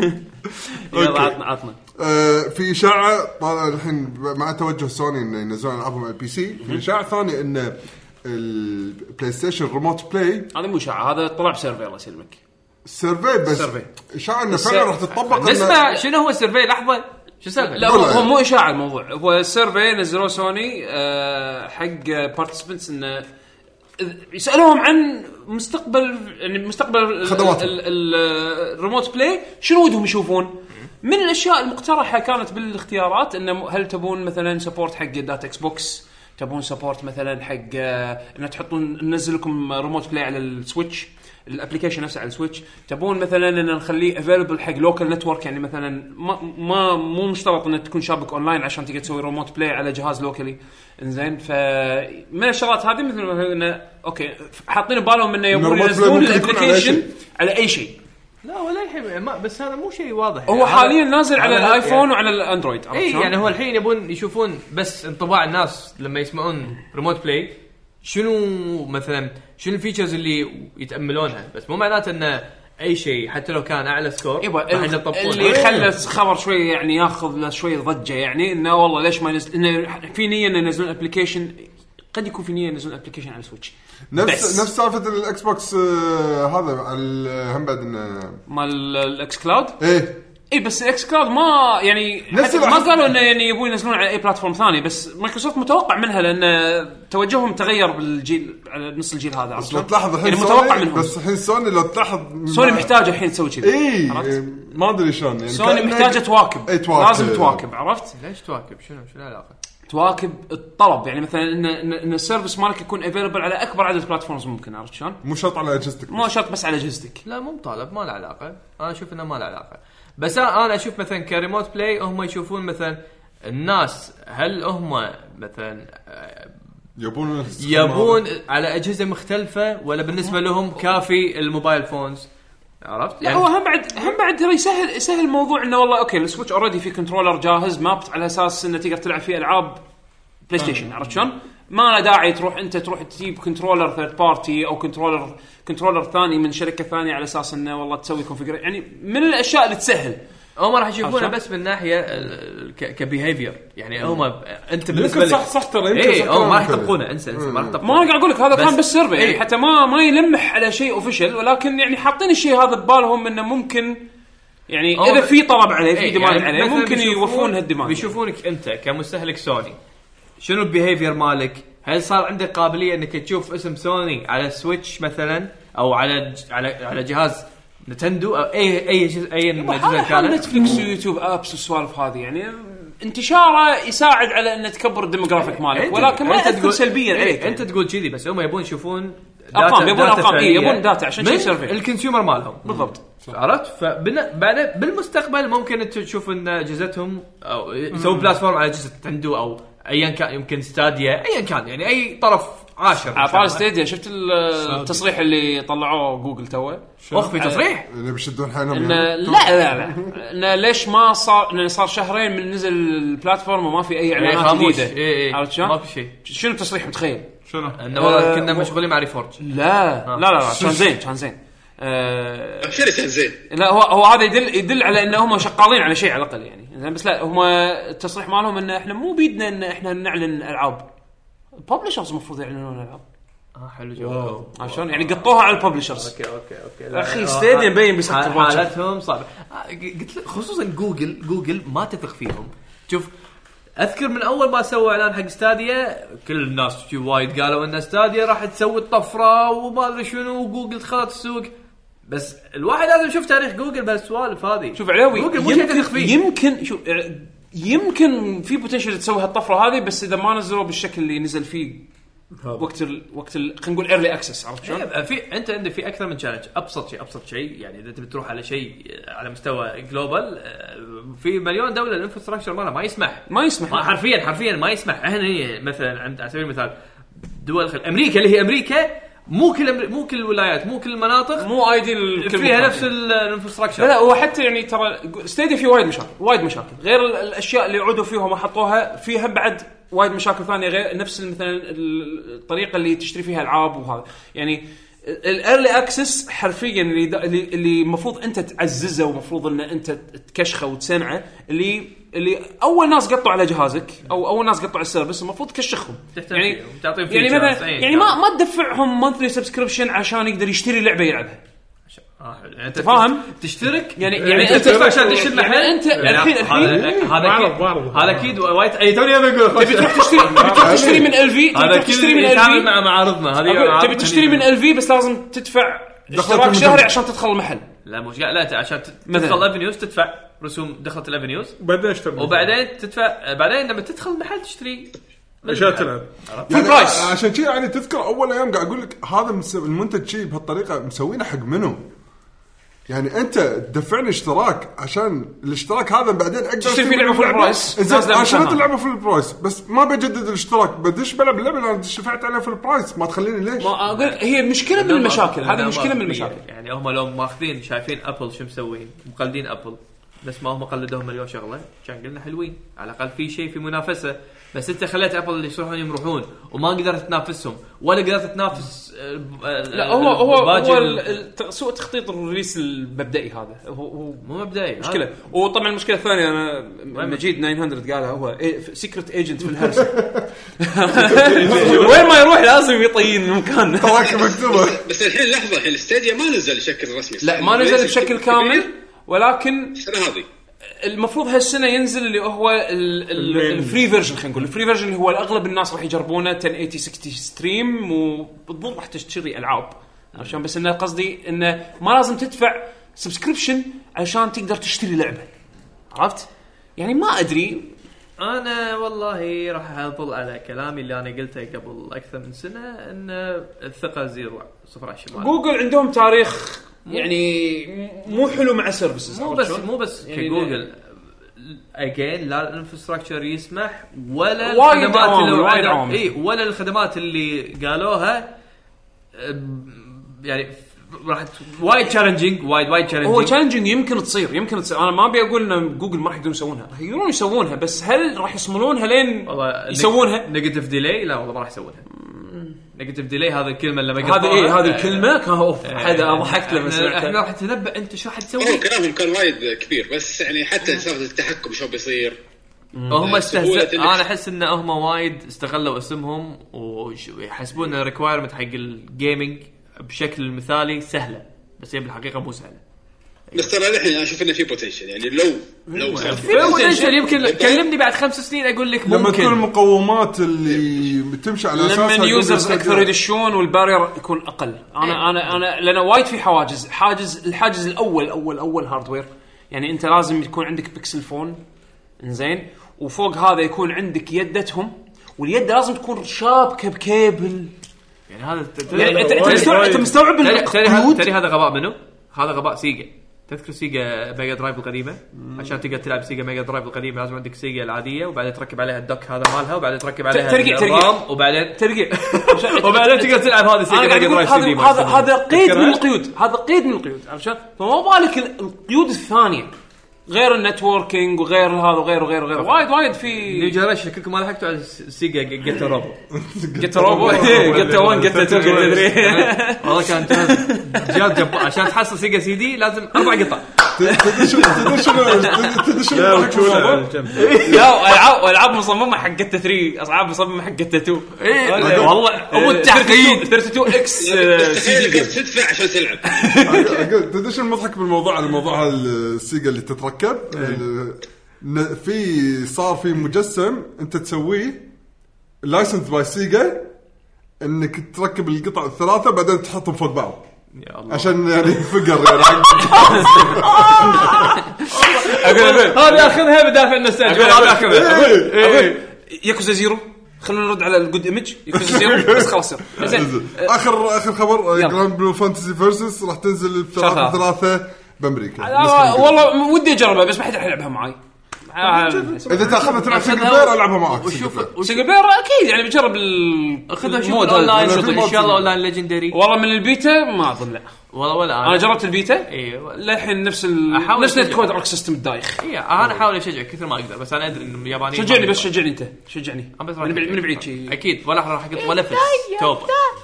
[SPEAKER 6] يلا
[SPEAKER 3] أوكي.
[SPEAKER 6] عطنا عطنا
[SPEAKER 3] آه، في اشاعه طالع الحين مع توجه سوني انه ينزلون العابهم على البي سي في اشاعه ثانيه انه البلاي ستيشن ريموت بلاي
[SPEAKER 6] هذا مو اشاعه هذا طلع بسيرفي الله يسلمك
[SPEAKER 3] سيرفي بس
[SPEAKER 6] سيرفي.
[SPEAKER 3] اشاعه انه فعلا راح تطبق إنه-
[SPEAKER 2] نسمع شنو هو السيرفي لحظه شو السالفه؟
[SPEAKER 6] لا
[SPEAKER 2] لا
[SPEAKER 6] هو,
[SPEAKER 3] والله.
[SPEAKER 6] هو مو اشاعه الموضوع هو سيرفي نزلوه سوني آه، حق بارتيسبنتس انه يسالوهم عن مستقبل يعني مستقبل ال-
[SPEAKER 3] خدماتهم.
[SPEAKER 6] ال- ال- الريموت بلاي شنو ودهم يشوفون؟ من الاشياء المقترحه كانت بالاختيارات انه هل تبون مثلا سبورت حق دات اكس بوكس؟ تبون سبورت مثلا حق آه، انه تحطون ننزل لكم ريموت بلاي على السويتش الابلكيشن نفسه على السويتش تبون مثلا ان نخليه افيلبل حق لوكال نتورك يعني مثلا ما ما مو مشترط ان تكون شابك اونلاين عشان تقدر تسوي ريموت بلاي على جهاز لوكالي انزين فمن الشغلات هذه مثل ما إنه اوكي حاطين ببالهم انه يبون
[SPEAKER 3] الريموت بلاي
[SPEAKER 6] ينزلون
[SPEAKER 3] ممكن يكون على أي شيء.
[SPEAKER 6] الابلكيشن على اي شيء
[SPEAKER 2] لا ولا الحين ما بس هذا مو شيء واضح يعني.
[SPEAKER 6] هو حاليا نازل على
[SPEAKER 2] على-
[SPEAKER 6] الايفون وعلى الاندرويد عرفت
[SPEAKER 2] اي
[SPEAKER 6] شلون؟
[SPEAKER 2] يعني هو الحين يبون يشوفون بس انطباع الناس لما يسمعون ريموت بلاي شنو مثلا شنو الفيتشرز اللي يتاملونها بس مو معناته انه اي شيء حتى لو كان اعلى سكور
[SPEAKER 6] إيه، يبا
[SPEAKER 2] راح
[SPEAKER 6] ال-
[SPEAKER 2] يطبقونه. إيه.
[SPEAKER 6] اللي خلى الخبر شوي يعني ياخذ له شوي ضجه يعني انه والله ليش ما نزل انه في نيه انه ينزلون ابلكيشن قد يكون في نيه ينزلون ابلكيشن على السويتش
[SPEAKER 3] نفس
[SPEAKER 6] بس.
[SPEAKER 3] نفس سالفه الاكس بوكس آه، هذا على ال- هم بعد انه
[SPEAKER 6] مال الاكس كلاود
[SPEAKER 3] ايه
[SPEAKER 6] اي إيه، بس الاكس كلاود ما يعني
[SPEAKER 3] نفس
[SPEAKER 6] حتى ما
[SPEAKER 3] الأحس-
[SPEAKER 6] قالوا انه يعني يبون ينزلون على اي بلاتفورم ثاني بس مايكروسوفت متوقع منها لان توجههم تغير بالجيل على نص الجيل هذا عرفت
[SPEAKER 3] بس لو
[SPEAKER 6] شلون؟
[SPEAKER 3] تلاحظ الحين
[SPEAKER 6] يعني متوقع
[SPEAKER 3] سوني-
[SPEAKER 6] منهم
[SPEAKER 3] بس الحين سوني لو تلاحظ
[SPEAKER 6] سوني
[SPEAKER 3] مع-
[SPEAKER 6] محتاجه الحين تسوي كذي
[SPEAKER 3] اي
[SPEAKER 6] عرفت؟
[SPEAKER 3] إيه، ما ادري شلون يعني
[SPEAKER 6] سوني
[SPEAKER 3] كأنه-
[SPEAKER 6] محتاجه تواكب
[SPEAKER 3] إي، إيه، تواكب.
[SPEAKER 6] لازم تواكب عرفت؟
[SPEAKER 2] ليش تواكب شنو شنو العلاقه؟
[SPEAKER 6] تواكب الطلب يعني مثلا ان ان, إن السيرفس مالك يكون افيلبل على اكبر عدد بلاتفورمز ممكن عرفت شلون؟
[SPEAKER 3] مو شرط على اجهزتك
[SPEAKER 6] مو شرط بس على اجهزتك
[SPEAKER 2] لا مو مطالب ما له علاقه انا اشوف انه ما له علاقه بس انا انا اشوف مثلا كريموت بلاي هم يشوفون مثلا الناس هل هم مثلا آه،
[SPEAKER 3] يبون
[SPEAKER 2] يبون على اجهزه مختلفه ولا بالنسبه لهم كافي الموبايل فونز عرفت يعني
[SPEAKER 6] لا هو هم بعد هم بعد ترى يسهل يسهل الموضوع انه والله اوكي السويتش اوريدي في كنترولر جاهز مابت على اساس انه تقدر تلعب فيه العاب بلاي ستيشن عرفت شلون؟ ما له داعي تروح انت تروح تجيب كنترولر ثيرد بارتي او كنترولر كنترولر ثاني من شركه ثانيه على اساس انه والله تسوي كونفجر يعني من الاشياء اللي تسهل
[SPEAKER 2] هم راح يشوفونه
[SPEAKER 6] عرفت؟
[SPEAKER 2] بس من ناحيه ال- ك- كبيهيفير يعني هم انت بالنسبه
[SPEAKER 3] يمكن
[SPEAKER 2] لك
[SPEAKER 3] صح صح ترى يمكن
[SPEAKER 2] اي
[SPEAKER 3] صح
[SPEAKER 2] هم ما راح
[SPEAKER 3] كلامك هذا.
[SPEAKER 2] يطبقونه انسى انسى ما راح يطبقونه
[SPEAKER 6] ما انا قاعد اقول لك هذا
[SPEAKER 2] بس-
[SPEAKER 6] كان بالسيرفي يعني
[SPEAKER 2] إيه.
[SPEAKER 6] حتى ما ما يلمح على شيء اوفيشل ولكن يعني حاطين الشيء هذا ببالهم انه ممكن يعني
[SPEAKER 2] أو
[SPEAKER 6] اذا
[SPEAKER 2] بس-
[SPEAKER 6] في طلب عليه في
[SPEAKER 2] إيه،
[SPEAKER 6] ديماند
[SPEAKER 2] يعني
[SPEAKER 6] عليه
[SPEAKER 2] مثلاً
[SPEAKER 6] ممكن
[SPEAKER 2] بيشوفون-
[SPEAKER 6] يوفون هالديماند
[SPEAKER 2] بيشوفونك انت كمستهلك سوني شنو البيهيفير مالك؟ هل صار عندك قابليه انك تشوف اسم سوني على السويتش مثلا او على ج- على على جهاز نتندو او اي اي جزء اي
[SPEAKER 6] طيب، هذا
[SPEAKER 2] نتندو
[SPEAKER 6] حال
[SPEAKER 2] كانت
[SPEAKER 6] نتفلكس ويوتيوب ابس والسوالف هذه يعني انتشاره يساعد على انه تكبر الديموغرافيك مالك
[SPEAKER 2] أنت-
[SPEAKER 6] ولكن ما
[SPEAKER 2] إيه، أنت
[SPEAKER 6] تكون
[SPEAKER 2] تقول-
[SPEAKER 6] سلبيا
[SPEAKER 2] إيه،
[SPEAKER 6] عليك
[SPEAKER 2] انت تقول كذي بس هم يبون يشوفون
[SPEAKER 6] أرقام،
[SPEAKER 2] داتا-
[SPEAKER 6] يبون
[SPEAKER 2] داتا
[SPEAKER 6] أرقام، إيه،
[SPEAKER 2] فعلية
[SPEAKER 6] يبون داتا عشان شي
[SPEAKER 2] من
[SPEAKER 6] سيرفي.
[SPEAKER 2] الكونسيومر مالهم
[SPEAKER 6] بالضبط
[SPEAKER 2] عرفت فبعدين بالمستقبل ممكن انت تشوف ان اجهزتهم او يسوي بلاتفورم على اجهزه نتندو او ايا كان يمكن ستاديا ايا كان يعني اي طرف عاشر إن شاء
[SPEAKER 6] عطار
[SPEAKER 2] الله.
[SPEAKER 6] ستيديا شفت ال- التصريح اللي طلعوه جوجل توه
[SPEAKER 2] اخ في تصريح
[SPEAKER 3] اللي بيشدون حيلهم
[SPEAKER 6] إن
[SPEAKER 3] يعني.
[SPEAKER 6] لا لا لا إن ليش ما صار إن صار شهرين من نزل البلاتفورم وما في اي اعلانات
[SPEAKER 2] إيه، خاموش
[SPEAKER 6] جديده
[SPEAKER 2] اي
[SPEAKER 6] إيه، عرفت
[SPEAKER 2] اي
[SPEAKER 6] شلون؟
[SPEAKER 2] آه، ما في شيء
[SPEAKER 6] شنو التصريح متخيل؟
[SPEAKER 18] شنو؟
[SPEAKER 2] انه والله
[SPEAKER 6] آه،
[SPEAKER 2] كنا
[SPEAKER 6] و-
[SPEAKER 2] مشغولين مع ريفورج
[SPEAKER 6] لا لا لا لا، كان زين كان زين آه،
[SPEAKER 8] شنو كان زين
[SPEAKER 6] لا هو هو هذا يدل يدل على ان هم شغالين على شيء على الاقل يعني زين بس لا هم التصريح مالهم ان احنا مو بيدنا ان احنا نعلن العاب الببلشرز المفروض يعلنون العاب
[SPEAKER 2] اه حلو جواب
[SPEAKER 6] عرفت شلون يعني قطوها على الببلشرز
[SPEAKER 2] اوكي اوكي اوكي لا،
[SPEAKER 6] اخي
[SPEAKER 2] لا،
[SPEAKER 6] ستيديا مبين بيسكر
[SPEAKER 2] حال-
[SPEAKER 6] باكر.
[SPEAKER 2] حالتهم صعبه آه، ق- قلت لك خصوصا جوجل جوجل ما تثق فيهم شوف اذكر من اول ما سووا اعلان حق ستاديا كل الناس شي وايد قالوا ان ستاديا راح تسوي الطفره وما ادري شنو وجوجل دخلت السوق بس الواحد لازم يشوف تاريخ جوجل بهالسوالف هذه
[SPEAKER 6] شوف علاوي
[SPEAKER 2] جوجل مو شيء تثق
[SPEAKER 6] يمكن
[SPEAKER 2] فيه
[SPEAKER 6] يمكن شوف إيه، يمكن في بوتنشل تسوي هالطفره هذه بس اذا ما نزلوه بالشكل اللي نزل فيه وقت ال وقت ال خلينا نقول ايرلي اكسس عرفت شلون؟
[SPEAKER 2] إيه، في انت عندك في اكثر من تشالنج ابسط شيء ابسط شيء يعني اذا تبي تروح على شيء على مستوى جلوبال في مليون دوله الانفراستراكشر مالها ما يسمح
[SPEAKER 6] ما يسمح
[SPEAKER 2] ما حرفيا حرفيا آه، ما يسمح احنا هنا مثلا عند على سبيل المثال دول خل... امريكا اللي هي امريكا مو كل أمر... مو كل الولايات مو كل المناطق
[SPEAKER 6] مو ايدي
[SPEAKER 2] فيها نفس الانفراستراكشر
[SPEAKER 6] لا لا هو حتى يعني ترى ستيديا في وايد مشاكل وايد مشاكل غير ال- الاشياء اللي عدوا فيها وما حطوها فيها بعد وايد مشاكل ثانيه غير نفس مثلا ال- الطريقه اللي تشتري فيها العاب وهذا يعني الايرلي اكسس حرفيا اللي دا- اللي اللي المفروض انت تعززه ومفروض ان انت تكشخه وتسمعه اللي اللي اول ناس قطوا على جهازك او اول ناس قطوا على السيرفس المفروض تكشخهم
[SPEAKER 2] تهتم
[SPEAKER 6] يعني
[SPEAKER 2] فيهم، تعطيهم
[SPEAKER 6] يعني
[SPEAKER 2] features، إيه، نعم.
[SPEAKER 6] مثلا
[SPEAKER 2] أي
[SPEAKER 6] يعني ما ما تدفعهم مونثلي سبسكريبشن عشان يقدر يشتري لعبه يلعبها
[SPEAKER 2] آه، يعني انت
[SPEAKER 6] فاهم؟
[SPEAKER 2] تشترك
[SPEAKER 6] يعني يعني انت
[SPEAKER 2] تدفع عشان تشتري
[SPEAKER 6] يعني
[SPEAKER 2] محل؟
[SPEAKER 6] انت الحين
[SPEAKER 2] هذا
[SPEAKER 6] الحين
[SPEAKER 2] هذا
[SPEAKER 18] معرض-
[SPEAKER 2] اكيد
[SPEAKER 18] معرض.
[SPEAKER 2] هذا اكيد وايد اي توني أنا بقول
[SPEAKER 6] تبي تروح تشتري تبي تروح تشتري من ال في
[SPEAKER 2] هذا
[SPEAKER 6] تبي تروح تشتري من
[SPEAKER 2] كذي
[SPEAKER 6] ال
[SPEAKER 2] يتعامل
[SPEAKER 6] في
[SPEAKER 2] مع معارضنا هذه
[SPEAKER 6] أقول-
[SPEAKER 2] معارض
[SPEAKER 6] تبي تشتري من ال في بس لازم تدفع اشتراك
[SPEAKER 3] المجمع.
[SPEAKER 6] شهري عشان تدخل المحل
[SPEAKER 2] لا مش لا ت- عشان ت-
[SPEAKER 6] مثلاً.
[SPEAKER 2] تدخل افنيوز تدفع رسوم دخلت الافنيوز
[SPEAKER 18] بعدين اشتري
[SPEAKER 2] وبعدين تدفع بعدين لما تدخل المحل تشتري
[SPEAKER 19] اشياء تلعب
[SPEAKER 3] يعني
[SPEAKER 6] برايس.
[SPEAKER 3] عشان كذا يعني تذكر اول ايام قاعد اقول لك هذا مس- المنتج شي بهالطريقه مسوينه حق منو؟ يعني انت تدفعني اشتراك عشان الاشتراك هذا بعدين اقدر
[SPEAKER 6] تشتري فيه لعبة فول برايس.
[SPEAKER 3] زين،
[SPEAKER 6] نازلة
[SPEAKER 3] انا شريت
[SPEAKER 6] مكانها.
[SPEAKER 3] اللعبه فول برايس بس ما بجدد الاشتراك بدش بلعب اللعبه اللي انا دفعت عليها فول برايس ما تخليني ليش؟
[SPEAKER 6] ما اقول هي مشكله من المشاكل هذه مشكله من المشاكل
[SPEAKER 2] يعني هم لو ماخذين شايفين ابل شو مسوين مقلدين ابل بس ما هم قلدوهم مليون شغله كان قلنا حلوين على الاقل في شيء في منافسه بس انت خليت ابل اللي يصيحون يمرحون وما قدرت تنافسهم ولا قدرت تنافس آه،
[SPEAKER 6] لا هو هو هو ال- ال- سوء تخطيط الريليس المبدئي هذا هو, هو
[SPEAKER 2] مو مبدئي
[SPEAKER 6] مشكله وطبعا المشكله الثانيه انا مجيد 900 قالها هو سيكرت ايجنت في الهرس وين ما يروح لازم يطين مكان
[SPEAKER 3] تراك مكتوبه
[SPEAKER 8] بس الحين لحظه الحين الاستديا ما نزل بشكل رسمي يعني
[SPEAKER 6] لا ما نزل بشكل كامل ولكن
[SPEAKER 8] السنه هذه
[SPEAKER 6] المفروض هالسنه ينزل اللي هو ال- ال- الفري فيرجن خلينا نقول الفري فيرجن اللي هو اغلب الناس راح يجربونه 1080 60 ستريم وبالضبط راح تشتري العاب عشان بس انه قصدي انه ما لازم تدفع سبسكريبشن عشان تقدر تشتري لعبه عرفت؟ يعني ما ادري
[SPEAKER 2] انا والله راح اظل على كلامي اللي انا قلته قبل اكثر من سنه ان الثقه زيرو صفر على الشمال
[SPEAKER 6] جوجل عندهم تاريخ يعني م- مو حلو مع السيرفيسز
[SPEAKER 2] مو بس مو بس يعني كجوجل اجين لا الانفراستراكشر يسمح ولا
[SPEAKER 6] وايد
[SPEAKER 2] الخدمات
[SPEAKER 6] عوامل،
[SPEAKER 2] اللي
[SPEAKER 6] وايد
[SPEAKER 2] وعدوا-
[SPEAKER 6] عوامل.
[SPEAKER 2] اي ولا الخدمات اللي قالوها أم، يعني ف- راح ت- وايد تشالنجينج وايد وايد
[SPEAKER 6] هو
[SPEAKER 2] تشالنجينج
[SPEAKER 6] تشالنجينج يمكن تصير يمكن تصير انا ما ابي اقول ان جوجل ما راح يقدرون يسوونها راح يقدرون يسوونها بس هل راح يصملونها لين يسوونها
[SPEAKER 2] نيجاتيف ديلي لا والله ما راح يسوونها نيجاتيف ديلي هذا الكلمه اللي
[SPEAKER 6] هذا ايه
[SPEAKER 2] إيه،
[SPEAKER 6] هذه الكلمه كان اوف هذا ضحكت لما
[SPEAKER 2] احنا
[SPEAKER 6] سمعتها
[SPEAKER 2] إيه، راح تنبأ انت شو راح تسوي
[SPEAKER 8] هو كلامهم كان وايد كبير بس يعني حتى سالفه التحكم شلون بيصير
[SPEAKER 2] هم
[SPEAKER 8] سهولة
[SPEAKER 2] استهزأ
[SPEAKER 8] الإكس-
[SPEAKER 2] انا احس ان هم وايد استغلوا اسمهم وش- ويحسبون ان الريكوايرمنت حق الجيمنج بشكل المثالي سهله بس هي بالحقيقه مو سهله
[SPEAKER 8] بس ترى الحين انا اشوف انه في بوتنشل يعني لو لو صار في
[SPEAKER 2] بوتنشل إيه، يمكن كلمني بعد خمس سنين اقول لك
[SPEAKER 3] لما تكون
[SPEAKER 2] ممكن
[SPEAKER 3] المقومات اللي تمشي على اساسها
[SPEAKER 6] لما
[SPEAKER 3] تقول
[SPEAKER 6] اليوزرز
[SPEAKER 3] يستخدم-
[SPEAKER 6] اكثر يدشون والبارير يكون اقل
[SPEAKER 2] إيه.
[SPEAKER 6] انا انا انا لان وايد في حواجز حاجز الحاجز الاول اول اول هاردوير يعني انت لازم يكون عندك بيكسل فون زين وفوق هذا يكون عندك يدتهم واليد لازم تكون شابكه بكيبل
[SPEAKER 2] يعني هذا ت- ت-
[SPEAKER 6] يعني انت
[SPEAKER 2] تدري-
[SPEAKER 6] انت مستوعب انت مستوعب
[SPEAKER 2] تدري- تدري هذا-
[SPEAKER 6] القيود
[SPEAKER 2] تدري هذا غباء منه؟ هذا غباء سيجا تذكر سيجا ميجا درايف القديمه عشان تقدر تلعب سيجا ميجا درايف القديمه لازم عندك سيجا العاديه وبعدين تركب عليها الدوك هذا مالها وبعدين تركب عليها
[SPEAKER 6] ترقيع- ترقيع.
[SPEAKER 2] الرام، وبعدين
[SPEAKER 6] ترقيع
[SPEAKER 2] وبعدين تقدر تلعب هذا سيجا
[SPEAKER 6] انا قاعد
[SPEAKER 2] ميجا
[SPEAKER 6] اقول
[SPEAKER 2] درايف CD
[SPEAKER 6] هذا
[SPEAKER 2] ما
[SPEAKER 6] هذا
[SPEAKER 2] يسمونه.
[SPEAKER 6] هذا قيد من
[SPEAKER 2] تذكرها؟
[SPEAKER 6] القيود هذا قيد من القيود عشان فما بالك ال- القيود الثانيه غير النتوركينج وغير هذا وغير وغير وغير وايد وايد
[SPEAKER 2] نيو
[SPEAKER 6] في
[SPEAKER 2] جنريشن كلكم ما لحقتوا على السيجا جيتا روبو
[SPEAKER 6] جت روبو جت 1 جت 2 جت 3
[SPEAKER 2] والله كان جهاز جهاز جبار عشان تحصل سيجا سي دي لازم اربع قطع
[SPEAKER 3] تدري شنو تدري شنو تدري شنو الضحك في الموضوع؟
[SPEAKER 6] لا العاب العاب مصممه حق جت 3 العاب مصممه حق جت 2 والله هو التعقيد 32 اكس
[SPEAKER 8] بس تخيل قاعد تدفع عشان تلعب
[SPEAKER 3] أقول- تدري شنو المضحك بالموضوع على موضوع السيجا اللي تتركب
[SPEAKER 2] إيه.
[SPEAKER 3] ال- ن- في صار في مجسم انت تسويه لايسنس باي سيجا انك تركب القطع الثلاثه بعدين تحطهم فوق بعض
[SPEAKER 2] يا الله
[SPEAKER 3] عشان يعني فقر يعني حق-
[SPEAKER 2] هذه اخذها بدافع النوستالجيا هذه اخذها
[SPEAKER 6] إيه. ياكوزا زيرو خلونا نرد على الجود ايمج ياكوزا زيرو بس خلاص يلا. زين
[SPEAKER 3] اخر اخر خبر
[SPEAKER 6] يلا.
[SPEAKER 3] جراند بلو فانتسي فيرسس راح تنزل بثلاثة
[SPEAKER 6] شهر
[SPEAKER 3] ثلاثة بامريكا
[SPEAKER 6] آه، والله ودي اجربها بس ما حد راح يلعبها معاي آه،
[SPEAKER 3] اذا تاخذها تلعب سنجل
[SPEAKER 2] أخذها
[SPEAKER 3] بلاير العبها معك
[SPEAKER 2] وشوف
[SPEAKER 6] سنجل بلاير اكيد يعني بجرب ال
[SPEAKER 2] خذها شوف
[SPEAKER 6] المود هذا.
[SPEAKER 2] الاونلاين
[SPEAKER 3] شوف
[SPEAKER 2] ان شاء الله اونلاين ليجندري
[SPEAKER 6] والله من البيتا ما اظن لا
[SPEAKER 2] والله ولا
[SPEAKER 6] انا
[SPEAKER 2] انا
[SPEAKER 6] جربت البيتا
[SPEAKER 2] اي
[SPEAKER 6] للحين نفس ال...
[SPEAKER 2] أحاول
[SPEAKER 6] نفس
[SPEAKER 2] أشجع.
[SPEAKER 6] نت كود ارك سيستم الدايخ
[SPEAKER 2] انا احاول اشجعك كثر ما اقدر بس انا ادري ان اليابانيين
[SPEAKER 6] شجعني
[SPEAKER 2] ما
[SPEAKER 6] بس شجعني انت شجعني
[SPEAKER 2] أنا
[SPEAKER 6] من
[SPEAKER 2] بس راح
[SPEAKER 6] بعيد
[SPEAKER 2] أقول.
[SPEAKER 6] من بعيد شي
[SPEAKER 2] اكيد ولا راح احط ولا فلس توبه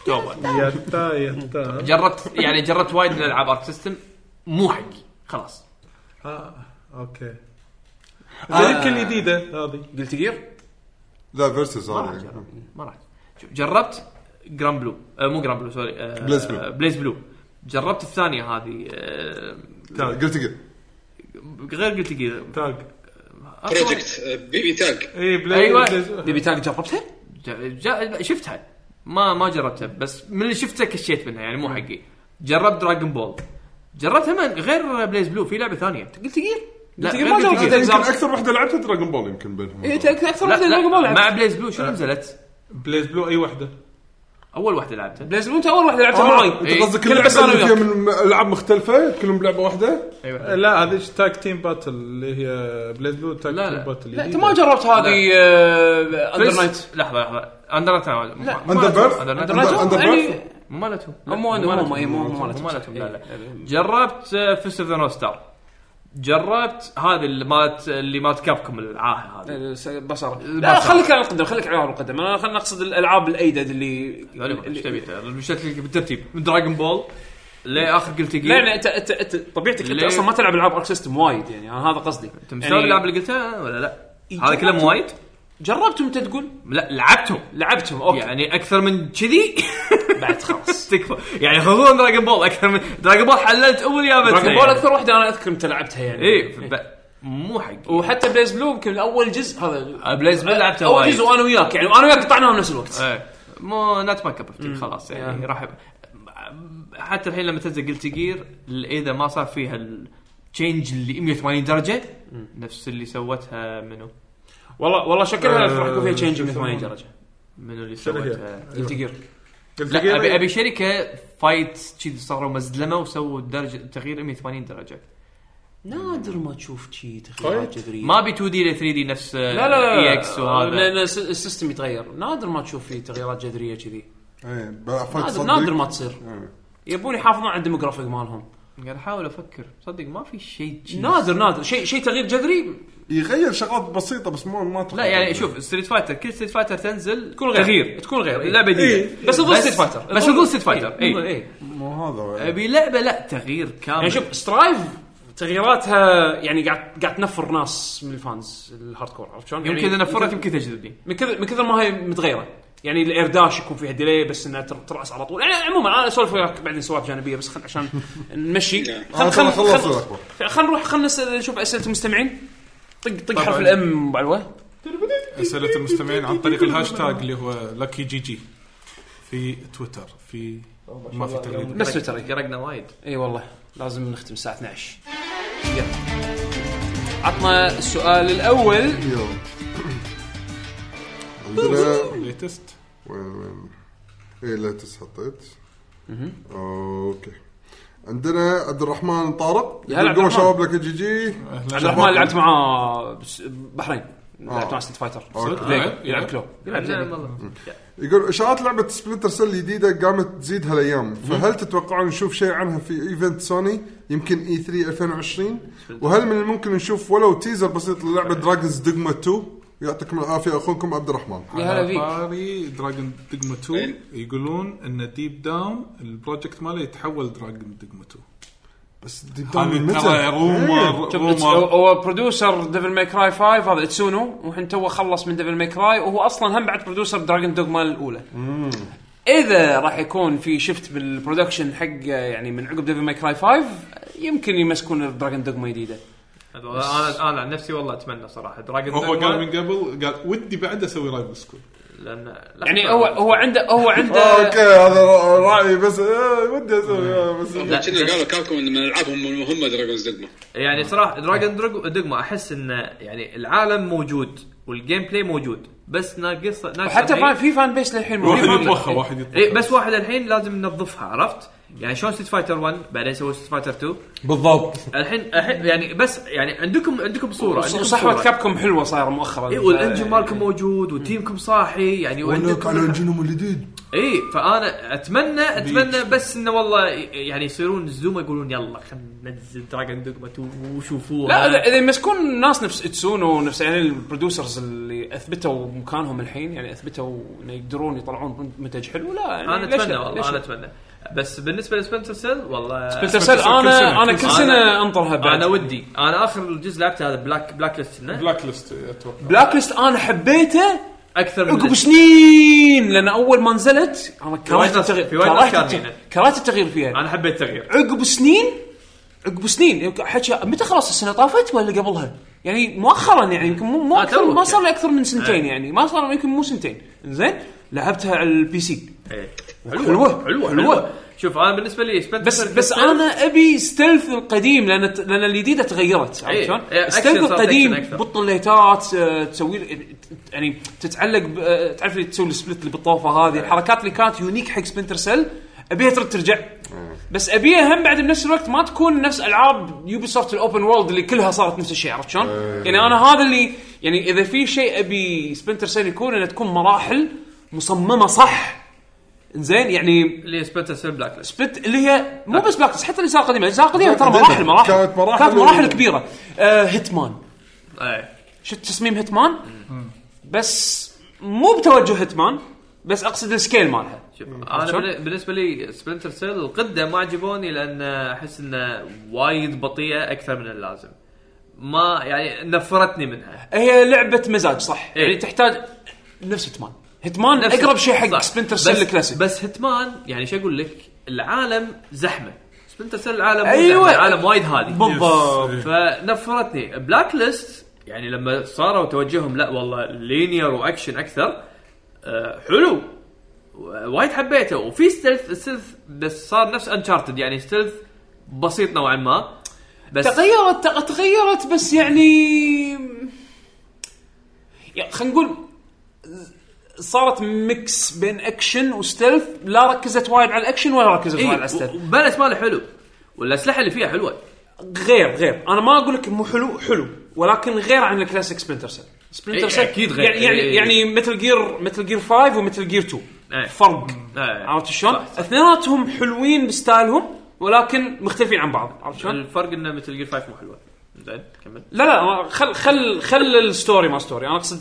[SPEAKER 2] توبه
[SPEAKER 20] يتا يتا
[SPEAKER 2] جربت يعني جربت وايد من الالعاب ارك سيستم مو حقي خلاص
[SPEAKER 20] اوكي يمكن الجديده هذه
[SPEAKER 6] قلت جير
[SPEAKER 3] لا آه. فيرسس هذا
[SPEAKER 2] ما راح شوف جربت جرام بلو آه مو جرام بلو سوري آه
[SPEAKER 3] بليز بلو.
[SPEAKER 2] بليز بلو جربت الثانيه هذه آه
[SPEAKER 3] قلت قلت
[SPEAKER 2] غير قلت كذا
[SPEAKER 20] تاج
[SPEAKER 8] بروجكت بي بي آه، تاج
[SPEAKER 6] إيه،
[SPEAKER 20] اي بلاي
[SPEAKER 2] أيوة.
[SPEAKER 20] بلاي-
[SPEAKER 6] بيبي تاج جربتها؟
[SPEAKER 2] ج- ج- شفتها ما ما جربتها بس من اللي شفتها كشيت منها يعني مو حقي جربت دراجون بول جربتها من غير بليز بلو في لعبه ثانيه
[SPEAKER 6] قلت جير لا
[SPEAKER 21] قلت ما
[SPEAKER 6] غير
[SPEAKER 21] لو
[SPEAKER 6] قلت
[SPEAKER 21] جيت.
[SPEAKER 6] لك.
[SPEAKER 3] يمكن اكثر وحده لعبتها دراجون بول يمكن بينهم
[SPEAKER 6] إيه، أكثر- اكثر
[SPEAKER 2] لا
[SPEAKER 6] واحده دراجون بول
[SPEAKER 2] لا
[SPEAKER 6] لعبت
[SPEAKER 2] مع بليز بلو شنو نزلت؟
[SPEAKER 4] بليز بلو اي وحده
[SPEAKER 2] اول واحده لعبتها
[SPEAKER 6] بلايز بلو انت اول واحده لعبتها
[SPEAKER 3] آه،
[SPEAKER 6] معاي
[SPEAKER 3] انت قصدك
[SPEAKER 6] كل
[SPEAKER 3] اللعبه
[SPEAKER 6] بس أنا
[SPEAKER 3] اللي فيها
[SPEAKER 6] وياك. أيوة.
[SPEAKER 3] من العاب مختلفه كلهم بلعبه واحده
[SPEAKER 4] لا هذه تاك تيم باتل اللي هي بليز بلو تاك
[SPEAKER 2] لا، لا.
[SPEAKER 4] تيم باتل
[SPEAKER 6] لا انت ما جربت هذه آه، اندر
[SPEAKER 2] بليز-
[SPEAKER 6] نايت
[SPEAKER 2] لحظه لحظه اندر نايت لا
[SPEAKER 3] اندر بيرث
[SPEAKER 2] اندر
[SPEAKER 3] أندر-
[SPEAKER 2] نايت
[SPEAKER 3] أندر
[SPEAKER 6] يعني
[SPEAKER 2] مو مالتهم لا،
[SPEAKER 6] مو- مو-
[SPEAKER 2] مالتهم.
[SPEAKER 6] مو- مو- مو مالتهم.
[SPEAKER 2] مالتهم لا لا جربت آه، فيست اوف ذا نورث ستار جربت هذه اللي مالت اللي مالت كابكم العاهه هذه
[SPEAKER 6] بصره لا خليك على القدم خليك على القدم انا خلينا نقصد الالعاب الايدد اللي
[SPEAKER 2] غالباً، يعني ايش
[SPEAKER 6] اللي-
[SPEAKER 2] تبي بشكل بالترتيب من دراجون بول لاخر قلت
[SPEAKER 6] لا لا انت انت انت طبيعتك انت
[SPEAKER 2] ليه؟
[SPEAKER 6] اصلا ما تلعب العاب ارك سيستم وايد يعني انا هذا قصدي
[SPEAKER 2] انت مستوعب
[SPEAKER 6] يعني إيه،
[SPEAKER 2] اللعبه اللي قلتها ولا لا؟ هذا
[SPEAKER 6] جربت.
[SPEAKER 2] كلام وايد؟
[SPEAKER 6] جربتهم انت تقول
[SPEAKER 2] لا لعبتهم
[SPEAKER 6] لعبتهم اوكي
[SPEAKER 2] يعني اكثر من كذي
[SPEAKER 6] بعد خلاص
[SPEAKER 2] تكفى يعني خصوصا دراجون بول اكثر من دراجون بول حللت اول يابتها
[SPEAKER 6] دراجون بول اكثر واحده انا اذكر انت لعبتها يعني
[SPEAKER 2] اي إيه، مو حقي
[SPEAKER 6] وحتى بليز بلو يمكن اول جزء هذا
[SPEAKER 2] بليز بلو لعبته
[SPEAKER 6] اول
[SPEAKER 2] وايد
[SPEAKER 6] جزء وانا وياك يعني انا وياك قطعناها بنفس الوقت
[SPEAKER 2] إيه. مو نات ماك اب خلاص يعني راح حتى الحين لما تنزل قلت جير اذا ما صار فيها التشينج اللي 180 درجه نفس اللي سوتها منو
[SPEAKER 6] والله والله شكلها راح يكون فيها
[SPEAKER 2] آه،
[SPEAKER 6] تشينج 180 درجه
[SPEAKER 2] منو اللي
[SPEAKER 4] شنو هي؟
[SPEAKER 2] سوتها
[SPEAKER 6] قلت جير
[SPEAKER 2] لا ابي ابي شركه فايت كذي صاروا مزلمه وسووا درجه تغيير 180 درجه
[SPEAKER 6] نادر ما تشوف شيء تغييرات جذريه
[SPEAKER 2] ما ابي 2 دي ل 3 دي نفس
[SPEAKER 6] لا لا لا
[SPEAKER 2] اي اكس E وهذا
[SPEAKER 6] لان الس- السيستم يتغير نادر ما تشوف فيه تغييرات جذريه كذي
[SPEAKER 3] إيه، بقى فايت
[SPEAKER 6] نادر,
[SPEAKER 3] صدق.
[SPEAKER 6] نادر ما تصير
[SPEAKER 3] إيه.
[SPEAKER 6] يبون يحافظون على الديموغرافيك مالهم
[SPEAKER 2] قاعد احاول افكر صدق ما في شيء جي.
[SPEAKER 6] نادر نادر شيء شيء تغيير جذري
[SPEAKER 3] يغير شغلات بسيطه بس مو ما
[SPEAKER 2] لا يعني شوف ستريت فايتر كل ستريت فايتر تنزل
[SPEAKER 6] تكون غير
[SPEAKER 2] تغيير
[SPEAKER 6] تكون غير إيه.
[SPEAKER 2] لعبه جديده
[SPEAKER 6] بس تظل ستريت فايتر
[SPEAKER 2] بس إيه. تظل ستريت فايتر اي
[SPEAKER 6] اي
[SPEAKER 3] مو هذا
[SPEAKER 2] ابي لعبه لا تغيير كامل
[SPEAKER 6] إيه. يعني شوف سترايف تغييراتها يعني قاعد قاعد تنفر ناس من الفانز الهارد كور عرفت شلون؟
[SPEAKER 2] يمكن
[SPEAKER 6] يعني
[SPEAKER 2] اذا نفرت
[SPEAKER 6] من كثر-
[SPEAKER 2] يمكن تجذبني
[SPEAKER 6] من كثر من كثر ما هي متغيره يعني الاير داش يكون فيها ديلي بس انها تر- ترأس على طول يعني عموما انا اسولف وياك بعدين سوالف جانبيه بس خل عشان نمشي خل
[SPEAKER 3] آه،
[SPEAKER 6] خل
[SPEAKER 3] خلص- خلص
[SPEAKER 6] خل
[SPEAKER 3] الأخبار.
[SPEAKER 6] خل نروح خل نسال نشوف اسئله المستمعين طق طق حرف الام بعلوه
[SPEAKER 4] اسئله المستمعين عن طريق الهاشتاج اللي هو لكي جي جي في تويتر في ما في تغريده
[SPEAKER 6] نفس تويتر إيه.
[SPEAKER 2] قرقنا وايد
[SPEAKER 6] اي والله لازم نختم الساعه 12 يلا عطنا السؤال الاول
[SPEAKER 3] يلا عندنا
[SPEAKER 4] ليتست
[SPEAKER 3] وين وين ايه لاتس حطيت اوكي عندنا عبد الرحمن طارق
[SPEAKER 6] يا هلا عبد
[SPEAKER 3] يقول
[SPEAKER 6] الرحمن.
[SPEAKER 3] شباب لك جي جي
[SPEAKER 6] عبد الرحمن لعبت معاه بس- بحرين لعبت
[SPEAKER 3] آه.
[SPEAKER 6] معاه ستيت فايتر
[SPEAKER 3] أوكي.
[SPEAKER 6] فيجا يلعب كلو يلعب زين.
[SPEAKER 3] يقول اشاعات لعبه سبلنتر سيل الجديده قامت تزيد هالايام فهل تتوقعون نشوف شيء عنها في ايفنت سوني يمكن E اي 3 2020 وهل من الممكن نشوف ولو تيزر بسيط للعبه دراجونز دوجما 2 يعطيكم العافيه اخوكم عبد الرحمن
[SPEAKER 6] يا هلا فيك
[SPEAKER 4] طاري دراجون ديجما 2 يقولون ان ديب داون البروجكت ماله يتحول دراجون ديجما 2
[SPEAKER 3] بس ديب داون إيه. من
[SPEAKER 4] هذه
[SPEAKER 3] طيب، متى؟
[SPEAKER 4] ترى رومر
[SPEAKER 6] شوف، إتس-
[SPEAKER 4] رومر
[SPEAKER 6] هو برودوسر ديفل ماي كراي 5 هذا اتسونو وحين توه خلص من ديفل ماي كراي وهو اصلا هم بعد برودوسر دراجون دوغما الاولى اذا راح يكون في شفت بالبرودكشن حق يعني من عقب ديفل ماي كراي 5 يمكن يمسكون دراجون دوغما جديده
[SPEAKER 2] انا انا عن نفسي والله اتمنى صراحه دراجون
[SPEAKER 6] طيب،
[SPEAKER 4] هو قال من قبل قال ودي بعد اسوي رايفل سكول
[SPEAKER 2] لان لحظة.
[SPEAKER 6] يعني هو هو عنده هو عنده
[SPEAKER 3] اوكي هذا رأ- رايي بس آه، ودي اسوي آه، بس
[SPEAKER 8] هم كنا قالوا كابكم ان من العابهم المهمه دراجونز دوجما
[SPEAKER 2] يعني
[SPEAKER 6] إيه.
[SPEAKER 2] صراحه دراجون درج- دوجما احس انه يعني العالم موجود والجيم بلاي موجود بس ناقص ناقص
[SPEAKER 6] حتى
[SPEAKER 2] الحين-
[SPEAKER 6] فا- في فان بيس للحين
[SPEAKER 4] واحد
[SPEAKER 6] موجود.
[SPEAKER 4] يتوخى واحد يتوخى
[SPEAKER 6] إيه،
[SPEAKER 2] اي بس واحد الحين لازم ننظفها عرفت؟ يعني شلون ستيت فايتر 1 بعدين سووا ستيت فايتر 2
[SPEAKER 7] بالضبط
[SPEAKER 2] الحين الحين يعني بس يعني عندكم عندكم صوره عندكم
[SPEAKER 6] صحوه
[SPEAKER 2] صورة.
[SPEAKER 6] كابكم حلوه صايره مؤخرا
[SPEAKER 2] اي
[SPEAKER 6] آه،
[SPEAKER 2] والانجن مالكم موجود وتيمكم صاحي يعني
[SPEAKER 3] ولك على
[SPEAKER 2] وعندكم إيه،
[SPEAKER 3] انجنهم الجديد
[SPEAKER 2] اي فانا اتمنى اتمنى بس انه والله يعني يصيرون زوما يقولون يلا خلينا ننزل دراجون دوجما 2 وشوفوها
[SPEAKER 6] لا اذا إذا يمسكون ناس نفس اتسونو نفس يعني البرودوسرز اللي اثبتوا مكانهم الحين يعني اثبتوا انه يقدرون يطلعون منتج حلو لا يعني
[SPEAKER 2] انا
[SPEAKER 6] ليش
[SPEAKER 2] اتمنى
[SPEAKER 6] لا؟ ليش
[SPEAKER 2] والله انا
[SPEAKER 6] لا؟
[SPEAKER 2] اتمنى بس بالنسبه لسبنتر سيل والله
[SPEAKER 6] سبلنتر سيل انا انا كل سنه انطرها بعد
[SPEAKER 2] انا ودي انا اخر جزء لعبته هذا بلاك بلاك ليست إنه
[SPEAKER 4] بلاك ليست اتوقع
[SPEAKER 6] بلاك ليست انا حبيته
[SPEAKER 2] اكثر من
[SPEAKER 6] عقب
[SPEAKER 2] ليست.
[SPEAKER 6] سنين لان اول ما نزلت انا كرهت
[SPEAKER 2] وايد ناس-
[SPEAKER 6] التغيير
[SPEAKER 2] في وايد ناس
[SPEAKER 6] كرهت
[SPEAKER 2] كارهينه.
[SPEAKER 6] التغيير- كرهت التغيير فيها
[SPEAKER 2] انا حبيت التغيير
[SPEAKER 6] عقب سنين عقب سنين حكى متى خلاص السنه طافت ولا قبلها؟ يعني مؤخرا يعني يمكن مو, مو
[SPEAKER 2] آه،
[SPEAKER 6] اكثر
[SPEAKER 2] توك
[SPEAKER 6] ما صار لي اكثر من سنتين
[SPEAKER 2] يعني.
[SPEAKER 6] يعني ما صار يمكن مو سنتين زين لعبتها على البي سي
[SPEAKER 2] إيه.
[SPEAKER 6] حلوه حلوه حلوه
[SPEAKER 2] شوف انا بالنسبه لي سبنتر
[SPEAKER 6] بس بس انا ابي ستيلث القديم لان لان الجديده تغيرت عرفت
[SPEAKER 2] إيه.
[SPEAKER 6] شلون؟
[SPEAKER 2] إيه، أكشن
[SPEAKER 6] ستيلث
[SPEAKER 2] صارت
[SPEAKER 6] القديم
[SPEAKER 2] أكشن أكثر.
[SPEAKER 6] بطليتات آه، تسوي ت- يعني تتعلق ب- آه، تعرف اللي تسوي السبلت اللي بالطوفه
[SPEAKER 2] إيه.
[SPEAKER 6] هذه الحركات اللي كانت يونيك حق سبنتر سيل ابيها ترد ترجع بس ابيها هم بعد بنفس الوقت ما تكون نفس العاب يوبي سوفت الاوبن وورلد اللي كلها صارت نفس الشيء عرفت شلون؟ يعني انا هذا اللي يعني اذا في شيء ابي سبنتر سيل يكون انها تكون مراحل مصممه صح زين يعني
[SPEAKER 2] اللي سبنتر سيل بلاك ليست
[SPEAKER 6] سبت اللي هي مو بس بلاك حتى الاجزاء القديمه الاجزاء القديمه ترى
[SPEAKER 3] كانت
[SPEAKER 6] مراحل مراحل
[SPEAKER 3] كانت مراحل
[SPEAKER 6] كانت مراحل
[SPEAKER 3] و-
[SPEAKER 6] كبيره آه هيتمان
[SPEAKER 2] إيه.
[SPEAKER 6] شفت تصميم هيتمان بس مو بتوجه هيتمان بس اقصد السكيل مالها
[SPEAKER 2] شوف انا
[SPEAKER 6] شلون؟
[SPEAKER 2] بالن- بالنسبه لي سبنتر سيل القده ما عجبوني لان احس انه وايد بطيئه اكثر من اللازم ما يعني نفرتني منها
[SPEAKER 6] هي لعبه مزاج صح
[SPEAKER 2] إيه.
[SPEAKER 6] يعني تحتاج نفس هيتمان هيتمان
[SPEAKER 2] نفس-
[SPEAKER 6] اقرب شيء حق
[SPEAKER 2] صح.
[SPEAKER 6] سبنتر
[SPEAKER 2] بس-
[SPEAKER 6] سيل الكلاسيك
[SPEAKER 2] بس هتمان يعني شو اقول لك العالم زحمه سبنتر سيل العالم
[SPEAKER 6] أيوة.
[SPEAKER 2] ايوه العالم وايد هادي
[SPEAKER 6] بالضبط
[SPEAKER 2] فنفرتني بلاك ليست يعني لما صاروا توجههم لا والله لينير واكشن اكثر آه، حلو و- وايد حبيته وفي ستيلث ستيلث بس صار نفس انشارتد يعني ستيلث بسيط نوعا ما بس
[SPEAKER 6] تغيرت تق- تغيرت بس يعني يعني خلينا نقول صارت ميكس بين اكشن وستيلث لا ركزت وايد على الاكشن ولا ركزت وايد على الستيلث
[SPEAKER 2] البالانس ماله إيه، حلو والاسلحه اللي فيها حلوه
[SPEAKER 6] غير غير انا ما اقول لك مو حلو حلو ولكن غير عن الكلاسيك سبلنتر سيل سبلنتر
[SPEAKER 2] إيه،
[SPEAKER 6] سيل
[SPEAKER 2] أكيد غير.
[SPEAKER 6] يعني يعني,
[SPEAKER 2] إيه.
[SPEAKER 6] يعني مثل جير مثل جير 5 ومثل جير 2
[SPEAKER 2] إيه.
[SPEAKER 6] فرق
[SPEAKER 2] إيه.
[SPEAKER 6] عرفت شلون؟ اثنيناتهم حلوين بستايلهم ولكن مختلفين عن بعض عرفت شلون؟
[SPEAKER 2] الفرق انه مثل جير 5 مو حلوه زين كمل
[SPEAKER 6] لا لا خل خل خل الستوري ما ستوري انا اقصد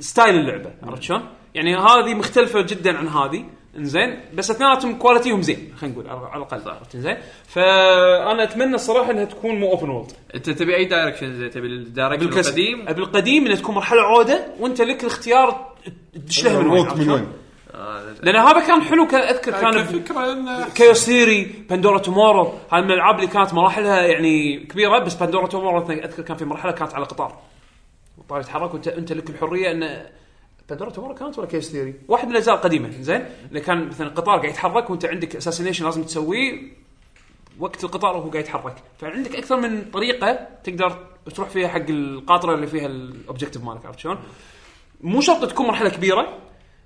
[SPEAKER 6] ستايل اللعبه
[SPEAKER 2] إيه.
[SPEAKER 6] عرفت شلون؟ يعني هذه مختلفه جدا عن هذه انزين بس اثنيناتهم كواليتيهم زين خلينا نقول على على الاقل عرفت انزين فانا اتمنى الصراحه انها تكون مو اوبن وورلد
[SPEAKER 2] انت تبي اي دايركشن زي تبي الدايركشن القديم
[SPEAKER 6] ابي القديم انها تكون مرحله عوده وانت لك الاختيار تدش لها من وين
[SPEAKER 3] روت
[SPEAKER 6] عرفت
[SPEAKER 3] من
[SPEAKER 6] شلون؟
[SPEAKER 3] وين
[SPEAKER 6] لان هذا كان حلو كان اذكر كان
[SPEAKER 4] كفكره انه
[SPEAKER 6] كيوس ثيري بندورا تومورو هاي من الالعاب اللي كانت مراحلها يعني كبيره بس بندورا تومورو أتذ- اذكر كان في مرحله كانت على قطار القطار يتحرك وانت انت لك الحريه ان بندورا تومورو كانت ولا كيوس ثيري؟ واحد من الاجزاء القديمه زين اللي كان مثلا القطار قاعد يتحرك وانت عندك اساسينيشن لازم تسويه وقت القطار وهو قاعد يتحرك فعندك اكثر من طريقه تقدر تروح فيها حق القاطره اللي فيها الاوبجيكتيف مالك عرفت شلون؟ مو شرط تكون مرحله كبيره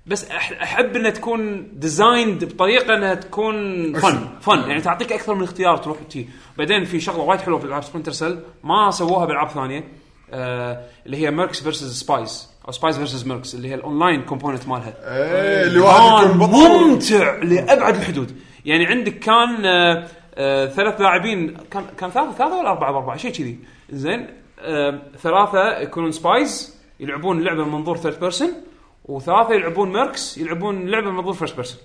[SPEAKER 6] بس أح- احب انها تكون ديزايند بطريقه انها تكون فن فن يعني تعطيك اكثر من اختيار تروح وتجي بعدين في شغله وايد حلوه في العاب سبنتر سيل ما سووها بالعاب ثانيه آه اللي هي ميركس فيرسز سبايز او سبايز فيرسز ميركس اللي هي الاونلاين كومبوننت مالها
[SPEAKER 3] ايه اللي واحد
[SPEAKER 6] كان
[SPEAKER 3] يكون بطل
[SPEAKER 6] ممتع لابعد الحدود يعني عندك كان آه، آه، ثلاث لاعبين كان كان ثلاثه ثلاثه ولا اربعه باربعه شيء كذي زين آه، ثلاثه يكونون سبايز يلعبون لعبه من منظور ثيرد بيرسون وثلاثه يلعبون ميركس يلعبون لعبه من منظور فيرست بيرسون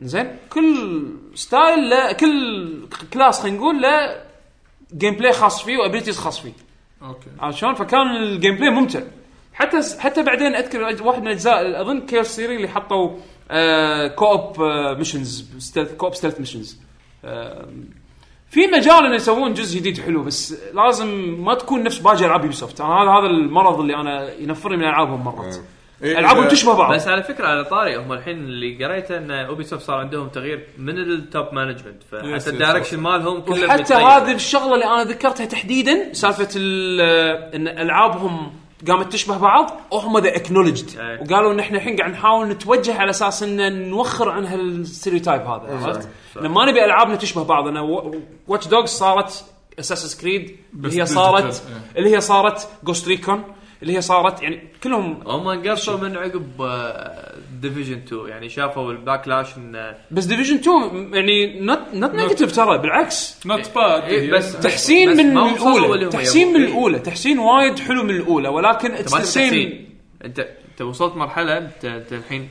[SPEAKER 6] زين كل ستايل له كل كلاس خلينا نقول له جيم بلاي خاص فيه وابيلتيز خاص فيه
[SPEAKER 4] اوكي
[SPEAKER 6] عرفت شلون؟ فكان الجيم بلاي ممتع حتى حتى بعدين اذكر واحد من الاجزاء اظن كيف سيري اللي حطوا آه كوب آه ميشنز ستيلث كوب ستيلث ميشنز آه في مجال انه يسوون جزء جديد حلو بس لازم ما تكون نفس باجي العاب يوبي سوفت انا هذا هذا المرض اللي انا ينفرني من العابهم مرات العابهم تشبه بعض
[SPEAKER 2] بس على فكره على طاري هم الحين اللي قريته ان اوبي سوفت صار عندهم تغيير من التوب مانجمنت
[SPEAKER 4] يس،
[SPEAKER 2] فحتى
[SPEAKER 4] يس،
[SPEAKER 2] الدايركشن مالهم كله
[SPEAKER 6] وحتى
[SPEAKER 2] متغير.
[SPEAKER 6] هذه الشغله اللي انا ذكرتها تحديدا سالفه ال- ان العابهم قامت تشبه بعض وهم ذا اكنولجد
[SPEAKER 2] أي.
[SPEAKER 6] وقالوا ان احنا الحين قاعد نحاول نتوجه على اساس ان نوخر عن هالستيريوتايب هذا عرفت؟ إن ما نبي العابنا تشبه بعض انا واتش دوجز صارت اساسس كريد اللي هي
[SPEAKER 4] بس
[SPEAKER 6] صارت
[SPEAKER 4] ديجيتال،
[SPEAKER 6] اللي هي صارت جوست ريكون اللي هي صارت يعني كلهم
[SPEAKER 2] هم انقصوا من عقب ديفيجن 2 يعني شافوا الباكلاش آه، ان
[SPEAKER 6] بس ديفيجن 2 يعني نوت نوت نيجاتيف ترى بالعكس
[SPEAKER 4] نوت باد
[SPEAKER 2] إيه،
[SPEAKER 4] هي.
[SPEAKER 2] بس
[SPEAKER 6] تحسين
[SPEAKER 2] بس
[SPEAKER 6] من
[SPEAKER 2] ما هم وصلوا اللي
[SPEAKER 6] الاولى
[SPEAKER 2] هم
[SPEAKER 6] تحسين من
[SPEAKER 2] يبغون.
[SPEAKER 6] الاولى تحسين وايد حلو من الاولى ولكن
[SPEAKER 2] انت ما
[SPEAKER 6] اتس
[SPEAKER 2] تحسين انت انت وصلت مرحله انت انت الحين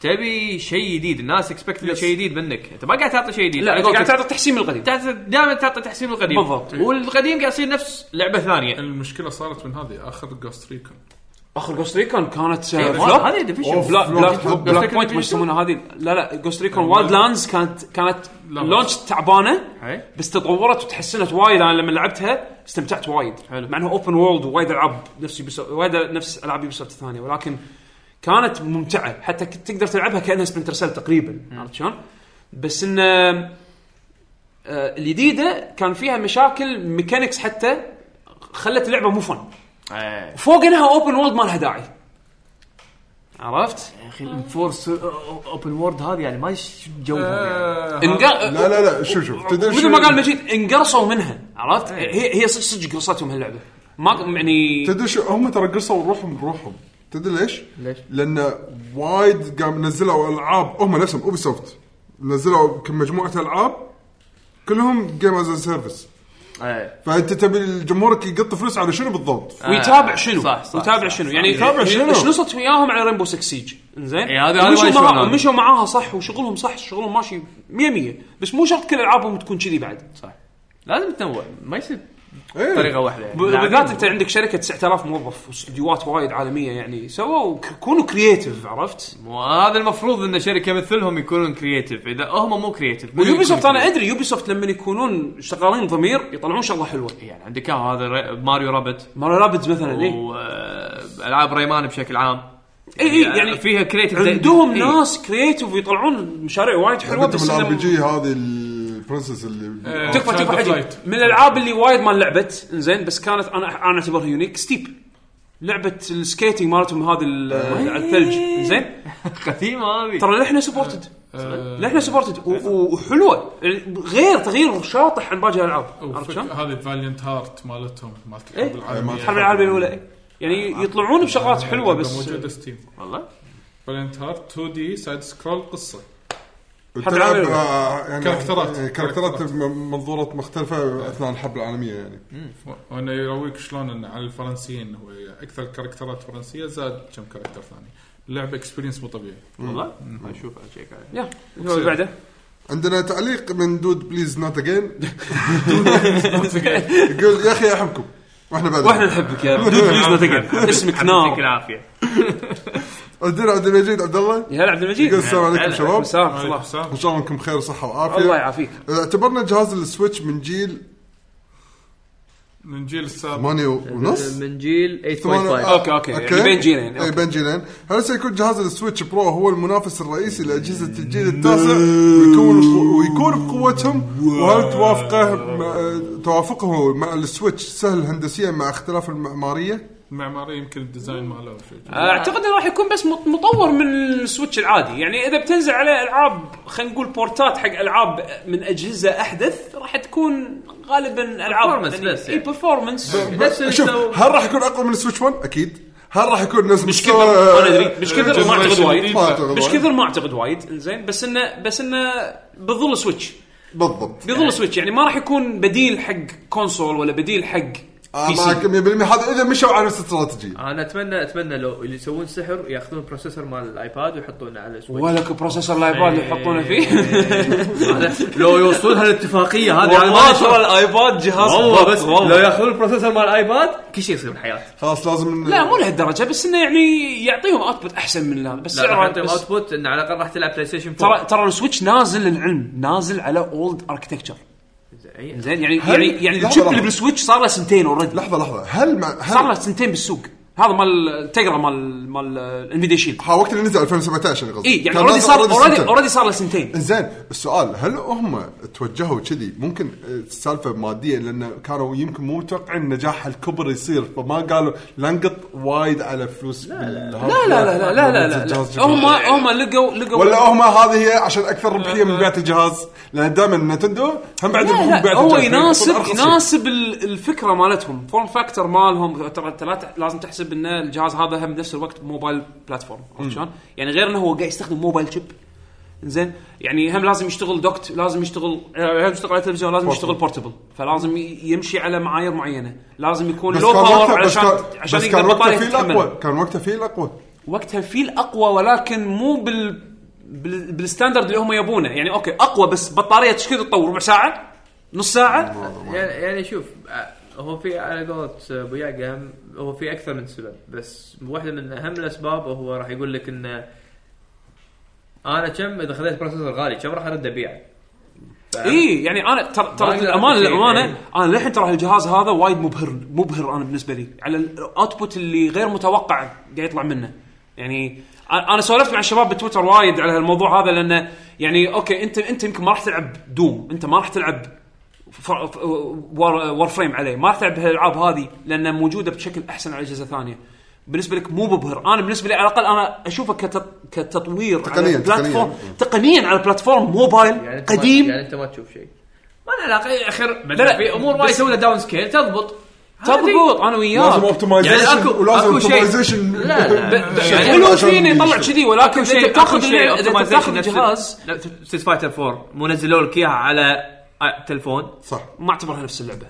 [SPEAKER 2] تبي شيء جديد الناس اكسبكت شيء جديد منك انت ما قاعد تعطي شيء جديد
[SPEAKER 6] لا انت قاعد تعطي تحسين من القديم
[SPEAKER 2] دائما تعطي تحسين القديم
[SPEAKER 6] بالضبط.
[SPEAKER 2] والقديم قاعد يصير نفس لعبه ثانيه
[SPEAKER 4] المشكله صارت من هذه اخر جوست ريكون
[SPEAKER 6] اخر جوست ريكون كانت آه،
[SPEAKER 2] إيه،
[SPEAKER 6] فلوب
[SPEAKER 2] هذه ديفيجن
[SPEAKER 3] أوف.
[SPEAKER 6] لا
[SPEAKER 3] فلوب.
[SPEAKER 6] بلاك
[SPEAKER 3] Ghost
[SPEAKER 6] بلاك
[SPEAKER 2] Recon
[SPEAKER 6] بوينت
[SPEAKER 2] Division؟
[SPEAKER 6] ما يسمونها هذه لا لا جوست ريكون وايلد لاندز كانت كانت لونش تعبانه
[SPEAKER 2] إيه.
[SPEAKER 6] بس تطورت وتحسنت وايد انا لما لعبتها استمتعت وايد
[SPEAKER 2] حلو.
[SPEAKER 6] مع انها اوبن وورلد ووايد العاب نفس Ubisoft- وايد نفس العاب يوبيسوفت الثانيه ولكن كانت ممتعه حتى كنت تقدر تلعبها كانها سبنتر سيل تقريبا عرفت شلون؟ بس انه آه، الجديده كان فيها مشاكل ميكانكس حتى خلت اللعبه مو فن
[SPEAKER 1] إيه.
[SPEAKER 6] فوق انها اوبن وولد ما لها داعي عرفت؟
[SPEAKER 1] يا اخي الفورس اوبن وورد هذه يعني ما إيش جوها يعني.
[SPEAKER 6] انقر...
[SPEAKER 3] لا لا لا شوف شوف تدري
[SPEAKER 6] آه، مثل
[SPEAKER 3] شو-
[SPEAKER 6] ما قال مجيد انقرصوا منها عرفت؟ هي هي صدق- صدق قرصتهم هاللعبه ما يعني
[SPEAKER 3] تدري شو هم ترى قصوا روحهم بروحهم تدري ليش؟ ليش؟ لان وايد قام نزلوا العاب هم نفسهم اوبي سوفت نزلوا كم مجموعه العاب كلهم جيم از سيرفيس
[SPEAKER 1] إيه.
[SPEAKER 3] فانت تبي جمهورك يقط فلوس على شنو بالضبط؟
[SPEAKER 6] ويتابع شنو
[SPEAKER 1] صح، صح،
[SPEAKER 6] ويتابع
[SPEAKER 1] صح،
[SPEAKER 6] شنو
[SPEAKER 1] صح.
[SPEAKER 6] يعني
[SPEAKER 3] يتابع شنو؟
[SPEAKER 6] إيش نصت وياهم على رينبو 6 سيج انزين
[SPEAKER 1] إي، هذه- هذه
[SPEAKER 6] مشوا
[SPEAKER 1] ما يشوفون
[SPEAKER 6] معاها
[SPEAKER 1] هذه.
[SPEAKER 6] مشوا معاها صح وشغلهم صح شغلهم ماشي 100 100 بس مو شرط كل العابهم تكون كذي بعد صح
[SPEAKER 1] لازم تنوع ما يصير
[SPEAKER 3] إيه.
[SPEAKER 1] طريقه واحده يعني.
[SPEAKER 6] بالذات انت عندك شركه 9000 موظف واستديوهات وايد عالميه يعني سووا ك- كونوا كرييتيف عرفت؟
[SPEAKER 1] وهذا المفروض ان شركه مثلهم يكونون كرييتيف اذا هم مو كرييتيف
[SPEAKER 6] ويوبي سوفت انا ادري يوبي سوفت لما يكونون شغالين ضمير يطلعون شغله حلوه
[SPEAKER 1] يعني عندك إياه هذا ري- ماريو رابت
[SPEAKER 6] ماريو رابدز مثلا
[SPEAKER 1] إيه.
[SPEAKER 6] اي
[SPEAKER 1] والعاب ريمان بشكل عام
[SPEAKER 6] اي
[SPEAKER 1] إيه،
[SPEAKER 6] اي يعني
[SPEAKER 1] فيها كريتيف
[SPEAKER 6] عندهم
[SPEAKER 2] إيه.
[SPEAKER 6] ناس كرييتيف ويطلعون مشاريع وايد حلوه
[SPEAKER 3] حلوه
[SPEAKER 6] بس
[SPEAKER 3] الار بي
[SPEAKER 6] إنه-
[SPEAKER 3] جي هذه البرنسس اللي
[SPEAKER 6] تكفى
[SPEAKER 4] Child
[SPEAKER 6] تكفى
[SPEAKER 4] of
[SPEAKER 6] حجي
[SPEAKER 4] Light.
[SPEAKER 6] من الالعاب اللي وايد ما لعبت انزين بس كانت انا انا اعتبرها يونيك ستيب لعبه السكيتنج مالتهم هذه ال- على الثلج انزين
[SPEAKER 1] قديمه هذه
[SPEAKER 6] ترى لحنا سبورتد
[SPEAKER 4] آه.
[SPEAKER 6] لحنا سبورتد و- و- وحلوه غير تغيير شاطح عن باقي الالعاب عرفت شلون؟
[SPEAKER 4] هذه فالينت هارت مالتهم مالت
[SPEAKER 6] إيه.
[SPEAKER 4] الحرب العالميه
[SPEAKER 6] الحرب العالميه الاولى إيه.
[SPEAKER 4] آه.
[SPEAKER 6] يعني يطلعون بشغلات حلوه بس
[SPEAKER 4] موجوده ستيم
[SPEAKER 1] والله
[SPEAKER 4] فالينت هارت 2 دي سايد سكرول قصه
[SPEAKER 6] الحرب العالمية الأولى.
[SPEAKER 3] آه، يعني
[SPEAKER 4] كاركترات.
[SPEAKER 3] إيه، كاركترات م- منظورات مختلفه اثناء الحرب العالميه يعني
[SPEAKER 4] و- وانه يرويك شلون انه على الفرنسيين هو اكثر كاركترات فرنسيه زاد كم كاركتر ثاني اللعبه اكسبيرينس مو طبيعي
[SPEAKER 1] والله اشوف اشيك عليه
[SPEAKER 6] يا شو اللي بعده
[SPEAKER 3] عندنا تعليق من دود بليز نوت اجين يقول يا اخي احبكم واحنا بعد
[SPEAKER 6] واحنا نحبك يا دود بليز لا تقعد اسمك
[SPEAKER 1] يعطيك
[SPEAKER 6] نار
[SPEAKER 1] العافيه
[SPEAKER 3] عندنا عبد المجيد عبد الله
[SPEAKER 6] يا هلا عبد المجيد
[SPEAKER 3] يقول السلام عليكم شباب
[SPEAKER 6] مساك
[SPEAKER 4] عليكم
[SPEAKER 6] الله
[SPEAKER 4] السلام.
[SPEAKER 3] ان شاء الله انكم بخير وصحه وعافيه
[SPEAKER 6] الله يعافيك
[SPEAKER 3] اعتبرنا جهاز السويتش من جيل
[SPEAKER 4] من جيل السابق
[SPEAKER 3] 8 ونص
[SPEAKER 2] آه، من جيل 8.5
[SPEAKER 6] أوكي، أوكي. يعني بين جيلين،
[SPEAKER 3] اي
[SPEAKER 6] أوكي.
[SPEAKER 3] بين جيلين هل سيكون جهاز السويتش برو هو المنافس الرئيسي لاجهزه الجيل التاسع ويكون ويكون بقوتهم وهل توافقه مع توافقه مع السويتش سهل هندسيا مع اختلاف المعماريه؟
[SPEAKER 4] المعماريه يمكن الديزاين ماله أو شيء
[SPEAKER 6] اعتقد انه آه، راح يكون بس مط- مطور من السويتش العادي يعني اذا بتنزل عليه العاب خلينا نقول بورتات حق العاب من اجهزه احدث راح تكون غالبا العاب
[SPEAKER 1] Performance بس
[SPEAKER 6] اي
[SPEAKER 1] يعني.
[SPEAKER 6] برفورمانس
[SPEAKER 1] نفس اللي
[SPEAKER 3] طيب، شوف
[SPEAKER 1] سووا-
[SPEAKER 3] هل راح يكون اقوى من السويتش 1؟ اكيد هل راح يكون نفس آه،
[SPEAKER 6] مش كثر ما ادري مش كثر ما اعتقد وايد
[SPEAKER 3] ما أعتقد
[SPEAKER 6] مش
[SPEAKER 3] وايد.
[SPEAKER 6] كثر ما اعتقد وايد انزين بس انه بس انه بظل سويتش
[SPEAKER 3] بالضبط
[SPEAKER 6] بظل سويتش يعني ما راح يكون بديل حق كونسول ولا بديل حق
[SPEAKER 3] آه،
[SPEAKER 6] بي سي.
[SPEAKER 3] معك 100% هذا اذا مشوا على نفس الاستراتيجي
[SPEAKER 2] انا اتمنى اتمنى لو اللي يسوون سحر ياخذون بروسيسور مال الايباد ويحطونه على السويتش
[SPEAKER 6] ولك بروسيسور لايباد يحطونه فيه
[SPEAKER 2] هذا- لو يوصلون هالاتفاقيه هذه على ما
[SPEAKER 6] والله ترى
[SPEAKER 2] أشوف.
[SPEAKER 6] الايباد جهاز
[SPEAKER 2] والله
[SPEAKER 6] ضغط،
[SPEAKER 2] بس لو ياخذون البروسيسور مال الايباد كل شيء يصير بالحياه
[SPEAKER 3] خلاص لازم
[SPEAKER 6] آه. لا مو لهالدرجه بس انه يعني يعطيهم اوتبوت احسن من هذا بس
[SPEAKER 2] لا راح
[SPEAKER 6] سعره
[SPEAKER 2] يعطيهم
[SPEAKER 6] بس
[SPEAKER 2] اوتبوت انه على الاقل راح تلعب بلاي ستيشن 4
[SPEAKER 6] ترى ترى السويتش نازل للعلم نازل على اولد اركتكتشر
[SPEAKER 2] زين.
[SPEAKER 6] زين يعني يعني يعني
[SPEAKER 3] لحظة،
[SPEAKER 6] الشيب
[SPEAKER 3] لحظة.
[SPEAKER 6] اللي بالسويتش صار له سنتين اوريدي
[SPEAKER 3] لحظه لحظه هل مع
[SPEAKER 6] صار له
[SPEAKER 3] هل
[SPEAKER 6] سنتين بالسوق هذا مال تقرا مال مال انفيديا شيلد
[SPEAKER 3] ها وقت اللي نزل 2017 اللي قصدي
[SPEAKER 6] اي يعني
[SPEAKER 3] كان
[SPEAKER 6] اوريدي
[SPEAKER 3] نازل
[SPEAKER 6] صار اوريدي
[SPEAKER 3] سنتين.
[SPEAKER 6] اوريدي صار له سنتين
[SPEAKER 3] زين السؤال هل هم توجهوا كذي ممكن آه، السالفه ماديه لان كانوا يمكن مو متوقعين نجاح هالكبر يصير فما قالوا لا نقط وايد على فلوس لا لا
[SPEAKER 6] لا لا لا لا لا لا, لا, لا. هم هم لقوا لقوا
[SPEAKER 3] ولا هم هذه هي عشان اكثر ربحيه من بيعه الجهاز لان دائما نتندو هم بعد
[SPEAKER 6] لا
[SPEAKER 3] يربحون
[SPEAKER 6] لا
[SPEAKER 3] ببيعة
[SPEAKER 6] هو
[SPEAKER 3] الجهاز، فيكون
[SPEAKER 6] يناسب
[SPEAKER 3] أرخص شيء.
[SPEAKER 6] يناسب ال- الفكره مالتهم فورم فاكتور مالهم ترى انت لا تح- لازم تحسب ان الجهاز هذا هم بنفس الوقت موبايل بلاتفورم عرفت شلون؟ يعني غير انه هو قاعد يستخدم موبايل شيب زين يعني هم لازم يشتغل دوكت لازم يشتغل لازم يشتغل على التلفزيون لازم يشتغل بورتبل فلازم ي- يمشي على معايير معينه لازم يكون
[SPEAKER 3] بس
[SPEAKER 6] لو
[SPEAKER 3] كان
[SPEAKER 6] باور
[SPEAKER 3] وقتها بس
[SPEAKER 6] علشان
[SPEAKER 3] كان-
[SPEAKER 6] عشان
[SPEAKER 3] بس كان
[SPEAKER 6] يقدر
[SPEAKER 3] وقتها
[SPEAKER 6] بطاريه
[SPEAKER 3] في
[SPEAKER 6] تتحمل
[SPEAKER 3] الاقوى كان وقتها في الاقوى
[SPEAKER 6] وقتها في الاقوى ولكن مو بال بال- بالستاندرد اللي هم يبونه يعني اوكي اقوى بس بطاريه ايش كثر تطول ربع ساعه نص ساعه
[SPEAKER 2] يعني يعني شوف آه، هو في على قولة ابو يعقا هم- هو في اكثر من سبب بس واحده من اهم الاسباب هو راح يقول لك انه انا كم اذا خذيت بروسيسور غالي كم راح ارد ابيعه
[SPEAKER 6] اي يعني انا ترى ترى
[SPEAKER 2] ما أقدر
[SPEAKER 6] للامانه
[SPEAKER 2] أقول شيء،
[SPEAKER 6] للامانه
[SPEAKER 2] إيه.
[SPEAKER 6] انا للحين ترى الجهاز هذا وايد مبهر مبهر انا بالنسبه لي على الاوتبوت اللي غير متوقع قاعد يطلع منه يعني أ- انا سولفت مع الشباب بتويتر وايد على هالموضوع هذا لانه يعني اوكي انت انت يمكن ما راح تلعب دوم انت ما راح تلعب ف- ف- وار, وار فريم عليه ما راح تلعب هالالعاب هذه لانها موجوده بشكل احسن على اجهزه ثانيه بالنسبه لك مو مبهر انا بالنسبه لي على الاقل انا اشوفه كتط... كتطوير
[SPEAKER 3] تقنياً-
[SPEAKER 6] على بلاتفورم
[SPEAKER 3] تقنياً.
[SPEAKER 6] تقنيا على بلاتفورم موبايل
[SPEAKER 2] يعني أنت ما-
[SPEAKER 6] قديم
[SPEAKER 2] يعني انت ما تشوف شيء ما له علاقه اخر
[SPEAKER 6] لا لا،
[SPEAKER 2] في امور وايد
[SPEAKER 6] بس-
[SPEAKER 2] يسوي لها داون سكيل تضبط
[SPEAKER 6] تضبط انا
[SPEAKER 3] لازم
[SPEAKER 6] وياك
[SPEAKER 3] اوبتمايزيشن
[SPEAKER 2] يعني أكو-
[SPEAKER 3] ولازم
[SPEAKER 2] أكو شيء.
[SPEAKER 3] اوبتمايزيشن
[SPEAKER 2] لا، لا،
[SPEAKER 6] ب-
[SPEAKER 2] يعني
[SPEAKER 6] حلو فيني يطلع كذي ولكن
[SPEAKER 2] أكو
[SPEAKER 6] انت
[SPEAKER 2] شيء-
[SPEAKER 6] بتاخذ
[SPEAKER 2] أكو شيء
[SPEAKER 6] يعني اللي- إذا أنت
[SPEAKER 2] optimization
[SPEAKER 6] بتاخذ
[SPEAKER 2] نفس-
[SPEAKER 6] الجهاز
[SPEAKER 2] لا ستيت فايتر 4 مو نزلوا لك اياها على آه، تلفون
[SPEAKER 3] صح
[SPEAKER 6] ما اعتبرها نفس اللعبه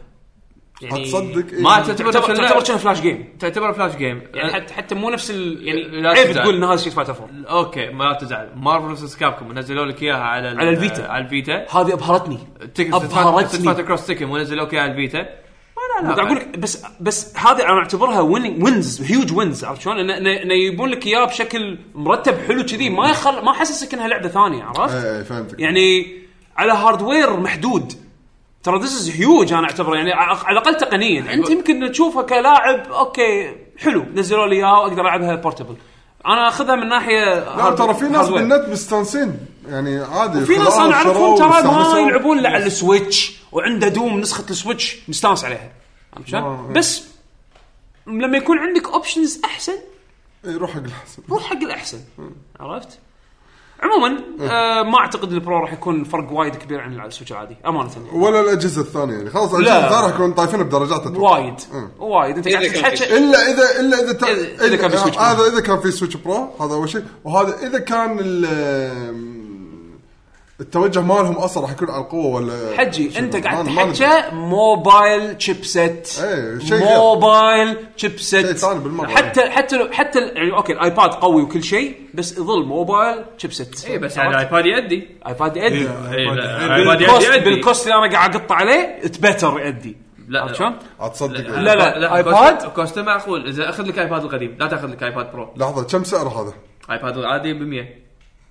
[SPEAKER 6] يعني
[SPEAKER 3] تصدق إيه.
[SPEAKER 2] ما تعتبر نفس
[SPEAKER 6] تعتبر
[SPEAKER 2] اللعبة.
[SPEAKER 6] تعتبر كأنها فلاش جيم
[SPEAKER 2] تعتبر فلاش جيم
[SPEAKER 6] يعني حتى حتى مو نفس ال يعني
[SPEAKER 2] إيه، لا
[SPEAKER 6] عيب
[SPEAKER 2] تزعل.
[SPEAKER 6] تقول ان هذا شيء فايتر فور
[SPEAKER 2] اوكي ما تزعل مارفل فيس كابكم نزلوا لك اياها على ال-
[SPEAKER 6] على الفيتا.
[SPEAKER 2] على الفيتا
[SPEAKER 6] هذه ابهرتني
[SPEAKER 2] ابهرتني
[SPEAKER 6] ابهرتني
[SPEAKER 2] كروس تيكن ونزلوا لك اياها على الفيتا
[SPEAKER 6] قاعد اقول لك بس بس هذه انا اعتبرها وينز هيوج وينز عرفت شلون؟ إن- إن إن يبون لك اياه بشكل مرتب حلو كذي ما يخل ما حسسك انها لعبه ثانيه عرفت؟
[SPEAKER 3] ايه فهمتك
[SPEAKER 6] يعني على هاردوير محدود ترى ذس از هيوج انا اعتبره يعني ع- على يعني الاقل تقنيا انت يمكن تشوفها كلاعب اوكي حلو نزلوا لي اياها واقدر العبها بورتبل انا اخذها من ناحيه
[SPEAKER 3] لا ترى في ناس
[SPEAKER 6] هاردوير.
[SPEAKER 3] بالنت مستانسين يعني عادي
[SPEAKER 6] في ناس
[SPEAKER 3] خذوها
[SPEAKER 6] انا اعرفهم
[SPEAKER 3] وشروها
[SPEAKER 6] ترى ما
[SPEAKER 3] واستانسوا.
[SPEAKER 6] يلعبون الا على السويتش وعنده دوم نسخه السويتش مستانس عليها عرفت شلون؟ بس لما يكون عندك اوبشنز احسن
[SPEAKER 3] إيه، روح حق الحسن
[SPEAKER 6] روح حق الاحسن عرفت؟ عموما آه ما اعتقد البرو راح يكون فرق وايد كبير عن السويتش العادي امانه يعني.
[SPEAKER 3] ولا الاجهزه الثانيه يعني خلاص الاجهزه
[SPEAKER 6] لا.
[SPEAKER 3] الثانيه راح يكون طايفينها بدرجات أتوقع.
[SPEAKER 6] وايد
[SPEAKER 3] مم.
[SPEAKER 6] وايد انت قاعد
[SPEAKER 8] إذا كان
[SPEAKER 6] تتحكى
[SPEAKER 3] الا اذا الا اذا تا...
[SPEAKER 6] إذا- إذا كان في سويتش برو.
[SPEAKER 3] هذا اذا كان في سويتش برو هذا اول شيء وهذا اذا كان ال... التوجه مالهم اصلا راح يكون على القوه ولا
[SPEAKER 6] حجي
[SPEAKER 3] شنو.
[SPEAKER 6] انت
[SPEAKER 3] ما-
[SPEAKER 6] قاعد
[SPEAKER 3] ما ندري.
[SPEAKER 6] تحكى موبايل تشيبسيت
[SPEAKER 3] إيه، شيء غير.
[SPEAKER 6] موبايل
[SPEAKER 3] شيء
[SPEAKER 6] تشيبسيت
[SPEAKER 3] ثاني بالمرة.
[SPEAKER 6] حتى حتى لو حتى ال- يعني اوكي الايباد قوي وكل شيء بس يظل موبايل تشيبسيت
[SPEAKER 3] إيه.
[SPEAKER 2] اي بس يعني الايباد يأدي
[SPEAKER 6] ايباد يأدي
[SPEAKER 2] إي، لا، الايباد
[SPEAKER 6] بالكوست
[SPEAKER 2] يأدي يأدي
[SPEAKER 6] بالكوست اللي انا قاعد اقطع عليه تبتر يأدي عرفت شلون؟
[SPEAKER 3] إيه. اتصدق
[SPEAKER 6] لا، لا. آيباد؟
[SPEAKER 2] كوست- كوست معقول اذا اخذ لك ايباد القديم لا تاخذ لك ايباد برو
[SPEAKER 3] لحظه كم سعر هذا؟
[SPEAKER 2] ايباد العادي ب 100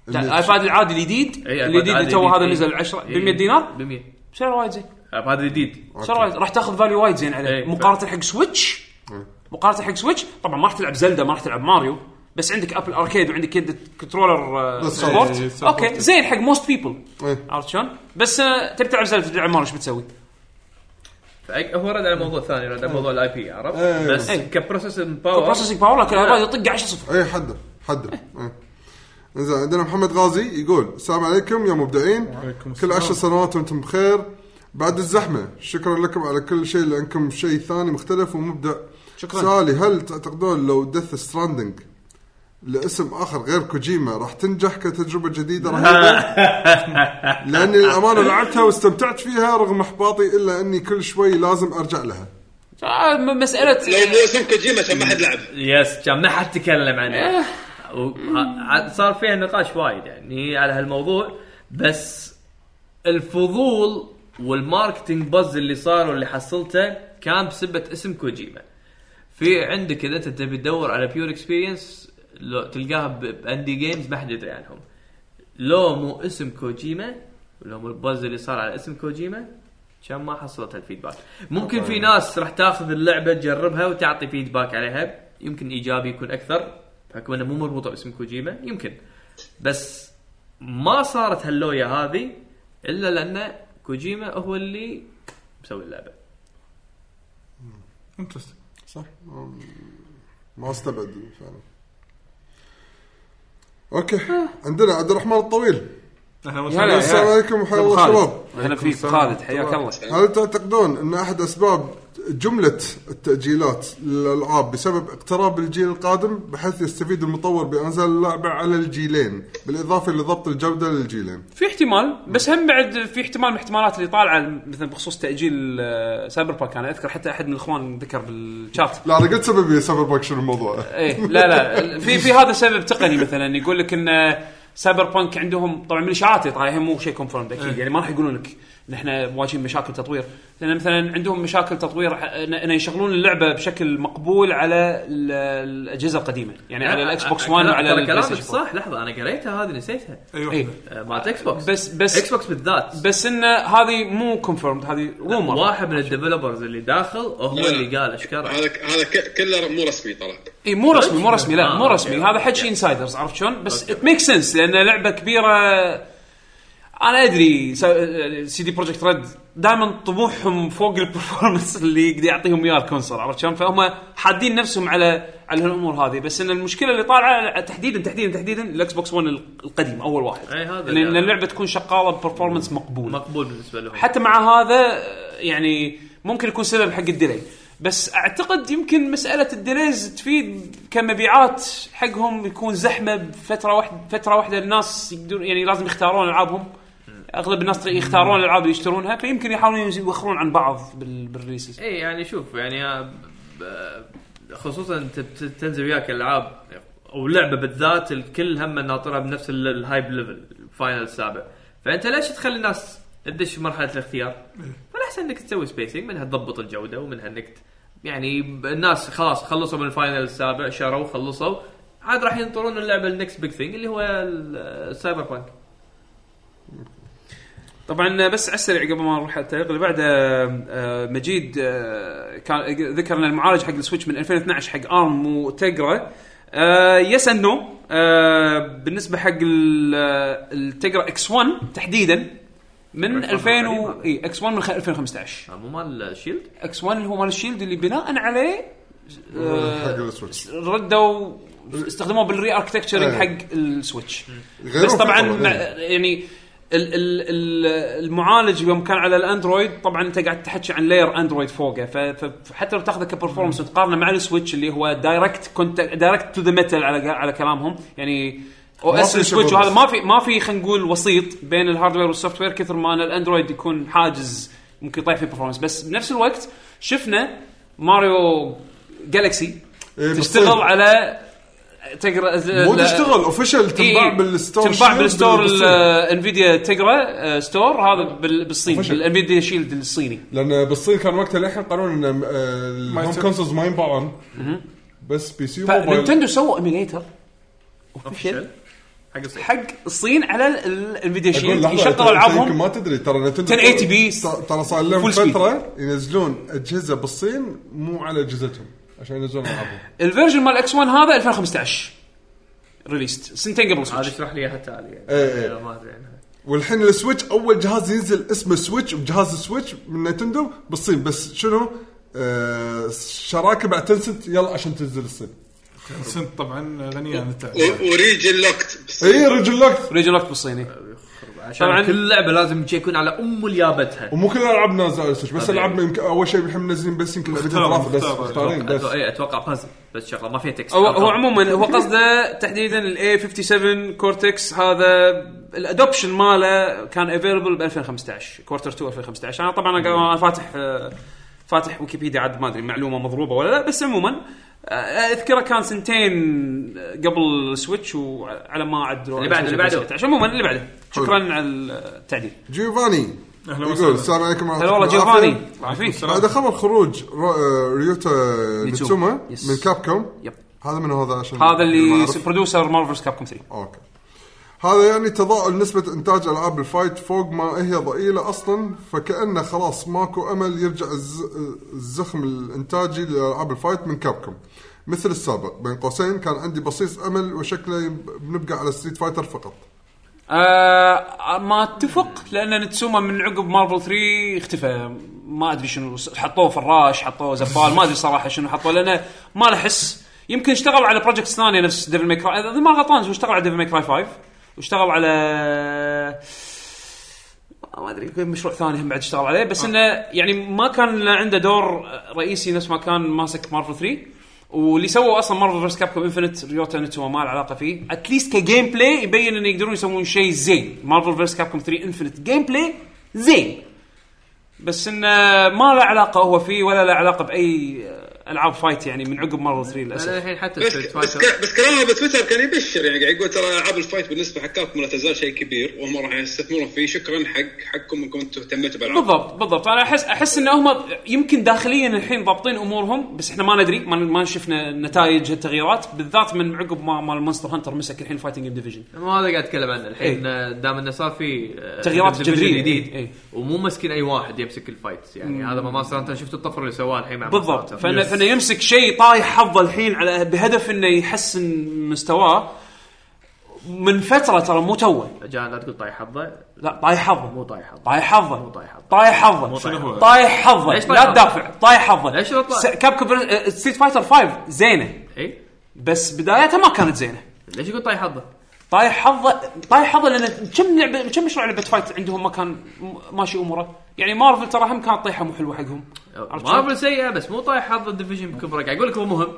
[SPEAKER 6] لا، الايباد العادي الجديد
[SPEAKER 2] إي، iPad إيه،
[SPEAKER 6] الجديد اللي
[SPEAKER 2] عادي
[SPEAKER 6] تو
[SPEAKER 2] جديد، إيه.
[SPEAKER 6] هذا
[SPEAKER 2] إي.
[SPEAKER 6] نزل 10 ب
[SPEAKER 2] إي.
[SPEAKER 6] 100 دينار
[SPEAKER 2] ب 100
[SPEAKER 6] سعر وايد زين
[SPEAKER 2] ايباد جديد
[SPEAKER 6] سعر وايد راح تاخذ فاليو وايد زين عليه
[SPEAKER 3] إيه،
[SPEAKER 2] إي، ف-
[SPEAKER 6] مقارنه حق سويتش مقارنه حق سويتش طبعا ما راح تلعب زلدا ما راح تلعب ماريو بس عندك ابل اركيد وعندك يد كنترولر آه،
[SPEAKER 3] بس
[SPEAKER 6] سبورت
[SPEAKER 22] إي، سبورت.
[SPEAKER 6] اوكي زين حق موست بيبل
[SPEAKER 3] إيه.
[SPEAKER 6] عرفت شلون؟ بس آه، تبي تلعب زلدا تلعب ماريو ايش بتسوي؟
[SPEAKER 2] فأك- هو رد على موضوع ثاني رد على موضوع الاي بي عرفت
[SPEAKER 3] إيه.
[SPEAKER 2] بس كبروسيسنج باور
[SPEAKER 6] بروسيسنج باور لكن الايباد يطق 10 صفر
[SPEAKER 3] اي حده حده إيه. زين عندنا محمد غازي يقول السلام عليكم يا مبدعين كل عشر سنوات وانتم بخير بعد الزحمه شكرا لكم على كل شيء لانكم شيء ثاني مختلف ومبدع شكرا سؤالي هل تعتقدون لو دث ستراندنج لاسم اخر غير كوجيما راح تنجح كتجربه جديده رهيبه لاني الامانه لعبتها واستمتعت فيها رغم احباطي الا اني كل شوي لازم ارجع لها
[SPEAKER 6] آه، م- مساله
[SPEAKER 8] لو مو اسم كوجيما كان ما حد لعب
[SPEAKER 2] يس كان ما حد تكلم
[SPEAKER 6] إيه.
[SPEAKER 2] عنه و- عاد صار فيها نقاش وايد يعني على هالموضوع بس الفضول والماركتينج بز اللي صار واللي حصلته كان بسبه اسم كوجيما في عندك اذا انت تبي تدور على بيور اكسبيرينس لو تلقاها ب- باندي جيمز ما حد يدري عنهم لو مو اسم كوجيما لو مو البز اللي صار على اسم كوجيما كان ما حصلت الفيدباك ممكن في ناس راح تاخذ اللعبه تجربها وتعطي فيدباك عليها يمكن ايجابي يكون اكثر بحكم انه مو مربوطه باسم كوجيما يمكن بس ما صارت هاللوية هذه الا لان كوجيما هو اللي مسوي اللعبه
[SPEAKER 22] انترستنج
[SPEAKER 3] صح ما- ما استبعد فعلا اوكي
[SPEAKER 6] آه.
[SPEAKER 3] عندنا عبد الرحمن الطويل
[SPEAKER 22] احنا
[SPEAKER 6] هلا.
[SPEAKER 22] وصلنا
[SPEAKER 3] السلام عليكم وحيا الشباب
[SPEAKER 6] هلا فيك خالد حياك الله
[SPEAKER 3] هل تعتقدون ان احد اسباب جمله التاجيلات للالعاب بسبب اقتراب الجيل القادم بحيث يستفيد المطور بانزال اللعبه على الجيلين بالاضافه لضبط الجوده للجيلين
[SPEAKER 6] في احتمال بس هم بعد في احتمال من الاحتمالات اللي طالعه مثلا بخصوص تاجيل آه، سايبر باك انا اذكر حتى احد من الاخوان ذكر بالشات
[SPEAKER 3] لا انا قلت سبب يا سايبر باك شنو الموضوع
[SPEAKER 6] ايه لا لا في في هذا سبب تقني مثلا يقول لك ان سايبر بانك عندهم طبعا من الاشاعات اللي طالعه هي مو شيء كونفيرمد
[SPEAKER 2] إيه.
[SPEAKER 6] اكيد يعني ما راح يقولون لك ان احنا مواجهين مشاكل تطوير لان مثلا عندهم مشاكل تطوير ح- ان إن يشغلون اللعبه بشكل مقبول على ال- الاجهزه القديمه يعني على الاكس بوكس 1
[SPEAKER 2] لا،
[SPEAKER 6] وعلى
[SPEAKER 2] ترى
[SPEAKER 6] البلاي
[SPEAKER 2] كلامك
[SPEAKER 6] ستيشن 4.
[SPEAKER 2] صح لحظه انا قريتها هذه نسيتها
[SPEAKER 6] إيه.
[SPEAKER 2] آه، مالت اكس بوكس
[SPEAKER 6] بس بس
[SPEAKER 2] اكس بوكس بالذات
[SPEAKER 6] بس ان هذه مو كونفيرمد هذه رومر
[SPEAKER 2] واحد من الديفلوبرز اللي داخل هو
[SPEAKER 8] لا، لا.
[SPEAKER 2] اللي قال اشكره
[SPEAKER 8] هذا هذا ك- كله مو رسمي طلع
[SPEAKER 6] اي مو رسمي مو رسمي لا
[SPEAKER 2] آه،
[SPEAKER 6] مو رسمي هذا حكي انسايدرز عرفت شلون بس ميك سنس لان لعبه كبيره انا ادري سا- سي دي بروجكت ريد دائما طموحهم فوق البرفورمانس اللي يقدر يعطيهم اياه الكونسول عرفت شلون فهم حادين نفسهم على على هالامور هذه بس ان المشكله اللي طالعه تحديدا تحديدا تحديدا الاكس بوكس 1 القديم اول واحد
[SPEAKER 2] أي هذا
[SPEAKER 6] لان
[SPEAKER 2] يعني.
[SPEAKER 6] اللعبه تكون شغاله ببرفورمانس مقبول
[SPEAKER 2] مقبول بالنسبه لهم
[SPEAKER 6] حتى مع هذا آه، يعني ممكن يكون سبب حق الديلي بس اعتقد يمكن مساله الديليز تفيد كمبيعات حقهم يكون زحمه بفتره واحده فتره واحده الناس يقدرون يعني لازم يختارون العابهم اغلب الناس يختارون الالعاب اللي يشترونها فيمكن يحاولون يوخرون عن بعض بال- بالريليسز
[SPEAKER 2] اي يعني شوف يعني آه، ب- خصوصا انت بت- تنزل وياك العاب او لعبه بالذات الكل هم ناطرها بنفس ال- الهايب ليفل الفاينل السابع فانت ليش تخلي الناس تدش مرحله الاختيار؟
[SPEAKER 6] إيه.
[SPEAKER 2] فالاحسن انك تسوي سبيسنج منها تضبط الجوده ومنها انك ت- يعني ب- الناس خلاص خلصوا من الفاينل السابع شروا خلصوا عاد راح ينطرون اللعبه النكست بيج ثينج اللي هو ال- السايبر بانك
[SPEAKER 6] طبعا بس على السريع قبل ما نروح على التعليق اللي بعده آه، مجيد آه، كان ذكر ان المعالج حق السويتش من 2012 حق آه، ارم وتجرا يس اند نو بالنسبه آه، حق ال- آه، التجرا اكس 1 تحديدا من 2000 و... اي اكس 1 من خ- 2015
[SPEAKER 2] مو مال الشيلد
[SPEAKER 6] اكس 1 اللي هو مال الشيلد اللي بناء عليه
[SPEAKER 3] حق
[SPEAKER 6] آه،
[SPEAKER 3] السويتش
[SPEAKER 6] ردوا استخدموه بالري اركتكتشرنج
[SPEAKER 3] إيه.
[SPEAKER 6] حق السويتش
[SPEAKER 3] غيرهم
[SPEAKER 6] بس طبعا
[SPEAKER 3] فيه
[SPEAKER 6] مع- يعني ال ال ال المعالج يوم كان على الاندرويد طبعا انت قاعد تحكي عن لاير اندرويد فوقه ف- ف- فحتى لو تاخذه كبرفورمانس وتقارنه مع السويتش اللي هو دايركت كنت دايركت تو ذا ميتال على على كلامهم يعني او
[SPEAKER 3] ما
[SPEAKER 6] اس
[SPEAKER 3] في
[SPEAKER 6] السويتش
[SPEAKER 3] شباب.
[SPEAKER 6] وهذا ما في ما في خلينا نقول وسيط بين الهاردوير والسوفت وير كثر ما ان الاندرويد يكون حاجز ممكن يطيح في برفورمانس بس بنفس الوقت شفنا ماريو جالكسي
[SPEAKER 3] إيه،
[SPEAKER 6] تشتغل
[SPEAKER 3] بالصيف.
[SPEAKER 6] على تقرا
[SPEAKER 3] مو
[SPEAKER 6] لا-
[SPEAKER 3] تشتغل اوفشل تنباع
[SPEAKER 6] إيه،
[SPEAKER 3] بالستور
[SPEAKER 6] تنباع
[SPEAKER 3] شيلد
[SPEAKER 6] بالستور
[SPEAKER 3] بالصيف.
[SPEAKER 6] انفيديا تقرا ستور آه، هذا بال- بالصين
[SPEAKER 3] Official.
[SPEAKER 6] بالانفيديا شيلد الصيني
[SPEAKER 3] لان بالصين كان وقتها للحين قانون ان آه، الهوم
[SPEAKER 22] يصير.
[SPEAKER 3] كونسولز ما ينباعون بس بي سي وموبايل
[SPEAKER 6] فنتندو سووا ايميليتر اوفيشال
[SPEAKER 2] حق الصين
[SPEAKER 6] حق الصين على الانفيديا
[SPEAKER 3] أقول
[SPEAKER 6] شيلد
[SPEAKER 3] لحظة، أنت-
[SPEAKER 6] يشغلوا
[SPEAKER 3] أنت يمكن
[SPEAKER 6] العابهم
[SPEAKER 3] ما تدري ترى نتندو
[SPEAKER 6] 1080p
[SPEAKER 3] ترى- ترى صار لهم
[SPEAKER 6] full speed.
[SPEAKER 3] فتره ينزلون اجهزه بالصين مو على اجهزتهم عشان ينزلون العابهم
[SPEAKER 6] الفيرجن مال اكس 1 هذا 2015 ريليست سنتين قبل
[SPEAKER 2] هذا
[SPEAKER 6] سويتش
[SPEAKER 2] اشرح لي اياها التالي يعني
[SPEAKER 3] إيه، إيه.
[SPEAKER 2] ما ادري عنها
[SPEAKER 3] والحين السويتش اول جهاز ينزل اسمه سويتش بجهاز السويتش من نتندو بالصين بس شنو؟ آه شراكه مع تنسنت يلا عشان تنزل الصين.
[SPEAKER 22] سنت طبعا غنيه عن
[SPEAKER 8] إيه،
[SPEAKER 22] التعريف
[SPEAKER 8] اوريجن لوكت
[SPEAKER 3] اي إيه، رجل لوكت
[SPEAKER 6] ريجن لوكت بالصيني
[SPEAKER 2] عشان
[SPEAKER 6] طبعاً.
[SPEAKER 2] كل لعبه لازم يكون على ام اليابتها
[SPEAKER 3] ومو كل الالعاب نازله على السويتش بس العاب يمكن اول شيء الحين منزلين بس يمكن لعبتين
[SPEAKER 22] مختار-
[SPEAKER 3] ثلاثه بس
[SPEAKER 22] مختار.
[SPEAKER 3] مختارين بس
[SPEAKER 2] أتوقع- اي اتوقع بازل بس شغله ما فيها تكست
[SPEAKER 6] هو هو عموما هو قصده تحديدا الاي 57 كورتكس هذا الادوبشن ماله كان افيلبل ب 2015 كورتر 2 2015 انا طبعا أنا- انا فاتح آه، فاتح ويكيبيديا عاد ما ادري معلومه مضروبه ولا لا بس عموما آه، اذكره كان سنتين آه، قبل السويتش وعلى ما عد
[SPEAKER 2] اللي بعده- اللي بعده.
[SPEAKER 6] عموما اللي بعده شكرا على التعديل
[SPEAKER 3] جيوفاني
[SPEAKER 22] أهلا
[SPEAKER 3] يقول
[SPEAKER 22] وسهلا.
[SPEAKER 3] السلام عليكم ورحمه
[SPEAKER 6] هلا والله
[SPEAKER 3] الله
[SPEAKER 6] جيفاني
[SPEAKER 3] وبركاته.
[SPEAKER 6] عافيك
[SPEAKER 3] بعد خبر خروج رو- آه، ريوتا ميتسوما
[SPEAKER 6] يس.
[SPEAKER 3] من كابكوم
[SPEAKER 6] يب.
[SPEAKER 3] هذا من هذا عشان
[SPEAKER 6] هذا
[SPEAKER 3] ما
[SPEAKER 6] اللي
[SPEAKER 3] أعرف.
[SPEAKER 6] برودوسر مارفلز كاب كوم 3
[SPEAKER 3] اوكي هذا يعني تضاءل نسبة إنتاج ألعاب الفايت فوق ما هي ضئيلة أصلا فكأنه خلاص ماكو أمل يرجع الز- الزخم الإنتاجي لألعاب الفايت من كابكم مثل السابق بين قوسين كان عندي بصيص أمل وشكله يب- بنبقى على ستريت فايتر فقط
[SPEAKER 6] آه ما اتفق لان نتسوما من عقب مارفل 3 اختفى ما ادري شنو حطوه فراش حطوه زبال ما ادري صراحه شنو حطوه لانه ما له حس يمكن اشتغل على بروجكت ثانيه نفس ديفل ميك راي اذا ما غلطان هو اشتغل على ديفل ميك راي 5 واشتغل على ما ادري يمكن مشروع ثاني هم بعد اشتغل عليه بس انه يعني ما كان له عنده دور رئيسي نفس ما كان ماسك مارفل 3 واللي سووا اصلا مارفل فيرس كابكوم انفنت ريوتا نتسوما ما له علاقه فيه اتليست كجيم بلاي يبين انه يقدرون يسوون شيء زين مارفل فيرس كابكوم 3 انفنت جيم بلاي زين بس انه ما له علاقه هو فيه ولا له علاقه باي العاب فايت يعني من عقب مارفل 3 للاسف
[SPEAKER 2] الحين حتى
[SPEAKER 8] بس
[SPEAKER 2] ستريت
[SPEAKER 8] بس,
[SPEAKER 2] فايتر
[SPEAKER 8] ك- بس كلامه بتويتر كان يبشر يعني قاعد يقول ترى العاب الفايت بالنسبه حق كابكم لا تزال شيء كبير وهم راح يستثمرون فيه شكرا حق حقكم انكم انتم اهتميتوا بالالعاب
[SPEAKER 6] بالضبط بالضبط انا احس احس ان هم يمكن داخليا الحين ضابطين امورهم بس احنا ما ندري ما, ما شفنا نتائج هالتغييرات بالذات من عقب ما مال مونستر هانتر مسك الحين فايتنج ديفيجن
[SPEAKER 2] مو هذا قاعد اتكلم عنه الحين دام انه صار في آه،
[SPEAKER 6] إيه. تغييرات
[SPEAKER 2] ديفيجن
[SPEAKER 6] جذرية.
[SPEAKER 2] جديد
[SPEAKER 6] إيه.
[SPEAKER 2] ومو مسكين اي واحد يمسك الفايتس يعني هذا ما ماستر انت شفت الطفره اللي سواه الحين مع
[SPEAKER 6] بالضبط
[SPEAKER 2] ماستر
[SPEAKER 6] فان
[SPEAKER 2] هانتر.
[SPEAKER 6] بهدف انه يمسك شيء طايح حظه الحين على بهدف انه يحسن مستواه من فتره ترى مو توه
[SPEAKER 2] جان لا تقول طايح حظه
[SPEAKER 6] لا طايح حظه
[SPEAKER 2] مو طايح حظه
[SPEAKER 6] طايح حظه
[SPEAKER 2] مو طايح حظه.
[SPEAKER 6] طايح حظه
[SPEAKER 2] مو طايح
[SPEAKER 6] شنو هو؟
[SPEAKER 2] حظه.
[SPEAKER 6] طايح حظه
[SPEAKER 2] ليش
[SPEAKER 6] لا
[SPEAKER 2] طايح حظه؟
[SPEAKER 6] تدافع طايح حظه
[SPEAKER 2] ليش لو طايح؟
[SPEAKER 6] س- كاب كبر ستريت فايتر 5 زينه
[SPEAKER 2] اي
[SPEAKER 6] بس بدايتها ما كانت زينه
[SPEAKER 2] إيه؟ ليش يقول طايح حظه؟
[SPEAKER 6] طايح حظه طايح حظه لان كم لعبه كم مشروع لعبه فايت عندهم ما كان م- ماشي اموره يعني مارفل ترى هم كانت طيحه مو حلوه حقهم عرفت شلون؟
[SPEAKER 2] مارفل سيئه بس مو طايح حظه الديفيجن بكبره قاعد اقول لك هو مهم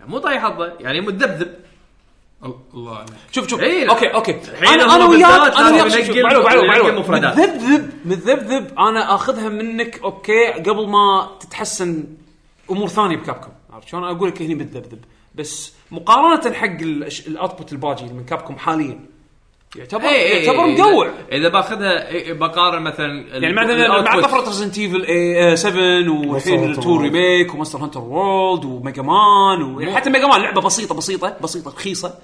[SPEAKER 2] يعني مو طايح حظه يعني متذبذب
[SPEAKER 4] الله عليك
[SPEAKER 6] شوف شوف
[SPEAKER 2] إيه.
[SPEAKER 6] اوكي اوكي
[SPEAKER 2] الحين
[SPEAKER 6] انا
[SPEAKER 2] هم
[SPEAKER 6] انا وياك
[SPEAKER 2] بالذات
[SPEAKER 6] انا
[SPEAKER 2] صاروا
[SPEAKER 6] وياك شوف، شوف،
[SPEAKER 2] ينقل-
[SPEAKER 6] معلومة- معلومة-
[SPEAKER 2] ينقل
[SPEAKER 6] معلومة.
[SPEAKER 2] مفردات.
[SPEAKER 6] متذبذب متذبذب انا اخذها منك اوكي قبل ما تتحسن امور ثانيه بكابكم عرفت شلون اقول لك هني متذبذب بس مقارنه حق الاوتبوت الباجي من كابكم حاليا
[SPEAKER 2] إيه،
[SPEAKER 6] يعتبر يعتبر مقوع
[SPEAKER 2] اذا باخذها إي- إي بقارن مثلا
[SPEAKER 6] يعني مثلا مع طفره ريزنت ايفل 7 والحين
[SPEAKER 3] Hunter
[SPEAKER 6] التو
[SPEAKER 3] World.
[SPEAKER 6] ريميك وماستر هانتر وورلد وميجا مان وحتى ميجا مان لعبه بسيطه بسيطه بسيطه رخيصه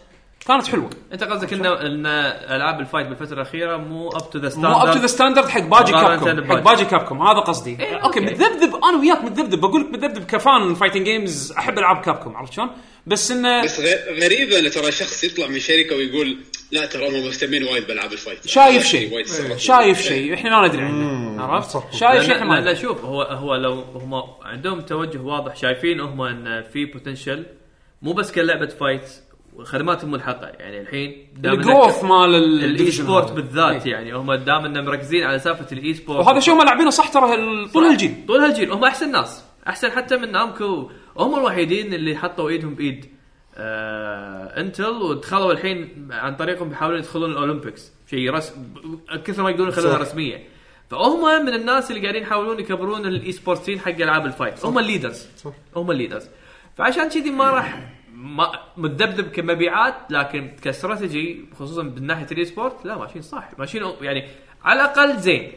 [SPEAKER 6] كانت حلوه
[SPEAKER 2] انت قصدك ان ان العاب الفايت بالفتره الاخيره مو اب تو ذا
[SPEAKER 6] مو اب تو
[SPEAKER 2] ستاندرد
[SPEAKER 6] ذا ستاندرد حق باجي
[SPEAKER 2] مقارنة
[SPEAKER 6] كابكم حق
[SPEAKER 2] بباجي.
[SPEAKER 6] باجي كابكم هذا قصدي
[SPEAKER 2] إيه،
[SPEAKER 6] اوكي
[SPEAKER 2] أوكي.
[SPEAKER 6] متذبذب انا وياك متذبذب بقول لك متذبذب كفان فايتنج جيمز احب العاب كابكم عرفت شلون؟ بس انه
[SPEAKER 8] بس غ- غريبه ان ترى شخص يطلع من شركه ويقول لا ترى هم مهتمين وايد بالعاب الفايت
[SPEAKER 6] شايف
[SPEAKER 8] هذا
[SPEAKER 6] شيء.
[SPEAKER 8] وايد صار.
[SPEAKER 6] شايف شيء احنا ما ندري عنه عرفت؟ شايف شيء احنا ما
[SPEAKER 2] لا, لا
[SPEAKER 6] ندري
[SPEAKER 2] شوف هو هو لو هم عندهم توجه واضح شايفين هم ان في بوتنشل مو بس كلعبه فايت وخدماتهم ملحقه يعني الحين دام إنك-
[SPEAKER 6] الجروث مال ال-
[SPEAKER 2] الاي سبورت
[SPEAKER 6] هذا. إيه.
[SPEAKER 2] بالذات يعني هم دام انهم مركزين على سالفه الاي سبورت
[SPEAKER 6] وهذا شيء هم لاعبينه صح ترى ال- طول الجيل
[SPEAKER 2] طول هالجيل هم احسن ناس احسن حتى من نامكو هم الوحيدين اللي حطوا ايدهم بايد آه انتل ودخلوا الحين عن طريقهم بيحاولون يدخلون الاولمبيكس شيء رسم كثر ما يقدرون يخلونها رسميه فهم من الناس اللي قاعدين يحاولون يكبرون الاي سبورت سين حق العاب الفايت هم الليدرز هم الليدرز فعشان كذي ما راح ما متذبذب كمبيعات لكن كاستراتيجي خصوصا من ناحيه الاي سبورت لا ماشيين صح ماشيين يعني على الاقل زين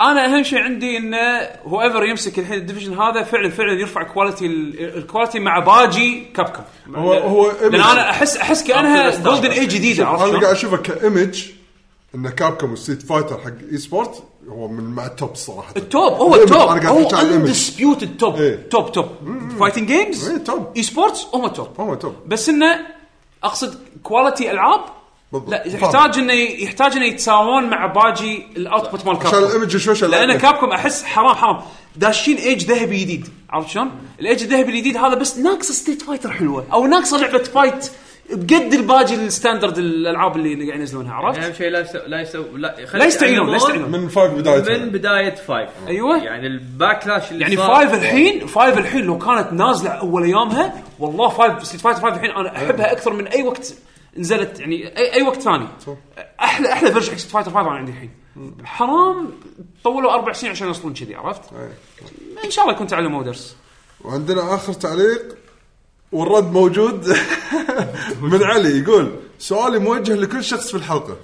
[SPEAKER 6] انا اهم شيء عندي انه هو ايفر يمسك الحين الديفيجن هذا فعلا فعلا يرفع كواليتي ال- الكواليتي مع باجي كابكم
[SPEAKER 3] هو هو
[SPEAKER 6] لان انا احس احس كانها جولدن اي جديده عرفت
[SPEAKER 3] انا
[SPEAKER 6] شلون؟
[SPEAKER 3] قاعد اشوفه كايمج ان كابكم والسيت فايتر حق اي سبورت هو من مع التوب الصراحه
[SPEAKER 6] التوب هو
[SPEAKER 3] إيه،
[SPEAKER 6] التوب
[SPEAKER 3] انا
[SPEAKER 6] هو
[SPEAKER 3] قاعد احكي عن الايمج
[SPEAKER 6] اندسبيوتد توب
[SPEAKER 3] إيه.
[SPEAKER 6] توب توب فايتنج جيمز
[SPEAKER 3] إيه، توب.
[SPEAKER 6] اي سبورتس هم توب
[SPEAKER 3] هو توب
[SPEAKER 6] بس انه اقصد كواليتي العاب
[SPEAKER 3] بالضبط.
[SPEAKER 6] لا
[SPEAKER 3] فاهم.
[SPEAKER 6] يحتاج انه يحتاج انه يتساوون مع باجي الاوتبوت مال
[SPEAKER 3] عشان
[SPEAKER 6] كابكم
[SPEAKER 3] الايمج شوي شوي
[SPEAKER 6] لان
[SPEAKER 3] لعبة.
[SPEAKER 6] كابكم احس حرام حرام داشين ايج ذهبي جديد عرفت شلون؟ الايج الذهبي الجديد هذا بس ناقص ستيت فايتر حلوه او ناقصه لعبه فايت بقد الباجي الستاندرد الالعاب اللي اللي قاعد ينزلون
[SPEAKER 2] اهم
[SPEAKER 6] عرفت؟
[SPEAKER 2] شيء لا يسو... لا يسو... لا, يعني
[SPEAKER 6] لا يستعينون لا يستعينون
[SPEAKER 3] من فايف
[SPEAKER 2] من
[SPEAKER 3] بدايته
[SPEAKER 2] بدايه فايف
[SPEAKER 6] أيوة.
[SPEAKER 2] يعني الباكلاش اللي
[SPEAKER 6] يعني
[SPEAKER 2] صار-
[SPEAKER 6] فايف الحين فايف الحين لو كانت نازله اول ايامها والله فايف ستريت فايتر فايف الحين انا
[SPEAKER 4] أيوة.
[SPEAKER 6] احبها اكثر من اي وقت نزلت يعني اي, أي وقت ثاني احلى احلى فيرجن حق ستريت فايتر فايف انا عندي الحين حرام طولوا اربع سنين عشان يوصلون كذي عرفت؟
[SPEAKER 4] أيوة.
[SPEAKER 6] ان شاء الله يكون تعلموا درس
[SPEAKER 3] وعندنا اخر تعليق والرد موجود من علي يقول سؤالي موجه لكل شخص في الحلقه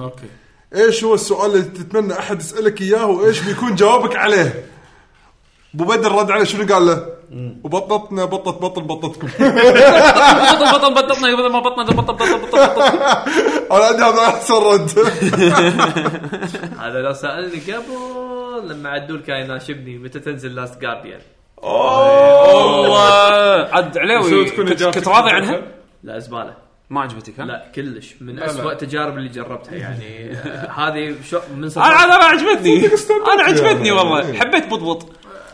[SPEAKER 4] اوكي
[SPEAKER 3] ايش هو السؤال اللي تتمنى احد يسالك اياه وايش بيكون جوابك عليه؟ ابو بدر رد عليه شنو قال له؟ وبطتنا بطت بطل بطتكم
[SPEAKER 6] بطل بطل بطلنا بدل ما بطلنا بطل بطل بطل بطل
[SPEAKER 3] انا عندي هذا احسن رد
[SPEAKER 2] هذا لو سالني قبل لما عدول كان يناشبني متى تنزل لاست جارديان
[SPEAKER 6] والله عد عليوي
[SPEAKER 4] أيوة. تكون
[SPEAKER 6] كنت-
[SPEAKER 4] إجابتك
[SPEAKER 6] كنت راضي عنها؟
[SPEAKER 2] لا زباله
[SPEAKER 6] ما عجبتك ها؟
[SPEAKER 2] لا كلش من اسوء التجارب اللي جربتها يعني آه، هذه شو من صدق
[SPEAKER 6] انا انا عجبتني انا عجبتني
[SPEAKER 4] أيوة.
[SPEAKER 6] والله حبيت بطبط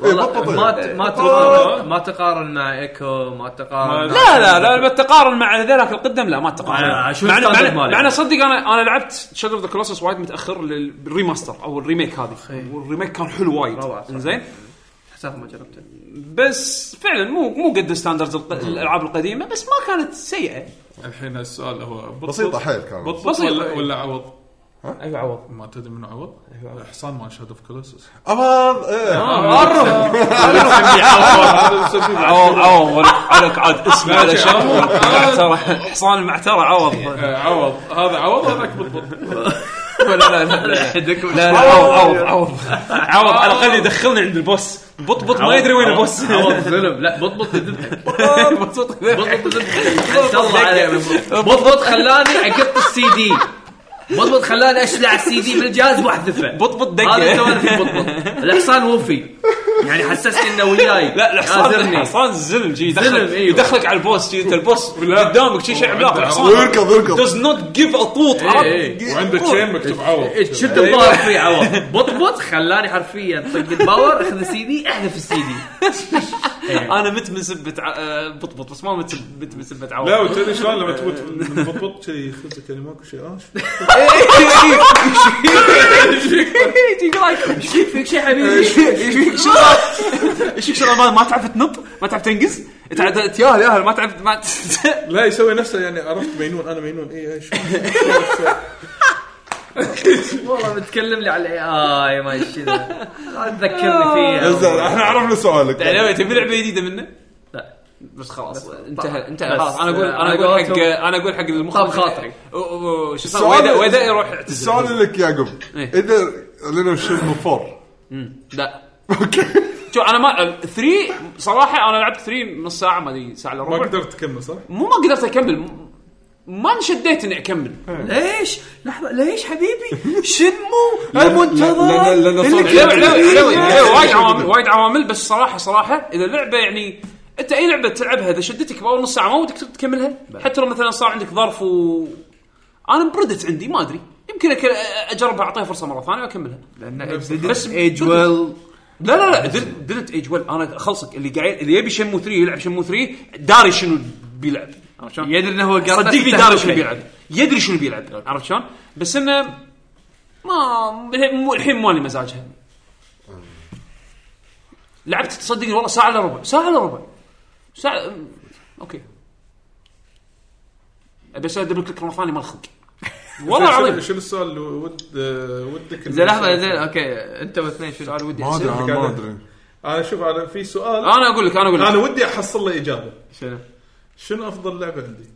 [SPEAKER 3] إيه، بطل.
[SPEAKER 2] والله ما ت- ما تقارن ما تقارن مع ايكو ما تقارن مع-
[SPEAKER 6] لا لا لا بالتقارن مع ذلك القدم لا ما تقارن
[SPEAKER 2] آه، شو
[SPEAKER 6] مع
[SPEAKER 2] الستاندرد
[SPEAKER 6] مع-
[SPEAKER 2] مالي؟
[SPEAKER 6] مع أنا صدق انا انا لعبت شادر ذا كلوسس وايد متاخر لل- بالريماستر او الريميك هذه والريميك كان حلو وايد
[SPEAKER 2] روعة صراحة.
[SPEAKER 6] زين
[SPEAKER 2] حسافه ما جربتها
[SPEAKER 6] بس فعلا مو مو قد ستاندرد الالعاب القديمه بس ما كانت سيئه
[SPEAKER 4] الحين السؤال هو بطل
[SPEAKER 3] بسيطة حيل كانت.
[SPEAKER 4] بطل
[SPEAKER 6] بسيطة.
[SPEAKER 4] ولا, ولا عوض
[SPEAKER 23] ايوه عوض
[SPEAKER 4] ما تدري من عوض حصان مال شاد اوف كلوسس
[SPEAKER 3] اما
[SPEAKER 6] آه،
[SPEAKER 4] آه،
[SPEAKER 3] إيه.
[SPEAKER 6] عوض عوض عليك عاد اسمه على شكله المعترة. حصان المعترة عوض
[SPEAKER 4] آه، عوض هذا عوض هذاك بطل
[SPEAKER 6] لا لا لا لا لا لا عوض عوض عوض عوض على الاقل يدخلني عند البوس بطبط ما يدري وين البوس
[SPEAKER 2] عوض فيلم لا بطبط يذبحك بطبط يذبحك الله عليك بطبط خلاني عقبت السي دي بطبط خلاني اشلع السي دي من الجهاز واحذفه
[SPEAKER 6] بطبط دقه
[SPEAKER 2] هذا سوالف بطبط الحصان وفي يعني حسسني انه وياي
[SPEAKER 6] لا الحصان
[SPEAKER 2] غازرني
[SPEAKER 6] الحصان زل جي
[SPEAKER 2] زلم،
[SPEAKER 6] يدخلك
[SPEAKER 2] أيوة.
[SPEAKER 6] يدخلك على البوس جي انت البوس قدامك شي شيء أيوه. عملاق الحصان
[SPEAKER 3] ويركض يركض
[SPEAKER 6] does not give a طوط
[SPEAKER 2] إيه،
[SPEAKER 6] عرفت؟
[SPEAKER 2] إيه.
[SPEAKER 4] وعنده تشين مكتوب عوض
[SPEAKER 2] إيه، شد الظاهر فيه عوض بط بط خلاني حرفيا طق الباور اخذ السي دي احذف السي دي
[SPEAKER 6] انا مت من سبه ع- آه، بطبط بس ما مت مت من سبه عوض
[SPEAKER 4] لا وتدري شلون لما تموت بطبط كذي خبزك يعني ماكو شيء اه شو-
[SPEAKER 2] ايش فيك فيك شيء حبيبي
[SPEAKER 6] ايش فيك شغلات ايش فيك شغلات ما- ما تعرف تنط ما تعرف تنقز تعال- تياهل ياهل ما تعرف ما
[SPEAKER 4] لا يسوي نفسه يعني عرفت مينون انا مينون اي اي شو
[SPEAKER 2] والله بتكلم لي على الاي اي ما إيش كذا لا تذكرني فيه
[SPEAKER 3] زين احنا عرفنا سؤالك
[SPEAKER 6] يعني تبي لعبه جديده منه؟
[SPEAKER 2] لا.
[SPEAKER 6] بس خلاص انتهى انتهى
[SPEAKER 2] بس.
[SPEAKER 6] خلاص انا اقول انا
[SPEAKER 2] على
[SPEAKER 6] اقول حق
[SPEAKER 2] قولتهم.
[SPEAKER 6] انا اقول حق المخرج
[SPEAKER 2] طاب خاطري.
[SPEAKER 6] أو- أو- شو اسمه
[SPEAKER 3] السؤال-
[SPEAKER 6] ويدا- ويدا يروح اعتزل.
[SPEAKER 3] السؤال لك يا يعقوب
[SPEAKER 6] إيه.
[SPEAKER 3] اذا لنا شنو فور
[SPEAKER 6] لا اوكي شو انا ما 3 صراحه انا لعبت 3 نص ساعه ما ادري ساعه الا
[SPEAKER 4] ما
[SPEAKER 6] ربع
[SPEAKER 4] قدرت تكمل صح؟
[SPEAKER 6] مو ما قدرت اكمل م- ما انشديت اني اكمل
[SPEAKER 4] إيه.
[SPEAKER 2] ليش؟ لحظه ليش حبيبي؟ شنمو
[SPEAKER 3] لان لان صار
[SPEAKER 6] لا، لا، لا، لا، لا، إيه، وايد عوامل وايد عوامل بس صراحه صراحه اذا لعبه يعني انت اي لعبه تلعبها اذا شدتك باول نص ساعه ما ودك تكملها حتى لو مثلا صار عندك ظرف و انا بردت عندي ما ادري يمكن أك- اجربها اعطيها فرصه مره ثانيه واكملها بس ايج ويل لا لا لا دنت ايج ويل انا اخلصك اللي قاعد اللي يبي شمو 3 يلعب شمو 3 داري شنو بيلعب عرفت شلون؟
[SPEAKER 2] يدري انه هو قاعد
[SPEAKER 6] صدقني داري شنو بيلعب يدري شنو بيلعب عرفت شلون؟ بس انه ما الحين- الحين مالي مزاجها لعبت تصدقني والله ساعه الا ربع ساعه الا ربع ساعه أم، اوكي ابي اسوي دبل كليك مره ثانيه ما الخلق والله
[SPEAKER 4] شنو-
[SPEAKER 6] العظيم
[SPEAKER 4] شنو السؤال اللي ود آه، ودك
[SPEAKER 2] زين لحظه زين اوكي انت واثنين شو
[SPEAKER 6] سؤال ودي
[SPEAKER 3] ما ادري
[SPEAKER 6] أسأله.
[SPEAKER 3] أنا ما ادري
[SPEAKER 4] انا شوف انا في سؤال
[SPEAKER 6] انا اقول لك انا اقول
[SPEAKER 4] انا
[SPEAKER 6] لك
[SPEAKER 4] ودي احصل له اجابه
[SPEAKER 2] شنو؟
[SPEAKER 4] شنو افضل لعبه عندي؟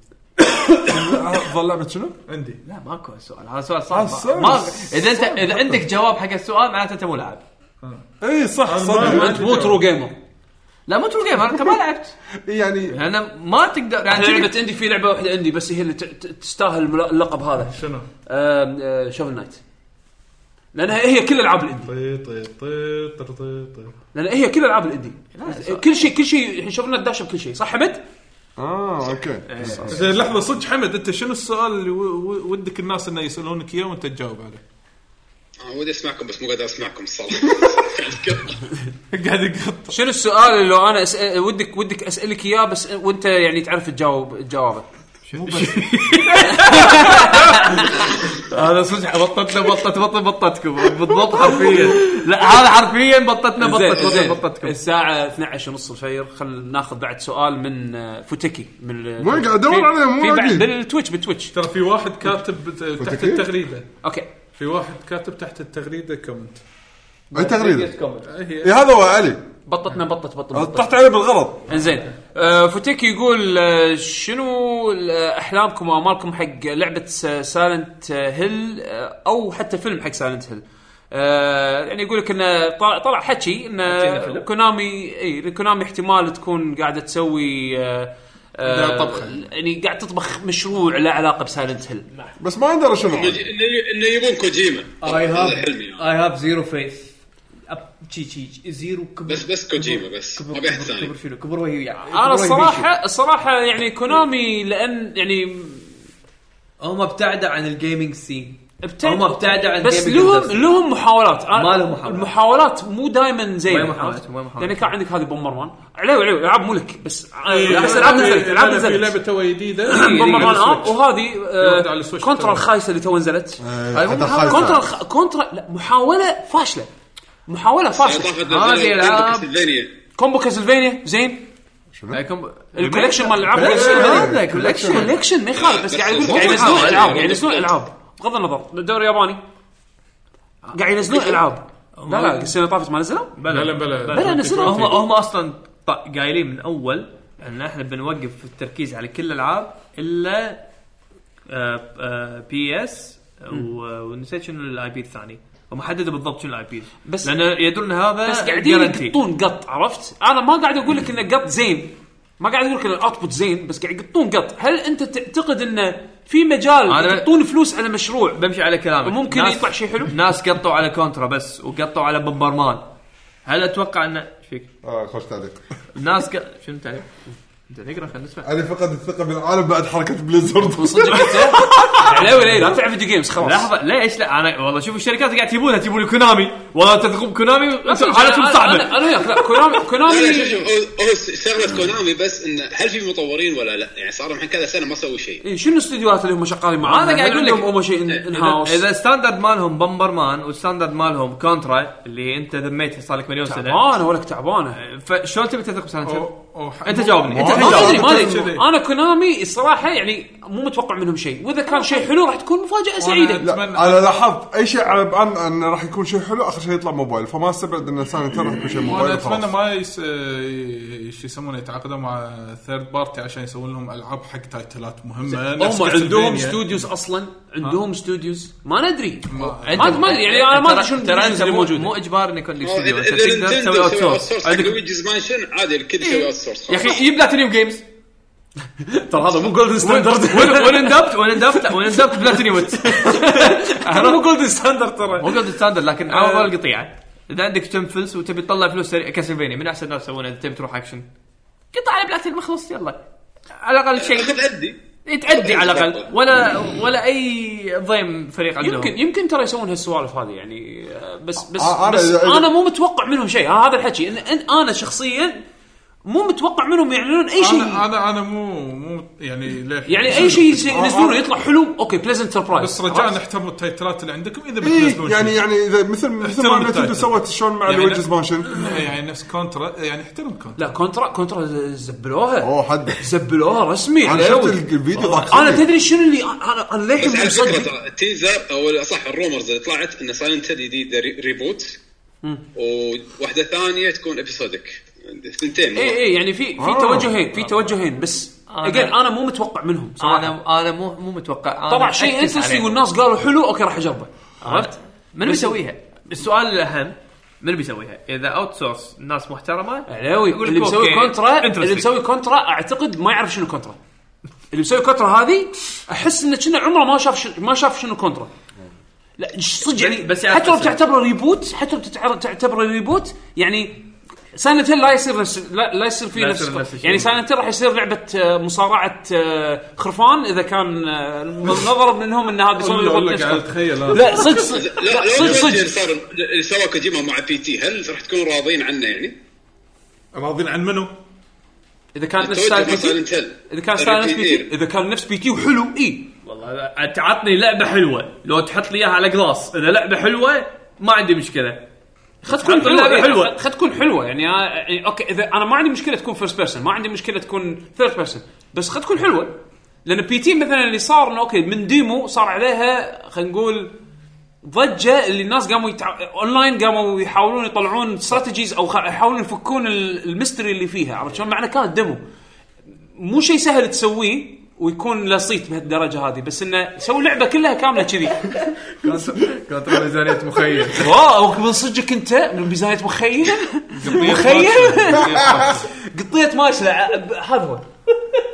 [SPEAKER 3] افضل لعبه شنو؟
[SPEAKER 4] عندي
[SPEAKER 2] لا ماكو هالسؤال هذا سؤال صعب
[SPEAKER 3] هالسؤال
[SPEAKER 2] ما اذا انت اذا عندك جواب حق السؤال معناته انت مو لاعب
[SPEAKER 3] اي صح
[SPEAKER 4] أنا
[SPEAKER 3] صدق
[SPEAKER 4] ما-
[SPEAKER 6] انت مو ترو جيمر
[SPEAKER 2] لا مو ترو جيمر انت ما لعبت
[SPEAKER 3] يعني
[SPEAKER 2] لان ما تقدر يعني
[SPEAKER 6] احنا
[SPEAKER 2] تقدر-
[SPEAKER 6] لعبه عندي في لعبه واحده عندي بس هي اللي ت- ت- تستاهل المل- اللقب هذا
[SPEAKER 4] شنو؟
[SPEAKER 6] آه، شوفل نايت لانها هي كل العاب الاندي
[SPEAKER 4] طي طي طي طي طي طي
[SPEAKER 6] لان هي كل العاب الاندي كل شيء كل شيء الحين شوفل نايت داشه بكل شيء صح حمد؟
[SPEAKER 3] اه اوكي
[SPEAKER 4] زين لحظه صدق حمد انت شنو السؤال اللي و- و- ودك الناس انه يسالونك اياه وانت تجاوب عليه؟
[SPEAKER 8] انا آه، ودي اسمعكم بس مو قادر اسمعكم الصراحه
[SPEAKER 4] قاعد يقط
[SPEAKER 6] شنو السؤال اللي لو انا أسأل ودك ودك اسالك اياه بس وانت يعني تعرف تجاوب جوابه
[SPEAKER 2] هذا صدق بطتنا بطت بطت بطتكم بالضبط حرفيا لا هذا حرفيا بطتنا بطت بطت
[SPEAKER 6] زين
[SPEAKER 2] بطتكم
[SPEAKER 6] الساعه 12 ونص الفجر خل ناخذ بعد سؤال من آه، فوتكي من ال-
[SPEAKER 3] وين قاعد ادور
[SPEAKER 6] في-
[SPEAKER 3] عليه مو
[SPEAKER 6] في بعد
[SPEAKER 3] لاقيه.
[SPEAKER 6] بالتويتش بالتويتش
[SPEAKER 4] ترى في واحد كاتب تحت
[SPEAKER 3] فتكي؟
[SPEAKER 4] التغريده
[SPEAKER 6] اوكي
[SPEAKER 4] في واحد كاتب تحت التغريده كومنت
[SPEAKER 3] اي تغريده
[SPEAKER 4] إيه،
[SPEAKER 3] إي إيه، هذا هو علي
[SPEAKER 6] بطتنا بطت بطت بطت
[SPEAKER 3] طحت عليه بالغلط
[SPEAKER 6] انزين آه، فوتيكي يقول آه، شنو ال- آه، احلامكم وامالكم حق لعبه سايلنت هيل او حتى فيلم حق سايلنت هيل يعني يقول لك انه طلع طلع حكي انه كونامي اي كونامي احتمال تكون قاعده تسوي آه، آه،
[SPEAKER 4] لا طبخة.
[SPEAKER 6] يعني قاعد تطبخ مشروع له علاقه بسايلنت هيل
[SPEAKER 3] بس ما ادري شنو
[SPEAKER 8] انه يبون كوجيما هذا حلمي يعني.
[SPEAKER 24] اي هاف زيرو فيث شي شي زيرو كبر
[SPEAKER 8] بس بس كوجيما بس ما في احد ثاني
[SPEAKER 24] شنو كبر وهي يعني
[SPEAKER 6] انا الصراحه الصراحه يعني كونامي لان يعني
[SPEAKER 24] هم ابتعدوا عن الجيمنج سين
[SPEAKER 6] ابتعد-
[SPEAKER 24] هم ابتعدوا عن
[SPEAKER 6] بس
[SPEAKER 24] gaming
[SPEAKER 6] لهم
[SPEAKER 24] industry.
[SPEAKER 6] لهم محاولات أنا-
[SPEAKER 24] ما لهم محاولات.
[SPEAKER 6] المحاولات مو دائما زينه
[SPEAKER 24] ما هي محاولات،
[SPEAKER 6] عرفت؟
[SPEAKER 24] ما هي محاولات.
[SPEAKER 6] يعني كان عندك هذه بومبر مان عليو عليو العاب مو لك بس
[SPEAKER 4] إيه،
[SPEAKER 6] بس العاب
[SPEAKER 4] أنا-
[SPEAKER 6] نزلت العاب
[SPEAKER 4] أنا في لعبه
[SPEAKER 6] نزلت
[SPEAKER 4] تو جديده
[SPEAKER 6] بومبر مان
[SPEAKER 4] على
[SPEAKER 6] اب
[SPEAKER 4] السويتش.
[SPEAKER 6] وهذه
[SPEAKER 4] واحدة على آه، السويتش
[SPEAKER 6] كونترا
[SPEAKER 4] تو.
[SPEAKER 6] الخايسه اللي تو نزلت
[SPEAKER 3] إيه، حتى خايسة.
[SPEAKER 6] كونترا الخ- كونترا لا محاوله فاشله محاوله فاشله
[SPEAKER 8] هذه العاب الثانيه
[SPEAKER 6] كومبو كاسلفينيا زين الكوليكشن مال الالعاب
[SPEAKER 3] هذا
[SPEAKER 6] كوليكشن كوليكشن ما يخالف بس
[SPEAKER 8] بس
[SPEAKER 6] قاعد يقول
[SPEAKER 8] بس
[SPEAKER 6] قاعد
[SPEAKER 8] بس
[SPEAKER 6] ينزلون
[SPEAKER 8] بس
[SPEAKER 6] العاب
[SPEAKER 8] بس
[SPEAKER 6] قاعد ينزلون
[SPEAKER 8] بس
[SPEAKER 6] العاب بغض النظر الدوري الياباني قاعد ينزلون العاب لا لا السنه طافت ما نزلوا
[SPEAKER 4] بلا بلا بلا
[SPEAKER 6] بلا نزلوا
[SPEAKER 2] هم هم اصلا ط- قايلين من اول ان احنا بنوقف التركيز على كل آه، الالعاب الا بي اس ونسيت شنو الاي بي الثاني هم حددوا بالضبط شنو الاي بي
[SPEAKER 6] بس-
[SPEAKER 2] بس لان يدرون هذا
[SPEAKER 6] بس قاعدين
[SPEAKER 2] guarantee.
[SPEAKER 6] يقطون قط عرفت؟ انا ما قاعد اقول لك انه قط زين ما قاعد اقول لك ان الاوتبوت زين بس قاعد يقطون قط هل انت تعتقد انه في مجال
[SPEAKER 2] أنا-
[SPEAKER 6] يقطون فلوس على مشروع
[SPEAKER 2] بمشي على كلامك
[SPEAKER 6] ممكن
[SPEAKER 2] ناس-
[SPEAKER 6] يطلع شيء حلو؟
[SPEAKER 2] ناس قطوا على كونترا بس وقطوا على بمبرمان هل اتوقع ان فيك؟
[SPEAKER 3] آه خوش تعليق
[SPEAKER 2] الناس قا... شنو تعليق؟ انت نقرا خلينا نسمع
[SPEAKER 3] علي فقد الثقه بالعالم بعد حركه بليزرد
[SPEAKER 6] صدق انت علاوي ليه لا تلعب فيديو جيمز خلاص
[SPEAKER 2] لحظه ليش لا انا والله شوف الشركات قاعد تجيبونها تجيبون لي كونامي والله تثقون كونامي انتم حالتهم
[SPEAKER 6] أنا-
[SPEAKER 2] صعبه
[SPEAKER 6] انا انا وياك لا كونامي
[SPEAKER 8] لا، لا،
[SPEAKER 6] كونامي
[SPEAKER 8] شوف، شوف، هو هو شغله كونامي بس انه هل في مطورين ولا لا؟ يعني صار لهم كذا سنه ما سووا شيء
[SPEAKER 6] إيه، شنو الاستديوهات اللي هم شغالين معاها؟
[SPEAKER 2] هذا قاعد أقول لك.
[SPEAKER 6] هم شيء ان هاوس
[SPEAKER 2] إذا- اذا ستاندرد مالهم بمبر مان والستاندرد مالهم كونترا اللي انت ذميته صار لك مليون سنه
[SPEAKER 6] تعبانه ولك تعبانه
[SPEAKER 2] فشلون تبي تثق بسانشر؟
[SPEAKER 4] أو- أو ح-
[SPEAKER 2] انت جاوبني انت
[SPEAKER 6] ما
[SPEAKER 2] الحين
[SPEAKER 6] ادري
[SPEAKER 2] جاوبني
[SPEAKER 6] ما ادري
[SPEAKER 4] كذي.
[SPEAKER 6] انا كونامي الصراحه يعني مو متوقع منهم شيء واذا كان شيء حلو راح تكون مفاجاه سعيده
[SPEAKER 3] لا انا لاحظت اي شيء على بان انه راح يكون شيء حلو اخر شيء يطلع موبايل فما استبعد ان سنه راح يكون شيء
[SPEAKER 4] وانا
[SPEAKER 3] موبايل
[SPEAKER 4] اتمنى
[SPEAKER 3] وخلاص
[SPEAKER 4] ما يس... ي- شو يسمونه يتعاقدوا مع ثيرد بارتي عشان يسوون لهم العاب حق تايتلات مهمه نفس
[SPEAKER 6] هم عندهم
[SPEAKER 4] كاسلفينيا.
[SPEAKER 6] استوديوز اصلا عندهم استوديوز ما ندري
[SPEAKER 4] ما-
[SPEAKER 6] ما ما ادري يعني انا ما ادري شنو
[SPEAKER 2] ترى
[SPEAKER 6] الستوديوز
[SPEAKER 2] انت
[SPEAKER 6] اللي
[SPEAKER 2] مو
[SPEAKER 6] موجوده
[SPEAKER 2] مو اجبار ان يكون لك استوديو انت
[SPEAKER 8] اذا
[SPEAKER 2] تقدر
[SPEAKER 8] نينتندو
[SPEAKER 2] تسوي اوت
[SPEAKER 8] سوي اوت
[SPEAKER 2] سورس
[SPEAKER 8] سورس حق ويجز مانشن عادي الكل يسوي اوت سورس
[SPEAKER 2] يا اخي جيب بلاتينيوم جيمز
[SPEAKER 6] ترى هذا مو جولدن ستاندرد
[SPEAKER 2] وين اندبت وين اندبت لا وين اندبت بلاتينيوم
[SPEAKER 6] مو جولدن ستاندرد ترى آه.
[SPEAKER 2] مو جولد ستاندرد لكن على ضوء القطيعه اذا عندك تم فلس وتبي تطلع فلوس سريع كاسلفينيا من احسن الناس يسوونها اذا تبي تروح اكشن قطع على بلاتينيوم خلص يلا على الاقل شيء
[SPEAKER 8] خذ عدي
[SPEAKER 2] تعدي على الاقل ولا ولا اي ضيم فريق عندهم
[SPEAKER 6] يمكن يمكن ترى يسوون هالسوالف هذه يعني آه، بس بس
[SPEAKER 3] آه، أنا-
[SPEAKER 6] بس
[SPEAKER 3] إذا-
[SPEAKER 6] انا مو متوقع منهم شيء آه، هذا الحكي إن- إن انا شخصيا مو متوقع منهم يعلنون اي شيء
[SPEAKER 4] انا انا انا مو مو يعني ليه
[SPEAKER 6] يعني اي شيء
[SPEAKER 3] آه،
[SPEAKER 6] يس- ينزلونه يطلع حلو اوكي بليزنت سربرايز
[SPEAKER 4] بس رجاء احترموا التايتلات اللي عندكم اذا بتنزلون
[SPEAKER 3] إيه،
[SPEAKER 4] شيء.
[SPEAKER 3] يعني يعني اذا مثل مثل ما
[SPEAKER 4] احترم
[SPEAKER 3] نتندو
[SPEAKER 4] التايتل.
[SPEAKER 3] سوت شلون مع
[SPEAKER 4] يعني
[SPEAKER 3] الويجز
[SPEAKER 4] لا-
[SPEAKER 3] مانشن
[SPEAKER 4] يعني نفس كونترا يعني احترم كونترا
[SPEAKER 6] لا كونترا كونترا زبلوها
[SPEAKER 3] اوه حد
[SPEAKER 6] زبلوها رسمي
[SPEAKER 3] انا شفت
[SPEAKER 6] علاوي.
[SPEAKER 3] الفيديو ضاق
[SPEAKER 6] انا
[SPEAKER 3] صدري.
[SPEAKER 6] تدري شنو اللي انا انا للحين
[SPEAKER 8] بس
[SPEAKER 6] مو
[SPEAKER 8] على فكره
[SPEAKER 6] مصدق
[SPEAKER 8] ترى التيزر او صح الرومرز اللي طلعت ان سايلنت هيل جديد ري- ريبوت وواحده ثانيه تكون ابيسودك ثنتين
[SPEAKER 6] اي اي يعني في في
[SPEAKER 3] آه.
[SPEAKER 6] توجهين في توجهين بس
[SPEAKER 2] آه، أنا-
[SPEAKER 6] اجين انا مو متوقع منهم صراحه
[SPEAKER 2] انا انا مو مو متوقع أنا
[SPEAKER 6] طلع شيء
[SPEAKER 2] أكس
[SPEAKER 6] انترستنج
[SPEAKER 2] عليه.
[SPEAKER 6] والناس قالوا حلو اوكي راح اجربه
[SPEAKER 2] عرفت؟ من بيسويها؟ السؤال الاهم من بيسويها؟ اذا اوت سورس ناس محترمه
[SPEAKER 6] علاوي
[SPEAKER 2] يقول
[SPEAKER 6] اللي
[SPEAKER 2] لك
[SPEAKER 6] مسوي
[SPEAKER 2] أوكي،
[SPEAKER 6] كونترا اللي
[SPEAKER 2] interesting.
[SPEAKER 6] مسوي كونترا اعتقد ما يعرف شنو كونترا اللي مسوي كونترا هذه احس انه كنا عمره ما شاف شن- ما شاف شنو كونترا لا صدق يعني
[SPEAKER 2] بس
[SPEAKER 6] بس
[SPEAKER 2] يعرف
[SPEAKER 6] حتى لو
[SPEAKER 2] بس-
[SPEAKER 6] بتعتبره ريبوت حتى لو بتعتبر- تعتبره ريبوت يعني سايلنت هيل لا يصير نفس لا, لا يصير فيه
[SPEAKER 2] لا
[SPEAKER 6] نفس,
[SPEAKER 2] يصير نفس
[SPEAKER 6] نفس
[SPEAKER 2] الشيء.
[SPEAKER 6] يعني سايلنت راح يصير لعبه آه، مصارعه آه، خرفان اذا كان آه، النظر منهم ان هذا بيسوي
[SPEAKER 4] والله
[SPEAKER 6] ريبوت
[SPEAKER 4] والله
[SPEAKER 6] نفس
[SPEAKER 4] قاعد
[SPEAKER 6] كونترا.
[SPEAKER 4] اتخيل أنا.
[SPEAKER 6] لا صدق صدق
[SPEAKER 8] لا
[SPEAKER 6] لا،
[SPEAKER 8] لو
[SPEAKER 6] صدق
[SPEAKER 8] الفيلتر
[SPEAKER 6] صدق
[SPEAKER 8] صار اللي سواه كوجيما مع بي تي هل راح تكونوا راضين عنه يعني؟
[SPEAKER 4] راضين عن منو؟
[SPEAKER 6] اذا كان نفس
[SPEAKER 8] التوجه مع
[SPEAKER 6] سايلنت
[SPEAKER 8] سايلنت هيل
[SPEAKER 6] اذا كان سايلنت بي
[SPEAKER 8] الريتينير.
[SPEAKER 6] تي اذا كان نفس بي تي وحلو إيه. اي
[SPEAKER 2] والله تعطني لعبه حلوه لو تحط لي اياها على قلاص اذا لعبه حلوه ما عندي مشكله
[SPEAKER 6] خد تكون
[SPEAKER 2] حلوة، حلوة.
[SPEAKER 6] حلوه حلوه خد تكون حلوه يعني آه، يعني اوكي اذا انا ما عندي مشكله تكون فيرست بيرسون ما عندي مشكله تكون ثيرد بيرسون بس خد تكون حلوه لان بي تي مثلا اللي صار انه اوكي من ديمو صار عليها خلينا نقول ضجه اللي الناس قاموا يتع... اونلاين قاموا يحاولون يطلعون استراتيجيز او خ- يحاولون يفكون ال- الميستري اللي فيها عرفت شلون معنى كانت ديمو مو شيء سهل تسويه ويكون له صيت بهالدرجه هذه بس انه سوي لعبه كلها كامله كذي
[SPEAKER 2] كونترا ميزانيه مخيل
[SPEAKER 6] واو من صدقك انت من ميزانيه مخيل مخيل قطيه ماشله ع- هذا هو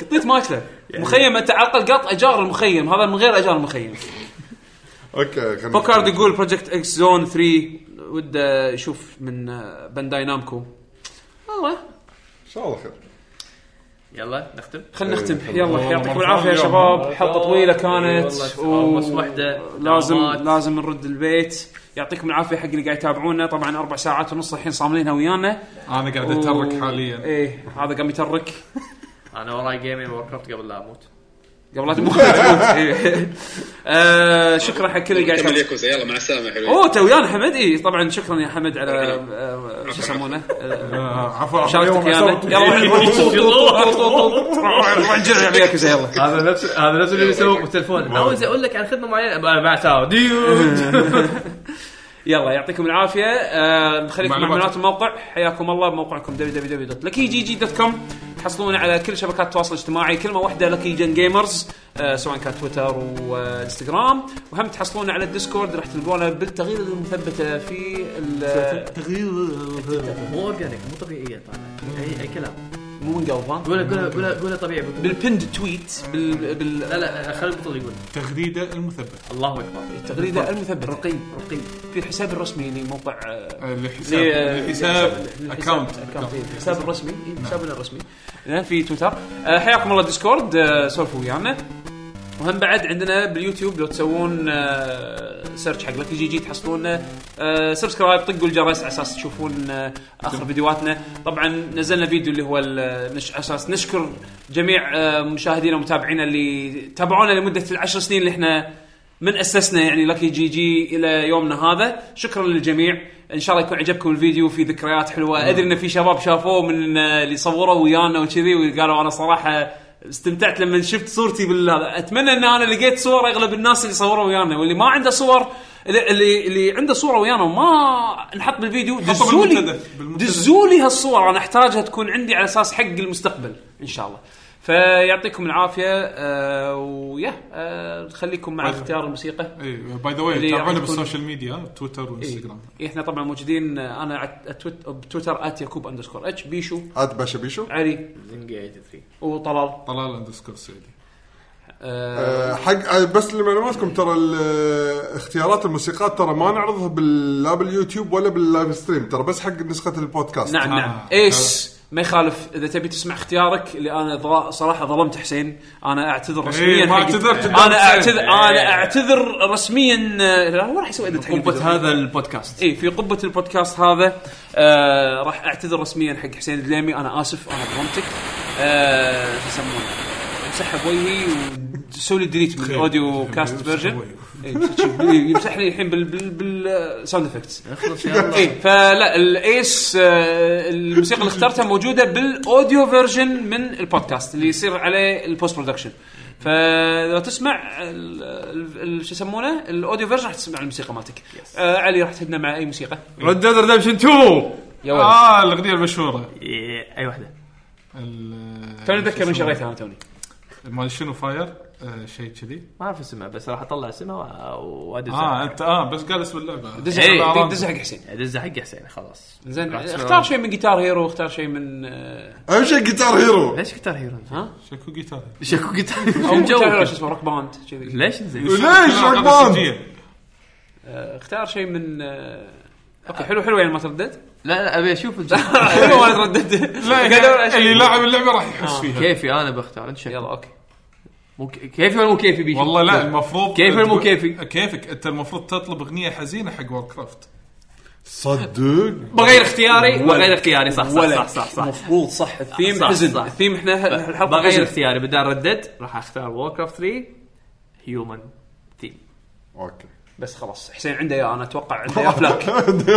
[SPEAKER 6] قطيه ماشله مخيم انت على الاقل قط اجار المخيم هذا من غير اجار المخيم
[SPEAKER 3] اوكي خلينا
[SPEAKER 6] بوكارد يقول بروجكت اكس زون 3 وده يشوف آه، من آه، بانداي نامكو والله
[SPEAKER 3] ان شاء الله خير
[SPEAKER 2] يلا نختم
[SPEAKER 6] خلينا نختم يلا يعطيكم العافيه يا شباب حلقه طويله كانت
[SPEAKER 2] إيه، والله واحده
[SPEAKER 6] لازم
[SPEAKER 2] دوامات.
[SPEAKER 6] لازم نرد البيت يعطيكم العافيه حق اللي قاعد يتابعونا طبعا اربع ساعات ونص الحين صاملينها ويانا
[SPEAKER 4] انا قاعد اترك حاليا
[SPEAKER 6] ايه هذا قام يترك
[SPEAKER 2] انا وراي جيمين وور كرافت قبل لا اموت
[SPEAKER 6] قبل لا تموت إيه. آه، شكرا حق كل اللي قاعد
[SPEAKER 8] كمل
[SPEAKER 6] يتابع.
[SPEAKER 8] ياكوزا يلا مع السلامه يا حلوين
[SPEAKER 6] اوه تو ويانا حمد اي طبعا شكرا يا حمد على آه، شو يسمونه آه،
[SPEAKER 4] آه، عفوا عفوا
[SPEAKER 6] مشاركتك ويانا يلا روح نجرع وياك يا زين، يلا
[SPEAKER 2] هذا نفس هذا نفس اللي بيسووه بالتلفون عاوز اقول لك عن خدمه معينه مع ساو ديود
[SPEAKER 6] يلا يعطيكم العافيه آه، نخليكم مع
[SPEAKER 4] معلومات.
[SPEAKER 6] معلومات الموقع حياكم الله بموقعكم www.luckygg.com تحصلون على كل شبكات التواصل الاجتماعي كلمه واحده لكي جن جيمرز آه، سواء كان تويتر وانستغرام وهم تحصلون على الديسكورد راح تلقونه بالتغيير المثبته في ال- آه،
[SPEAKER 2] مو اورجانيك مو طبيعيه طالع اي اي كلام
[SPEAKER 6] مو من قلب ها
[SPEAKER 2] قولها قولها قولها قولها طبيعي بالطول.
[SPEAKER 6] بالبند تويت بال بال
[SPEAKER 2] لا لا خلي البطل يقول
[SPEAKER 4] تغريده المثبته
[SPEAKER 2] الله اكبر
[SPEAKER 6] التغريده المثبته رقي رقي في الحساب الرسمي لموقع آه،
[SPEAKER 4] الحساب
[SPEAKER 6] لي-
[SPEAKER 4] الحساب
[SPEAKER 6] للحساب-
[SPEAKER 4] اكونت
[SPEAKER 6] أكاونت، إيه، الحساب الرسمي إيه، حسابنا الرسمي زين في تويتر آه، حياكم الله ديسكورد آه، سولفوا ويانا وهم بعد عندنا باليوتيوب لو تسوون آه، سيرش حق لكي جي جي تحصلون آه، سبسكرايب طقوا الجرس على اساس تشوفون آه، اخر فيديوهاتنا طبعا نزلنا فيديو اللي هو ال- نش- على اساس نشكر جميع آه، مشاهدينا ومتابعينا اللي تابعونا لمده العشر سنين اللي احنا من اسسنا يعني لكي جي جي الى يومنا هذا شكرا للجميع ان شاء الله يكون عجبكم الفيديو في ذكريات حلوه ادري ان في شباب شافوه من آه، اللي صوروا ويانا وكذي وقالوا انا صراحه استمتعت لما شفت صورتي بالهذا اتمنى ان انا لقيت صور اغلب الناس اللي صوروا ويانا واللي ما عنده صور اللي- اللي اللي عنده صوره ويانا وما نحط بالفيديو دزوا لي
[SPEAKER 4] بالمنتدى- بالمنتدى.
[SPEAKER 6] دزوا لي هالصوره انا احتاجها تكون عندي على اساس حق المستقبل ان شاء الله فيعطيكم العافيه آه ويا آه خليكم مع
[SPEAKER 4] طيب.
[SPEAKER 6] اختيار الموسيقى إيه،
[SPEAKER 4] اي باي ذا
[SPEAKER 6] اللي
[SPEAKER 4] واي تابعونا
[SPEAKER 6] يعطيكم-
[SPEAKER 4] بالسوشيال ميديا تويتر وانستغرام
[SPEAKER 6] يعني إيه احنا طبعا موجودين آه، انا عت- أتويت- بتويتر ات يعقوب اندرسكور اتش بيشو
[SPEAKER 3] عاد باشا بيشو
[SPEAKER 6] علي وطلال
[SPEAKER 4] طلال اندرسكور سعودي
[SPEAKER 6] آه
[SPEAKER 3] آه، حق آه، بس لمعلوماتكم ترى ال- آه، اختيارات الموسيقات ترى ما نعرضها بال- لا باليوتيوب ولا باللايف ستريم ترى بس حق نسخه البودكاست
[SPEAKER 6] نعم
[SPEAKER 4] آه.
[SPEAKER 6] نعم ايس ما يخالف اذا تبي تسمع اختيارك اللي انا ظل- صراحه ظلمت حسين انا اعتذر رسميا
[SPEAKER 4] إيه، ما
[SPEAKER 6] حق-
[SPEAKER 4] اعتذرت قدام حسين.
[SPEAKER 6] انا
[SPEAKER 4] إيه.
[SPEAKER 6] اعتذر انا اعتذر رسميا آه، لا هو راح يسوي ادت حق الفيديو.
[SPEAKER 2] قوة هذا البودكاست
[SPEAKER 6] اي إيه، في قبه البودكاست هذا آه راح اعتذر رسميا حق حسين الدليمي انا اسف انا ظلمتك آه شو يسمونه امسحها بوجهي وسوي لي ديليت من الاوديو كاست فيرجن إي، إي، إيه، يمسح لي الحين بال- بال- بالساوند افكتس
[SPEAKER 2] اخلص يا الله
[SPEAKER 6] اي إيه، فلا الايس آه، الموسيقى اللي اخترتها موجوده بالاوديو فيرجن من البودكاست اللي يصير عليه البوست برودكشن فلو تسمع ال- ال- ال- شو يسمونه الاوديو فيرجن راح تسمع الموسيقى مالتك آه علي راح تهدنا مع اي موسيقى آه،
[SPEAKER 2] ريد ديد ريدمشن 2
[SPEAKER 6] يا ولد
[SPEAKER 4] اه الاغنيه المشهوره
[SPEAKER 2] إيه، اي واحده
[SPEAKER 4] ال-
[SPEAKER 6] توني اتذكر من شريتها انا
[SPEAKER 2] إيه،
[SPEAKER 6] توني
[SPEAKER 4] مال شنو فاير آه، شيء كذي
[SPEAKER 2] ما اعرف اسمها بس راح اطلع اسمها و- وادز
[SPEAKER 6] آه،
[SPEAKER 4] اه انت اه بس قال اسم اللعبه
[SPEAKER 6] دز
[SPEAKER 2] إيه،
[SPEAKER 6] حق
[SPEAKER 4] طبعاً.
[SPEAKER 6] دز حق حسين
[SPEAKER 2] ادز حق حسين خلاص
[SPEAKER 6] زين
[SPEAKER 2] راح تسمع
[SPEAKER 6] اختار شيء من جيتار هيرو اختار شيء من آه،
[SPEAKER 3] اهم شيء جيتار هيرو
[SPEAKER 2] ليش جيتار هيرو؟
[SPEAKER 4] شكو جيتار
[SPEAKER 2] شكو جيتار
[SPEAKER 6] او
[SPEAKER 2] شو
[SPEAKER 6] مو جيتار هيرو
[SPEAKER 2] جو
[SPEAKER 6] شو اسمه روك باند كذي
[SPEAKER 2] ليش زين؟
[SPEAKER 3] ليش عقبان
[SPEAKER 6] آه، اختار شيء من آه، اوكي حلو حلو يعني ما تردد
[SPEAKER 2] لا لا ابي اشوف الجو.
[SPEAKER 6] حلو ما تردد قاعد أدور على
[SPEAKER 4] لا
[SPEAKER 6] شيء.
[SPEAKER 4] اللي لاعب اللعبه راح
[SPEAKER 6] آه.
[SPEAKER 4] يحس فيها
[SPEAKER 2] كيفي انا بختار انت شكو
[SPEAKER 6] يلا اوكي
[SPEAKER 2] مو ك- كيفي ولا مو كيفي بيجي؟
[SPEAKER 4] والله لا المفروض
[SPEAKER 2] كيفي ولا مو
[SPEAKER 4] تقول-
[SPEAKER 2] كيفي؟
[SPEAKER 4] كيفك انت المفروض تطلب اغنيه حزينه حق وور كرافت
[SPEAKER 3] صدق
[SPEAKER 2] بغير اختياري بغير اختياري صح صح صح صح صح
[SPEAKER 6] المفروض صح الثيم
[SPEAKER 2] صح،
[SPEAKER 6] حزن
[SPEAKER 2] صح.
[SPEAKER 6] الثيم احنا ه- الحلقه
[SPEAKER 2] بغير
[SPEAKER 6] بغير
[SPEAKER 2] اختياري بدال ردد راح اختار وور كرافت 3 هيومن ثيم
[SPEAKER 3] اوكي
[SPEAKER 6] بس خلاص حسين عنده يا انا اتوقع عنده يا فلاك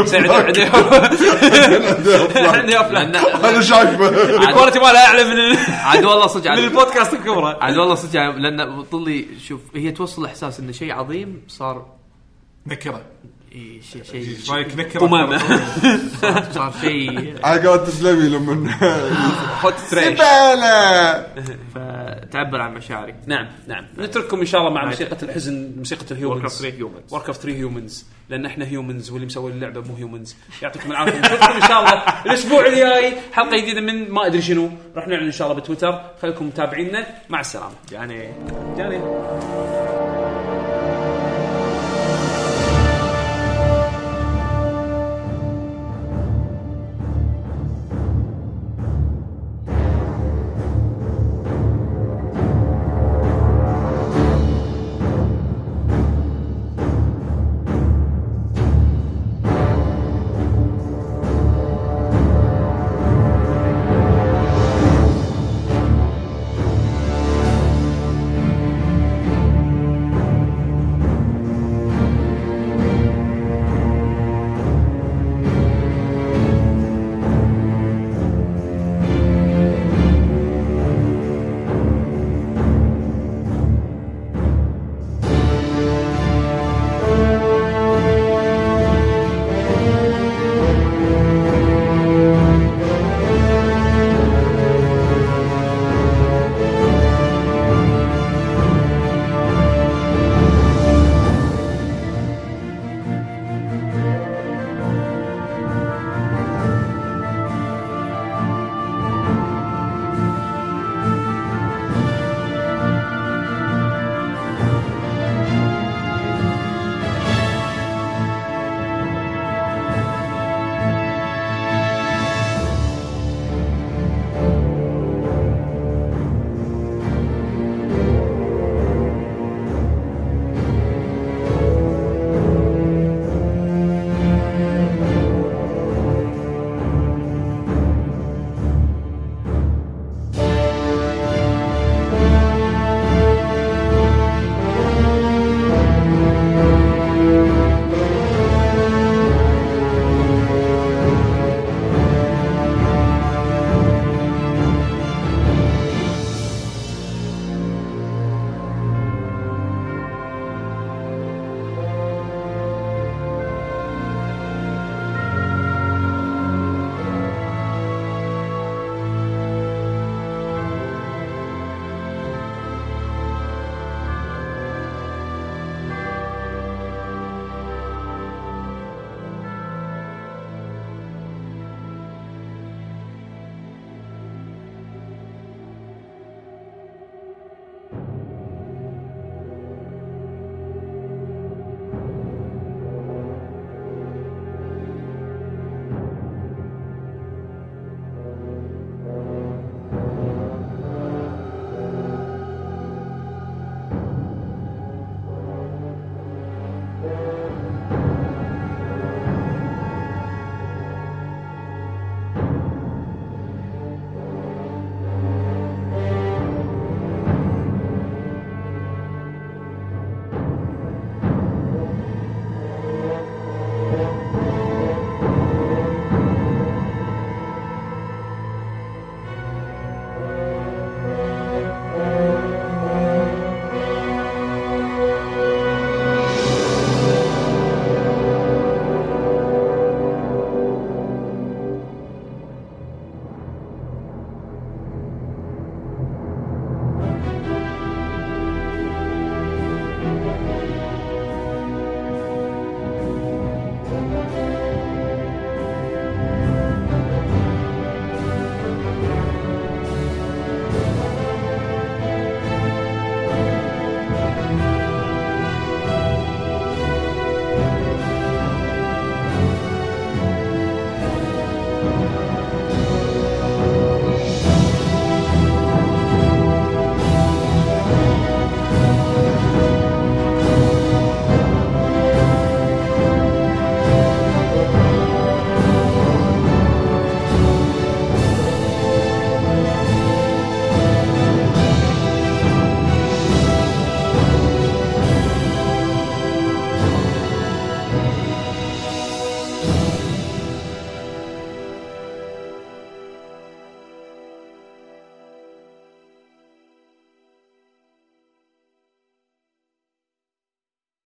[SPEAKER 6] حسين عنده عنده يا- عنده يا فلاك
[SPEAKER 3] انا شايفه
[SPEAKER 6] الكواليتي ماله اعلى من
[SPEAKER 2] عاد والله صدق
[SPEAKER 6] من
[SPEAKER 2] عاد
[SPEAKER 6] البودكاست الكبرى
[SPEAKER 2] عاد والله صدق عاد، لان طلي شوف هي توصل احساس انه شيء عظيم صار
[SPEAKER 4] نكره
[SPEAKER 2] إي، شيء شيء
[SPEAKER 4] ايش رايك نكره
[SPEAKER 6] قمامه
[SPEAKER 2] صار شيء
[SPEAKER 3] على قولة سلمي لما
[SPEAKER 6] هوت تريش
[SPEAKER 3] زبالة
[SPEAKER 2] فتعبر عن مشاعري
[SPEAKER 6] نعم نعم نترككم ان شاء الله مع موسيقى الحزن موسيقى
[SPEAKER 2] وور كرافت
[SPEAKER 6] الهيومنز
[SPEAKER 2] 3 هيومنز
[SPEAKER 6] ورك اوف 3 هيومنز لان احنا هيومنز واللي مسوي اللعبه مو هيومنز يعطيكم العافيه نشوفكم ان شاء الله الاسبوع الجاي حلقه جديده من ما ادري شنو راح نعلن ان شاء الله بتويتر خليكم متابعينا مع السلامه
[SPEAKER 2] يعني